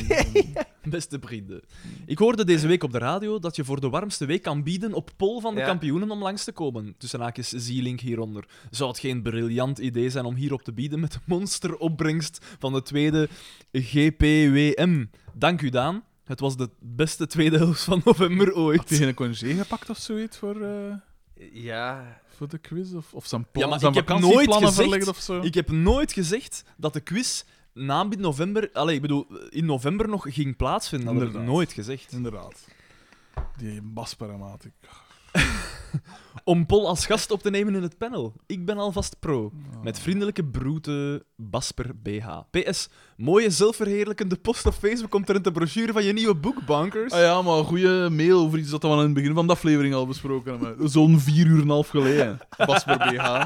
Speaker 3: Beste vrienden. Ik hoorde deze week op de radio dat je voor de warmste week kan bieden op pol van de
Speaker 2: Ja.
Speaker 3: kampioenen om langs te komen. Tussen haakjes Zielink hieronder. Zou het geen briljant idee zijn om hierop te bieden met de monsteropbrengst van de tweede GPWM? Dank u, Daan. Het was de beste tweede helft van november
Speaker 1: Had hij
Speaker 3: ooit.
Speaker 1: geen congé gepakt of zoiets voor, eh,
Speaker 2: Ja.
Speaker 1: voor de quiz? Of, of zijn,
Speaker 3: Ja,
Speaker 1: plan,
Speaker 3: maar
Speaker 1: zijn
Speaker 3: ik heb nooit
Speaker 1: vakantieplannen
Speaker 3: gezegd-
Speaker 1: verlegd of zo?
Speaker 3: Ik heb nooit gezegd dat de quiz na mid november, allee, ik bedoel, in november nog ging plaatsvinden. Dat heb ik
Speaker 1: Inderdaad.
Speaker 3: nooit gezegd.
Speaker 1: Inderdaad. Die Basper, maat. Ik...
Speaker 3: om Pol als gast op te nemen in het panel. Ik ben alvast pro. Met vriendelijke broete Basper BH. PS, mooie zelfverheerlijkende post op Facebook omtrent de brochure van je nieuwe boek, Bankers.
Speaker 1: Ah ja, maar een goede mail over iets dat we aan het begin van de aflevering al besproken hebben. Zo'n vier uur en een half geleden. Basper BH.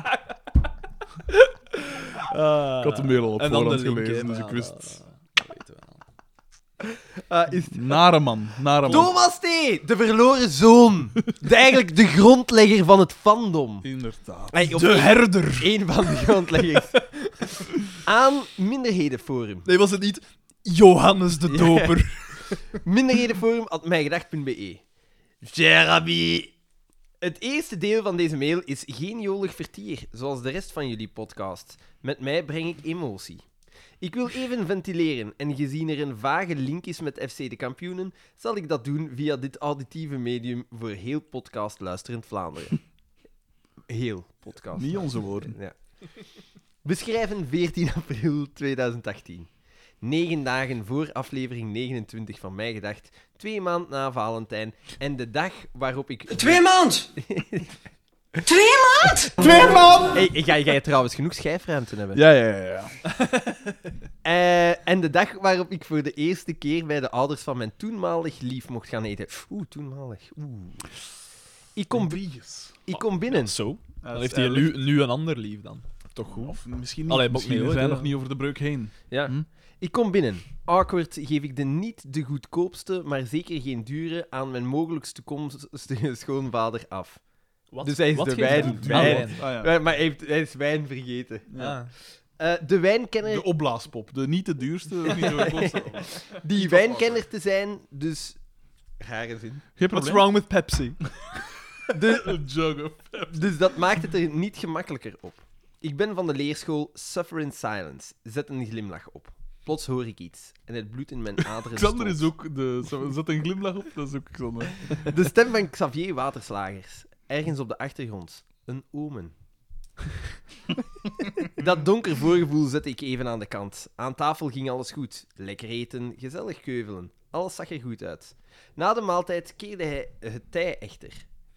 Speaker 1: Ik had de mail al op
Speaker 3: Ah. En dan de
Speaker 1: voorhand
Speaker 3: link,
Speaker 1: gelezen,
Speaker 3: hè,
Speaker 1: dus ik
Speaker 3: maar
Speaker 1: wist
Speaker 3: dat-
Speaker 1: het.
Speaker 3: dat weten we al.
Speaker 2: Ah, is...
Speaker 1: Nare man, nare man.
Speaker 2: Thomas T., de verloren zoon. De, eigenlijk de grondlegger van het fandom.
Speaker 1: Inderdaad.
Speaker 2: Hey, of
Speaker 3: De herder.
Speaker 2: één van de grondleggers. Aan Minderhedenforum.
Speaker 3: Nee, was het niet Johannes de Doper?
Speaker 2: minderhedenforum.mijgedacht.be. Jeremy! Het eerste deel van deze mail is geen jolig vertier, zoals de rest van jullie podcast. Met mij breng ik emotie. Ik wil even ventileren en gezien er een vage link is met FC de kampioenen, zal ik dat doen via dit auditieve medium voor heel podcast luisterend Vlaanderen. Heel podcast.
Speaker 1: Niet onze woorden.
Speaker 2: Ja. Beschrijven 14 <laughs> april 2018. Negen dagen voor aflevering 29 van Mij Gedacht, twee maand na Valentijn en de dag waarop ik...
Speaker 6: Twee maand. Twee maand.
Speaker 2: Hey, ga, ga je trouwens genoeg schijfruimte hebben?
Speaker 1: Ja, ja, ja. ja.
Speaker 2: Eh, en de dag waarop ik voor de eerste keer bij de ouders van mijn toenmalig lief mocht gaan eten. Oeh, toenmalig. Oeh. Ik kom,
Speaker 1: Bies.
Speaker 2: ik kom binnen.
Speaker 3: <laughs> Zo. Dan
Speaker 1: dat
Speaker 3: heeft
Speaker 1: is
Speaker 3: hij nu, nu een ander lief dan. Toch goed?
Speaker 1: Of misschien niet.
Speaker 3: Allee, mag
Speaker 1: misschien
Speaker 3: niet, hoor.
Speaker 1: zijn we
Speaker 3: Ja.
Speaker 1: nog niet over de breuk heen.
Speaker 2: Ja.
Speaker 1: Hm?
Speaker 2: Ik kom binnen. Awkward geef ik de niet de goedkoopste, maar zeker geen dure, aan mijn mogelijkst toekomstige <laughs> schoonvader af.
Speaker 3: Wat?
Speaker 2: Dus hij is de
Speaker 3: geeft
Speaker 2: wijn-
Speaker 3: hij? Ah,
Speaker 2: wijn.
Speaker 3: wijn.
Speaker 1: Ah, ja.
Speaker 2: Maar, maar hij, heeft, hij is wijn vergeten.
Speaker 3: Ja.
Speaker 2: Eh, de wijnkenner,
Speaker 1: De opblaaspop. De niet de
Speaker 3: <laughs>
Speaker 1: duurste. ook niet de goedkoopste.
Speaker 2: die wijnkenner te zijn, dus... Rare zin.
Speaker 1: Geen
Speaker 3: What's
Speaker 1: probleem.
Speaker 3: wrong with Pepsi?
Speaker 1: Een jug of-
Speaker 2: Dus dat maakt het er niet gemakkelijker op. Ik ben van de leerschool Suffer in Silence. Zet een glimlach op. Plots hoor ik iets en het bloed in mijn aderen
Speaker 1: Xander is
Speaker 2: stolt.
Speaker 1: ook de... Zet een glimlach op, dat is ook Xander.
Speaker 2: De stem van Xavier Waterslagers. Ergens op de achtergrond. Een omen. Dat donker voorgevoel zet ik even aan de kant. Aan tafel ging alles goed. Lekker eten, gezellig keuvelen. Alles zag er goed uit. Na de maaltijd keerde hij het tij echter.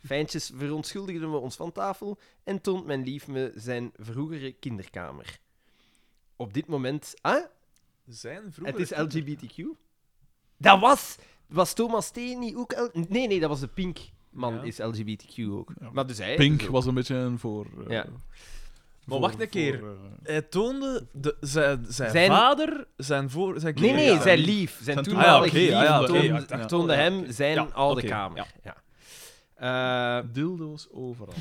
Speaker 2: Fijntjes verontschuldigden we ons van tafel en toont mijn lief me zijn vroegere kinderkamer. Op dit moment... Ah,
Speaker 3: Zijn vroeger...
Speaker 2: het is LGBTQ? Dat was... Was Thomas T niet ook... L- nee, nee, dat was de Pink. Man
Speaker 3: Ja.
Speaker 2: is LGBTQ ook.
Speaker 1: Ja.
Speaker 2: Maar dus hij...
Speaker 1: Pink
Speaker 2: dus ook.
Speaker 1: was een beetje een voor... eh,
Speaker 2: Ja.
Speaker 3: Maar wacht een keer.
Speaker 1: voor, eh,
Speaker 3: Hij toonde de, zijn, zijn,
Speaker 2: Zijn-
Speaker 3: vader, zijn voor... Zijn
Speaker 2: Nee, nee,
Speaker 3: kinderen-
Speaker 2: zijn lief. Zijn
Speaker 1: Zijn
Speaker 3: Ah ja, oké.
Speaker 2: toenmalig
Speaker 3: ja, ja,
Speaker 2: lief
Speaker 3: oké,
Speaker 2: toonde-
Speaker 3: ja, ja.
Speaker 2: toonde hem zijn
Speaker 3: Ja,
Speaker 2: oude
Speaker 3: oké,
Speaker 2: kamer.
Speaker 3: ja.
Speaker 2: Ja. Eh,
Speaker 1: Dildo's <laughs> overal.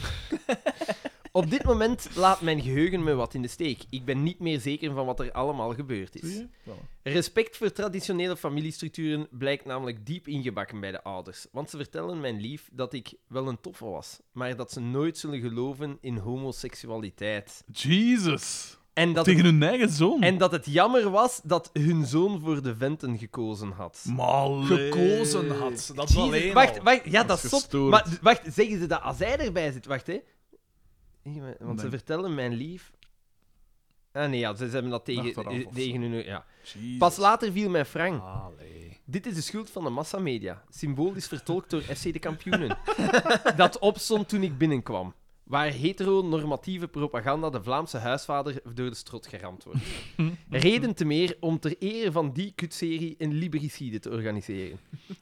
Speaker 2: op dit moment laat mijn geheugen me wat in de steek. Ik ben niet meer zeker van wat er allemaal gebeurd
Speaker 1: Zie
Speaker 2: is.
Speaker 1: je? Voilà.
Speaker 2: Respect voor traditionele familiestructuren blijkt namelijk diep ingebakken bij de ouders. Want ze vertellen mijn lief dat ik wel een toffe was, maar dat ze nooit zullen geloven in homoseksualiteit.
Speaker 1: Jesus.
Speaker 2: En dat,
Speaker 1: Tegen
Speaker 2: het,
Speaker 1: hun eigen zoon.
Speaker 2: en dat het jammer was dat hun zoon voor de venten gekozen had.
Speaker 1: Mal.
Speaker 3: Gekozen had. Dat is
Speaker 2: Jezus,
Speaker 3: alleen
Speaker 2: Dus wacht,
Speaker 3: al.
Speaker 2: wacht, ja, dat,
Speaker 1: Dat
Speaker 2: is
Speaker 1: is
Speaker 2: zot.
Speaker 1: gestoord.
Speaker 2: Maar d- wacht, zeggen ze dat als hij erbij zit? Wacht, hè. Nee, maar- Want ze
Speaker 1: Nee.
Speaker 2: vertellen mijn lief... Ah nee, ja, ze ze hebben dat tegen,
Speaker 1: Achteraf of zo.
Speaker 2: tegen hun... Ja. Pas later viel mijn Frank. Dit is de schuld van de massamedia. Symbolisch vertolkt door FC De Kampioenen. <laughs> dat opstond toen ik binnenkwam. Waar heteronormatieve propaganda de Vlaamse huisvader door de strot geramd wordt. Reden te meer om ter ere van die kutserie een libericide te organiseren.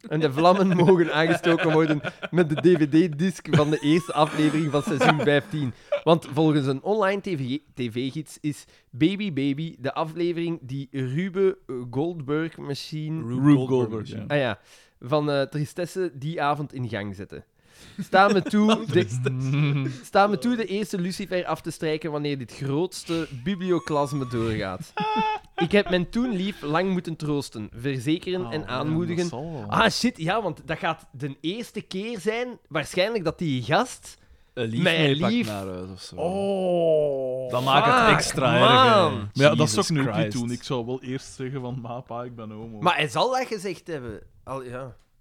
Speaker 2: En de vlammen mogen aangestoken worden met de dvd-disc van de eerste aflevering van seizoen 15. Want volgens een online TV tv-gids is Baby Baby de aflevering die Rube Goldberg Machine...
Speaker 1: Rube Goldberg. ja.
Speaker 2: Ah ja, van eh, Tristesse die avond in gang zetten. Sta me, toe de, sta me toe de eerste Lucifer af te strijken wanneer dit grootste biblioklasme doorgaat. Ik heb mijn toen lief lang moeten troosten, verzekeren
Speaker 3: Oh,
Speaker 2: en aanmoedigen. ah shit, ja, want dat gaat de eerste keer zijn, waarschijnlijk dat die gast...
Speaker 3: Een lief
Speaker 2: Mijn
Speaker 3: meepakt
Speaker 2: lief.
Speaker 3: naar huis of zo. dat maakt het
Speaker 2: fuck,
Speaker 3: extra
Speaker 2: man.
Speaker 3: erg. hè.
Speaker 1: Maar Oh, ja, dat zou
Speaker 3: Jesus
Speaker 1: ik nu ook niet
Speaker 3: Christ.
Speaker 1: doen. Ik zou wel eerst zeggen van, ma, pa, ik ben homo.
Speaker 2: Maar hij zal dat gezegd hebben. Al, ja.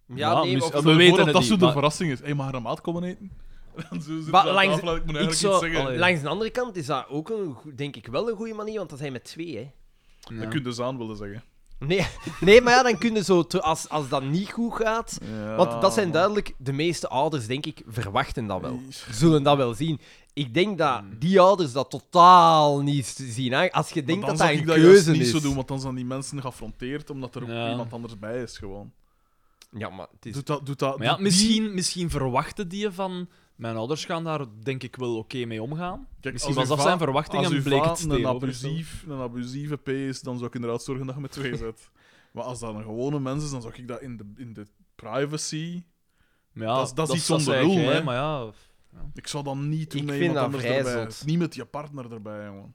Speaker 2: Ja,
Speaker 3: Ja,
Speaker 2: nee,
Speaker 3: mis-
Speaker 2: of-
Speaker 3: we
Speaker 1: Stel je
Speaker 3: weten
Speaker 1: voor dat
Speaker 3: het
Speaker 1: dat
Speaker 3: niet,
Speaker 1: zo de
Speaker 3: maar-
Speaker 1: verrassing is. Hé, hey, mag er een maat komen eten? <laughs> Dan zo zit
Speaker 2: Maar
Speaker 1: ze aan
Speaker 2: langs-
Speaker 1: tafel en ik moet
Speaker 3: ik
Speaker 1: eigenlijk
Speaker 3: zou-
Speaker 1: iets zeggen.
Speaker 3: allee.
Speaker 2: Langs de andere kant is dat ook, een, goe- denk ik, wel een goede manier, want dat zijn met twee, hè.
Speaker 1: Dan kun je dus aan willen zeggen.
Speaker 2: Nee, <laughs> nee maar ja, dan kunnen zo, ter- als, als dat niet goed gaat.
Speaker 1: Ja,
Speaker 2: Want dat zijn duidelijk, de meeste ouders, denk ik, verwachten dat wel. Zullen dat wel zien. Ik denk dat
Speaker 1: Hmm.
Speaker 2: die ouders dat totaal niet s- zien. aan- Als je denkt dat dat een
Speaker 1: ik dat juist
Speaker 2: keuze
Speaker 1: niet
Speaker 2: is.
Speaker 1: zo doen, want dan zijn die mensen geaffronteerd omdat er ook
Speaker 3: Ja.
Speaker 1: iemand anders bij is gewoon.
Speaker 2: Ja, maar het is...
Speaker 1: Doet dat, doet dat,
Speaker 3: Maar ja,
Speaker 1: doet
Speaker 3: misschien, misschien verwachten die van... Mijn ouders gaan daar denk ik wel oké mee omgaan.
Speaker 1: Kijk,
Speaker 3: misschien
Speaker 1: als
Speaker 3: was
Speaker 1: uw va-
Speaker 3: dat zijn
Speaker 1: die- als
Speaker 3: verwachtingen
Speaker 1: uw
Speaker 3: en bleek
Speaker 1: va
Speaker 3: het
Speaker 1: een,
Speaker 3: tegenovergestelde.
Speaker 1: abusief, een abusieve P is, dan zou ik inderdaad zorgen dat je met twee
Speaker 3: <laughs>
Speaker 1: zet. maar als dat een gewone mens is, dan zou ik dat in de, in de privacy...
Speaker 3: Ja,
Speaker 1: Dat is- dat is iets
Speaker 3: dat
Speaker 1: onder
Speaker 3: zei ik,
Speaker 1: lul,
Speaker 3: hè,
Speaker 1: hè.
Speaker 3: Maar ja,
Speaker 1: Ik zou dat niet doen
Speaker 2: Ik
Speaker 1: met
Speaker 2: vind
Speaker 1: iemand anders
Speaker 2: dat vrij
Speaker 1: erbij.
Speaker 2: zot.
Speaker 1: Niet met je partner erbij, jongen.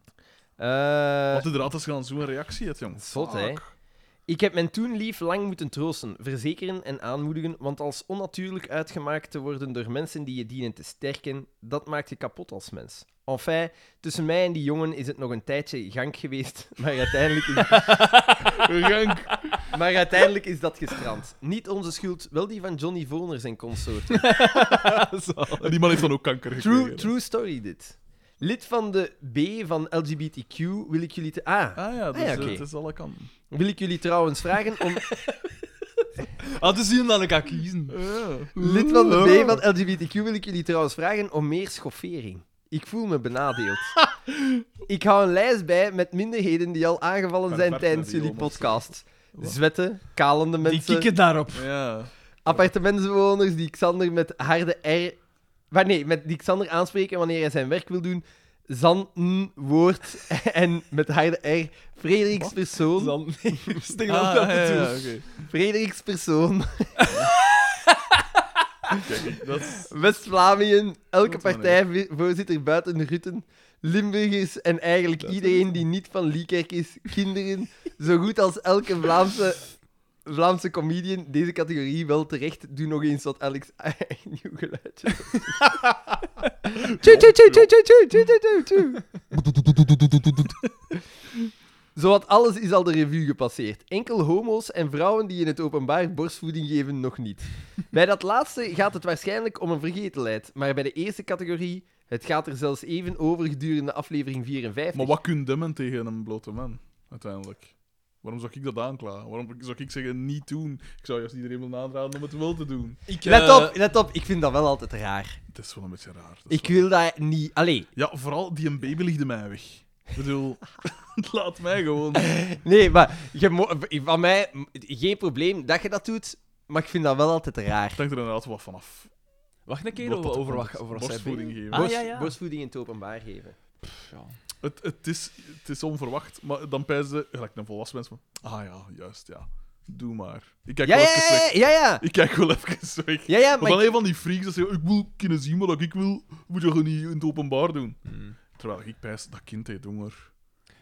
Speaker 2: Eh,
Speaker 1: Want inderdaad, als je dan zo'n reactie hebt, jongen.
Speaker 2: Zot, hè?
Speaker 1: Fuck.
Speaker 2: Ik heb mijn toen lief lang moeten troosten, verzekeren en aanmoedigen, want als onnatuurlijk uitgemaakt te worden door mensen die je dienen te sterken, dat maakt je kapot als mens. Enfin, tussen mij en die jongen is het nog een tijdje gank geweest, <laughs> maar uiteindelijk is,
Speaker 1: <laughs> Genk.
Speaker 2: <laughs> maar uiteindelijk is dat gestrand. Niet onze schuld, wel die van Johnny Voners en consorten.
Speaker 1: En die man heeft dan ook kanker gekregen.
Speaker 2: True, true story dit. Lid van de B van LGBTQ wil ik jullie te... Ah,
Speaker 1: Ah ja, dus
Speaker 2: ja,
Speaker 1: eh,
Speaker 2: oké.
Speaker 1: het is alle kanten.
Speaker 2: wil ik jullie trouwens vragen om
Speaker 3: Ah, dus die dan ik ga kiezen.
Speaker 2: Eh. Lid van de B van LGBTQ wil ik jullie trouwens vragen om meer schoffering. Ik voel me benadeeld. ik hou een lijst bij met minderheden die al aangevallen zijn
Speaker 1: Perversen
Speaker 2: tijdens
Speaker 1: die
Speaker 2: jullie
Speaker 1: homo's.
Speaker 2: podcast. Zwetten, kalende
Speaker 3: Die
Speaker 2: mensen,
Speaker 3: kikken
Speaker 1: <laughs>
Speaker 3: daarop.
Speaker 2: <laughs>
Speaker 1: Ja.
Speaker 2: appartementsbewoners die Xander met harde R... Waar, nee, met die Xander aanspreken wanneer hij zijn werk wil doen. Zanten, woord <laughs> en met harde R. Frederikspersoon.
Speaker 3: Dan <laughs> stik
Speaker 1: Ah,
Speaker 3: dat
Speaker 1: ja, ja,
Speaker 3: toe.
Speaker 1: oké.
Speaker 2: Frederikspersoon.
Speaker 1: Kijk, dat is...
Speaker 2: West-Vlamingen, elke
Speaker 1: Wat een
Speaker 2: partijvoorzitter buiten Rutten, Limburgers en eigenlijk iedereen die niet van Liekerk is, kinderen, zo goed als elke Vlaamse, Vlaamse comedian, deze categorie wel terecht. Doe nog eens wat Alex <laughs> nieuw geluidje. Tjoe, tjoe, tjoe, tjoe, tjoe, tjoe, tjoe, tjoe, tjoe. <laughs> Zowat alles is al de revue gepasseerd. Enkel homo's en vrouwen die in het openbaar borstvoeding geven nog niet. Bij dat laatste gaat het waarschijnlijk om een vergetelheid, maar bij de eerste categorie, het gaat er zelfs even over gedurende aflevering 54.
Speaker 1: Maar wat kunnen demmen tegen een blote man, uiteindelijk? Waarom zou ik dat aanklagen? Waarom zou ik zeggen niet doen? Ik zou juist iedereen willen aanraden om het wel te doen.
Speaker 3: Ik,
Speaker 2: Let
Speaker 3: eh,
Speaker 2: op, let op, ik vind dat wel altijd raar.
Speaker 1: Het is wel een beetje raar. dat is
Speaker 2: Ik
Speaker 1: wel-
Speaker 2: wil dat niet. Allee,
Speaker 1: Ja, vooral die een baby ligt mij weg. Ik bedoel, <laughs> laat mij gewoon.
Speaker 2: nee, maar je mo- van mij m- geen probleem dat je dat doet, maar ik vind dat wel altijd raar.
Speaker 1: Ik denk er inderdaad wat vanaf.
Speaker 3: Wacht een keer
Speaker 1: Wat
Speaker 3: over,
Speaker 1: dat
Speaker 3: over,
Speaker 1: komt.
Speaker 3: wat- over wat zij
Speaker 1: Borstvoeding
Speaker 3: doen.
Speaker 1: geven.
Speaker 3: Ah, ja, ja.
Speaker 2: Borstvoeding in het openbaar geven.
Speaker 1: Het, het, is, het is onverwacht, maar dan pijzen ze, gelijk een volwassen mens, van, ah ja, juist, ja. Doe maar. Ik kijk
Speaker 2: Ja,
Speaker 1: wel
Speaker 2: ja,
Speaker 1: even
Speaker 2: ja,
Speaker 1: weg.
Speaker 2: ja, ja.
Speaker 1: Ik kijk wel even weg.
Speaker 2: Ja, ja,
Speaker 1: Maar
Speaker 2: maar
Speaker 1: dan
Speaker 2: ik-
Speaker 1: een van die freaks dat zeggen, ik wil kunnen zien wat ik wil, moet je gewoon niet in het openbaar doen.
Speaker 3: Hmm.
Speaker 1: Terwijl ik pijs, dat kind heet honger.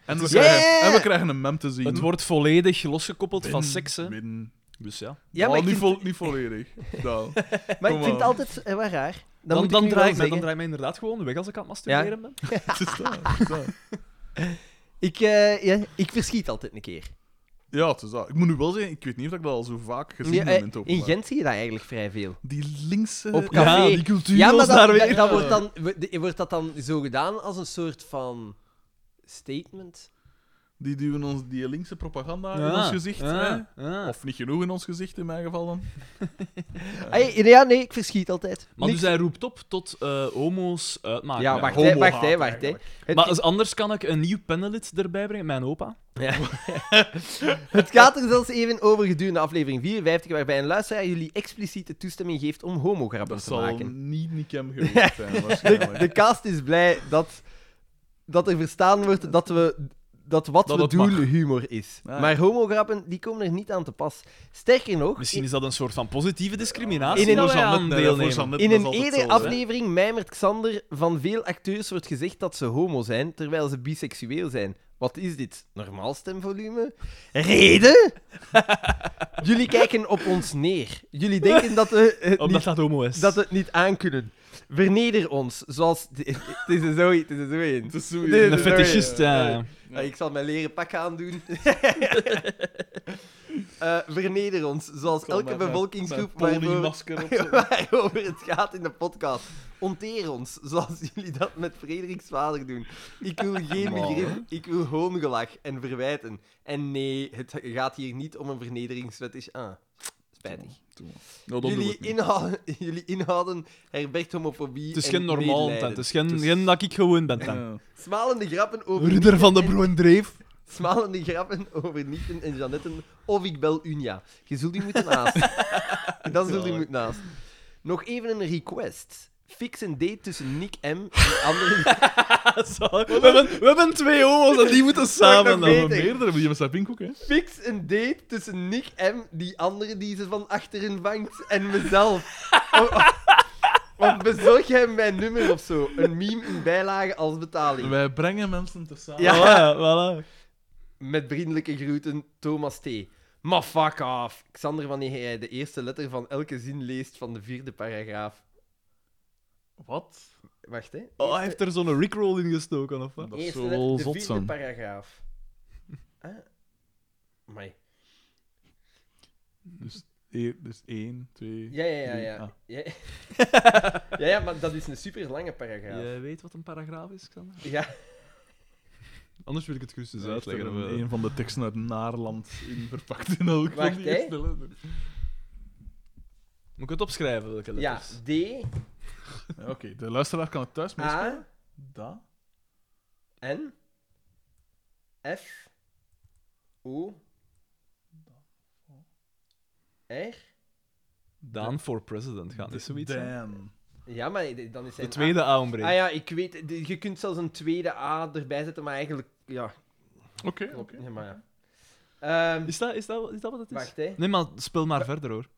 Speaker 1: En we,
Speaker 2: Ja, ja,
Speaker 1: krijgen,
Speaker 2: ja, ja.
Speaker 1: en we krijgen een mem te zien.
Speaker 3: Het wordt volledig losgekoppeld
Speaker 1: Win,
Speaker 3: van seks, hè.
Speaker 1: win.
Speaker 3: Dus ja.
Speaker 2: Ja, maar
Speaker 1: Ah,
Speaker 2: ik
Speaker 1: niet,
Speaker 2: vind,
Speaker 1: vo- niet volledig. Nou.
Speaker 2: maar ik
Speaker 1: kom
Speaker 2: vind het
Speaker 1: aan.
Speaker 2: altijd eh, wel raar. Dan,
Speaker 3: Dan,
Speaker 2: moet
Speaker 3: dan,
Speaker 2: ik u
Speaker 3: draai ik
Speaker 2: wel zeggen.
Speaker 3: mij, dan draai ik mij inderdaad gewoon weg als ik aan het masturberen ben.
Speaker 1: Het is dat, het is dat.
Speaker 2: Ik, eh, ja, ik verschiet altijd een keer.
Speaker 1: Ja, het is dat. Ik moet nu wel zeggen, ik weet niet of ik dat al zo vaak gezien
Speaker 2: Ja,
Speaker 1: heb
Speaker 2: eh,
Speaker 1: in het
Speaker 2: in
Speaker 1: openbaar.
Speaker 2: Gent zie je dat eigenlijk vrij veel.
Speaker 1: Die linkse...
Speaker 2: Op café.
Speaker 3: Ja, die cultuur
Speaker 2: Ja, maar
Speaker 3: was daar
Speaker 2: dat,
Speaker 3: weer.
Speaker 2: dat, dat wordt, dan, wo- de- wordt dat dan zo gedaan als een soort van statement?
Speaker 1: Die duwen ons die linkse propaganda in
Speaker 3: Ja,
Speaker 1: ons gezicht.
Speaker 3: ja, ja.
Speaker 1: Hè? Of niet genoeg in ons gezicht, in mijn geval dan.
Speaker 2: Ai, ja, nee, ik verschiet altijd.
Speaker 3: Eh. Maar
Speaker 2: Niks-
Speaker 3: dus ah, hij roept op tot eh, homo's uitmaken.
Speaker 2: ja, wacht,
Speaker 1: homo
Speaker 2: hè, wacht,
Speaker 1: haat
Speaker 2: hè, wacht. hè.
Speaker 1: eigenlijk.
Speaker 2: Het,
Speaker 3: Maar als anders kan ik een nieuw panelid erbij brengen, mijn opa.
Speaker 2: het gaat er zelfs even over gedurende aflevering 54, waarbij een luisteraar jullie expliciete toestemming geeft om homograppen
Speaker 1: Dat
Speaker 2: te
Speaker 1: zal
Speaker 2: maken.
Speaker 1: niet niet
Speaker 2: <laughs>
Speaker 1: hem geweest zijn, waarschijnlijk.
Speaker 2: De cast is blij dat, dat er verstaan wordt dat, we, dat wat
Speaker 1: Dat
Speaker 2: we
Speaker 1: het
Speaker 2: doen
Speaker 1: mag.
Speaker 2: humor is.
Speaker 1: Ah, ja.
Speaker 2: Maar homograppen die komen er niet aan te pas. Sterker nog,
Speaker 3: Misschien is dat een soort van positieve discriminatie.
Speaker 2: In een-
Speaker 3: dat wij
Speaker 1: Voor
Speaker 3: aan
Speaker 1: Jeannette, nee,
Speaker 3: deelnemen.
Speaker 1: voor Jeannette,
Speaker 2: in
Speaker 1: dat is
Speaker 2: een
Speaker 1: altijd
Speaker 2: eerdere
Speaker 1: zo, hè.
Speaker 2: aflevering mijmert Xander van veel acteurs wordt gezegd dat ze homo zijn, terwijl ze biseksueel zijn. Wat is dit? Normaal stemvolume?
Speaker 1: <laughs>
Speaker 2: Reden? Jullie kijken op ons neer. Jullie denken dat we het
Speaker 3: Omdat
Speaker 2: niet
Speaker 3: dat homo is.
Speaker 2: dat we het niet aankunnen. Verneder ons, zoals... <laughs> Het is er zo, het is er zo in.
Speaker 1: Het is zo-
Speaker 2: Een sorry,
Speaker 3: een fetischist, ja.
Speaker 2: Ja, ik zal mijn leren
Speaker 1: <laughs>
Speaker 2: pak aandoen. Eh verneder ons, zoals
Speaker 1: Kom,
Speaker 2: elke
Speaker 1: mijn- mijn-
Speaker 2: bevolkingsgroep
Speaker 1: mijn
Speaker 2: waarvoor,
Speaker 1: ponymasker op. zo.
Speaker 2: <laughs> waarover het gaat in de podcast. Onteer ons, zoals jullie dat met Frederiks vader doen. Ik
Speaker 1: <laughs>
Speaker 2: wil geen begrip, ik wil hoongelach en verwijten. En nee, het gaat hier niet om een vernederingsfetish. Ah, spijtig.
Speaker 1: Nou, dan doen we
Speaker 2: Jullie
Speaker 1: het niet.
Speaker 2: inhouden, <laughs> jullie inhouden herbergt homofobie
Speaker 3: Het is
Speaker 2: en
Speaker 3: geen normaal tent.
Speaker 2: medelijden.
Speaker 3: Het is geen, geen dat ik gewoon ben tent.
Speaker 1: Ja.
Speaker 2: Smalende grappen over...
Speaker 3: Ridder van de
Speaker 2: en-
Speaker 3: Broendreef.
Speaker 2: Smalende grappen over Nieten en Janetten of ik bel Unia. Je zult die moeten
Speaker 3: <laughs>
Speaker 2: naast. Dan zult die moeten naast. Nog even een request. Fix een date tussen Nick M en
Speaker 3: <laughs>
Speaker 2: andere...
Speaker 3: We hebben, we hebben twee homo's en die moeten samen.
Speaker 2: nog
Speaker 3: dan.
Speaker 1: Maar Meerdere, die met zijn pink ook, hè.
Speaker 2: Fix een date tussen Nick M, die andere die ze van achteren vangt, en mezelf. Of, of- of bezorg hem mijn nummer of zo. Een meme in bijlage als betaling.
Speaker 1: Wij brengen mensen te samen.
Speaker 2: Ja.
Speaker 3: Voilà, voilà.
Speaker 2: Met vriendelijke groeten, Thomas T. Maar fuck off. Xander, wanneer jij de eerste letter van elke zin leest van de vierde paragraaf.
Speaker 1: Wat?
Speaker 2: Wacht, hè.
Speaker 3: Oh, hij heeft er zo'n rickroll in gestoken, of wat?
Speaker 1: Dat is
Speaker 2: Eerste
Speaker 1: zo
Speaker 2: letter,
Speaker 1: wel
Speaker 2: de
Speaker 1: zot
Speaker 2: vierde
Speaker 1: zijn.
Speaker 3: <laughs>
Speaker 2: paragraaf. Ah. Amai.
Speaker 1: Dus, e- dus één, twee...
Speaker 2: Ja, ja, ja.
Speaker 1: drie.
Speaker 2: Ja.
Speaker 1: Ah.
Speaker 2: Ja.
Speaker 3: <laughs>
Speaker 2: ja, ja, maar dat is een super lange paragraaf.
Speaker 3: Jij weet wat een paragraaf is, Xander?
Speaker 2: Ja.
Speaker 3: Anders wil ik het gerust eens
Speaker 1: Hij heeft er
Speaker 3: uitleggen. of, eh.
Speaker 1: Een van de teksten uit Naarland in verpakt in elk
Speaker 2: Wacht,
Speaker 1: van die
Speaker 2: hè.
Speaker 1: eerste letters.
Speaker 3: Moet ik het opschrijven, welke
Speaker 2: Ja,
Speaker 3: letters?
Speaker 2: D,
Speaker 1: Ja, Oké, de luisteraar kan het thuis meespelen.
Speaker 2: A,
Speaker 1: Da.
Speaker 2: N, F, O, R.
Speaker 3: Daan for president gaat niet zoiets zijn.
Speaker 1: Dan.
Speaker 2: Ja, maar dan is
Speaker 3: De
Speaker 2: zijn A-
Speaker 3: tweede A ontbreekt.
Speaker 2: Ah ja, ik weet, de- je kunt zelfs een tweede A erbij zetten, maar eigenlijk. Ja,
Speaker 1: Oké,
Speaker 2: klopt.
Speaker 1: oké.
Speaker 2: Ja, maar ja. Ehm,
Speaker 3: Is dat, is, dat, is dat wat het is?
Speaker 2: wacht, hè.
Speaker 3: Nee, maar speel maar verder hoor.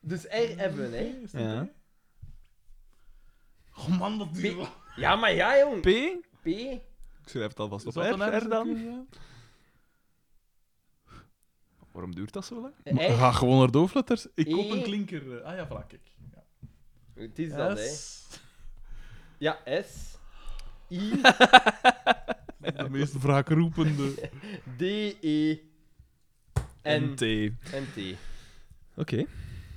Speaker 2: Dus R hebben we, hè?
Speaker 1: Is dat
Speaker 3: Ja.
Speaker 1: oké? Oh man, dat duurt lang.
Speaker 2: Ja, maar ja, jong.
Speaker 3: P? Ik
Speaker 2: P.
Speaker 3: schrijf het alvast
Speaker 1: Is
Speaker 3: op.
Speaker 1: dat
Speaker 3: R,
Speaker 1: een
Speaker 3: R dan?
Speaker 1: Ja.
Speaker 3: Waarom duurt dat zo lang?
Speaker 1: Maar
Speaker 2: R.
Speaker 1: Ga gewoon naar de hoofdletters. Ik koop
Speaker 2: E.
Speaker 1: een klinker. eh, Ah ja, voilà, kijk. Ja.
Speaker 2: Het is dat, hè?
Speaker 1: S.
Speaker 2: Ja, S. I.
Speaker 1: De meest
Speaker 2: <laughs>
Speaker 1: wraakroepende.
Speaker 2: D. E. N.
Speaker 3: NT. Oké.
Speaker 2: En T.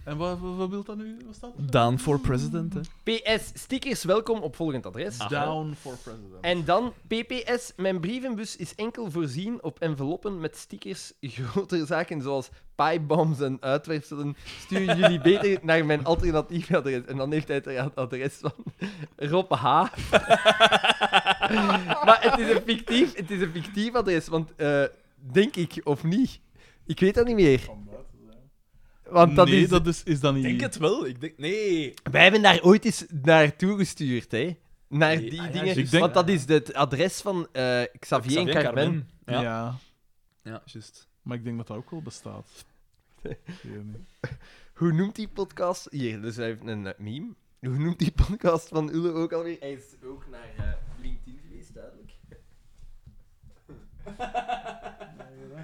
Speaker 1: En wat, wat, wat wil dat nu? Wat staat er?
Speaker 3: Daan for president, hè.
Speaker 2: PS. Stickers welkom op volgend adres.
Speaker 1: Ah, Down for president.
Speaker 2: En dan PPS. Mijn brievenbus is enkel voorzien op enveloppen met stickers. <laughs> Grotere zaken zoals piebombs en uitwerpselen sturen jullie beter naar mijn alternatieve adres. En dan heeft hij het ra- adres van Rob H. <laughs> maar het is, een fictief, het is een fictief adres, want eh, denk ik of niet? Ik weet dat niet meer. Want dat
Speaker 1: nee,
Speaker 2: is...
Speaker 1: dat is, is dat niet.
Speaker 3: Ik denk het wel. Ik denk... Nee.
Speaker 2: Wij hebben daar ooit eens naartoe gestuurd, hè? naar
Speaker 3: Nee,
Speaker 2: die
Speaker 3: ah ja,
Speaker 2: dingen.
Speaker 3: juist.
Speaker 1: Ik denk-
Speaker 2: Want dat is het adres van eh, Xavier, en
Speaker 3: Xavier
Speaker 2: Carmen.
Speaker 1: Ja.
Speaker 3: Ja, ja juist.
Speaker 1: maar ik denk dat dat ook wel bestaat. Ik weet het niet.
Speaker 2: Hoe noemt die podcast? Hier, dus hij heeft een eh, meme. Hoe noemt die podcast van Ulle ook alweer? Hij is ook naar eh, LinkedIn geweest,
Speaker 1: <laughs>
Speaker 2: duidelijk.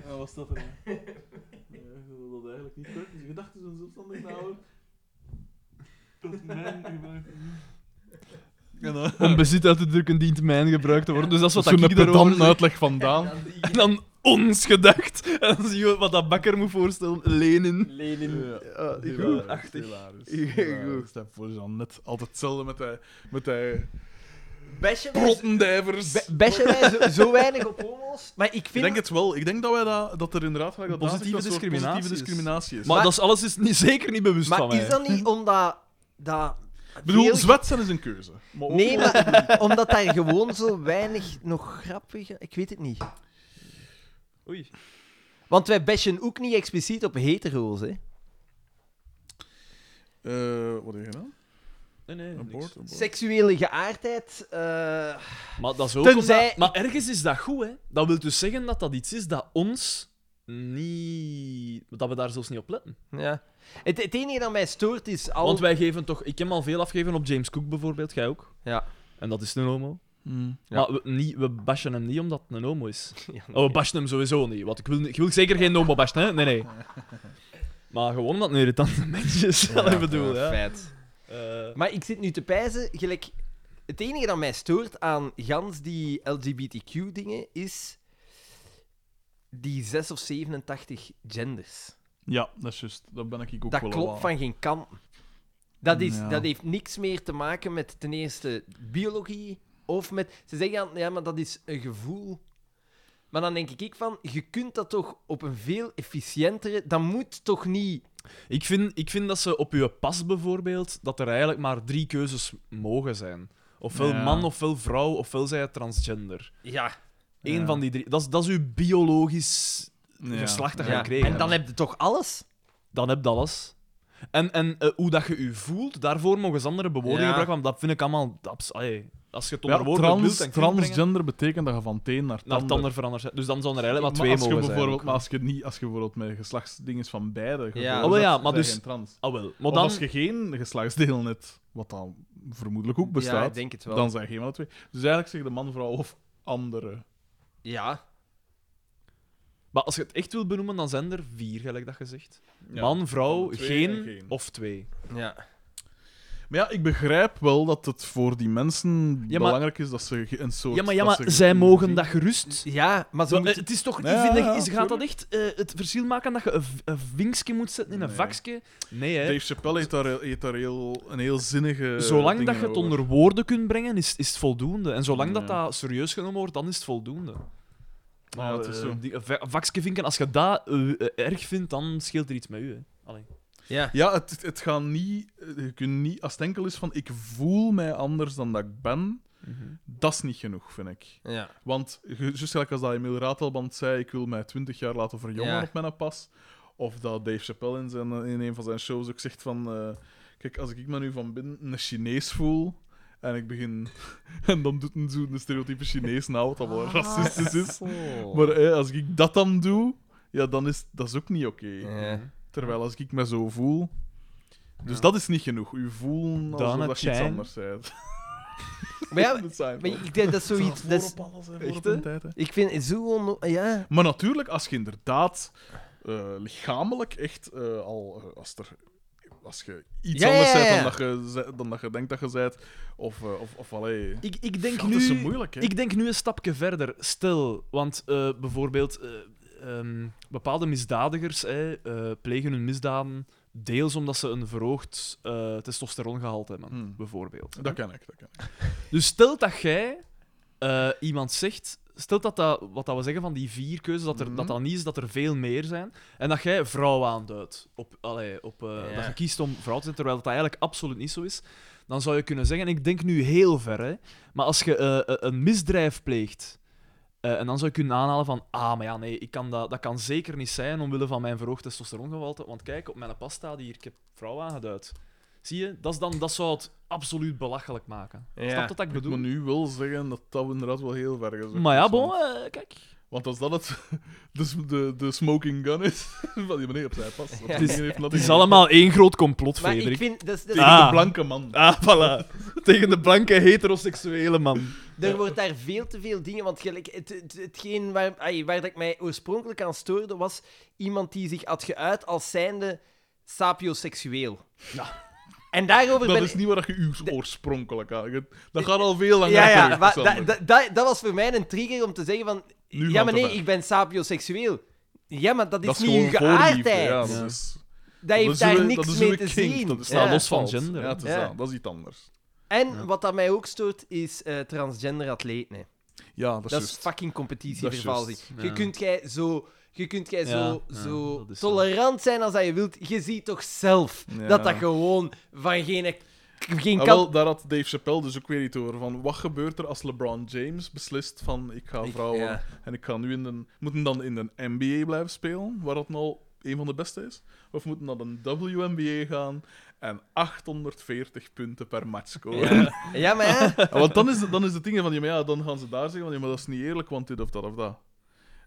Speaker 1: Ja, was dat er? <laughs> Ja, ik wil dat eigenlijk niet terug. Dus je gedachten zijn zelfstandig <laughs> houden. Tot mijn gebruik. eh,
Speaker 3: Om bezit uit te drukken dient mijn gebruikt te worden. Dus dat is wat
Speaker 1: Zo'n
Speaker 3: ik daarover
Speaker 1: pedant
Speaker 3: zeg.
Speaker 1: uitleg vandaan.
Speaker 3: En dan ons gedacht. En dan zie je wat dat bakker moet voorstellen. Lenen.
Speaker 1: Ja.
Speaker 2: Ah, goed.
Speaker 1: achtig.
Speaker 2: Goed.
Speaker 1: Hilarisch. Dat voor Jean net altijd hetzelfde met die, met die
Speaker 2: Bashen wij-
Speaker 1: prottendijvers.
Speaker 2: ba- bashen wij zo, zo weinig op homo's? Maar ik
Speaker 1: Ik
Speaker 2: vind...
Speaker 1: denk het wel. Ik denk dat wij dat, dat er inderdaad gelijk dat
Speaker 3: Positieve
Speaker 1: daar zit, dat soort
Speaker 3: discriminatie
Speaker 1: positieve
Speaker 3: is.
Speaker 1: discriminatie is.
Speaker 3: Maar
Speaker 2: Maar-
Speaker 3: dat is alles is niet, zeker niet bewust van
Speaker 2: maar
Speaker 3: mij.
Speaker 2: is dat niet omdat... Dat
Speaker 1: ik bedoel, Oh.
Speaker 2: veel-
Speaker 1: zwet zijn is een keuze. Maar ook-
Speaker 2: Nee,
Speaker 1: <laughs>
Speaker 2: maar omdat daar gewoon zo weinig nog grappige... Ik weet het niet.
Speaker 3: Oei.
Speaker 2: Want wij bashen ook niet expliciet op hetero's, hè.
Speaker 1: Eh, wat heb je gedaan?
Speaker 3: Nee, nee.
Speaker 1: Een
Speaker 3: niks.
Speaker 1: boord? Een boord.
Speaker 2: Seksuele geaardheid... eh,
Speaker 3: Maar dat is ook
Speaker 2: Tenzij-
Speaker 3: omdat- Maar ergens is dat goed, hè. Dat wil dus zeggen dat dat iets is dat ons niet... Dat we daar zelfs niet op letten.
Speaker 2: Ja. Het, het enige dat mij stoort is al...
Speaker 3: Want wij geven toch... Ik heb al veel afgegeven op James Cook bijvoorbeeld, jij ook.
Speaker 2: Ja.
Speaker 3: En dat is een homo.
Speaker 1: Hmm.
Speaker 2: Ja.
Speaker 3: Maar we, niet, we bashen hem niet omdat het een homo is.
Speaker 2: Ja,
Speaker 3: Oh, we bashen hem sowieso niet. Want ik wil, ik wil zeker geen homo bashen, hè. Nee, nee. Maar gewoon omdat het een irritante <laughs> mens is. dat ik bedoel, ja.
Speaker 2: Feit.
Speaker 3: Eh,
Speaker 2: Maar ik zit nu te pijzen, gelijk... Het enige dat mij stoort aan gans die LGBTQ-dingen is... Die 6 of 87 genders.
Speaker 1: Ja, dat is juist. Dat ben ik ook
Speaker 2: Dat
Speaker 1: wel al
Speaker 2: klopt
Speaker 1: aan.
Speaker 2: van geen kant. Dat, is,
Speaker 1: Ja.
Speaker 2: dat heeft niks meer te maken met ten eerste biologie of met. Ze zeggen dan, ja, maar dat is een gevoel. Maar dan denk ik van, je kunt dat toch op een veel efficiëntere. Dat moet toch niet.
Speaker 3: Ik vind, ik vind dat ze op je pas bijvoorbeeld, dat er eigenlijk maar drie keuzes mogen zijn. Ofwel
Speaker 1: Ja.
Speaker 3: man, ofwel vrouw, ofwel zij het transgender.
Speaker 2: Ja,
Speaker 3: Eén
Speaker 1: Ja.
Speaker 3: van die drie. Dat is, dat is uw biologisch
Speaker 1: Ja.
Speaker 3: geslacht dat je
Speaker 2: ja.
Speaker 3: gekregen
Speaker 2: En dan
Speaker 3: hebt.
Speaker 2: heb je toch alles?
Speaker 3: Dan heb je alles. En, en eh, hoe dat je je voelt, daarvoor mogen ze andere bewoordingen
Speaker 2: Ja.
Speaker 3: gebruiken, want dat vind ik allemaal... Dat, is- allee, als je het onder
Speaker 1: Ja,
Speaker 3: woorden
Speaker 1: trans-
Speaker 3: wilt en kunt brengen,
Speaker 1: transgender betekent dat je van teen naar
Speaker 3: naar het
Speaker 1: tander
Speaker 3: ander veranderd zijn. Dus dan zouden er eigenlijk maar
Speaker 1: Maar
Speaker 3: twee
Speaker 1: als je
Speaker 3: mogen zijn.
Speaker 1: bijvoorbeeld,
Speaker 3: ook.
Speaker 1: Maar als je, niet, als je bijvoorbeeld met geslachtsdingen van beide geboren
Speaker 2: Ja.
Speaker 1: bent,
Speaker 3: Oh, ja,
Speaker 1: ben
Speaker 3: maar
Speaker 1: je
Speaker 3: dus-
Speaker 1: geen trans.
Speaker 3: Ah, wel. Maar
Speaker 1: Of
Speaker 3: dan...
Speaker 1: als je geen geslachtsdeel hebt, wat dan vermoedelijk ook bestaat,
Speaker 2: Ja, ik denk het wel.
Speaker 1: dan zijn geen van de twee. Dus eigenlijk zeg je de man, vrouw of andere.
Speaker 2: Ja.
Speaker 3: Maar als je het echt wilt benoemen, dan zijn er vier, gelijk dat gezegd. Man, vrouw,
Speaker 1: Twee en
Speaker 3: geen,
Speaker 1: geen.
Speaker 3: of twee.
Speaker 2: ja.
Speaker 1: Maar ja, ik begrijp wel dat het voor die mensen
Speaker 3: maar-
Speaker 1: belangrijk is dat ze ge- een soort...
Speaker 3: Ja, maar, ja,
Speaker 1: dat
Speaker 3: maar
Speaker 1: ze
Speaker 3: zij
Speaker 1: ge-
Speaker 3: mogen dat gerust.
Speaker 2: Ja, maar ze
Speaker 3: Wel, eh,
Speaker 2: moeten.
Speaker 3: het is toch,
Speaker 1: Ja,
Speaker 3: ik vind dat-
Speaker 1: ja,
Speaker 3: is- gaat dat
Speaker 1: tuurlijk.
Speaker 3: echt eh, het verschil maken dat je een, v- een vinkje moet zetten in een
Speaker 1: Nee.
Speaker 3: vakje? Nee, hè.
Speaker 1: Dave Chappelle heeft daar, heel- heeft daar heel, een heel zinnige...
Speaker 3: Zolang
Speaker 1: Eh, dingen
Speaker 3: dat je het
Speaker 1: over.
Speaker 3: onder woorden kunt brengen, is, is het voldoende. En zolang dat
Speaker 1: Ja.
Speaker 3: dat serieus genomen wordt, dan is het voldoende. Maar
Speaker 1: Ja, het is
Speaker 3: eh,
Speaker 1: zo.
Speaker 3: die- een va- een vakje vinken, als je dat eh, eh, erg vindt, dan scheelt er iets met u. Hè. Allee.
Speaker 2: Ja.
Speaker 1: Ja, het, het gaat niet... Je kunt niet... Als het enkel is van ik voel mij anders dan dat ik ben,
Speaker 3: Mhm.
Speaker 1: dat is niet genoeg, vind ik.
Speaker 2: Ja.
Speaker 1: Want, ge- juist gelijk als dat Emil Ratelband zei, ik wil mij 20 jaar laten verjongen
Speaker 2: Ja.
Speaker 1: op mijn pas. Of dat Dave Chappelle in, zijn, eh, in een van zijn shows ook zegt van... eh, kijk, als ik me nu van binnen een Chinees voel... En ik begin... <laughs> En dan doet een zo'n stereotype Chinees nou, wat dat wel racistisch is. Maar eh, als ik dat dan doe, ja, dan is dat is ook niet oké.
Speaker 2: Ja.
Speaker 1: Terwijl als ik me zo voel... Dus dat is niet genoeg. U voelen alsof
Speaker 3: Dana
Speaker 1: dat je iets
Speaker 3: Chan.
Speaker 1: anders bent. <laughs>
Speaker 2: Maar ja,
Speaker 1: Dat zijn
Speaker 2: maar ik denk dat is zoiets. Dat is-
Speaker 1: echt, hè?
Speaker 2: ik vind het zo onno- Ja.
Speaker 1: Maar natuurlijk, als je inderdaad eh, lichamelijk echt eh, al eh, als er als je iets
Speaker 2: Ja,
Speaker 1: anders
Speaker 2: ja,
Speaker 1: bent
Speaker 2: ja.
Speaker 1: dan, dat je ze- dan dat je denkt dat je bent, of, eh, of, of allee.
Speaker 3: Ik, ik denk
Speaker 1: God,
Speaker 3: nu...
Speaker 1: dat is zo moeilijk, hè?
Speaker 3: Ik denk nu een stapje verder. Stel, want eh, bijvoorbeeld eh, ehm, bepaalde misdadigers hè, eh, plegen hun misdaden deels omdat ze een verhoogd eh, testosterongehalte hebben,
Speaker 1: Hmm.
Speaker 3: bijvoorbeeld.
Speaker 1: Dat ken ik, dat ken ik.
Speaker 3: Dus stel dat jij eh, iemand zegt... Stel dat, dat wat dat we zeggen van die vier keuzes, dat, er,
Speaker 1: Mhm.
Speaker 3: dat dat niet is, dat er veel meer zijn. En dat jij vrouw aanduidt. Op, allee, op, eh,
Speaker 2: Ja.
Speaker 3: Dat je kiest om vrouw te zijn, terwijl dat eigenlijk absoluut niet zo is. Dan zou je kunnen zeggen, ik denk nu heel ver, hè. Maar als je eh, eh, een misdrijf pleegt... eh, en dan zou je kunnen aanhalen van, ah, maar ja, nee, ik kan dat, dat kan zeker niet zijn omwille van mijn verhoogd testosterongehalte. Want kijk, op mijn pas staat hier, ik heb vrouw aangeduid. Zie je, dat, is dan, dat zou het absoluut belachelijk maken.
Speaker 2: Ja.
Speaker 3: Snap dat dat ik
Speaker 1: Ik moet
Speaker 3: bedoel?
Speaker 1: nu wel zeggen dat dat inderdaad wel heel ver is.
Speaker 3: Maar ja, bon, eh, kijk.
Speaker 1: Want als dat het, <laughs> de, de, de smoking gun is, <laughs> van die meneer opzij past. Het is,
Speaker 3: Het is allemaal één groot complot,
Speaker 2: Maar
Speaker 3: Frederik.
Speaker 2: ik vind, dat is- dat is-
Speaker 1: Tegen
Speaker 3: Ah.
Speaker 1: de blanke man.
Speaker 3: Ah, voilà. Tegen de blanke heteroseksuele man.
Speaker 2: er wordt daar veel te veel dingen. Want gelijk, het, het, hetgeen waar, ai, waar dat ik mij oorspronkelijk aan stoorde, was iemand die zich had geuit als zijnde sapioseksueel. En daarover
Speaker 1: Dat
Speaker 2: ben
Speaker 1: is niet waar je uw oorspronkelijk aan. je- Dat gaat al veel langer
Speaker 2: Ja, ja,
Speaker 1: terug,
Speaker 2: maar
Speaker 1: Sander.
Speaker 2: da- da- da- dat was voor mij een trigger om te zeggen van...
Speaker 1: Nu gaat
Speaker 2: ja,
Speaker 1: het
Speaker 2: maar nee,
Speaker 1: erbij.
Speaker 2: ik ben sapioseksueel. Ja, maar dat is,
Speaker 1: Dat is
Speaker 2: niet
Speaker 1: gewoon
Speaker 2: uw
Speaker 1: voorliefde.
Speaker 2: geaardheid.
Speaker 1: ja, dat is-
Speaker 2: Dat heeft
Speaker 1: is
Speaker 2: daar
Speaker 1: uw-
Speaker 2: niks
Speaker 1: dat is uw
Speaker 2: mee te
Speaker 1: kink,
Speaker 2: zien.
Speaker 1: Dat is nou,
Speaker 2: Ja.
Speaker 1: daar
Speaker 3: los
Speaker 1: valt.
Speaker 3: van gender,
Speaker 1: Ja, het is
Speaker 2: hè.
Speaker 1: dat. Dat is iets anders.
Speaker 2: En wat dat mij ook stoort, is eh, transgender atleten. hè.
Speaker 1: Ja, dat is,
Speaker 2: Dat is
Speaker 1: juist.
Speaker 2: fucking competitievervalsing.
Speaker 1: Dat
Speaker 3: juist.
Speaker 2: Je
Speaker 3: Ja.
Speaker 2: kunt jij zo, je kunt jij zo,
Speaker 3: Ja, ja,
Speaker 2: zo
Speaker 3: dat is zo.
Speaker 2: tolerant zijn als dat je wilt. Je ziet toch zelf
Speaker 1: Ja.
Speaker 2: dat dat gewoon van geen, geen
Speaker 1: Ah,
Speaker 2: kant...
Speaker 1: wel, daar had Dave Chappelle dus ook weer iets over. Van wat gebeurt er als LeBron James beslist van ik ga
Speaker 2: Ik-
Speaker 1: vrouwen
Speaker 2: ja.
Speaker 1: en ik ga nu in de... Moeten dan in de NBA blijven spelen, waar dat nou een van de beste is? Of moeten naar de WNBA gaan en 840 punten per match scoren?
Speaker 2: <laughs> Ja, maar ja.
Speaker 1: Ja, want dan is, het- dan is het ding van, ja, maar ja, dan gaan ze daar zeggen van, ja, maar dat is niet eerlijk, want dit of dat of dat.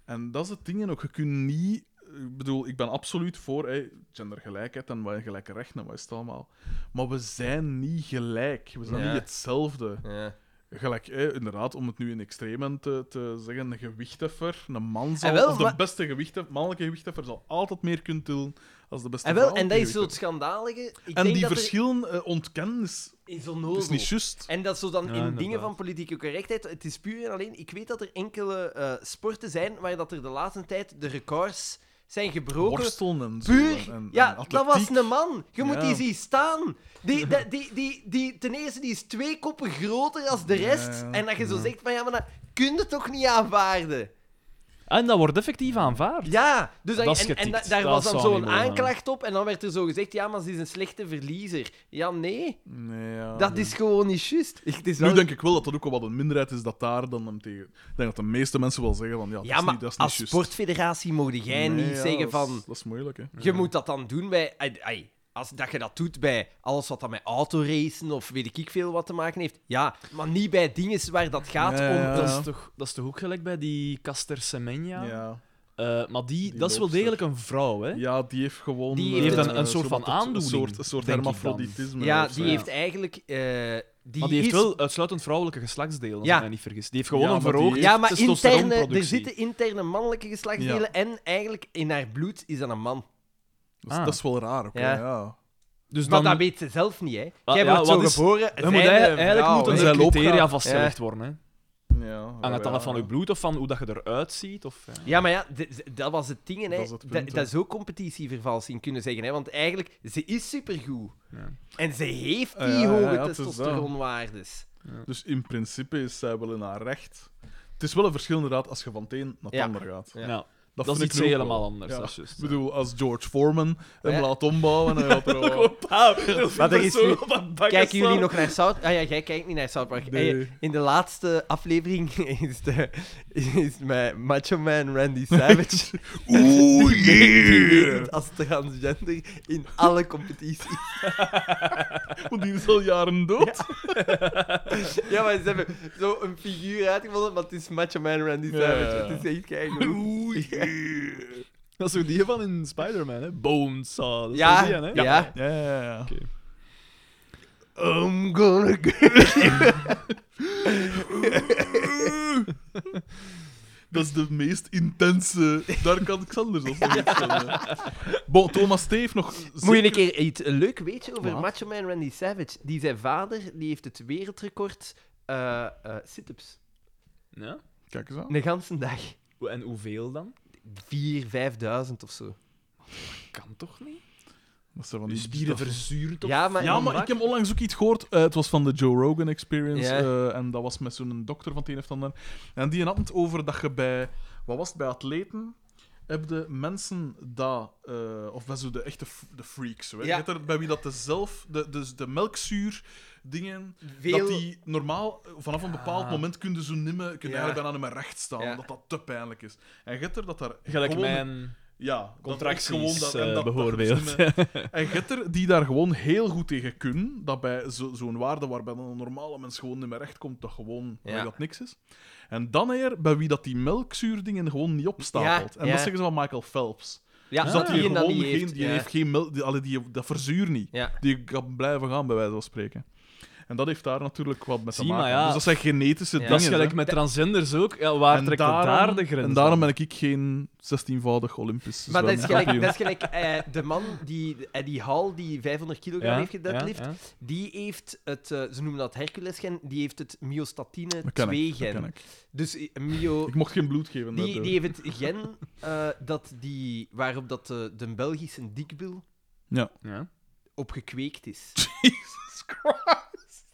Speaker 1: En dat is het ding en ook. Je kunt niet... Ik bedoel, ik ben absoluut voor hè, gendergelijkheid en wat- gelijke rechten en wat is het allemaal. Maar we zijn niet gelijk. We zijn
Speaker 2: Ja.
Speaker 1: niet hetzelfde.
Speaker 2: ja.
Speaker 1: Gelijk, hè, inderdaad, om het nu in extremen te, te zeggen, een gewichtheffer, een man zal...
Speaker 2: En wel,
Speaker 1: of de
Speaker 2: maar-
Speaker 1: beste gewichtheffer, mannelijke gewichtheffer zal altijd meer kunnen tillen als de beste
Speaker 2: En, Ah, wel, en
Speaker 1: vrouwelijke
Speaker 2: dat is zo het
Speaker 1: gewichtheffer.
Speaker 2: schandalige. Ik
Speaker 1: En
Speaker 2: denk
Speaker 1: die
Speaker 2: dat er Oh.
Speaker 1: verschillen eh, ontkennen is,
Speaker 2: is
Speaker 1: is
Speaker 2: onnozel.
Speaker 1: niet juist.
Speaker 2: En dat zo dan in dingen
Speaker 3: inderdaad.
Speaker 2: van politieke correctheid. Het is puur en alleen. Ik weet dat er enkele eh, sporten zijn waar dat er de laatste tijd de records zijn gebroken.
Speaker 1: Worstelen en zo.
Speaker 2: Puur,
Speaker 1: en- en-
Speaker 2: ja,
Speaker 1: en
Speaker 2: dat was
Speaker 1: atletiek.
Speaker 2: een man. Je moet
Speaker 1: Ja.
Speaker 2: die zien staan. Die, die, die, die, die, ten eerste, die is twee koppen groter als de rest.
Speaker 1: Ja,
Speaker 2: En dat je zo zegt van ja, maar dat kun je toch niet aanvaarden.
Speaker 3: Ah, En dat wordt effectief aanvaard.
Speaker 2: Ja, dus dan-
Speaker 3: Dat is
Speaker 2: en, en
Speaker 3: getikt.
Speaker 2: da- daar
Speaker 3: Dat
Speaker 2: was dan
Speaker 3: zou
Speaker 2: zo'n
Speaker 3: niet mogen.
Speaker 2: aanklacht op. En dan werd er zo gezegd: ja, maar ze is een slechte verliezer. Ja, nee,
Speaker 1: Ah, Nee, ja.
Speaker 2: dat is gewoon niet juist. Ik- het is
Speaker 1: Nu
Speaker 2: wel-
Speaker 1: denk ik wel dat dat ook wel wat een minderheid is dat daar dan hem tegen. Ik denk dat de meeste mensen wel zeggen van ja, dat
Speaker 2: Ja,
Speaker 1: is
Speaker 2: maar
Speaker 1: niet, dat is niet
Speaker 2: als
Speaker 1: juist.
Speaker 2: sportfederatie mogen jij
Speaker 1: Nee,
Speaker 2: niet
Speaker 1: ja,
Speaker 2: zeggen
Speaker 1: dat is-
Speaker 2: van...
Speaker 1: Dat is moeilijk, hè?
Speaker 2: Je
Speaker 3: Mhm.
Speaker 2: moet dat dan doen bij... ai, ai, als dat je dat doet bij alles wat dan met autoracen of weet ik veel wat te maken heeft. Ja, maar niet bij dingen waar dat gaat
Speaker 1: Ja, ja, ja.
Speaker 2: om...
Speaker 3: Dat, is toch, dat is toch ook gelijk bij die Caster Semenya?
Speaker 1: Ja, ja.
Speaker 3: Eh, maar die,
Speaker 1: Die
Speaker 3: dat is wel
Speaker 1: loopster.
Speaker 3: degelijk een vrouw, hè?
Speaker 1: die heeft gewoon.
Speaker 2: Die
Speaker 1: eh,
Speaker 2: heeft
Speaker 3: een- een
Speaker 1: zo
Speaker 3: soort van
Speaker 1: met dat-
Speaker 3: aandoening,
Speaker 1: Een soort, een soort
Speaker 3: denk ik dan.
Speaker 1: hermafroditisme.
Speaker 2: Ja,
Speaker 1: of zo.
Speaker 2: die heeft eigenlijk... eh, die
Speaker 3: maar die heeft
Speaker 2: is-
Speaker 3: wel uitsluitend vrouwelijke geslachtsdelen, als
Speaker 2: Ja.
Speaker 3: ik mij niet vergis. Die heeft gewoon
Speaker 1: Ja,
Speaker 3: een
Speaker 1: maar die
Speaker 3: verhoogd
Speaker 1: heeft-
Speaker 2: Ja, maar interne, er
Speaker 3: testosteronproductie.
Speaker 2: zitten interne mannelijke geslachtsdelen
Speaker 1: Ja.
Speaker 2: en eigenlijk in haar bloed is dat een man.
Speaker 1: Dat, is,
Speaker 3: Ah.
Speaker 1: dat is wel raar ook. hè,
Speaker 2: Ja.
Speaker 1: Ja.
Speaker 3: Dus
Speaker 2: Maar
Speaker 3: dan,
Speaker 2: dat weet ze zelf niet, hè.
Speaker 3: Ah,
Speaker 2: Jij
Speaker 3: ja,
Speaker 2: wordt zo
Speaker 3: wat is-
Speaker 2: geboren,
Speaker 3: dan moet
Speaker 2: zijnde
Speaker 3: eigenlijk, eigenlijk
Speaker 2: vrouw,
Speaker 3: moeten
Speaker 1: hè.
Speaker 3: er
Speaker 1: Zij loopt
Speaker 3: criteria
Speaker 1: graag.
Speaker 3: vastgelegd worden, hè?
Speaker 1: Ja,
Speaker 3: Hangt het dan
Speaker 1: ja.
Speaker 3: af van uw bloed of van hoe dat je eruit ziet? Of, ja.
Speaker 2: Ja, maar ja, d- d- dat was het ding, hè.
Speaker 1: Dat is het punt,
Speaker 2: dat,
Speaker 1: hè.
Speaker 2: dat is ook competitievervalsing kunnen zeggen, hè. Want eigenlijk, ze is supergoed.
Speaker 3: Ja.
Speaker 2: En ze heeft die
Speaker 1: Ah, ja, ja,
Speaker 2: hoge
Speaker 1: ja, het is dat.
Speaker 2: testosteronwaardes.
Speaker 1: Dus in principe is zij wel in haar recht. Het is wel een verschil inderdaad als je van het een naar het
Speaker 2: Ja.
Speaker 1: ander gaat.
Speaker 2: Ja.
Speaker 3: Ja.
Speaker 1: Dat,
Speaker 3: Dat is
Speaker 1: vind ik
Speaker 3: iets
Speaker 1: nu ook
Speaker 3: helemaal
Speaker 1: wel.
Speaker 3: anders, dat is juist,
Speaker 1: Ik
Speaker 3: ja.
Speaker 1: bedoel, als George Foreman hem
Speaker 2: Ja.
Speaker 1: laat ombouwen en hij had er wel-
Speaker 3: Maar
Speaker 2: er is nu- Kijken jullie nog naar South Ah ja, jij kijkt niet naar South Park.
Speaker 1: Nee.
Speaker 2: Hey, in de laatste aflevering <laughs> is, de, is mijn macho man Randy Savage...
Speaker 1: <laughs>
Speaker 2: <laughs>
Speaker 1: Oeh,
Speaker 2: yeah! Als transgender in alle competities.
Speaker 1: Want die is al jaren dood.
Speaker 2: Ja, maar ze hebben <laughs> zo een figuur uitgevonden, maar het is Macho Man Randy
Speaker 1: Ja,
Speaker 2: Savage.
Speaker 1: ja, ja.
Speaker 2: Het is echt keigoed.
Speaker 1: Oeh,
Speaker 3: Dat is ook die van in Spider-Man, hè? Bonesaw. dat is
Speaker 2: Ja,
Speaker 3: wel die, hè?
Speaker 2: ja.
Speaker 1: Ja, ja, ja.
Speaker 2: I'm gonna go.
Speaker 1: Dat is de meest intense. Daar kan ik Xander zelfs nog iets van. eh. Bon, Thomas T heeft nog.
Speaker 2: Moet je
Speaker 1: zeker-
Speaker 2: een keer iets een leuk weetje over
Speaker 1: Wat?
Speaker 2: Macho Man Randy Savage? Die zijn vader die heeft het wereldrecord eh, eh, sit-ups.
Speaker 3: Ja?
Speaker 1: Kijk eens aan.
Speaker 2: Een ganse dag.
Speaker 3: Hoe- En hoeveel dan?
Speaker 2: 4, 5000 of zo.
Speaker 3: Kan toch niet?
Speaker 1: Dat zijn van
Speaker 3: Je
Speaker 1: die
Speaker 3: spieren
Speaker 1: dat-
Speaker 3: verzuurd of
Speaker 2: Ja, maar,
Speaker 1: Ja, maar ik heb onlangs ook iets gehoord. Eh, het was van de Joe Rogan Experience.
Speaker 2: Ja.
Speaker 1: eh, en dat was met zo'n dokter van het een of het ander. En die had het over dat je bij... Wat was het? Bij atleten heb je mensen dat... eh, of bij zo de echte f- de freaks. weet je.
Speaker 2: Ja.
Speaker 1: Je hebt er, bij wie dat de zelf... De, dus de melkzuur dingen...
Speaker 2: Veel- Ah.
Speaker 1: Dat die normaal eh, vanaf een bepaald moment kunnen zo nimmer... Kunnen
Speaker 2: Ja.
Speaker 1: eigenlijk bijna niet meer recht staan.
Speaker 2: Ja.
Speaker 1: Omdat dat te pijnlijk is. En je hebt er dat daar
Speaker 3: Gelijk
Speaker 1: gewoon-
Speaker 3: mijn...
Speaker 1: Ja,
Speaker 3: Contracties, eh,
Speaker 1: dat is gewoon dat, en dat, dus dat
Speaker 3: bijvoorbeeld.
Speaker 1: slimme- en Getter, die daar gewoon heel goed tegen kunnen, dat bij zo- zo'n waarde waarbij dan een normale mens gewoon niet meer recht komt, dat gewoon
Speaker 2: Ja.
Speaker 1: dat dat niks is. En dan weer bij wie dat die melkzuurdingen gewoon niet opstapelt.
Speaker 2: Ja,
Speaker 1: en
Speaker 2: ja.
Speaker 1: dat zeggen ze van Michael Phelps.
Speaker 2: Ja, Ah.
Speaker 1: dus dat
Speaker 2: die
Speaker 1: die
Speaker 2: en dat
Speaker 1: gewoon
Speaker 2: niet
Speaker 1: geen,
Speaker 2: heeft,
Speaker 1: die
Speaker 2: ja.
Speaker 1: heeft geen melk, die, allee, die, dat verzuurt niet.
Speaker 2: Ja.
Speaker 1: Die kan blijven gaan, bij wijze van spreken. En dat heeft daar natuurlijk wat mee te
Speaker 3: Zie, maar
Speaker 1: maken.
Speaker 3: ja.
Speaker 1: Dus dat zijn genetische
Speaker 2: Ja.
Speaker 1: dingen.
Speaker 3: <laughs> Dat is
Speaker 1: hè.
Speaker 3: gelijk met transgenders ook. Ja, waar trekt dat daar de grens
Speaker 1: en daarom
Speaker 3: aan?
Speaker 1: ben ik geen 16-voudig Olympisch
Speaker 2: Maar dat is
Speaker 1: zwemkampioen.
Speaker 2: gelijk, dat is gelijk eh, de man die Eddie Hall, die 500 kilogram
Speaker 3: Ja,
Speaker 2: heeft gedeadlift,
Speaker 3: ja, ja.
Speaker 2: die heeft het, eh, ze noemen dat Hercules-gen, die heeft het myostatine
Speaker 1: Dat ken ik, dat
Speaker 2: 2-gen.
Speaker 1: ken ik.
Speaker 2: Dus eh, myo...
Speaker 1: Ik mocht geen bloed geven.
Speaker 2: Die,
Speaker 1: daardoor.
Speaker 2: die heeft het gen eh, dat die, waarop dat eh, de, de Belgische dikbil
Speaker 1: Ja.
Speaker 3: Ja.
Speaker 2: op gekweekt is.
Speaker 1: Jesus Christ.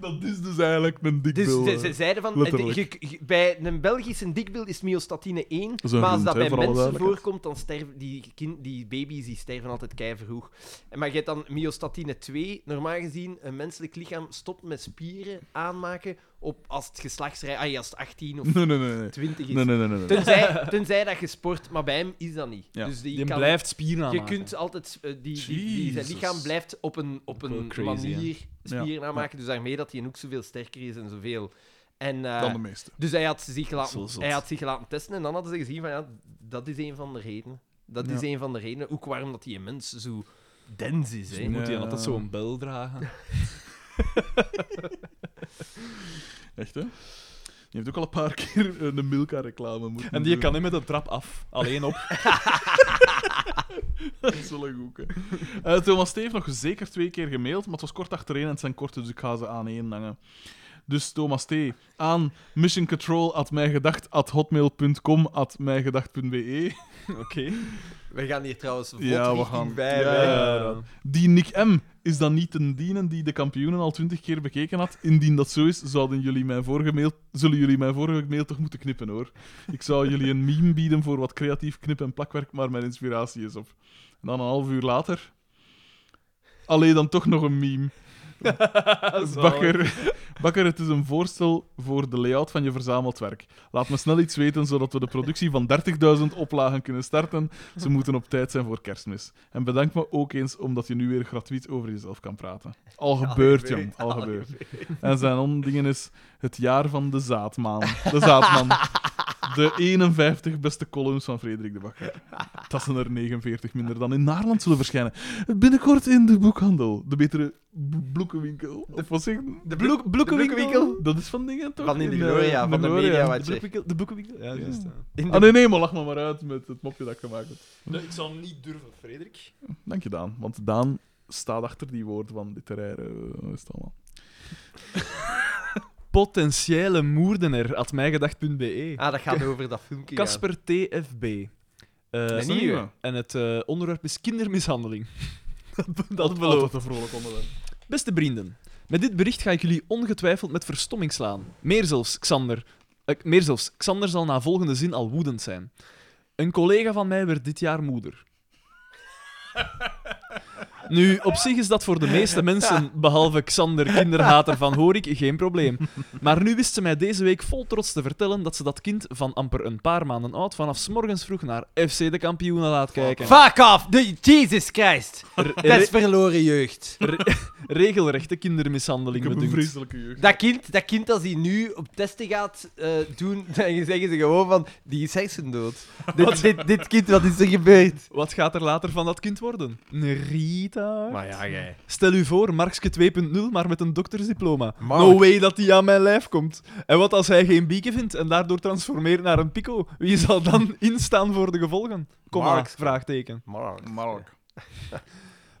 Speaker 1: Dat is dus eigenlijk een
Speaker 2: Dus
Speaker 1: <laughs> dikbil.
Speaker 2: ze,
Speaker 1: Dus,
Speaker 2: ze zeiden van,
Speaker 1: letterlijk.
Speaker 2: eh, je- je- bij een Belgische dikbil is myostatine 1,
Speaker 1: is een
Speaker 2: maar als
Speaker 1: hond,
Speaker 2: dat
Speaker 1: hè,
Speaker 2: bij
Speaker 1: voor alle
Speaker 2: mensen
Speaker 1: duidelijkheid.
Speaker 2: voorkomt, dan sterven die, kind, die baby's die sterven altijd keivroeg. En Maar je hebt dan myostatine 2. Normaal gezien, een menselijk lichaam stopt met spieren aanmaken op, als het geslachtsrij... Ah, ja, als het 18
Speaker 1: <laughs>
Speaker 2: of
Speaker 1: Nee, nee, nee. nee.
Speaker 2: 20 is.
Speaker 1: Nee, nee, nee, nee, nee.
Speaker 2: Tenzij, tenzij dat je sport, maar bij hem is dat niet.
Speaker 1: Ja.
Speaker 2: Dus die,
Speaker 3: Die
Speaker 2: kan-
Speaker 3: blijft spieren
Speaker 2: Je
Speaker 3: aanmaken.
Speaker 2: kunt altijd... eh, die, die, die, zijn
Speaker 1: Jezus.
Speaker 2: lichaam blijft op een, op
Speaker 3: Wel
Speaker 2: een
Speaker 3: crazy,
Speaker 2: manier
Speaker 1: Ja.
Speaker 2: spieren aanmaken, dus daarmee dat hij ook zoveel sterker is en zoveel... En, eh,
Speaker 1: Dan de meeste.
Speaker 2: dus hij had, zich
Speaker 3: Zo
Speaker 2: laten,
Speaker 3: zot.
Speaker 2: hij had zich laten testen en dan hadden ze gezien van ja, dat is een van de redenen. Dat is
Speaker 1: Ja.
Speaker 2: een van de redenen, ook waarom dat die mens zo dens is.
Speaker 3: Dan
Speaker 2: Hè.
Speaker 3: Dus moet hij
Speaker 1: Ja.
Speaker 3: altijd zo'n bel dragen.
Speaker 1: Echt, hè? Je hebt ook al een paar <laughs> keer een Milka-reclame moeten
Speaker 3: <laughs> En die
Speaker 1: doen.
Speaker 3: kan niet met een trap af. Alleen op.
Speaker 1: <laughs> Dat is wel een goeie. Eh, Thomas Steve heeft nog zeker twee keer gemaild, maar het was kort achtereen en het zijn korte, dus ik ga ze aan één hangen. Dus Thomas T. aan missioncontrol at mijgedacht at hotmail.com at mijgedacht.be.
Speaker 3: Oké.
Speaker 2: We gaan hier trouwens vlot
Speaker 1: Ja, we
Speaker 2: richting
Speaker 1: gaan.
Speaker 2: bij.
Speaker 1: Ja,
Speaker 2: hè.
Speaker 1: ja, ja. Die Nick M. is dan niet een dienen die de kampioenen al twintig keer bekeken had. Indien dat zo is, zouden jullie mijn vorige mail, zullen jullie mijn vorige mail toch moeten knippen, hoor. Ik zou jullie een meme bieden voor wat creatief knip- en plakwerk, maar mijn inspiratie is op. En dan een half uur later... Allee, dan toch nog een meme. Bakker, Bakker, het is een voorstel voor de layout van je verzameld werk. Laat me snel iets weten, zodat we de productie van 30.000 oplagen kunnen starten. Ze moeten op tijd zijn voor kerstmis. En bedank me ook eens, omdat je nu weer gratuit over jezelf kan praten. Al gebeurd, jong. Al gebeurd. En zijn ondingen is het jaar van de zaadmaan. De zaadman. De 51 beste columns van Frederik de Bakker. Dat zijn er 49 minder dan in Naarland zullen verschijnen. Binnenkort in de boekhandel. De betere b- bloekenwinkel. Of wat zeg je?
Speaker 2: De bloek, bloekenwinkel.
Speaker 1: Dat is van dingen, toch?
Speaker 2: Van in de
Speaker 1: eh,
Speaker 2: Gloria, van de
Speaker 1: Gloria.
Speaker 2: Mediawatch.
Speaker 3: De boekwinkel. De boekwinkel. <laughs> Ja, juist. ja.
Speaker 2: In de-
Speaker 1: Ah, nee, nee, maar lach me maar uit met het mopje dat ik gemaakt heb.
Speaker 3: Nee, ik zal niet durven, Frederik.
Speaker 1: Dank je, Daan. Want Daan staat achter die woorden van literaire... eh, Hoe is het allemaal?
Speaker 3: Potentiële moordenaar, at mijgedacht.be.
Speaker 2: Ah, dat gaat over dat filmpje. ja.
Speaker 3: Casper TFB. Eh,
Speaker 1: Is dat niet
Speaker 2: nieuwe.
Speaker 1: waar?
Speaker 3: en het eh, onderwerp is kindermishandeling. <laughs> dat
Speaker 1: Altijd-
Speaker 3: belooft.
Speaker 1: Altijd een vrolijk onderwerp.
Speaker 3: Beste vrienden, met dit bericht ga ik jullie ongetwijfeld met verstomming slaan. Meer zelfs, Xander. eh, meer zelfs, Xander zal na volgende zin al woedend zijn. Een collega van mij werd dit jaar moeder. Nu, op zich is dat voor de meeste mensen, behalve Xander, kinderhater van Horik, geen probleem. Maar nu wist ze mij deze week vol trots te vertellen dat ze dat kind van amper een paar maanden oud vanaf 's morgens vroeg naar FC de kampioenen laat kijken.
Speaker 2: Fuck off! De, Jesus Christ! Dat is verloren jeugd.
Speaker 3: Re- regelrechte kindermishandeling
Speaker 1: Ik heb een
Speaker 3: bedunkt.
Speaker 1: vreselijke jeugd.
Speaker 2: Dat kind, dat kind, als hij nu op testen gaat eh, doen, <laughs> dan zeggen ze gewoon van, die is
Speaker 3: <laughs>
Speaker 2: hersendood. dit, dit, dit kind, wat is er gebeurd?
Speaker 3: Wat gaat er later van dat kind worden? Een Rita?
Speaker 2: Maar ja, jij.
Speaker 3: Stel u voor, Markske 2.0, maar met een doktersdiploma.
Speaker 2: Mark.
Speaker 3: No way dat hij aan mijn lijf komt. En wat als hij geen bieken vindt en daardoor transformeert naar een pico? Wie zal dan <laughs> instaan voor de gevolgen? Kom maar,
Speaker 2: Markske.
Speaker 3: vraagteken.
Speaker 1: Mark.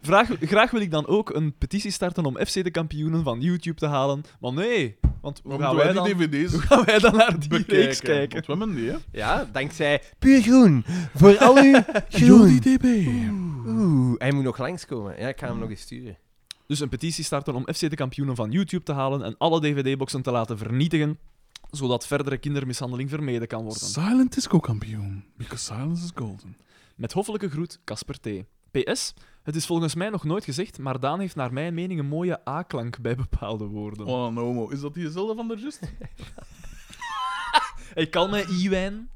Speaker 3: Vraag, graag wil ik dan ook een petitie starten om FC de kampioenen van YouTube te halen. Maar nee, want hoe
Speaker 1: Waarom
Speaker 3: gaan
Speaker 1: doen
Speaker 3: wij,
Speaker 1: wij
Speaker 3: dan,
Speaker 1: die dvd's
Speaker 3: hoe <laughs> gaan wij dan naar die reeks
Speaker 1: bekijken?
Speaker 3: kijken?
Speaker 1: Want we hebben die, hè?
Speaker 2: Ja, dankzij puur groen. Voor al uw groen.
Speaker 1: DB.
Speaker 2: Oeh, hij moet nog langskomen. Ja, ik ga hem nog eens sturen.
Speaker 3: Dus een petitie starten om FC de kampioenen van YouTube te halen en alle DVD-boxen te laten vernietigen, zodat verdere kindermishandeling vermeden kan worden.
Speaker 1: Silent is co-kampioen. Because silence is golden.
Speaker 3: Met hoffelijke groet, Casper T. PS, het is volgens mij nog nooit gezegd, maar Daan heeft naar mijn mening een mooie A-klank bij bepaalde woorden.
Speaker 1: Oh, een homo. Is dat diezelfde van de Just?
Speaker 3: Ik kan mij Iwijn.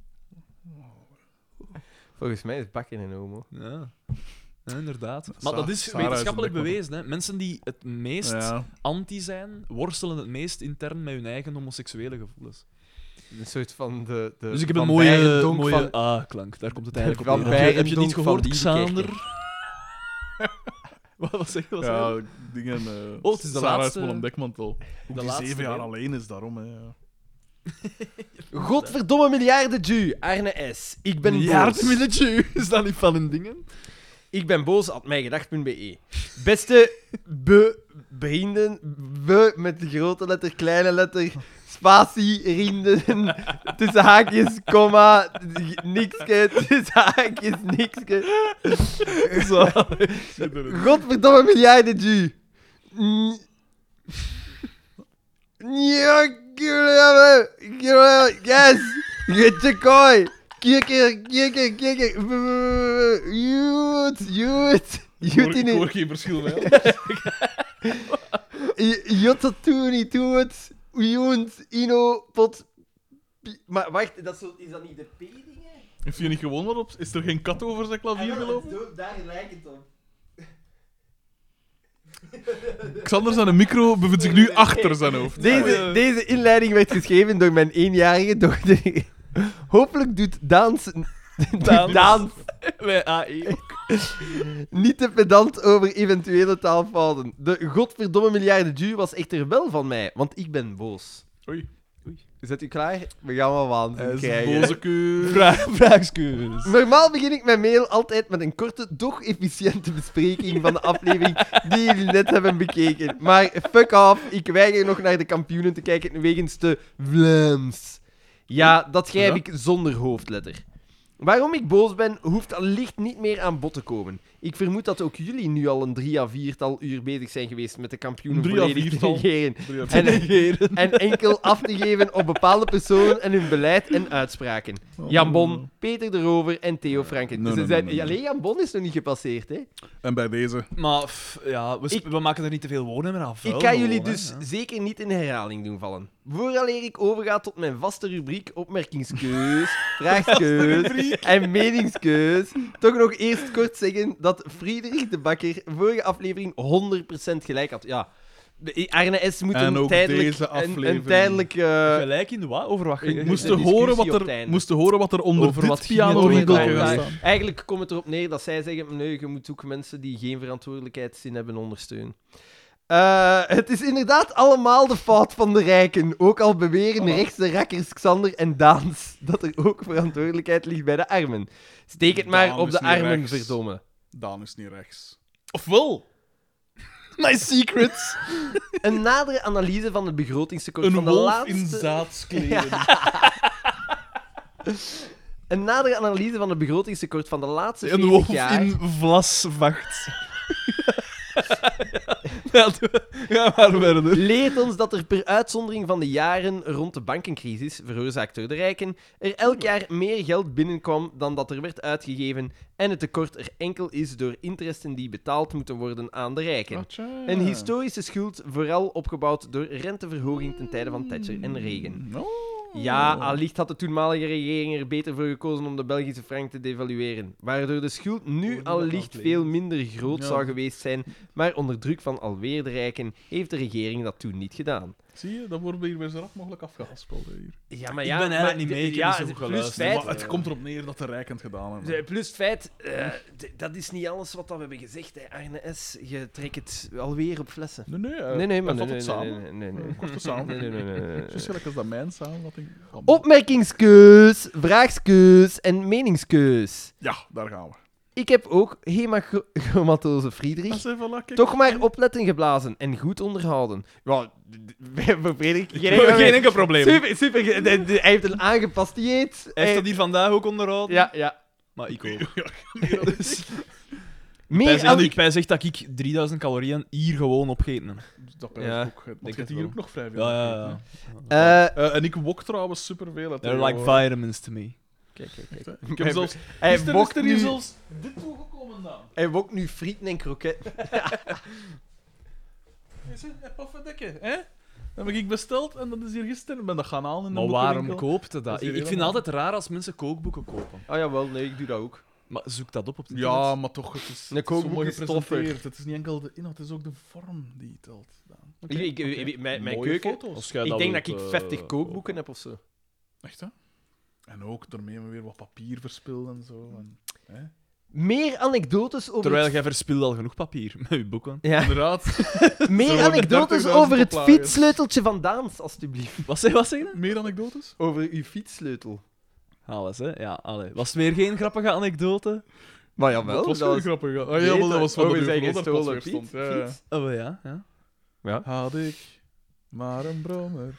Speaker 2: Volgens mij is bakken een homo.
Speaker 3: Ja. Ja, inderdaad. Maar
Speaker 1: Sa-
Speaker 3: dat is
Speaker 1: Sarah is
Speaker 3: wetenschappelijk
Speaker 1: een
Speaker 3: bewezen. Hè. Mensen die het meest
Speaker 1: Ja.
Speaker 3: anti zijn, worstelen het meest intern met hun eigen homoseksuele gevoelens.
Speaker 2: Een soort van de... de
Speaker 3: Dus ik heb een
Speaker 2: van
Speaker 3: mooie,
Speaker 2: Beirendonk
Speaker 3: mooie
Speaker 2: van-
Speaker 3: A-klank. Ah, Daar komt het
Speaker 2: De
Speaker 3: eigenlijk op neer.
Speaker 2: Van
Speaker 3: Heb je- Heb je
Speaker 2: Beirendonk
Speaker 3: niet gehoord,
Speaker 2: van Dieverkerken.
Speaker 3: Xander? <laughs> wat was zeg je? Wat zeg je?
Speaker 1: Ja, dingen... eh
Speaker 3: Oh, het is de
Speaker 1: Sarah
Speaker 3: laatste-
Speaker 1: Is dekmantel.
Speaker 3: de
Speaker 1: Die
Speaker 3: laatste
Speaker 1: zeven jaar
Speaker 3: deel.
Speaker 1: alleen is daarom, hè. Ja.
Speaker 2: Godverdomme miljarden Jew, Arne S. Ik ben boos.
Speaker 3: Miljardenmilletje, <laughs> is dat niet van hun dingen?
Speaker 2: Ik ben boos at mijgedacht.be. Beste be vrienden, be met de grote letter, kleine letter, spatie, vrienden, <laughs> tussen haakjes, komma, nikske, tussen haakjes, nikske. Zo. Godverdomme miljarden Jew. Mm. Ja, killen, killen, Yes! Jetje kooi! Kikker, kikker, kikker! Jut, jut! Jut in
Speaker 1: Ik hoor
Speaker 2: het...
Speaker 1: geen verschil mee.
Speaker 2: Jut dat toe niet, doe het! Jut, ino, pot... pi- Maar wacht, dat is, zo, is dat niet de P-dingen?
Speaker 1: <laughs> Heeft hij niet gewonnen? wat Op? Is er geen kat over zijn klavier gelopen?
Speaker 2: Daar lijkt het op.
Speaker 1: Xander zijn micro bevindt zich nu achter zijn hoofd.
Speaker 2: Deze, deze inleiding werd geschreven door mijn eenjarige dochter. <laughs> Hopelijk doet Daans... <laughs>
Speaker 3: Daans.
Speaker 2: Daans. Daans
Speaker 3: Bij
Speaker 1: ah,
Speaker 3: AE.
Speaker 2: Niet te pedant over eventuele taalfouten. De godverdomme miljarden Jew was echter wel van mij, want ik ben boos.
Speaker 1: Oei.
Speaker 2: Zet u klaar? We gaan wel
Speaker 1: Hij
Speaker 2: waanzin
Speaker 1: is
Speaker 2: krijgen.
Speaker 1: een boze keur.
Speaker 3: Vraag,
Speaker 1: Dus.
Speaker 3: vraagskeuze.
Speaker 2: Normaal begin ik mijn mail altijd met een korte, doch efficiënte bespreking van de aflevering die jullie net hebben bekeken. Maar fuck off, ik weiger nog naar de kampioenen te kijken wegens de Vlaams. Ja, dat schrijf
Speaker 1: Ja.
Speaker 2: ik zonder hoofdletter. Waarom ik boos ben, hoeft allicht niet meer aan bod te komen. Ik vermoed dat ook jullie nu al een drie à viertal uur bezig zijn geweest met de kampioenen
Speaker 1: Drie à
Speaker 2: volledig te
Speaker 1: viertal.
Speaker 2: negeren.
Speaker 1: Drie uit-
Speaker 2: En, en enkel af te geven op bepaalde personen en hun beleid en uitspraken.
Speaker 1: Oh.
Speaker 2: Jan Bon, Peter de Rover en Theo Franken.
Speaker 1: Nee,
Speaker 2: Dus
Speaker 1: nee,
Speaker 2: ze zijn...
Speaker 1: nee, nee, nee.
Speaker 2: Alleen Jan Bon is nog niet gepasseerd, hè?
Speaker 1: En bij deze.
Speaker 3: Maar pff, ja, we, sp-
Speaker 2: Ik-
Speaker 3: we maken er niet te veel woorden meer aan. vuil
Speaker 2: ik ga
Speaker 3: gewoon,
Speaker 2: jullie
Speaker 3: hè.
Speaker 2: dus
Speaker 3: Ja.
Speaker 2: zeker niet in herhaling doen vallen. Vooraleer ik overga tot mijn vaste rubriek opmerkingskeus,
Speaker 1: <laughs>
Speaker 2: vraagskeus en meningskeus, toch nog eerst kort zeggen dat Friedrich de Bakker vorige aflevering 100% gelijk had. Ja, de- Arne S. moet
Speaker 1: En
Speaker 2: een
Speaker 1: ook
Speaker 2: tijdelijk...
Speaker 1: deze
Speaker 2: een- Een,
Speaker 1: aflevering.
Speaker 2: tijdelijk... eh,
Speaker 3: Gelijk in wat? Over wat?
Speaker 1: Ik
Speaker 3: ge- <laughs>
Speaker 1: moest
Speaker 2: de
Speaker 1: horen, wat
Speaker 2: discussie op het
Speaker 1: er,
Speaker 2: einde.
Speaker 1: moest horen wat er onder
Speaker 3: Over
Speaker 1: dit
Speaker 3: wat hier
Speaker 1: piano
Speaker 3: over
Speaker 1: rinkeltje
Speaker 3: gedaan
Speaker 1: gaat
Speaker 3: werd.
Speaker 1: staan.
Speaker 2: Eigenlijk komt het erop neer dat zij zeggen: nee, je moet ook mensen die geen verantwoordelijkheidszin hebben ondersteunen. Eh, het is inderdaad allemaal de fout van de rijken. Ook al beweren rechtse rakkers Xander en Daans dat er ook verantwoordelijkheid ligt bij de armen. Steek het maar
Speaker 1: Daan
Speaker 2: op
Speaker 1: is
Speaker 2: de
Speaker 1: niet
Speaker 2: armen,
Speaker 1: rechts.
Speaker 2: verdomme.
Speaker 1: Daan is niet rechts.
Speaker 2: <laughs>
Speaker 1: Ofwel.
Speaker 3: My secrets!
Speaker 2: Een nadere analyse van het begrotingstekort
Speaker 1: Een
Speaker 2: van de
Speaker 1: wolf
Speaker 2: laatste...
Speaker 1: in zaadskleren.
Speaker 2: Een nadere analyse van het begrotingstekort van de laatste 40
Speaker 3: Een wolf
Speaker 2: jaar...
Speaker 3: in vlasvacht. ja, doe- ja, maar verder.
Speaker 2: leert ons dat er per uitzondering van de jaren rond de bankencrisis, veroorzaakt door de rijken, er elk jaar meer geld binnenkwam dan dat er werd uitgegeven en het tekort er enkel is door interesten die betaald moeten worden aan de rijken. Een historische schuld, vooral opgebouwd door renteverhoging ten tijde van Thatcher
Speaker 1: Hmm.
Speaker 2: en Reagan. Ja, allicht had de toenmalige regering er beter voor gekozen om de Belgische frank te devalueren, waardoor de schuld nu allicht veel minder groot
Speaker 1: Ja.
Speaker 2: zou geweest zijn, maar onder druk van alweer de rijken heeft de regering dat toen niet gedaan.
Speaker 1: Zie je, dat wordt hier weer zo rap mogelijk afgehaspeld. hè, hier.
Speaker 2: Ja, maar
Speaker 3: Ik ben eigenlijk niet mee, ik heb niet zo goed
Speaker 2: plus
Speaker 3: geluisterd,
Speaker 2: feit,
Speaker 1: Maar het komt erop neer dat de Rijk het gedaan hebben.
Speaker 2: eh, plus feit, eh,
Speaker 3: Hm?
Speaker 2: d- dat is niet alles wat dat we hebben gezegd, hè. Arne S. Je trekt het alweer op flessen.
Speaker 1: Nee, nee, eh,
Speaker 2: Nee, nee, maar
Speaker 1: hij
Speaker 2: nee,
Speaker 1: vat
Speaker 2: nee,
Speaker 1: het samen.
Speaker 2: nee, nee, nee,
Speaker 1: Hij vat het samen.
Speaker 2: nee, nee, nee, nee, nee,
Speaker 1: Zo
Speaker 2: nee.
Speaker 1: gelijk als dat mijn samenvatting.
Speaker 2: Opmerkingskeus, vraagskeus en meningskeus.
Speaker 1: Ja, daar gaan we.
Speaker 2: Ik heb ook <laughs> hemachromatose
Speaker 1: Dat
Speaker 2: Friedrich.
Speaker 1: is even lekker.
Speaker 2: Toch maar opletten geblazen en goed onderhouden. Ja, <laughs> voor Frederik...
Speaker 3: Geen
Speaker 2: <laughs>
Speaker 3: enkel probleem. Hij
Speaker 2: Super, super. ge- de- de- Hij heeft een aangepast dieet.
Speaker 3: heeft dat hier vandaag ook onderhouden.
Speaker 2: Ja, ja.
Speaker 1: <laughs>
Speaker 3: Maar ik ook. <laughs> Dus, hij,
Speaker 2: Meer
Speaker 3: zegt,
Speaker 2: dan
Speaker 3: ik, hij zegt dat ik 3000 calorieën hier gewoon opgeten heb.
Speaker 1: Dat ben ik
Speaker 2: Ja,
Speaker 1: ook. Want je
Speaker 3: het
Speaker 1: hebt hier
Speaker 3: wel.
Speaker 1: ook nog vrij veel.
Speaker 3: Ja, ja,
Speaker 1: gegeten,
Speaker 3: ja.
Speaker 2: Eh,
Speaker 1: hè. Eh, en ik wok trouwens superveel. hè,
Speaker 3: They're like
Speaker 1: tegenwoordig.
Speaker 3: vitamins to me.
Speaker 2: Kijk, kijk, kijk.
Speaker 1: Ik heb zelfs...
Speaker 2: Hij
Speaker 1: Gisteren
Speaker 2: wokt
Speaker 1: is er hier
Speaker 2: nu-
Speaker 1: zelfs dit toegekomen dan.
Speaker 2: Hij wokt nu frieten en kroketten.
Speaker 1: Is het? Pofferdikke, hè? Dat heb ik besteld en dat is hier gisteren. Ik ben dat gaan halen in de
Speaker 3: Maar waarom
Speaker 1: boekenwinkel.
Speaker 3: koopt hij
Speaker 1: Dat
Speaker 3: dat?
Speaker 1: is hier
Speaker 3: Ik, ik vind het
Speaker 1: helemaal-
Speaker 3: altijd raar als mensen kookboeken kopen.
Speaker 2: Oh jawel, nee, ik doe dat ook.
Speaker 3: Maar zoek dat op op het internet.
Speaker 1: Ja, maar toch, het is,
Speaker 2: Een
Speaker 1: het is zo
Speaker 2: kookboek
Speaker 1: mooi
Speaker 2: is toffer.
Speaker 1: gepresenteerd. Het is niet enkel de inhoud, het is ook de vorm die telt. Daan. Oké.
Speaker 2: Ik- ik- ik- Mijn, Eh, mijn
Speaker 1: Mooie
Speaker 2: keuken.
Speaker 1: foto's.
Speaker 3: Als jij
Speaker 2: ik denk dat
Speaker 3: wilt,
Speaker 2: ik
Speaker 3: eh,
Speaker 2: 50 kookboeken heb of zo.
Speaker 1: Echt, hè? En ook, daarmee hebben we weer wat papier verspild en zo.
Speaker 2: Mm.
Speaker 1: En, hè?
Speaker 2: Meer anekdotes over
Speaker 3: Terwijl
Speaker 2: het...
Speaker 3: jij verspilt al genoeg papier met je boeken.
Speaker 2: <laughs> Ja,
Speaker 1: Inderdaad,
Speaker 2: meer
Speaker 1: worden
Speaker 2: anekdotes
Speaker 1: 30.000
Speaker 2: over het
Speaker 1: oplages.
Speaker 2: fietssleuteltje van Daans, alstublieft.
Speaker 3: <laughs> Wat zeg, wat zeg je?
Speaker 1: meer anekdotes?
Speaker 2: Over uw fietssleutel.
Speaker 3: Alles, hè? Ah, Ja, allee. Was het weer geen grappige anekdote?
Speaker 2: Maar
Speaker 1: dat
Speaker 2: jawel,
Speaker 1: was
Speaker 2: dat
Speaker 1: wel
Speaker 2: was...
Speaker 1: grappig. ja. Ah, ja, wel, dat was van de
Speaker 2: over zijn
Speaker 1: Ruud van Odder
Speaker 2: gestolen
Speaker 1: pas weer stond.
Speaker 2: fiets.
Speaker 1: Ja, ja.
Speaker 2: fiets.
Speaker 3: Oh ja, ja.
Speaker 1: Had ik maar een brommer.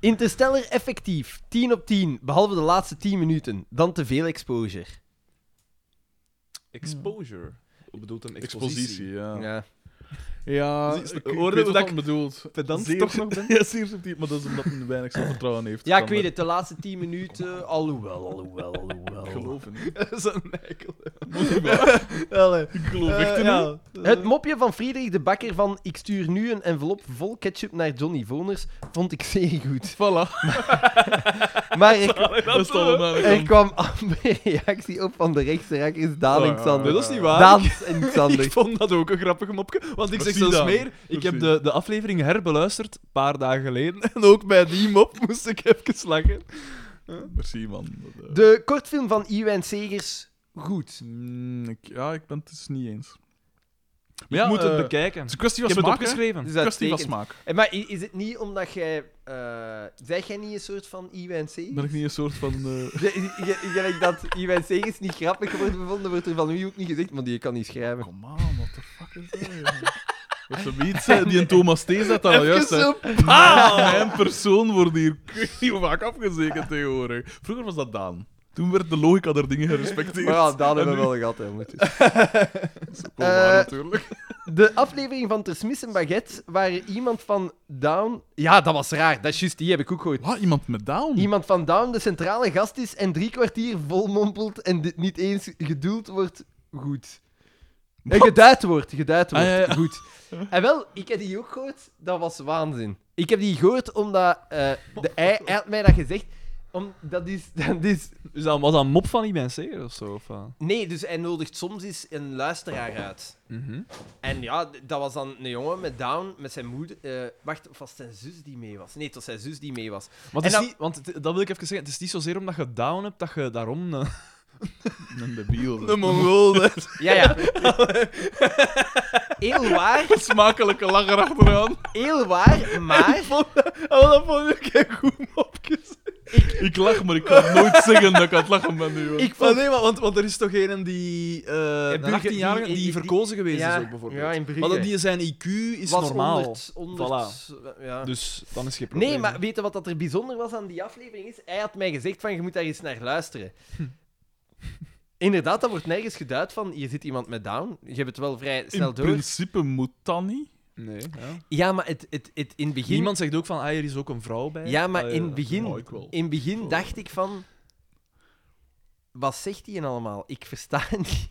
Speaker 2: Interstellar effectief. 10 op 10, behalve de laatste 10 minuten. Dan te veel exposure.
Speaker 3: Exposure. Wat bedoelt een <laughs>
Speaker 1: Expositie, ja.
Speaker 2: Ja.
Speaker 1: Ja,
Speaker 3: Zie-
Speaker 1: ik
Speaker 3: hoorde
Speaker 1: hoorde
Speaker 3: hoe
Speaker 1: wat
Speaker 3: dat
Speaker 1: dat bedoelt.
Speaker 3: pedant
Speaker 1: Zeer-
Speaker 3: toch nog ben?
Speaker 1: <laughs> Ja, zeer subtiel, maar dat is omdat hij weinig zelfvertrouwen heeft.
Speaker 2: ja, ik
Speaker 1: Kan
Speaker 2: weet
Speaker 1: dat-
Speaker 2: het. De laatste 10 minuten... Alhoewel, alhoewel, alhoewel.
Speaker 1: Geloven. niet.
Speaker 3: Zo'n eikel.
Speaker 1: Moet ik wel.
Speaker 3: Allee.
Speaker 1: Ik geloof echt
Speaker 3: Eh,
Speaker 1: in u.
Speaker 3: ja.
Speaker 2: Het mopje van Friedrich de Bakker van ik stuur nu een envelop vol ketchup naar Johnny Voners vond ik zeer goed.
Speaker 1: Voilà.
Speaker 2: Maar er,
Speaker 1: Dat is toch wel aan de
Speaker 2: er
Speaker 1: kant.
Speaker 2: kwam amper reactie op van de rechtse rak is Daan
Speaker 1: Oh,
Speaker 2: en
Speaker 1: ja.
Speaker 3: Nee,
Speaker 2: Xander.
Speaker 3: dat is niet waar.
Speaker 2: Daans en Xander.
Speaker 3: Ik vond dat ook een grappig mopje. Want ik zeg
Speaker 1: Precies
Speaker 3: zelfs
Speaker 1: dan.
Speaker 3: meer. Ik heb
Speaker 1: Precies.
Speaker 3: de, de aflevering herbeluisterd, een paar dagen geleden. <laughs> En ook bij die mop moest ik even lachen.
Speaker 1: Eh, Merci, man. Dat, eh,
Speaker 2: De kortfilm van Iwijn Segers, goed.
Speaker 1: mm, ik- Ja, ik ben het dus niet eens. Maar
Speaker 3: ik moet het
Speaker 1: eh,
Speaker 3: bekijken.
Speaker 1: Het is
Speaker 3: Ik
Speaker 1: een kwestie van
Speaker 3: heb het
Speaker 1: smaak, hè.
Speaker 3: opgeschreven.
Speaker 2: Dus
Speaker 1: Het is een kwestie van
Speaker 2: uitstekend.
Speaker 1: smaak.
Speaker 2: Eh, Maar i- is het niet omdat jij... eh zeg jij niet een soort van Iwijn Segers?
Speaker 1: Ben ik niet een soort van... <laughs> eh,
Speaker 2: Ja, i- i- Gelijk dat Iwijn Segers niet grappig wordt bevonden, wordt er van wie ook niet gezegd, maar die kan niet
Speaker 1: <laughs>
Speaker 2: schrijven.
Speaker 1: Kom aan, Oh, what the fuck is dat? <laughs> joh? Wat ze weet, hè, eh, die een Thomas T. zat al juist. hè. Mijn persoon wordt hier <laughs> ik weet niet hoe vaak afgezekerd tegenwoordig. Vroeger was dat Daan. Toen werd de logica der dingen gerespecteerd.
Speaker 2: Maar ja, Daan
Speaker 1: En
Speaker 2: hebben
Speaker 1: nu-
Speaker 2: we
Speaker 1: Oh,
Speaker 2: wel gehad, hè. moet je-
Speaker 1: Kom maar,
Speaker 2: Eh, <laughs>
Speaker 1: natuurlijk.
Speaker 2: De aflevering van Ter Smis en Baguette, waar iemand van Down... Ja, dat was raar. Dat is juist, die heb ik ook gehoord.
Speaker 1: Wat, iemand met Down?
Speaker 2: <clears throat> Iemand van Down de centrale gast is en drie kwartier volmompelt en dit niet eens gedoeld wordt goed. En geduid wordt, geduid wordt,
Speaker 1: Ah, ja, ja.
Speaker 2: goed. En wel, ik heb die ook gehoord, dat was waanzin. Ik heb die gehoord omdat... eh, de, hij, hij had mij dat gezegd, om, dat, is, <laughs> dat is...
Speaker 3: Dus dat was dat een mop van die mensen of zo? Of, eh?
Speaker 2: Nee, dus hij nodigt soms eens een luisteraar uit.
Speaker 1: Mhm.
Speaker 2: En ja, d- dat was dan een jongen met Down, met zijn moeder. eh, wacht, of was het zijn zus die mee was? Nee, het was zijn zus die mee was.
Speaker 3: Maar het
Speaker 2: En
Speaker 3: is
Speaker 2: dan-
Speaker 3: niet, want het- dat wil ik even zeggen. Het is niet zozeer omdat je down hebt dat je daarom een,
Speaker 1: Een debiel.
Speaker 3: <laughs> een Mongool eh, <laughs> bent.
Speaker 2: Ja, ja. heel waar,
Speaker 1: smakelijke lacher achteraan.
Speaker 2: heel waar, maar...
Speaker 3: Oh, dat vond ik een goed mopje.
Speaker 1: Ik lach, maar ik kan nooit zeggen dat ik aan het lachen ben nu. hoor.
Speaker 2: Ik
Speaker 3: Maar
Speaker 2: vond...
Speaker 3: nee, maar, want, want er is toch een die eh
Speaker 2: Brugge-
Speaker 3: 18 jarige die,
Speaker 2: die- die-
Speaker 3: verkozen geweest
Speaker 2: ja,
Speaker 3: is ook bijvoorbeeld.
Speaker 2: ja, in Brugge.
Speaker 3: maar dat die zijn IQ is
Speaker 2: was
Speaker 3: normaal.
Speaker 2: 100, 100, ja.
Speaker 3: Dus dan is geen probleem.
Speaker 2: Nee, maar weet je wat dat er bijzonder was aan die aflevering? Is, hij had mij gezegd van, je moet daar eens naar
Speaker 3: <laughs>
Speaker 2: luisteren. Inderdaad, dat wordt nergens geduid van, hier zit iemand met Down. Je hebt het wel vrij
Speaker 1: In
Speaker 2: snel door.
Speaker 1: principe moet dat niet.
Speaker 3: Nee, ja.
Speaker 2: Ja, maar het, het, het, in het begin...
Speaker 3: Niemand zegt ook van, ah, er is ook een vrouw bij.
Speaker 2: Ja, maar
Speaker 3: Ah,
Speaker 2: in het
Speaker 1: Oh,
Speaker 2: begin,
Speaker 1: ik wel.
Speaker 2: in het begin dacht ik van... Wat zegt hij allemaal? Ik versta <laughs> het niet.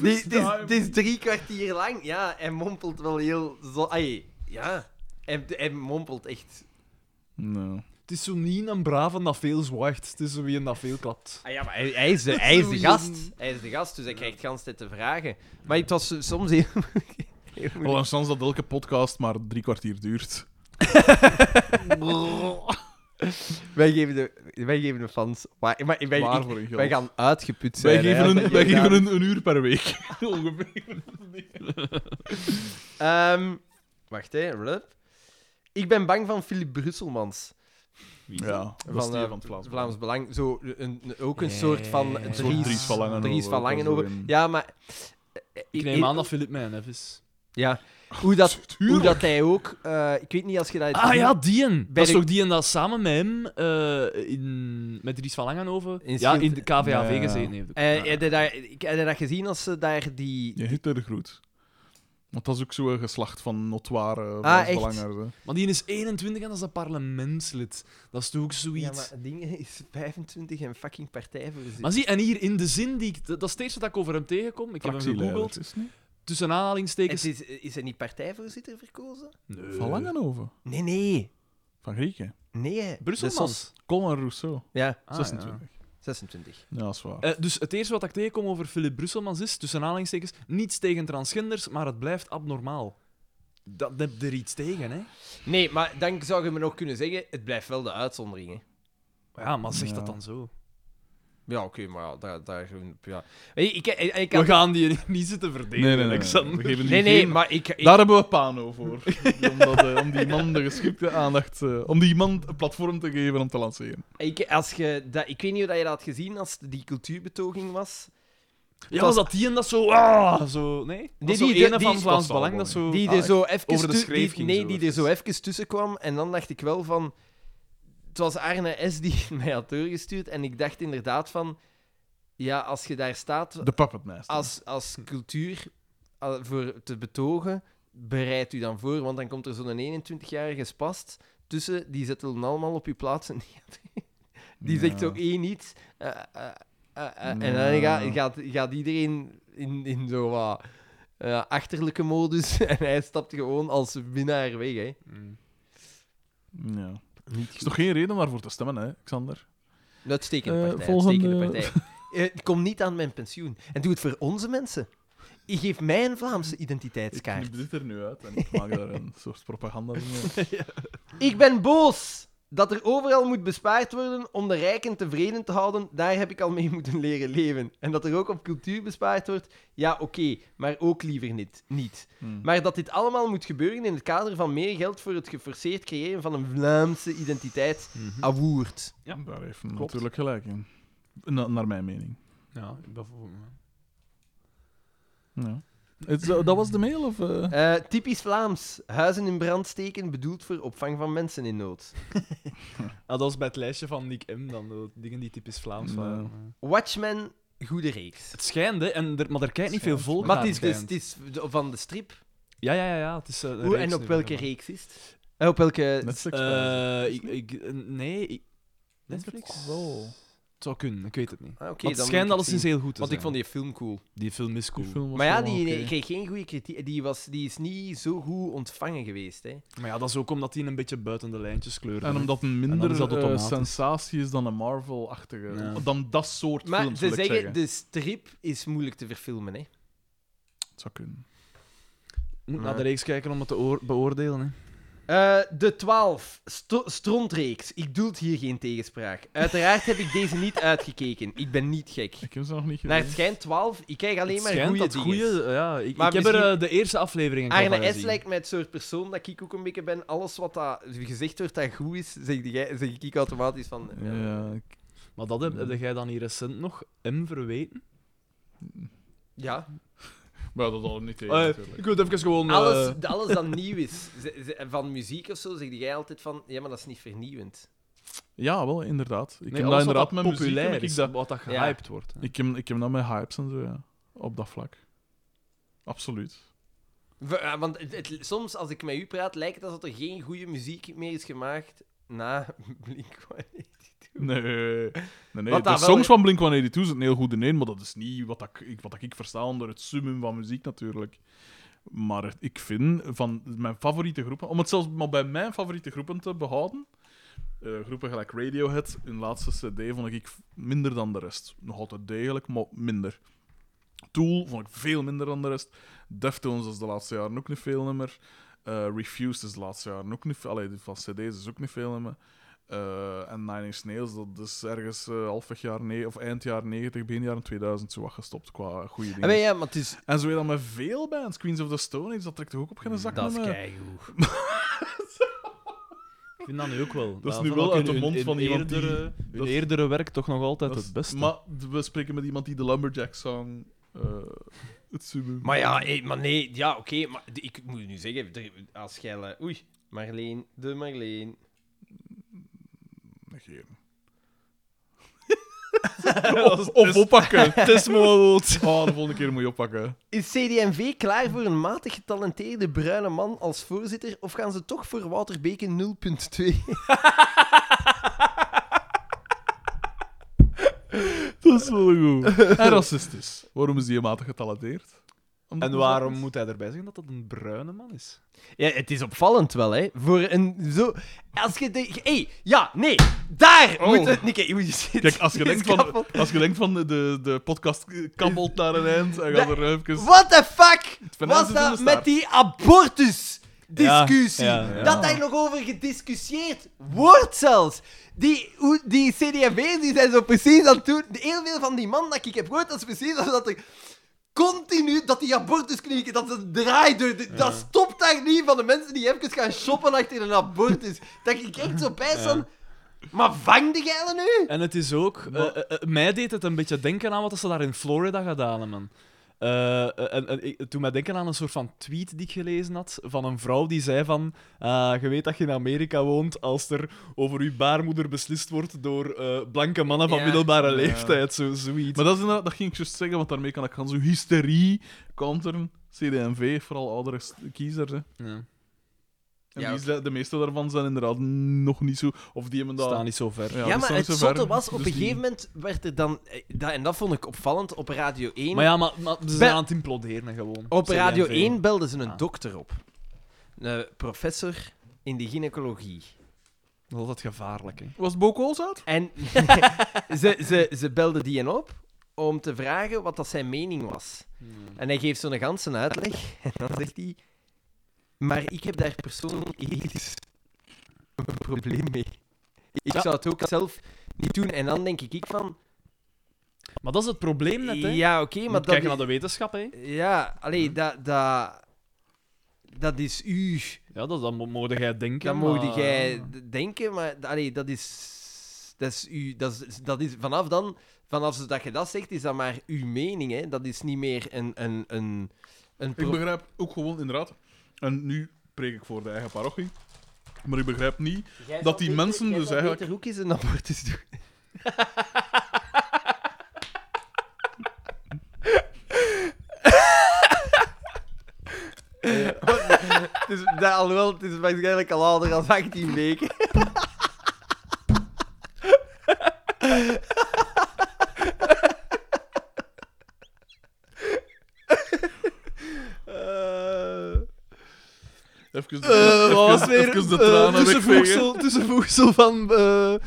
Speaker 2: Die- Het is,
Speaker 1: hem
Speaker 2: het is drie kwartier lang. Ja, hij mompelt wel heel... Zo, ai, ja, hij, hij mompelt echt...
Speaker 1: Nee.
Speaker 3: Het is zo niet een brave dat veel zwaagt. Het is zo wie een dat veel klapt.
Speaker 2: Ah ja, maar hij, hij is, de, hij is de gast. Hij is de gast, dus hij krijgt de hele tijd te vragen. Maar het was soms heel... heel
Speaker 1: Wel
Speaker 2: moeilijk.
Speaker 1: een kans dat elke podcast maar drie kwartier duurt.
Speaker 2: wij, geven de, wij geven de fans... Maar, maar, wij,
Speaker 1: Waar
Speaker 2: ik-
Speaker 1: voor een geld.
Speaker 2: wij gaan uitgeput
Speaker 1: Wij
Speaker 2: zijn. hè,
Speaker 1: geven,
Speaker 2: als
Speaker 1: een,
Speaker 2: dat
Speaker 1: wij
Speaker 2: hier
Speaker 1: geven
Speaker 2: gaat.
Speaker 1: een, een uur per week.
Speaker 2: <laughs>
Speaker 1: Ongeveer.
Speaker 2: Ehm, wacht, hè. Rup. Ik ben bang van Philip Brusselmans.
Speaker 1: Ja, dat is die
Speaker 2: eh,
Speaker 1: van het Vlaams.
Speaker 2: Vlaams Belang. Zo, een, een- ook een soort van
Speaker 3: Een soort
Speaker 2: Dries,
Speaker 1: Dries van Langenhoven,
Speaker 2: Dries van
Speaker 1: ook wel zo
Speaker 2: Langenhoven.
Speaker 1: in.
Speaker 2: Ja, maar...
Speaker 3: Ik neem aan dat Philip Mijnhef is.
Speaker 2: Ja. Hoe dat, hoe
Speaker 1: Tuurlijk.
Speaker 2: dat hij ook... eh, ik weet niet als je dat... hebt
Speaker 3: Ah
Speaker 2: gezien.
Speaker 3: ja, dieën. Dat is
Speaker 2: de-
Speaker 3: toch dieën dat samen met hem, eh, in, met Dries van Langenhoven,
Speaker 2: In
Speaker 3: ja,
Speaker 2: Schild-
Speaker 3: in de KVAV
Speaker 1: Ja.
Speaker 3: gezeten heeft. ook.
Speaker 2: Eh, heb je daar- ik- heb je dat gezien als ze daar die...
Speaker 1: Je Hitler de Groet. Want dat is ook zo'n geslacht van notoire
Speaker 2: Ah,
Speaker 1: ah,
Speaker 2: echt?
Speaker 3: Maar die is 21 en dat is een parlementslid. Dat is toch ook zoiets.
Speaker 2: Ja, maar
Speaker 3: maar...
Speaker 2: het ding is 25 en fucking partijvoorzitter.
Speaker 3: zie, en hier in de zin die ik. Dat dat is het eerste dat ik over hem tegenkom. Ik heb hem gegoogeld.
Speaker 1: is het niet?
Speaker 3: Tussen
Speaker 2: Het
Speaker 3: aanhalingstekens.
Speaker 2: is, is hij niet partijvoorzitter verkozen?
Speaker 3: Nee.
Speaker 1: Van Langenhoven.
Speaker 2: Nee, nee.
Speaker 1: Van Grieken.
Speaker 2: Nee. hè. De Sos.
Speaker 3: Brusselmans.
Speaker 1: Colin Rousseau.
Speaker 2: Ja.
Speaker 3: Ah,
Speaker 1: 26.
Speaker 2: 26.
Speaker 1: Ja, dat is waar.
Speaker 3: Eh, dus het eerste wat ik tegenkom over Philip Brusselmans is, tussen aanhalingstekens, niets tegen transgenders, maar het blijft abnormaal. Dat heb je er iets tegen, hè?
Speaker 2: Nee, maar dan zou je me nog kunnen zeggen, het blijft wel de uitzondering, hè.
Speaker 3: Ja, maar zeg
Speaker 1: Ja.
Speaker 3: dat dan zo.
Speaker 2: Ja, oké, maar ja, daar, daar gewoon... Ja. Weet je, Ik, ik, ik
Speaker 3: We
Speaker 2: had-
Speaker 3: gaan die niet zitten verdedigen, Alexander.
Speaker 1: We geven die
Speaker 2: nee, nee,
Speaker 1: geen-
Speaker 2: maar ik... ik
Speaker 1: Daar hebben we Pano voor. om, dat, eh, om die man de geschikte aandacht... eh, om die man een platform te geven om te lanceren.
Speaker 2: Ik, als je dat, ik weet niet of dat je dat had gezien als het die cultuurbetoging was.
Speaker 3: Ja,
Speaker 2: was-
Speaker 3: was dat die en dat zo... Ah, zo nee? Dat
Speaker 2: die-
Speaker 3: zo
Speaker 2: die-
Speaker 3: ene
Speaker 2: die-
Speaker 3: van Vlaams
Speaker 1: dat zal
Speaker 3: Belang, dat
Speaker 1: wel,
Speaker 3: zo...
Speaker 2: Die
Speaker 3: Ah,
Speaker 2: er zo even
Speaker 3: over de
Speaker 2: tu-
Speaker 3: schreef
Speaker 2: die-
Speaker 3: ging
Speaker 2: Nee,
Speaker 3: zo
Speaker 2: die er
Speaker 3: even.
Speaker 2: zo even tussen kwam. En dan dacht ik wel van. Het was Arne S. die <laughs> mij had doorgestuurd. En ik dacht inderdaad van. Ja, als je daar staat
Speaker 1: De puppetmeester.
Speaker 2: als, als cultuur eh, voor te betogen, bereid u dan voor. Want dan komt er zo'n 21-jarige spast tussen. Die zet dan allemaal op uw plaats. En <laughs> die, die zegt zo één iets. eh, eh, eh, eh, En dan
Speaker 1: Ja.
Speaker 2: gaat, gaat, gaat iedereen in, in zo wat eh, achterlijke modus. <laughs> En hij stapt gewoon als winnaar weg. Hè.
Speaker 1: Ja. Er is toch geen reden om daarvoor te stemmen, hè, Xander?
Speaker 2: Een Uitstekende
Speaker 1: Eh,
Speaker 2: partij.
Speaker 1: volgende-
Speaker 2: uitstekende partij. <laughs> Eh, kom niet aan mijn pensioen. En doe het voor onze mensen. Geef mij een Vlaamse
Speaker 1: Ik
Speaker 2: identiteitskaart.
Speaker 1: knip dit er nu uit en ik maak daar een <laughs> soort propaganda van.
Speaker 2: Ik ben boos dat er overal moet bespaard worden om de rijken tevreden te houden. Daar heb ik al mee <laughs> moeten leren leven. En dat er ook op cultuur bespaard wordt, ja, oké, maar ook liever niet. niet.
Speaker 1: Hmm.
Speaker 2: Maar dat dit allemaal moet gebeuren in het kader van meer geld voor het geforceerd creëren van een Vlaamse identiteit, avoert.
Speaker 1: Ja. Daar heeft hij
Speaker 3: Klopt.
Speaker 1: natuurlijk gelijk in. Na- naar mijn mening.
Speaker 3: Ja, bijvoorbeeld.
Speaker 1: Ja. Het, zo- dat was de mail, of... eh?
Speaker 2: Eh, typisch Vlaams. Huizen in brand steken bedoeld voor opvang van mensen in nood.
Speaker 3: Ah, dat was bij het lijstje van Nick M. dan, de dingen die typisch Vlaams
Speaker 1: Nee.
Speaker 3: waren.
Speaker 2: Watchmen, goede reeks.
Speaker 3: Het schijnde, en er, maar er kijkt niet veel volk
Speaker 2: Maar
Speaker 3: naar,
Speaker 2: het is, dus,
Speaker 3: schijnt.
Speaker 2: het is van de strip.
Speaker 3: Ja, ja, ja. ja het is, eh, de
Speaker 2: Hoe,
Speaker 3: reeks
Speaker 2: en op
Speaker 3: nu,
Speaker 2: welke
Speaker 3: ja.
Speaker 2: reeks is het? Eh, op welke
Speaker 1: Netflix?
Speaker 3: Eh, ik, ik, eh, nee, ik-
Speaker 1: Denk het
Speaker 3: Netflix?
Speaker 1: wel.
Speaker 3: Het zou kunnen, ik weet het niet.
Speaker 2: Ah, Oké,
Speaker 3: Maar
Speaker 2: dan
Speaker 3: het
Speaker 2: moet ik
Speaker 3: schijnt alleszins
Speaker 2: zien.
Speaker 3: heel goed te
Speaker 2: Want ik
Speaker 3: zijn.
Speaker 2: vond die film cool.
Speaker 3: Die film is
Speaker 1: Die
Speaker 3: cool.
Speaker 1: film was
Speaker 2: Maar ja,
Speaker 1: wel
Speaker 2: die
Speaker 1: oké.
Speaker 2: die kreeg geen goede kritiek. Die, was, die is niet zo goed ontvangen geweest. Hè.
Speaker 3: Maar ja, dat is ook omdat die een beetje buiten de lijntjes kleurde.
Speaker 1: En
Speaker 3: hè.
Speaker 1: omdat een
Speaker 3: En dan
Speaker 1: minder
Speaker 3: is dat
Speaker 1: eh,
Speaker 3: automatisch.
Speaker 1: sensatie is dan een Marvel-achtige.
Speaker 3: Ja.
Speaker 1: Dan dat soort
Speaker 2: Maar
Speaker 1: films,
Speaker 2: ze
Speaker 1: wil ik
Speaker 2: zeggen,
Speaker 1: zeggen.
Speaker 2: de strip is moeilijk te verfilmen. Hè.
Speaker 1: Het zou kunnen.
Speaker 3: Moet naar de reeks kijken om het te oor- beoordelen. Hè.
Speaker 2: Eh, de 12, Sto- strontreeks. Ik doe het hier geen tegenspraak. Uiteraard heb ik deze niet uitgekeken. Ik ben niet gek.
Speaker 1: Ik heb ze nog niet gezien.
Speaker 2: Naar het schijnt 12, ik krijg alleen
Speaker 3: Het
Speaker 2: maar
Speaker 3: schijnt
Speaker 2: goede
Speaker 3: dat
Speaker 2: dingen.
Speaker 3: goeie- Ja, ik,
Speaker 2: Maar
Speaker 3: ik heb er
Speaker 2: misschien- Ah,
Speaker 3: eh, de eerste aflevering van
Speaker 2: Arne S.
Speaker 3: gezien.
Speaker 2: lijkt mij het soort persoon dat ik ook een beetje ben. Alles wat dat gezegd wordt dat goed is, zeg, jij- zeg ik automatisch van... eh, ja.
Speaker 1: Ja, ik-
Speaker 3: Maar dat
Speaker 2: Hmm.
Speaker 3: heb, heb jij dan hier recent nog M verweten?
Speaker 2: ja.
Speaker 1: maar dat hadden we niet tegen,
Speaker 3: Eh,
Speaker 1: natuurlijk.
Speaker 3: ik wil het even gewoon... eh,
Speaker 2: Alles, alles <laughs> dat nieuw is, ze- ze- van muziek of zo, zeg jij altijd van, ja, maar dat is niet vernieuwend.
Speaker 1: Ja, wel, inderdaad. Ik
Speaker 3: nee,
Speaker 1: heb dat
Speaker 3: alles wat
Speaker 1: inderdaad met muziek,
Speaker 3: populair
Speaker 1: heb ik
Speaker 3: is,
Speaker 1: dat-
Speaker 3: wat dat
Speaker 2: Ja.
Speaker 3: gehyped wordt. hè.
Speaker 1: Ik heb, ik heb dat met hypes en zo, ja. Op dat vlak. Absoluut.
Speaker 2: We- eh, Want het, het- soms, als ik met u praat, lijkt het alsof er geen goede muziek meer is gemaakt na <laughs>
Speaker 1: <laughs>
Speaker 2: Blink.
Speaker 1: Nee, nee, nee.
Speaker 2: Wat
Speaker 1: de
Speaker 2: dat wel
Speaker 1: songs
Speaker 2: is-
Speaker 1: van Blink-182 zitten heel goed in één, maar dat is niet wat ik, ik- wat ik versta onder het summum van muziek, natuurlijk. Maar het- ik vind, van mijn favoriete groepen... Om het zelfs maar bij mijn favoriete groepen te behouden... eh, groepen gelijk Radiohead, hun laatste cd vond ik minder dan de rest. Nog altijd degelijk, maar minder. Tool vond ik veel minder dan de rest. Deftones is de laatste jaren ook niet veel nummer. Eh, Refused is de laatste jaren ook niet veel. Allee, die van CD's is ook niet veel nummer. Eh, en Nine Inch Nails, dat is ergens eh, halfweg jaar ne- of eind jaar 90, begin jaren 2000 zo wat gestopt qua goede dingen.
Speaker 2: Ah, ja, maar het is...
Speaker 1: En zo weer dan met veel bands. Queens of the Stone Age, dat trekt toch ook op geen zak
Speaker 2: Dat is
Speaker 1: meer.
Speaker 2: keigoed.
Speaker 3: Ik vind dat nu ook wel.
Speaker 1: Dat is
Speaker 3: Ja,
Speaker 1: nu
Speaker 3: van
Speaker 1: wel
Speaker 3: ook
Speaker 1: uit de
Speaker 3: hun-
Speaker 1: mond
Speaker 3: hun
Speaker 1: van iemand die-
Speaker 3: eerdere,
Speaker 1: dat
Speaker 3: Hun
Speaker 1: is-
Speaker 3: eerdere werk toch nog altijd
Speaker 1: Dat is-
Speaker 3: het beste.
Speaker 1: Maar we spreken met iemand die de Lumberjack-song... eh, het summum.
Speaker 2: Maar ja, eh, maar nee, ja, oké, maar de- ik moet nu zeggen, er- als jij... eh, Oei, Marleen, de Marleen.
Speaker 3: <laughs>
Speaker 1: negeren. of, of
Speaker 3: <laughs>
Speaker 1: oppakken.
Speaker 3: Testmoot.
Speaker 1: Oh, de volgende keer moet je oppakken.
Speaker 2: Is CD&V klaar voor een matig getalenteerde bruine man als voorzitter, of gaan ze toch voor Wouter Beken 0.2?
Speaker 1: Dat is wel goed. En racistisch. Waarom is die matig getalenteerd? Omdat
Speaker 3: En
Speaker 1: het een zwarte
Speaker 3: waarom
Speaker 1: is?
Speaker 3: moet hij erbij zeggen dat dat een bruine man is?
Speaker 4: Ja, het is opvallend wel, hè. Voor een zo... Als je denkt... Hé, ja, nee. Daar moet het... Nikke, hoe je zit.
Speaker 1: Oh. Kijk, als
Speaker 3: <laughs>
Speaker 1: je,
Speaker 4: Die is
Speaker 1: denkt van,
Speaker 4: kapot.
Speaker 1: als je denkt van de, de podcast kabbelt naar een eind en gaat er even...
Speaker 4: What the fuck was dat
Speaker 1: Fernandes is in de staart.
Speaker 4: met die abortus-discussie?
Speaker 3: Ja, ja, ja.
Speaker 4: Dat daar nog over gediscussieerd wordt zelfs. Die, hoe- die CDFV's die zijn zo precies aan het doen. Heel veel van die man dat ik heb gehoord, dat is precies alsof dat er continu dat die abortusklinieken, dat ze draait door. de- Dat stopt daar niet van de mensen die even gaan shoppen achter een abortus. Dat ik echt zo bij sta van, Maar vang de geile nu?
Speaker 3: En het is ook... eh, eh, eh, mij deed het een beetje denken aan wat ze daar in Florida gedaan hebben. Eh, eh, en, en ik- toen mij denken aan een soort van tweet die ik gelezen had van een vrouw die zei van ah, je weet dat je in Amerika woont als er over uw baarmoeder beslist wordt door eh, blanke mannen van
Speaker 2: Ja.
Speaker 3: middelbare leeftijd, zo, zoiets.
Speaker 1: Maar dat, is inderdaad, dat ging ik juist zeggen, want daarmee kan ik gaan zo hysterie counteren. CDMV, vooral oudere s- kiezers. Hè.
Speaker 3: Ja,
Speaker 1: En
Speaker 2: Ja,
Speaker 1: die is- de meeste daarvan zijn inderdaad nog niet zo... Of die hebben dat...
Speaker 3: staan niet zo ver.
Speaker 1: Ja,
Speaker 2: ja,
Speaker 1: die
Speaker 2: maar
Speaker 1: staan
Speaker 2: het
Speaker 1: niet zo ver.
Speaker 2: zotte was, op
Speaker 1: Dus
Speaker 2: een
Speaker 1: die-
Speaker 2: gegeven moment werd er dan... eh, Dat, en dat vond ik opvallend, op Radio 1...
Speaker 3: Maar ja, maar, maar ze zijn aan het imploderen gewoon.
Speaker 2: op
Speaker 3: CDMV.
Speaker 2: Radio 1 belden ze een
Speaker 3: Ah.
Speaker 2: dokter op. Een professor in de gynaecologie.
Speaker 3: Dat is altijd gevaarlijk, hè.
Speaker 1: Was het Bokols uit?
Speaker 3: <laughs>
Speaker 2: En ze, ze, ze belden die een op om te vragen wat dat zijn mening was. En hij geeft zo'n ganse uitleg. <laughs> En dan zegt hij... Maar ik heb daar persoonlijk ethisch een probleem mee. Ik zou het ook zelf niet doen. En dan denk ik van...
Speaker 3: Maar dat is het probleem net, hè.
Speaker 2: Ja, oké,
Speaker 3: Je
Speaker 2: maar
Speaker 3: moet
Speaker 2: dat...
Speaker 3: kijken
Speaker 2: is-
Speaker 3: naar de wetenschap, hè.
Speaker 2: Ja, alleen dat... dat... Dat is u.
Speaker 3: Ja, dat, dat mo- mogen jij denken,
Speaker 2: Dat
Speaker 3: maar-
Speaker 2: mocht jij d- denken, maar d- allee, dat is. Dat is, u, dat, is, dat is vanaf dan, vanaf dat je dat zegt, is dat maar uw mening. Hè? Dat is niet meer een. een, een, een pro-
Speaker 1: Ik begrijp ook gewoon inderdaad... En nu preek ik voor de eigen parochie. Maar ik begrijp niet... dat
Speaker 2: Jij zou
Speaker 1: die
Speaker 2: beter-
Speaker 1: mensen
Speaker 2: jij
Speaker 1: dus
Speaker 2: zou
Speaker 1: eigenlijk-
Speaker 2: beter ook eens een abortus
Speaker 4: <laughs>
Speaker 2: doen.
Speaker 4: Het
Speaker 2: Dus
Speaker 4: is, dat, alhoewel, het is waarschijnlijk al ouder dan 18 weken.
Speaker 1: Even de,
Speaker 3: Eh,
Speaker 1: even-
Speaker 3: wat <laughs> was het weer?
Speaker 1: even de
Speaker 3: Eh,
Speaker 1: tranen wegvegen.
Speaker 3: tussenvoegsel, tussenvoegsel van... eh eh,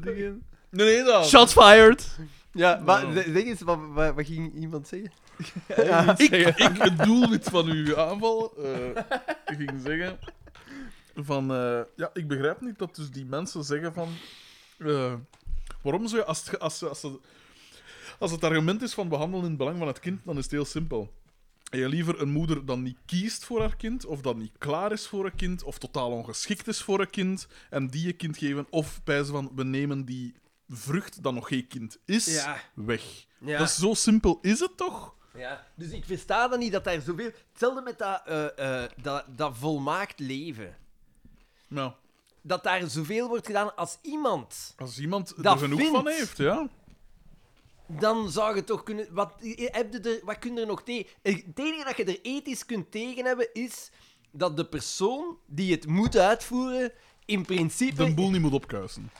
Speaker 3: dingen.
Speaker 1: Nee, nee, dat...
Speaker 3: Shots <laughs> fired!
Speaker 4: Ja, maar
Speaker 1: Wow.
Speaker 2: Oh.
Speaker 4: zeg zeg eens, wat, wat, wat ging iemand zeggen?
Speaker 1: ik, ik, het doelwit van uw aanval, eh, ik ging zeggen van, eh, ja, ik begrijp niet dat dus die mensen zeggen van, eh, waarom zou je, als, het- als, als, het- als het argument is van behandelen in het belang van het kind, dan is het heel simpel. En je liever een moeder dan niet kiest voor haar kind, of dat niet klaar is voor een kind, of totaal ongeschikt is voor een kind, en die je kind geven, of bij ze van, we nemen die vrucht dat nog geen kind is,
Speaker 2: Ja.
Speaker 1: weg.
Speaker 2: Ja.
Speaker 1: Dat is zo simpel is het toch?
Speaker 2: Ja. Dus ik versta dan niet dat daar zoveel. Hetzelfde met dat, eh, eh, dat, dat volmaakt leven.
Speaker 1: Nou.
Speaker 2: Dat daar zoveel wordt gedaan als iemand.
Speaker 1: Als iemand er
Speaker 2: Dat
Speaker 1: genoeg
Speaker 2: vindt.
Speaker 1: van heeft, ja.
Speaker 2: Dan zou je toch kunnen. Wat, eh, heb je er, wat kun je er nog tegen? Eh, Het enige dat je er ethisch kunt tegen hebben is dat de persoon die het moet uitvoeren. In principe.
Speaker 1: De boel niet moet opkuisen.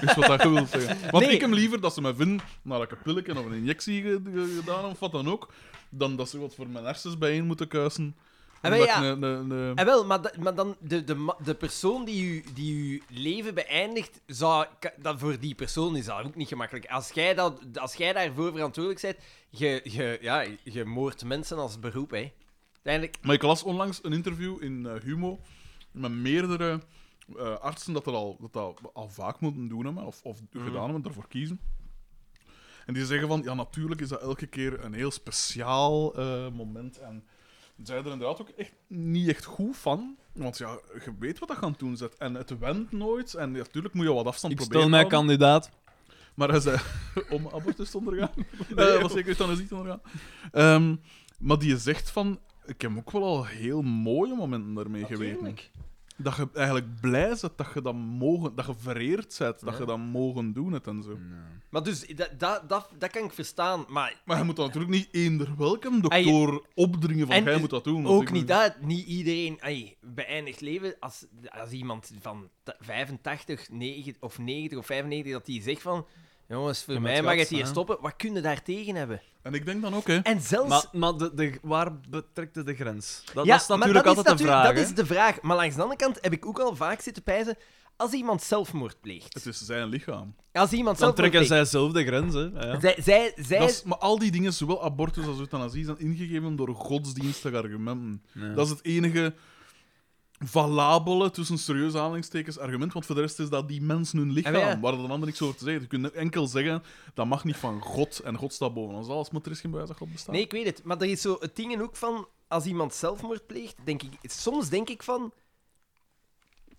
Speaker 1: Is wat dat je wilt
Speaker 2: <laughs>
Speaker 1: zeggen. Want
Speaker 2: Nee.
Speaker 1: ik hem liever dat ze mij vinden nadat ik een pilletje of een injectie ge- ge- gedaan heb, of wat dan ook, dan dat ze wat voor mijn hersens bijeen moeten kuisen.
Speaker 2: Ah, wel,
Speaker 1: Omdat
Speaker 2: ja.
Speaker 1: ik een- een- een-
Speaker 2: En Ah, wel, maar, da- maar dan de, de, ma- de persoon die je die uw leven beëindigt, zou, ka- dat voor die persoon is dat ook niet gemakkelijk. Als jij, dat, als jij daarvoor verantwoordelijk bent, je, je, ja, je moordt mensen als beroep. Hè. Uiteindelijk,
Speaker 1: Maar ik las onlangs een interview in eh, Humo met meerdere eh, artsen dat, er al, dat dat al vaak moeten doen hebben, of, of
Speaker 3: Mhm.
Speaker 1: gedaan hebben, daarvoor kiezen. En die zeggen van, ja, natuurlijk is dat elke keer een heel speciaal eh, moment. En zij er inderdaad ook echt niet echt goed van. Want ja, je weet wat dat gaan doen zet. En het wendt nooit. En natuurlijk moet je wat afstand
Speaker 3: Ik
Speaker 1: proberen.
Speaker 3: stel mij
Speaker 1: houden.
Speaker 3: kandidaat.
Speaker 1: Maar hij zei <laughs> om abortus te
Speaker 2: <laughs>
Speaker 1: ondergaan. Eh, was zeker euthanasie te ondergaan. Ehm, maar die zegt van... Ik heb ook wel al heel mooie momenten daarmee geweten. Dat je eigenlijk blij bent dat je dat mogen... Dat je vereerd bent dat je dat mogen doen het en zo.
Speaker 2: maar dus, dat, dat, dat, dat kan ik verstaan. Maar
Speaker 1: Maar je moet dat natuurlijk niet eender welke
Speaker 2: En
Speaker 1: dokter opdringen van
Speaker 2: en
Speaker 1: jij moet dat doen. want
Speaker 2: Ook
Speaker 1: ik
Speaker 2: niet
Speaker 1: moet-
Speaker 2: dat, niet iedereen ai, beëindigt leven. Als, als iemand van t- 85 90, of 90 of 95 dat die zegt van. Jongens, voor
Speaker 3: Ja, maar
Speaker 2: mij
Speaker 3: het
Speaker 2: mag
Speaker 3: gaat
Speaker 2: het hier
Speaker 3: snel.
Speaker 2: stoppen. Wat kun je daar tegen hebben?
Speaker 1: En ik denk dan ook, hè.
Speaker 2: En zelfs...
Speaker 3: Maar, maar de, de, waar betrekt het de grens? Dat,
Speaker 2: Ja,
Speaker 3: dat is
Speaker 2: maar
Speaker 3: natuurlijk
Speaker 2: dat
Speaker 3: altijd
Speaker 2: is
Speaker 3: de
Speaker 2: natu-
Speaker 3: vraag.
Speaker 2: Dat
Speaker 3: hè.
Speaker 2: is de vraag. Maar langs de andere kant heb ik ook al vaak zitten pijzen... Als iemand zelfmoord
Speaker 1: Het
Speaker 2: pleegt...
Speaker 1: is zijn lichaam.
Speaker 2: Als iemand
Speaker 3: Dan
Speaker 2: zelfmoord
Speaker 3: trekken
Speaker 2: pleegt...
Speaker 3: zij zelf de grens. Hè. Ja, ja.
Speaker 2: Zij, zij, zij,
Speaker 1: Dat is- maar al die dingen, zowel abortus als euthanasie, zijn ingegeven door godsdienstige argumenten.
Speaker 3: Ja.
Speaker 1: Dat is het enige valabele, tussen serieuze aanhalingstekens, argument. Want voor de rest is dat die mensen hun lichaam,
Speaker 2: Ja, maar ja.
Speaker 1: waar de ander niks over te zeggen. Je kunt enkel zeggen, dat mag niet van God en God staat boven ons alles, maar er is geen bewijs dat God bestaat.
Speaker 2: Nee, ik weet het. Maar er is zo het ding in ook van... Als iemand zelfmoord pleegt, denk ik... Soms denk ik van...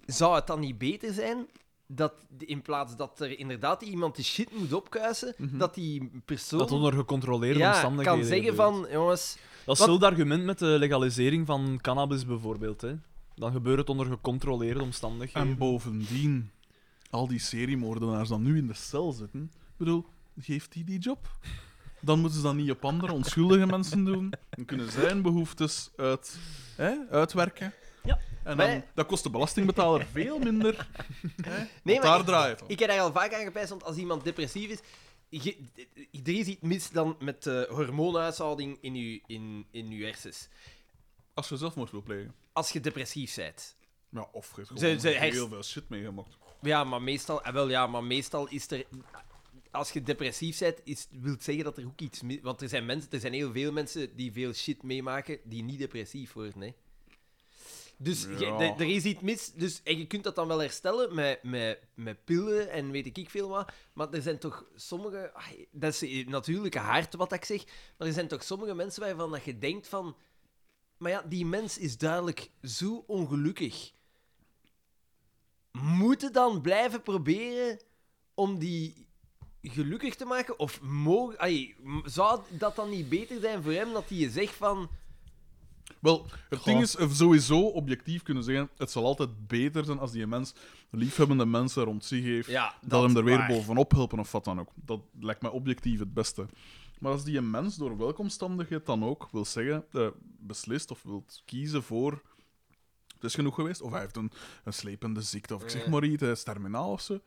Speaker 2: Zou het dan niet beter zijn dat in plaats dat er inderdaad iemand de shit moet opkuisen, dat die persoon
Speaker 3: Mhm. Dat onder gecontroleerde
Speaker 2: ja,
Speaker 3: omstandigheden.
Speaker 2: kan zeggen
Speaker 3: gebeurt.
Speaker 2: van... Jongens,
Speaker 3: Dat is
Speaker 2: Wat-
Speaker 3: hetzelfde argument met de legalisering van cannabis bijvoorbeeld. Hè. Dan gebeurt het onder gecontroleerde
Speaker 2: Ehm,
Speaker 3: omstandigheden.
Speaker 1: En bovendien, al die seriemoordenaars die nu in de cel zitten, ik bedoel, geeft die die job? Dan moeten ze dat niet op andere onschuldige mensen doen. Dan kunnen zij hun behoeftes uit, hè, uitwerken.
Speaker 3: Ja.
Speaker 1: En
Speaker 2: Maar
Speaker 1: dan,
Speaker 2: ja.
Speaker 1: dat kost de belastingbetaler veel minder.
Speaker 2: Nee,
Speaker 1: Nee,
Speaker 2: maar
Speaker 1: daar
Speaker 2: ik-
Speaker 1: draait het om.
Speaker 2: Ik heb daar al vaak aan gepijst, want als iemand depressief is... Je, er is iets mis dan met eh hormoonuishouding in je, in, in je hersens.
Speaker 1: Als je zelfmoord wil plegen.
Speaker 2: Als je depressief bent.
Speaker 1: Ja, of je hebt
Speaker 2: Ze-
Speaker 1: gewoon
Speaker 2: ze herst-
Speaker 1: heel veel shit meegemaakt.
Speaker 2: Ja, maar meestal... ah, wel, ja, maar meestal is er... Als je depressief bent, is, wil het zeggen dat er ook iets mis... Want er zijn, mensen, er zijn heel veel mensen die veel shit meemaken, die niet depressief worden, hè. Dus je-
Speaker 1: Ja.
Speaker 2: de- er is iets mis. Dus, en je kunt dat dan wel herstellen met, met, met pillen en weet ik ik veel wat. Maar er zijn toch sommige... ah, Dat is natuurlijk hard wat ik zeg. Maar er zijn toch sommige mensen waarvan dat je denkt van... Maar ja, die mens is duidelijk zo ongelukkig. Moeten dan blijven proberen om die gelukkig te maken? Of mogen, allee, m- zou dat dan niet beter zijn voor hem dat hij je zegt van...
Speaker 1: Wel, het
Speaker 3: Goh.
Speaker 1: ding is, eh, sowieso objectief kunnen zeggen, het zal altijd beter zijn als die mens liefhebbende mensen rond zich heeft.
Speaker 2: Ja,
Speaker 1: dat, hem er weer bovenop helpen of wat dan ook. Dat lijkt mij objectief het beste. Maar als die mens door welke omstandigheid dan ook wil zeggen, eh, beslist of wilt kiezen voor. Het is genoeg geweest, of hij heeft een, een slepende ziekte, of ik zeg maar iets, hij is terminaal of zo.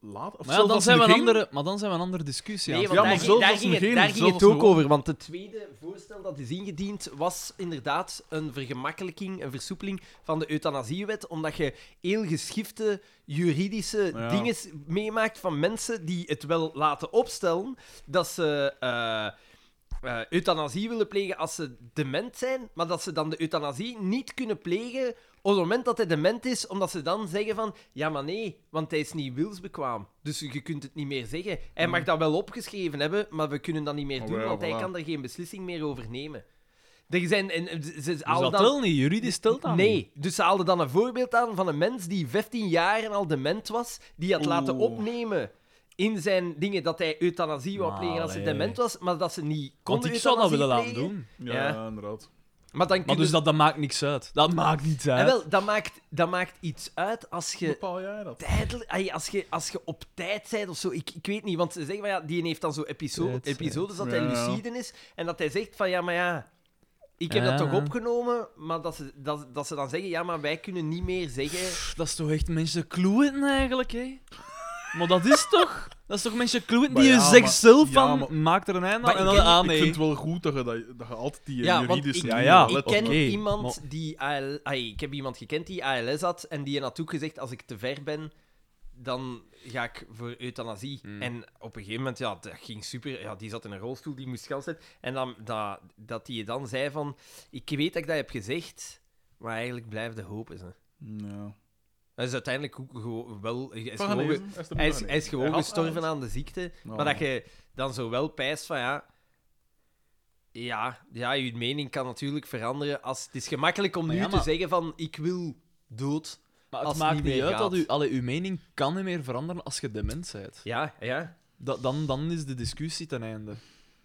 Speaker 1: Laat, of
Speaker 3: Eh. Maar, ja,
Speaker 1: zelfs
Speaker 3: dan
Speaker 1: als
Speaker 3: zijn we een
Speaker 1: degene-
Speaker 3: andere, maar dan zijn we een andere discussie aan
Speaker 2: Nee,
Speaker 3: het
Speaker 2: want
Speaker 1: Ja, maar
Speaker 2: daar,
Speaker 1: zelfs
Speaker 2: ging, daar,
Speaker 1: als
Speaker 2: ging
Speaker 1: een
Speaker 2: het, daar
Speaker 1: geen-
Speaker 2: ging het
Speaker 1: zelfs
Speaker 2: ook
Speaker 1: een-
Speaker 2: over. Want het tweede voorstel dat is ingediend was inderdaad een vergemakkelijking, een versoepeling van de euthanasiewet. Omdat je heel geschifte juridische
Speaker 1: Ja.
Speaker 2: dingen meemaakt van mensen die het wel laten opstellen dat ze. eh, eh, euthanasie willen plegen als ze dement zijn, maar dat ze dan de euthanasie niet kunnen plegen op het moment dat hij dement is, omdat ze dan zeggen van, ja maar nee, want hij is niet wilsbekwaam. Dus je kunt het niet meer zeggen. Hij mag dat wel opgeschreven hebben, maar we kunnen dat niet meer
Speaker 1: Oh,
Speaker 2: doen,
Speaker 1: ja,
Speaker 2: want hij
Speaker 1: voilà.
Speaker 2: kan er geen beslissing meer over nemen. Er zijn... En, en ze- ze
Speaker 3: Dus
Speaker 2: haalden
Speaker 3: dat
Speaker 2: dan-
Speaker 3: telt niet, juridisch telt dat niet.
Speaker 2: Nee, dus ze haalden dan een voorbeeld aan van een mens die 15 jaar en al dement was, die had laten
Speaker 1: Oeh.
Speaker 2: opnemen in zijn dingen dat hij euthanasie wou
Speaker 3: Maar
Speaker 2: plegen als hij
Speaker 3: allee.
Speaker 2: dement was, maar dat ze niet
Speaker 3: Want
Speaker 2: konden
Speaker 3: ik zou dat
Speaker 2: euthanasie
Speaker 3: willen laten
Speaker 2: plegen.
Speaker 3: doen.
Speaker 1: Ja,
Speaker 2: Ja.
Speaker 1: inderdaad.
Speaker 2: Maar dan
Speaker 3: Maar
Speaker 2: kun
Speaker 3: dus
Speaker 2: je-
Speaker 3: dat, dat maakt niks uit. Dat maakt niets
Speaker 2: En
Speaker 3: uit.
Speaker 2: wel, dat maakt, dat maakt iets uit als je
Speaker 1: Bepaal jij dat?
Speaker 2: tijdelijk... ai, Als je, als je op tijd bent of zo, ik, ik weet niet, want ze zeggen van ja, die heeft dan zo episo-
Speaker 3: Tijd zijn.
Speaker 2: episodes dat hij
Speaker 1: Ja.
Speaker 2: lucide is en dat hij zegt van ja, maar ja, ik heb dat
Speaker 3: Ja.
Speaker 2: toch opgenomen, maar dat ze, dat, dat ze dan zeggen ja, maar wij kunnen niet meer zeggen...
Speaker 3: Dat is toch echt mensen kloeten eigenlijk, hè? Maar dat is toch... Dat is toch mensen kloeten die
Speaker 1: Maar
Speaker 3: je
Speaker 1: ja,
Speaker 3: zegt
Speaker 1: maar-
Speaker 3: zelf
Speaker 1: ja,
Speaker 3: van...
Speaker 1: maar-
Speaker 3: maak er een einde
Speaker 2: Maar
Speaker 3: aan en
Speaker 2: ik
Speaker 3: dan
Speaker 2: ken-
Speaker 3: aan,
Speaker 1: Ik
Speaker 3: nee.
Speaker 1: vind het wel goed dat je, dat, dat je altijd die
Speaker 2: Ja, want
Speaker 1: juridische...
Speaker 2: ik-
Speaker 3: Ja, ja.
Speaker 1: let
Speaker 2: Ik
Speaker 1: op.
Speaker 2: ken
Speaker 3: Oké,
Speaker 2: iemand
Speaker 3: maar-
Speaker 2: die AL... ai, ik heb iemand gekend die ALS had en die had ook gezegd als ik te ver ben, dan ga ik voor euthanasie.
Speaker 3: Hmm.
Speaker 2: En op een gegeven moment, ja, dat ging super. Ja, die zat in een rolstoel, die moest gans zitten. En dan, dat, dat die dan zei van, ik weet dat ik dat heb gezegd, maar eigenlijk blijfde hopen ze.
Speaker 1: Ja.
Speaker 2: Hij is uiteindelijk ook gewoon wel... Hij is,
Speaker 1: Van
Speaker 2: gewoon,
Speaker 1: Genezen, is de
Speaker 2: hij is,
Speaker 1: Van
Speaker 2: hij is gewoon
Speaker 1: Genezen.
Speaker 2: gestorven aan de ziekte.
Speaker 1: Ja.
Speaker 2: Maar dat je dan zo wel pijst van ja. Ja, ja, je mening kan natuurlijk veranderen. Als, het is gemakkelijk om
Speaker 3: Maar
Speaker 2: nu
Speaker 3: ja, maar-
Speaker 2: te zeggen van ik wil dood.
Speaker 3: Maar het
Speaker 2: als
Speaker 3: maakt
Speaker 2: het
Speaker 3: niet,
Speaker 2: niet meer
Speaker 3: uit
Speaker 2: gaat.
Speaker 3: dat u, allee, uw mening kan niet meer veranderen als je dement bent.
Speaker 2: Ja, ja.
Speaker 3: Dat, dan, dan is de discussie ten einde.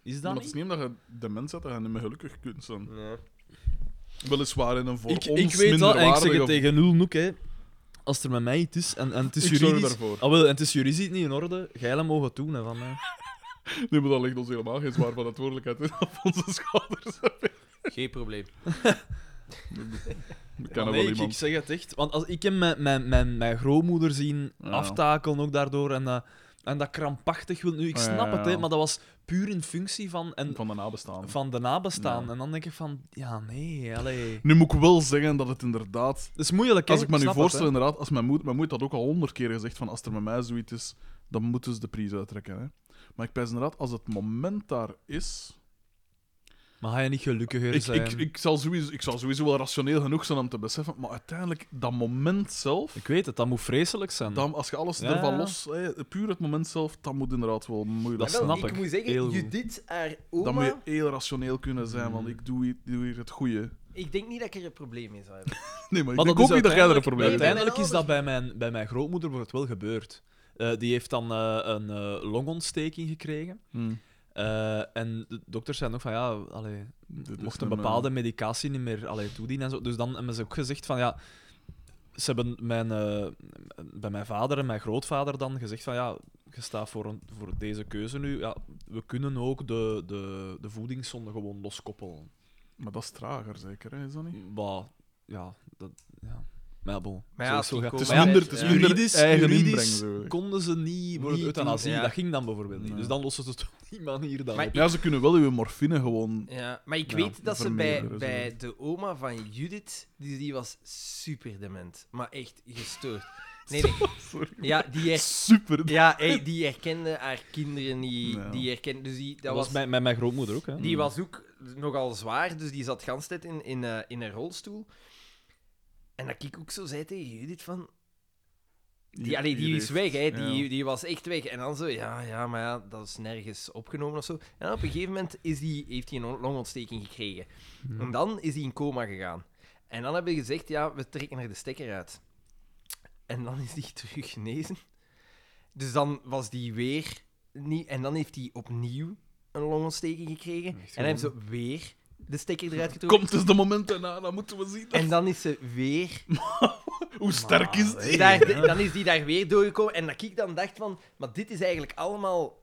Speaker 3: Is dat
Speaker 1: Maar het is
Speaker 3: niet?
Speaker 1: niet omdat je dement bent dat je niet meer gelukkig kunt zijn. Weliswaar in een voor
Speaker 3: Ik,
Speaker 1: ons
Speaker 3: ik weet dat, en ik zeg
Speaker 1: minderwaardige
Speaker 3: het tegen Nul Noek, hè. Als er met mij iets is, en, en het is
Speaker 1: Ik zorg
Speaker 3: juridisch...
Speaker 1: daarvoor.
Speaker 3: Ah, wel, en het is juridisch niet in orde, jij dat mogen doen, hè, van mij.
Speaker 1: Nee, maar dat ligt ons helemaal geen zwaar verantwoordelijkheid in <laughs> op onze schouders.
Speaker 2: Geen probleem.
Speaker 1: Ik ken
Speaker 3: Ja,
Speaker 1: er
Speaker 3: nee,
Speaker 1: wel
Speaker 3: ik, ik
Speaker 1: iemand.
Speaker 3: zeg het echt. Want als, ik heb mijn, mijn, mijn, mijn grootmoeder zien
Speaker 1: Ja.
Speaker 3: aftakelen ook daardoor. En dat En dat krampachtig wil nu, ik
Speaker 1: Ja,
Speaker 3: snap
Speaker 1: ja,
Speaker 3: het, hè,
Speaker 1: ja.
Speaker 3: maar dat was puur in functie van, en,
Speaker 1: van de nabestaanden.
Speaker 3: van de nabestaan. En dan denk ik van, ja, nee, allee.
Speaker 1: Nu moet ik wel zeggen dat het inderdaad...
Speaker 3: Dat is moeilijk, hè.
Speaker 1: Als ik me nu
Speaker 3: snap
Speaker 1: voorstel,
Speaker 3: het, hè.
Speaker 1: inderdaad, als mijn moeder... Mijn moeder had ook al honderd keer gezegd van, als er met mij zoiets is, dan moeten ze de prijs uittrekken, hè. Maar ik pijs inderdaad, als het moment daar is...
Speaker 3: Maar ga je niet gelukkiger
Speaker 1: Ik,
Speaker 3: zijn?
Speaker 1: ik, ik, zal sowieso, ik zal sowieso wel rationeel genoeg zijn om te beseffen, maar uiteindelijk, dat moment zelf...
Speaker 3: Ik weet het, dat moet vreselijk zijn.
Speaker 1: Dan, als je alles
Speaker 3: Ja,
Speaker 1: ervan
Speaker 3: ja.
Speaker 1: los... hè, puur het moment zelf, dat moet inderdaad wel moeilijk
Speaker 3: Dat
Speaker 1: zijn.
Speaker 3: snap
Speaker 2: ik.
Speaker 3: ik.
Speaker 2: moet zeggen,
Speaker 3: Heel goed.
Speaker 2: Judith, haar
Speaker 1: Dan moet
Speaker 2: oma...
Speaker 1: je heel rationeel kunnen zijn, want
Speaker 3: Hmm.
Speaker 1: ik doe hier, doe hier het <laughs> goede.
Speaker 2: Ik denk niet dat ik er een probleem mee zou hebben.
Speaker 1: Nee, maar,
Speaker 3: Maar
Speaker 1: ik
Speaker 3: dat
Speaker 1: denk
Speaker 3: is
Speaker 1: ook niet dat jij er een
Speaker 3: uiteindelijk-
Speaker 1: probleem mee hebt.
Speaker 3: Uiteindelijk is dat bij mijn, bij mijn grootmoeder wordt wel gebeurd. Eh, die heeft dan eh, een eh, longontsteking gekregen.
Speaker 1: Hmm.
Speaker 3: Eh, en de dokters zeiden ook van ja, allee,
Speaker 1: Dit is
Speaker 3: mocht een
Speaker 1: een, eh,
Speaker 3: bepaalde medicatie niet meer allee, toedienen en zo. Dus dan hebben ze ook gezegd van ja, ze hebben mijn, eh, bij mijn vader en mijn grootvader dan gezegd van ja, je staat voor, een- voor deze keuze nu. Ja, we kunnen ook de, de, de voedingszonde gewoon loskoppelen.
Speaker 1: Maar dat is trager, zeker, hè? is dat niet?
Speaker 3: Bah, ja, dat, ja. Maar ja, bon.
Speaker 2: Maar ja,
Speaker 3: zo
Speaker 2: als
Speaker 3: zo
Speaker 2: die
Speaker 3: gaat
Speaker 2: komen-
Speaker 1: Het is
Speaker 2: Maar ja,
Speaker 1: minder, het is
Speaker 2: ja.
Speaker 1: minder
Speaker 3: juridisch,
Speaker 1: eigen
Speaker 3: juridisch
Speaker 1: inbreng, zo.
Speaker 3: konden ze niet
Speaker 1: Voor het
Speaker 3: worden euthanasie.
Speaker 2: ja.
Speaker 3: Dat ging dan bijvoorbeeld niet.
Speaker 1: Nee.
Speaker 3: Dus dan lossen ze het op die manier dan
Speaker 2: Maar
Speaker 3: op.
Speaker 1: Ja, ze kunnen wel uw morfine gewoon... <laughs>
Speaker 2: Ja, maar ik
Speaker 1: Ja,
Speaker 2: weet dat ze bij,
Speaker 1: vermeerderen,
Speaker 2: bij de oma van Judith, die, die was super dement. Maar echt gestoord. Nee, nee.
Speaker 1: Sorry.
Speaker 2: Ja, die, her-
Speaker 1: Super.
Speaker 2: ja, hey, die herkende haar kinderen niet.
Speaker 1: Ja.
Speaker 2: Die herkende... Dus die, dat,
Speaker 3: Dat
Speaker 2: was,
Speaker 3: was met, met mijn grootmoeder ook. Hè.
Speaker 2: die was ook nogal zwaar, dus die zat de hele tijd in, in, eh, in een rolstoel. En dat ik ook zo zei tegen Judith van... Die, allee, die is weg, hè. Die,
Speaker 1: Ja.
Speaker 2: die was echt weg. En dan zo, ja, ja, maar ja, dat is nergens opgenomen of zo. En dan op een gegeven moment is die, heeft hij een longontsteking gekregen. En dan is hij in coma gegaan. En dan hebben we gezegd, ja, we trekken er de stekker uit. En dan is die <laughs> terug genezen. Dus dan was die weer niet... En dan heeft hij opnieuw een longontsteking gekregen. en dan heeft ze weer de stekker eruit getrokken.
Speaker 1: Komt dus de moment daarna, dan moeten we zien dat-
Speaker 2: En dan is ze weer
Speaker 1: hoe sterk is die.
Speaker 2: daar, dan is die daar weer doorgekomen. En dat ik dan dacht van, maar dit is eigenlijk allemaal...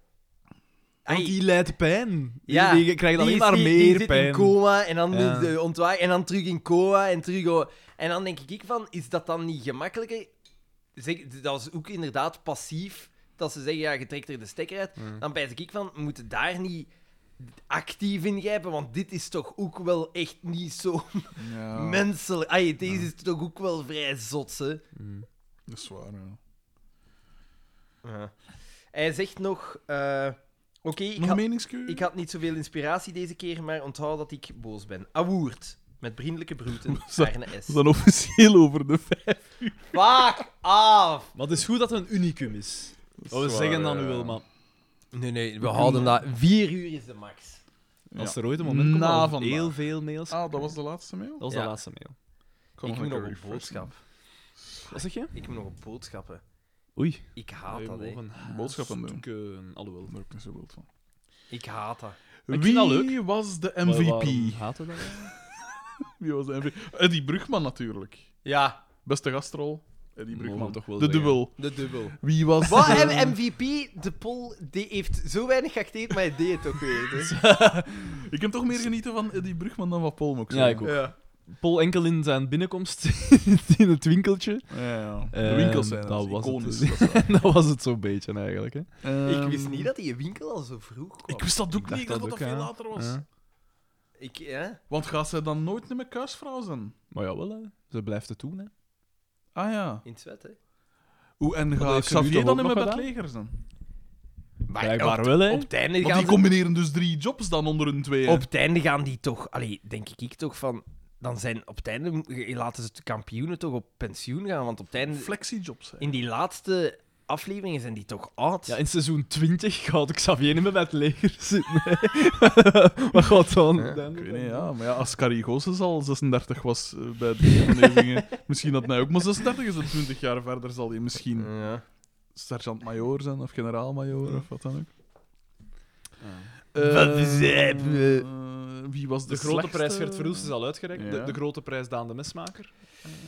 Speaker 3: Want
Speaker 2: Ai,
Speaker 3: die leidt pijn. Die-
Speaker 2: ja,
Speaker 3: die, krijgt
Speaker 2: die
Speaker 3: alleen
Speaker 2: is-
Speaker 3: maar
Speaker 2: die-
Speaker 3: meer
Speaker 2: die zit
Speaker 3: pijn.
Speaker 2: in coma en dan
Speaker 3: Ja.
Speaker 2: de ontwaak en dan terug in coma en terug... oh. En dan denk ik van, is dat dan niet gemakkelijker? Zeg, dat is ook inderdaad passief, dat ze zeggen, ja, je trekt er de stekker uit. Dan pijs ik van, we moeten daar niet actief ingrijpen, want dit is toch ook wel echt niet zo
Speaker 1: Ja,
Speaker 2: menselijk. Ai, deze is toch ook wel vrij zotse.
Speaker 1: dat is waar, ja.
Speaker 2: Ja. Hij zegt nog... eh, Oké, ik,
Speaker 1: Nog
Speaker 2: had,
Speaker 1: meningskeur?
Speaker 2: ik had niet zoveel inspiratie deze keer, maar onthoud dat ik boos ben. Awoerd. Met vriendelijke groeten,
Speaker 1: dat-
Speaker 2: Arne S.
Speaker 1: Dat is dan officieel over de vijf.
Speaker 2: Fuck af!
Speaker 3: Maar het is goed dat het een unicum is.
Speaker 1: Dat is
Speaker 3: Oh, we
Speaker 1: waar,
Speaker 3: zeggen dan
Speaker 1: ja.
Speaker 3: nu wel, maar
Speaker 2: Nee, nee, we houden dat. Vier uur is de max.
Speaker 3: als
Speaker 1: Ja.
Speaker 3: er ooit een moment komt
Speaker 1: Na
Speaker 3: dat we
Speaker 1: vandaag.
Speaker 3: heel veel mails...
Speaker 1: Ah, dat was de laatste mail?
Speaker 3: Dat was
Speaker 2: Ja.
Speaker 3: de laatste mail.
Speaker 1: kan
Speaker 2: ik moet nog
Speaker 1: een
Speaker 2: op
Speaker 1: refresh
Speaker 2: boodschap.
Speaker 3: Wat zeg je?
Speaker 2: Ik moet nog op boodschappen.
Speaker 3: Oei.
Speaker 2: Ik haat dat, hè.
Speaker 1: Boodschappen doen.
Speaker 3: doen. Alhoewel.
Speaker 1: doen. Daar heb ik niet zo wild van.
Speaker 2: Ik haat dat.
Speaker 3: vind
Speaker 1: Wie
Speaker 3: dat leuk.
Speaker 1: was de
Speaker 3: Waar- waarom
Speaker 1: MVP?
Speaker 3: haten we dat?
Speaker 1: Wie was de MVP? Eddie Brugman natuurlijk.
Speaker 2: Ja,
Speaker 1: Beste gastrol. Eddie
Speaker 3: Mogen we
Speaker 1: Brugman.
Speaker 3: toch wel
Speaker 1: de
Speaker 3: zeggen.
Speaker 1: dubbel.
Speaker 2: de dubbel.
Speaker 1: Wie was
Speaker 2: Wat,
Speaker 1: de...
Speaker 2: M- MVP, de pol, die heeft zo weinig geacteerd, maar hij deed het ook weer. dus. hè.
Speaker 1: Ik heb toch meer genieten van Eddie Brugman dan van Paul Mox.
Speaker 3: Ja, ik ook.
Speaker 2: Ja.
Speaker 3: Paul enkel in zijn binnenkomst <laughs> in het winkeltje.
Speaker 1: Ja, ja. De
Speaker 3: Ehm,
Speaker 1: winkels zijn dat
Speaker 3: dat
Speaker 1: is
Speaker 3: was het
Speaker 1: iconisch.
Speaker 3: dus. <laughs>
Speaker 1: dat is waar.
Speaker 3: En dat was het zo'n beetje eigenlijk. Hè.
Speaker 2: Ik wist
Speaker 1: Ehm,
Speaker 2: niet dat die winkel al zo vroeg kwam.
Speaker 1: Ik wist dat ook
Speaker 3: Ik
Speaker 1: niet,
Speaker 3: dacht
Speaker 1: ik dacht dat
Speaker 3: dat
Speaker 1: dat
Speaker 3: ook,
Speaker 1: veel
Speaker 3: ja.
Speaker 1: later was.
Speaker 3: Ja.
Speaker 2: Ik, ja.
Speaker 1: Want gaat zij dan nooit meer kuisvrouw zijn?
Speaker 3: Maar jawel, hè. ze blijft het doen. Hè.
Speaker 1: Ah ja.
Speaker 2: In het zwet, hè?
Speaker 1: Hoe, en
Speaker 3: dat
Speaker 1: gaat
Speaker 3: heeft ze nu
Speaker 1: Xavier
Speaker 3: toch
Speaker 1: dan
Speaker 3: ook
Speaker 1: in mijn
Speaker 3: nog
Speaker 1: bed leger zijn?
Speaker 2: Maar
Speaker 3: Blijkbaar
Speaker 2: Ah, op,
Speaker 3: wel, hè.
Speaker 2: Op het, einde
Speaker 1: Want
Speaker 2: gaan
Speaker 1: die
Speaker 2: die
Speaker 1: combineren dus drie jobs dan onder hun tweeën.
Speaker 2: op het einde gaan die toch... Allee, denk ik toch van... Dan zijn op het einde... Laten ze de kampioenen toch op pensioen gaan, want op het einde...
Speaker 1: Flexijobs. hè.
Speaker 2: In die laatste afleveringen zijn die toch oud.
Speaker 3: Ja, in seizoen 20 gaat Xavier niet meer bij het leger zitten.
Speaker 1: <laughs>
Speaker 3: hè. Wat gaat dan? dan?
Speaker 1: Ik weet niet, ja. Maar ja, als Carrie Goossens al 36 was eh, bij de afleveringen, misschien had hij ook maar 36 is. En 20 jaar verder zal hij misschien
Speaker 2: Ja.
Speaker 1: sergeant-majoor zijn of generaal-majoor of wat dan ook.
Speaker 2: Wat
Speaker 1: Eh,
Speaker 2: is hij?
Speaker 1: eh, wie was de,
Speaker 3: De grote
Speaker 1: slechtste?
Speaker 3: prijs Gert Verhoest is al uitgereikt. De,
Speaker 1: Ja.
Speaker 3: de grote prijs Daan de Mesmaker.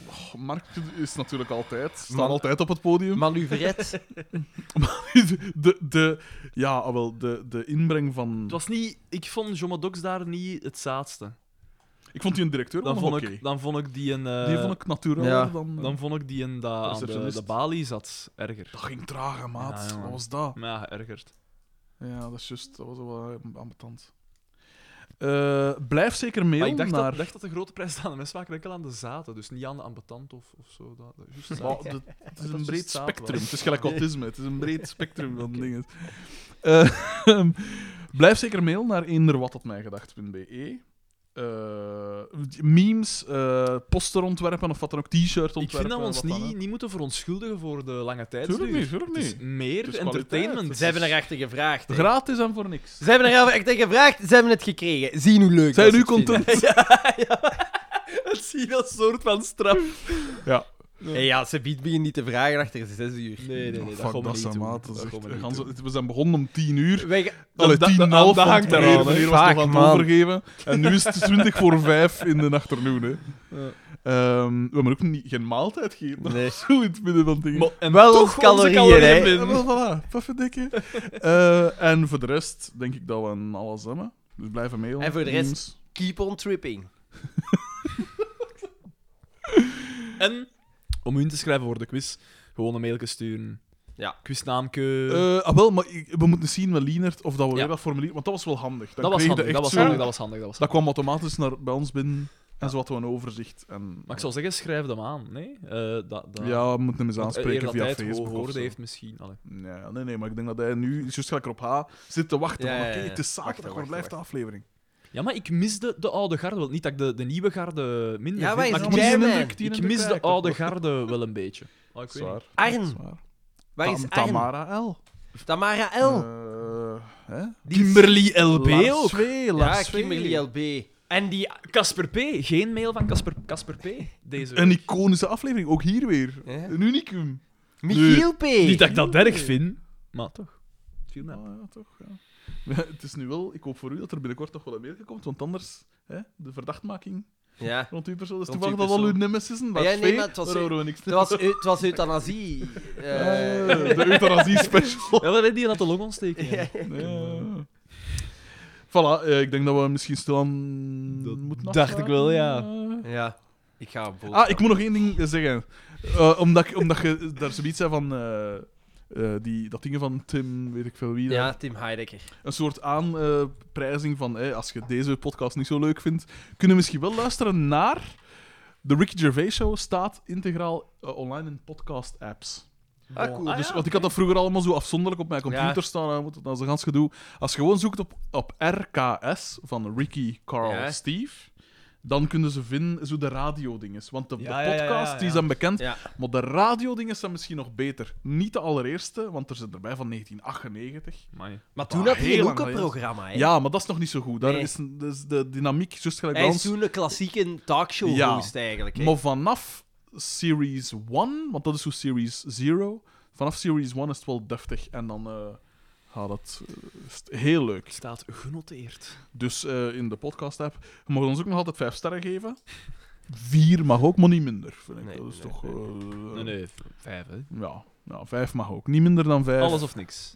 Speaker 1: Oh, Mark is natuurlijk altijd, staan
Speaker 2: Man-
Speaker 1: altijd op het podium.
Speaker 2: <laughs> Manoeuvret.
Speaker 1: <laughs> de, de, ja, ah, wel, de, de inbreng van.
Speaker 3: Het was niet... Ik vond Jomma Dox daar niet het zaadste.
Speaker 1: Ik vond die een directeur
Speaker 3: Dan
Speaker 1: wel nog
Speaker 3: vond,
Speaker 1: oké.
Speaker 3: ik, dan vond ik die een... eh,
Speaker 1: Die vond ik natuurlijk
Speaker 4: ja.
Speaker 1: dan...
Speaker 3: Dan vond ik die een dat aan de,
Speaker 1: Receptionist.
Speaker 3: de balie zat erger.
Speaker 1: Dat ging traag, hè, maat.
Speaker 3: Ja, jongen.
Speaker 1: Wat was dat?
Speaker 3: Maar ja, geërgerd.
Speaker 1: Ja, dat is juist. Dat was wel eh, ambetant. Eh, blijf zeker mailen
Speaker 3: Maar ik dacht,
Speaker 1: naar...
Speaker 3: dat, dacht dat de grote prijs aan de mensen vaak enkel aan de zaten, dus niet aan de ambetant of, of zo. Dat, dat, juist zaten.
Speaker 1: Wow, Oh, dat- het is
Speaker 3: Dat
Speaker 1: een
Speaker 3: is
Speaker 1: breed
Speaker 3: dus zaad,
Speaker 1: spectrum.
Speaker 3: wel.
Speaker 1: Het is gelijk autisme. Het is een <laughs> breed spectrum van dingen. Eh, <laughs> blijf zeker mail naar inderwatatmijgedacht.be. Eh memes, eh posterontwerpen of wat dan ook, t-shirt ontwerpen.
Speaker 3: ik vind dat we ons
Speaker 1: wat dan
Speaker 3: niet,
Speaker 1: ook.
Speaker 3: niet moeten verontschuldigen voor de lange tijd.
Speaker 1: Tuurlijk niet, tuurlijk
Speaker 3: Het is
Speaker 1: niet.
Speaker 3: meer
Speaker 1: Het is kwaliteit.
Speaker 3: entertainment.
Speaker 2: Ze hebben er echt gevraagd. hè.
Speaker 1: Gratis en voor niks.
Speaker 2: Ze hebben er echt gevraagd, ze hebben het gekregen. Zien hoe leuk
Speaker 1: Zijn
Speaker 2: dat
Speaker 1: nu
Speaker 2: ze het vinden.
Speaker 1: content?
Speaker 3: Het zie dat soort van straf.
Speaker 2: Hey, ja, ze biedt begin niet te vragen achter zes uur.
Speaker 3: Nee, nee, nee. dat
Speaker 1: Oh, Fuck,
Speaker 3: gaan we
Speaker 1: dat
Speaker 3: niet
Speaker 1: zijn
Speaker 3: doen.
Speaker 1: maat. Dat is
Speaker 3: Dat
Speaker 1: echt-
Speaker 3: gaan we niet
Speaker 1: gans-
Speaker 3: doen.
Speaker 1: We zijn begonnen om 10 uur.
Speaker 2: Wij gaan-
Speaker 1: Allee,
Speaker 3: dat-
Speaker 1: 10
Speaker 3: dat-
Speaker 1: half,
Speaker 3: dat
Speaker 1: want
Speaker 3: hangt
Speaker 1: meneer-
Speaker 3: eraan, hè.
Speaker 1: meneer was
Speaker 2: Vaak,
Speaker 1: nog aan het
Speaker 2: man.
Speaker 1: overgeven. En nu
Speaker 3: <laughs>
Speaker 1: is het 20 voor 5 in de afternoon. Hè. Ehm, we hebben ook niet, geen maaltijd gegeven.
Speaker 2: Nee.
Speaker 1: <laughs> Zo in het midden van dingen.
Speaker 3: Maar- en
Speaker 2: Wel
Speaker 3: toch
Speaker 2: ons
Speaker 3: onze
Speaker 2: calorieën, hè.
Speaker 3: binnen.
Speaker 1: Ja, wel, voilà,
Speaker 3: <laughs>
Speaker 1: pufferdikke. Eh, en voor de rest denk ik dat we aan alles hebben. Dus blijven mailen.
Speaker 2: En voor de rest-
Speaker 1: Memes.
Speaker 2: Keep on tripping.
Speaker 3: En om u in te schrijven voor de quiz, gewoon een mailtje sturen.
Speaker 2: Ja.
Speaker 3: Quiznaamke.
Speaker 1: Eh, ah, wel, maar ik- we moeten zien, wel, Lienert, of dat we
Speaker 3: Ja.
Speaker 1: weer dat formulier... Want dat was wel handig. Dan
Speaker 3: dat, was
Speaker 1: kreeg je
Speaker 3: handig,
Speaker 1: echt
Speaker 3: dat was
Speaker 1: zo-
Speaker 3: handig, dat was handig, dat was
Speaker 1: dat
Speaker 3: handig.
Speaker 1: kwam automatisch naar, bij ons binnen. En zo hadden we een overzicht. En,
Speaker 3: Maar ik zou zeggen, schrijf hem aan. Nee? Eh, dat, dat,
Speaker 1: Ja, we moeten hem eens
Speaker 3: Want eer
Speaker 1: aanspreken
Speaker 3: dat
Speaker 1: via
Speaker 3: hij het
Speaker 1: Facebook. of
Speaker 3: gehoord
Speaker 1: zo.
Speaker 3: heeft misschien. Allee.
Speaker 1: Nee, nee, nee, maar ik denk dat hij nu, juist gelijk erop H, zit te wachten.
Speaker 2: Ja,
Speaker 1: van,
Speaker 2: ja,
Speaker 1: Oké,
Speaker 2: ja.
Speaker 1: het is
Speaker 2: Wachten,
Speaker 1: zaterdag, maar
Speaker 2: wachten,
Speaker 1: blijft de aflevering.
Speaker 3: Ja, maar ik mis de, de oude garde wel. Niet dat ik de, de nieuwe garde minder
Speaker 2: Ja,
Speaker 3: vind,
Speaker 2: wij
Speaker 3: maar
Speaker 2: zijn
Speaker 3: ik mis,
Speaker 2: jij, man.
Speaker 1: die
Speaker 3: ik
Speaker 1: indruk
Speaker 3: mis
Speaker 1: krijg
Speaker 3: de
Speaker 1: ik toch
Speaker 3: oude
Speaker 1: wel.
Speaker 3: garde wel een beetje. Oh, ik weet niet.
Speaker 1: Zwaar.
Speaker 2: Arn,
Speaker 1: Zwaar.
Speaker 2: waar is Oh.
Speaker 1: Tam-
Speaker 2: Arn?
Speaker 1: Tamara L.
Speaker 2: Tamara L.
Speaker 1: Eh, hè?
Speaker 3: Kimberly LB
Speaker 1: Lars
Speaker 3: ook.
Speaker 1: Vee,
Speaker 2: ja,
Speaker 1: Lars Vee.
Speaker 2: Kimberly LB. En die...
Speaker 3: Casper P. Geen mail van Casper, Casper P. Deze
Speaker 1: Een
Speaker 3: week.
Speaker 1: iconische aflevering, ook hier weer.
Speaker 2: Ja.
Speaker 1: Een unicum.
Speaker 2: Michiel P.
Speaker 3: Niet dat ik dat erg vind, maar toch. Het viel mij.
Speaker 1: Ah, ja, toch, ja. Het is nu wel, ik hoop voor u dat er binnenkort nog wel een mailtje komt, want anders, hè, de verdachtmaking
Speaker 2: Ja.
Speaker 1: rond uw persoon. Dus
Speaker 2: Rond
Speaker 1: toevallig
Speaker 2: uw
Speaker 1: dat al uw
Speaker 2: persoon. Ah
Speaker 1: nemesisen, maar,
Speaker 2: Ja,
Speaker 1: ja,
Speaker 2: nee, maar het was-
Speaker 1: daar horen we niks
Speaker 2: Het was, eu- het was euthanasie. Eh,
Speaker 1: Eh, de euthanasie special.
Speaker 3: Ja, maar die had de longontsteking. hè.
Speaker 1: Ja. Voilà, eh, ik denk dat we misschien stilaan
Speaker 3: Dat
Speaker 1: moeten
Speaker 3: dacht ik wel, ja.
Speaker 1: afsluiten.
Speaker 2: ja. Ik ga op boot.
Speaker 1: Ah, ik moet nog één ding eh, zeggen. Eh, omdat, ik- omdat je daar zoiets zei van... eh, eh, die, dat ding van Tim, weet ik veel wie. daar.
Speaker 2: Ja, Tim Heidecker.
Speaker 1: Een soort aanprijzing van... eh, als je deze podcast niet zo leuk vindt, kunnen misschien wel luisteren naar... De Ricky Gervais Show staat integraal eh, online in podcast-apps.
Speaker 2: Ah, cool.
Speaker 1: Dus, want ik had dat vroeger allemaal zo afzonderlijk op mijn computer
Speaker 2: Ja.
Speaker 1: staan. en moet het dan zo'n gans gedoe. Als je gewoon zoekt op, op RKS van Ricky, Carl,
Speaker 2: Ja.
Speaker 1: Steve, dan kunnen ze vinden zo de radiodinges. Want de,
Speaker 3: Ja,
Speaker 1: de
Speaker 3: ja, ja,
Speaker 1: podcast
Speaker 3: ja,
Speaker 1: die
Speaker 3: ja.
Speaker 1: zijn bekend,
Speaker 2: Ja.
Speaker 1: maar de radiodinges zijn misschien nog beter. Niet de allereerste, want er zit erbij van 1998.
Speaker 3: Amai.
Speaker 2: Maar toen
Speaker 1: Ah,
Speaker 2: had hij
Speaker 1: heel
Speaker 2: een
Speaker 1: lang geleden.
Speaker 2: hoekenprogramma, hè.
Speaker 1: Ja, maar dat is nog niet zo goed. Daar
Speaker 2: Nee.
Speaker 1: is, een- dus de dynamiek, juist gelijk
Speaker 2: Hij
Speaker 1: bij
Speaker 2: is
Speaker 1: ons.
Speaker 2: toen een klassieke talkshow-host, eigenlijk. hè.
Speaker 1: Maar vanaf Series 1, want dat is hoe Series 0, vanaf Series 1 is het wel deftig en dan eh, gaat het eh, is het heel leuk.
Speaker 3: Staat genoteerd.
Speaker 1: Dus eh, in de podcast-app, je mag ons ook nog altijd 5 sterren geven. 4 mag ook, maar niet minder, vind ik.
Speaker 2: Nee,
Speaker 1: dat is
Speaker 2: nee,
Speaker 1: toch...
Speaker 2: nee.
Speaker 1: eh,
Speaker 3: Nee, nee, v- vijf, hè.
Speaker 1: Ja, ja, 5 mag ook, niet minder dan 5.
Speaker 3: Alles of niks.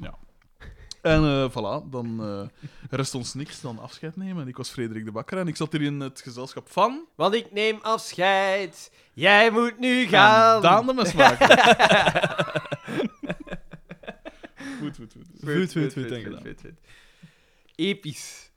Speaker 1: En eh, voilà, dan eh, rest ons niks dan afscheid nemen. En ik was Frederik de Bakker en ik zat hier in het gezelschap van...
Speaker 2: Want ik neem afscheid. Jij moet nu gaan.
Speaker 1: Daan de Mesmaker. goed, goed, goed.
Speaker 3: Goed, goed, goed, denk ik dan.
Speaker 2: goed, goed. Episch.